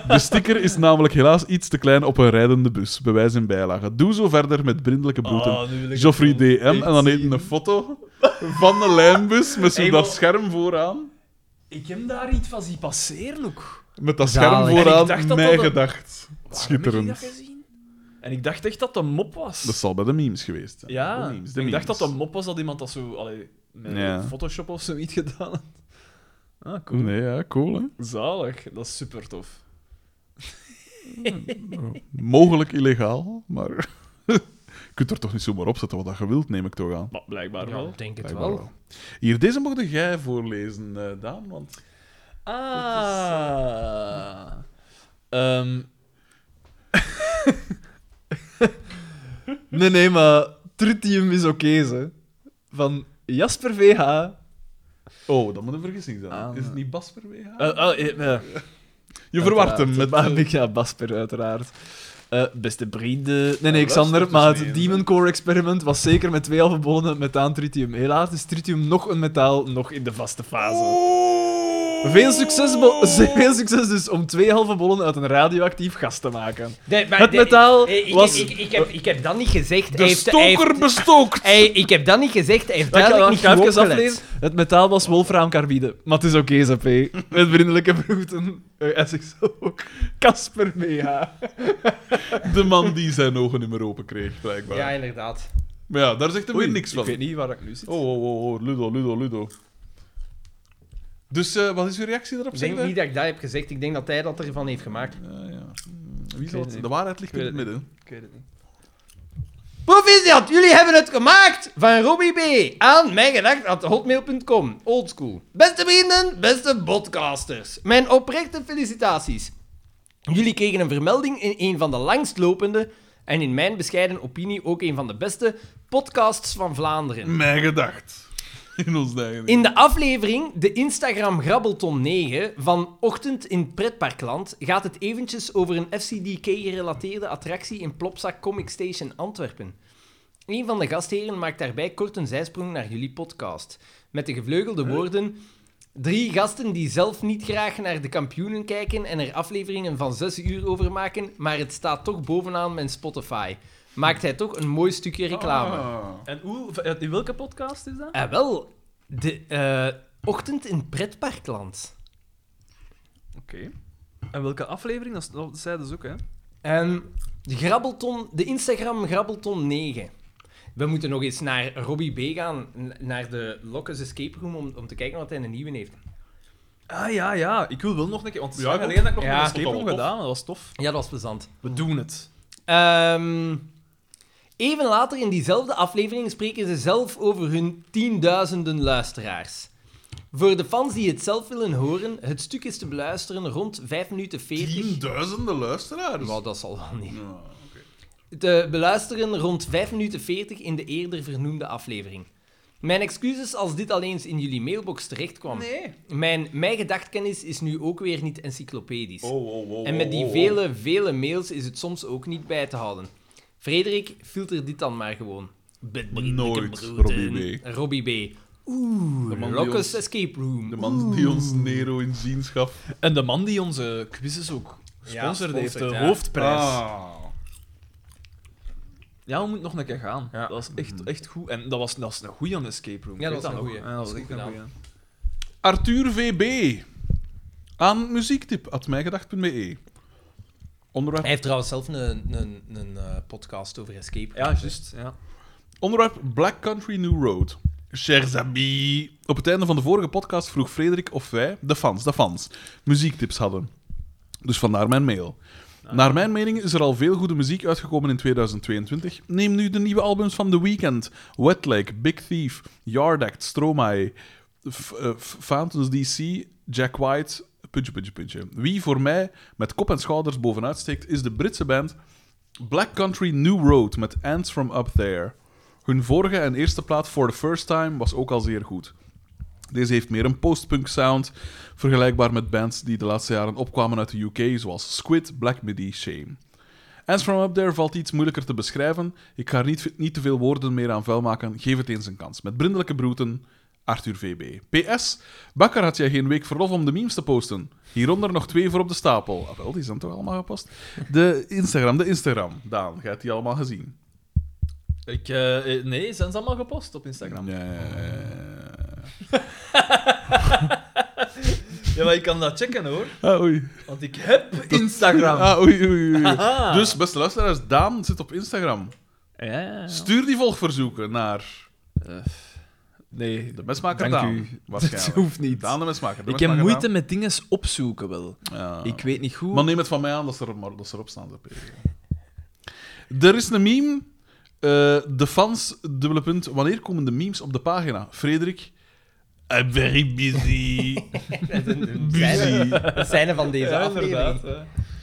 Speaker 2: De sticker is namelijk helaas iets te klein op een rijdende bus. Bewijs in bijlage. Doe zo verder met brindelijke boeten.
Speaker 3: Oh, Ah,
Speaker 2: Joffrey DM. En dan heeft hij een foto van de lijnbus met zo
Speaker 3: Hey,
Speaker 2: dat
Speaker 3: maar-
Speaker 2: scherm vooraan.
Speaker 3: Ik heb daar iets van zien passeren ook.
Speaker 2: Met dat
Speaker 4: Zalig.
Speaker 2: scherm
Speaker 4: En ik
Speaker 2: vooraan,
Speaker 3: dacht dat
Speaker 2: mij
Speaker 3: dat een-
Speaker 2: gedacht.
Speaker 3: Waarom heb ik dat
Speaker 2: Schitterend.
Speaker 3: gezien? En ik dacht echt dat de mop was.
Speaker 2: Dat zal bij de memes geweest zijn.
Speaker 3: ja,
Speaker 2: de memes, de
Speaker 3: ik dacht dat
Speaker 2: memes.
Speaker 3: de mop was dat iemand dat zo allee, met
Speaker 2: Ja.
Speaker 3: Photoshop of zoiets gedaan had. Ah, cool.
Speaker 2: Nee, ja, cool hè.
Speaker 3: Zalig, dat is super tof.
Speaker 2: Mogelijk illegaal, maar... je kunt er toch niet zomaar opzetten wat je wilt, neem ik toch aan.
Speaker 3: Maar blijkbaar
Speaker 4: Ja,
Speaker 3: wel.
Speaker 4: ik denk het
Speaker 2: Blijkbaar
Speaker 4: wel.
Speaker 2: Hier, deze mocht jij voorlezen, eh, Daan, want...
Speaker 3: Ah. Ehm. nee, nee, maar tritium is oké, ze. Van Jasper VH. Eh,
Speaker 2: Oh, dat moet een vergissing zijn.
Speaker 3: Ah.
Speaker 2: Is het niet Basper WH?
Speaker 3: oh, eh, eh,
Speaker 2: je verwart hem met... eh,
Speaker 3: uiteraard. Maar ik- ja, Basper, uiteraard. Eh, beste vrienden. Nee, nee,
Speaker 2: Ja,
Speaker 3: Xander,
Speaker 2: luister
Speaker 3: maar het
Speaker 2: eens mee,
Speaker 3: Demon Core experiment was zeker met twee halve bollen methaan tritium. Helaas is tritium nog een metaal, nog in de vaste fase. Veel, succes, bo- veel succes dus om twee halve bollen uit een radioactief gas te maken.
Speaker 1: Nee, maar
Speaker 3: Het
Speaker 1: de-
Speaker 3: metaal
Speaker 1: eh, ik,
Speaker 3: was-
Speaker 1: Ik, ik, ik heb, ik heb dat niet gezegd.
Speaker 2: De
Speaker 1: hij heeft, hij heeft-
Speaker 2: stoker bestookt!
Speaker 1: hij- ik heb dat niet gezegd. Hij heeft
Speaker 3: Dat
Speaker 1: duidelijk
Speaker 3: kan
Speaker 1: niet
Speaker 3: ik even
Speaker 1: goed opgelet.
Speaker 3: aflezen. Het metaal was wolfraamcarbide. Maar het is oké, ZP. Met vriendelijke groeten. Eh, SXO ook. Casper BH.
Speaker 2: De man die zijn ogen niet meer open kreeg, blijkbaar.
Speaker 1: Ja, inderdaad.
Speaker 2: Maar ja, daar zegt hem weer niks van.
Speaker 3: Ik weet niet waar ik nu zit.
Speaker 2: Oh, oh, oh, oh, Ludo, Ludo, Ludo. Dus eh, wat is uw reactie daarop?
Speaker 1: Ik
Speaker 2: Zeg
Speaker 1: denk niet dat ik dat heb gezegd. Ik denk dat hij dat ervan heeft gemaakt.
Speaker 2: Ja, ja. Hmm, Wie
Speaker 3: weet
Speaker 2: zal het?
Speaker 3: niet.
Speaker 2: De waarheid ligt in
Speaker 3: Ik
Speaker 2: het
Speaker 3: weet het
Speaker 2: midden.
Speaker 3: Ik weet het niet.
Speaker 1: Proficiat, jullie hebben het gemaakt! Van Robbie B. aan mijngedacht.hotmail.com. Oldschool. Beste vrienden, beste podcasters. Mijn oprechte felicitaties. Jullie kregen een vermelding in een van de langstlopende en in mijn bescheiden opinie ook een van de beste podcasts van Vlaanderen.
Speaker 2: Mijn gedacht. In ons eigen.
Speaker 1: In de aflevering De Instagram Grabbelton 9 van Ochtend in Pretparkland gaat het eventjes over een FCDK-gerelateerde attractie in Plopsa Comic Station Antwerpen. Een van de gastheren maakt daarbij kort een zijsprong naar jullie podcast. Met de gevleugelde woorden... Drie gasten die zelf niet graag naar de kampioenen kijken en er afleveringen van zes uur over maken, maar het staat toch bovenaan mijn Spotify. Maakt hij toch een mooi stukje reclame.
Speaker 2: Ah.
Speaker 3: En hoe, eh, in welke podcast is dat?
Speaker 1: Ah, wel. De eh, ochtend in pretparkland.
Speaker 3: Oké. En welke aflevering? Dat, is- dat zei dus ook, hè?
Speaker 1: En Ehm, de Grabbelton, de Instagram Grabbelton 9. We moeten nog eens naar Robbie B gaan, n- naar de Lokkes Escape Room, om, om te kijken wat hij een nieuwe heeft.
Speaker 3: Ah, ja, ja. Ik wil wel nog een keer... Want het is
Speaker 2: Ja,
Speaker 3: lang
Speaker 2: ik
Speaker 3: geleden dat ik nog
Speaker 1: Ja,
Speaker 3: een
Speaker 1: ik
Speaker 3: escape
Speaker 2: vond dat
Speaker 3: room
Speaker 2: wel tof.
Speaker 3: gedaan maar Dat was tof.
Speaker 1: Ja, dat was plezant.
Speaker 3: We doen het.
Speaker 1: Ehm, even later in diezelfde aflevering spreken ze zelf over hun tienduizenden luisteraars. Voor de fans die het zelf willen horen, het stuk is te beluisteren rond 5 minuten 40.
Speaker 2: Tienduizenden luisteraars.
Speaker 1: Nou, dat zal wel niet.
Speaker 2: Ja.
Speaker 1: te beluisteren rond 5 minuten 40 in de eerder vernoemde aflevering. Mijn excuses als dit alleen eens in jullie mailbox terechtkwam.
Speaker 3: Nee.
Speaker 1: Mijn, mijn gedachtkennis is nu ook weer niet encyclopedisch.
Speaker 2: Oh, oh, oh,
Speaker 1: en met die
Speaker 2: oh, oh.
Speaker 1: vele, vele mails is het soms ook niet bij te houden. Frederik, filter dit dan maar gewoon. Bedbreedelijke
Speaker 2: Nooit,
Speaker 1: broeden.
Speaker 2: Robbie B.
Speaker 1: Robbie B. Oeh,
Speaker 2: De man die
Speaker 1: Locus
Speaker 2: ons-
Speaker 1: Escape Room.
Speaker 2: De man die ons Nero in jeans gaf.
Speaker 3: En de man die onze quizzes ook gesponsord heeft, de
Speaker 1: sponsort, ja.
Speaker 3: hoofdprijs.
Speaker 2: Ah.
Speaker 3: Ja, we moeten nog een keer gaan.
Speaker 1: Ja. Mhm.
Speaker 3: Dat was echt, echt goed. En dat was, dat was een goeie aan escape room.
Speaker 1: Ja,
Speaker 3: Ik
Speaker 1: dat was
Speaker 3: weet
Speaker 1: een
Speaker 3: nog.
Speaker 1: goeie.
Speaker 3: Ja, dat was
Speaker 1: Dat is
Speaker 3: echt
Speaker 1: goed
Speaker 3: een
Speaker 1: gedaan.
Speaker 3: goeie.
Speaker 2: Arthur VB. Aan muziektip.mijgedacht.be e. Onderwerp
Speaker 1: Hij heeft trouwens zelf een, een, een eh, podcast over Escape
Speaker 3: Ja,
Speaker 1: Room.
Speaker 3: juist. Ja.
Speaker 2: Onderwerp Black Country New Road. Chers amis. Op het einde van de vorige podcast vroeg Frederik of wij, de fans, de fans, muziektips hadden. Dus vandaar mijn mail. Naar mijn mening is er al veel goede muziek uitgekomen in 2022. Neem nu de nieuwe albums van The Weeknd, Wet Lake, Big Thief, Yard Act, Stromae, F- eh, F- Fountains DC, Jack White, puntje, puntje, puntje. Wie voor mij met kop en schouders bovenuit steekt, is de Britse band Black Country New Road met Ants From Up There. Hun vorige en eerste plaat For The First Time was ook al zeer goed. Deze heeft meer een postpunk sound, vergelijkbaar met bands die de laatste jaren opkwamen uit de UK, zoals Squid, Black Midi, Shame. Ants From Up There valt iets moeilijker te beschrijven. Ik ga er niet, niet te veel woorden meer aan vuil maken. Geef het eens een kans. Met brindelijke broeten, Arthur VB. PS, Bakker had jij geen week verlof om de memes te posten. Hieronder nog twee voor op de stapel. Ah, wel, die zijn toch allemaal gepost? De Instagram, de Instagram. Daan, jij hebt die allemaal gezien.
Speaker 3: Ik, eh, eh, nee, zijn ze allemaal gepost op Instagram?
Speaker 2: Ja, ja, ja, ja,
Speaker 3: Ja, maar ik kan dat checken hoor.
Speaker 2: ja. Ah, oei.
Speaker 3: Want ik heb Instagram.
Speaker 2: Ah, oei, oei, oei.
Speaker 3: Aha.
Speaker 2: Dus, beste luisteraars, Daan zit op Instagram.
Speaker 3: Ja, ja, ja.
Speaker 2: Stuur die volgverzoeken naar
Speaker 3: Eh, nee,
Speaker 2: de mesmaker
Speaker 3: Dank
Speaker 2: Daan.
Speaker 3: u. dat
Speaker 2: Waarschijnlijk.
Speaker 3: hoeft niet.
Speaker 2: Daan de mesmaker. de
Speaker 3: ik heb
Speaker 2: mesmaker
Speaker 3: moeite
Speaker 2: Daan.
Speaker 3: met dingen opzoeken wel.
Speaker 2: Ja.
Speaker 3: Ik weet niet goed.
Speaker 2: Ah. Maar neem het van mij aan dat ze, er, maar dat ze erop staan. Ze er is een meme. eh, de fans, dubbele punt. Wanneer komen de memes op de pagina? Frederik? I'm very busy. busy.
Speaker 1: Het zijn er van deze
Speaker 3: ja,
Speaker 1: aflevering.
Speaker 3: inderdaad.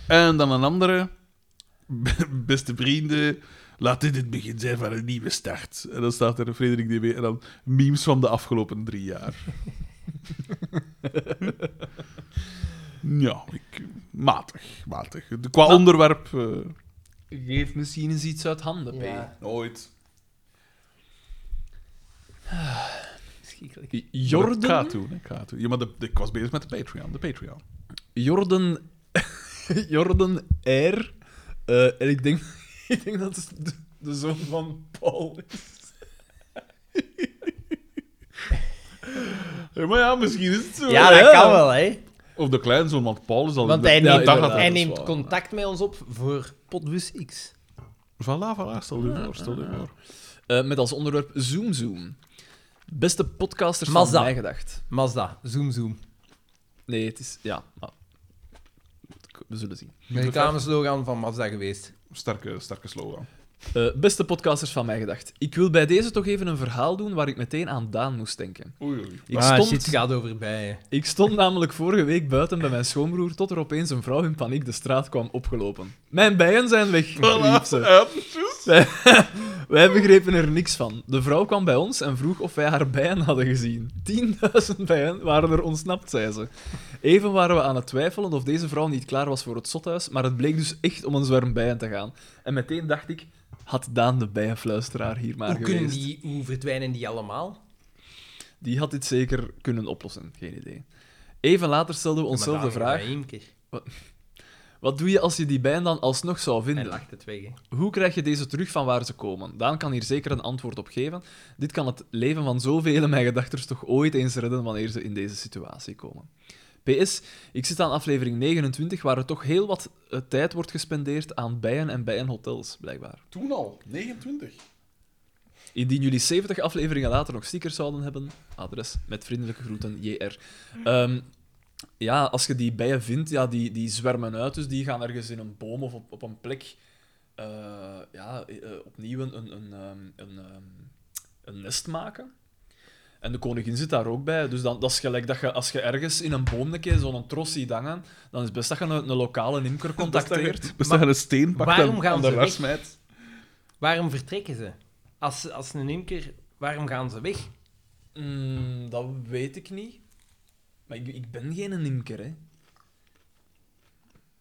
Speaker 3: hè.
Speaker 2: En dan een andere. Beste vrienden, Laat dit het begin zijn van een nieuwe start. En dan staat er Frederik DB en dan memes van de afgelopen drie jaar. ja, ik, matig, matig. De- Qua onderwerp... eh,
Speaker 3: Geef misschien eens iets uit handen,
Speaker 4: Ja.
Speaker 2: Nooit.
Speaker 4: Schrikkelijk.
Speaker 3: P.
Speaker 2: Ik ga
Speaker 3: Jordan,
Speaker 2: het doen, ik ga het doen. Ja, maar de, de- ik was bezig met de Patreon. De Patreon.
Speaker 3: Jordan, Jordan R. Eh, en ik denk, ik denk dat het de, de zoon van Paul is.
Speaker 2: Ja, maar ja, misschien is het zo.
Speaker 4: Ja,
Speaker 3: Ja.
Speaker 4: dat kan wel, hè.
Speaker 2: Of de kleinzoon, want Paul is al...
Speaker 4: Want
Speaker 2: de-
Speaker 4: hij
Speaker 2: Ja,
Speaker 4: neemt,
Speaker 2: inderdaad,
Speaker 4: hij
Speaker 2: dat is
Speaker 4: neemt
Speaker 2: waar.
Speaker 4: contact met ons op voor Potbus X.
Speaker 2: Voilà, voilà, stel je voor, stel je voor.
Speaker 3: Eh, met als onderwerp Zoom Zoom. Beste podcasters
Speaker 4: Mazda.
Speaker 3: van mij gedacht.
Speaker 4: Mazda, zoom zoom.
Speaker 3: Nee, het is... Ja. ah. We zullen zien.
Speaker 4: Reclameslogan van Mazda geweest.
Speaker 2: Sterke, sterke slogan.
Speaker 3: Eh, beste podcasters van mij gedacht. Ik wil bij deze toch even een verhaal doen waar ik meteen aan Daan moest denken.
Speaker 2: Oei, oei.
Speaker 3: Ik,
Speaker 4: ah,
Speaker 3: stond,
Speaker 4: shit, gaat over bij. hè.
Speaker 3: ik stond namelijk vorige week buiten bij mijn schoonbroer tot er opeens een vrouw in paniek de straat kwam opgelopen. Mijn bijen zijn weg, riep ze. Wij begrepen er niks van. De vrouw kwam bij ons en vroeg of wij haar bijen hadden gezien. 10.000 bijen waren er ontsnapt, zei ze. Even waren we aan het twijfelen of deze vrouw niet klaar was voor het zothuis, maar het bleek dus echt om een zwerm bijen te gaan. En meteen dacht ik, had Daan de bijenfluisteraar hier maar
Speaker 4: Hoe, kunnen
Speaker 3: geweest.
Speaker 4: die, hoe verdwijnen die allemaal?
Speaker 3: Die had dit zeker kunnen oplossen, geen idee. Even later stelden we onszelf de vraag, wat doe je als je die bijen dan alsnog zou
Speaker 4: Hij
Speaker 3: vinden?
Speaker 4: lacht het weg. hè.
Speaker 3: Hoe krijg je deze terug van waar ze komen? Daan kan hier zeker een antwoord op geven. Dit kan het leven van zoveel mijn gedachters toch ooit eens redden wanneer ze in deze situatie komen. PS, ik zit aan aflevering 29, waar er toch heel wat eh, tijd wordt gespendeerd aan bijen en bijenhotels, blijkbaar.
Speaker 2: Toen al, 29.
Speaker 3: Indien jullie 70 afleveringen later nog stickers zouden hebben, adres met vriendelijke groeten, JR. Ehm, ja, als je die bijen vindt, ja, die, die zwermen uit, dus die gaan ergens in een boom of op, op een plek eh, ja, eh, opnieuw een, een, een, ehm, een, ehm, een nest maken. En de koningin zit daar ook bij, dus dan, dat is gelijk dat je, als je ergens in een boom een keer zo'n tros ziet hangen, dan is het best dat je een, een lokale imker contacteert.
Speaker 2: Dus dat je een steen pakt
Speaker 4: waarom
Speaker 2: en
Speaker 4: gaan
Speaker 2: aan
Speaker 4: ze
Speaker 2: de
Speaker 4: weg?
Speaker 2: rest smijt.
Speaker 4: Waarom vertrekken ze? Als, als een imker, waarom gaan ze weg?
Speaker 3: Mm, dat weet ik niet. Maar ik, ik ben geen imker, hè.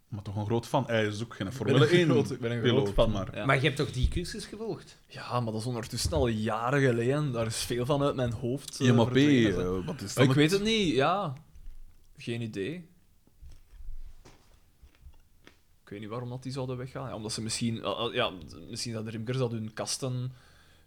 Speaker 2: Maar toch een groot fan. Hij is ook geen
Speaker 3: Ik ben
Speaker 2: Formule
Speaker 3: een
Speaker 2: 1
Speaker 3: groot, ik ben een groot
Speaker 2: piloot,
Speaker 3: fan.
Speaker 2: maar-
Speaker 3: Ja.
Speaker 4: Maar je hebt toch die cursus gevolgd?
Speaker 3: Ja, maar dat is ondertussen al jaren geleden. Daar is veel van uit mijn hoofd. eh,
Speaker 2: Ja, maar P,
Speaker 3: verdwenen.
Speaker 2: eh, wat is
Speaker 3: Maar
Speaker 2: dat?
Speaker 3: ik weet het niet, ja. Geen idee. Ik weet niet waarom dat die zouden weggaan. Ja, omdat ze misschien... eh, eh, ja, misschien dat de rimkers dat hun kasten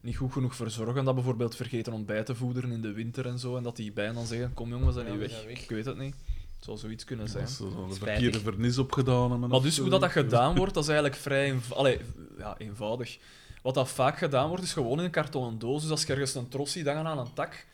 Speaker 3: niet goed genoeg verzorgen. Dat bijvoorbeeld vergeten ontbijt te voederen in de winter en zo. En dat die bijen dan zeggen, kom jongens, we zijn
Speaker 4: Ja,
Speaker 3: hier
Speaker 4: we
Speaker 3: weg.
Speaker 4: zijn weg.
Speaker 3: Ik weet het niet. Het zou zoiets kunnen zijn.
Speaker 2: Dat is een verkeerde
Speaker 4: Spijtig.
Speaker 2: vernis opgedaan. hebben
Speaker 3: Maar
Speaker 2: of
Speaker 3: dus
Speaker 2: zo.
Speaker 3: hoe dat, dat gedaan wordt, dat is eigenlijk vrij eenv- allee, ja, eenvoudig. Wat dat vaak gedaan wordt, is gewoon in een kartonnen doos. Dus als je ergens een tros ziet hangen aan een tak,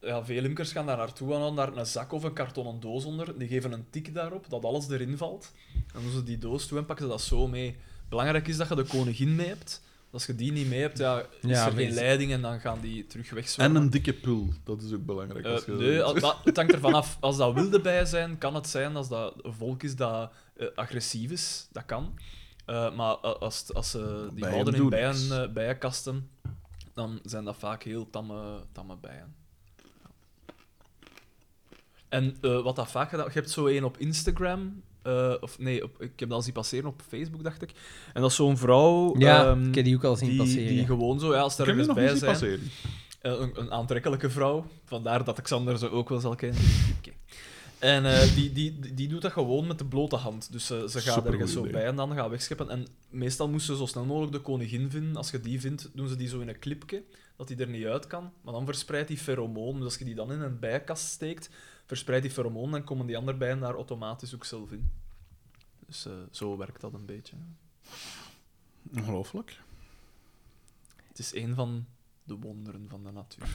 Speaker 3: ja, veel imkers gaan daar naartoe en dan daar een zak of een kartonnen doos onder. Die geven een tik daarop, dat alles erin valt. En doen ze die doos toe en pakken ze dat zo mee. Belangrijk is dat je de koningin mee hebt. Als je die niet mee hebt, ja, is
Speaker 4: Ja,
Speaker 3: er geen
Speaker 4: wees-
Speaker 3: leiding en dan gaan die terug
Speaker 2: En
Speaker 3: wegzwemmen.
Speaker 2: een dikke pul, dat is ook belangrijk.
Speaker 3: Eh,
Speaker 2: als je-
Speaker 3: nee, al- dat- het hangt ervan af. Als dat wilde bijen zijn, kan het zijn als dat een volk is dat eh, agressief is. Dat kan. Eh, maar a- als, het- als ze die
Speaker 2: Bijen
Speaker 3: houden in
Speaker 2: doen
Speaker 3: bijen,
Speaker 2: niks.
Speaker 3: eh, bijenkasten, dan zijn dat vaak heel tamme, tamme bijen. En eh, wat dat vaak gedaan... Je hebt zo één op Instagram... eh, of nee, op, ik heb dat al zien passeren op Facebook, dacht ik. En dat is zo'n vrouw...
Speaker 4: Ja,
Speaker 3: ehm,
Speaker 4: ik heb die ook al zien
Speaker 3: die,
Speaker 4: passeren.
Speaker 3: Die gewoon zo, ja, als er
Speaker 2: Ik heb je
Speaker 3: ergens
Speaker 2: nog
Speaker 3: bij
Speaker 2: niet zien
Speaker 3: zijn...
Speaker 2: passeren.
Speaker 3: Eh, een, een aantrekkelijke vrouw. Vandaar dat Xander ze ook wel zal kennen. Oké. En eh, die, die, die- die doet dat gewoon met de blote hand. Dus eh, ze gaat
Speaker 2: Supergoed
Speaker 3: ergens zo
Speaker 2: idee.
Speaker 3: bij en dan gaat wegscheppen. En meestal moesten ze zo snel mogelijk de koningin vinden. Als je die vindt, doen ze die zo in een clipje, dat die er niet uit kan. Maar dan verspreidt die feromoon. Dus als je die dan in een bijenkast steekt, verspreidt die feromoon en komen die andere bijen daar automatisch ook zelf in. Dus eh, zo werkt dat een beetje.
Speaker 2: Ongelooflijk.
Speaker 3: Het is een van de wonderen van de natuur.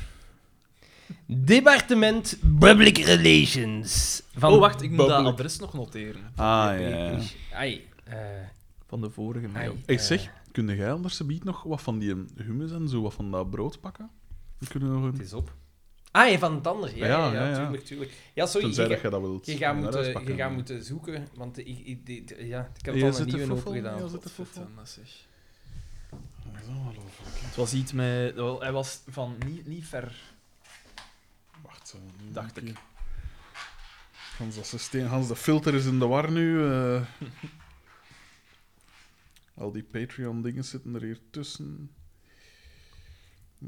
Speaker 4: Departement Public Relations. Van
Speaker 3: oh, wacht, ik moet dat
Speaker 2: Babbelijk.
Speaker 3: adres nog noteren.
Speaker 2: Ah,
Speaker 4: Ai, eh,
Speaker 3: Van de vorige
Speaker 4: ai,
Speaker 3: mail.
Speaker 2: Ik
Speaker 4: eh,
Speaker 2: zeg, kun jij anders subiet nog wat van die hummus en zo, wat van dat brood pakken? Dan kunnen we nog
Speaker 4: Het
Speaker 2: een...
Speaker 4: is op. Ah, ja, van het ander. Ja,
Speaker 2: Ja,
Speaker 4: ja, ja,
Speaker 2: ja, ja.
Speaker 4: tuurlijk, tuurlijk. Ja, sorry.
Speaker 2: Tenzij
Speaker 4: je
Speaker 2: dat
Speaker 4: ga-
Speaker 2: jij dat wilt.
Speaker 4: Je gaat,
Speaker 2: naar huis
Speaker 4: moeten, je
Speaker 2: pakken.
Speaker 4: gaat moeten zoeken, want ik, ik, dit- ja, ik heb
Speaker 2: Hier
Speaker 4: het al
Speaker 2: zit
Speaker 4: een
Speaker 2: de
Speaker 4: nieuwe
Speaker 2: foefel,
Speaker 4: open gedaan.
Speaker 2: hier zit de
Speaker 3: Wat
Speaker 2: foefel.
Speaker 3: dan, zeg. Het was iets met... wel, Hij was van niet, niet ver.
Speaker 2: Wacht, eh, nu
Speaker 3: Dacht
Speaker 2: een
Speaker 3: ik.
Speaker 2: keer. Hans, dat systeem, Hans, de filter is in de war nu. eh. Al die Patreon-dingen zitten er hier tussen.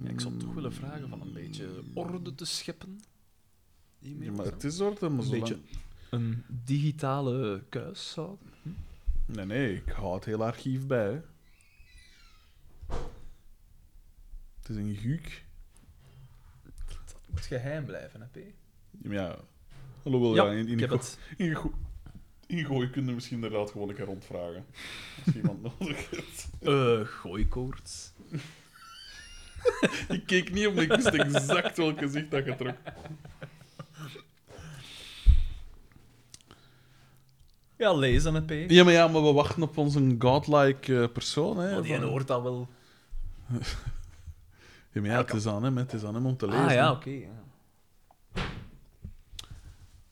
Speaker 3: Ja, ik zou toch willen vragen van een beetje orde te scheppen.
Speaker 2: Ja, maar het is orde, maar
Speaker 3: Een
Speaker 2: zolang-
Speaker 3: beetje. Een digitale kuis houden.
Speaker 2: Nee, nee, ik hou het hele archief bij. Hè. Het is een guuk.
Speaker 3: Dat moet geheim blijven, hè, P?
Speaker 2: Ja, maar Oh, ja. Hallo, wil je
Speaker 3: Ja,
Speaker 2: daar in, in,
Speaker 3: ik heb
Speaker 2: go-
Speaker 3: het.
Speaker 2: in, go- in gooien kunnen we misschien inderdaad gewoon een keer rondvragen. Als iemand nodig heeft.
Speaker 3: Eh, gooikoorts.
Speaker 2: Ik keek niet om, ik wist exact welk gezicht dat je trok.
Speaker 3: Ja, lezen, hè, P?
Speaker 2: Ja maar, ja, maar we wachten op onze godlike eh, persoon. Hè,
Speaker 3: Maar Oh, die
Speaker 2: van-
Speaker 3: hoort dat wel.
Speaker 2: Ja, maar ja, het is aan hem, hè, het is aan hem om te lezen.
Speaker 3: Ah ja,
Speaker 2: hè.
Speaker 3: oké. ja.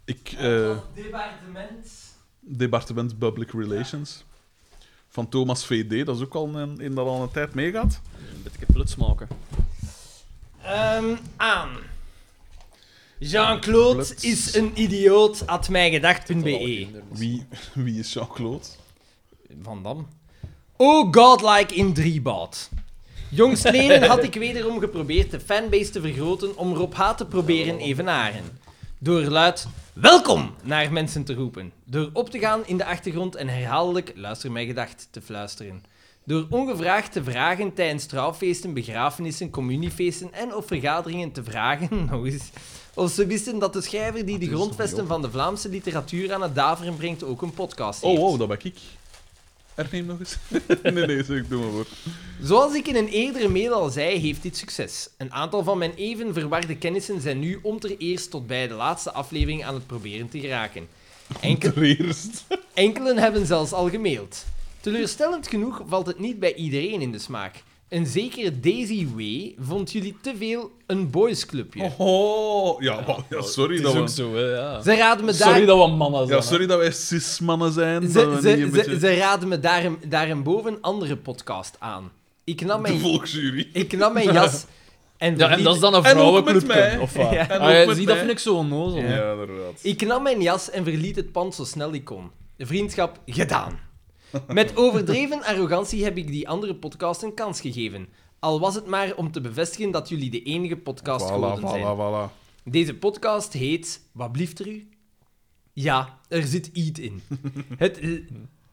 Speaker 2: Ik, eh,
Speaker 1: Departement.
Speaker 2: departement Public Relations. Van Thomas VD, dat is ook al een, een dat al een tijd meegaat.
Speaker 3: Een beetje pluts maken.
Speaker 4: ehm,
Speaker 1: aan. Jean-Claude
Speaker 2: Plots.
Speaker 1: is een idioot at
Speaker 4: E.
Speaker 3: E.
Speaker 1: mijgedacht.be.
Speaker 2: Wie, wie is Jean-Claude?
Speaker 1: Van Dam. Oh godlike in Driebout. Jongstleden had ik wederom geprobeerd de fanbase te vergroten om Rob H. te proberen evenaren. Door luid welkom naar mensen te roepen. Door op te gaan in de achtergrond en herhaaldelijk luister mij gedacht te fluisteren. Door ongevraagd te vragen tijdens trouwfeesten, begrafenissen, communiefeesten en of vergaderingen te vragen, nog eens, of ze wisten dat de schrijver die de
Speaker 2: is nog
Speaker 1: grondvesten van de Vlaamse literatuur aan het daveren brengt ook een podcast
Speaker 2: Oh,
Speaker 1: heeft.
Speaker 2: wow, dat ben ik. Herneem nog eens. nee, nee, zeg, doe maar voor.
Speaker 1: Zoals ik in een eerdere mail al zei, heeft dit succes. Een aantal van mijn even verwarde kennissen zijn nu om ter eerst tot bij de laatste aflevering aan het proberen te geraken. Enkel,
Speaker 2: Ter eerst.
Speaker 1: enkelen hebben zelfs al gemaild. Teleurstellend genoeg valt het niet bij iedereen in de smaak. Een zekere Daisy Way vond jullie te veel een boysclubje.
Speaker 2: Oh, ja, maar- ja, sorry, dat we,
Speaker 3: zo, hè, ja.
Speaker 1: Ze raden me daar...
Speaker 3: Sorry dat we mannen zijn.
Speaker 2: ja, sorry dat wij cis-mannen zijn. dat
Speaker 1: Ze,
Speaker 2: we niet
Speaker 1: ze,
Speaker 2: een
Speaker 1: ze,
Speaker 2: beetje...
Speaker 1: ze raden me daarom, daarboven een andere podcast aan. Ik nam
Speaker 2: De
Speaker 1: mijn,
Speaker 2: volksjury.
Speaker 1: ik nam mijn jas en
Speaker 3: Ja, en
Speaker 1: verliet-
Speaker 3: dat is dan een
Speaker 2: En ook met
Speaker 3: vrouwenclubje,
Speaker 2: mij.
Speaker 3: of wat?
Speaker 1: Ja.
Speaker 2: En
Speaker 3: Ah,
Speaker 2: ook
Speaker 3: ja,
Speaker 2: met
Speaker 3: zie, dat
Speaker 2: mij.
Speaker 3: vind ik zo onnozel.
Speaker 2: Ja, inderdaad.
Speaker 1: Ik nam mijn jas en verliet het pand zo snel ik kon. De vriendschap gedaan. Met overdreven arrogantie heb ik die andere podcast een kans gegeven. Al was het maar om te bevestigen dat jullie de enige podcast
Speaker 2: Voilà,
Speaker 1: geworden zijn.
Speaker 2: voilà, voilà.
Speaker 1: Deze podcast heet... Wat blieft er u? Ja, er zit iets in. Het,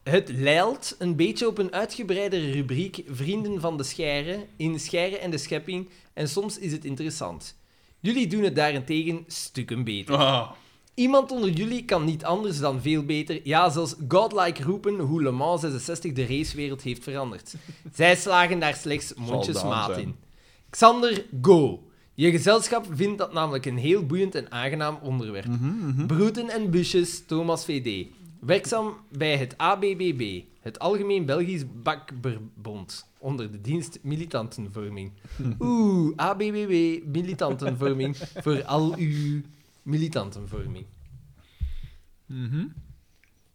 Speaker 1: het leilt een beetje op een uitgebreidere rubriek Vrienden van de Scheire, in Scheire en de Schepping, en soms is het interessant. Jullie doen het daarentegen stukken beter.
Speaker 2: Ah,
Speaker 1: Iemand onder jullie kan niet anders dan veel beter, ja, zelfs godlike roepen hoe Le Mans 66 de racewereld heeft veranderd. Zij slagen daar slechts mondjesmaat
Speaker 2: zijn.
Speaker 1: in. Xander, go! Je gezelschap vindt dat namelijk een heel boeiend en aangenaam onderwerp. Broeten en busjes, Thomas VD. Werkzaam bij het ABBB, het Algemeen Belgisch Bakberbond, onder de dienst Militantenvorming. Oeh, ABBB, Militantenvorming, voor al uw militantenvorming.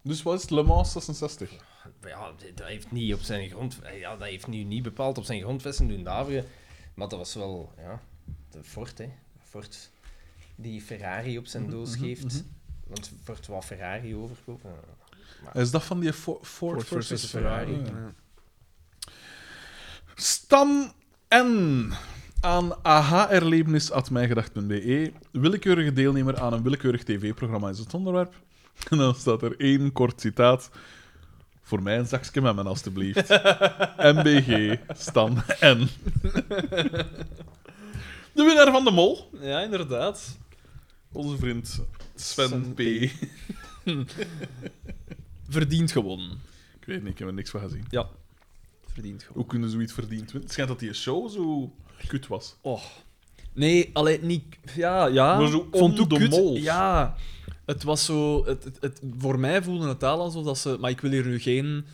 Speaker 2: dus wat is Le Mans 66?
Speaker 1: Ja, dat heeft niet op zijn grond... Ja, dat heeft nu niet bepaald op zijn grondvesten doen daveren. Maar dat was wel, ja... De Ford, hè. Ford die Ferrari op zijn doos geeft. Want Ford wou Ferrari overkopen.
Speaker 2: Is dat van die Fo- Ford,
Speaker 15: Ford
Speaker 2: versus,
Speaker 15: versus
Speaker 2: Ferrari?
Speaker 15: Ferrari.
Speaker 2: Ja. Stan N. Aan aha-erlevenis.mijgedacht.be E. Willekeurige deelnemer aan een willekeurig tv-programma is het onderwerp. En dan staat er één kort citaat. Voor mij een zakje met men, alstublieft. MBG, Stan N. De winnaar van de mol,
Speaker 3: Ja, inderdaad.
Speaker 2: onze vriend Sven
Speaker 3: Sven
Speaker 2: P.
Speaker 3: P.
Speaker 2: Ik
Speaker 3: Verdiend gewonnen.
Speaker 2: weet niet, ik heb er niks van gezien.
Speaker 3: Ja. Verdiend gewonnen.
Speaker 2: Hoe kunnen zoiets verdiend winnen? Het schijnt dat die show zo kut was.
Speaker 3: Oh. Nee, alleen niet... Ja, ja.
Speaker 2: Maar zo
Speaker 3: Ik vond
Speaker 2: om
Speaker 3: het
Speaker 2: de
Speaker 3: ook kut.
Speaker 2: mol.
Speaker 3: Ja. Het was zo... Het, het, het- voor mij voelde het aan alsof dat ze... Maar ik wil hier nu geen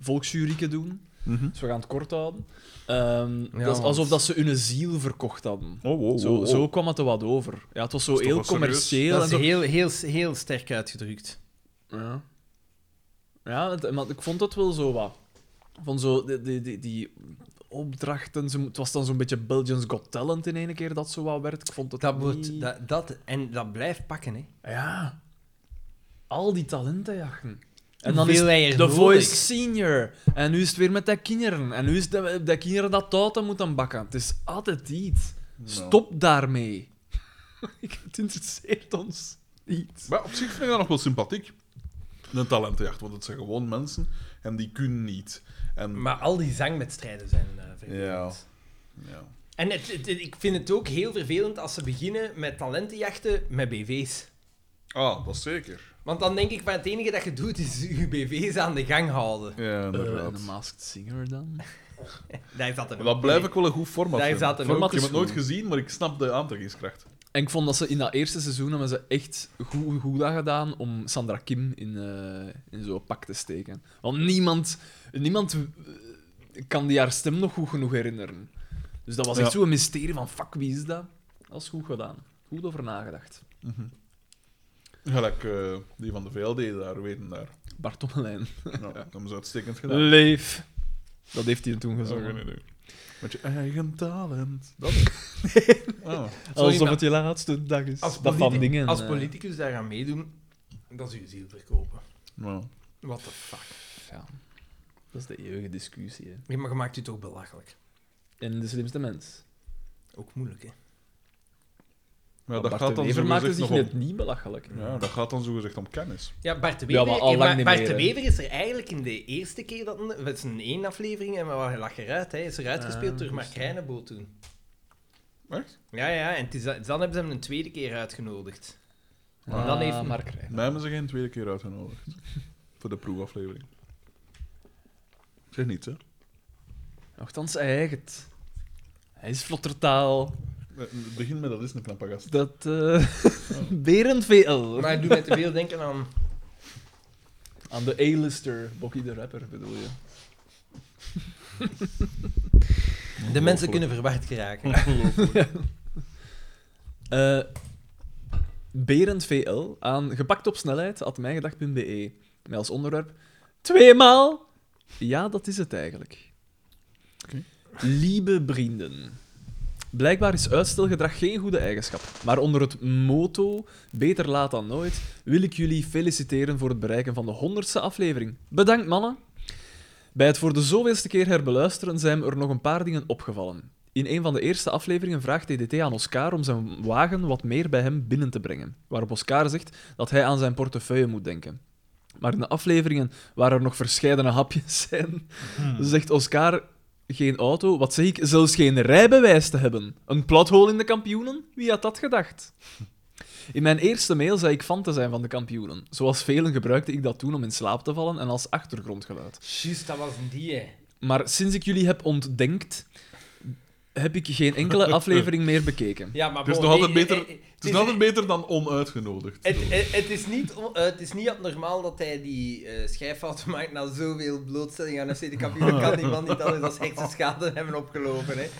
Speaker 3: volksjurieke doen. Dus we gaan het kort houden. Ehm,
Speaker 1: Ja,
Speaker 3: dat is
Speaker 1: want-
Speaker 3: alsof dat ze hun ziel verkocht hadden.
Speaker 2: Oh, wow,
Speaker 3: Zo,
Speaker 2: wow, wow.
Speaker 3: zo kwam het er wat over. Ja, het was zo
Speaker 2: is toch
Speaker 3: heel
Speaker 2: wel serieus?
Speaker 3: commercieel. en zo.
Speaker 1: heel, heel, heel sterk uitgedrukt.
Speaker 3: Ja. Ja, het- maar ik vond dat wel zo wat. Van zo, die, die, die, die opdrachten. Ze, mo- het was dan zo'n beetje Belgians Got Talent in ene keer dat zo wat werd. Ik vond het
Speaker 1: Dat
Speaker 3: niet-
Speaker 1: wordt, dat, dat, en dat blijft pakken, hè.
Speaker 3: Ja. Al die talenten jachten. En dan
Speaker 1: Veel
Speaker 3: is het
Speaker 1: eieren
Speaker 3: The
Speaker 1: nodig.
Speaker 3: Voice Senior. En nu is het weer met dat kinderen. En nu is dat, dat kinderen dat touten moeten bakken. Het is altijd iets.
Speaker 2: Nou.
Speaker 3: Stop daarmee. Ik- het interesseert ons niet.
Speaker 2: Maar op zich vind ik dat nog wel sympathiek. Een talentenjacht, want het zijn gewoon mensen en die kunnen niet. En
Speaker 1: Maar al die zangwedstrijden zijn eh vervelend.
Speaker 2: ja.
Speaker 1: En het, het- het- ik vind het ook heel vervelend als ze beginnen met talentenjachten met BV's.
Speaker 2: Ah, dat zeker.
Speaker 1: Want dan denk ik, maar het enige dat je doet is je BV's aan de gang houden.
Speaker 2: Ja,
Speaker 3: Eh,
Speaker 2: inderdaad.
Speaker 3: de Masked Singer dan?
Speaker 1: Daar zat
Speaker 2: Maar
Speaker 1: een
Speaker 2: dat blijf ik wel een goed format
Speaker 1: Daar
Speaker 2: vinden.
Speaker 1: zat een
Speaker 2: Ik
Speaker 3: Format
Speaker 2: heb
Speaker 3: is
Speaker 2: het nooit
Speaker 3: goed.
Speaker 2: gezien, maar ik snap de aantrekkingskracht.
Speaker 3: En ik vond dat ze in dat eerste seizoen hebben ze echt goed, goed aan gedaan om Sandra Kim in, eh, in zo'n pak te steken. Want niemand, niemand eh, kan die haar stem nog goed genoeg herinneren. Dus dat was echt
Speaker 2: Ja.
Speaker 3: zo'n mysterie van, fuck, wie is dat? Dat is goed gedaan. Goed over nagedacht.
Speaker 2: Gelijk eh, die van de VLD daar, weten daar.
Speaker 3: Bart Tommelijn.
Speaker 2: Ja, dat hebben ze uitstekend gedaan.
Speaker 3: Leef. Dat heeft hij toen
Speaker 2: Oh, geen
Speaker 3: gezongen.
Speaker 2: idee. Met je eigen talent. Dat is. Ah.
Speaker 3: Alsof het je laatste dag is.
Speaker 1: Als,
Speaker 3: dat van
Speaker 1: politi-
Speaker 3: dingen.
Speaker 1: als
Speaker 3: eh.
Speaker 1: politicus daar aan meedoen, dat is uw ziel verkopen.
Speaker 2: Nou,
Speaker 1: What the fuck.
Speaker 3: Ja. Dat is de eeuwige discussie. Hè.
Speaker 1: Ja, maar je maakt u toch belachelijk.
Speaker 3: En de slimste mens.
Speaker 1: Ook moeilijk, hè.
Speaker 2: Maar
Speaker 3: Bart
Speaker 2: dat gaat,
Speaker 3: de
Speaker 2: dan
Speaker 3: Wever maakte
Speaker 1: dus
Speaker 2: zogezegd
Speaker 3: zich
Speaker 2: nog
Speaker 3: net
Speaker 2: om,
Speaker 3: niet belachelijk.
Speaker 2: ja, dat gaat dan zogezegd om kennis.
Speaker 1: Ja, Bart de
Speaker 3: Ja,
Speaker 1: Wever,
Speaker 3: maar al
Speaker 1: eh,
Speaker 3: lang
Speaker 1: maar
Speaker 3: niet
Speaker 1: Bart
Speaker 3: meer,
Speaker 1: de
Speaker 3: hè.
Speaker 1: Wever is er eigenlijk in de eerste keer, dat, het is een één aflevering, en maar hij lag eruit. Hij is eruit
Speaker 3: Ah,
Speaker 1: gespeeld door
Speaker 3: juist,
Speaker 1: Mark
Speaker 3: ja.
Speaker 1: Reineboel toen.
Speaker 2: Echt?
Speaker 1: Ja, ja, en het is, dan hebben ze hem een tweede keer uitgenodigd. En dan
Speaker 3: Ah,
Speaker 1: heeft-
Speaker 3: Mark Rijn.
Speaker 2: Mij hebben ze geen tweede keer uitgenodigd. Voor de proefaflevering. Zeg niet, hè?
Speaker 3: Nochtans eigen. Hij is vlottertaal.
Speaker 2: Eh, Begin met dat is een knappe gast.
Speaker 3: Dat. eh Berend VL.
Speaker 1: Maar hij doet mij te veel denken aan...
Speaker 3: Aan de A-lister, Bokkie de Rapper bedoel je.
Speaker 1: De mensen kunnen verward geraken.
Speaker 3: Eh Berend VL aan gepakt op snelheid at mijngedacht.be. Met als onderwerp. Tweemaal! Ja, dat is het eigenlijk.
Speaker 2: Oké.
Speaker 3: Lieve vrienden. Blijkbaar is uitstelgedrag geen goede eigenschap. Maar onder het motto beter laat dan nooit wil ik jullie feliciteren voor het bereiken van de honderdste aflevering. Bedankt mannen! Bij het voor de zoveelste keer herbeluisteren zijn me er nog een paar dingen opgevallen. In een van de eerste afleveringen vraagt DDT aan Oscar om zijn wagen wat meer bij hem binnen te brengen. Waarop Oscar zegt dat hij aan zijn portefeuille moet denken. Maar in de afleveringen waar er nog verscheidene hapjes zijn, zegt Oscar geen auto, wat zeg ik, zelfs geen rijbewijs te hebben. Een plathole in de kampioenen? Wie had dat gedacht? In mijn eerste mail zei ik fan te zijn van de kampioenen. Zoals velen gebruikte ik dat toen om in slaap te vallen en als achtergrondgeluid.
Speaker 1: Juist, dat was een die, hè.
Speaker 3: Maar sinds ik jullie heb ontdenkt, heb ik geen enkele aflevering meer bekeken.
Speaker 1: Ja, maar
Speaker 2: Het is
Speaker 1: bon,
Speaker 2: nog altijd
Speaker 1: nee,
Speaker 2: beter-
Speaker 1: eh, eh,
Speaker 2: Het is altijd beter dan onuitgenodigd.
Speaker 1: Het, het, het is niet, on- eh, het is niet abnormaal dat hij die eh schijffout maakt na zoveel blootstelling aan FC de kampioen. kan die man niet anders als hersenschade hebben opgelopen. Hè.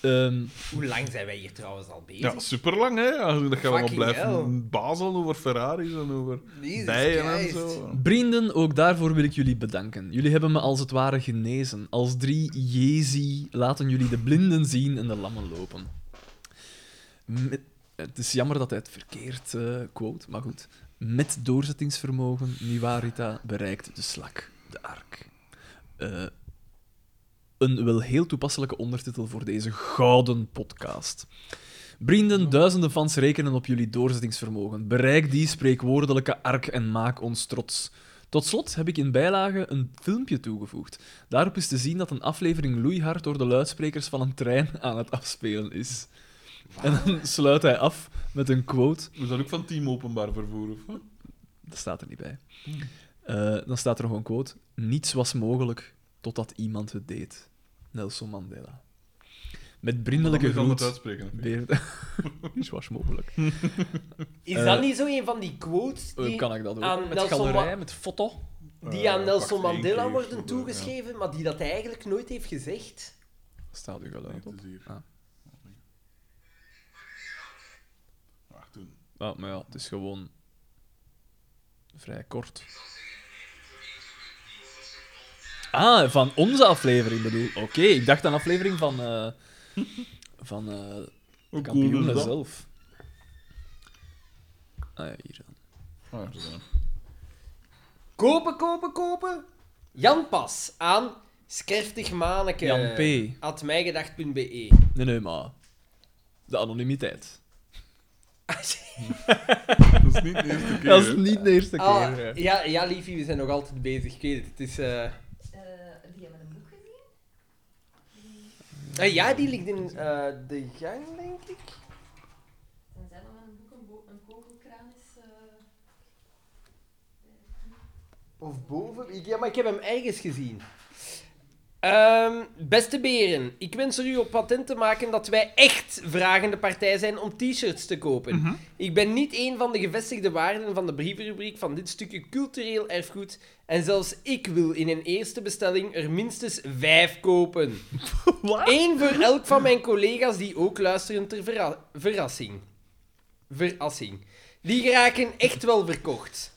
Speaker 3: Ehm,
Speaker 1: Hoe lang zijn wij hier trouwens al bezig?
Speaker 2: Ja, superlang, hè? Ja, Dat gaan we wel
Speaker 1: Fucking hell.
Speaker 2: blijven bazelen over Ferraris en over
Speaker 1: Jezus
Speaker 2: bijen en
Speaker 1: Christ.
Speaker 2: zo.
Speaker 3: Vrienden, ook daarvoor wil ik jullie bedanken. Jullie hebben me als het ware genezen. Als drie Jezi laten jullie de blinden zien en de lammen lopen. Met- het is jammer dat hij het verkeerd eh, quote, maar goed. Met doorzettingsvermogen, Niwarita bereikt de slak, de ark. Eh, een wel heel toepasselijke ondertitel voor deze gouden podcast. Vrienden, duizenden fans rekenen op jullie doorzettingsvermogen. Bereik die spreekwoordelijke ark en maak ons trots. Tot slot heb ik in bijlage een filmpje toegevoegd. Daarop is te zien dat een aflevering loeihard door de luidsprekers van een trein aan het afspelen is. En dan sluit hij af met een quote
Speaker 2: Is dat ook van team openbaar vervoer? Of? wat?
Speaker 3: dat staat er niet bij. Eh, dan staat er nog een quote. Niets was mogelijk totdat iemand het deed. Nelson Mandela. Met vriendelijke
Speaker 2: Dan moet je het
Speaker 3: groet...
Speaker 2: uitspreken. vind ik.
Speaker 3: Beer... Niets was mogelijk.
Speaker 1: Is
Speaker 3: Eh,
Speaker 1: dat niet zo een van die quotes
Speaker 3: Eh,
Speaker 1: die, Ah,
Speaker 3: kan ik dat ook?
Speaker 1: aan
Speaker 3: met
Speaker 1: Nelson
Speaker 3: galerij,
Speaker 1: Ma-
Speaker 3: met foto?
Speaker 1: die aan
Speaker 2: Eh,
Speaker 1: Nelson
Speaker 2: wacht, één
Speaker 1: Mandela
Speaker 2: keer
Speaker 1: worden
Speaker 2: voor de-
Speaker 1: toegeschreven, maar die dat hij eigenlijk nooit heeft gezegd?
Speaker 3: Staat u
Speaker 2: ja. Nee,
Speaker 3: geluid op?
Speaker 2: het is hier.
Speaker 3: Ah.
Speaker 2: Wacht, doen.
Speaker 3: Ah, maar ja, het is gewoon... Vrij kort. Ah, van onze aflevering bedoel Oké, ik dacht aan aflevering van. eh van. eh de
Speaker 2: Hoe cool is
Speaker 3: kampioenen
Speaker 2: dat?
Speaker 3: zelf. Ah ja, hier aan.
Speaker 2: Ah, ja, dat is, eh,
Speaker 1: Kopen, kopen, kopen. Jan Pas aan skerftig maneke.
Speaker 3: Jan P.
Speaker 1: At mijgedacht.be.
Speaker 3: Nee, nee, maar. De anonimiteit.
Speaker 2: dat is niet de eerste keer.
Speaker 3: Dat is
Speaker 2: hè.
Speaker 3: niet de eerste keer.
Speaker 1: Ah, ja, ja, liefie, we zijn nog altijd bezig. Ik weet het. het is, eh,
Speaker 5: Eh, die hebben een boek gezien.
Speaker 1: eh, ja, die ligt in eh, de gang, denk ik.
Speaker 5: Tenzij dat met een boek een, bo- een kogelkraan is. eh,
Speaker 1: Of boven? Ik- Ja, maar ik heb hem ergens gezien. Ehm, beste beren, ik wens er u op patent te maken dat wij echt vragende partij zijn om t-shirts te kopen. Ik ben niet een van de gevestigde waarden van de brievenrubriek van dit stukje cultureel erfgoed. En zelfs ik wil in een eerste bestelling er minstens vijf kopen. Eén voor elk van mijn collega's die ook luisteren ter verra- verrassing. Verrassing. Die geraken echt wel verkocht.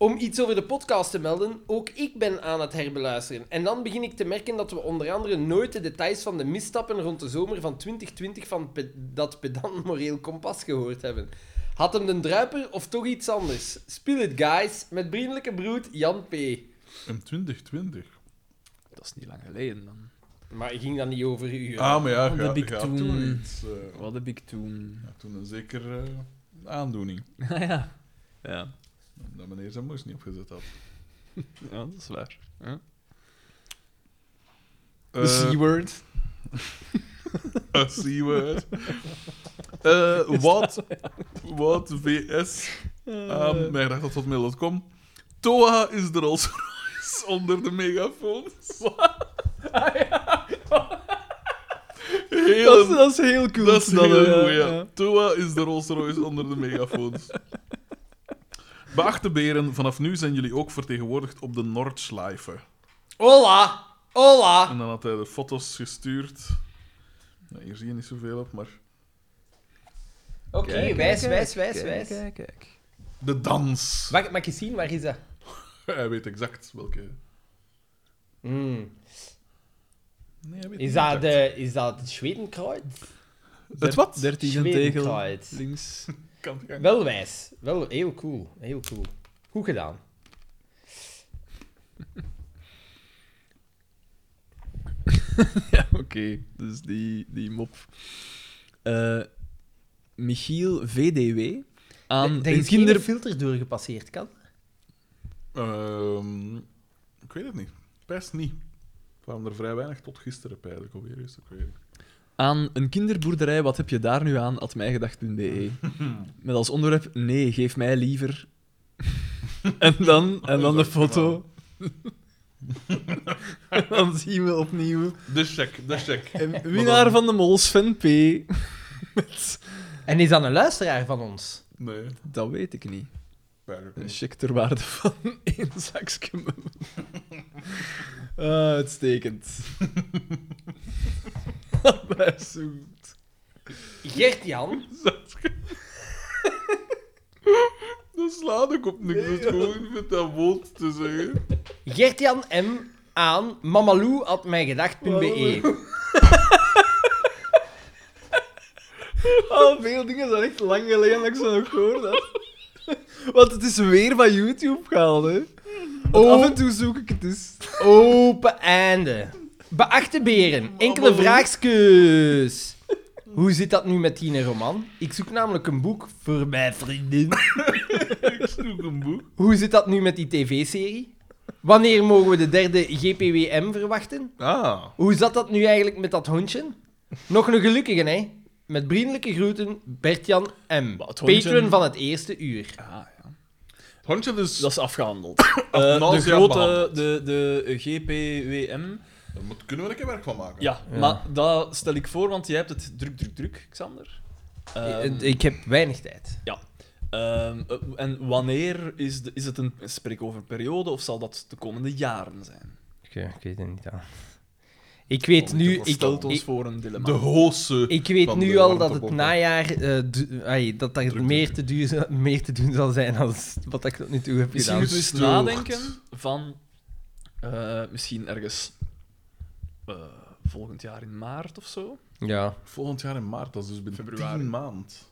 Speaker 1: Om iets over de podcast te melden, ook ik ben aan het herbeluisteren. En dan begin ik te merken dat we onder andere nooit de details van de misstappen rond de zomer van 2020 van pe- dat pedant moreel kompas gehoord hebben. Had hem den druiper of toch iets anders? Spill it, guys. Met vriendelijke broed, Jan P.
Speaker 2: In 2020.
Speaker 3: Dat is niet lang geleden, man.
Speaker 1: Maar ik ging dan niet over u. hè.
Speaker 2: Ah, maar ja,
Speaker 3: Dat
Speaker 2: ja,
Speaker 3: heb ik
Speaker 2: ja,
Speaker 3: toen-
Speaker 2: iets, eh,
Speaker 3: Wat heb ik toen.
Speaker 2: ja, toen een zeker eh, aandoening.
Speaker 3: Ah ja. Ja,
Speaker 2: Dat meneer zijn moes niet opgezet had.
Speaker 3: ja dat is waar.
Speaker 2: Eh,
Speaker 3: De C-word.
Speaker 2: Eh, C-word. Eh, wat? Wat? VS?
Speaker 3: Eh.
Speaker 2: Um, mijn gedacht dat tot mail.com. Toa is de Rolls Royce onder de megafoons.
Speaker 3: Ah, Dat, is-
Speaker 2: Heel,
Speaker 3: dat is heel cool.
Speaker 2: dat is heel
Speaker 3: eh,
Speaker 2: goed, ja. Toa is de Rolls Royce onder de megafoons. Beachte beren, vanaf nu zijn jullie ook vertegenwoordigd op de Noordschleife.
Speaker 1: Hola! Hola!
Speaker 2: En dan had hij de foto's gestuurd. Nou, hier zie je niet zoveel op, maar...
Speaker 1: Oké,
Speaker 3: Kijk,
Speaker 1: wijs,
Speaker 3: kijk,
Speaker 1: wijs, wijs,
Speaker 3: kijk,
Speaker 1: wijs.
Speaker 3: Kijk, kijk.
Speaker 2: De dans.
Speaker 1: Mag, mag ik eens zien, waar is dat?
Speaker 2: Hij weet exact welke...
Speaker 1: Hmm.
Speaker 2: Nee, hij weet
Speaker 1: Is,
Speaker 2: niet
Speaker 1: dat
Speaker 2: exact.
Speaker 1: de, is dat het Schwedenkruid?
Speaker 2: Het wat?
Speaker 3: Dertiende tegel.
Speaker 1: Schwedenkruid.
Speaker 3: Links.
Speaker 2: Kan het gaan.
Speaker 1: Wel wijs. Wel heel cool. Heel cool. Goed gedaan.
Speaker 3: Oké, dus die, die mop. Eh, Michiel VDW aan
Speaker 1: Er
Speaker 3: een
Speaker 1: is kinder...
Speaker 3: kinder...
Speaker 1: geen filter doorgepasseerd, kan?
Speaker 2: Ehm, ik weet het niet. Pijs niet. Er kwamen er vrij weinig tot gisteren, pijl ik alweer eens. Ik weet het.
Speaker 3: aan een kinderboerderij, wat heb je daar nu aan? At mijgedacht.be. E. Met als onderwerp, nee, geef mij liever. en dan, en dan de foto. dan zien we opnieuw.
Speaker 2: niet. De check, de check.
Speaker 3: En winnaar van de mol, Sven P. Met-
Speaker 1: En is dat een luisteraar van ons?
Speaker 2: Nee,
Speaker 3: dat weet ik niet.
Speaker 2: pijl ik
Speaker 3: Een
Speaker 2: niet.
Speaker 3: check ter waarde van één zakje munt. Ah, uitstekend. Allebei zo goed.
Speaker 1: Gert-Jan?
Speaker 2: Dat slaat ook op niks. Dat is gewoon met dat woord te zeggen.
Speaker 1: Gert-Jan M. aan mamalou.mijgedacht.be
Speaker 3: Ah, veel dingen zijn echt lang geleden dat ik ze nog gehoord had. Want het is weer van YouTube gehaald, hè. Want
Speaker 1: Oh.
Speaker 3: Af en toe zoek ik het dus. eens.
Speaker 1: Open einde. Beachte beren, enkele vraagskus. Hoe zit dat nu met Tine Roman? Ik zoek namelijk een boek voor mijn vriendin.
Speaker 2: Ik zoek een boek.
Speaker 1: Hoe zit dat nu met die tv-serie? Wanneer mogen we de derde GPWM verwachten?
Speaker 2: Ah.
Speaker 1: Hoe zat dat nu eigenlijk met dat hondje? Nog een gelukkige, hè? Met vriendelijke groeten, Bertjan M.
Speaker 3: het hondje-
Speaker 1: Patron van het eerste uur.
Speaker 2: Het hondje dus...
Speaker 3: Dat is afgehandeld. Eh, de
Speaker 2: Nausea
Speaker 3: grote,
Speaker 2: behandeld.
Speaker 3: de, de GPWM.
Speaker 2: Daar moet- kunnen we er een keer werk van maken.
Speaker 3: Ja, maar dat stel ik voor, want jij hebt het druk, druk, druk, Xander. Ehm,
Speaker 1: Eh, Ik- Ik heb weinig tijd.
Speaker 3: Ehm, eh, en wanneer is, de, is het een spreek over een periode of zal dat de komende jaren zijn?
Speaker 1: Ik, eh, ik weet het niet aan. Ik weet nu... Ik,
Speaker 3: Stelt ons
Speaker 1: ik,
Speaker 3: voor een dilemma.
Speaker 2: De hoose.
Speaker 1: ik weet
Speaker 2: van
Speaker 1: nu
Speaker 2: de
Speaker 1: al dat het
Speaker 2: warmtepompen.
Speaker 1: najaar... eh, du- ai, dat daar
Speaker 2: Druk,
Speaker 1: meer te, duur, za- meer te doen zal zijn dan wat ik tot nu toe heb
Speaker 3: Misschien
Speaker 1: gedaan.
Speaker 3: moeten we eens
Speaker 2: Gestoord.
Speaker 3: nadenken van Eh, misschien ergens eh, volgend jaar in maart of zo.
Speaker 1: Ja.
Speaker 2: Volgend jaar in maart, dat is dus binnen
Speaker 3: Februari.
Speaker 2: tien maand.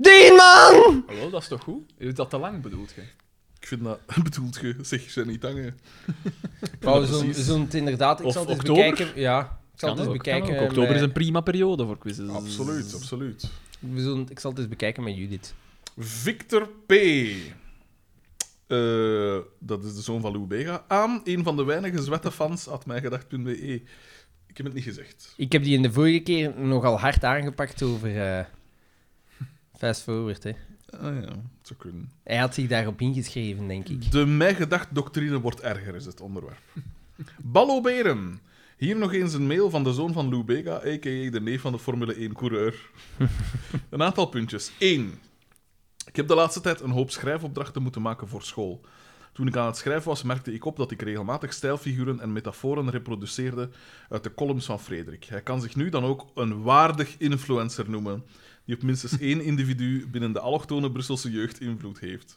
Speaker 1: Dien, man!
Speaker 3: Hallo, dat is toch goed? Je doet dat te lang bedoeld, je?
Speaker 2: Ik vind dat... Bedoelt je? Zeg, je niet hangen.
Speaker 1: Nou,
Speaker 2: Ja,
Speaker 1: zo,
Speaker 2: precies.
Speaker 1: zo het inderdaad... Ik
Speaker 3: Of
Speaker 1: zal het eens
Speaker 3: oktober?
Speaker 1: bekijken. Ja. Ik zal het eens bekijken. eh,
Speaker 3: Oktober is
Speaker 1: met-
Speaker 3: een prima periode voor quizzes.
Speaker 2: Absoluut, absoluut.
Speaker 1: we zullen- Ik zal het eens bekijken met Judith.
Speaker 2: Victor P. Eh, dat is de zoon van Lou Bega. Aan een van de weinige zwette fans at mijgedacht.be. E. Ik heb het niet gezegd.
Speaker 1: Ik heb die in de vorige keer nogal hard aangepakt over eh, Fast Forward. Hè.
Speaker 2: Ah ja, het zou kunnen.
Speaker 1: Hij had zich daarop ingeschreven, denk ik.
Speaker 2: De mijgedacht-doctrine wordt erger, is het onderwerp. Ballo Beren. Hier nog eens een mail van de zoon van Lou Bega, a.k.a. de neef van de Formule 1-coureur. een aantal puntjes. 1. Ik heb de laatste tijd een hoop schrijfopdrachten moeten maken voor school. Toen ik aan het schrijven was, merkte ik op dat ik regelmatig stijlfiguren en metaforen reproduceerde uit de columns van Frederik. Hij kan zich nu dan ook een waardig influencer noemen, die op minstens één individu binnen de allochtone Brusselse jeugd invloed heeft.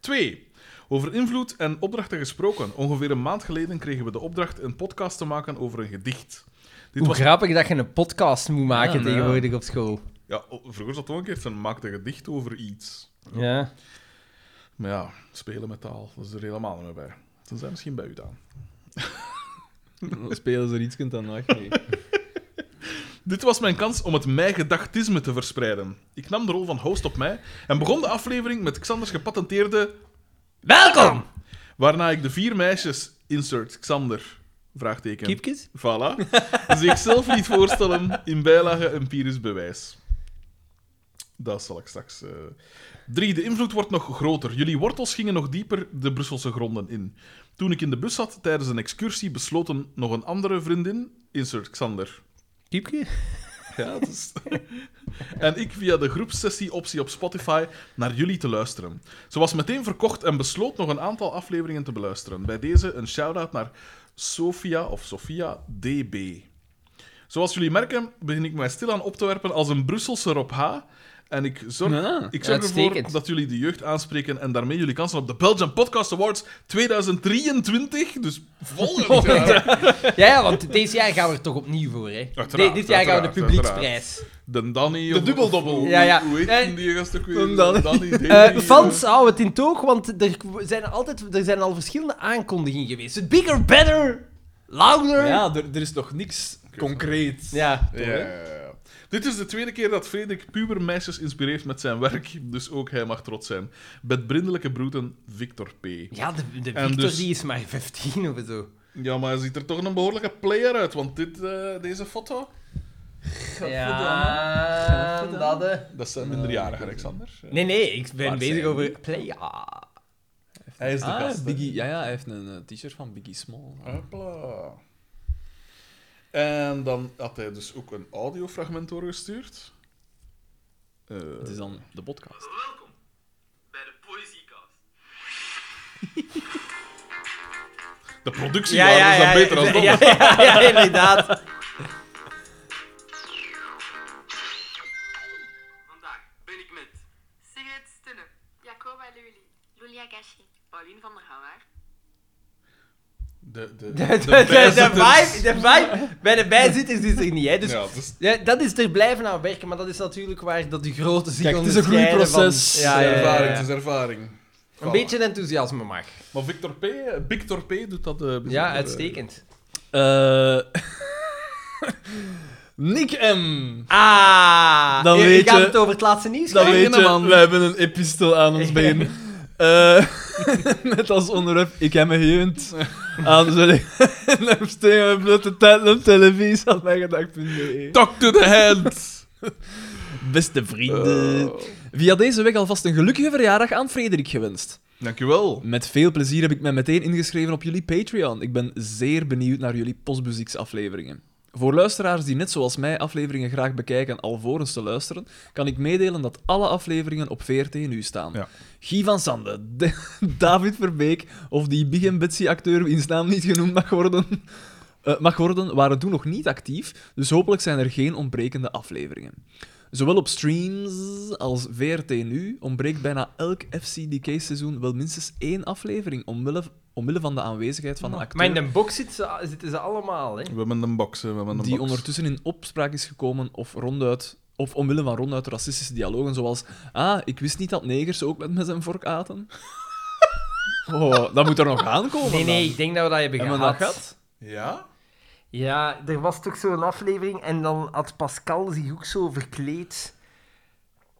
Speaker 2: 2. Over invloed en opdrachten gesproken. Ongeveer een maand geleden kregen we de opdracht een podcast te maken over een gedicht. Dit
Speaker 1: Hoe
Speaker 2: was...
Speaker 1: grappig dat je een podcast moet maken
Speaker 2: Ja, nou.
Speaker 1: tegenwoordig op school.
Speaker 2: Ja, o- vroeger zat het wel een keer van maak een gedicht over iets.
Speaker 1: Ja.
Speaker 2: Maar ja, spelen met taal, dat is er helemaal niet meer bij. Dan zijn misschien bij u dan.
Speaker 3: Spelen ze er iets kunt dan nog niet.
Speaker 2: Dit was mijn kans om het mij-gedachtisme te verspreiden. Ik nam de rol van host op mij en begon de aflevering met Xanders gepatenteerde...
Speaker 1: Welkom!
Speaker 2: Waarna ik de vier meisjes, insert Xander, vraagteken...
Speaker 1: Kiepjes?
Speaker 2: Voilà. Zichzelf liet voorstellen in bijlage empirisch bewijs. Dat zal ik straks. eh. Drie, de invloed wordt nog groter. Jullie wortels gingen nog dieper de Brusselse gronden in. Toen ik in de bus zat tijdens een excursie, besloten nog een andere vriendin, insert Xander.
Speaker 1: Kiepje?
Speaker 2: Ja, het is- en ik via de groepsessie-optie op Spotify naar jullie te luisteren. Ze was meteen verkocht en besloot nog een aantal afleveringen te beluisteren. Bij deze een shout-out naar Sofia of Sofia DB. Zoals jullie merken, begin ik mij stilaan op te werpen als een Brusselse Rob H. En ik zorg,
Speaker 3: Ah,
Speaker 2: ik zorg ervoor
Speaker 1: uitstekend.
Speaker 2: dat jullie de jeugd aanspreken en daarmee jullie kansen op de Belgian Podcast Awards 2023, dus volgend jaar,
Speaker 1: Ja, ja, want deze jaar gaan we er toch opnieuw voor, hè?
Speaker 2: Uiteraard,
Speaker 1: Dit- dit jaar gaan we de
Speaker 2: uiteraard,
Speaker 1: publieksprijs.
Speaker 2: De Danny.
Speaker 16: De
Speaker 2: of-
Speaker 16: dubbeldobbel.
Speaker 2: of-
Speaker 1: Ja, ja.
Speaker 2: Hoe heet
Speaker 1: En-
Speaker 2: die gast ook weer?
Speaker 3: Een Danny.
Speaker 2: Danny, Danny.
Speaker 1: Eh, fans, hou het in toog, want er zijn, altijd, er zijn al verschillende aankondigingen geweest. Het bigger, better, louder.
Speaker 3: Ja, er, er is nog niks concreet.
Speaker 1: Ja.
Speaker 2: Ja, ja, ja. Dit is de tweede keer dat Frederik puber meisjes inspireert met zijn werk, dus ook hij mag trots zijn. Met brindelijke broeten, Victor P.
Speaker 1: Ja, de, de
Speaker 2: En
Speaker 1: Victor
Speaker 2: dus-
Speaker 1: die is maar 15 of zo.
Speaker 2: Ja, maar hij ziet er toch een behoorlijke player uit, want dit, eh, deze foto,
Speaker 1: Ja, dat eh. hè.
Speaker 2: dat zijn minderjarigen, Alexander.
Speaker 1: Nee, nee, ik ben
Speaker 3: Waar
Speaker 1: bezig
Speaker 3: zijn
Speaker 1: over... Play, ja.
Speaker 2: Hij is de
Speaker 3: Ah,
Speaker 2: gast. hè.
Speaker 3: Biggie, ja, ja, hij heeft een eh, t-shirt van Biggie Small.
Speaker 2: Hopla. En dan had hij dus ook een audiofragment doorgestuurd. Eh,
Speaker 3: Het is dan de podcast.
Speaker 17: Welkom bij de Poëziekast.
Speaker 2: de productie ja, is dan beter dan dat.
Speaker 1: ja, ja, ja, inderdaad.
Speaker 17: Vandaag ben ik met
Speaker 5: Sigrid Stunne. Jacoba Luli. Lulia Gashi.
Speaker 17: Pauline van der Houwaard.
Speaker 2: De, de,
Speaker 1: De, de, de, vibe, de vibe bij de bijzitters is er niet, hè. Dus
Speaker 2: Ja, dus
Speaker 1: ja, dat is er blijven aan werken, maar dat is natuurlijk waar dat de grote zich
Speaker 3: Kijk, het is een
Speaker 1: onderscheiden
Speaker 3: groeiproces.
Speaker 1: van- Ja, ja, ja, ja.
Speaker 2: ervaring, het is ervaring.
Speaker 1: Eh, Een beetje enthousiasme mag.
Speaker 2: Maar Victor P, eh, Victor P doet dat... eh, bijzonder,
Speaker 1: Ja,
Speaker 2: eh,
Speaker 1: uitstekend.
Speaker 3: Eh Nick M.
Speaker 1: Ah,
Speaker 3: Dan
Speaker 1: je,
Speaker 3: weet
Speaker 1: gaat
Speaker 3: je-
Speaker 1: het over het laatste nieuws
Speaker 3: Dan
Speaker 1: gaan?
Speaker 3: weet je, we hebben een epistel aan ons been. Eh, met als onderwerp, ik heb me geënt aan zo'n steen met blote tijd op televisie, had mij gedacht.
Speaker 2: Talk to the hand!
Speaker 3: Beste vrienden.
Speaker 2: Oh.
Speaker 3: Via deze week alvast een gelukkige verjaardag aan Frederik gewenst.
Speaker 2: Dankjewel.
Speaker 3: Met veel plezier heb ik mij meteen ingeschreven op jullie Patreon. Ik ben zeer benieuwd naar jullie postmuzieksafleveringen. Voor luisteraars die net zoals mij afleveringen graag bekijken alvorens te luisteren, kan ik meedelen dat alle afleveringen op VRT nu staan.
Speaker 2: Ja.
Speaker 3: Guy van Sande, D- David Verbeek of die Big en Betsy acteur wiens naam niet genoemd mag worden, eh, mag worden, waren toen nog niet actief, dus hopelijk zijn er geen ontbrekende afleveringen. Zowel op streams als VRT nu ontbreekt bijna elk FCDK-seizoen wel minstens één aflevering omwille omwille van de aanwezigheid van een acteur
Speaker 1: Maar in de box zit ze- zitten ze allemaal, hè.
Speaker 2: We hebben een box, hè. We hebben een
Speaker 3: die
Speaker 2: box.
Speaker 3: ondertussen in opspraak is gekomen of ronduit of omwille van ronduit racistische dialogen zoals ah, ik wist niet dat negers ook met, met zijn vork aten. Oh, dat moet er nog aankomen.
Speaker 1: Nee, nee,
Speaker 3: dan.
Speaker 1: ik denk dat we dat hebben
Speaker 3: Hebben we dat
Speaker 1: gehad.
Speaker 3: gehad?
Speaker 2: Ja?
Speaker 1: Ja, er was toch zo'n aflevering en dan had Pascal zich ook zo verkleed.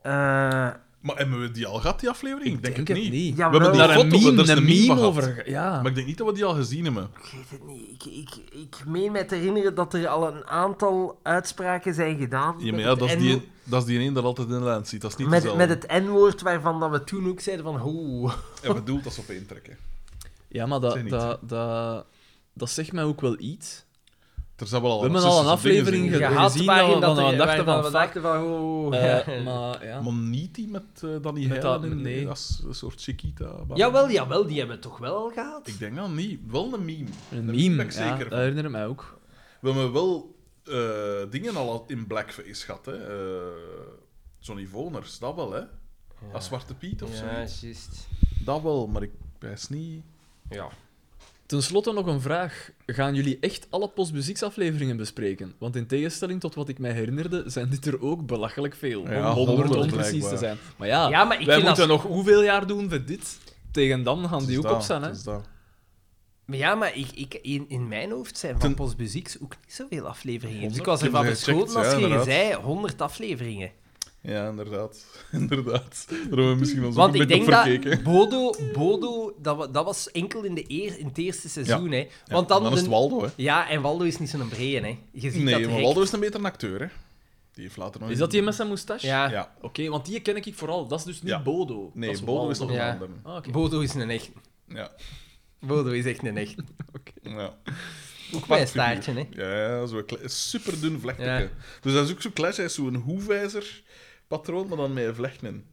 Speaker 1: Eh
Speaker 2: Maar hebben we die al gehad, die aflevering?
Speaker 3: Ik denk het niet.
Speaker 1: ja,
Speaker 2: We hebben
Speaker 1: wel,
Speaker 2: die
Speaker 3: Daar een
Speaker 2: foto,
Speaker 3: meme,
Speaker 2: daar is
Speaker 3: een
Speaker 2: een meme
Speaker 3: meme
Speaker 2: van gehad.
Speaker 3: over. ge- Ja.
Speaker 2: Maar ik denk niet dat we die al gezien hebben.
Speaker 1: ik weet het niet. Ik, ik, ik meen mij te herinneren dat er al een aantal uitspraken zijn gedaan.
Speaker 2: Ja,
Speaker 1: met
Speaker 2: maar ja,
Speaker 1: het
Speaker 2: dat is,
Speaker 1: N-
Speaker 2: die, dat is die een dat altijd in de lijn zit. Dat is niet
Speaker 1: met,
Speaker 2: dezelfde.
Speaker 1: met het N-woord waarvan dat we toen ook zeiden van... Hoe.
Speaker 2: En bedoelt dat ze op één trekken.
Speaker 3: Ja, maar dat,
Speaker 2: Zijn niet,
Speaker 3: dat, dat, dat zegt mij ook wel iets.
Speaker 2: Er zijn wel al
Speaker 3: We hebben al een
Speaker 2: racistische dingen
Speaker 3: aflevering
Speaker 2: in.
Speaker 3: ge-
Speaker 1: gehad
Speaker 3: gezien
Speaker 1: waarin
Speaker 3: dat we-
Speaker 1: dat
Speaker 3: dat we
Speaker 1: er-
Speaker 3: dachten
Speaker 1: waarin
Speaker 3: van,
Speaker 1: we dachten van... hoe.
Speaker 3: Eh, maar ja.
Speaker 2: Maar niet die met eh Danny
Speaker 3: Met
Speaker 2: Heijlen
Speaker 3: dat-
Speaker 2: in-
Speaker 3: nee.
Speaker 2: als een soort Chiquita. maar-
Speaker 1: Jawel, jawel, die hebben we toch wel al gehad?
Speaker 2: Ik denk dat niet. Wel een meme.
Speaker 3: Een
Speaker 2: Daar
Speaker 3: meme,
Speaker 2: ben ik
Speaker 3: ja,
Speaker 2: zeker
Speaker 3: dat
Speaker 2: van.
Speaker 3: herinner ik mij ook.
Speaker 2: We hebben wel eh, dingen al in blackface gehad, hè. Eh, Johnny Voners, dat wel, hè. Als Zwarte Piet of
Speaker 1: Ja,
Speaker 2: zo.
Speaker 1: juist.
Speaker 2: Dat wel, maar ik wijs niet...
Speaker 1: Ja.
Speaker 3: Ten slotte nog een vraag. Gaan jullie echt alle postmuziekafleveringen bespreken? Want in tegenstelling tot wat ik mij herinnerde, zijn dit er ook belachelijk veel.
Speaker 2: Ja,
Speaker 3: om 100 om
Speaker 2: honderd
Speaker 3: precies te
Speaker 2: blijkbaar.
Speaker 3: zijn. Maar ja,
Speaker 1: Ja, maar ik
Speaker 3: wij
Speaker 1: vind
Speaker 3: moeten
Speaker 1: dat-
Speaker 3: nog hoeveel jaar doen voor dit? Tegen dan gaan die ook op zijn, hè?
Speaker 2: Dat is dat.
Speaker 1: Maar ja, maar ik, ik, in, in mijn hoofd zijn van
Speaker 2: Ten-
Speaker 1: Post Muzieks ook niet zoveel afleveringen. Dus ik
Speaker 2: Honderd?
Speaker 1: was
Speaker 2: Ik heb
Speaker 1: ervan
Speaker 2: ze
Speaker 1: verschoten
Speaker 2: gecheckt,
Speaker 1: als
Speaker 2: ja,
Speaker 1: je
Speaker 2: inderdaad.
Speaker 1: zei 100 afleveringen.
Speaker 2: Ja, inderdaad. inderdaad. Daar hebben we misschien ons ook
Speaker 1: Want
Speaker 2: een
Speaker 1: ik
Speaker 2: beetje op
Speaker 1: denk dat
Speaker 2: verkeken.
Speaker 1: Bodo, Bodo dat, wa- dat was enkel in, de eer, in het eerste seizoen. Hè.
Speaker 2: Ja,
Speaker 1: Want dan,
Speaker 2: dan is het
Speaker 1: de-
Speaker 2: Waldo, hè.
Speaker 1: Ja, en Waldo is niet zo'n brede. Hè. Je ziet dat
Speaker 2: Nee, maar
Speaker 1: direct.
Speaker 2: Waldo is een beter acteur, hè. Die heeft later nog...
Speaker 3: Is
Speaker 2: in-
Speaker 3: dat die met zijn moustache?
Speaker 1: Ja,
Speaker 2: Ja.
Speaker 3: Oké, want die ken ik vooral. Dat is dus niet
Speaker 2: Ja.
Speaker 3: Bodo. dat
Speaker 2: Nee, Bodo is nog een
Speaker 1: Ja.
Speaker 2: ander.
Speaker 3: Ah, oké.
Speaker 1: Bodo is een echt.
Speaker 2: Ja.
Speaker 1: Bodo is echt een echt.
Speaker 2: ja.
Speaker 1: Ook mijn staartje, hè.
Speaker 2: Ja, zo'n kle- superdun vlechtje.
Speaker 1: Ja.
Speaker 2: Dus dat is ook zo'n klesje, hij is zo'n hoefijzer-patroon, maar dan met vlechten in.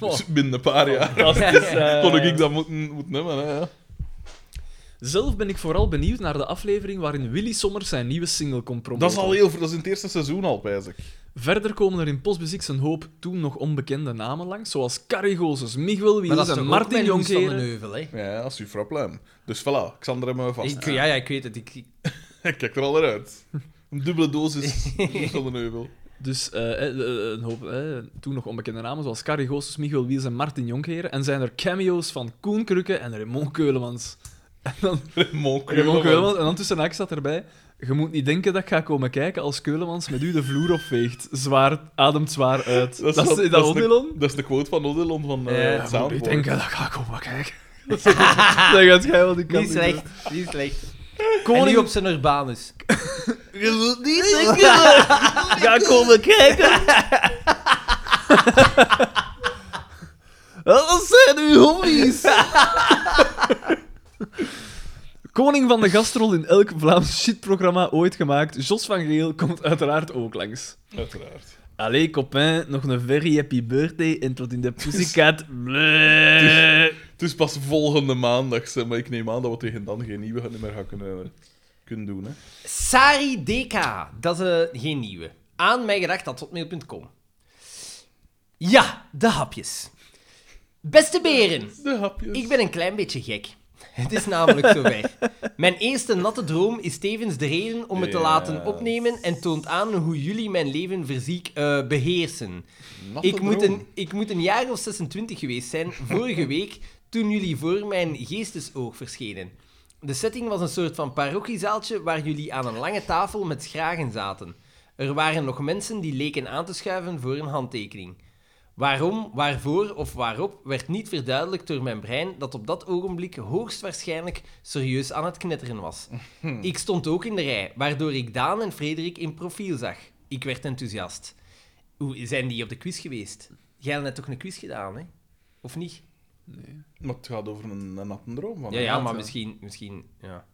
Speaker 2: Dus binnen een paar jaar
Speaker 3: Oh. Dat is, eh,
Speaker 2: kon ik dat moeten, moeten hebben. Hè, ja.
Speaker 3: Zelf ben ik vooral benieuwd naar de aflevering waarin Willy Sommers zijn nieuwe single komt
Speaker 2: Dat
Speaker 3: promoten.
Speaker 2: is al heel dat is in het eerste seizoen al, wijs ik.
Speaker 3: Verder komen er in Postbezix een hoop toen nog onbekende namen langs, zoals Carrigozes, Miguel Wiels en Martin Jonkeren.
Speaker 1: Heuvel, hè.
Speaker 2: Ja, als uw vrouw pluim. Dus voilà, Xander hebben we vast.
Speaker 1: Ik, ja, ja, ik weet het. Ik, ik-
Speaker 2: Kijk er al naar uit. Een dubbele dosis van de neuvel.
Speaker 3: Dus eh, eh, eh, een hoop eh, toen nog onbekende namen, zoals Carrigozes, Miguel Wiels en Martin Jonkeren. En zijn er cameo's van Koen Krukke en Raymond Keulemans. En dan,
Speaker 2: Raymond
Speaker 3: Raymond
Speaker 2: Keulemans.
Speaker 3: Keulemans, en dan tussen haakjes staat erbij... Je moet niet denken dat ik ga komen kijken als Keulemans met u de vloer opveegt. Zwaar, ademt zwaar uit. Dat is dat,
Speaker 2: wat-
Speaker 3: dat,
Speaker 2: is de-
Speaker 3: Odilon?
Speaker 2: Dat is de quote van Odilon van eh
Speaker 1: Ja,
Speaker 2: het
Speaker 3: Ja, ik
Speaker 2: Soundboard.
Speaker 3: denk dat ga ik ook maar kijken. dat gaat jij wel die kant
Speaker 1: niet slecht, niet slecht. En nu
Speaker 3: Koning
Speaker 1: op zijn Urbanus.
Speaker 3: Ga komen kijken. Dat zijn uw hobby's. Koning van de gastrol in elk Vlaams shitprogramma ooit gemaakt, Jos van Geel komt uiteraard ook langs.
Speaker 2: Uiteraard.
Speaker 3: Allee, copain, nog een very happy birthday en tot in de pussycat.
Speaker 2: Het is pas volgende maandag, zeg, maar ik neem aan dat we tegen dan geen nieuwe nummer gaan kunnen, kunnen doen. Hè.
Speaker 1: Sari DK, dat is eh, geen nieuwe. Aan mij gedacht, dat hotmail.com. Ja, de hapjes. Beste beren,
Speaker 2: De hapjes.
Speaker 1: ik ben een klein beetje gek. Het is namelijk zover. Mijn eerste natte droom is tevens de reden om het te
Speaker 2: Yes.
Speaker 1: laten opnemen en toont aan hoe jullie mijn leven verziek eh, beheersen.
Speaker 2: Natte
Speaker 1: Ik moet,
Speaker 2: droom.
Speaker 1: een, ik moet een jaar of 26 geweest zijn, vorige week, toen jullie voor mijn geestesoog verschenen. De setting was een soort van parochiezaaltje waar jullie aan een lange tafel met schragen zaten. Er waren nog mensen die leken aan te schuiven voor een handtekening. Waarom, waarvoor of waarop werd niet verduidelijkt door mijn brein dat op dat ogenblik hoogstwaarschijnlijk serieus aan het knetteren was. Ik stond ook in de rij, waardoor ik Daan en Frederik in profiel zag. Ik werd enthousiast. Hoe zijn die op de quiz geweest? Jij had net toch een quiz gedaan, hè? Of niet?
Speaker 2: Maar het gaat over een, een natte droom. Van
Speaker 1: Ja,
Speaker 2: een
Speaker 1: ja,
Speaker 2: naad,
Speaker 1: maar
Speaker 2: hè.
Speaker 1: misschien... misschien ja.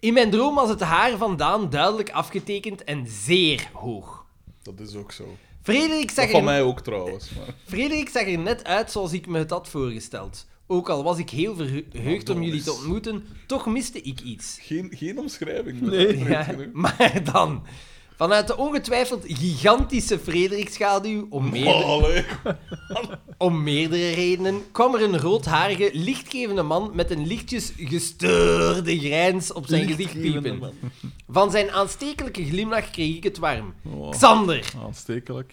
Speaker 1: In mijn droom was het haar van Daan duidelijk afgetekend en zeer hoog.
Speaker 2: Dat is ook zo.
Speaker 1: Frederik zag
Speaker 2: Dat
Speaker 1: er
Speaker 2: van mij ook trouwens. Maar...
Speaker 1: Frederik zag er net uit zoals ik me het had voorgesteld. Ook al was ik heel verheugd
Speaker 2: Oh,
Speaker 1: om jullie te ontmoeten, toch miste ik iets.
Speaker 2: Geen, geen omschrijving.
Speaker 1: Ja, maar dan. Vanuit de ongetwijfeld gigantische Frederiksschaduw, om, meerder-
Speaker 2: Allee.
Speaker 1: om meerdere redenen, kwam er een roodharige, lichtgevende man met een lichtjes gestoorde grijns op zijn gezicht piepen. Van zijn aanstekelijke glimlach kreeg ik het warm.
Speaker 2: Oh,
Speaker 1: Xander,
Speaker 2: aanstekelijk.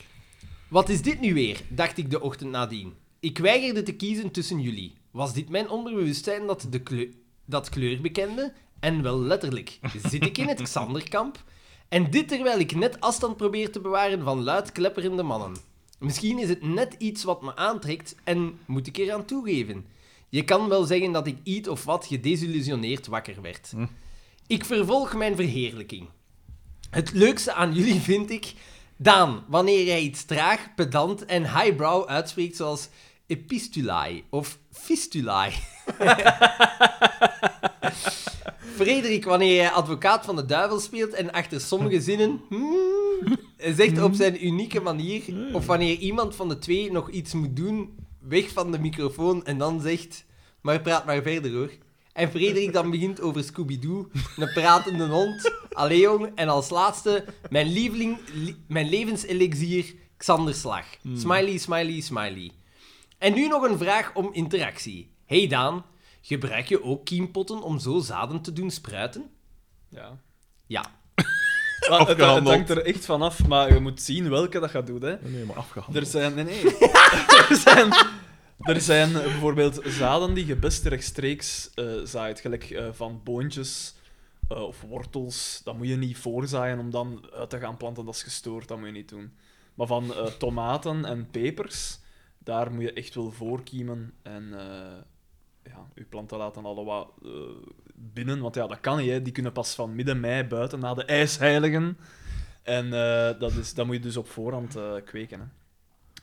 Speaker 1: wat is dit nu weer? dacht ik de ochtend nadien. Ik weigerde te kiezen tussen jullie. Was dit mijn onderbewustzijn dat de kleu- dat kleur bekende? En wel letterlijk. Zit ik in het Xanderkamp? En dit terwijl ik net afstand probeer te bewaren van luid klepperende mannen. Misschien is het net iets wat me aantrekt en moet ik eraan toegeven. Je kan wel zeggen dat ik iets of wat gedesillusioneerd wakker werd. Ik vervolg mijn verheerlijking. Het leukste aan jullie vind ik Daan, wanneer jij iets traag, pedant en highbrow uitspreekt zoals epistulae of fistulae. Frederik, wanneer jij advocaat van de duivel speelt en achter sommige zinnen hmm, zegt op zijn unieke manier, of wanneer iemand van de twee nog iets moet doen, weg van de microfoon en dan zegt, maar praat maar verder hoor. En Frederik dan begint over Scooby-Doo, een pratende hond, Allee jong, en als laatste, mijn lieveling, li- mijn levenselixier, Xanderslag. Smiley, smiley, smiley. En nu nog een vraag om interactie. Hey Daan, gebruik je ook kiempotten om zo zaden te doen spruiten?
Speaker 3: Ja.
Speaker 1: Ja.
Speaker 3: Maar het, het
Speaker 2: Afgehandeld.
Speaker 3: hangt er echt vanaf, maar je moet zien welke dat gaat doen. Hè.
Speaker 2: Nee, maar afgehandeld.
Speaker 3: Er zijn... Nee, nee. er, zijn, er zijn bijvoorbeeld zaden die je best rechtstreeks eh, zaait. Gelijk eh, van boontjes eh, of wortels. Dat moet je niet voorzaaien om dan uit te gaan planten. Dat is gestoord, dat moet je niet doen. Maar van eh, tomaten en pepers, daar moet je echt wel voorkiemen. En eh, ja, je planten laten alle wat eh, binnen. Want ja, dat kan niet. Hè. Die kunnen pas van midden mei buiten na de ijsheiligen. En eh, dat, is, dat moet je dus op voorhand eh, kweken. Hè.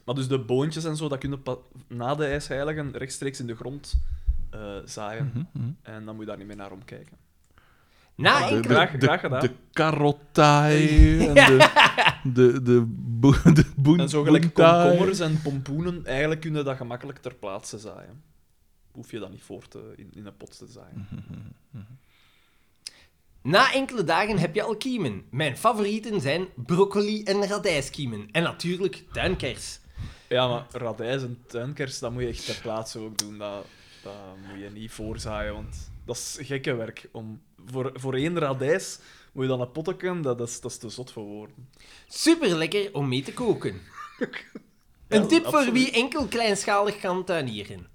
Speaker 3: Maar dus de boontjes en zo, dat kunnen pa- na de ijsheiligen rechtstreeks in de grond eh, zaaien.
Speaker 2: Mhm.
Speaker 3: En dan moet je daar niet meer naar omkijken.
Speaker 1: Na
Speaker 2: De-
Speaker 1: enkele...
Speaker 3: Ah, Graag-
Speaker 2: de-
Speaker 3: graag gedaan.
Speaker 2: De karottaai en de, de, de, bo- de boen-
Speaker 3: En zo gelijk
Speaker 2: boentaai.
Speaker 3: komkommers en pompoenen, eigenlijk kun je dat gemakkelijk ter plaatse zaaien. Hoef je dat niet voor te, in, in een pot te zaaien.
Speaker 1: Na enkele dagen heb je al kiemen. Mijn favorieten zijn broccoli en radijskiemen. En natuurlijk tuinkers.
Speaker 3: Ja, maar radijs en tuinkers, dat moet je echt ter plaatse ook doen. Dat, dat moet je niet voorzaaien, want dat is gekke werk. Om, voor, voor één radijs moet je dan een potje, dat, dat, is, dat is te zot voor woorden.
Speaker 1: Super lekker om mee te koken.
Speaker 3: Ja,
Speaker 1: Een tip voor
Speaker 3: absoluut.
Speaker 1: wie enkel kleinschalig kan tuinieren.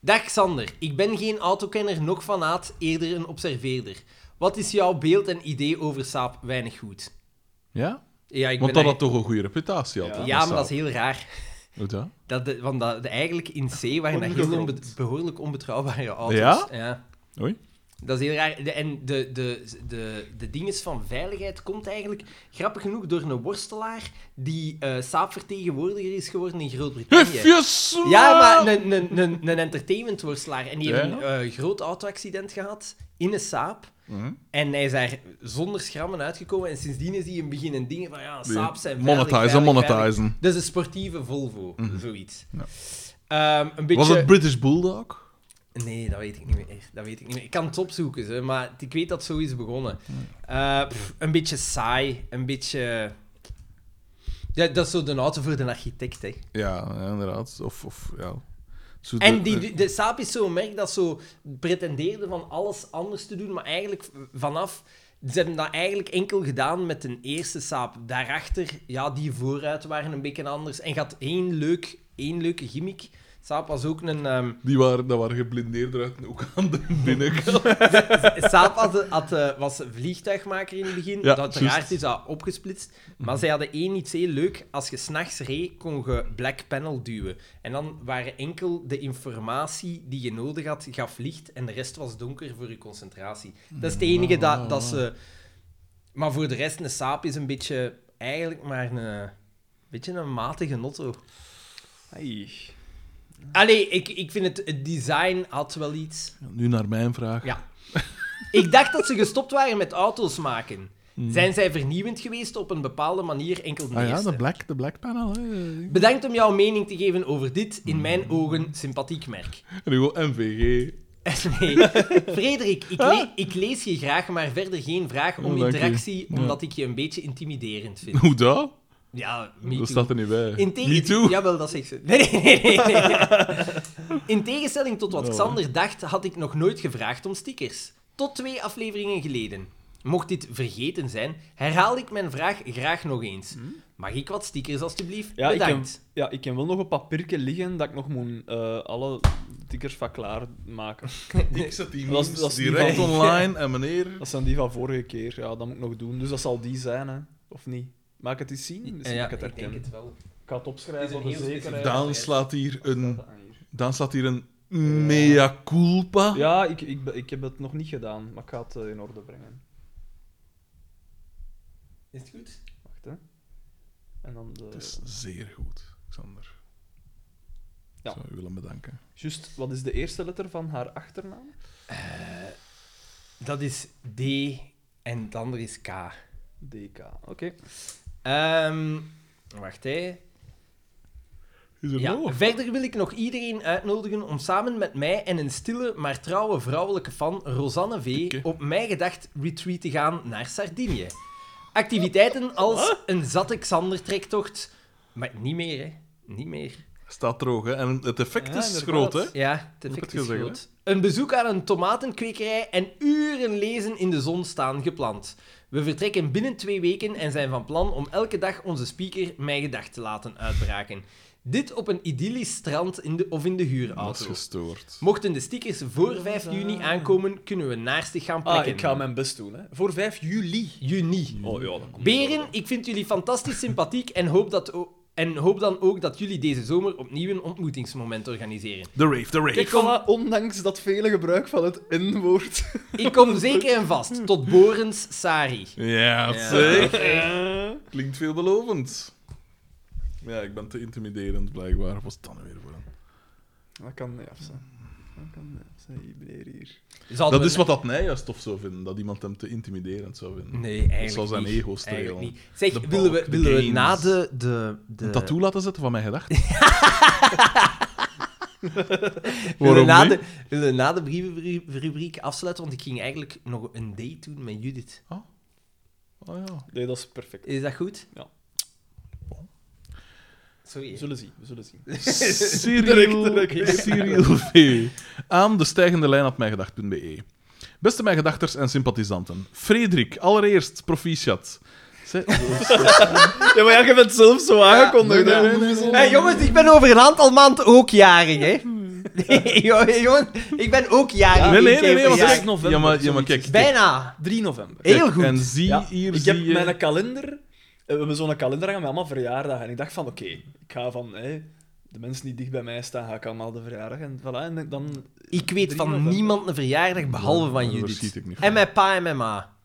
Speaker 1: Dag Sander, ik ben geen autokenner, nog fanaat, eerder een observeerder. Wat is jouw beeld en idee over saap weinig goed?
Speaker 2: Ja?
Speaker 1: Ja, ik
Speaker 2: Want
Speaker 1: ben
Speaker 2: dat had toch een goede reputatie
Speaker 3: Ja.
Speaker 2: altijd.
Speaker 1: Ja, maar dat is heel raar.
Speaker 2: Hoe dat?
Speaker 1: Dat de, want dat, de- eigenlijk in C waren dat heel onbe-
Speaker 3: Ondergrond.
Speaker 1: behoorlijk onbetrouwbare auto's.
Speaker 2: Ja? Oei.
Speaker 1: Dat is heel raar. De- en de, de, de, de dinges van veiligheid komt eigenlijk, grappig genoeg, door een worstelaar die eh saapvertegenwoordiger is geworden in Groot-Brittannië.
Speaker 2: Hufjes!
Speaker 1: Ja, maar een, een, een, een entertainmentworstelaar. En die heeft
Speaker 2: Ja,
Speaker 1: een eh, groot auto-accident gehad in een saap.
Speaker 2: Mhm.
Speaker 1: En hij is daar zonder schrammen uitgekomen. En sindsdien is hij in beginnen dingen van ja, saap zijn veilig, veilig,
Speaker 2: Monetizen,
Speaker 1: veilig.
Speaker 2: monetizen.
Speaker 1: Dat is een sportieve Volvo, zoiets.
Speaker 2: Mhm. Ja.
Speaker 1: Ehm, een beetje...
Speaker 2: Was het British Bulldog?
Speaker 1: Nee, dat weet ik niet meer. Dat weet ik niet meer. Ik kan het opzoeken, hè, maar ik weet dat het zo is begonnen. Eh, pff, een beetje saai, een beetje... Dat, dat is zo de auto voor de architect, hè.
Speaker 2: Ja, ja, inderdaad. Of, of ja. Zo de- eh,
Speaker 1: En die,
Speaker 2: de-
Speaker 1: de, de Saab is zo'n merk dat zo pretendeerde van alles anders te doen, maar eigenlijk vanaf... Ze hebben dat eigenlijk enkel gedaan met een eerste Saab. Daarachter, ja, die vooruit waren een beetje anders. En gaat één, leuk, één leuke gimmick. Saab was ook een... ehm,
Speaker 2: die waren, dat waren geblindeerd eruit, ook aan de binnenkant.
Speaker 1: Saab had, had, eh, was een vliegtuigmaker in het begin.
Speaker 2: Ja,
Speaker 1: Uiteraard
Speaker 2: juist.
Speaker 1: is dat opgesplitst. Maar zij hadden één iets heel leuk. Als je s'nachts reed, kon je black panel duwen. En dan waren enkel de informatie die je nodig had, gaf licht. En de rest was donker voor je concentratie. Dat is het enige dat, dat ze... Maar voor de rest, een Saab is een beetje... Eigenlijk maar een... Beetje een matige notto.
Speaker 3: Ai.
Speaker 1: Allee, ik, ik vind het, het design had wel iets.
Speaker 2: Nu naar mijn vraag.
Speaker 1: Ja. Ik dacht dat ze gestopt waren met auto's maken. Zijn zij vernieuwend geweest op een bepaalde manier enkel de
Speaker 2: Hmm. Ah ja,
Speaker 1: eerste?
Speaker 2: de black, de black panel. Hè. Hmm.
Speaker 1: Bedankt om jouw mening te geven over dit, in mijn ogen, sympathiek merk. Eh,
Speaker 2: En nu wel MVG.
Speaker 1: Nee. Frederik, ik, le- ik lees je graag, maar verder geen vraag
Speaker 2: Ja,
Speaker 1: om
Speaker 2: Ah. dank je.
Speaker 1: interactie,
Speaker 2: Ja.
Speaker 1: omdat ik je een beetje intimiderend vind.
Speaker 2: Hoe dat?
Speaker 1: Ja, me too.
Speaker 2: Dat staat er niet bij.
Speaker 1: Integ-
Speaker 2: Me too.
Speaker 1: Jawel, dat zegt ze. Nee, nee, nee, nee, nee. In tegenstelling tot
Speaker 3: Oh.
Speaker 1: wat Xander dacht, had ik nog nooit gevraagd om stickers. Tot twee afleveringen geleden. Mocht dit vergeten zijn, herhaal ik mijn vraag graag nog eens. Mag ik wat stickers, alstublieft?
Speaker 3: Hmm? Ja, ik heb,
Speaker 1: Bedankt.
Speaker 3: ja, ik heb wel nog een papiertje liggen dat ik nog moet eh, alle tickers van klaarmaken.
Speaker 2: Ik zet die
Speaker 3: Dat is-
Speaker 2: memes
Speaker 3: dat is niet
Speaker 2: direct
Speaker 3: waar.
Speaker 2: online en meneer...
Speaker 3: Dat zijn die van vorige keer. Ja, dat moet ik nog doen. Dus dat zal die zijn, hè. Of niet? Maak het eens zien. Misschien
Speaker 1: ja,
Speaker 3: dat Dus ik het
Speaker 1: ik denk
Speaker 3: herken.
Speaker 1: het wel.
Speaker 3: Ik ga het opschrijven voor
Speaker 1: Het
Speaker 3: de
Speaker 1: is een heel
Speaker 3: zekerheid.
Speaker 2: Daan slaat hier een...
Speaker 3: Ah, hier.
Speaker 2: Daan slaat hier een... Mea culpa.
Speaker 3: Ja, ik, ik, be- ik heb het nog niet gedaan, maar ik ga het eh, in orde brengen.
Speaker 1: Is het goed?
Speaker 3: Wacht, hè. En dan de...
Speaker 2: Dat is zeer goed, Xander.
Speaker 3: Ja.
Speaker 2: Zou u willen bedanken.
Speaker 3: Juist, wat is de eerste letter van haar achternaam?
Speaker 1: Dat is D en het andere is K.
Speaker 3: DK. Oké.
Speaker 1: Ehm, wacht, hè.
Speaker 2: Is er
Speaker 1: Ja,
Speaker 2: nog?
Speaker 1: verder wil ik nog iedereen uitnodigen om samen met mij en een stille, maar trouwe vrouwelijke fan, Rosanne V,
Speaker 2: Dikke.
Speaker 1: op mij gedacht retreat te gaan naar Sardinië. Activiteiten als een zatte Xander-trektocht, maar niet meer, hè. Niet meer.
Speaker 2: Staat droog, hè? En het effect
Speaker 3: Ja,
Speaker 2: is
Speaker 3: inderdaad.
Speaker 2: groot, hè?
Speaker 1: Ja, het
Speaker 2: Moet ik
Speaker 1: effect
Speaker 2: het
Speaker 1: is
Speaker 2: zeggen,
Speaker 1: groot. Een bezoek aan een tomatenkwekerij en uren lezen in de zon staan gepland. We vertrekken binnen twee weken en zijn van plan om elke dag onze speaker mijn gedacht te laten uitbraken. Dit op een idyllisch strand in de, of in de
Speaker 2: Dat is
Speaker 1: huurauto.
Speaker 2: gestoord.
Speaker 1: Mochten de stickers voor 5 juni aankomen, kunnen we naastig gaan
Speaker 3: Ah,
Speaker 1: plekken.
Speaker 3: ik ga mijn best doen, hè. Voor 5 juli.
Speaker 1: Juni.
Speaker 3: Oh ja, dat komt
Speaker 1: Beren, ik vind jullie fantastisch sympathiek en hoop, dat o- en hoop dan ook dat jullie deze zomer opnieuw een ontmoetingsmoment organiseren.
Speaker 2: De rave, de rave.
Speaker 3: Ik kom... Ondanks dat vele gebruik van het N-woord.
Speaker 1: Ik kom zeker en vast. Tot Borens Sari.
Speaker 2: Ja, zeg. Klinkt veelbelovend. Maar Ja, ik ben te intimiderend, blijkbaar. Wat was het dan weer voor een...
Speaker 18: Dat kan niet af zijn. Dat kan niet af zijn, die meneer hier.
Speaker 1: Zouden
Speaker 2: Dat
Speaker 1: we-
Speaker 2: is wat dat mij juist of zou vinden. Dat iemand hem te intimiderend zou vinden.
Speaker 1: Nee, eigenlijk
Speaker 2: Dat zal zijn
Speaker 1: niet.
Speaker 2: ego strelen.
Speaker 1: Eigenlijk niet. Zeg,
Speaker 2: De
Speaker 1: willen we,
Speaker 2: balk, de
Speaker 1: willen we
Speaker 2: games.
Speaker 1: na de... de, de
Speaker 2: Een tattoo laten zetten van mijn gedachten.
Speaker 1: willen we
Speaker 2: Waarom
Speaker 1: na
Speaker 2: niet?
Speaker 1: de, willen we na de brievenrubriek afsluiten? Want ik ging eigenlijk nog een date doen met Judith.
Speaker 2: Oh ja.
Speaker 3: Nee, dat is perfect.
Speaker 1: Is dat goed?
Speaker 3: Ja.
Speaker 1: Sorry.
Speaker 3: We
Speaker 1: hè.
Speaker 3: zullen zien, we zullen zien.
Speaker 2: Cyril, Cyril V. Aan de stijgende lijn op mijngedacht.be. E. Beste mijngedachters en sympathisanten. Frederik, allereerst proficiat. Zij-
Speaker 3: Ja, maar ja, je bent zelf zo aangekondigd,
Speaker 2: Nee,
Speaker 3: hè.
Speaker 2: nee, nee, nee. Hmm.
Speaker 1: Hey, jongens, ik ben over een aantal maanden ook jarig, hè? Nee, jongen, jongen, ik ben ook jarig.
Speaker 2: nee, nee,
Speaker 1: Ik ben
Speaker 2: nee, nee, want
Speaker 1: jarig.
Speaker 2: ik- november, Ja, maar- ja, maar kijk.
Speaker 1: Bijna.
Speaker 3: 3 november.
Speaker 1: Heel
Speaker 2: Kijk,
Speaker 1: goed.
Speaker 2: En zie
Speaker 3: Ja,
Speaker 2: hier...
Speaker 3: ik
Speaker 2: zie
Speaker 3: heb
Speaker 2: je-
Speaker 3: mijn kalender... eh, We hebben zo'n kalender aan met allemaal verjaardagen. En ik dacht van, oké, ik ga van... hè, de mensen die dicht bij mij staan, ga ik allemaal de verjaardag. En voilà, en dan...
Speaker 1: Ik weet
Speaker 3: 3
Speaker 1: van
Speaker 3: november.
Speaker 1: niemand een verjaardag behalve van
Speaker 2: Daar
Speaker 1: Judith.
Speaker 2: verschiet ik niet van.
Speaker 1: En mijn pa en mijn ma.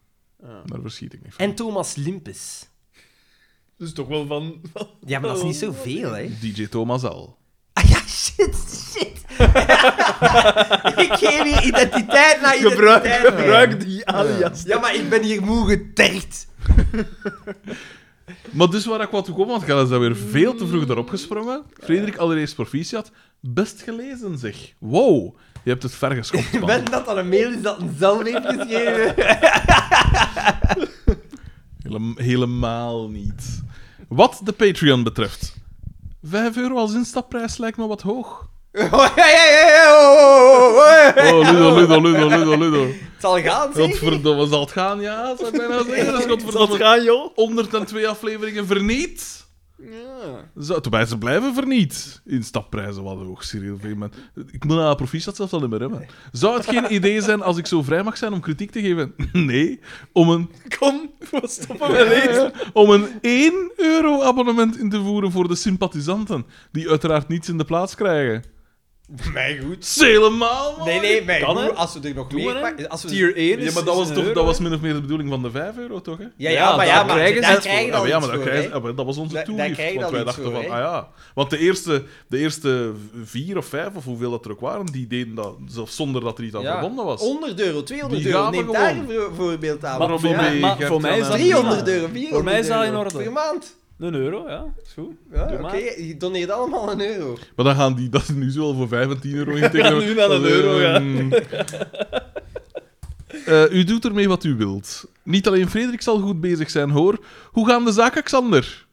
Speaker 2: Daar verschiet ik niet van.
Speaker 1: En Thomas Limpes.
Speaker 3: Dus toch wel van...
Speaker 1: Ja, maar dat is niet
Speaker 3: Oh.
Speaker 1: zoveel, hè?
Speaker 2: DJ Thomas Al.
Speaker 1: Ah ja, shit, shit. ik geef hier identiteit naar identiteit.
Speaker 3: Gebruik,
Speaker 1: man.
Speaker 3: gebruik die alias.
Speaker 1: Ja, maar ik ben hier moe geterkt.
Speaker 2: Maar dus waar ik wat toe kom, want Gelle is daar weer veel te vroeg erop gesprongen. Frederik, allereerst proficiat. Best gelezen, zeg. Wow. Je hebt het ver geschopt, man.
Speaker 1: Ben dat dan een mail is dat een zelf heeft geschreven?
Speaker 2: Hele- helemaal niet. Wat de Patreon betreft. 5 euro als instapprijs lijkt me wat hoog.
Speaker 1: Oh, ja, ja, ja, ja, oh, oh, oh, oh.
Speaker 2: Oh, Ludo, Ludo, Ludo, Ludo, Ludo.
Speaker 1: Het zal gaan, zeg.
Speaker 2: Godverdomme, zal het gaan? Ja, zou ik bijna zeggen. Dat is godverdomme.
Speaker 3: gaan, joh?
Speaker 2: 102 afleveringen verniet.
Speaker 18: Ja.
Speaker 2: Zo, Terwijl ze blijven verniet. Instapprijzen wat hoog, Cyril. Veeman. Ik moet aan proficiat zelf al niet meer hebben. Zou het geen idee zijn als ik zo vrij mag zijn om kritiek te geven? Nee. Om een
Speaker 3: Kom, we stoppen met lezen.
Speaker 2: om een 1 euro abonnement in te voeren voor de sympathisanten, die uiteraard niets in de plaats krijgen.
Speaker 1: Mij goed.
Speaker 2: Is helemaal mooi.
Speaker 1: Nee, nee, mij
Speaker 3: Kan,
Speaker 1: goed.
Speaker 3: hè?
Speaker 1: Als we er nog
Speaker 3: Doen we,
Speaker 1: meer...
Speaker 3: hè?
Speaker 1: pakken- Als we...
Speaker 3: Tier 1
Speaker 2: Ja, maar dat was, toch, dat was min of meer de bedoeling van de 5 euro, toch? Hè?
Speaker 1: Ja,
Speaker 3: Ja,
Speaker 1: ja, maar ja,
Speaker 3: daar
Speaker 1: maar
Speaker 3: krijgen
Speaker 1: daar
Speaker 3: ze
Speaker 1: krijg je
Speaker 2: Ja,
Speaker 1: dan
Speaker 2: maar ja,
Speaker 1: iets
Speaker 2: maar dat,
Speaker 1: voor,
Speaker 2: krijg-
Speaker 1: hè.
Speaker 2: ja, maar dat was onze
Speaker 1: Daar- daar
Speaker 2: toegift.
Speaker 1: krijg je
Speaker 2: Want
Speaker 1: dan
Speaker 2: wij
Speaker 1: iets
Speaker 2: dachten
Speaker 1: voor,
Speaker 2: van,
Speaker 1: hè?
Speaker 2: ah ja. Want de eerste, de eerste vier of vijf, of hoeveel dat er ook waren, die deden dat zelfs zonder dat er iets aan
Speaker 1: Ja.
Speaker 2: verbonden was.
Speaker 1: 100 euro, 200
Speaker 2: Die
Speaker 1: euro.
Speaker 2: gaan we
Speaker 1: Neem daar een voor-
Speaker 2: gewoon.
Speaker 1: voorbeeld aan.
Speaker 3: Maar
Speaker 2: Robbie
Speaker 3: voor mij,
Speaker 2: B,
Speaker 3: maar
Speaker 2: Gert
Speaker 3: voor mij
Speaker 2: Jan
Speaker 3: is
Speaker 2: en-
Speaker 3: dat...
Speaker 1: 300 euro, 400
Speaker 3: Voor mij is dat in
Speaker 1: euro
Speaker 3: orde.
Speaker 1: Per maand.
Speaker 3: Een euro, ja. Is goed.
Speaker 1: Ja,
Speaker 3: Doe
Speaker 1: oké,
Speaker 3: maar.
Speaker 1: je doneert allemaal een euro.
Speaker 2: Maar dan gaan die dat nu zo al voor 25 euro in Ehm,
Speaker 3: gaan nu naar een euro, ja.
Speaker 2: eh, u doet ermee wat u wilt. Niet alleen Frederik zal goed bezig zijn, hoor. Hoe gaan de zaken, Xander?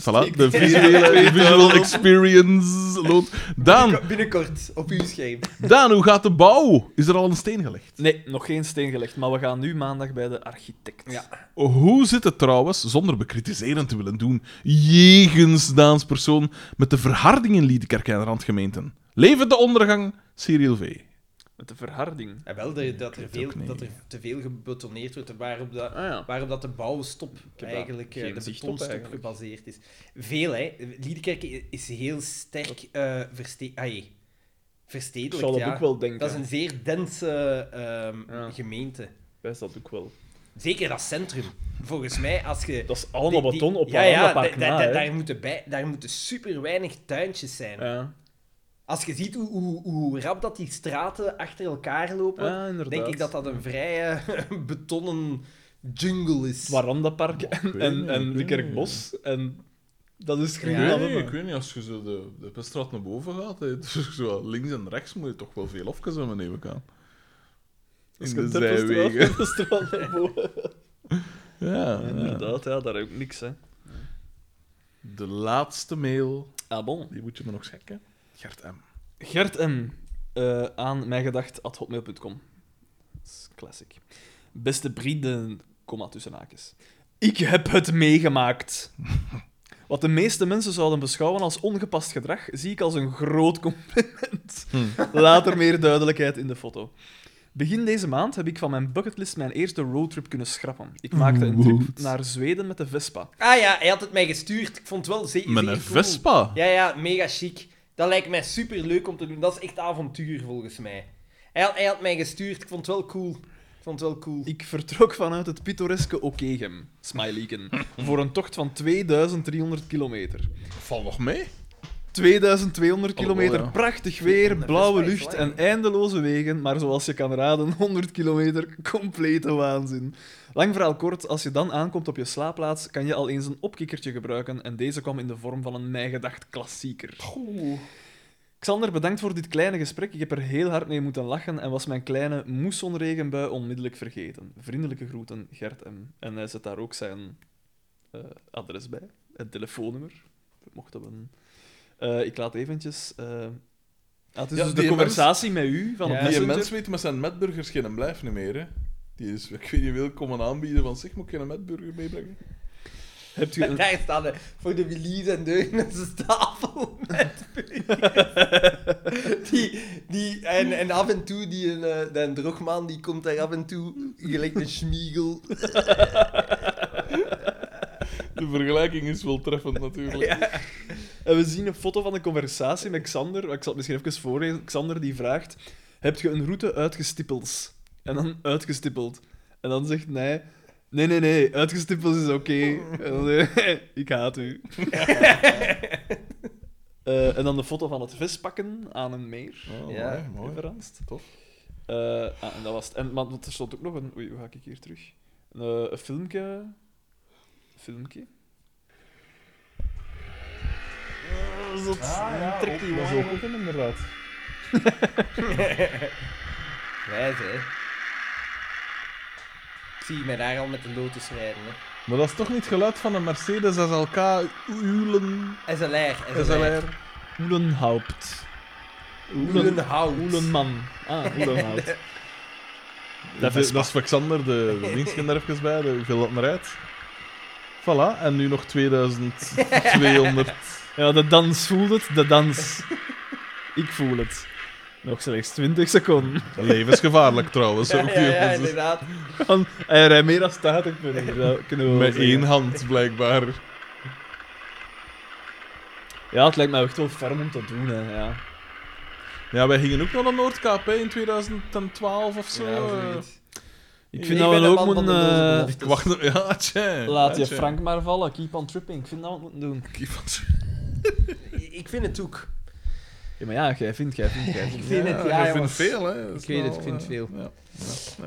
Speaker 2: Voilà, de visuele visual experience loont. Daan,
Speaker 1: Binnenkort, op uw scherm.
Speaker 2: Daan, hoe gaat de bouw? Is er al een steen gelegd?
Speaker 3: Nee, nog geen steen gelegd, maar we gaan nu maandag bij de architect.
Speaker 1: Ja.
Speaker 2: Hoe zit het trouwens, zonder bekritiserend te willen doen, jegens Daans persoon met de verharding in Liedekerk en randgemeenten? Leven de ondergang, Cyril V.
Speaker 3: Met de verharding.
Speaker 1: En wel de- dat, er
Speaker 2: weet ook
Speaker 1: veel,
Speaker 2: niet.
Speaker 1: dat er te veel gebetoneerd wordt, waarop, dat,
Speaker 3: Ah ja.
Speaker 1: waarop dat de bouwstop
Speaker 3: heb daar
Speaker 1: eigenlijk, eh,
Speaker 3: geen
Speaker 1: de
Speaker 3: zicht op
Speaker 1: betonstop
Speaker 3: eigenlijk.
Speaker 1: gebaseerd is. Veel, hè. Liedekerk i- is heel sterk eh verste ai,
Speaker 3: Ik
Speaker 1: verstedelijkt,
Speaker 3: zal dat
Speaker 1: ja.
Speaker 3: ook wel denken.
Speaker 1: Dat is een zeer dense ehm,
Speaker 3: Ja.
Speaker 1: gemeente.
Speaker 3: Wij dat ook wel.
Speaker 1: Zeker dat centrum. Volgens mij, als je...
Speaker 3: Dat is allemaal
Speaker 1: die- die-
Speaker 3: beton op
Speaker 1: ja, ja,
Speaker 3: park
Speaker 1: da- da-
Speaker 3: na,
Speaker 1: da-
Speaker 3: hè.
Speaker 1: daar, moeten bij, daar moeten super weinig tuintjes zijn.
Speaker 3: Ja.
Speaker 1: Als je ziet hoe, hoe, hoe rap dat die straten achter elkaar lopen,
Speaker 3: Ja, Ah, inderdaad.
Speaker 1: denk ik dat dat een vrije betonnen jungle is.
Speaker 3: Het Warandapark en, en, en Liekerkbos. En dat is
Speaker 2: Ik
Speaker 3: groen.
Speaker 2: weet,
Speaker 3: allemaal.
Speaker 2: niet, ik weet niet, als je zo de, de Pestraat naar boven gaat, hè, dus zo links en rechts moet je toch wel veel afkes hebben, neem ik aan.
Speaker 3: Als
Speaker 2: In
Speaker 3: je
Speaker 2: de
Speaker 3: het hebt, is het wel-
Speaker 2: zijwegen.
Speaker 3: is het wel naar boven.
Speaker 2: Ja, ja.
Speaker 3: Inderdaad, ja, daar heb ik niks, hè.
Speaker 2: De laatste mail,
Speaker 3: Ah, bon.
Speaker 2: die moet je me nog zeggen. Gert M.
Speaker 3: Gert M. eh aan mijngedacht.hotmail.com. Dat is classic. Beste vrienden, komma tussen haakjes. Ik heb het meegemaakt. Wat de meeste mensen zouden beschouwen als ongepast gedrag, zie ik als een groot compliment. Later meer duidelijkheid in de foto. Begin deze maand heb ik van mijn bucketlist mijn eerste roadtrip kunnen schrappen. Ik maakte een trip naar Zweden met de Vespa.
Speaker 1: Ah ja, hij had het mij gestuurd. Ik vond het wel zeker
Speaker 2: Met een Vespa.
Speaker 1: Ja, ja, mega chic. Dat lijkt mij super leuk om te doen. Dat is echt avontuur volgens mij. Hij had, hij had mij gestuurd. Ik vond het wel cool. Ik vond het wel cool.
Speaker 3: Ik vertrok vanuit het pittoreske Okegem, Smileyken, voor een tocht van 2300 kilometer.
Speaker 2: Val nog mee?
Speaker 3: 2200
Speaker 2: Allemaal,
Speaker 3: kilometer,
Speaker 2: ja.
Speaker 3: prachtig weer, blauwe
Speaker 1: Vespa is
Speaker 3: lucht
Speaker 1: lang,
Speaker 3: en eindeloze wegen, maar zoals je kan raden, 100 kilometer, complete waanzin. Lang verhaal kort, als je dan aankomt op je slaapplaats, kan je al eens een opkikkertje gebruiken en deze kwam in de vorm van een mijgedacht klassieker. Xander, bedankt voor dit kleine gesprek. Ik heb er heel hard mee moeten lachen en was mijn kleine moessonregenbui onmiddellijk vergeten. Vriendelijke groeten, Gert M. En hij zet daar ook zijn eh, adres bij, het telefoonnummer, mochten we... een- eh, ik laat eventjes... eh, ah, het is
Speaker 2: Ja,
Speaker 3: dus
Speaker 2: die
Speaker 3: de conversatie met u van op
Speaker 2: die
Speaker 3: Messenger.
Speaker 2: mens weet met zijn metburgers geen blijf niet meer, hè. Die is, ik weet niet, wil komen aanbieden van zich, moet ik geen metburger meebrengen?
Speaker 3: Hebt u een...
Speaker 1: Daar staan de, voor de Willy's en Deunen's tafel met die, die, en, en af en toe, die, een, eh, die drogman, die komt daar af en toe, gelijk een schmiegel.
Speaker 2: De vergelijking is wel treffend, natuurlijk.
Speaker 3: En we zien een foto van een conversatie met Xander. Ik zal het misschien even voorlezen. Xander die vraagt: Heb je een route uitgestippeld? En dan uitgestippeld. En dan zegt hij: Nee, nee, nee, uitgestippeld is oké. En dan zegt hij, Ik haat u. Eh, en dan de foto van het vispakken aan een meer.
Speaker 2: Oh,
Speaker 1: Ja,
Speaker 2: mooi, mooi.
Speaker 3: Verandst.
Speaker 2: Tof.
Speaker 3: Eh, ah, en dat was het. En, maar er stond ook nog een. Oei, hoe ga ik hier terug? Een, eh, een filmpje. Een filmpje. Eh, Zot. trek
Speaker 2: Ah,
Speaker 3: die jongen zo goed in, inderdaad.
Speaker 1: Wijs, hè. Ik zie mij daar al met een lotus rijden, hè.
Speaker 2: Maar dat is toch niet het geluid van een Mercedes SLK Ulen
Speaker 1: SLR, SLR.
Speaker 2: SLR?
Speaker 3: Oelenhaupt.
Speaker 1: Oelenhout.
Speaker 3: Oelenman. Ah, Oelenhaupt.
Speaker 2: Dat is, dat is voor Xander, de, de dienstkind er even bij, de, hoeveel dat naar uit. Voilà, en nu nog 2200.
Speaker 3: Ja, de dans voelt het, de dans. Ik voel het. Nog slechts 20 seconden.
Speaker 2: Levensgevaarlijk trouwens, ook
Speaker 1: Ja,
Speaker 2: die
Speaker 1: ja, ja,
Speaker 2: jongens.
Speaker 1: inderdaad.
Speaker 3: Want Hij rijdt meer dan 80 punten. dat kunnen we wel
Speaker 2: Met
Speaker 3: zeggen.
Speaker 2: één hand, blijkbaar.
Speaker 3: Ja, het lijkt mij echt wel ferm om te doen, hè. Ja.
Speaker 2: Ja, wij gingen ook nog naar Noordkaap hè, in 2012 of zo. eh.
Speaker 3: Ik
Speaker 2: Ik
Speaker 3: vind
Speaker 1: ben
Speaker 3: dat we
Speaker 1: een
Speaker 3: ook
Speaker 1: man van
Speaker 3: moeten...
Speaker 1: de dozen
Speaker 3: eh,
Speaker 1: beloftes.
Speaker 2: Ik wacht nog- Ja, tje.
Speaker 3: Laat
Speaker 2: ja,
Speaker 3: je
Speaker 2: tje.
Speaker 3: Frank maar vallen, keep on tripping. Ik vind dat we het moeten doen.
Speaker 2: Ik was-
Speaker 1: Ik vind het ook.
Speaker 3: Ja, maar ja, jij vindt, jij vindt, jij
Speaker 19: Ik
Speaker 3: vindt.
Speaker 19: vind het, ja,
Speaker 2: ik vind
Speaker 19: jongens.
Speaker 2: veel, hè. Dat
Speaker 19: Ik
Speaker 2: is
Speaker 19: weet het,
Speaker 2: wel,
Speaker 19: ik vind
Speaker 2: eh,
Speaker 19: veel.
Speaker 2: ja.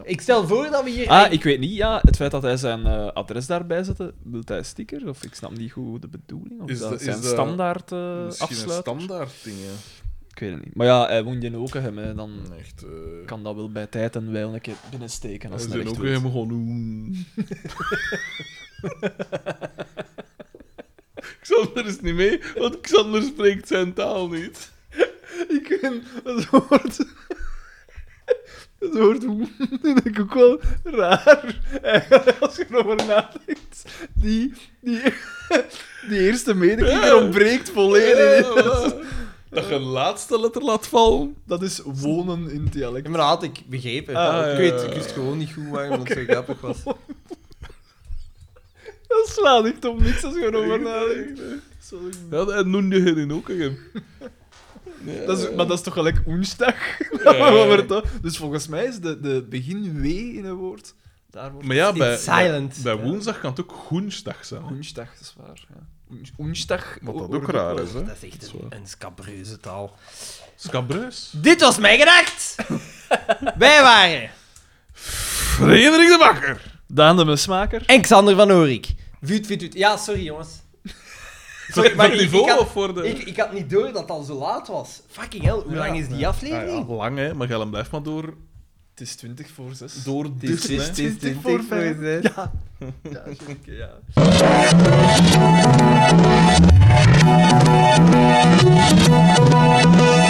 Speaker 19: Ik stel voor dat we hier...
Speaker 3: Ah, ik weet niet, ja. Het feit dat hij zijn eh, adres daarbij zette, wil hij stickers? Of ik snap niet goed de bedoeling. Of
Speaker 2: Is
Speaker 3: is dat,
Speaker 2: dat- is
Speaker 3: zijn
Speaker 2: dat
Speaker 3: standaard eh
Speaker 2: Misschien een
Speaker 3: afsluit?
Speaker 2: standaard ding, hè.
Speaker 3: Ik weet het niet. Maar ja, hij woont in Okenhem, hè. Dan
Speaker 2: Echt. eh
Speaker 3: kan dat wel bij tijd en wel een keer binnensteken.
Speaker 2: dat
Speaker 3: Als het
Speaker 2: zijn
Speaker 3: echt
Speaker 2: ook
Speaker 3: wil.
Speaker 2: helemaal gewoon doen. Xander is niet mee, want Xander spreekt zijn taal niet.
Speaker 3: Ik vind het woord... Het woord hoe vind ik ook wel raar. Eigenlijk, Als je erover nadenkt. Die, die, die eerste medeklikker ontbreekt volledig.
Speaker 2: Dat je een laatste letter laat vallen.
Speaker 3: Dat is wonen in dialect.
Speaker 1: Ja, maar dat had ik begrepen.
Speaker 3: Ah,
Speaker 1: ik
Speaker 2: ja,
Speaker 1: weet,
Speaker 2: ja,
Speaker 1: ik wist
Speaker 2: ja.
Speaker 1: gewoon niet goed waarom dat zo grappig was.
Speaker 3: Dat slaat echt op niks als je erover nadenkt.
Speaker 2: Ja, en noem je geen in Oekenhem.
Speaker 3: Dat is, maar dat is toch gelijk woensdag?
Speaker 2: Ja.
Speaker 3: Maar dat- dus volgens mij is de, de begin W in een woord. Daar wordt
Speaker 2: Maar ja, bij,
Speaker 1: It's silent.
Speaker 2: bij woensdag kan het ook Goensdag zijn.
Speaker 3: woensdag, dat is waar. Ja. Woens- Woensdag.
Speaker 2: Wat
Speaker 3: o-
Speaker 2: dat ook
Speaker 3: wordt
Speaker 2: raar
Speaker 3: wel-
Speaker 2: is, hè.
Speaker 1: Dat is echt een, een scabreuze taal.
Speaker 2: Scabreus.
Speaker 1: Dit was mijn gedacht! Wij waren
Speaker 2: Frederik de Bakker.
Speaker 3: Daan de Mesmaker.
Speaker 1: en Xander van Oorik. Vuut, vuut, vuut. Ja, sorry jongens. Sorry, maar
Speaker 2: Voor
Speaker 1: ik,
Speaker 2: het
Speaker 1: ik,
Speaker 2: niveau
Speaker 1: had,
Speaker 2: of voor de...
Speaker 1: ik, ik had niet door dat het al zo laat was. Fucking hell, hoe lang is die
Speaker 2: Ah, ja,
Speaker 1: aflevering?
Speaker 2: lang, hè. Maar Gellem blijft maar door...
Speaker 3: Het is 20 voor 6.
Speaker 2: Door
Speaker 19: Dit is
Speaker 2: dit, hè.
Speaker 19: dit voor
Speaker 3: vijf.
Speaker 19: vijf.
Speaker 3: Ja.